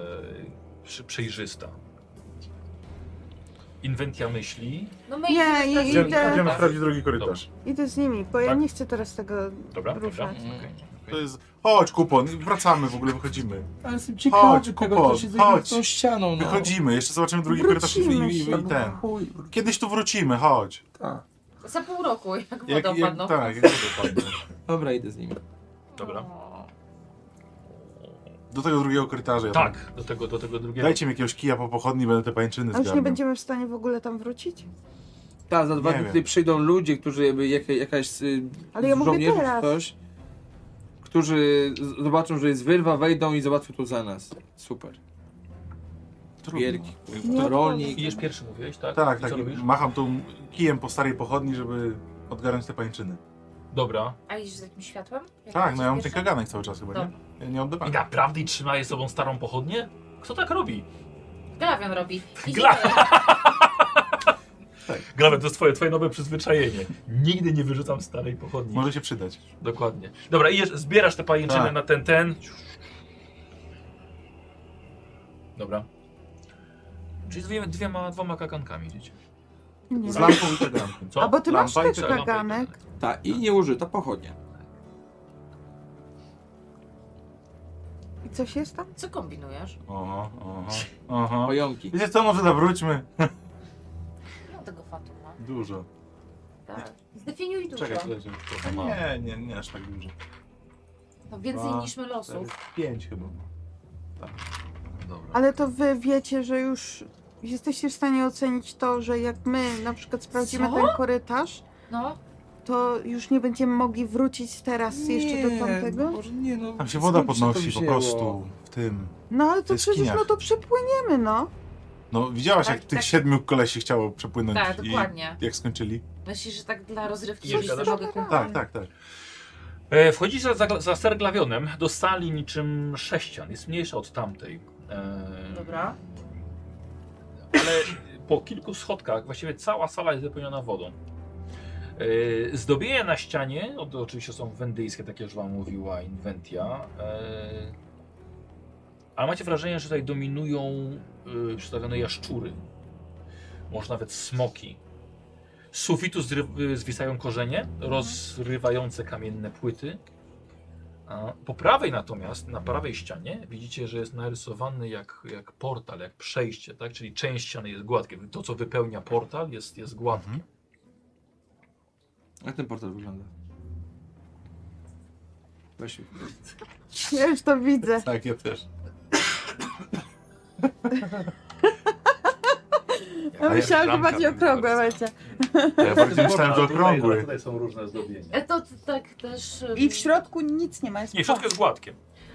Speaker 1: przy, przejrzysta. Inwentia myśli.
Speaker 5: No my
Speaker 7: Nie,
Speaker 5: idziemy
Speaker 7: i-
Speaker 5: sprawdzić
Speaker 7: idę.
Speaker 5: nikogo.
Speaker 14: Idziemy sprawdzić drugi korytarz.
Speaker 7: Idę z nimi, bo ja
Speaker 1: Tak.
Speaker 7: nie chcę teraz tego...
Speaker 1: Dobra, dobra.
Speaker 7: Ruszać.
Speaker 1: okej,
Speaker 14: To
Speaker 1: okej.
Speaker 14: jest... Chodź, kupon, wracamy w ogóle, wychodzimy.
Speaker 4: Ale jestem ciekawy tego, co
Speaker 14: kupon,
Speaker 4: się dzieje z
Speaker 14: chodź.
Speaker 4: tą ścianą, no.
Speaker 14: Wychodzimy, jeszcze zobaczymy drugi
Speaker 7: Wrócimy
Speaker 14: korytarz i, i, i
Speaker 7: się, no.
Speaker 14: ten.
Speaker 4: Chuj,
Speaker 14: Kiedyś tu wrócimy, chodź.
Speaker 4: tak.
Speaker 5: Za pół roku, jak
Speaker 14: Jak,
Speaker 5: woda
Speaker 14: jak,
Speaker 5: opadną.
Speaker 14: tak, jak to dopadnie.
Speaker 4: Dobra, idę z nimi.
Speaker 1: Dobra.
Speaker 5: O.
Speaker 14: Do tego drugiego korytarza.
Speaker 2: No.
Speaker 14: ja tam-
Speaker 1: Tak, do tego, do tego drugiego.
Speaker 14: Dajcie mi jakiegoś kija po pochodni, będę te pańczyny
Speaker 7: A już
Speaker 14: zgarniał.
Speaker 7: nie będziemy w stanie w ogóle tam wrócić?
Speaker 4: Tak, za dwa
Speaker 14: Nie
Speaker 4: dni
Speaker 14: wiem.
Speaker 4: tutaj przyjdą ludzie, którzy jakby jaka, jakaś y,
Speaker 7: Ale ja
Speaker 4: z
Speaker 7: mówię
Speaker 4: żołnierzy czy
Speaker 7: teraz.
Speaker 4: ktoś, którzy z- zobaczą, że jest wyrwa, wejdą i załatwią to za nas. Super.
Speaker 2: Trudno.
Speaker 4: wielki
Speaker 14: Tak,
Speaker 27: To-
Speaker 4: rolnik.
Speaker 1: Idziesz pierwszy, mówiłeś, tak?
Speaker 2: Tak,
Speaker 1: I
Speaker 2: tak.
Speaker 1: Co robisz?
Speaker 2: Macham tą kijem po starej pochodni, żeby odgarnąć te pańczyny.
Speaker 1: Dobra.
Speaker 5: A idziesz z jakimś światłem? Jak
Speaker 2: Tak, no ja mam
Speaker 5: idziesz
Speaker 2: ten
Speaker 5: pierwsza?
Speaker 2: kaganek cały czas chyba, nie? Ja nie
Speaker 1: I
Speaker 2: oddawałem.
Speaker 1: naprawdę i trzymaje sobą starą pochodnię? Kto tak robi?
Speaker 5: Glawion robi.
Speaker 1: Gla-
Speaker 5: Idziemy.
Speaker 1: Grawem, to jest twoje, twoje nowe przyzwyczajenie. Nigdy nie wyrzucam starej pochodni.
Speaker 2: Może się przydać.
Speaker 1: Dokładnie. Dobra, idziesz, zbierasz te pajęczyny
Speaker 2: Tak.
Speaker 1: na ten, ten. Dobra. Czyli z dwiema, dwiema dwoma kagankami idziecie.
Speaker 7: Nie.
Speaker 2: Z lampą i kagankiem.
Speaker 1: Co?
Speaker 7: A bo ty masz
Speaker 2: Lampa i
Speaker 7: też
Speaker 2: czerwona
Speaker 7: kaganek.
Speaker 4: Ta i nieużyta pochodnia.
Speaker 7: I coś jest tam?
Speaker 5: Co kombinujesz?
Speaker 2: Oho, oho, oho.
Speaker 4: Pająki.
Speaker 2: Wiecie co, może nawróćmy?
Speaker 5: No tego Fatuma.
Speaker 2: Dużo.
Speaker 5: Tak. Zdefiniuj dużo.
Speaker 2: Czekaj, czekaj. czekaj.
Speaker 27: Trochę mało.
Speaker 2: Nie, nie, nie aż tak dużo.
Speaker 5: No więcej
Speaker 2: Dwa,
Speaker 5: niż my
Speaker 2: Cztery,
Speaker 5: losów.
Speaker 2: Pięć chyba.
Speaker 27: Dobra.
Speaker 7: Ale to wy wiecie, że już jesteście w stanie ocenić to, że jak my na przykład sprawdzimy
Speaker 5: Co?
Speaker 7: ten korytarz,
Speaker 5: No,
Speaker 7: to już nie będziemy mogli wrócić teraz jeszcze do tamtego?
Speaker 4: Boże, nie, no,
Speaker 2: Tam się woda
Speaker 4: skąd to
Speaker 2: podnosi po
Speaker 4: wzięło?
Speaker 2: prostu w tym.
Speaker 7: No ale to
Speaker 2: To jest
Speaker 7: przecież
Speaker 2: kiniach.
Speaker 7: no to przepłyniemy, no.
Speaker 2: No widziałaś
Speaker 5: Tak,
Speaker 2: jak tych
Speaker 5: tak.
Speaker 2: siedmiu kolesi chciało przepłynąć
Speaker 5: tak,
Speaker 2: i
Speaker 5: dokładnie.
Speaker 2: jak skończyli?
Speaker 5: Myślisz, że tak dla rozrywki
Speaker 1: Jeszcze
Speaker 5: żebyś
Speaker 1: raz?
Speaker 5: sobie mogę kupować?
Speaker 2: Tak, tak, tak.
Speaker 1: E, wchodzisz za, za, za serglawionem do sali niczym sześcian. Jest mniejsza od tamtej. E,
Speaker 5: Dobra.
Speaker 1: ale e, po kilku schodkach właściwie cała sala jest wypełniona wodą. E, Zdobieje na ścianie, o, to oczywiście są wendyjskie, tak jak już wam mówiła Inventia, e, ale macie wrażenie, że tutaj dominują e, przedstawione jaszczury, może nawet smoki. Z sufitu zry- e, zwisają korzenie, rozrywające kamienne płyty. A po prawej natomiast, na prawej ścianie, widzicie, że jest narysowany jak, jak portal, jak przejście, tak? Czyli część ściany jest gładkie. To, co wypełnia portal, jest, jest gładkie.
Speaker 2: Mhm.
Speaker 4: Jak ten portal wygląda? Weź mi.
Speaker 7: Ja już to widzę.
Speaker 2: Tak, ja też.
Speaker 7: Ja myślałam, że bardziej okrągłe będzie.
Speaker 2: A Ja bardziej myślałem, że okrągły.
Speaker 1: Tutaj są różne zdobienia.
Speaker 5: E, to t- tak też.
Speaker 7: I w środku nic nie ma. Jest
Speaker 1: Nie, wszystko jest gładkie.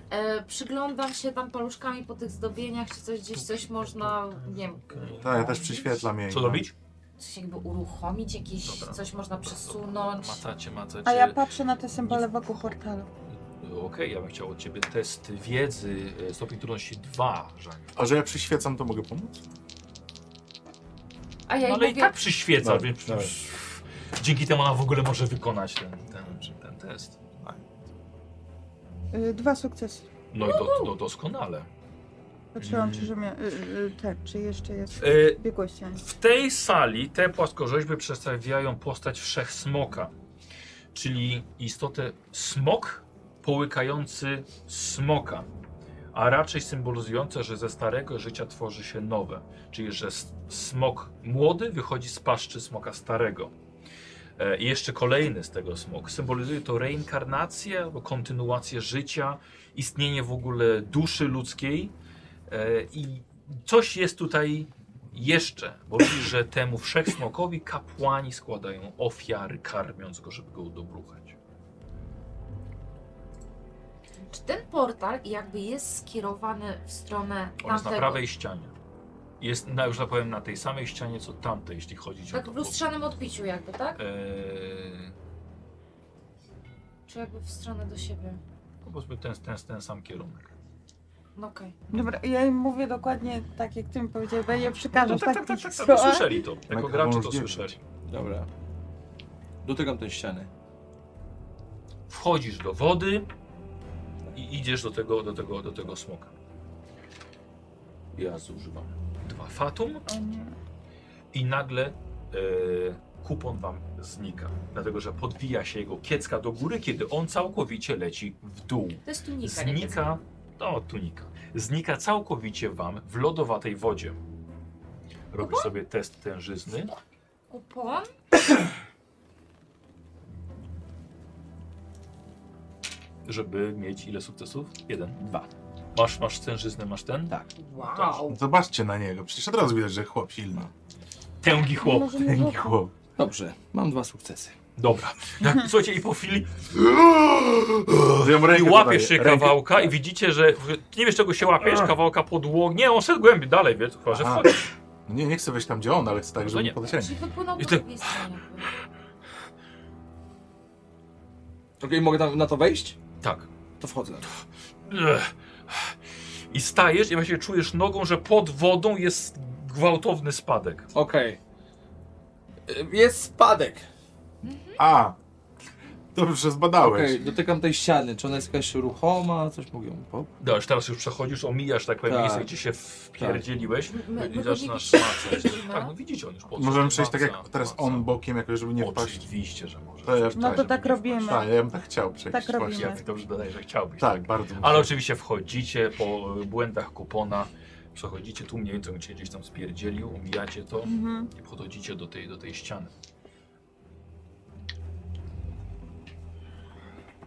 Speaker 5: E, przyglądam się tam paluszkami po tych zdobieniach, czy coś gdzieś coś można, nie wiem,
Speaker 2: Tak, ja też przyświetlam jej.
Speaker 1: Co robić?
Speaker 5: coś jakby uruchomić, jakieś
Speaker 1: Dobra.
Speaker 5: coś można przesunąć.
Speaker 1: Macacie, macacie.
Speaker 7: A ja patrzę na te symbole wokół portalu.
Speaker 1: Okej, ja bym chciał od ciebie test wiedzy, e, stopień trudności 2, Żaniu.
Speaker 2: A że ja przyświecam, to mogę pomóc?
Speaker 5: A
Speaker 1: No,
Speaker 5: ja jej
Speaker 1: ale i
Speaker 5: mówię,
Speaker 1: tak przyświeca,
Speaker 2: Dobra,
Speaker 1: więc
Speaker 2: dobra.
Speaker 1: dzięki temu ona w ogóle może wykonać ten, ten, ten test.
Speaker 7: Y, Dwa sukcesy.
Speaker 1: No i do, do, doskonale. Mm.
Speaker 7: Patrzyłam, czy, że mia... y, y, tak, czy jeszcze jest
Speaker 1: E,
Speaker 7: biegłość. a nie.
Speaker 1: W tej sali te płaskorzeźby przedstawiają postać wszechsmoka, czyli istotę smok połykający smoka, a raczej symbolizujące, że ze starego życia tworzy się nowe, czyli że s- smok młody wychodzi z paszczy smoka starego. E, I jeszcze kolejny z tego smok. Symbolizuje to reinkarnację albo kontynuację życia, istnienie w ogóle duszy ludzkiej e, i coś jest tutaj jeszcze, bo mówi, że temu wszechsmokowi kapłani składają ofiary, karmiąc go, żeby go udobruchać.
Speaker 5: czy ten portal jakby jest skierowany w stronę
Speaker 1: On jest na
Speaker 5: tamtego,
Speaker 1: prawej ścianie. Jest, na, już tak powiem, na tej samej ścianie, co tamtej, jeśli chodzi o
Speaker 5: tak
Speaker 1: to.
Speaker 5: w lustrzanym odbiciu jakby, tak?
Speaker 1: Eee,
Speaker 5: Czy jakby w stronę do siebie?
Speaker 1: no powiedzmy ten, ten, ten sam kierunek.
Speaker 5: No okej.
Speaker 7: Dobra, ja im mówię dokładnie tak, jak ty mi powiedziałeś, bo ja przekażę
Speaker 1: No
Speaker 7: w tak,
Speaker 1: tak, tak, tak, tak, tak,
Speaker 7: słowa.
Speaker 1: słyszeli to. Jako
Speaker 2: Michael
Speaker 1: gracze to
Speaker 2: Wąż dziewięć.
Speaker 1: słyszeli.
Speaker 4: Dobra. Dotykam tej ściany.
Speaker 1: Wchodzisz do wody i idziesz do tego, do tego, do tego smoka. Ja zużywam dwa fatum.
Speaker 7: O nie.
Speaker 1: i nagle e, kupon wam znika, dlatego że podwija się jego kiecka do góry, kiedy on całkowicie leci w dół.
Speaker 5: To jest tunika. nie wiem.
Speaker 1: Znika, no tunika, znika całkowicie wam w lodowatej wodzie. Robisz sobie test tężyzny.
Speaker 5: Kupon?
Speaker 1: żeby mieć ile sukcesów? Jeden, dwa. Masz, masz tężyznę, masz ten? Tak.
Speaker 5: Wow.
Speaker 2: Zobaczcie na niego, przecież od razu widać, że chłop silny.
Speaker 1: Tęgi chłop.
Speaker 5: No.
Speaker 7: Może nie
Speaker 2: Tęgi
Speaker 7: wokół.
Speaker 2: chłop.
Speaker 4: Dobrze, mam dwa sukcesy.
Speaker 1: Dobra. Jak, słuchajcie, i po chwili
Speaker 2: Ja mu
Speaker 1: i
Speaker 2: rękę
Speaker 1: łapiesz się
Speaker 2: podaję, rękę.
Speaker 1: kawałka i widzicie, że nie wiesz czego się łapiesz, kawałka podłogi. Nie, on szedł głębiej, dalej, wiesz, chyba, że
Speaker 2: Aha.
Speaker 1: wchodzi.
Speaker 2: No nie, nie chcę wejść tam, gdzie on, ale chcę tak, żeby
Speaker 1: No nie.
Speaker 2: mu podać
Speaker 5: Czyli wypłynął
Speaker 1: I
Speaker 5: po
Speaker 1: ty-
Speaker 5: drugiej stronie.
Speaker 4: Okej, mogę tam na to wejść?
Speaker 1: Tak.
Speaker 4: To wchodzę na to.
Speaker 1: Ech. I stajesz i właśnie czujesz nogą, że pod wodą jest gwałtowny spadek.
Speaker 4: Okej. Y, Jest spadek.
Speaker 2: A! Dobrze
Speaker 4: Okej,
Speaker 2: zbadałeś.
Speaker 4: dotykam tej ściany. Czy ona jest jakaś ruchoma? Coś mogę ją po...
Speaker 1: No, już teraz już przechodzisz, omijasz tak powiem
Speaker 4: Tak.
Speaker 1: miejsce, gdzie się wpierdzieliłeś
Speaker 5: Tak. My- my
Speaker 1: i
Speaker 5: go
Speaker 1: zaczynasz
Speaker 5: nie
Speaker 1: macać.
Speaker 5: widzimy.
Speaker 1: Tak, no widzicie on już po co.
Speaker 2: Możemy przejść tak
Speaker 1: Maca,
Speaker 2: jak teraz on
Speaker 1: maca.
Speaker 2: bokiem, jakoś, żeby nie wpaść.
Speaker 1: Oczywiście, że może.
Speaker 2: To ja
Speaker 7: No to
Speaker 2: tak,
Speaker 7: tak robimy.
Speaker 2: Tak, ja bym tak chciał przejść.
Speaker 7: Tak
Speaker 2: właśnie.
Speaker 7: robimy.
Speaker 1: Jak dobrze dodaję, że chciałbyś.
Speaker 2: Tak, bardzo.
Speaker 1: Ale oczywiście wchodzicie po y, błędach kupona, przechodzicie tu mniej więcej, on cię gdzieś tam spierdzielił, omijacie to
Speaker 7: Mhm.
Speaker 1: i podchodzicie do tej, do tej ściany.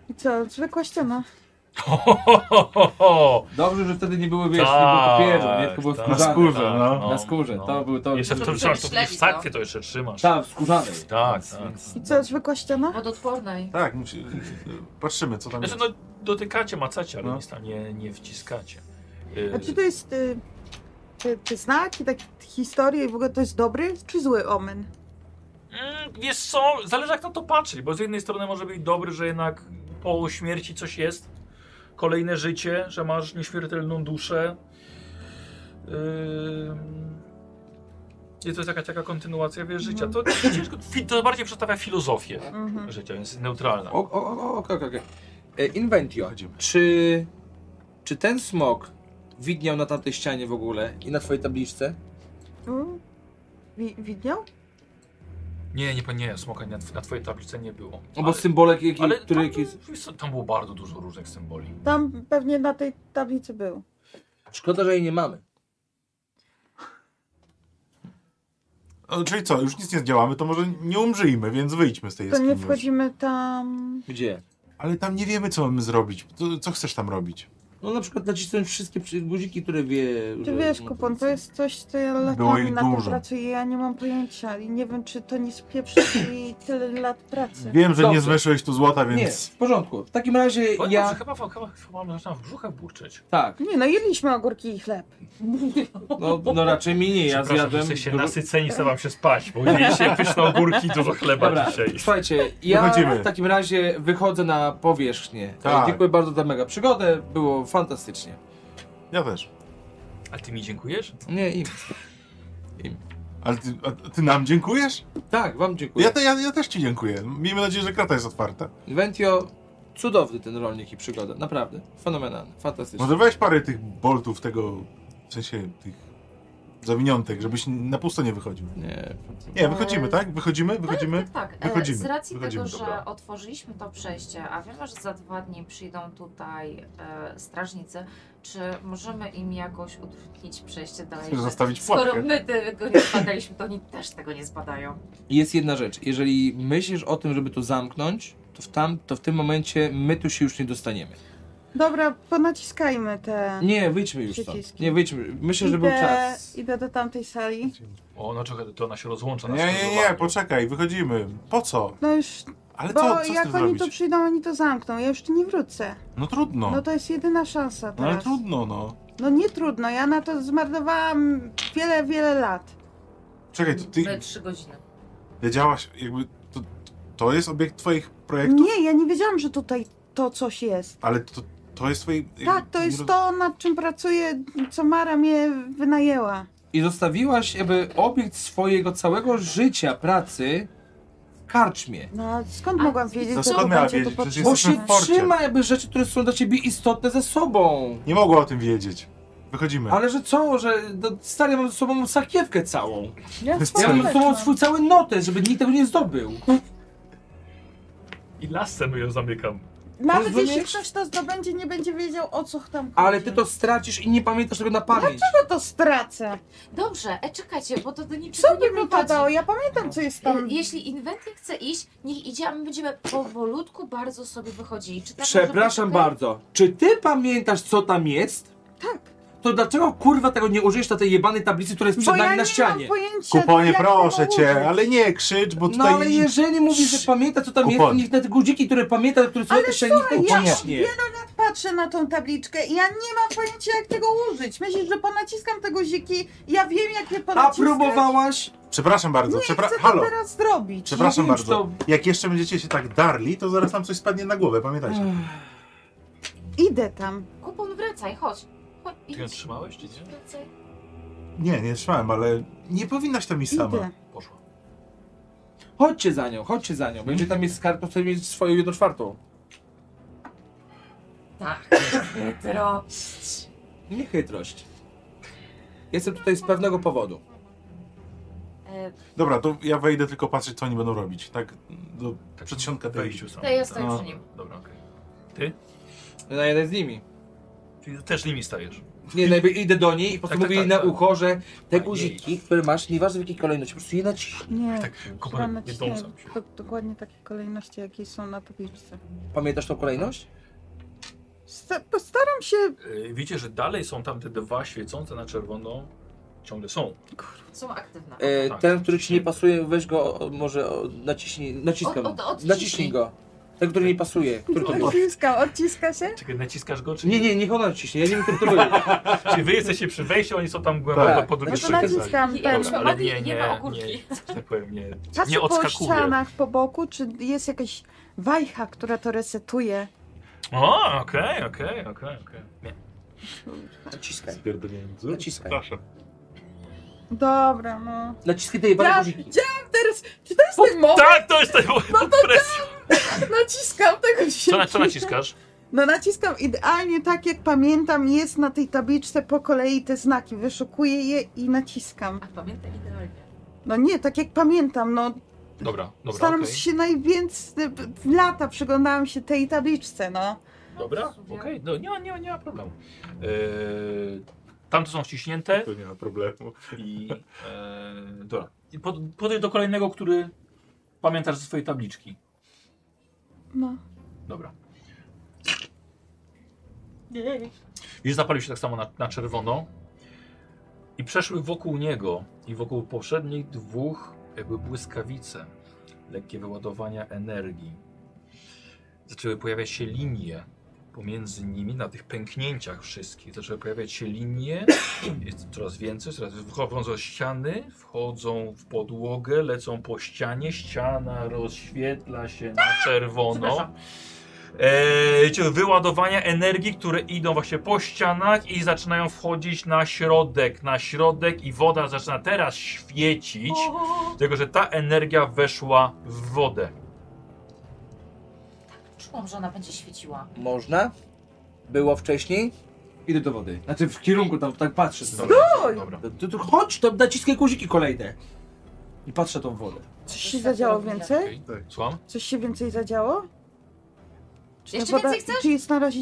Speaker 7: I co, zwykła ściana.
Speaker 4: Dobrze, że wtedy nie były, wiesz,
Speaker 1: Tak,
Speaker 4: nie było papieru, nie tylko były
Speaker 1: tak.
Speaker 4: skórzane.
Speaker 2: Na skórze,
Speaker 4: tak.
Speaker 2: no.
Speaker 4: Na skórze, to był to.
Speaker 1: Jeszcze w tym
Speaker 5: to
Speaker 1: trzymasz, to w
Speaker 5: śledzi,
Speaker 1: sakwie to jeszcze trzymasz.
Speaker 4: Tak, w skórzanej.
Speaker 1: Tak,
Speaker 4: Więc-
Speaker 1: tak.
Speaker 4: więc-
Speaker 7: I co, zwykła ściana?
Speaker 5: Wodoodpornej.
Speaker 2: Tak, musi... patrzymy, co tam
Speaker 1: Znaczy
Speaker 2: jest.
Speaker 1: no dotykacie, macacie, ale
Speaker 2: No.
Speaker 1: nic tam nie, nie wciskacie.
Speaker 7: A czy to jest... Y, te, te znaki, takie historie i w ogóle to jest dobry czy zły omen?
Speaker 1: Mm, Wiesz co, zależy jak na to patrzeć, bo z jednej strony może być dobry, że jednak po śmierci coś jest, kolejne życie, że masz nieśmiertelną duszę. Ym... I to jest jakaś taka kontynuacja wiesz, życia. To,
Speaker 4: Mhm.
Speaker 1: ciężko, fi- to bardziej przedstawia filozofię
Speaker 7: Mhm.
Speaker 1: życia, jest neutralna.
Speaker 4: O, o, o, o, okej, okej, okej. E, Inventio,
Speaker 2: Chodzimy.
Speaker 4: czy, czy ten smok widniał na tamtej ścianie w ogóle i na twojej tabliczce?
Speaker 7: Mm. Wi- Widniał?
Speaker 1: Nie, nie, nie, smoka na, tw- na twojej tablicy nie było.
Speaker 4: No bo symbolek, jaki,
Speaker 1: ale
Speaker 4: który
Speaker 1: tam,
Speaker 4: jest...
Speaker 1: wiesz co, tam było bardzo dużo różnych symboli.
Speaker 7: Tam pewnie na tej tablicy był.
Speaker 4: Szkoda, że jej nie mamy.
Speaker 2: No, czyli co, już nic nie zdziałamy, to może nie umrzyjmy, więc wyjdźmy z tej
Speaker 7: To
Speaker 2: jaskini
Speaker 7: nie
Speaker 2: już.
Speaker 7: wchodzimy tam...
Speaker 4: Gdzie?
Speaker 2: Ale tam nie wiemy, co mamy zrobić. To, co chcesz tam robić?
Speaker 4: No na przykład nacisnąć wszystkie przy- guziki, które wie...
Speaker 7: Ty
Speaker 4: że-
Speaker 7: wiesz,
Speaker 4: no,
Speaker 7: kupon, to jest coś, co ja
Speaker 2: Było
Speaker 7: latami
Speaker 2: ich
Speaker 7: na tym
Speaker 2: dużo.
Speaker 7: pracuję, ja nie mam pojęcia i nie wiem, czy to nie spieprzy mi tyle lat pracy.
Speaker 2: Wiem, że nie
Speaker 4: Dobrze.
Speaker 2: zmyszyłeś tu złota,
Speaker 4: Nie,
Speaker 2: więc...
Speaker 4: w porządku. W takim razie
Speaker 1: Powiem wam,
Speaker 4: ja...
Speaker 1: że Chyba, chyba, chyba, chyba zaczynam w brzuchach burczeć.
Speaker 4: Tak,
Speaker 7: Nie no, jedliśmy ogórki i chleb.
Speaker 4: no, no raczej mi nie, ja
Speaker 1: Przepraszam, że
Speaker 4: zjadłem...
Speaker 1: jesteście
Speaker 4: dużo-
Speaker 1: nasyceni, chce wam się spać, bo jecie pyszne ogórki i dużo chleba
Speaker 4: Dobra,
Speaker 1: dzisiaj.
Speaker 4: słuchajcie, ja
Speaker 2: Wychodzimy.
Speaker 4: w takim razie wychodzę na powierzchnię.
Speaker 2: Tak.
Speaker 4: Dziękuję bardzo za mega przygodę, było fantastycznie.
Speaker 2: Ja też.
Speaker 1: A ty mi dziękujesz?
Speaker 4: Nie, im.
Speaker 2: Ale ty, a ty nam dziękujesz?
Speaker 4: Tak, wam dziękuję.
Speaker 2: Ja, te, ja, ja też ci dziękuję. Miejmy nadzieję, że krata jest otwarta.
Speaker 4: Ventio, cudowny ten rolnik i przygoda, naprawdę, fenomenalny, fantastyczny.
Speaker 2: Może weź parę tych boltów tego, w sensie tych zawiniątek, żebyś na pusto nie wychodził.
Speaker 4: Nie,
Speaker 7: No.
Speaker 2: Nie, wychodzimy, tak? Wychodzimy, wychodzimy.
Speaker 5: Tak, tak. E,
Speaker 2: Wychodzimy,
Speaker 5: Z racji
Speaker 2: wychodzimy,
Speaker 5: tego,
Speaker 2: dobra.
Speaker 5: że otworzyliśmy to przejście, a wiemy, że za dwa dni przyjdą tutaj e, strażnicy, czy możemy im jakoś utrudnić przejście dalej?
Speaker 2: Chcesz zostawić
Speaker 5: Skoro
Speaker 2: pułapkę.
Speaker 5: my tego nie zbadaliśmy, to oni też tego nie zbadają.
Speaker 4: jest jedna rzecz, jeżeli myślisz o tym, żeby to zamknąć, to w, tam, to w tym momencie my tu się już nie dostaniemy.
Speaker 7: Dobra, ponaciskajmy te...
Speaker 4: Nie, wyjdźmy już stąd.
Speaker 7: Przyciski.
Speaker 4: Nie, wyjdźmy, myślę, że był
Speaker 7: Idę,
Speaker 4: czas.
Speaker 7: idę do tamtej sali.
Speaker 1: O, no czekaj, to ona się rozłącza. na
Speaker 2: Nie, nie, nie,
Speaker 1: skrzyżowaniu.
Speaker 2: poczekaj, wychodzimy. Po co?
Speaker 7: No już,
Speaker 2: Ale
Speaker 7: bo
Speaker 2: co, co z
Speaker 7: jak
Speaker 2: tym
Speaker 7: oni tu
Speaker 2: zrobić?
Speaker 7: przyjdą, oni to zamkną, ja już tu nie wrócę.
Speaker 2: No trudno.
Speaker 7: No to jest jedyna szansa
Speaker 2: No ale
Speaker 7: teraz.
Speaker 2: trudno, no.
Speaker 7: No nie trudno, ja na to zmarnowałam wiele, wiele lat.
Speaker 2: Czekaj, to
Speaker 5: We
Speaker 2: ty
Speaker 5: trzy godziny.
Speaker 2: wiedziałaś, jakby to, to jest obiekt twoich projektów,
Speaker 7: Nie, ja nie wiedziałam, że tutaj to coś jest.
Speaker 2: ale to, to jest twojej...
Speaker 7: Tak, to jest to, nad czym pracuję, co Mara mnie wynajęła.
Speaker 4: I zostawiłaś jakby obiekt swojego całego życia, pracy w karczmie.
Speaker 7: No a skąd
Speaker 5: A
Speaker 7: mogłam wiedzieć,
Speaker 2: to
Speaker 7: co
Speaker 2: skąd
Speaker 7: tu
Speaker 2: miała
Speaker 7: będzie
Speaker 2: wiedzieć?
Speaker 7: tu
Speaker 2: Przecież
Speaker 7: potrzebne?
Speaker 4: Bo się
Speaker 2: jesteśmy w porcie.
Speaker 4: trzyma jakby rzeczy, które są dla ciebie istotne ze sobą.
Speaker 2: Nie mogła o tym wiedzieć. Wychodzimy.
Speaker 4: Ale że co, że no, stary, mam ze sobą sakiewkę całą.
Speaker 7: No, Ja
Speaker 4: Ja mam ze sobą
Speaker 7: wezmę.
Speaker 4: swój cały notes, żeby nikt tego nie zdobył.
Speaker 1: I lasem ją zamykam.
Speaker 7: Nawet
Speaker 4: Rozumiesz?
Speaker 7: jeśli ktoś to zdobędzie, nie będzie wiedział, o co tam chodzi.
Speaker 4: Ale ty to stracisz i nie pamiętasz tego na pamięć.
Speaker 7: Co to stracę?
Speaker 5: Dobrze, e, czekajcie, bo to do niczego
Speaker 7: Co
Speaker 5: nie
Speaker 7: by mi
Speaker 5: prowadzi.
Speaker 7: padało? Ja pamiętam, co jest
Speaker 5: E,
Speaker 7: tam.
Speaker 5: Jeśli inwenty chce iść, niech idzie, a my będziemy powolutku bardzo sobie wychodzili. Czy tak może być
Speaker 4: Przepraszam
Speaker 5: okej?
Speaker 4: bardzo. Czy ty pamiętasz, co tam jest?
Speaker 7: Tak.
Speaker 4: to dlaczego kurwa tego nie użyjesz na tej jebanej tablicy, która jest przed
Speaker 28: Bo
Speaker 4: nami
Speaker 28: ja
Speaker 4: na
Speaker 28: nie
Speaker 4: ścianie?
Speaker 28: mam pojęcia,
Speaker 2: Kuponie,
Speaker 28: jak to
Speaker 2: proszę
Speaker 28: użyć.
Speaker 2: cię, ale nie krzycz, bo
Speaker 4: No
Speaker 2: tutaj...
Speaker 4: ale jeżeli mówisz, że pamięta co tam jest,
Speaker 2: Kupon.
Speaker 4: to niech na te guziki, które pamięta, które są
Speaker 28: Ale
Speaker 4: też niech
Speaker 28: słuchaj, ja
Speaker 4: uciśnie.
Speaker 28: Patrzę na tą tabliczkę i ja nie mam pojęcia, jak tego użyć. Myślisz, że ponaciskam te guziki? Ja wiem, jak je
Speaker 4: A
Speaker 28: ponaciskać.
Speaker 4: próbowałaś?
Speaker 2: Przepraszam bardzo,
Speaker 28: Nie
Speaker 2: przepra...
Speaker 28: chcę to
Speaker 2: halo,
Speaker 28: teraz zrobić.
Speaker 2: przepraszam
Speaker 7: No
Speaker 4: Nie wiem, czy
Speaker 2: bardzo. Jak jeszcze będziecie się tak darli, to zaraz nam coś spadnie na głowę, pamiętajcie.
Speaker 7: Mm. Idę tam.
Speaker 5: Kupon, wracaj, chodź. Chodź,
Speaker 1: Ty ją
Speaker 5: idź.
Speaker 1: trzymałeś, czy nie?
Speaker 5: Wracaj.
Speaker 2: Nie, nie trzymałem, ale nie powinnaś tam iść sama.
Speaker 7: Idę.
Speaker 1: Poszła.
Speaker 4: Chodźcie za nią, chodźcie za nią. Będzie tam jest skarb, to sobie mieć swoją jedną czwartą.
Speaker 5: Tak, Pietro.
Speaker 4: Nie chytrość. Jestem tutaj z pewnego powodu.
Speaker 5: E,
Speaker 2: Dobra, to ja wejdę tylko patrzeć, co oni będą robić. Tak, do
Speaker 1: Tak,
Speaker 2: przedsionka tej...
Speaker 1: wejściu sam.
Speaker 5: To ja stoję przy nim.
Speaker 1: Dobra, okej.
Speaker 4: Ja jeden z nimi.
Speaker 1: Czyli też nimi stajesz.
Speaker 4: Nie, najpierw idę do niej i po
Speaker 1: Tak,
Speaker 4: prostu
Speaker 1: tak,
Speaker 4: mówię jej
Speaker 1: tak,
Speaker 4: na
Speaker 1: tak.
Speaker 4: ucho, że te
Speaker 1: jej.
Speaker 4: guziki, które masz, nieważne w jakiej kolejności, po prostu je naciśnij.
Speaker 7: Nie,
Speaker 1: Tak,
Speaker 7: trzeba
Speaker 1: kopałem jedną
Speaker 7: nacisnąć
Speaker 1: sam.
Speaker 7: do, dokładnie takie kolejności, jakie są na tabliczce.
Speaker 4: Pamiętasz tą kolejność?
Speaker 7: Sta- Postaram się...
Speaker 1: Yy, Widzicie, że dalej są tam te dwa świecące na czerwono. Ciągle są.
Speaker 5: Są aktywne.
Speaker 4: E,
Speaker 1: Tak.
Speaker 4: ten, który ci nie pasuje, weź go, o, może o, naciśnij, naciskam.
Speaker 5: Od- od- odciśnij.
Speaker 4: naciśnij go. Ten, który nie pasuje. Który to był?
Speaker 7: Odciska, odciska się?
Speaker 1: Czekaj, naciskasz go, czy
Speaker 4: Nie, nie, niech ona naciśnie, ja nie wiem, kto to był.
Speaker 1: Czy wy jesteście przy wejściu, oni są tam głęboko
Speaker 4: Tak.
Speaker 1: po drugiej
Speaker 7: No to
Speaker 1: stronie.
Speaker 7: naciskam
Speaker 5: Ja
Speaker 7: ten.
Speaker 5: już mam
Speaker 1: ale
Speaker 5: magii,
Speaker 1: nie,
Speaker 5: nie,
Speaker 1: nie,
Speaker 5: ma ogórki.
Speaker 1: nie. Że tak powiem, nie,
Speaker 7: Patrzę
Speaker 1: nie
Speaker 7: po
Speaker 1: odskakuje.
Speaker 7: ścianach, po boku, czy jest jakaś wajcha, która to resetuje.
Speaker 1: O, okej, okej, okej, okej. Nie.
Speaker 4: Naciskaj,
Speaker 29: Spierdolnięty.
Speaker 4: naciskaj.
Speaker 7: Dobra, no.
Speaker 4: Naciskaj te jebane
Speaker 7: Ja
Speaker 4: guziki.
Speaker 7: działam teraz. Czy to jest ten moment?
Speaker 1: Tak, to jest ten moment pod presją.
Speaker 7: Naciskam
Speaker 1: Co,
Speaker 7: tego się.
Speaker 1: na, co naciskasz?
Speaker 7: No naciskam idealnie tak, jak pamiętam, jest na tej tabliczce po kolei te znaki. Wyszukuję je i naciskam.
Speaker 5: A pamiętaj idealnie.
Speaker 7: No nie, tak jak pamiętam, no
Speaker 1: Dobra, dobra,
Speaker 7: staram
Speaker 1: okej.
Speaker 7: się najwięcej w lata przyglądałam się tej tabliczce, no.
Speaker 1: Dobra, okej, no nie, ma- nie, ma- nie ma problemu. Yy, tamte są wciśnięte
Speaker 29: To nie ma problemu.
Speaker 1: i... Yy, dobra. I pod, podejdź do kolejnego, który pamiętasz ze swojej tabliczki.
Speaker 7: No.
Speaker 1: Dobra. Już zapalił się tak samo na, na czerwono. I przeszły wokół niego i wokół poprzednich dwóch jakby błyskawice. Lekkie wyładowania energii. Zaczęły pojawiać się linie pomiędzy nimi, na tych pęknięciach wszystkich. Zaczęły pojawiać się linie, jest coraz więcej, coraz wchodzą ze ściany, wchodzą w podłogę, lecą po ścianie, ściana rozświetla się na czerwono.
Speaker 5: Przepraszam.
Speaker 1: E, wiecie, wyładowania energii, które idą właśnie po ścianach i zaczynają wchodzić na środek, na środek i woda zaczyna teraz świecić, dlatego że ta energia weszła w wodę.
Speaker 5: Czułam, że ona będzie świeciła.
Speaker 4: Można? Było wcześniej? Idę do wody. Znaczy w kierunku tam, tak patrzę.
Speaker 1: Dobra,
Speaker 7: Oj!
Speaker 1: dobra.
Speaker 4: To, to, to chodź, to naciskaj guziki kolejne. I patrzę tą wodę.
Speaker 7: Coś się zadziało więcej?
Speaker 1: Okej, Słucham?
Speaker 7: Coś się więcej zadziało? Czy ta
Speaker 5: Jeszcze
Speaker 7: woda-
Speaker 5: więcej chcesz?
Speaker 7: Czy jest na razie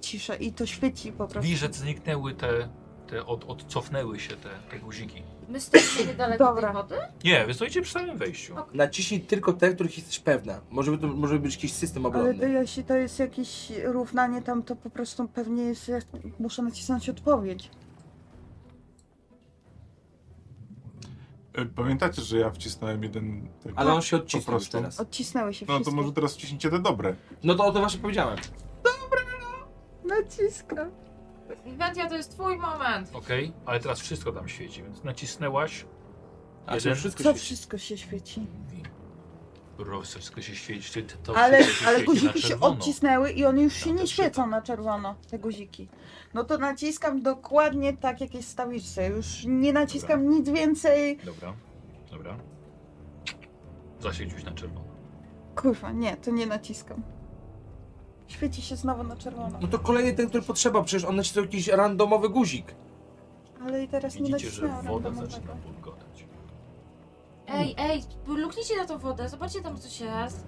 Speaker 7: cisza i to świeci po prostu.
Speaker 1: Widzisz, że zniknęły te, te od, odcofnęły się te, te guziki.
Speaker 5: My stoimy niedaleko
Speaker 7: Dobra.
Speaker 5: tej wody?
Speaker 1: Nie, wy stoicie przy samym wejściu.
Speaker 5: Okej.
Speaker 4: Naciśnij tylko te, których jesteś pewna. Może, by to, może być jakiś system
Speaker 7: Ale
Speaker 4: obronny.
Speaker 7: to jeśli to jest jakieś równanie tam, to po prostu pewnie jest, ja muszę nacisnąć odpowiedź.
Speaker 29: E, Pamiętacie, że ja wcisnąłem jeden... Tego?
Speaker 4: Ale on się odcisnął już
Speaker 29: prostu.
Speaker 4: teraz.
Speaker 7: Odcisnęły się
Speaker 29: No
Speaker 7: wszystkie.
Speaker 29: to może teraz wciśnijcie te dobre.
Speaker 4: No to o to właśnie powiedziałem.
Speaker 7: Naciskam.
Speaker 5: Wentia, to jest twój moment.
Speaker 1: Okej, ale teraz wszystko tam świeci, więc nacisnęłaś.
Speaker 4: A
Speaker 1: Jeden.
Speaker 4: czy wszystko
Speaker 7: Co
Speaker 4: się...
Speaker 7: wszystko się świeci?
Speaker 1: Rosy, wszystko się świeci. Ty, ty, to
Speaker 7: Ale,
Speaker 1: wszystko
Speaker 7: ale
Speaker 1: świeci na
Speaker 7: guziki się
Speaker 1: czerwono.
Speaker 7: odcisnęły i one już się
Speaker 1: Ja
Speaker 7: nie
Speaker 1: też
Speaker 7: świecą na czerwono, te guziki. No to naciskam dokładnie tak, jak jest w stawiczce. Już nie naciskam nic więcej.
Speaker 1: Dobra, dobra. Zaświeciłeś na czerwono.
Speaker 7: Kurwa, nie, to nie naciskam. Świeci się znowu na czerwono.
Speaker 4: No to kolejny ten, który potrzeba, przecież on nacisnął jakiś randomowy guzik.
Speaker 7: Ale i teraz nie
Speaker 1: Widzicie, że
Speaker 7: nacisnęłam
Speaker 1: woda
Speaker 7: randomowego.
Speaker 1: zaczyna bulgotać.
Speaker 5: Ej, ej, luknijcie na tą wodę, zobaczcie tam coś jest.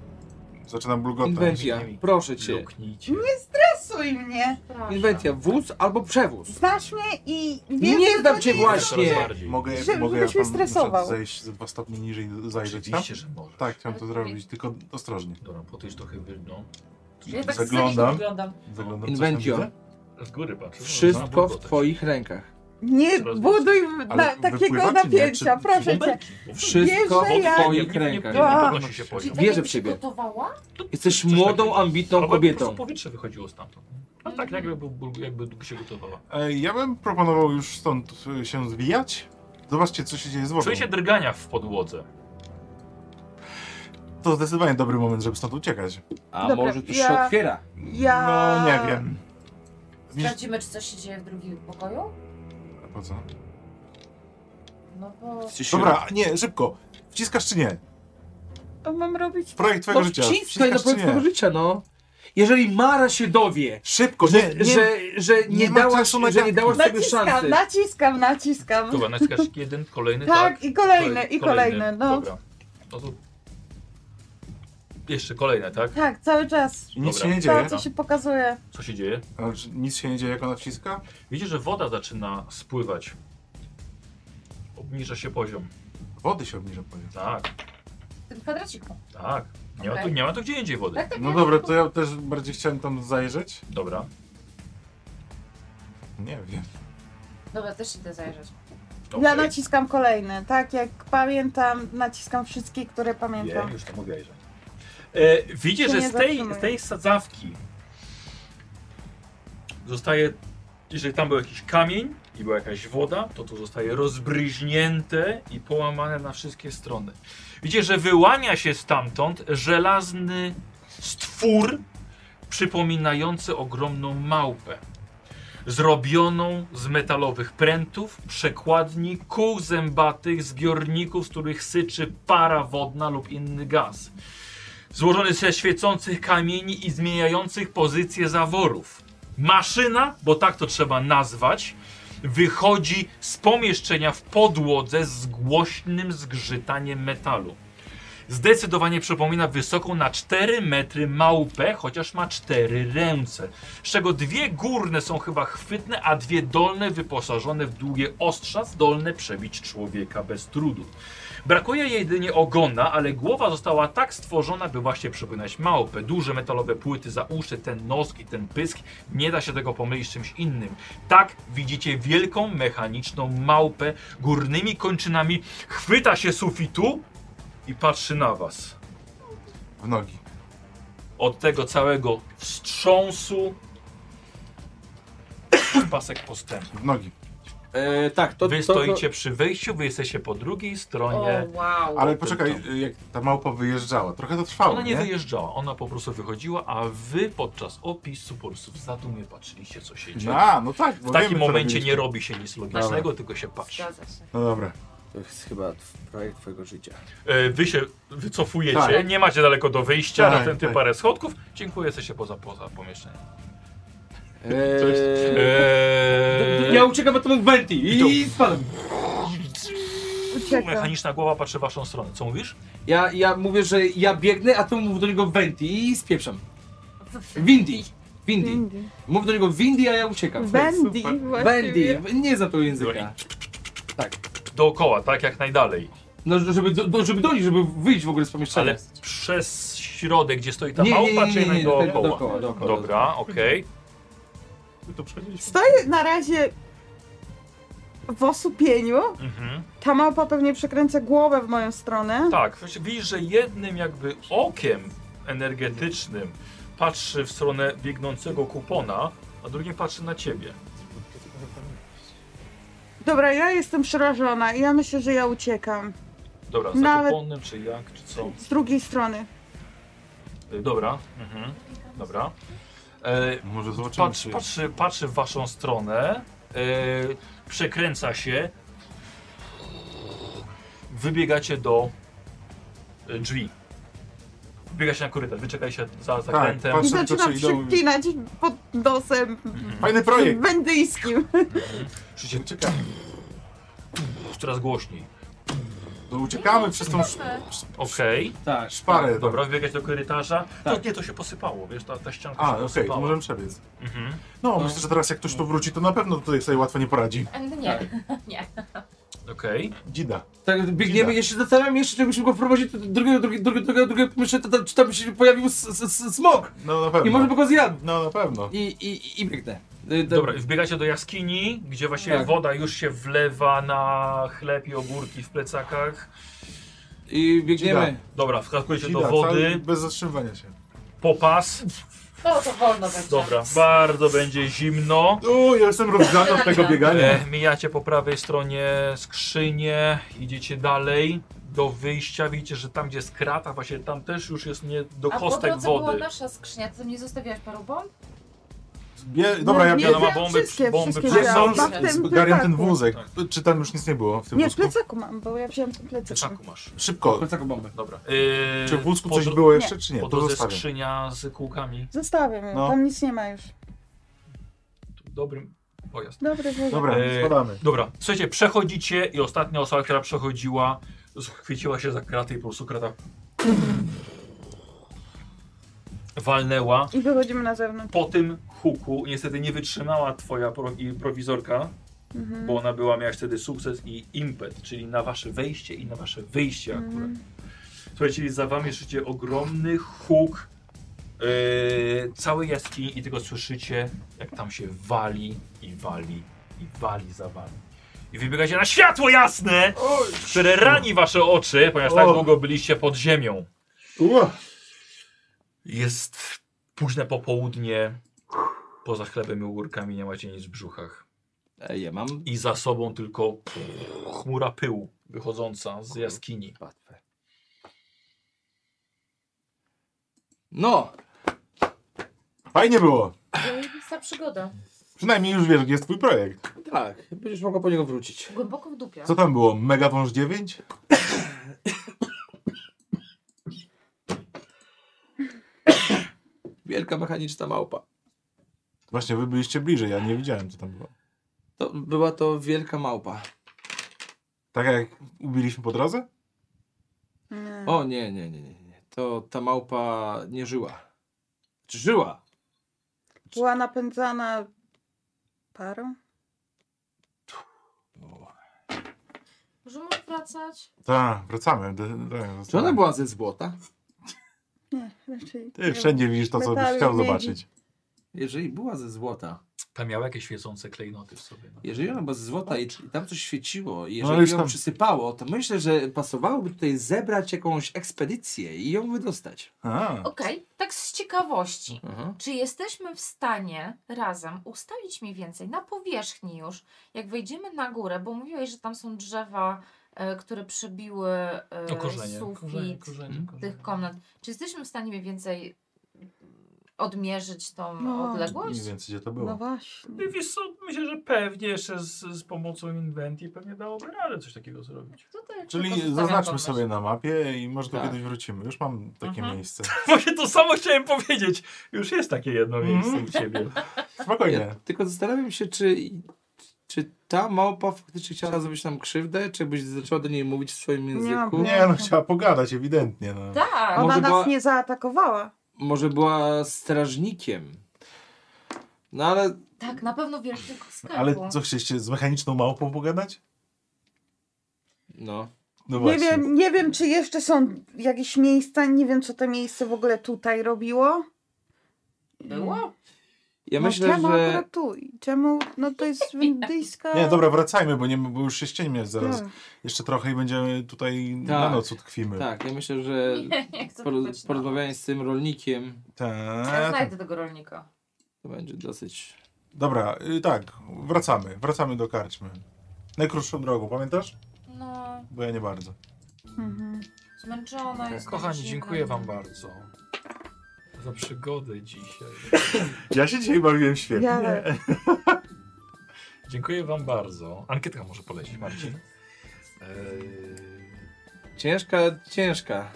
Speaker 29: Zaczynam
Speaker 1: No tak,
Speaker 29: bulgotać.
Speaker 4: Inwentia, proszę cię.
Speaker 1: Luknijcie.
Speaker 28: Stresuj mnie.
Speaker 5: Proszę.
Speaker 4: Inwentia, wóz albo
Speaker 1: No,
Speaker 4: przewóz.
Speaker 7: Znasz mnie i wiem,
Speaker 4: Nie
Speaker 7: że
Speaker 4: znam
Speaker 7: to
Speaker 4: cię
Speaker 7: nie-
Speaker 1: Coraz
Speaker 4: właśnie.
Speaker 1: bardziej.
Speaker 29: Mogę,
Speaker 7: Żeby-
Speaker 29: mogę ja
Speaker 7: żebyś mnie
Speaker 29: tam na
Speaker 7: stresował.
Speaker 29: przykład zejść ze dwa stopnie niżej, zajrzeć tam?
Speaker 1: Oczywiście, że może.
Speaker 29: Tak, chciałem to zrobić, tylko ostrożnie.
Speaker 1: Dobra, podejdź trochę wyżej. No.
Speaker 5: Ja tak
Speaker 29: Zaglądam.
Speaker 5: zaglądam.
Speaker 29: Zaglądam, coś tam
Speaker 4: Inwentio.
Speaker 29: widzę?
Speaker 1: Z góry patrzę. no,
Speaker 4: Wszystko w twoich rękach.
Speaker 7: Nie
Speaker 1: Teraz
Speaker 7: buduj na,
Speaker 30: Ale
Speaker 7: takiego
Speaker 30: wypływa czy nie?
Speaker 7: napięcia,
Speaker 30: Czy-
Speaker 7: proszę cię.
Speaker 1: Bąbelki.
Speaker 4: Wszystko
Speaker 7: Jeżeli ja-
Speaker 4: w twoich
Speaker 1: Nie,
Speaker 4: rękach.
Speaker 1: nie podnosi się
Speaker 5: Czyli
Speaker 1: poziom.
Speaker 5: tak
Speaker 4: Wierzę
Speaker 5: jakbyś
Speaker 4: w siebie.
Speaker 5: Gotowała?
Speaker 4: Jesteś
Speaker 1: Coś takiego.
Speaker 4: młodą, ambitną
Speaker 1: Albo po prostu
Speaker 4: kobietą.
Speaker 1: powietrze wychodziło stamtąd. A tak jakby, bu- jakby się gotowała.
Speaker 2: E, ja bym proponował już stąd e, się zwijać. Zobaczcie, co się dzieje z wodą.
Speaker 1: Czuję się drgania w podłodze.
Speaker 2: To zdecydowanie dobry moment, żeby stąd uciekać.
Speaker 4: A
Speaker 7: Dobra,
Speaker 4: może tu się
Speaker 7: ja-
Speaker 4: otwiera.
Speaker 7: Ja...
Speaker 2: No, nie wiem. Wiesz,
Speaker 5: Sprawdzimy, czy coś się dzieje w drugim pokoju?
Speaker 4: Znaczy-
Speaker 2: po co?
Speaker 5: No bo...
Speaker 4: Czy się-
Speaker 2: Dobra, nie, szybko. Wciskasz czy nie?
Speaker 7: To mam robić...
Speaker 2: Projekt twojego
Speaker 4: No
Speaker 2: życia.
Speaker 4: wciskaj na
Speaker 2: Wciskasz czy
Speaker 4: projekt twojego
Speaker 2: nie?
Speaker 4: życia, no. Jeżeli Mara się dowie,
Speaker 2: Szybko,
Speaker 4: że,
Speaker 2: nie, nie.
Speaker 4: że, że nie,
Speaker 2: nie ma
Speaker 4: dałaś,
Speaker 2: czasu na
Speaker 4: że nie dałaś
Speaker 2: gadki.
Speaker 4: sobie
Speaker 7: Naciskam,
Speaker 4: szansy.
Speaker 7: naciskam, naciskam.
Speaker 1: Dobra, naciskasz jeden, kolejny, tak?
Speaker 7: Tak, i kolejne, i kolejne, no.
Speaker 1: Dobra. No to... Jeszcze kolejne, tak?
Speaker 7: Tak, cały czas.
Speaker 2: Nic
Speaker 1: Dobra.
Speaker 2: się nie
Speaker 7: To,
Speaker 2: dzieje.
Speaker 7: co się pokazuje.
Speaker 1: Co się dzieje?
Speaker 2: Ale czy nic się nie dzieje, jak ona wciska?
Speaker 1: Widzisz, że woda zaczyna spływać. Obniża się poziom.
Speaker 2: Wody się obniża poziom.
Speaker 1: Tak,
Speaker 5: W tym kwadraciku.
Speaker 1: tak. Nie ma tu,
Speaker 5: Okej.
Speaker 1: nie ma tu gdzie indziej wody.
Speaker 5: Tak, tak,
Speaker 2: No
Speaker 5: ja-
Speaker 2: dobra, to ja też bardziej chciałem tam zajrzeć.
Speaker 1: Dobra.
Speaker 2: Nie wiem.
Speaker 5: Dobra, też idę zajrzeć.
Speaker 7: Ja
Speaker 1: Okej.
Speaker 7: naciskam kolejne, tak jak pamiętam, naciskam wszystkie, które pamiętam.
Speaker 1: Wiem, już to mówię, że. E, widzisz,
Speaker 7: Się
Speaker 1: że
Speaker 7: nie
Speaker 1: z tej,
Speaker 7: zatrzymuję.
Speaker 1: z tej sadzawki zostaje, jeżeli tam był jakiś kamień i była jakaś woda, to to zostaje rozbryźnięte i połamane na wszystkie strony. Widzisz, że wyłania się stamtąd żelazny stwór przypominający ogromną małpę. Zrobioną z metalowych prętów, przekładni, kół zębatych, zbiorników, z których syczy para wodna lub inny gaz złożony ze świecących kamieni i zmieniających pozycję zaworów. Maszyna, bo tak to trzeba nazwać, wychodzi z pomieszczenia w podłodze z głośnym zgrzytaniem metalu. Zdecydowanie przypomina wysoką na 4 metry małpę, chociaż ma 4 ręce, z czego dwie górne są chyba chwytne, a dwie dolne wyposażone w długie ostrza zdolne przebić człowieka bez trudu. Brakuje jej jedynie ogona, ale głowa została tak stworzona, by właśnie przypominać małpę. Duże metalowe płyty za uszy, ten nos i ten pysk. Nie da się tego pomylić z czymś innym. Tak widzicie wielką mechaniczną małpę górnymi kończynami. Chwyta się sufitu i patrzy na was.
Speaker 2: W nogi.
Speaker 1: Od tego całego wstrząsu pasek postępu.
Speaker 2: W nogi.
Speaker 4: E, tak, to,
Speaker 1: Wy
Speaker 4: to, to,
Speaker 1: stoicie przy wyjściu, wy jesteście po drugiej stronie.
Speaker 5: O, wow.
Speaker 2: Ale poczekaj, jak ta małpa wyjeżdżała. Trochę to trwało,
Speaker 1: Ona nie,
Speaker 2: nie?
Speaker 1: wyjeżdżała, ona po prostu wychodziła, a wy podczas opisu po prostu w zadumie patrzyliście, co się dzieje.
Speaker 2: A, no tak.
Speaker 1: w takim momencie nie robi się nic logicznego,
Speaker 4: Dobra.
Speaker 1: tylko się patrzy.
Speaker 5: Zgadza się.
Speaker 2: No dobra.
Speaker 4: to jest chyba tw- projekt twojego życia.
Speaker 1: E, Wy się wycofujecie,
Speaker 2: Tak.
Speaker 1: nie macie daleko do wyjścia,
Speaker 2: Tak,
Speaker 1: na ten
Speaker 2: tak.
Speaker 1: parę schodków. Dziękuję, jesteście poza, poza pomieszczeniem.
Speaker 4: Cześć.
Speaker 1: Eee,
Speaker 4: E, Ja uciekam od tego Venti
Speaker 1: to-
Speaker 4: i spadam.
Speaker 7: Uciekam.
Speaker 1: mechaniczna głowa patrzy w waszą stronę. Co mówisz?
Speaker 4: Ja, ja mówię, że ja biegnę, a ty mów do niego Venti i spieprzam. Windy. Windy.
Speaker 7: Bendy.
Speaker 4: Mów do niego Windy, a ja uciekam.
Speaker 7: Bendy,
Speaker 4: Tak, Wendy.
Speaker 7: właściwie.
Speaker 4: Nie znam tego języka.
Speaker 1: Dookoła, tak? Jak najdalej.
Speaker 4: No, żeby, do, do- żeby dojść, żeby wyjść w ogóle z pomieszczenia.
Speaker 1: Ale przez środek, gdzie stoi ta małpa, czy jednak
Speaker 4: tak,
Speaker 1: dookoła?
Speaker 4: dookoła, dookoła.
Speaker 1: Dobra, okej.
Speaker 7: Stoję na razie w osłupieniu.
Speaker 1: Mhm.
Speaker 7: Ta małpa pewnie przekręca głowę w moją stronę.
Speaker 1: Tak, właśnie widzisz, że jednym jakby okiem energetycznym patrzy w stronę biegnącego kupona, a drugim patrzy na ciebie.
Speaker 7: Dobra, ja jestem przerażona i ja myślę, że ja uciekam.
Speaker 1: Dobra, za
Speaker 7: Nawet-
Speaker 1: kuponem, czy jak, czy co?
Speaker 7: Z drugiej strony.
Speaker 1: Y, Dobra, mhm, dobra. E,
Speaker 2: Może zobaczymy,
Speaker 1: patrzy,
Speaker 2: czy...
Speaker 1: patrzy, patrzy w waszą stronę, e, przekręca się, wybiegacie do e, drzwi. Wybiegacie na korytarz, wyczekajcie za zakrętem.
Speaker 2: patrzę.
Speaker 7: I
Speaker 2: Są
Speaker 7: zaczynam
Speaker 2: to, czy idą-
Speaker 7: przyklinać pod nosem
Speaker 2: Fajny projekt.
Speaker 7: bendyjskim.
Speaker 1: Słyszycie,
Speaker 2: Uciekamy.
Speaker 1: coraz głośniej.
Speaker 2: No, uciekamy przez tą sz-
Speaker 1: Okej.
Speaker 4: Tak.
Speaker 2: szparę.
Speaker 1: Dobra, wybiegać do korytarza.
Speaker 4: Tak.
Speaker 1: To nie, to się posypało, wiesz, ta, ta ścianka
Speaker 2: A,
Speaker 1: się
Speaker 2: okej,
Speaker 1: posypała.
Speaker 2: to możemy przebiec.
Speaker 1: Mhm.
Speaker 2: No, myślę, że teraz jak ktoś tu wróci, to na pewno tutaj sobie łatwo nie poradzi.
Speaker 5: E, Nie,
Speaker 2: Tak.
Speaker 5: nie.
Speaker 1: Okej.
Speaker 2: Dzida.
Speaker 4: Tak, biegniemy,
Speaker 2: Tak.
Speaker 4: ja się zastanawiam jeszcze, żebyśmy go wprowadzili do drugiego, drugiego, drugiego, drugiego, drugiego pomieszczenia, to tam- czy tam się pojawił s- s- s- smok
Speaker 2: No na pewno.
Speaker 4: i może by go zjadł.
Speaker 2: No na pewno.
Speaker 4: I, i, i biegnie. Y, do-
Speaker 1: Dobra, wbiegacie do jaskini, gdzie właściwie
Speaker 4: Tak.
Speaker 1: woda już się wlewa na chleb i ogórki w plecakach.
Speaker 4: I biegniemy.
Speaker 1: Dobra, wskakujecie do
Speaker 2: Dzida, cały-
Speaker 1: wody,
Speaker 2: Bez zatrzymywania się.
Speaker 1: popas.
Speaker 31: No to wolno będzie.
Speaker 1: Dobra, bardzo będzie zimno.
Speaker 2: O, ja jestem rozgrzany od tego biegania.
Speaker 1: E, mijacie po prawej stronie skrzynię, idziecie dalej do wyjścia. Widzicie, że tam gdzie jest krata, właśnie tam też już jest nie do
Speaker 5: A po
Speaker 1: kostek
Speaker 5: drodze była
Speaker 1: wody.
Speaker 5: nasza skrzynia, ty mnie zostawiłaś paru bomb?
Speaker 2: Bie... Dobra, ja
Speaker 7: Nie,
Speaker 1: Ona
Speaker 2: biorę.
Speaker 1: ma
Speaker 7: wziąłem
Speaker 1: bomby,
Speaker 7: wszystkie,
Speaker 1: bomby
Speaker 7: wszystkie
Speaker 1: przy-
Speaker 7: wziąłem.
Speaker 1: są-
Speaker 7: Mam w tym
Speaker 2: Zgarniam ten
Speaker 7: plecaku.
Speaker 2: wózek. Czy tam już nic nie było w tym
Speaker 7: Nie, w
Speaker 2: wózku?
Speaker 7: plecaku mam, bo ja wziąłem ten plecak.
Speaker 1: Czaku masz.
Speaker 2: Szybko.
Speaker 1: Yy,
Speaker 4: Taką bombę.
Speaker 1: Dobra. E,
Speaker 2: Czy w wózku
Speaker 1: po
Speaker 2: coś
Speaker 1: dro-
Speaker 2: było jeszcze, czy nie?
Speaker 1: Po
Speaker 2: To
Speaker 1: drodze
Speaker 2: zostawiam.
Speaker 1: skrzynia z kółkami.
Speaker 7: Zostawiam ją,
Speaker 2: No.
Speaker 7: tam nic nie ma już.
Speaker 1: Dobry pojazd.
Speaker 7: Dobry wózek.
Speaker 2: Dobra,
Speaker 1: E,
Speaker 2: spadamy.
Speaker 1: Dobra, słuchajcie, przechodzicie i ostatnia osoba, która przechodziła, chwyciła się za kratę i po prostu krata walnęła.
Speaker 7: I wychodzimy na zewnątrz.
Speaker 1: Po tym huku niestety nie wytrzymała twoja pro- i prowizorka,
Speaker 7: Mhm.
Speaker 1: bo ona była, miałaś wtedy sukces i impet, czyli na wasze wejście i na wasze wyjście akurat. Słuchajcie, za wami słyszycie ogromny huk yy, całej jaskini i tylko słyszycie, jak tam się wali i wali i wali za wami. I wybiegacie na światło jasne, które rani wasze oczy, ponieważ tak
Speaker 2: O.
Speaker 1: długo byliście pod ziemią.
Speaker 2: Ua.
Speaker 1: Jest późne popołudnie, poza chlebem i ogórkami nie macie nic w brzuchach.
Speaker 4: E, ja mam
Speaker 1: I za sobą tylko chmura pyłu wychodząca z jaskini.
Speaker 4: łatwe. No,
Speaker 2: Fajnie było.
Speaker 5: Zajebista przygoda.
Speaker 2: Przynajmniej już wiesz, gdzie jest twój projekt.
Speaker 4: tak, będziesz mogła po niego wrócić.
Speaker 5: Głęboko w dupie.
Speaker 2: Co tam było? Mega wąż 9?
Speaker 4: Wielka mechaniczna małpa.
Speaker 2: Właśnie, wy byliście bliżej, ja nie widziałem, co tam było.
Speaker 4: To była to wielka małpa.
Speaker 2: Tak jak ubiliśmy po drodze?
Speaker 7: Nie.
Speaker 4: O nie, nie, nie, nie. nie. To ta małpa nie żyła. Czy żyła?
Speaker 7: Była napędzana parą?
Speaker 5: Możemy wracać?
Speaker 2: Tak, wracamy. D- tak, d-
Speaker 4: Czy ona była ze złota?
Speaker 7: Nie, raczej.
Speaker 2: Ty wszędzie widzisz to, co byś
Speaker 7: Metalu
Speaker 2: chciał
Speaker 7: miedzi.
Speaker 2: zobaczyć.
Speaker 4: Jeżeli była ze złota,
Speaker 1: Tam miała jakieś świecące klejnoty w sobie. no.
Speaker 4: jeżeli ona była ze złota i, i tam coś świeciło, i
Speaker 2: No, ale
Speaker 4: jeżeli
Speaker 2: już
Speaker 4: ją
Speaker 2: tam-
Speaker 4: przysypało, to myślę, że pasowałoby tutaj zebrać jakąś ekspedycję i ją wydostać.
Speaker 2: A,
Speaker 5: Okej, tak z ciekawości.
Speaker 4: Aha.
Speaker 5: Czy jesteśmy w stanie razem ustalić mniej więcej na powierzchni już, jak wejdziemy na górę, bo mówiłeś, że tam są drzewa, e, które przebiły e,
Speaker 1: No korzenie,
Speaker 5: sufit
Speaker 1: korzenie, korzenie,
Speaker 4: tych
Speaker 1: korzenie.
Speaker 5: tych komnat. Czy jesteśmy w stanie mniej więcej odmierzyć tą
Speaker 7: No.
Speaker 5: odległość?
Speaker 2: mniej więcej gdzie to
Speaker 7: No
Speaker 2: było.
Speaker 7: właśnie.
Speaker 1: No i Wiesz co, myślę, że pewnie jeszcze z, z pomocą inwentii pewnie dałoby radę coś takiego zrobić.
Speaker 5: Tutaj tylko
Speaker 2: Czyli
Speaker 5: zostawiam
Speaker 2: zaznaczmy
Speaker 5: pomysł.
Speaker 2: sobie na mapie i może tu
Speaker 4: Tak.
Speaker 2: kiedyś wrócimy. Już mam takie
Speaker 5: Mhm.
Speaker 2: miejsce.
Speaker 1: Właśnie to samo chciałem powiedzieć. Już jest takie jedno miejsce u ciebie.
Speaker 2: Spokojnie.
Speaker 4: Ja tylko zastanawiam się, czy, czy ta małpa faktycznie chciała zrobić nam krzywdę, czy byś zaczęła do niej mówić w swoim
Speaker 7: mam
Speaker 4: języku?
Speaker 7: pojęcia.
Speaker 2: Nie, no chciała pogadać, ewidentnie. No.
Speaker 5: Tak,
Speaker 4: Może
Speaker 7: Ona nas
Speaker 4: była-
Speaker 7: nie zaatakowała.
Speaker 4: Może była strażnikiem. No ale
Speaker 5: tak, na pewno wielkim skarbą.
Speaker 2: Ale co, chcieliście z mechaniczną małpą pogadać?
Speaker 4: no.
Speaker 2: No
Speaker 7: Nie
Speaker 2: właśnie.
Speaker 7: wiem, nie wiem, czy jeszcze są jakieś miejsca. Nie wiem, co to miejsce w ogóle tutaj robiło.
Speaker 5: Było?
Speaker 4: Ja
Speaker 7: no,
Speaker 4: myślę,
Speaker 7: czemu
Speaker 4: że
Speaker 7: akurat tu? I Czemu? No to jest indyjska.
Speaker 2: Nie, dobra, wracajmy, bo, nie, bo już się ściemnia zaraz.
Speaker 7: no. Tak.
Speaker 2: Jeszcze trochę i będziemy tutaj na
Speaker 4: Tak.
Speaker 2: noc utkwimy.
Speaker 4: tak, ja myślę, że
Speaker 5: Nie, nie chcę
Speaker 4: poro-
Speaker 5: tego no.
Speaker 4: porozmawianie z tym rolnikiem
Speaker 5: Ja
Speaker 2: Tak.
Speaker 5: znajdę tego rolnika.
Speaker 4: to będzie dosyć.
Speaker 2: Dobra, y, tak, wracamy. Wracamy do karczmy. Najkrótszą drogą, pamiętasz?
Speaker 5: No,
Speaker 2: Bo ja nie bardzo.
Speaker 7: Mhm.
Speaker 5: zmęczona jest.
Speaker 1: Kochani,
Speaker 5: zimna.
Speaker 1: dziękuję wam bardzo za przygodę dzisiaj.
Speaker 2: Ja się dzisiaj bawiłem świetnie.
Speaker 7: Ja też.
Speaker 1: Dziękuję wam bardzo. Ankietka może polecieć, Marcin. Eee,
Speaker 4: Ciężka, ciężka.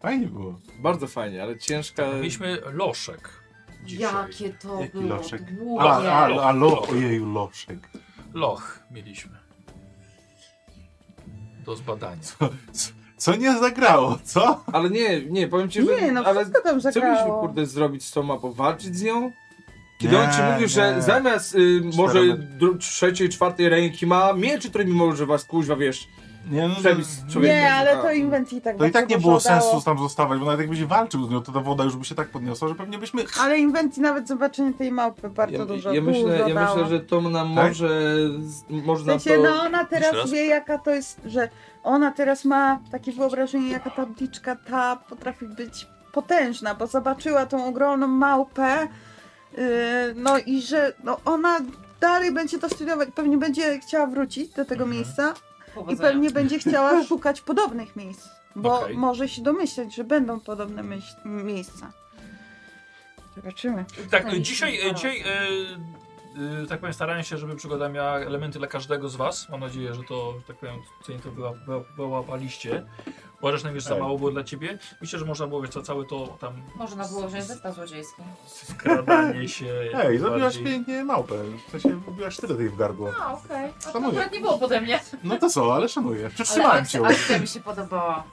Speaker 2: Fajnie było.
Speaker 4: Bardzo fajnie, ale ciężka.
Speaker 1: tak, mieliśmy loszek dzisiaj.
Speaker 5: Jakie to
Speaker 2: Jaki
Speaker 5: było
Speaker 2: loszek?
Speaker 5: długie.
Speaker 2: A, a,
Speaker 1: nie.
Speaker 2: a lo, ojeju, loszek.
Speaker 1: Loch mieliśmy. Do zbadania.
Speaker 2: Co nie zagrało, co?
Speaker 4: Ale nie, nie, powiem ci, że.
Speaker 7: Nie, no
Speaker 4: ale
Speaker 7: wszystko tam
Speaker 4: co byśmy
Speaker 7: zagrało.
Speaker 4: kurde zrobić z tą mapą? Walczyć z nią? Kiedy on ci
Speaker 2: Nie,
Speaker 4: mówił, że
Speaker 2: nie.
Speaker 4: zamiast y, może
Speaker 2: metry.
Speaker 4: dru- trzeciej, czwartej ręki ma mieczy, którymi może was kuźwa, wiesz,
Speaker 32: Nie, no, to-
Speaker 4: Przepis człowieka.
Speaker 7: Nie, ale to
Speaker 4: A,
Speaker 7: inwent i tak
Speaker 32: to i
Speaker 7: bardzo
Speaker 32: tak nie
Speaker 7: dobrze
Speaker 32: było
Speaker 7: udało.
Speaker 32: sensu tam zostawać, bo nawet jakbyś walczył z nią, to ta woda już by się tak podniosła, że pewnie byśmy...
Speaker 7: Ale inwent i nawet zobaczenie tej małpy bardzo
Speaker 4: Ja,
Speaker 7: dużo
Speaker 4: ja, myślę,
Speaker 7: dużo
Speaker 4: ja
Speaker 7: dało.
Speaker 4: myślę, że to nam
Speaker 32: Tak?
Speaker 4: może. z-
Speaker 7: W
Speaker 4: Można
Speaker 7: sensie,
Speaker 4: to.
Speaker 7: no ona
Speaker 1: Jeszcze
Speaker 7: teraz
Speaker 1: raz?
Speaker 7: wie jaka to jest, że ona teraz ma takie wyobrażenie, jaka ta bliczka ta potrafi być potężna, bo zobaczyła tą ogromną małpę, yy, no i że no ona dalej będzie to studiować, pewnie będzie chciała wrócić do tego miejsca i
Speaker 5: Powodzenia.
Speaker 7: pewnie będzie chciała szukać podobnych miejsc, bo
Speaker 1: Okej.
Speaker 7: może się domyśleć, że będą podobne myśl- miejsca. Zobaczymy.
Speaker 1: Tak,
Speaker 5: Powinniśmy
Speaker 1: dzisiaj,
Speaker 5: zaraz.
Speaker 1: dzisiaj e, e, tak powiem, starałem się, żeby przygoda miała elementy dla każdego z was. Mam nadzieję, że to, że tak powiem, cenię to wyła- wy- wyłapaliście. Uważasz, że za
Speaker 2: Tak.
Speaker 1: mało było dla ciebie? Myślę, że można było wiesz, co, całe to tam
Speaker 5: Można było wziąć zestaw złodziejski.
Speaker 1: skradanie się.
Speaker 2: Ej, zabiłaś
Speaker 1: bardziej-
Speaker 2: pięknie małpę. W sensie, wbiłaś tyle tej w gardło.
Speaker 5: A, okej. A to
Speaker 2: Szanuję.
Speaker 5: akurat nie było pode mnie.
Speaker 2: No to co, ale szanuję.
Speaker 5: Ale
Speaker 2: Przytrzymałem cię.
Speaker 5: akcja, akcja mi się podobała.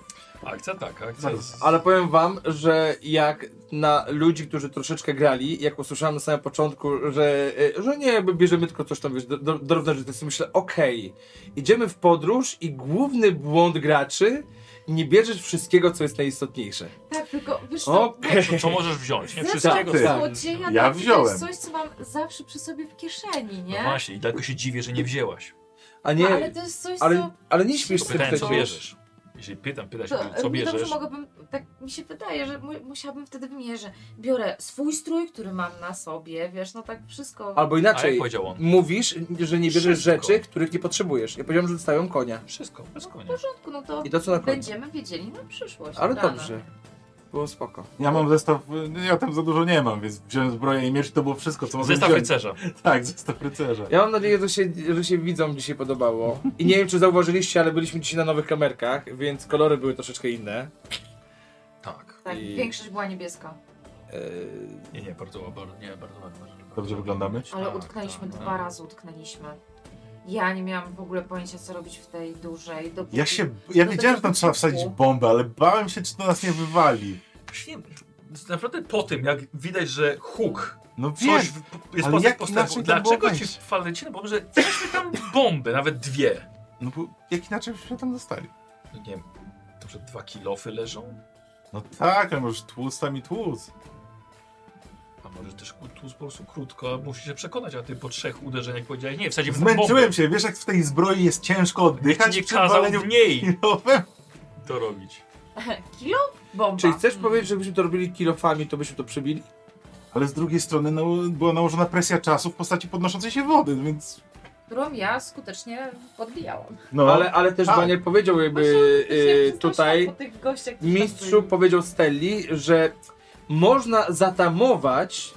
Speaker 1: Akcja tak, akcja.
Speaker 2: Zaraz.
Speaker 4: Ale powiem wam, że jak na ludzi, którzy troszeczkę grali, jak usłyszałem na samym początku, że, y, że nie, my bierzemy tylko coś tam, wiesz, do- do- drobne rzeczy, to myślę, okej, idziemy w podróż i główny błąd graczy, nie bierzesz wszystkiego, co jest najistotniejsze.
Speaker 5: Tak, tylko wiesz co,
Speaker 4: Okej.
Speaker 1: Co, co możesz wziąć? Nie
Speaker 5: Zestaw
Speaker 1: wszystkiego.
Speaker 2: Tak,
Speaker 1: co- No
Speaker 5: złodzieja
Speaker 2: Ja
Speaker 5: tak, to
Speaker 2: wziąłem.
Speaker 5: jest coś, co mam zawsze przy sobie w kieszeni,
Speaker 1: No
Speaker 5: nie?
Speaker 1: właśnie, i dlatego się dziwię, że nie wzięłaś.
Speaker 4: A nie,
Speaker 5: Ale
Speaker 4: ale,
Speaker 5: to jest coś,
Speaker 4: ale,
Speaker 5: co...
Speaker 4: nie śmiesz
Speaker 1: To
Speaker 4: z tym
Speaker 1: pytałem, co
Speaker 4: przecież.
Speaker 1: bierzesz. Jeśli pytam, pyta się,
Speaker 5: To,
Speaker 1: co
Speaker 5: równie
Speaker 1: bierzesz.
Speaker 5: dobrze mogłabym, tak mi się wydaje, że mu, musiałabym wtedy wymierzyć, że biorę swój strój, który mam na sobie, wiesz, no tak wszystko.
Speaker 4: Albo
Speaker 1: A jak
Speaker 4: inaczej,
Speaker 1: powiedział on?
Speaker 4: mówisz, że nie bierzesz
Speaker 1: Wszystko.
Speaker 4: rzeczy, których nie potrzebujesz. Ja powiedziałem, że dostają konia.
Speaker 1: Wszystko, bez
Speaker 5: No, w
Speaker 1: konia.
Speaker 5: porządku, no to
Speaker 4: I to co na końcu.
Speaker 5: będziemy wiedzieli na przyszłość.
Speaker 4: Ale
Speaker 5: rano.
Speaker 4: dobrze. Było spoko.
Speaker 2: Ja mam zestaw, y, ja tam za dużo nie mam, więc wziąłem zbroję i miecz i to było wszystko, co mogłem
Speaker 1: Zestaw
Speaker 2: wziąć.
Speaker 1: rycerza.
Speaker 2: Tak, zestaw rycerza.
Speaker 4: Ja mam nadzieję, że się, że się widzom dzisiaj podobało. I nie wiem, czy zauważyliście, ale byliśmy dzisiaj na nowych kamerkach, więc kolory były troszeczkę inne.
Speaker 1: Tak.
Speaker 5: Tak,
Speaker 4: I-
Speaker 5: większość była niebieska,
Speaker 4: Eee,
Speaker 1: Nie, nie, bardzo ładnie, nie, bardzo ładnie. Tak,
Speaker 2: Dobrze wyglądamy?
Speaker 5: ale utknęliśmy
Speaker 1: no.
Speaker 5: dwa razy, utknęliśmy. Ja nie miałam w ogóle pojęcia, co robić w tej dużej. Dopóki...
Speaker 2: Ja się, ja
Speaker 5: Do
Speaker 2: wiedziałem,
Speaker 5: tego
Speaker 2: że tam trzeba wsadzić
Speaker 5: wycipu.
Speaker 2: bombę, ale bałem się, czy to nas nie wywali.
Speaker 1: Właśnie, znaczy, naprawdę po tym, jak widać, że huk
Speaker 2: No
Speaker 1: coś
Speaker 2: wiesz,
Speaker 1: w- jest
Speaker 2: ale
Speaker 1: poza
Speaker 2: jak
Speaker 1: postępu,
Speaker 2: inaczej tam
Speaker 1: dlaczego
Speaker 2: było
Speaker 1: ci
Speaker 2: wejść?
Speaker 1: faleciny, bo że weźmy tam bomby, nawet dwie.
Speaker 2: no bo jak inaczej byśmy tam dostali?
Speaker 1: No nie wiem, to że dwa kilofy leżą?
Speaker 2: No tak, a możesz tłuc tam i tłuc.
Speaker 1: A może też ku- tu po prostu krótko, musi się przekonać, a ty po trzech uderzeniach powiedziałeś, nie, wsadzimy tam bombę.
Speaker 2: Zmęczyłem się, wiesz jak w tej zbroi jest ciężko oddychać
Speaker 1: nie
Speaker 2: przy
Speaker 1: kazał
Speaker 2: waleniu
Speaker 1: w niej
Speaker 2: pilowym?
Speaker 1: to robić.
Speaker 5: Kilo? Bomba.
Speaker 4: Czyli chcesz
Speaker 5: Mm.
Speaker 4: powiedzieć, żebyśmy to robili kilofami, to byśmy to przybili?
Speaker 2: Ale z drugiej strony no, była nałożona presja czasu w postaci podnoszącej się wody, no więc...
Speaker 5: którą ja skutecznie podbijałam.
Speaker 2: No,
Speaker 4: Ale, ale też
Speaker 2: Tak.
Speaker 4: Banier powiedział jakby e, tutaj,
Speaker 5: Po tych gościach, którzy tam
Speaker 4: mistrzu
Speaker 5: byli.
Speaker 4: powiedział Stelli, że można zatamować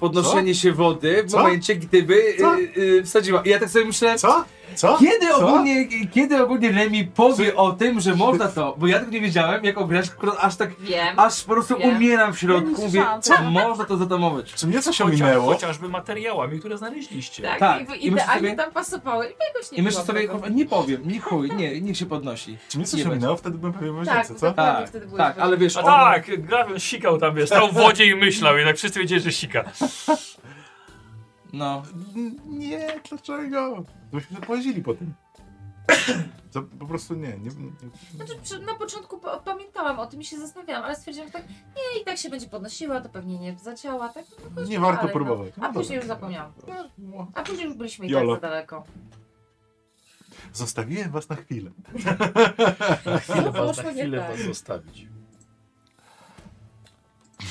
Speaker 4: podnoszenie się wody w
Speaker 2: Co?
Speaker 4: momencie, gdyby
Speaker 2: Co?
Speaker 4: e, e, wsadziła. I ja tak sobie myślę,
Speaker 2: Co? Co?
Speaker 4: Kiedy
Speaker 2: Co?
Speaker 4: ogólnie, kiedy ogólnie Lemi powie o tym, że można to? Bo ja tego nie wiedziałem, jak gracz, aż tak,
Speaker 5: Wiem.
Speaker 4: aż po prostu
Speaker 5: Nie.
Speaker 4: umieram w środku,
Speaker 7: Nie
Speaker 4: mówię,
Speaker 7: słyszałam
Speaker 4: co? można to zatamować.
Speaker 2: Czy mnie coś
Speaker 1: Chociaż,
Speaker 2: ominęło?
Speaker 1: chociażby materiałami, które znaleźliście.
Speaker 5: tak,
Speaker 4: tak.
Speaker 5: jakby
Speaker 4: I myślę
Speaker 5: idealnie
Speaker 4: sobie-
Speaker 5: tam pasowały. I jakoś nie
Speaker 4: I myślę
Speaker 5: było
Speaker 4: sobie,
Speaker 5: tego.
Speaker 4: kurwa, nie powiem, nie chuj, nie, niech się podnosi.
Speaker 2: Czy mnie coś
Speaker 4: Jebać.
Speaker 2: ominęło? Wtedy bym pewnie w
Speaker 5: Tak,
Speaker 2: łazience,
Speaker 5: bo
Speaker 2: co?
Speaker 5: dokładnie
Speaker 4: Tak,
Speaker 5: wtedy byłeś
Speaker 4: tak,
Speaker 5: pewien.
Speaker 4: ale wiesz,
Speaker 1: A
Speaker 4: on,
Speaker 1: tak, Grawion sikał tam, wiesz, stał w wodzie i myślał, jednak wszyscy wiedzieli, że sika.
Speaker 4: no,
Speaker 2: N- Nie, dlaczego? Byśmy się połazili po tym. To po prostu nie, nie, nie.
Speaker 5: Znaczy, przy- na początku pa- pamiętałam o tym i się zastanawiałam, ale stwierdziłam tak, nie, i tak się będzie podnosiła, to pewnie nie zacięła, tak? no to
Speaker 2: Nie
Speaker 5: chodźmy
Speaker 2: warto
Speaker 5: dalej, no.
Speaker 2: próbować.
Speaker 5: A
Speaker 2: No
Speaker 5: później
Speaker 2: dobra.
Speaker 5: już zapomniałam.
Speaker 2: No,
Speaker 5: A później już byliśmy i
Speaker 2: Jolo.
Speaker 5: tak za daleko.
Speaker 2: Zostawiłem was na chwilę.
Speaker 5: No
Speaker 1: was,
Speaker 5: poszło
Speaker 1: na
Speaker 5: nie
Speaker 1: chwilę
Speaker 5: tak.
Speaker 1: was zostawić.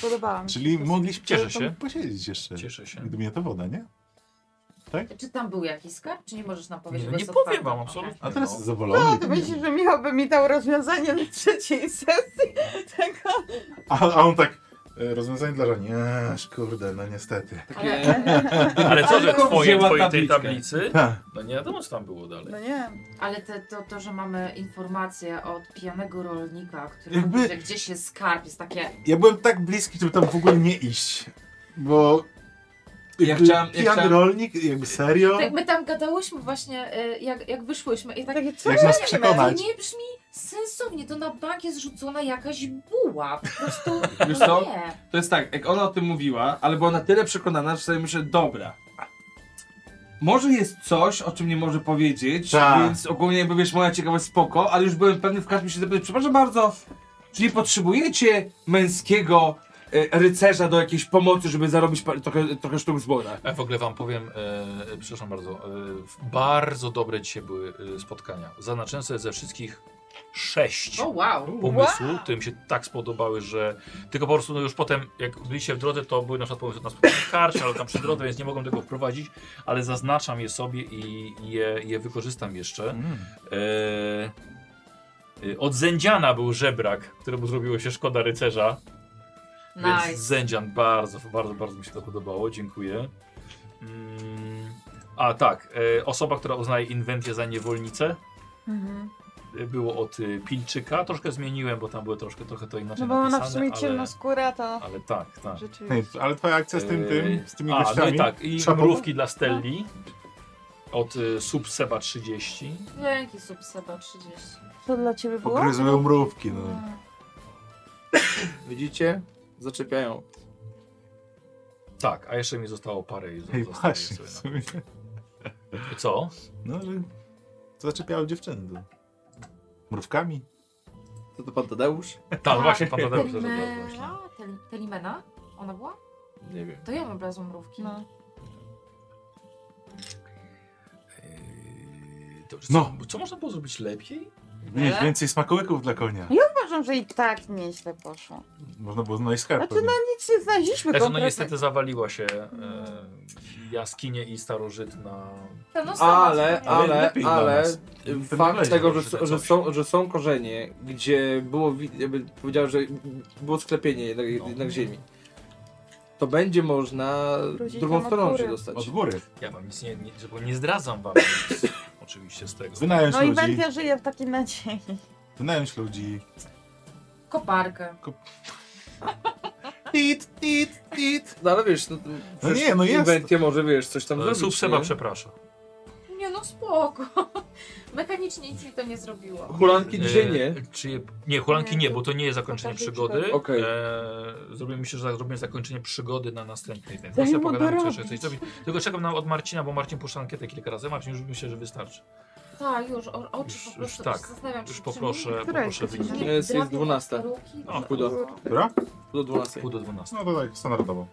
Speaker 7: Podobała mi się.
Speaker 2: Czyli mogliśmy
Speaker 1: Cieszę
Speaker 2: tam
Speaker 1: się.
Speaker 2: posiedzieć jeszcze.
Speaker 1: Cieszę się.
Speaker 2: Gdyby nie ta woda, nie?
Speaker 5: Czy tam był jakiś skarb, czy nie możesz nam powiedzieć?
Speaker 1: Nie,
Speaker 5: bo
Speaker 1: nie
Speaker 5: jest
Speaker 1: powiem
Speaker 5: otwarte?
Speaker 1: wam
Speaker 5: Okej.
Speaker 1: absolutnie.
Speaker 2: A teraz jest
Speaker 7: No,
Speaker 2: zawolony.
Speaker 7: to myślisz, że Michał by mi dał rozwiązanie do trzeciej sesji tego?
Speaker 2: A, a on tak, e, rozwiązanie dla żony. Nie, kurde, no niestety.
Speaker 4: takie,
Speaker 1: Ale co, że
Speaker 4: Tylko
Speaker 1: twoje,
Speaker 4: wzięła
Speaker 1: twoje tej
Speaker 4: tabliczkę.
Speaker 1: tablicy?
Speaker 2: Ha,
Speaker 1: No nie wiadomo, co tam było dalej.
Speaker 7: No nie.
Speaker 5: Ale te, to, to, że mamy informację od pijanego rolnika, który
Speaker 2: Jakby-
Speaker 5: mówi, że gdzieś jest skarb, jest takie...
Speaker 2: Ja byłem tak bliski, żeby tam w ogóle nie iść. Bo...
Speaker 4: Ja chciałem- ja
Speaker 2: Pijany
Speaker 4: chciałem-
Speaker 2: rolnik, jakby serio?
Speaker 5: Tak my tam gadałyśmy właśnie, y, jak, jak wyszłyśmy i tak...
Speaker 7: Takie, co
Speaker 2: Jak nas
Speaker 7: robimy?
Speaker 5: To
Speaker 2: przekonać?
Speaker 5: nie brzmi sensownie, to na bank jest rzucona jakaś buła, po prostu
Speaker 4: Wiesz co?
Speaker 5: nie.
Speaker 4: to jest tak, jak ona o tym mówiła, ale była na tyle przekonana, że sobie myślę, dobra, Może jest coś, o czym nie może powiedzieć,
Speaker 14: Tak.
Speaker 4: więc ogólnie jakby wiesz, moja ciekawość spoko, ale już byłem pewny w każdym się zapytać, przepraszam bardzo, czy nie potrzebujecie męskiego e, rycerza do jakiejś pomocy, żeby zarobić par- trochę, trochę sztuk złota?
Speaker 1: Ja w ogóle wam powiem, e, przepraszam bardzo, e, bardzo dobre dzisiaj były e, spotkania. Zaznaczyłem sobie ze wszystkich sześć
Speaker 5: O wow.
Speaker 1: pomysłów, które mi się tak spodobały, że tylko po prostu no już potem, jak byliście w drodze, to były na przykład pomysły na spotkanie karcie, ale tam przy drodze, więc nie mogłem tego wprowadzić, ale zaznaczam je sobie i je, je wykorzystam jeszcze.
Speaker 5: Mm.
Speaker 1: E, e, od Zędziana był żebrak, któremu zrobiło się szkoda rycerza. Więc
Speaker 5: Nice.
Speaker 1: Zędzian bardzo, bardzo, bardzo mi się to podobało. Dziękuję. Mm, a tak, e, osoba, która uznaje inwentję za niewolnicę.
Speaker 7: Mhm.
Speaker 1: E, Było od y, Pilczyka. Troszkę zmieniłem, bo tam były troszkę, trochę to inaczej
Speaker 7: No bo ona w
Speaker 1: napisane,
Speaker 7: sumie
Speaker 1: ale,
Speaker 7: ciemnoskóra to
Speaker 1: ale tak, tak.
Speaker 7: rzeczywiście.
Speaker 2: No
Speaker 14: Hej, ale twoja akcja z tym, tym, z tymi
Speaker 1: A, no
Speaker 14: gościami?
Speaker 1: i tak, i
Speaker 14: Szabowa?
Speaker 1: mrówki dla Stelli od y, Subseba 30.
Speaker 5: Wielki subseba 30.
Speaker 7: To dla ciebie było?
Speaker 14: Pogryzły ją mrówki, no.
Speaker 4: Widzicie? Zaczepiają.
Speaker 1: Tak, a jeszcze mi zostało parę i
Speaker 14: Hej,
Speaker 1: zostawię
Speaker 14: właśnie.
Speaker 1: sobie
Speaker 14: w
Speaker 4: no.
Speaker 14: sumie.
Speaker 1: na- Co?
Speaker 14: No, że zaczepiały dziewczyny. No. Mrówkami?
Speaker 4: To to pan Tadeusz?
Speaker 1: Tak, właśnie pan Tadeusz też od razu właśnie.
Speaker 5: Telimena? Tel- Telimena? Ona była?
Speaker 1: Nie wiem.
Speaker 5: To ja mam bez mrówki.
Speaker 7: No.
Speaker 1: Yy, Dobrze,
Speaker 14: No.
Speaker 1: co, co można było zrobić lepiej? Znaczy,
Speaker 14: Mieć więcej smakołyków dla konia.
Speaker 7: Uważam, że i tak nieźle poszło.
Speaker 14: Można było znaleźć skarb.
Speaker 7: Znaczy,
Speaker 14: pewnie.
Speaker 7: Nic nie znaleźliśmy
Speaker 1: Znaczy, no
Speaker 7: konkretnego.
Speaker 1: niestety zawaliła się e, jaskinie i starożytna.
Speaker 5: Ten ostatni
Speaker 4: Ale,
Speaker 5: co miałem.
Speaker 14: Ale
Speaker 4: ale,
Speaker 14: lepiej dla
Speaker 4: ale
Speaker 14: nas. Tym
Speaker 4: Y,
Speaker 14: tak
Speaker 4: fakt
Speaker 14: lepiej
Speaker 4: tego, że,
Speaker 1: może
Speaker 4: są-
Speaker 1: coś.
Speaker 4: że, są, że są korzenie, gdzie było, wi- jakby powiedział, że było sklepienie jednak, jednak ziemi, to będzie można
Speaker 7: Wrócić
Speaker 4: drugą
Speaker 7: tam od
Speaker 4: stroną się
Speaker 7: góry.
Speaker 4: dostać.
Speaker 14: Od góry.
Speaker 1: Ja wam nic nie, nie, bo nie zdradzam wam nic, oczywiście z tego.
Speaker 14: Wynająć
Speaker 7: No i
Speaker 14: ludzi.
Speaker 7: Wentia żyje w takiej nadziei.
Speaker 14: Wynająć ludzi.
Speaker 5: Koparkę.
Speaker 14: Tit, tit, tit.
Speaker 4: No ale wiesz, no,
Speaker 14: No nie, no jest.
Speaker 4: Inwentia może, wiesz, coś tam
Speaker 1: Ale
Speaker 4: zrobić,
Speaker 1: Subseba
Speaker 4: nie?
Speaker 1: E, przepraszam.
Speaker 5: Nie no spoko. Mechanicznie nic mi to nie zrobiło.
Speaker 1: E,
Speaker 4: Hulanki dzisiaj nie.
Speaker 1: Czy je, nie, hulanki
Speaker 7: Nie,
Speaker 1: nie,
Speaker 7: to-
Speaker 1: bo to nie jest zakończenie
Speaker 7: to tak
Speaker 1: przygody.
Speaker 7: przygody.
Speaker 4: Okej.
Speaker 1: E, zrobimy, myślę, że zrobimy zakończenie przygody na następnej. Ten.
Speaker 7: Daj
Speaker 1: Zawsze
Speaker 7: mu
Speaker 1: pogadamy, czy jeszcze
Speaker 7: dorobić.
Speaker 1: coś zrobić. Tylko czekam na, od Marcina, bo Marcin puszcza ankietę kilka razy, Marcin już myślę, że wystarczy.
Speaker 5: Tak, już, o, oczy
Speaker 1: Już-
Speaker 5: po
Speaker 1: już
Speaker 5: prostu już
Speaker 1: tak.
Speaker 5: zastanawiam
Speaker 1: Już
Speaker 5: czy-
Speaker 1: poproszę,
Speaker 7: Która
Speaker 1: poproszę
Speaker 7: jest
Speaker 5: czy mi-
Speaker 1: wynik.
Speaker 5: czy mi
Speaker 4: Nie, jest- jest
Speaker 5: drapie
Speaker 4: 12.
Speaker 5: peruki?
Speaker 1: O,
Speaker 4: chudo.
Speaker 14: Dobra?
Speaker 4: Do 12.
Speaker 1: Pół do 12.
Speaker 14: No to tak, standardowo.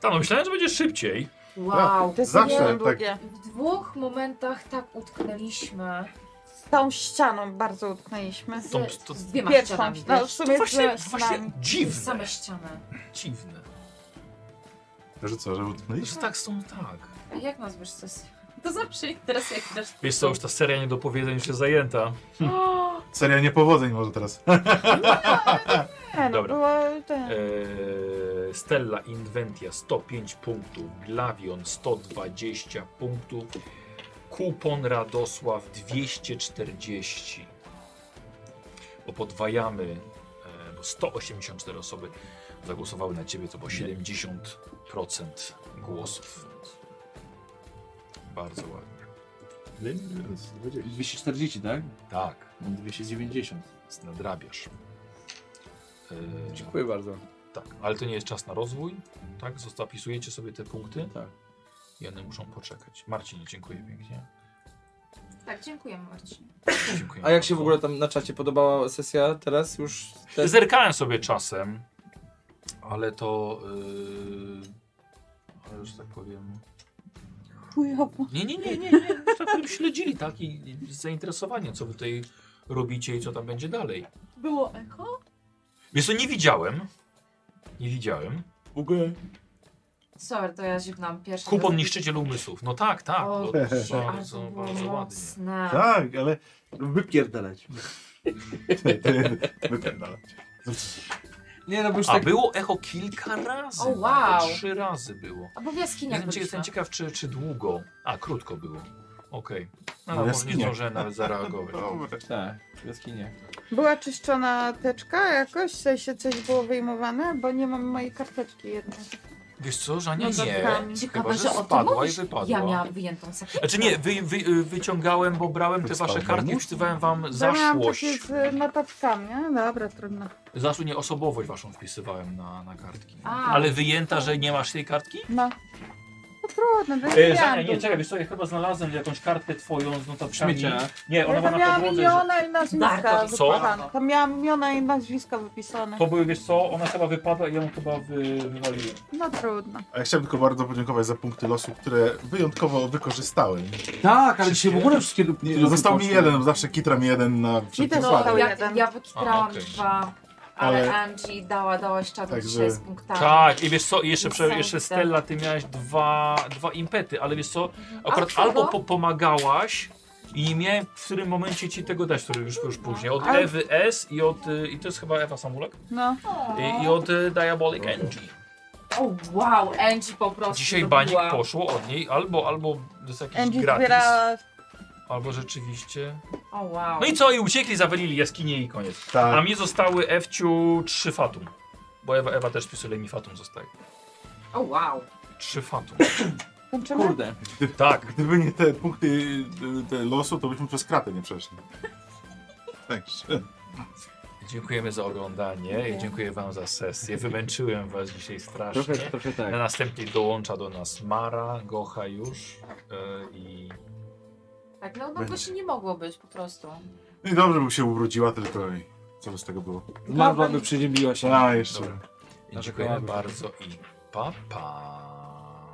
Speaker 1: Tak, no myślałem, że będzie szybciej.
Speaker 5: Wow.
Speaker 7: To jest
Speaker 14: Zawsze,
Speaker 7: Zawsze,
Speaker 14: tak.
Speaker 7: długie.
Speaker 5: W dwóch momentach tak utknęliśmy.
Speaker 7: Z tą ścianą bardzo utknęliśmy.
Speaker 5: Z,
Speaker 1: To- to-
Speaker 5: z dwiema
Speaker 7: Pierwszą,
Speaker 5: ścianami.
Speaker 7: no w
Speaker 5: wiesz?
Speaker 7: sumie
Speaker 1: Właśnie,
Speaker 7: z
Speaker 1: właśnie
Speaker 7: nami.
Speaker 1: dziwne.
Speaker 5: Same ściany.
Speaker 1: Dziwne.
Speaker 14: Że co, no że utknęliśmy?
Speaker 1: Że tak są tak.
Speaker 5: A jak nazwiesz coś? To zawsze teraz jak dasz.
Speaker 1: Wiesz co, już ta seria niedopowiedzeń już jest zajęta.
Speaker 5: O,
Speaker 14: Seria niepowodzeń może teraz.
Speaker 7: Nie, no,
Speaker 1: Dobra. E,
Speaker 7: było ten.
Speaker 1: Eee, Stella Inventia 105 punktów, Glavion 120 punktów, Kupon Radosław 240. Bo podwajamy, e, bo 184 osoby zagłosowały na ciebie, to było 70% głosów. Bardzo ładnie.
Speaker 4: 240, tak?
Speaker 1: Tak,
Speaker 4: Mam 290.
Speaker 1: nadrabiasz. Eee,
Speaker 4: Dziękuję bardzo.
Speaker 1: Tak, ale to nie jest czas na rozwój, tak? Zapisujecie sobie te punkty.
Speaker 4: Tak.
Speaker 1: I one muszą poczekać. Marcin, dziękuję pięknie.
Speaker 5: tak, dziękuję Marcin.
Speaker 1: Dziękuję
Speaker 4: A jak
Speaker 1: bardzo.
Speaker 4: się w ogóle tam na czacie podobała sesja teraz już? Te...
Speaker 1: Zerkałem sobie czasem, ale to... Yy... Ale że tak powiem...
Speaker 7: Chujowo.
Speaker 1: Nie, nie, nie, nie, nie. że Tak powiem, śledzili, tak? I i z zainteresowaniem, co wy tutaj robicie i co tam będzie dalej.
Speaker 5: Było echo?
Speaker 1: Więc to nie widziałem. Nie widziałem.
Speaker 5: Sorry, to ja ziwnam pierwszy.
Speaker 1: Kupon
Speaker 5: raz.
Speaker 1: niszczyciel umysłów. No tak, tak.
Speaker 5: O,
Speaker 1: no,
Speaker 5: Boże,
Speaker 1: bardzo,
Speaker 5: ale to było
Speaker 1: bardzo ładnie.
Speaker 5: mocne.
Speaker 14: Tak, ale wypierdalać. wypierdalać.
Speaker 4: Nie, no bo już
Speaker 1: A
Speaker 4: tak...
Speaker 1: było echo kilka razy.
Speaker 5: O, wow.
Speaker 1: nawet Trzy razy było.
Speaker 5: A bo w jaskiniach
Speaker 1: Jestem, cie-
Speaker 5: byliśmy.
Speaker 1: jestem ciekaw, czy, czy długo. A, krótko było. Okej.
Speaker 14: No,
Speaker 1: No, no może nie
Speaker 14: jaskinia.
Speaker 1: zdążyłem nawet
Speaker 2: No,
Speaker 1: zareagować.
Speaker 14: Dobra.
Speaker 4: Tak, jaskinie.
Speaker 7: Była czyszczona teczka jakoś, w sensie coś było wyjmowane, bo nie mam mojej karteczki jednej.
Speaker 1: Wiesz co, Żania,
Speaker 7: No,
Speaker 1: nie.
Speaker 7: dobra.
Speaker 5: Ciekawe,
Speaker 1: Chyba, że
Speaker 5: że o tym
Speaker 1: spadła i
Speaker 5: mówisz.
Speaker 1: wypadła.
Speaker 5: Ja miałam wyjętą sakiewkę.
Speaker 1: Znaczy nie, wy, wy, wyciągałem, bo brałem te wasze karty i wpisywałem wam
Speaker 7: Miałam takie
Speaker 1: zaszłość.
Speaker 7: z y, notatkami, nie? Dobra, trudno.
Speaker 1: Zaszłość, nie, osobowość waszą wpisywałem na, na kartki.
Speaker 5: A.
Speaker 1: Ale wyjęta, że nie masz tej kartki?
Speaker 7: No,
Speaker 13: to trudno, bez
Speaker 1: E, Żania,
Speaker 13: miliardów.
Speaker 1: nie, czekaj, wiesz co, ja chyba znalazłem jakąś kartkę twoją z notatkami.
Speaker 4: Śmieciach.
Speaker 1: Nie,
Speaker 13: Ja
Speaker 1: ona
Speaker 13: tam
Speaker 1: ma na
Speaker 13: miałam
Speaker 1: podłodze, że
Speaker 13: imiona i nazwiska
Speaker 1: Warto, co?
Speaker 13: wypisane.
Speaker 7: Tam miałam imiona i nazwiska wypisane.
Speaker 1: to były, wiesz co, ona chyba wypadła i ją chyba wy, wywaliłem.
Speaker 7: No trudno.
Speaker 2: A ja chciałem tylko bardzo podziękować za punkty losu, które wyjątkowo wykorzystałem.
Speaker 4: Tak, ale dzisiaj w ogóle wszystkie lub
Speaker 2: Nie, został mi jeden, bo zawsze kitram jeden na wszelki
Speaker 7: też
Speaker 2: wypadek.
Speaker 7: został
Speaker 5: No, ja,
Speaker 7: jeden.
Speaker 5: ja
Speaker 33: A,
Speaker 5: wykitrałam
Speaker 33: okej.
Speaker 5: dwa, ale,
Speaker 2: Ale-
Speaker 5: Angie dała, dałaś czadu
Speaker 2: Także-
Speaker 5: Także... z punktami.
Speaker 1: Tak, i wiesz co, i jeszcze, prze,
Speaker 5: Niesamowite.
Speaker 1: jeszcze Stella, ty miałaś dwa, dwa impety, ale wiesz co,
Speaker 7: Mhm.
Speaker 1: akurat
Speaker 5: A
Speaker 1: albo
Speaker 5: co?
Speaker 1: po, pomagałaś i nie miałem w którym momencie ci tego dać, który już, już później, od
Speaker 7: Ale-
Speaker 1: Ewy S i od, y, i to jest chyba Ewa Samulek,
Speaker 7: No.
Speaker 1: i, i od y, Diabolic Angie.
Speaker 5: O wow, Angie po prostu
Speaker 1: Dzisiaj
Speaker 5: zrobiła.
Speaker 1: banik poszło od niej, albo, albo jest jakiś
Speaker 7: Angie
Speaker 1: gratis,
Speaker 7: zbiera...
Speaker 1: albo rzeczywiście...
Speaker 5: O wow.
Speaker 1: No i co, i uciekli, zawalili jaskinię i koniec. A
Speaker 2: Tak.
Speaker 1: mi zostały Ewciu trzy fatum, bo Ewa, Ewa też pisuje, mi fatum zostaje.
Speaker 5: O wow.
Speaker 1: Trzy fatum.
Speaker 7: Kończymy?
Speaker 4: Kurde.
Speaker 1: Tak.
Speaker 2: Gdyby nie te punkty y, te losu, to byśmy przez kratę nie przeszli. Także.
Speaker 1: Dziękujemy za oglądanie i dziękuję Wam za sesję. Wymęczyłem Was dzisiaj strasznie.
Speaker 4: trochę tak.
Speaker 1: Na następnej dołącza do nas Mara, Gocha już e, i
Speaker 5: Tak, no, no to się nie mogło być po prostu.
Speaker 2: No i dobrze, by się ubrudziła, tylko i co by z tego było.
Speaker 4: Marwa by przyziębiła się.
Speaker 2: A, jeszcze.
Speaker 1: Dobra. i
Speaker 4: Narzekała
Speaker 1: dziękujemy
Speaker 4: mi.
Speaker 1: bardzo i pa pa.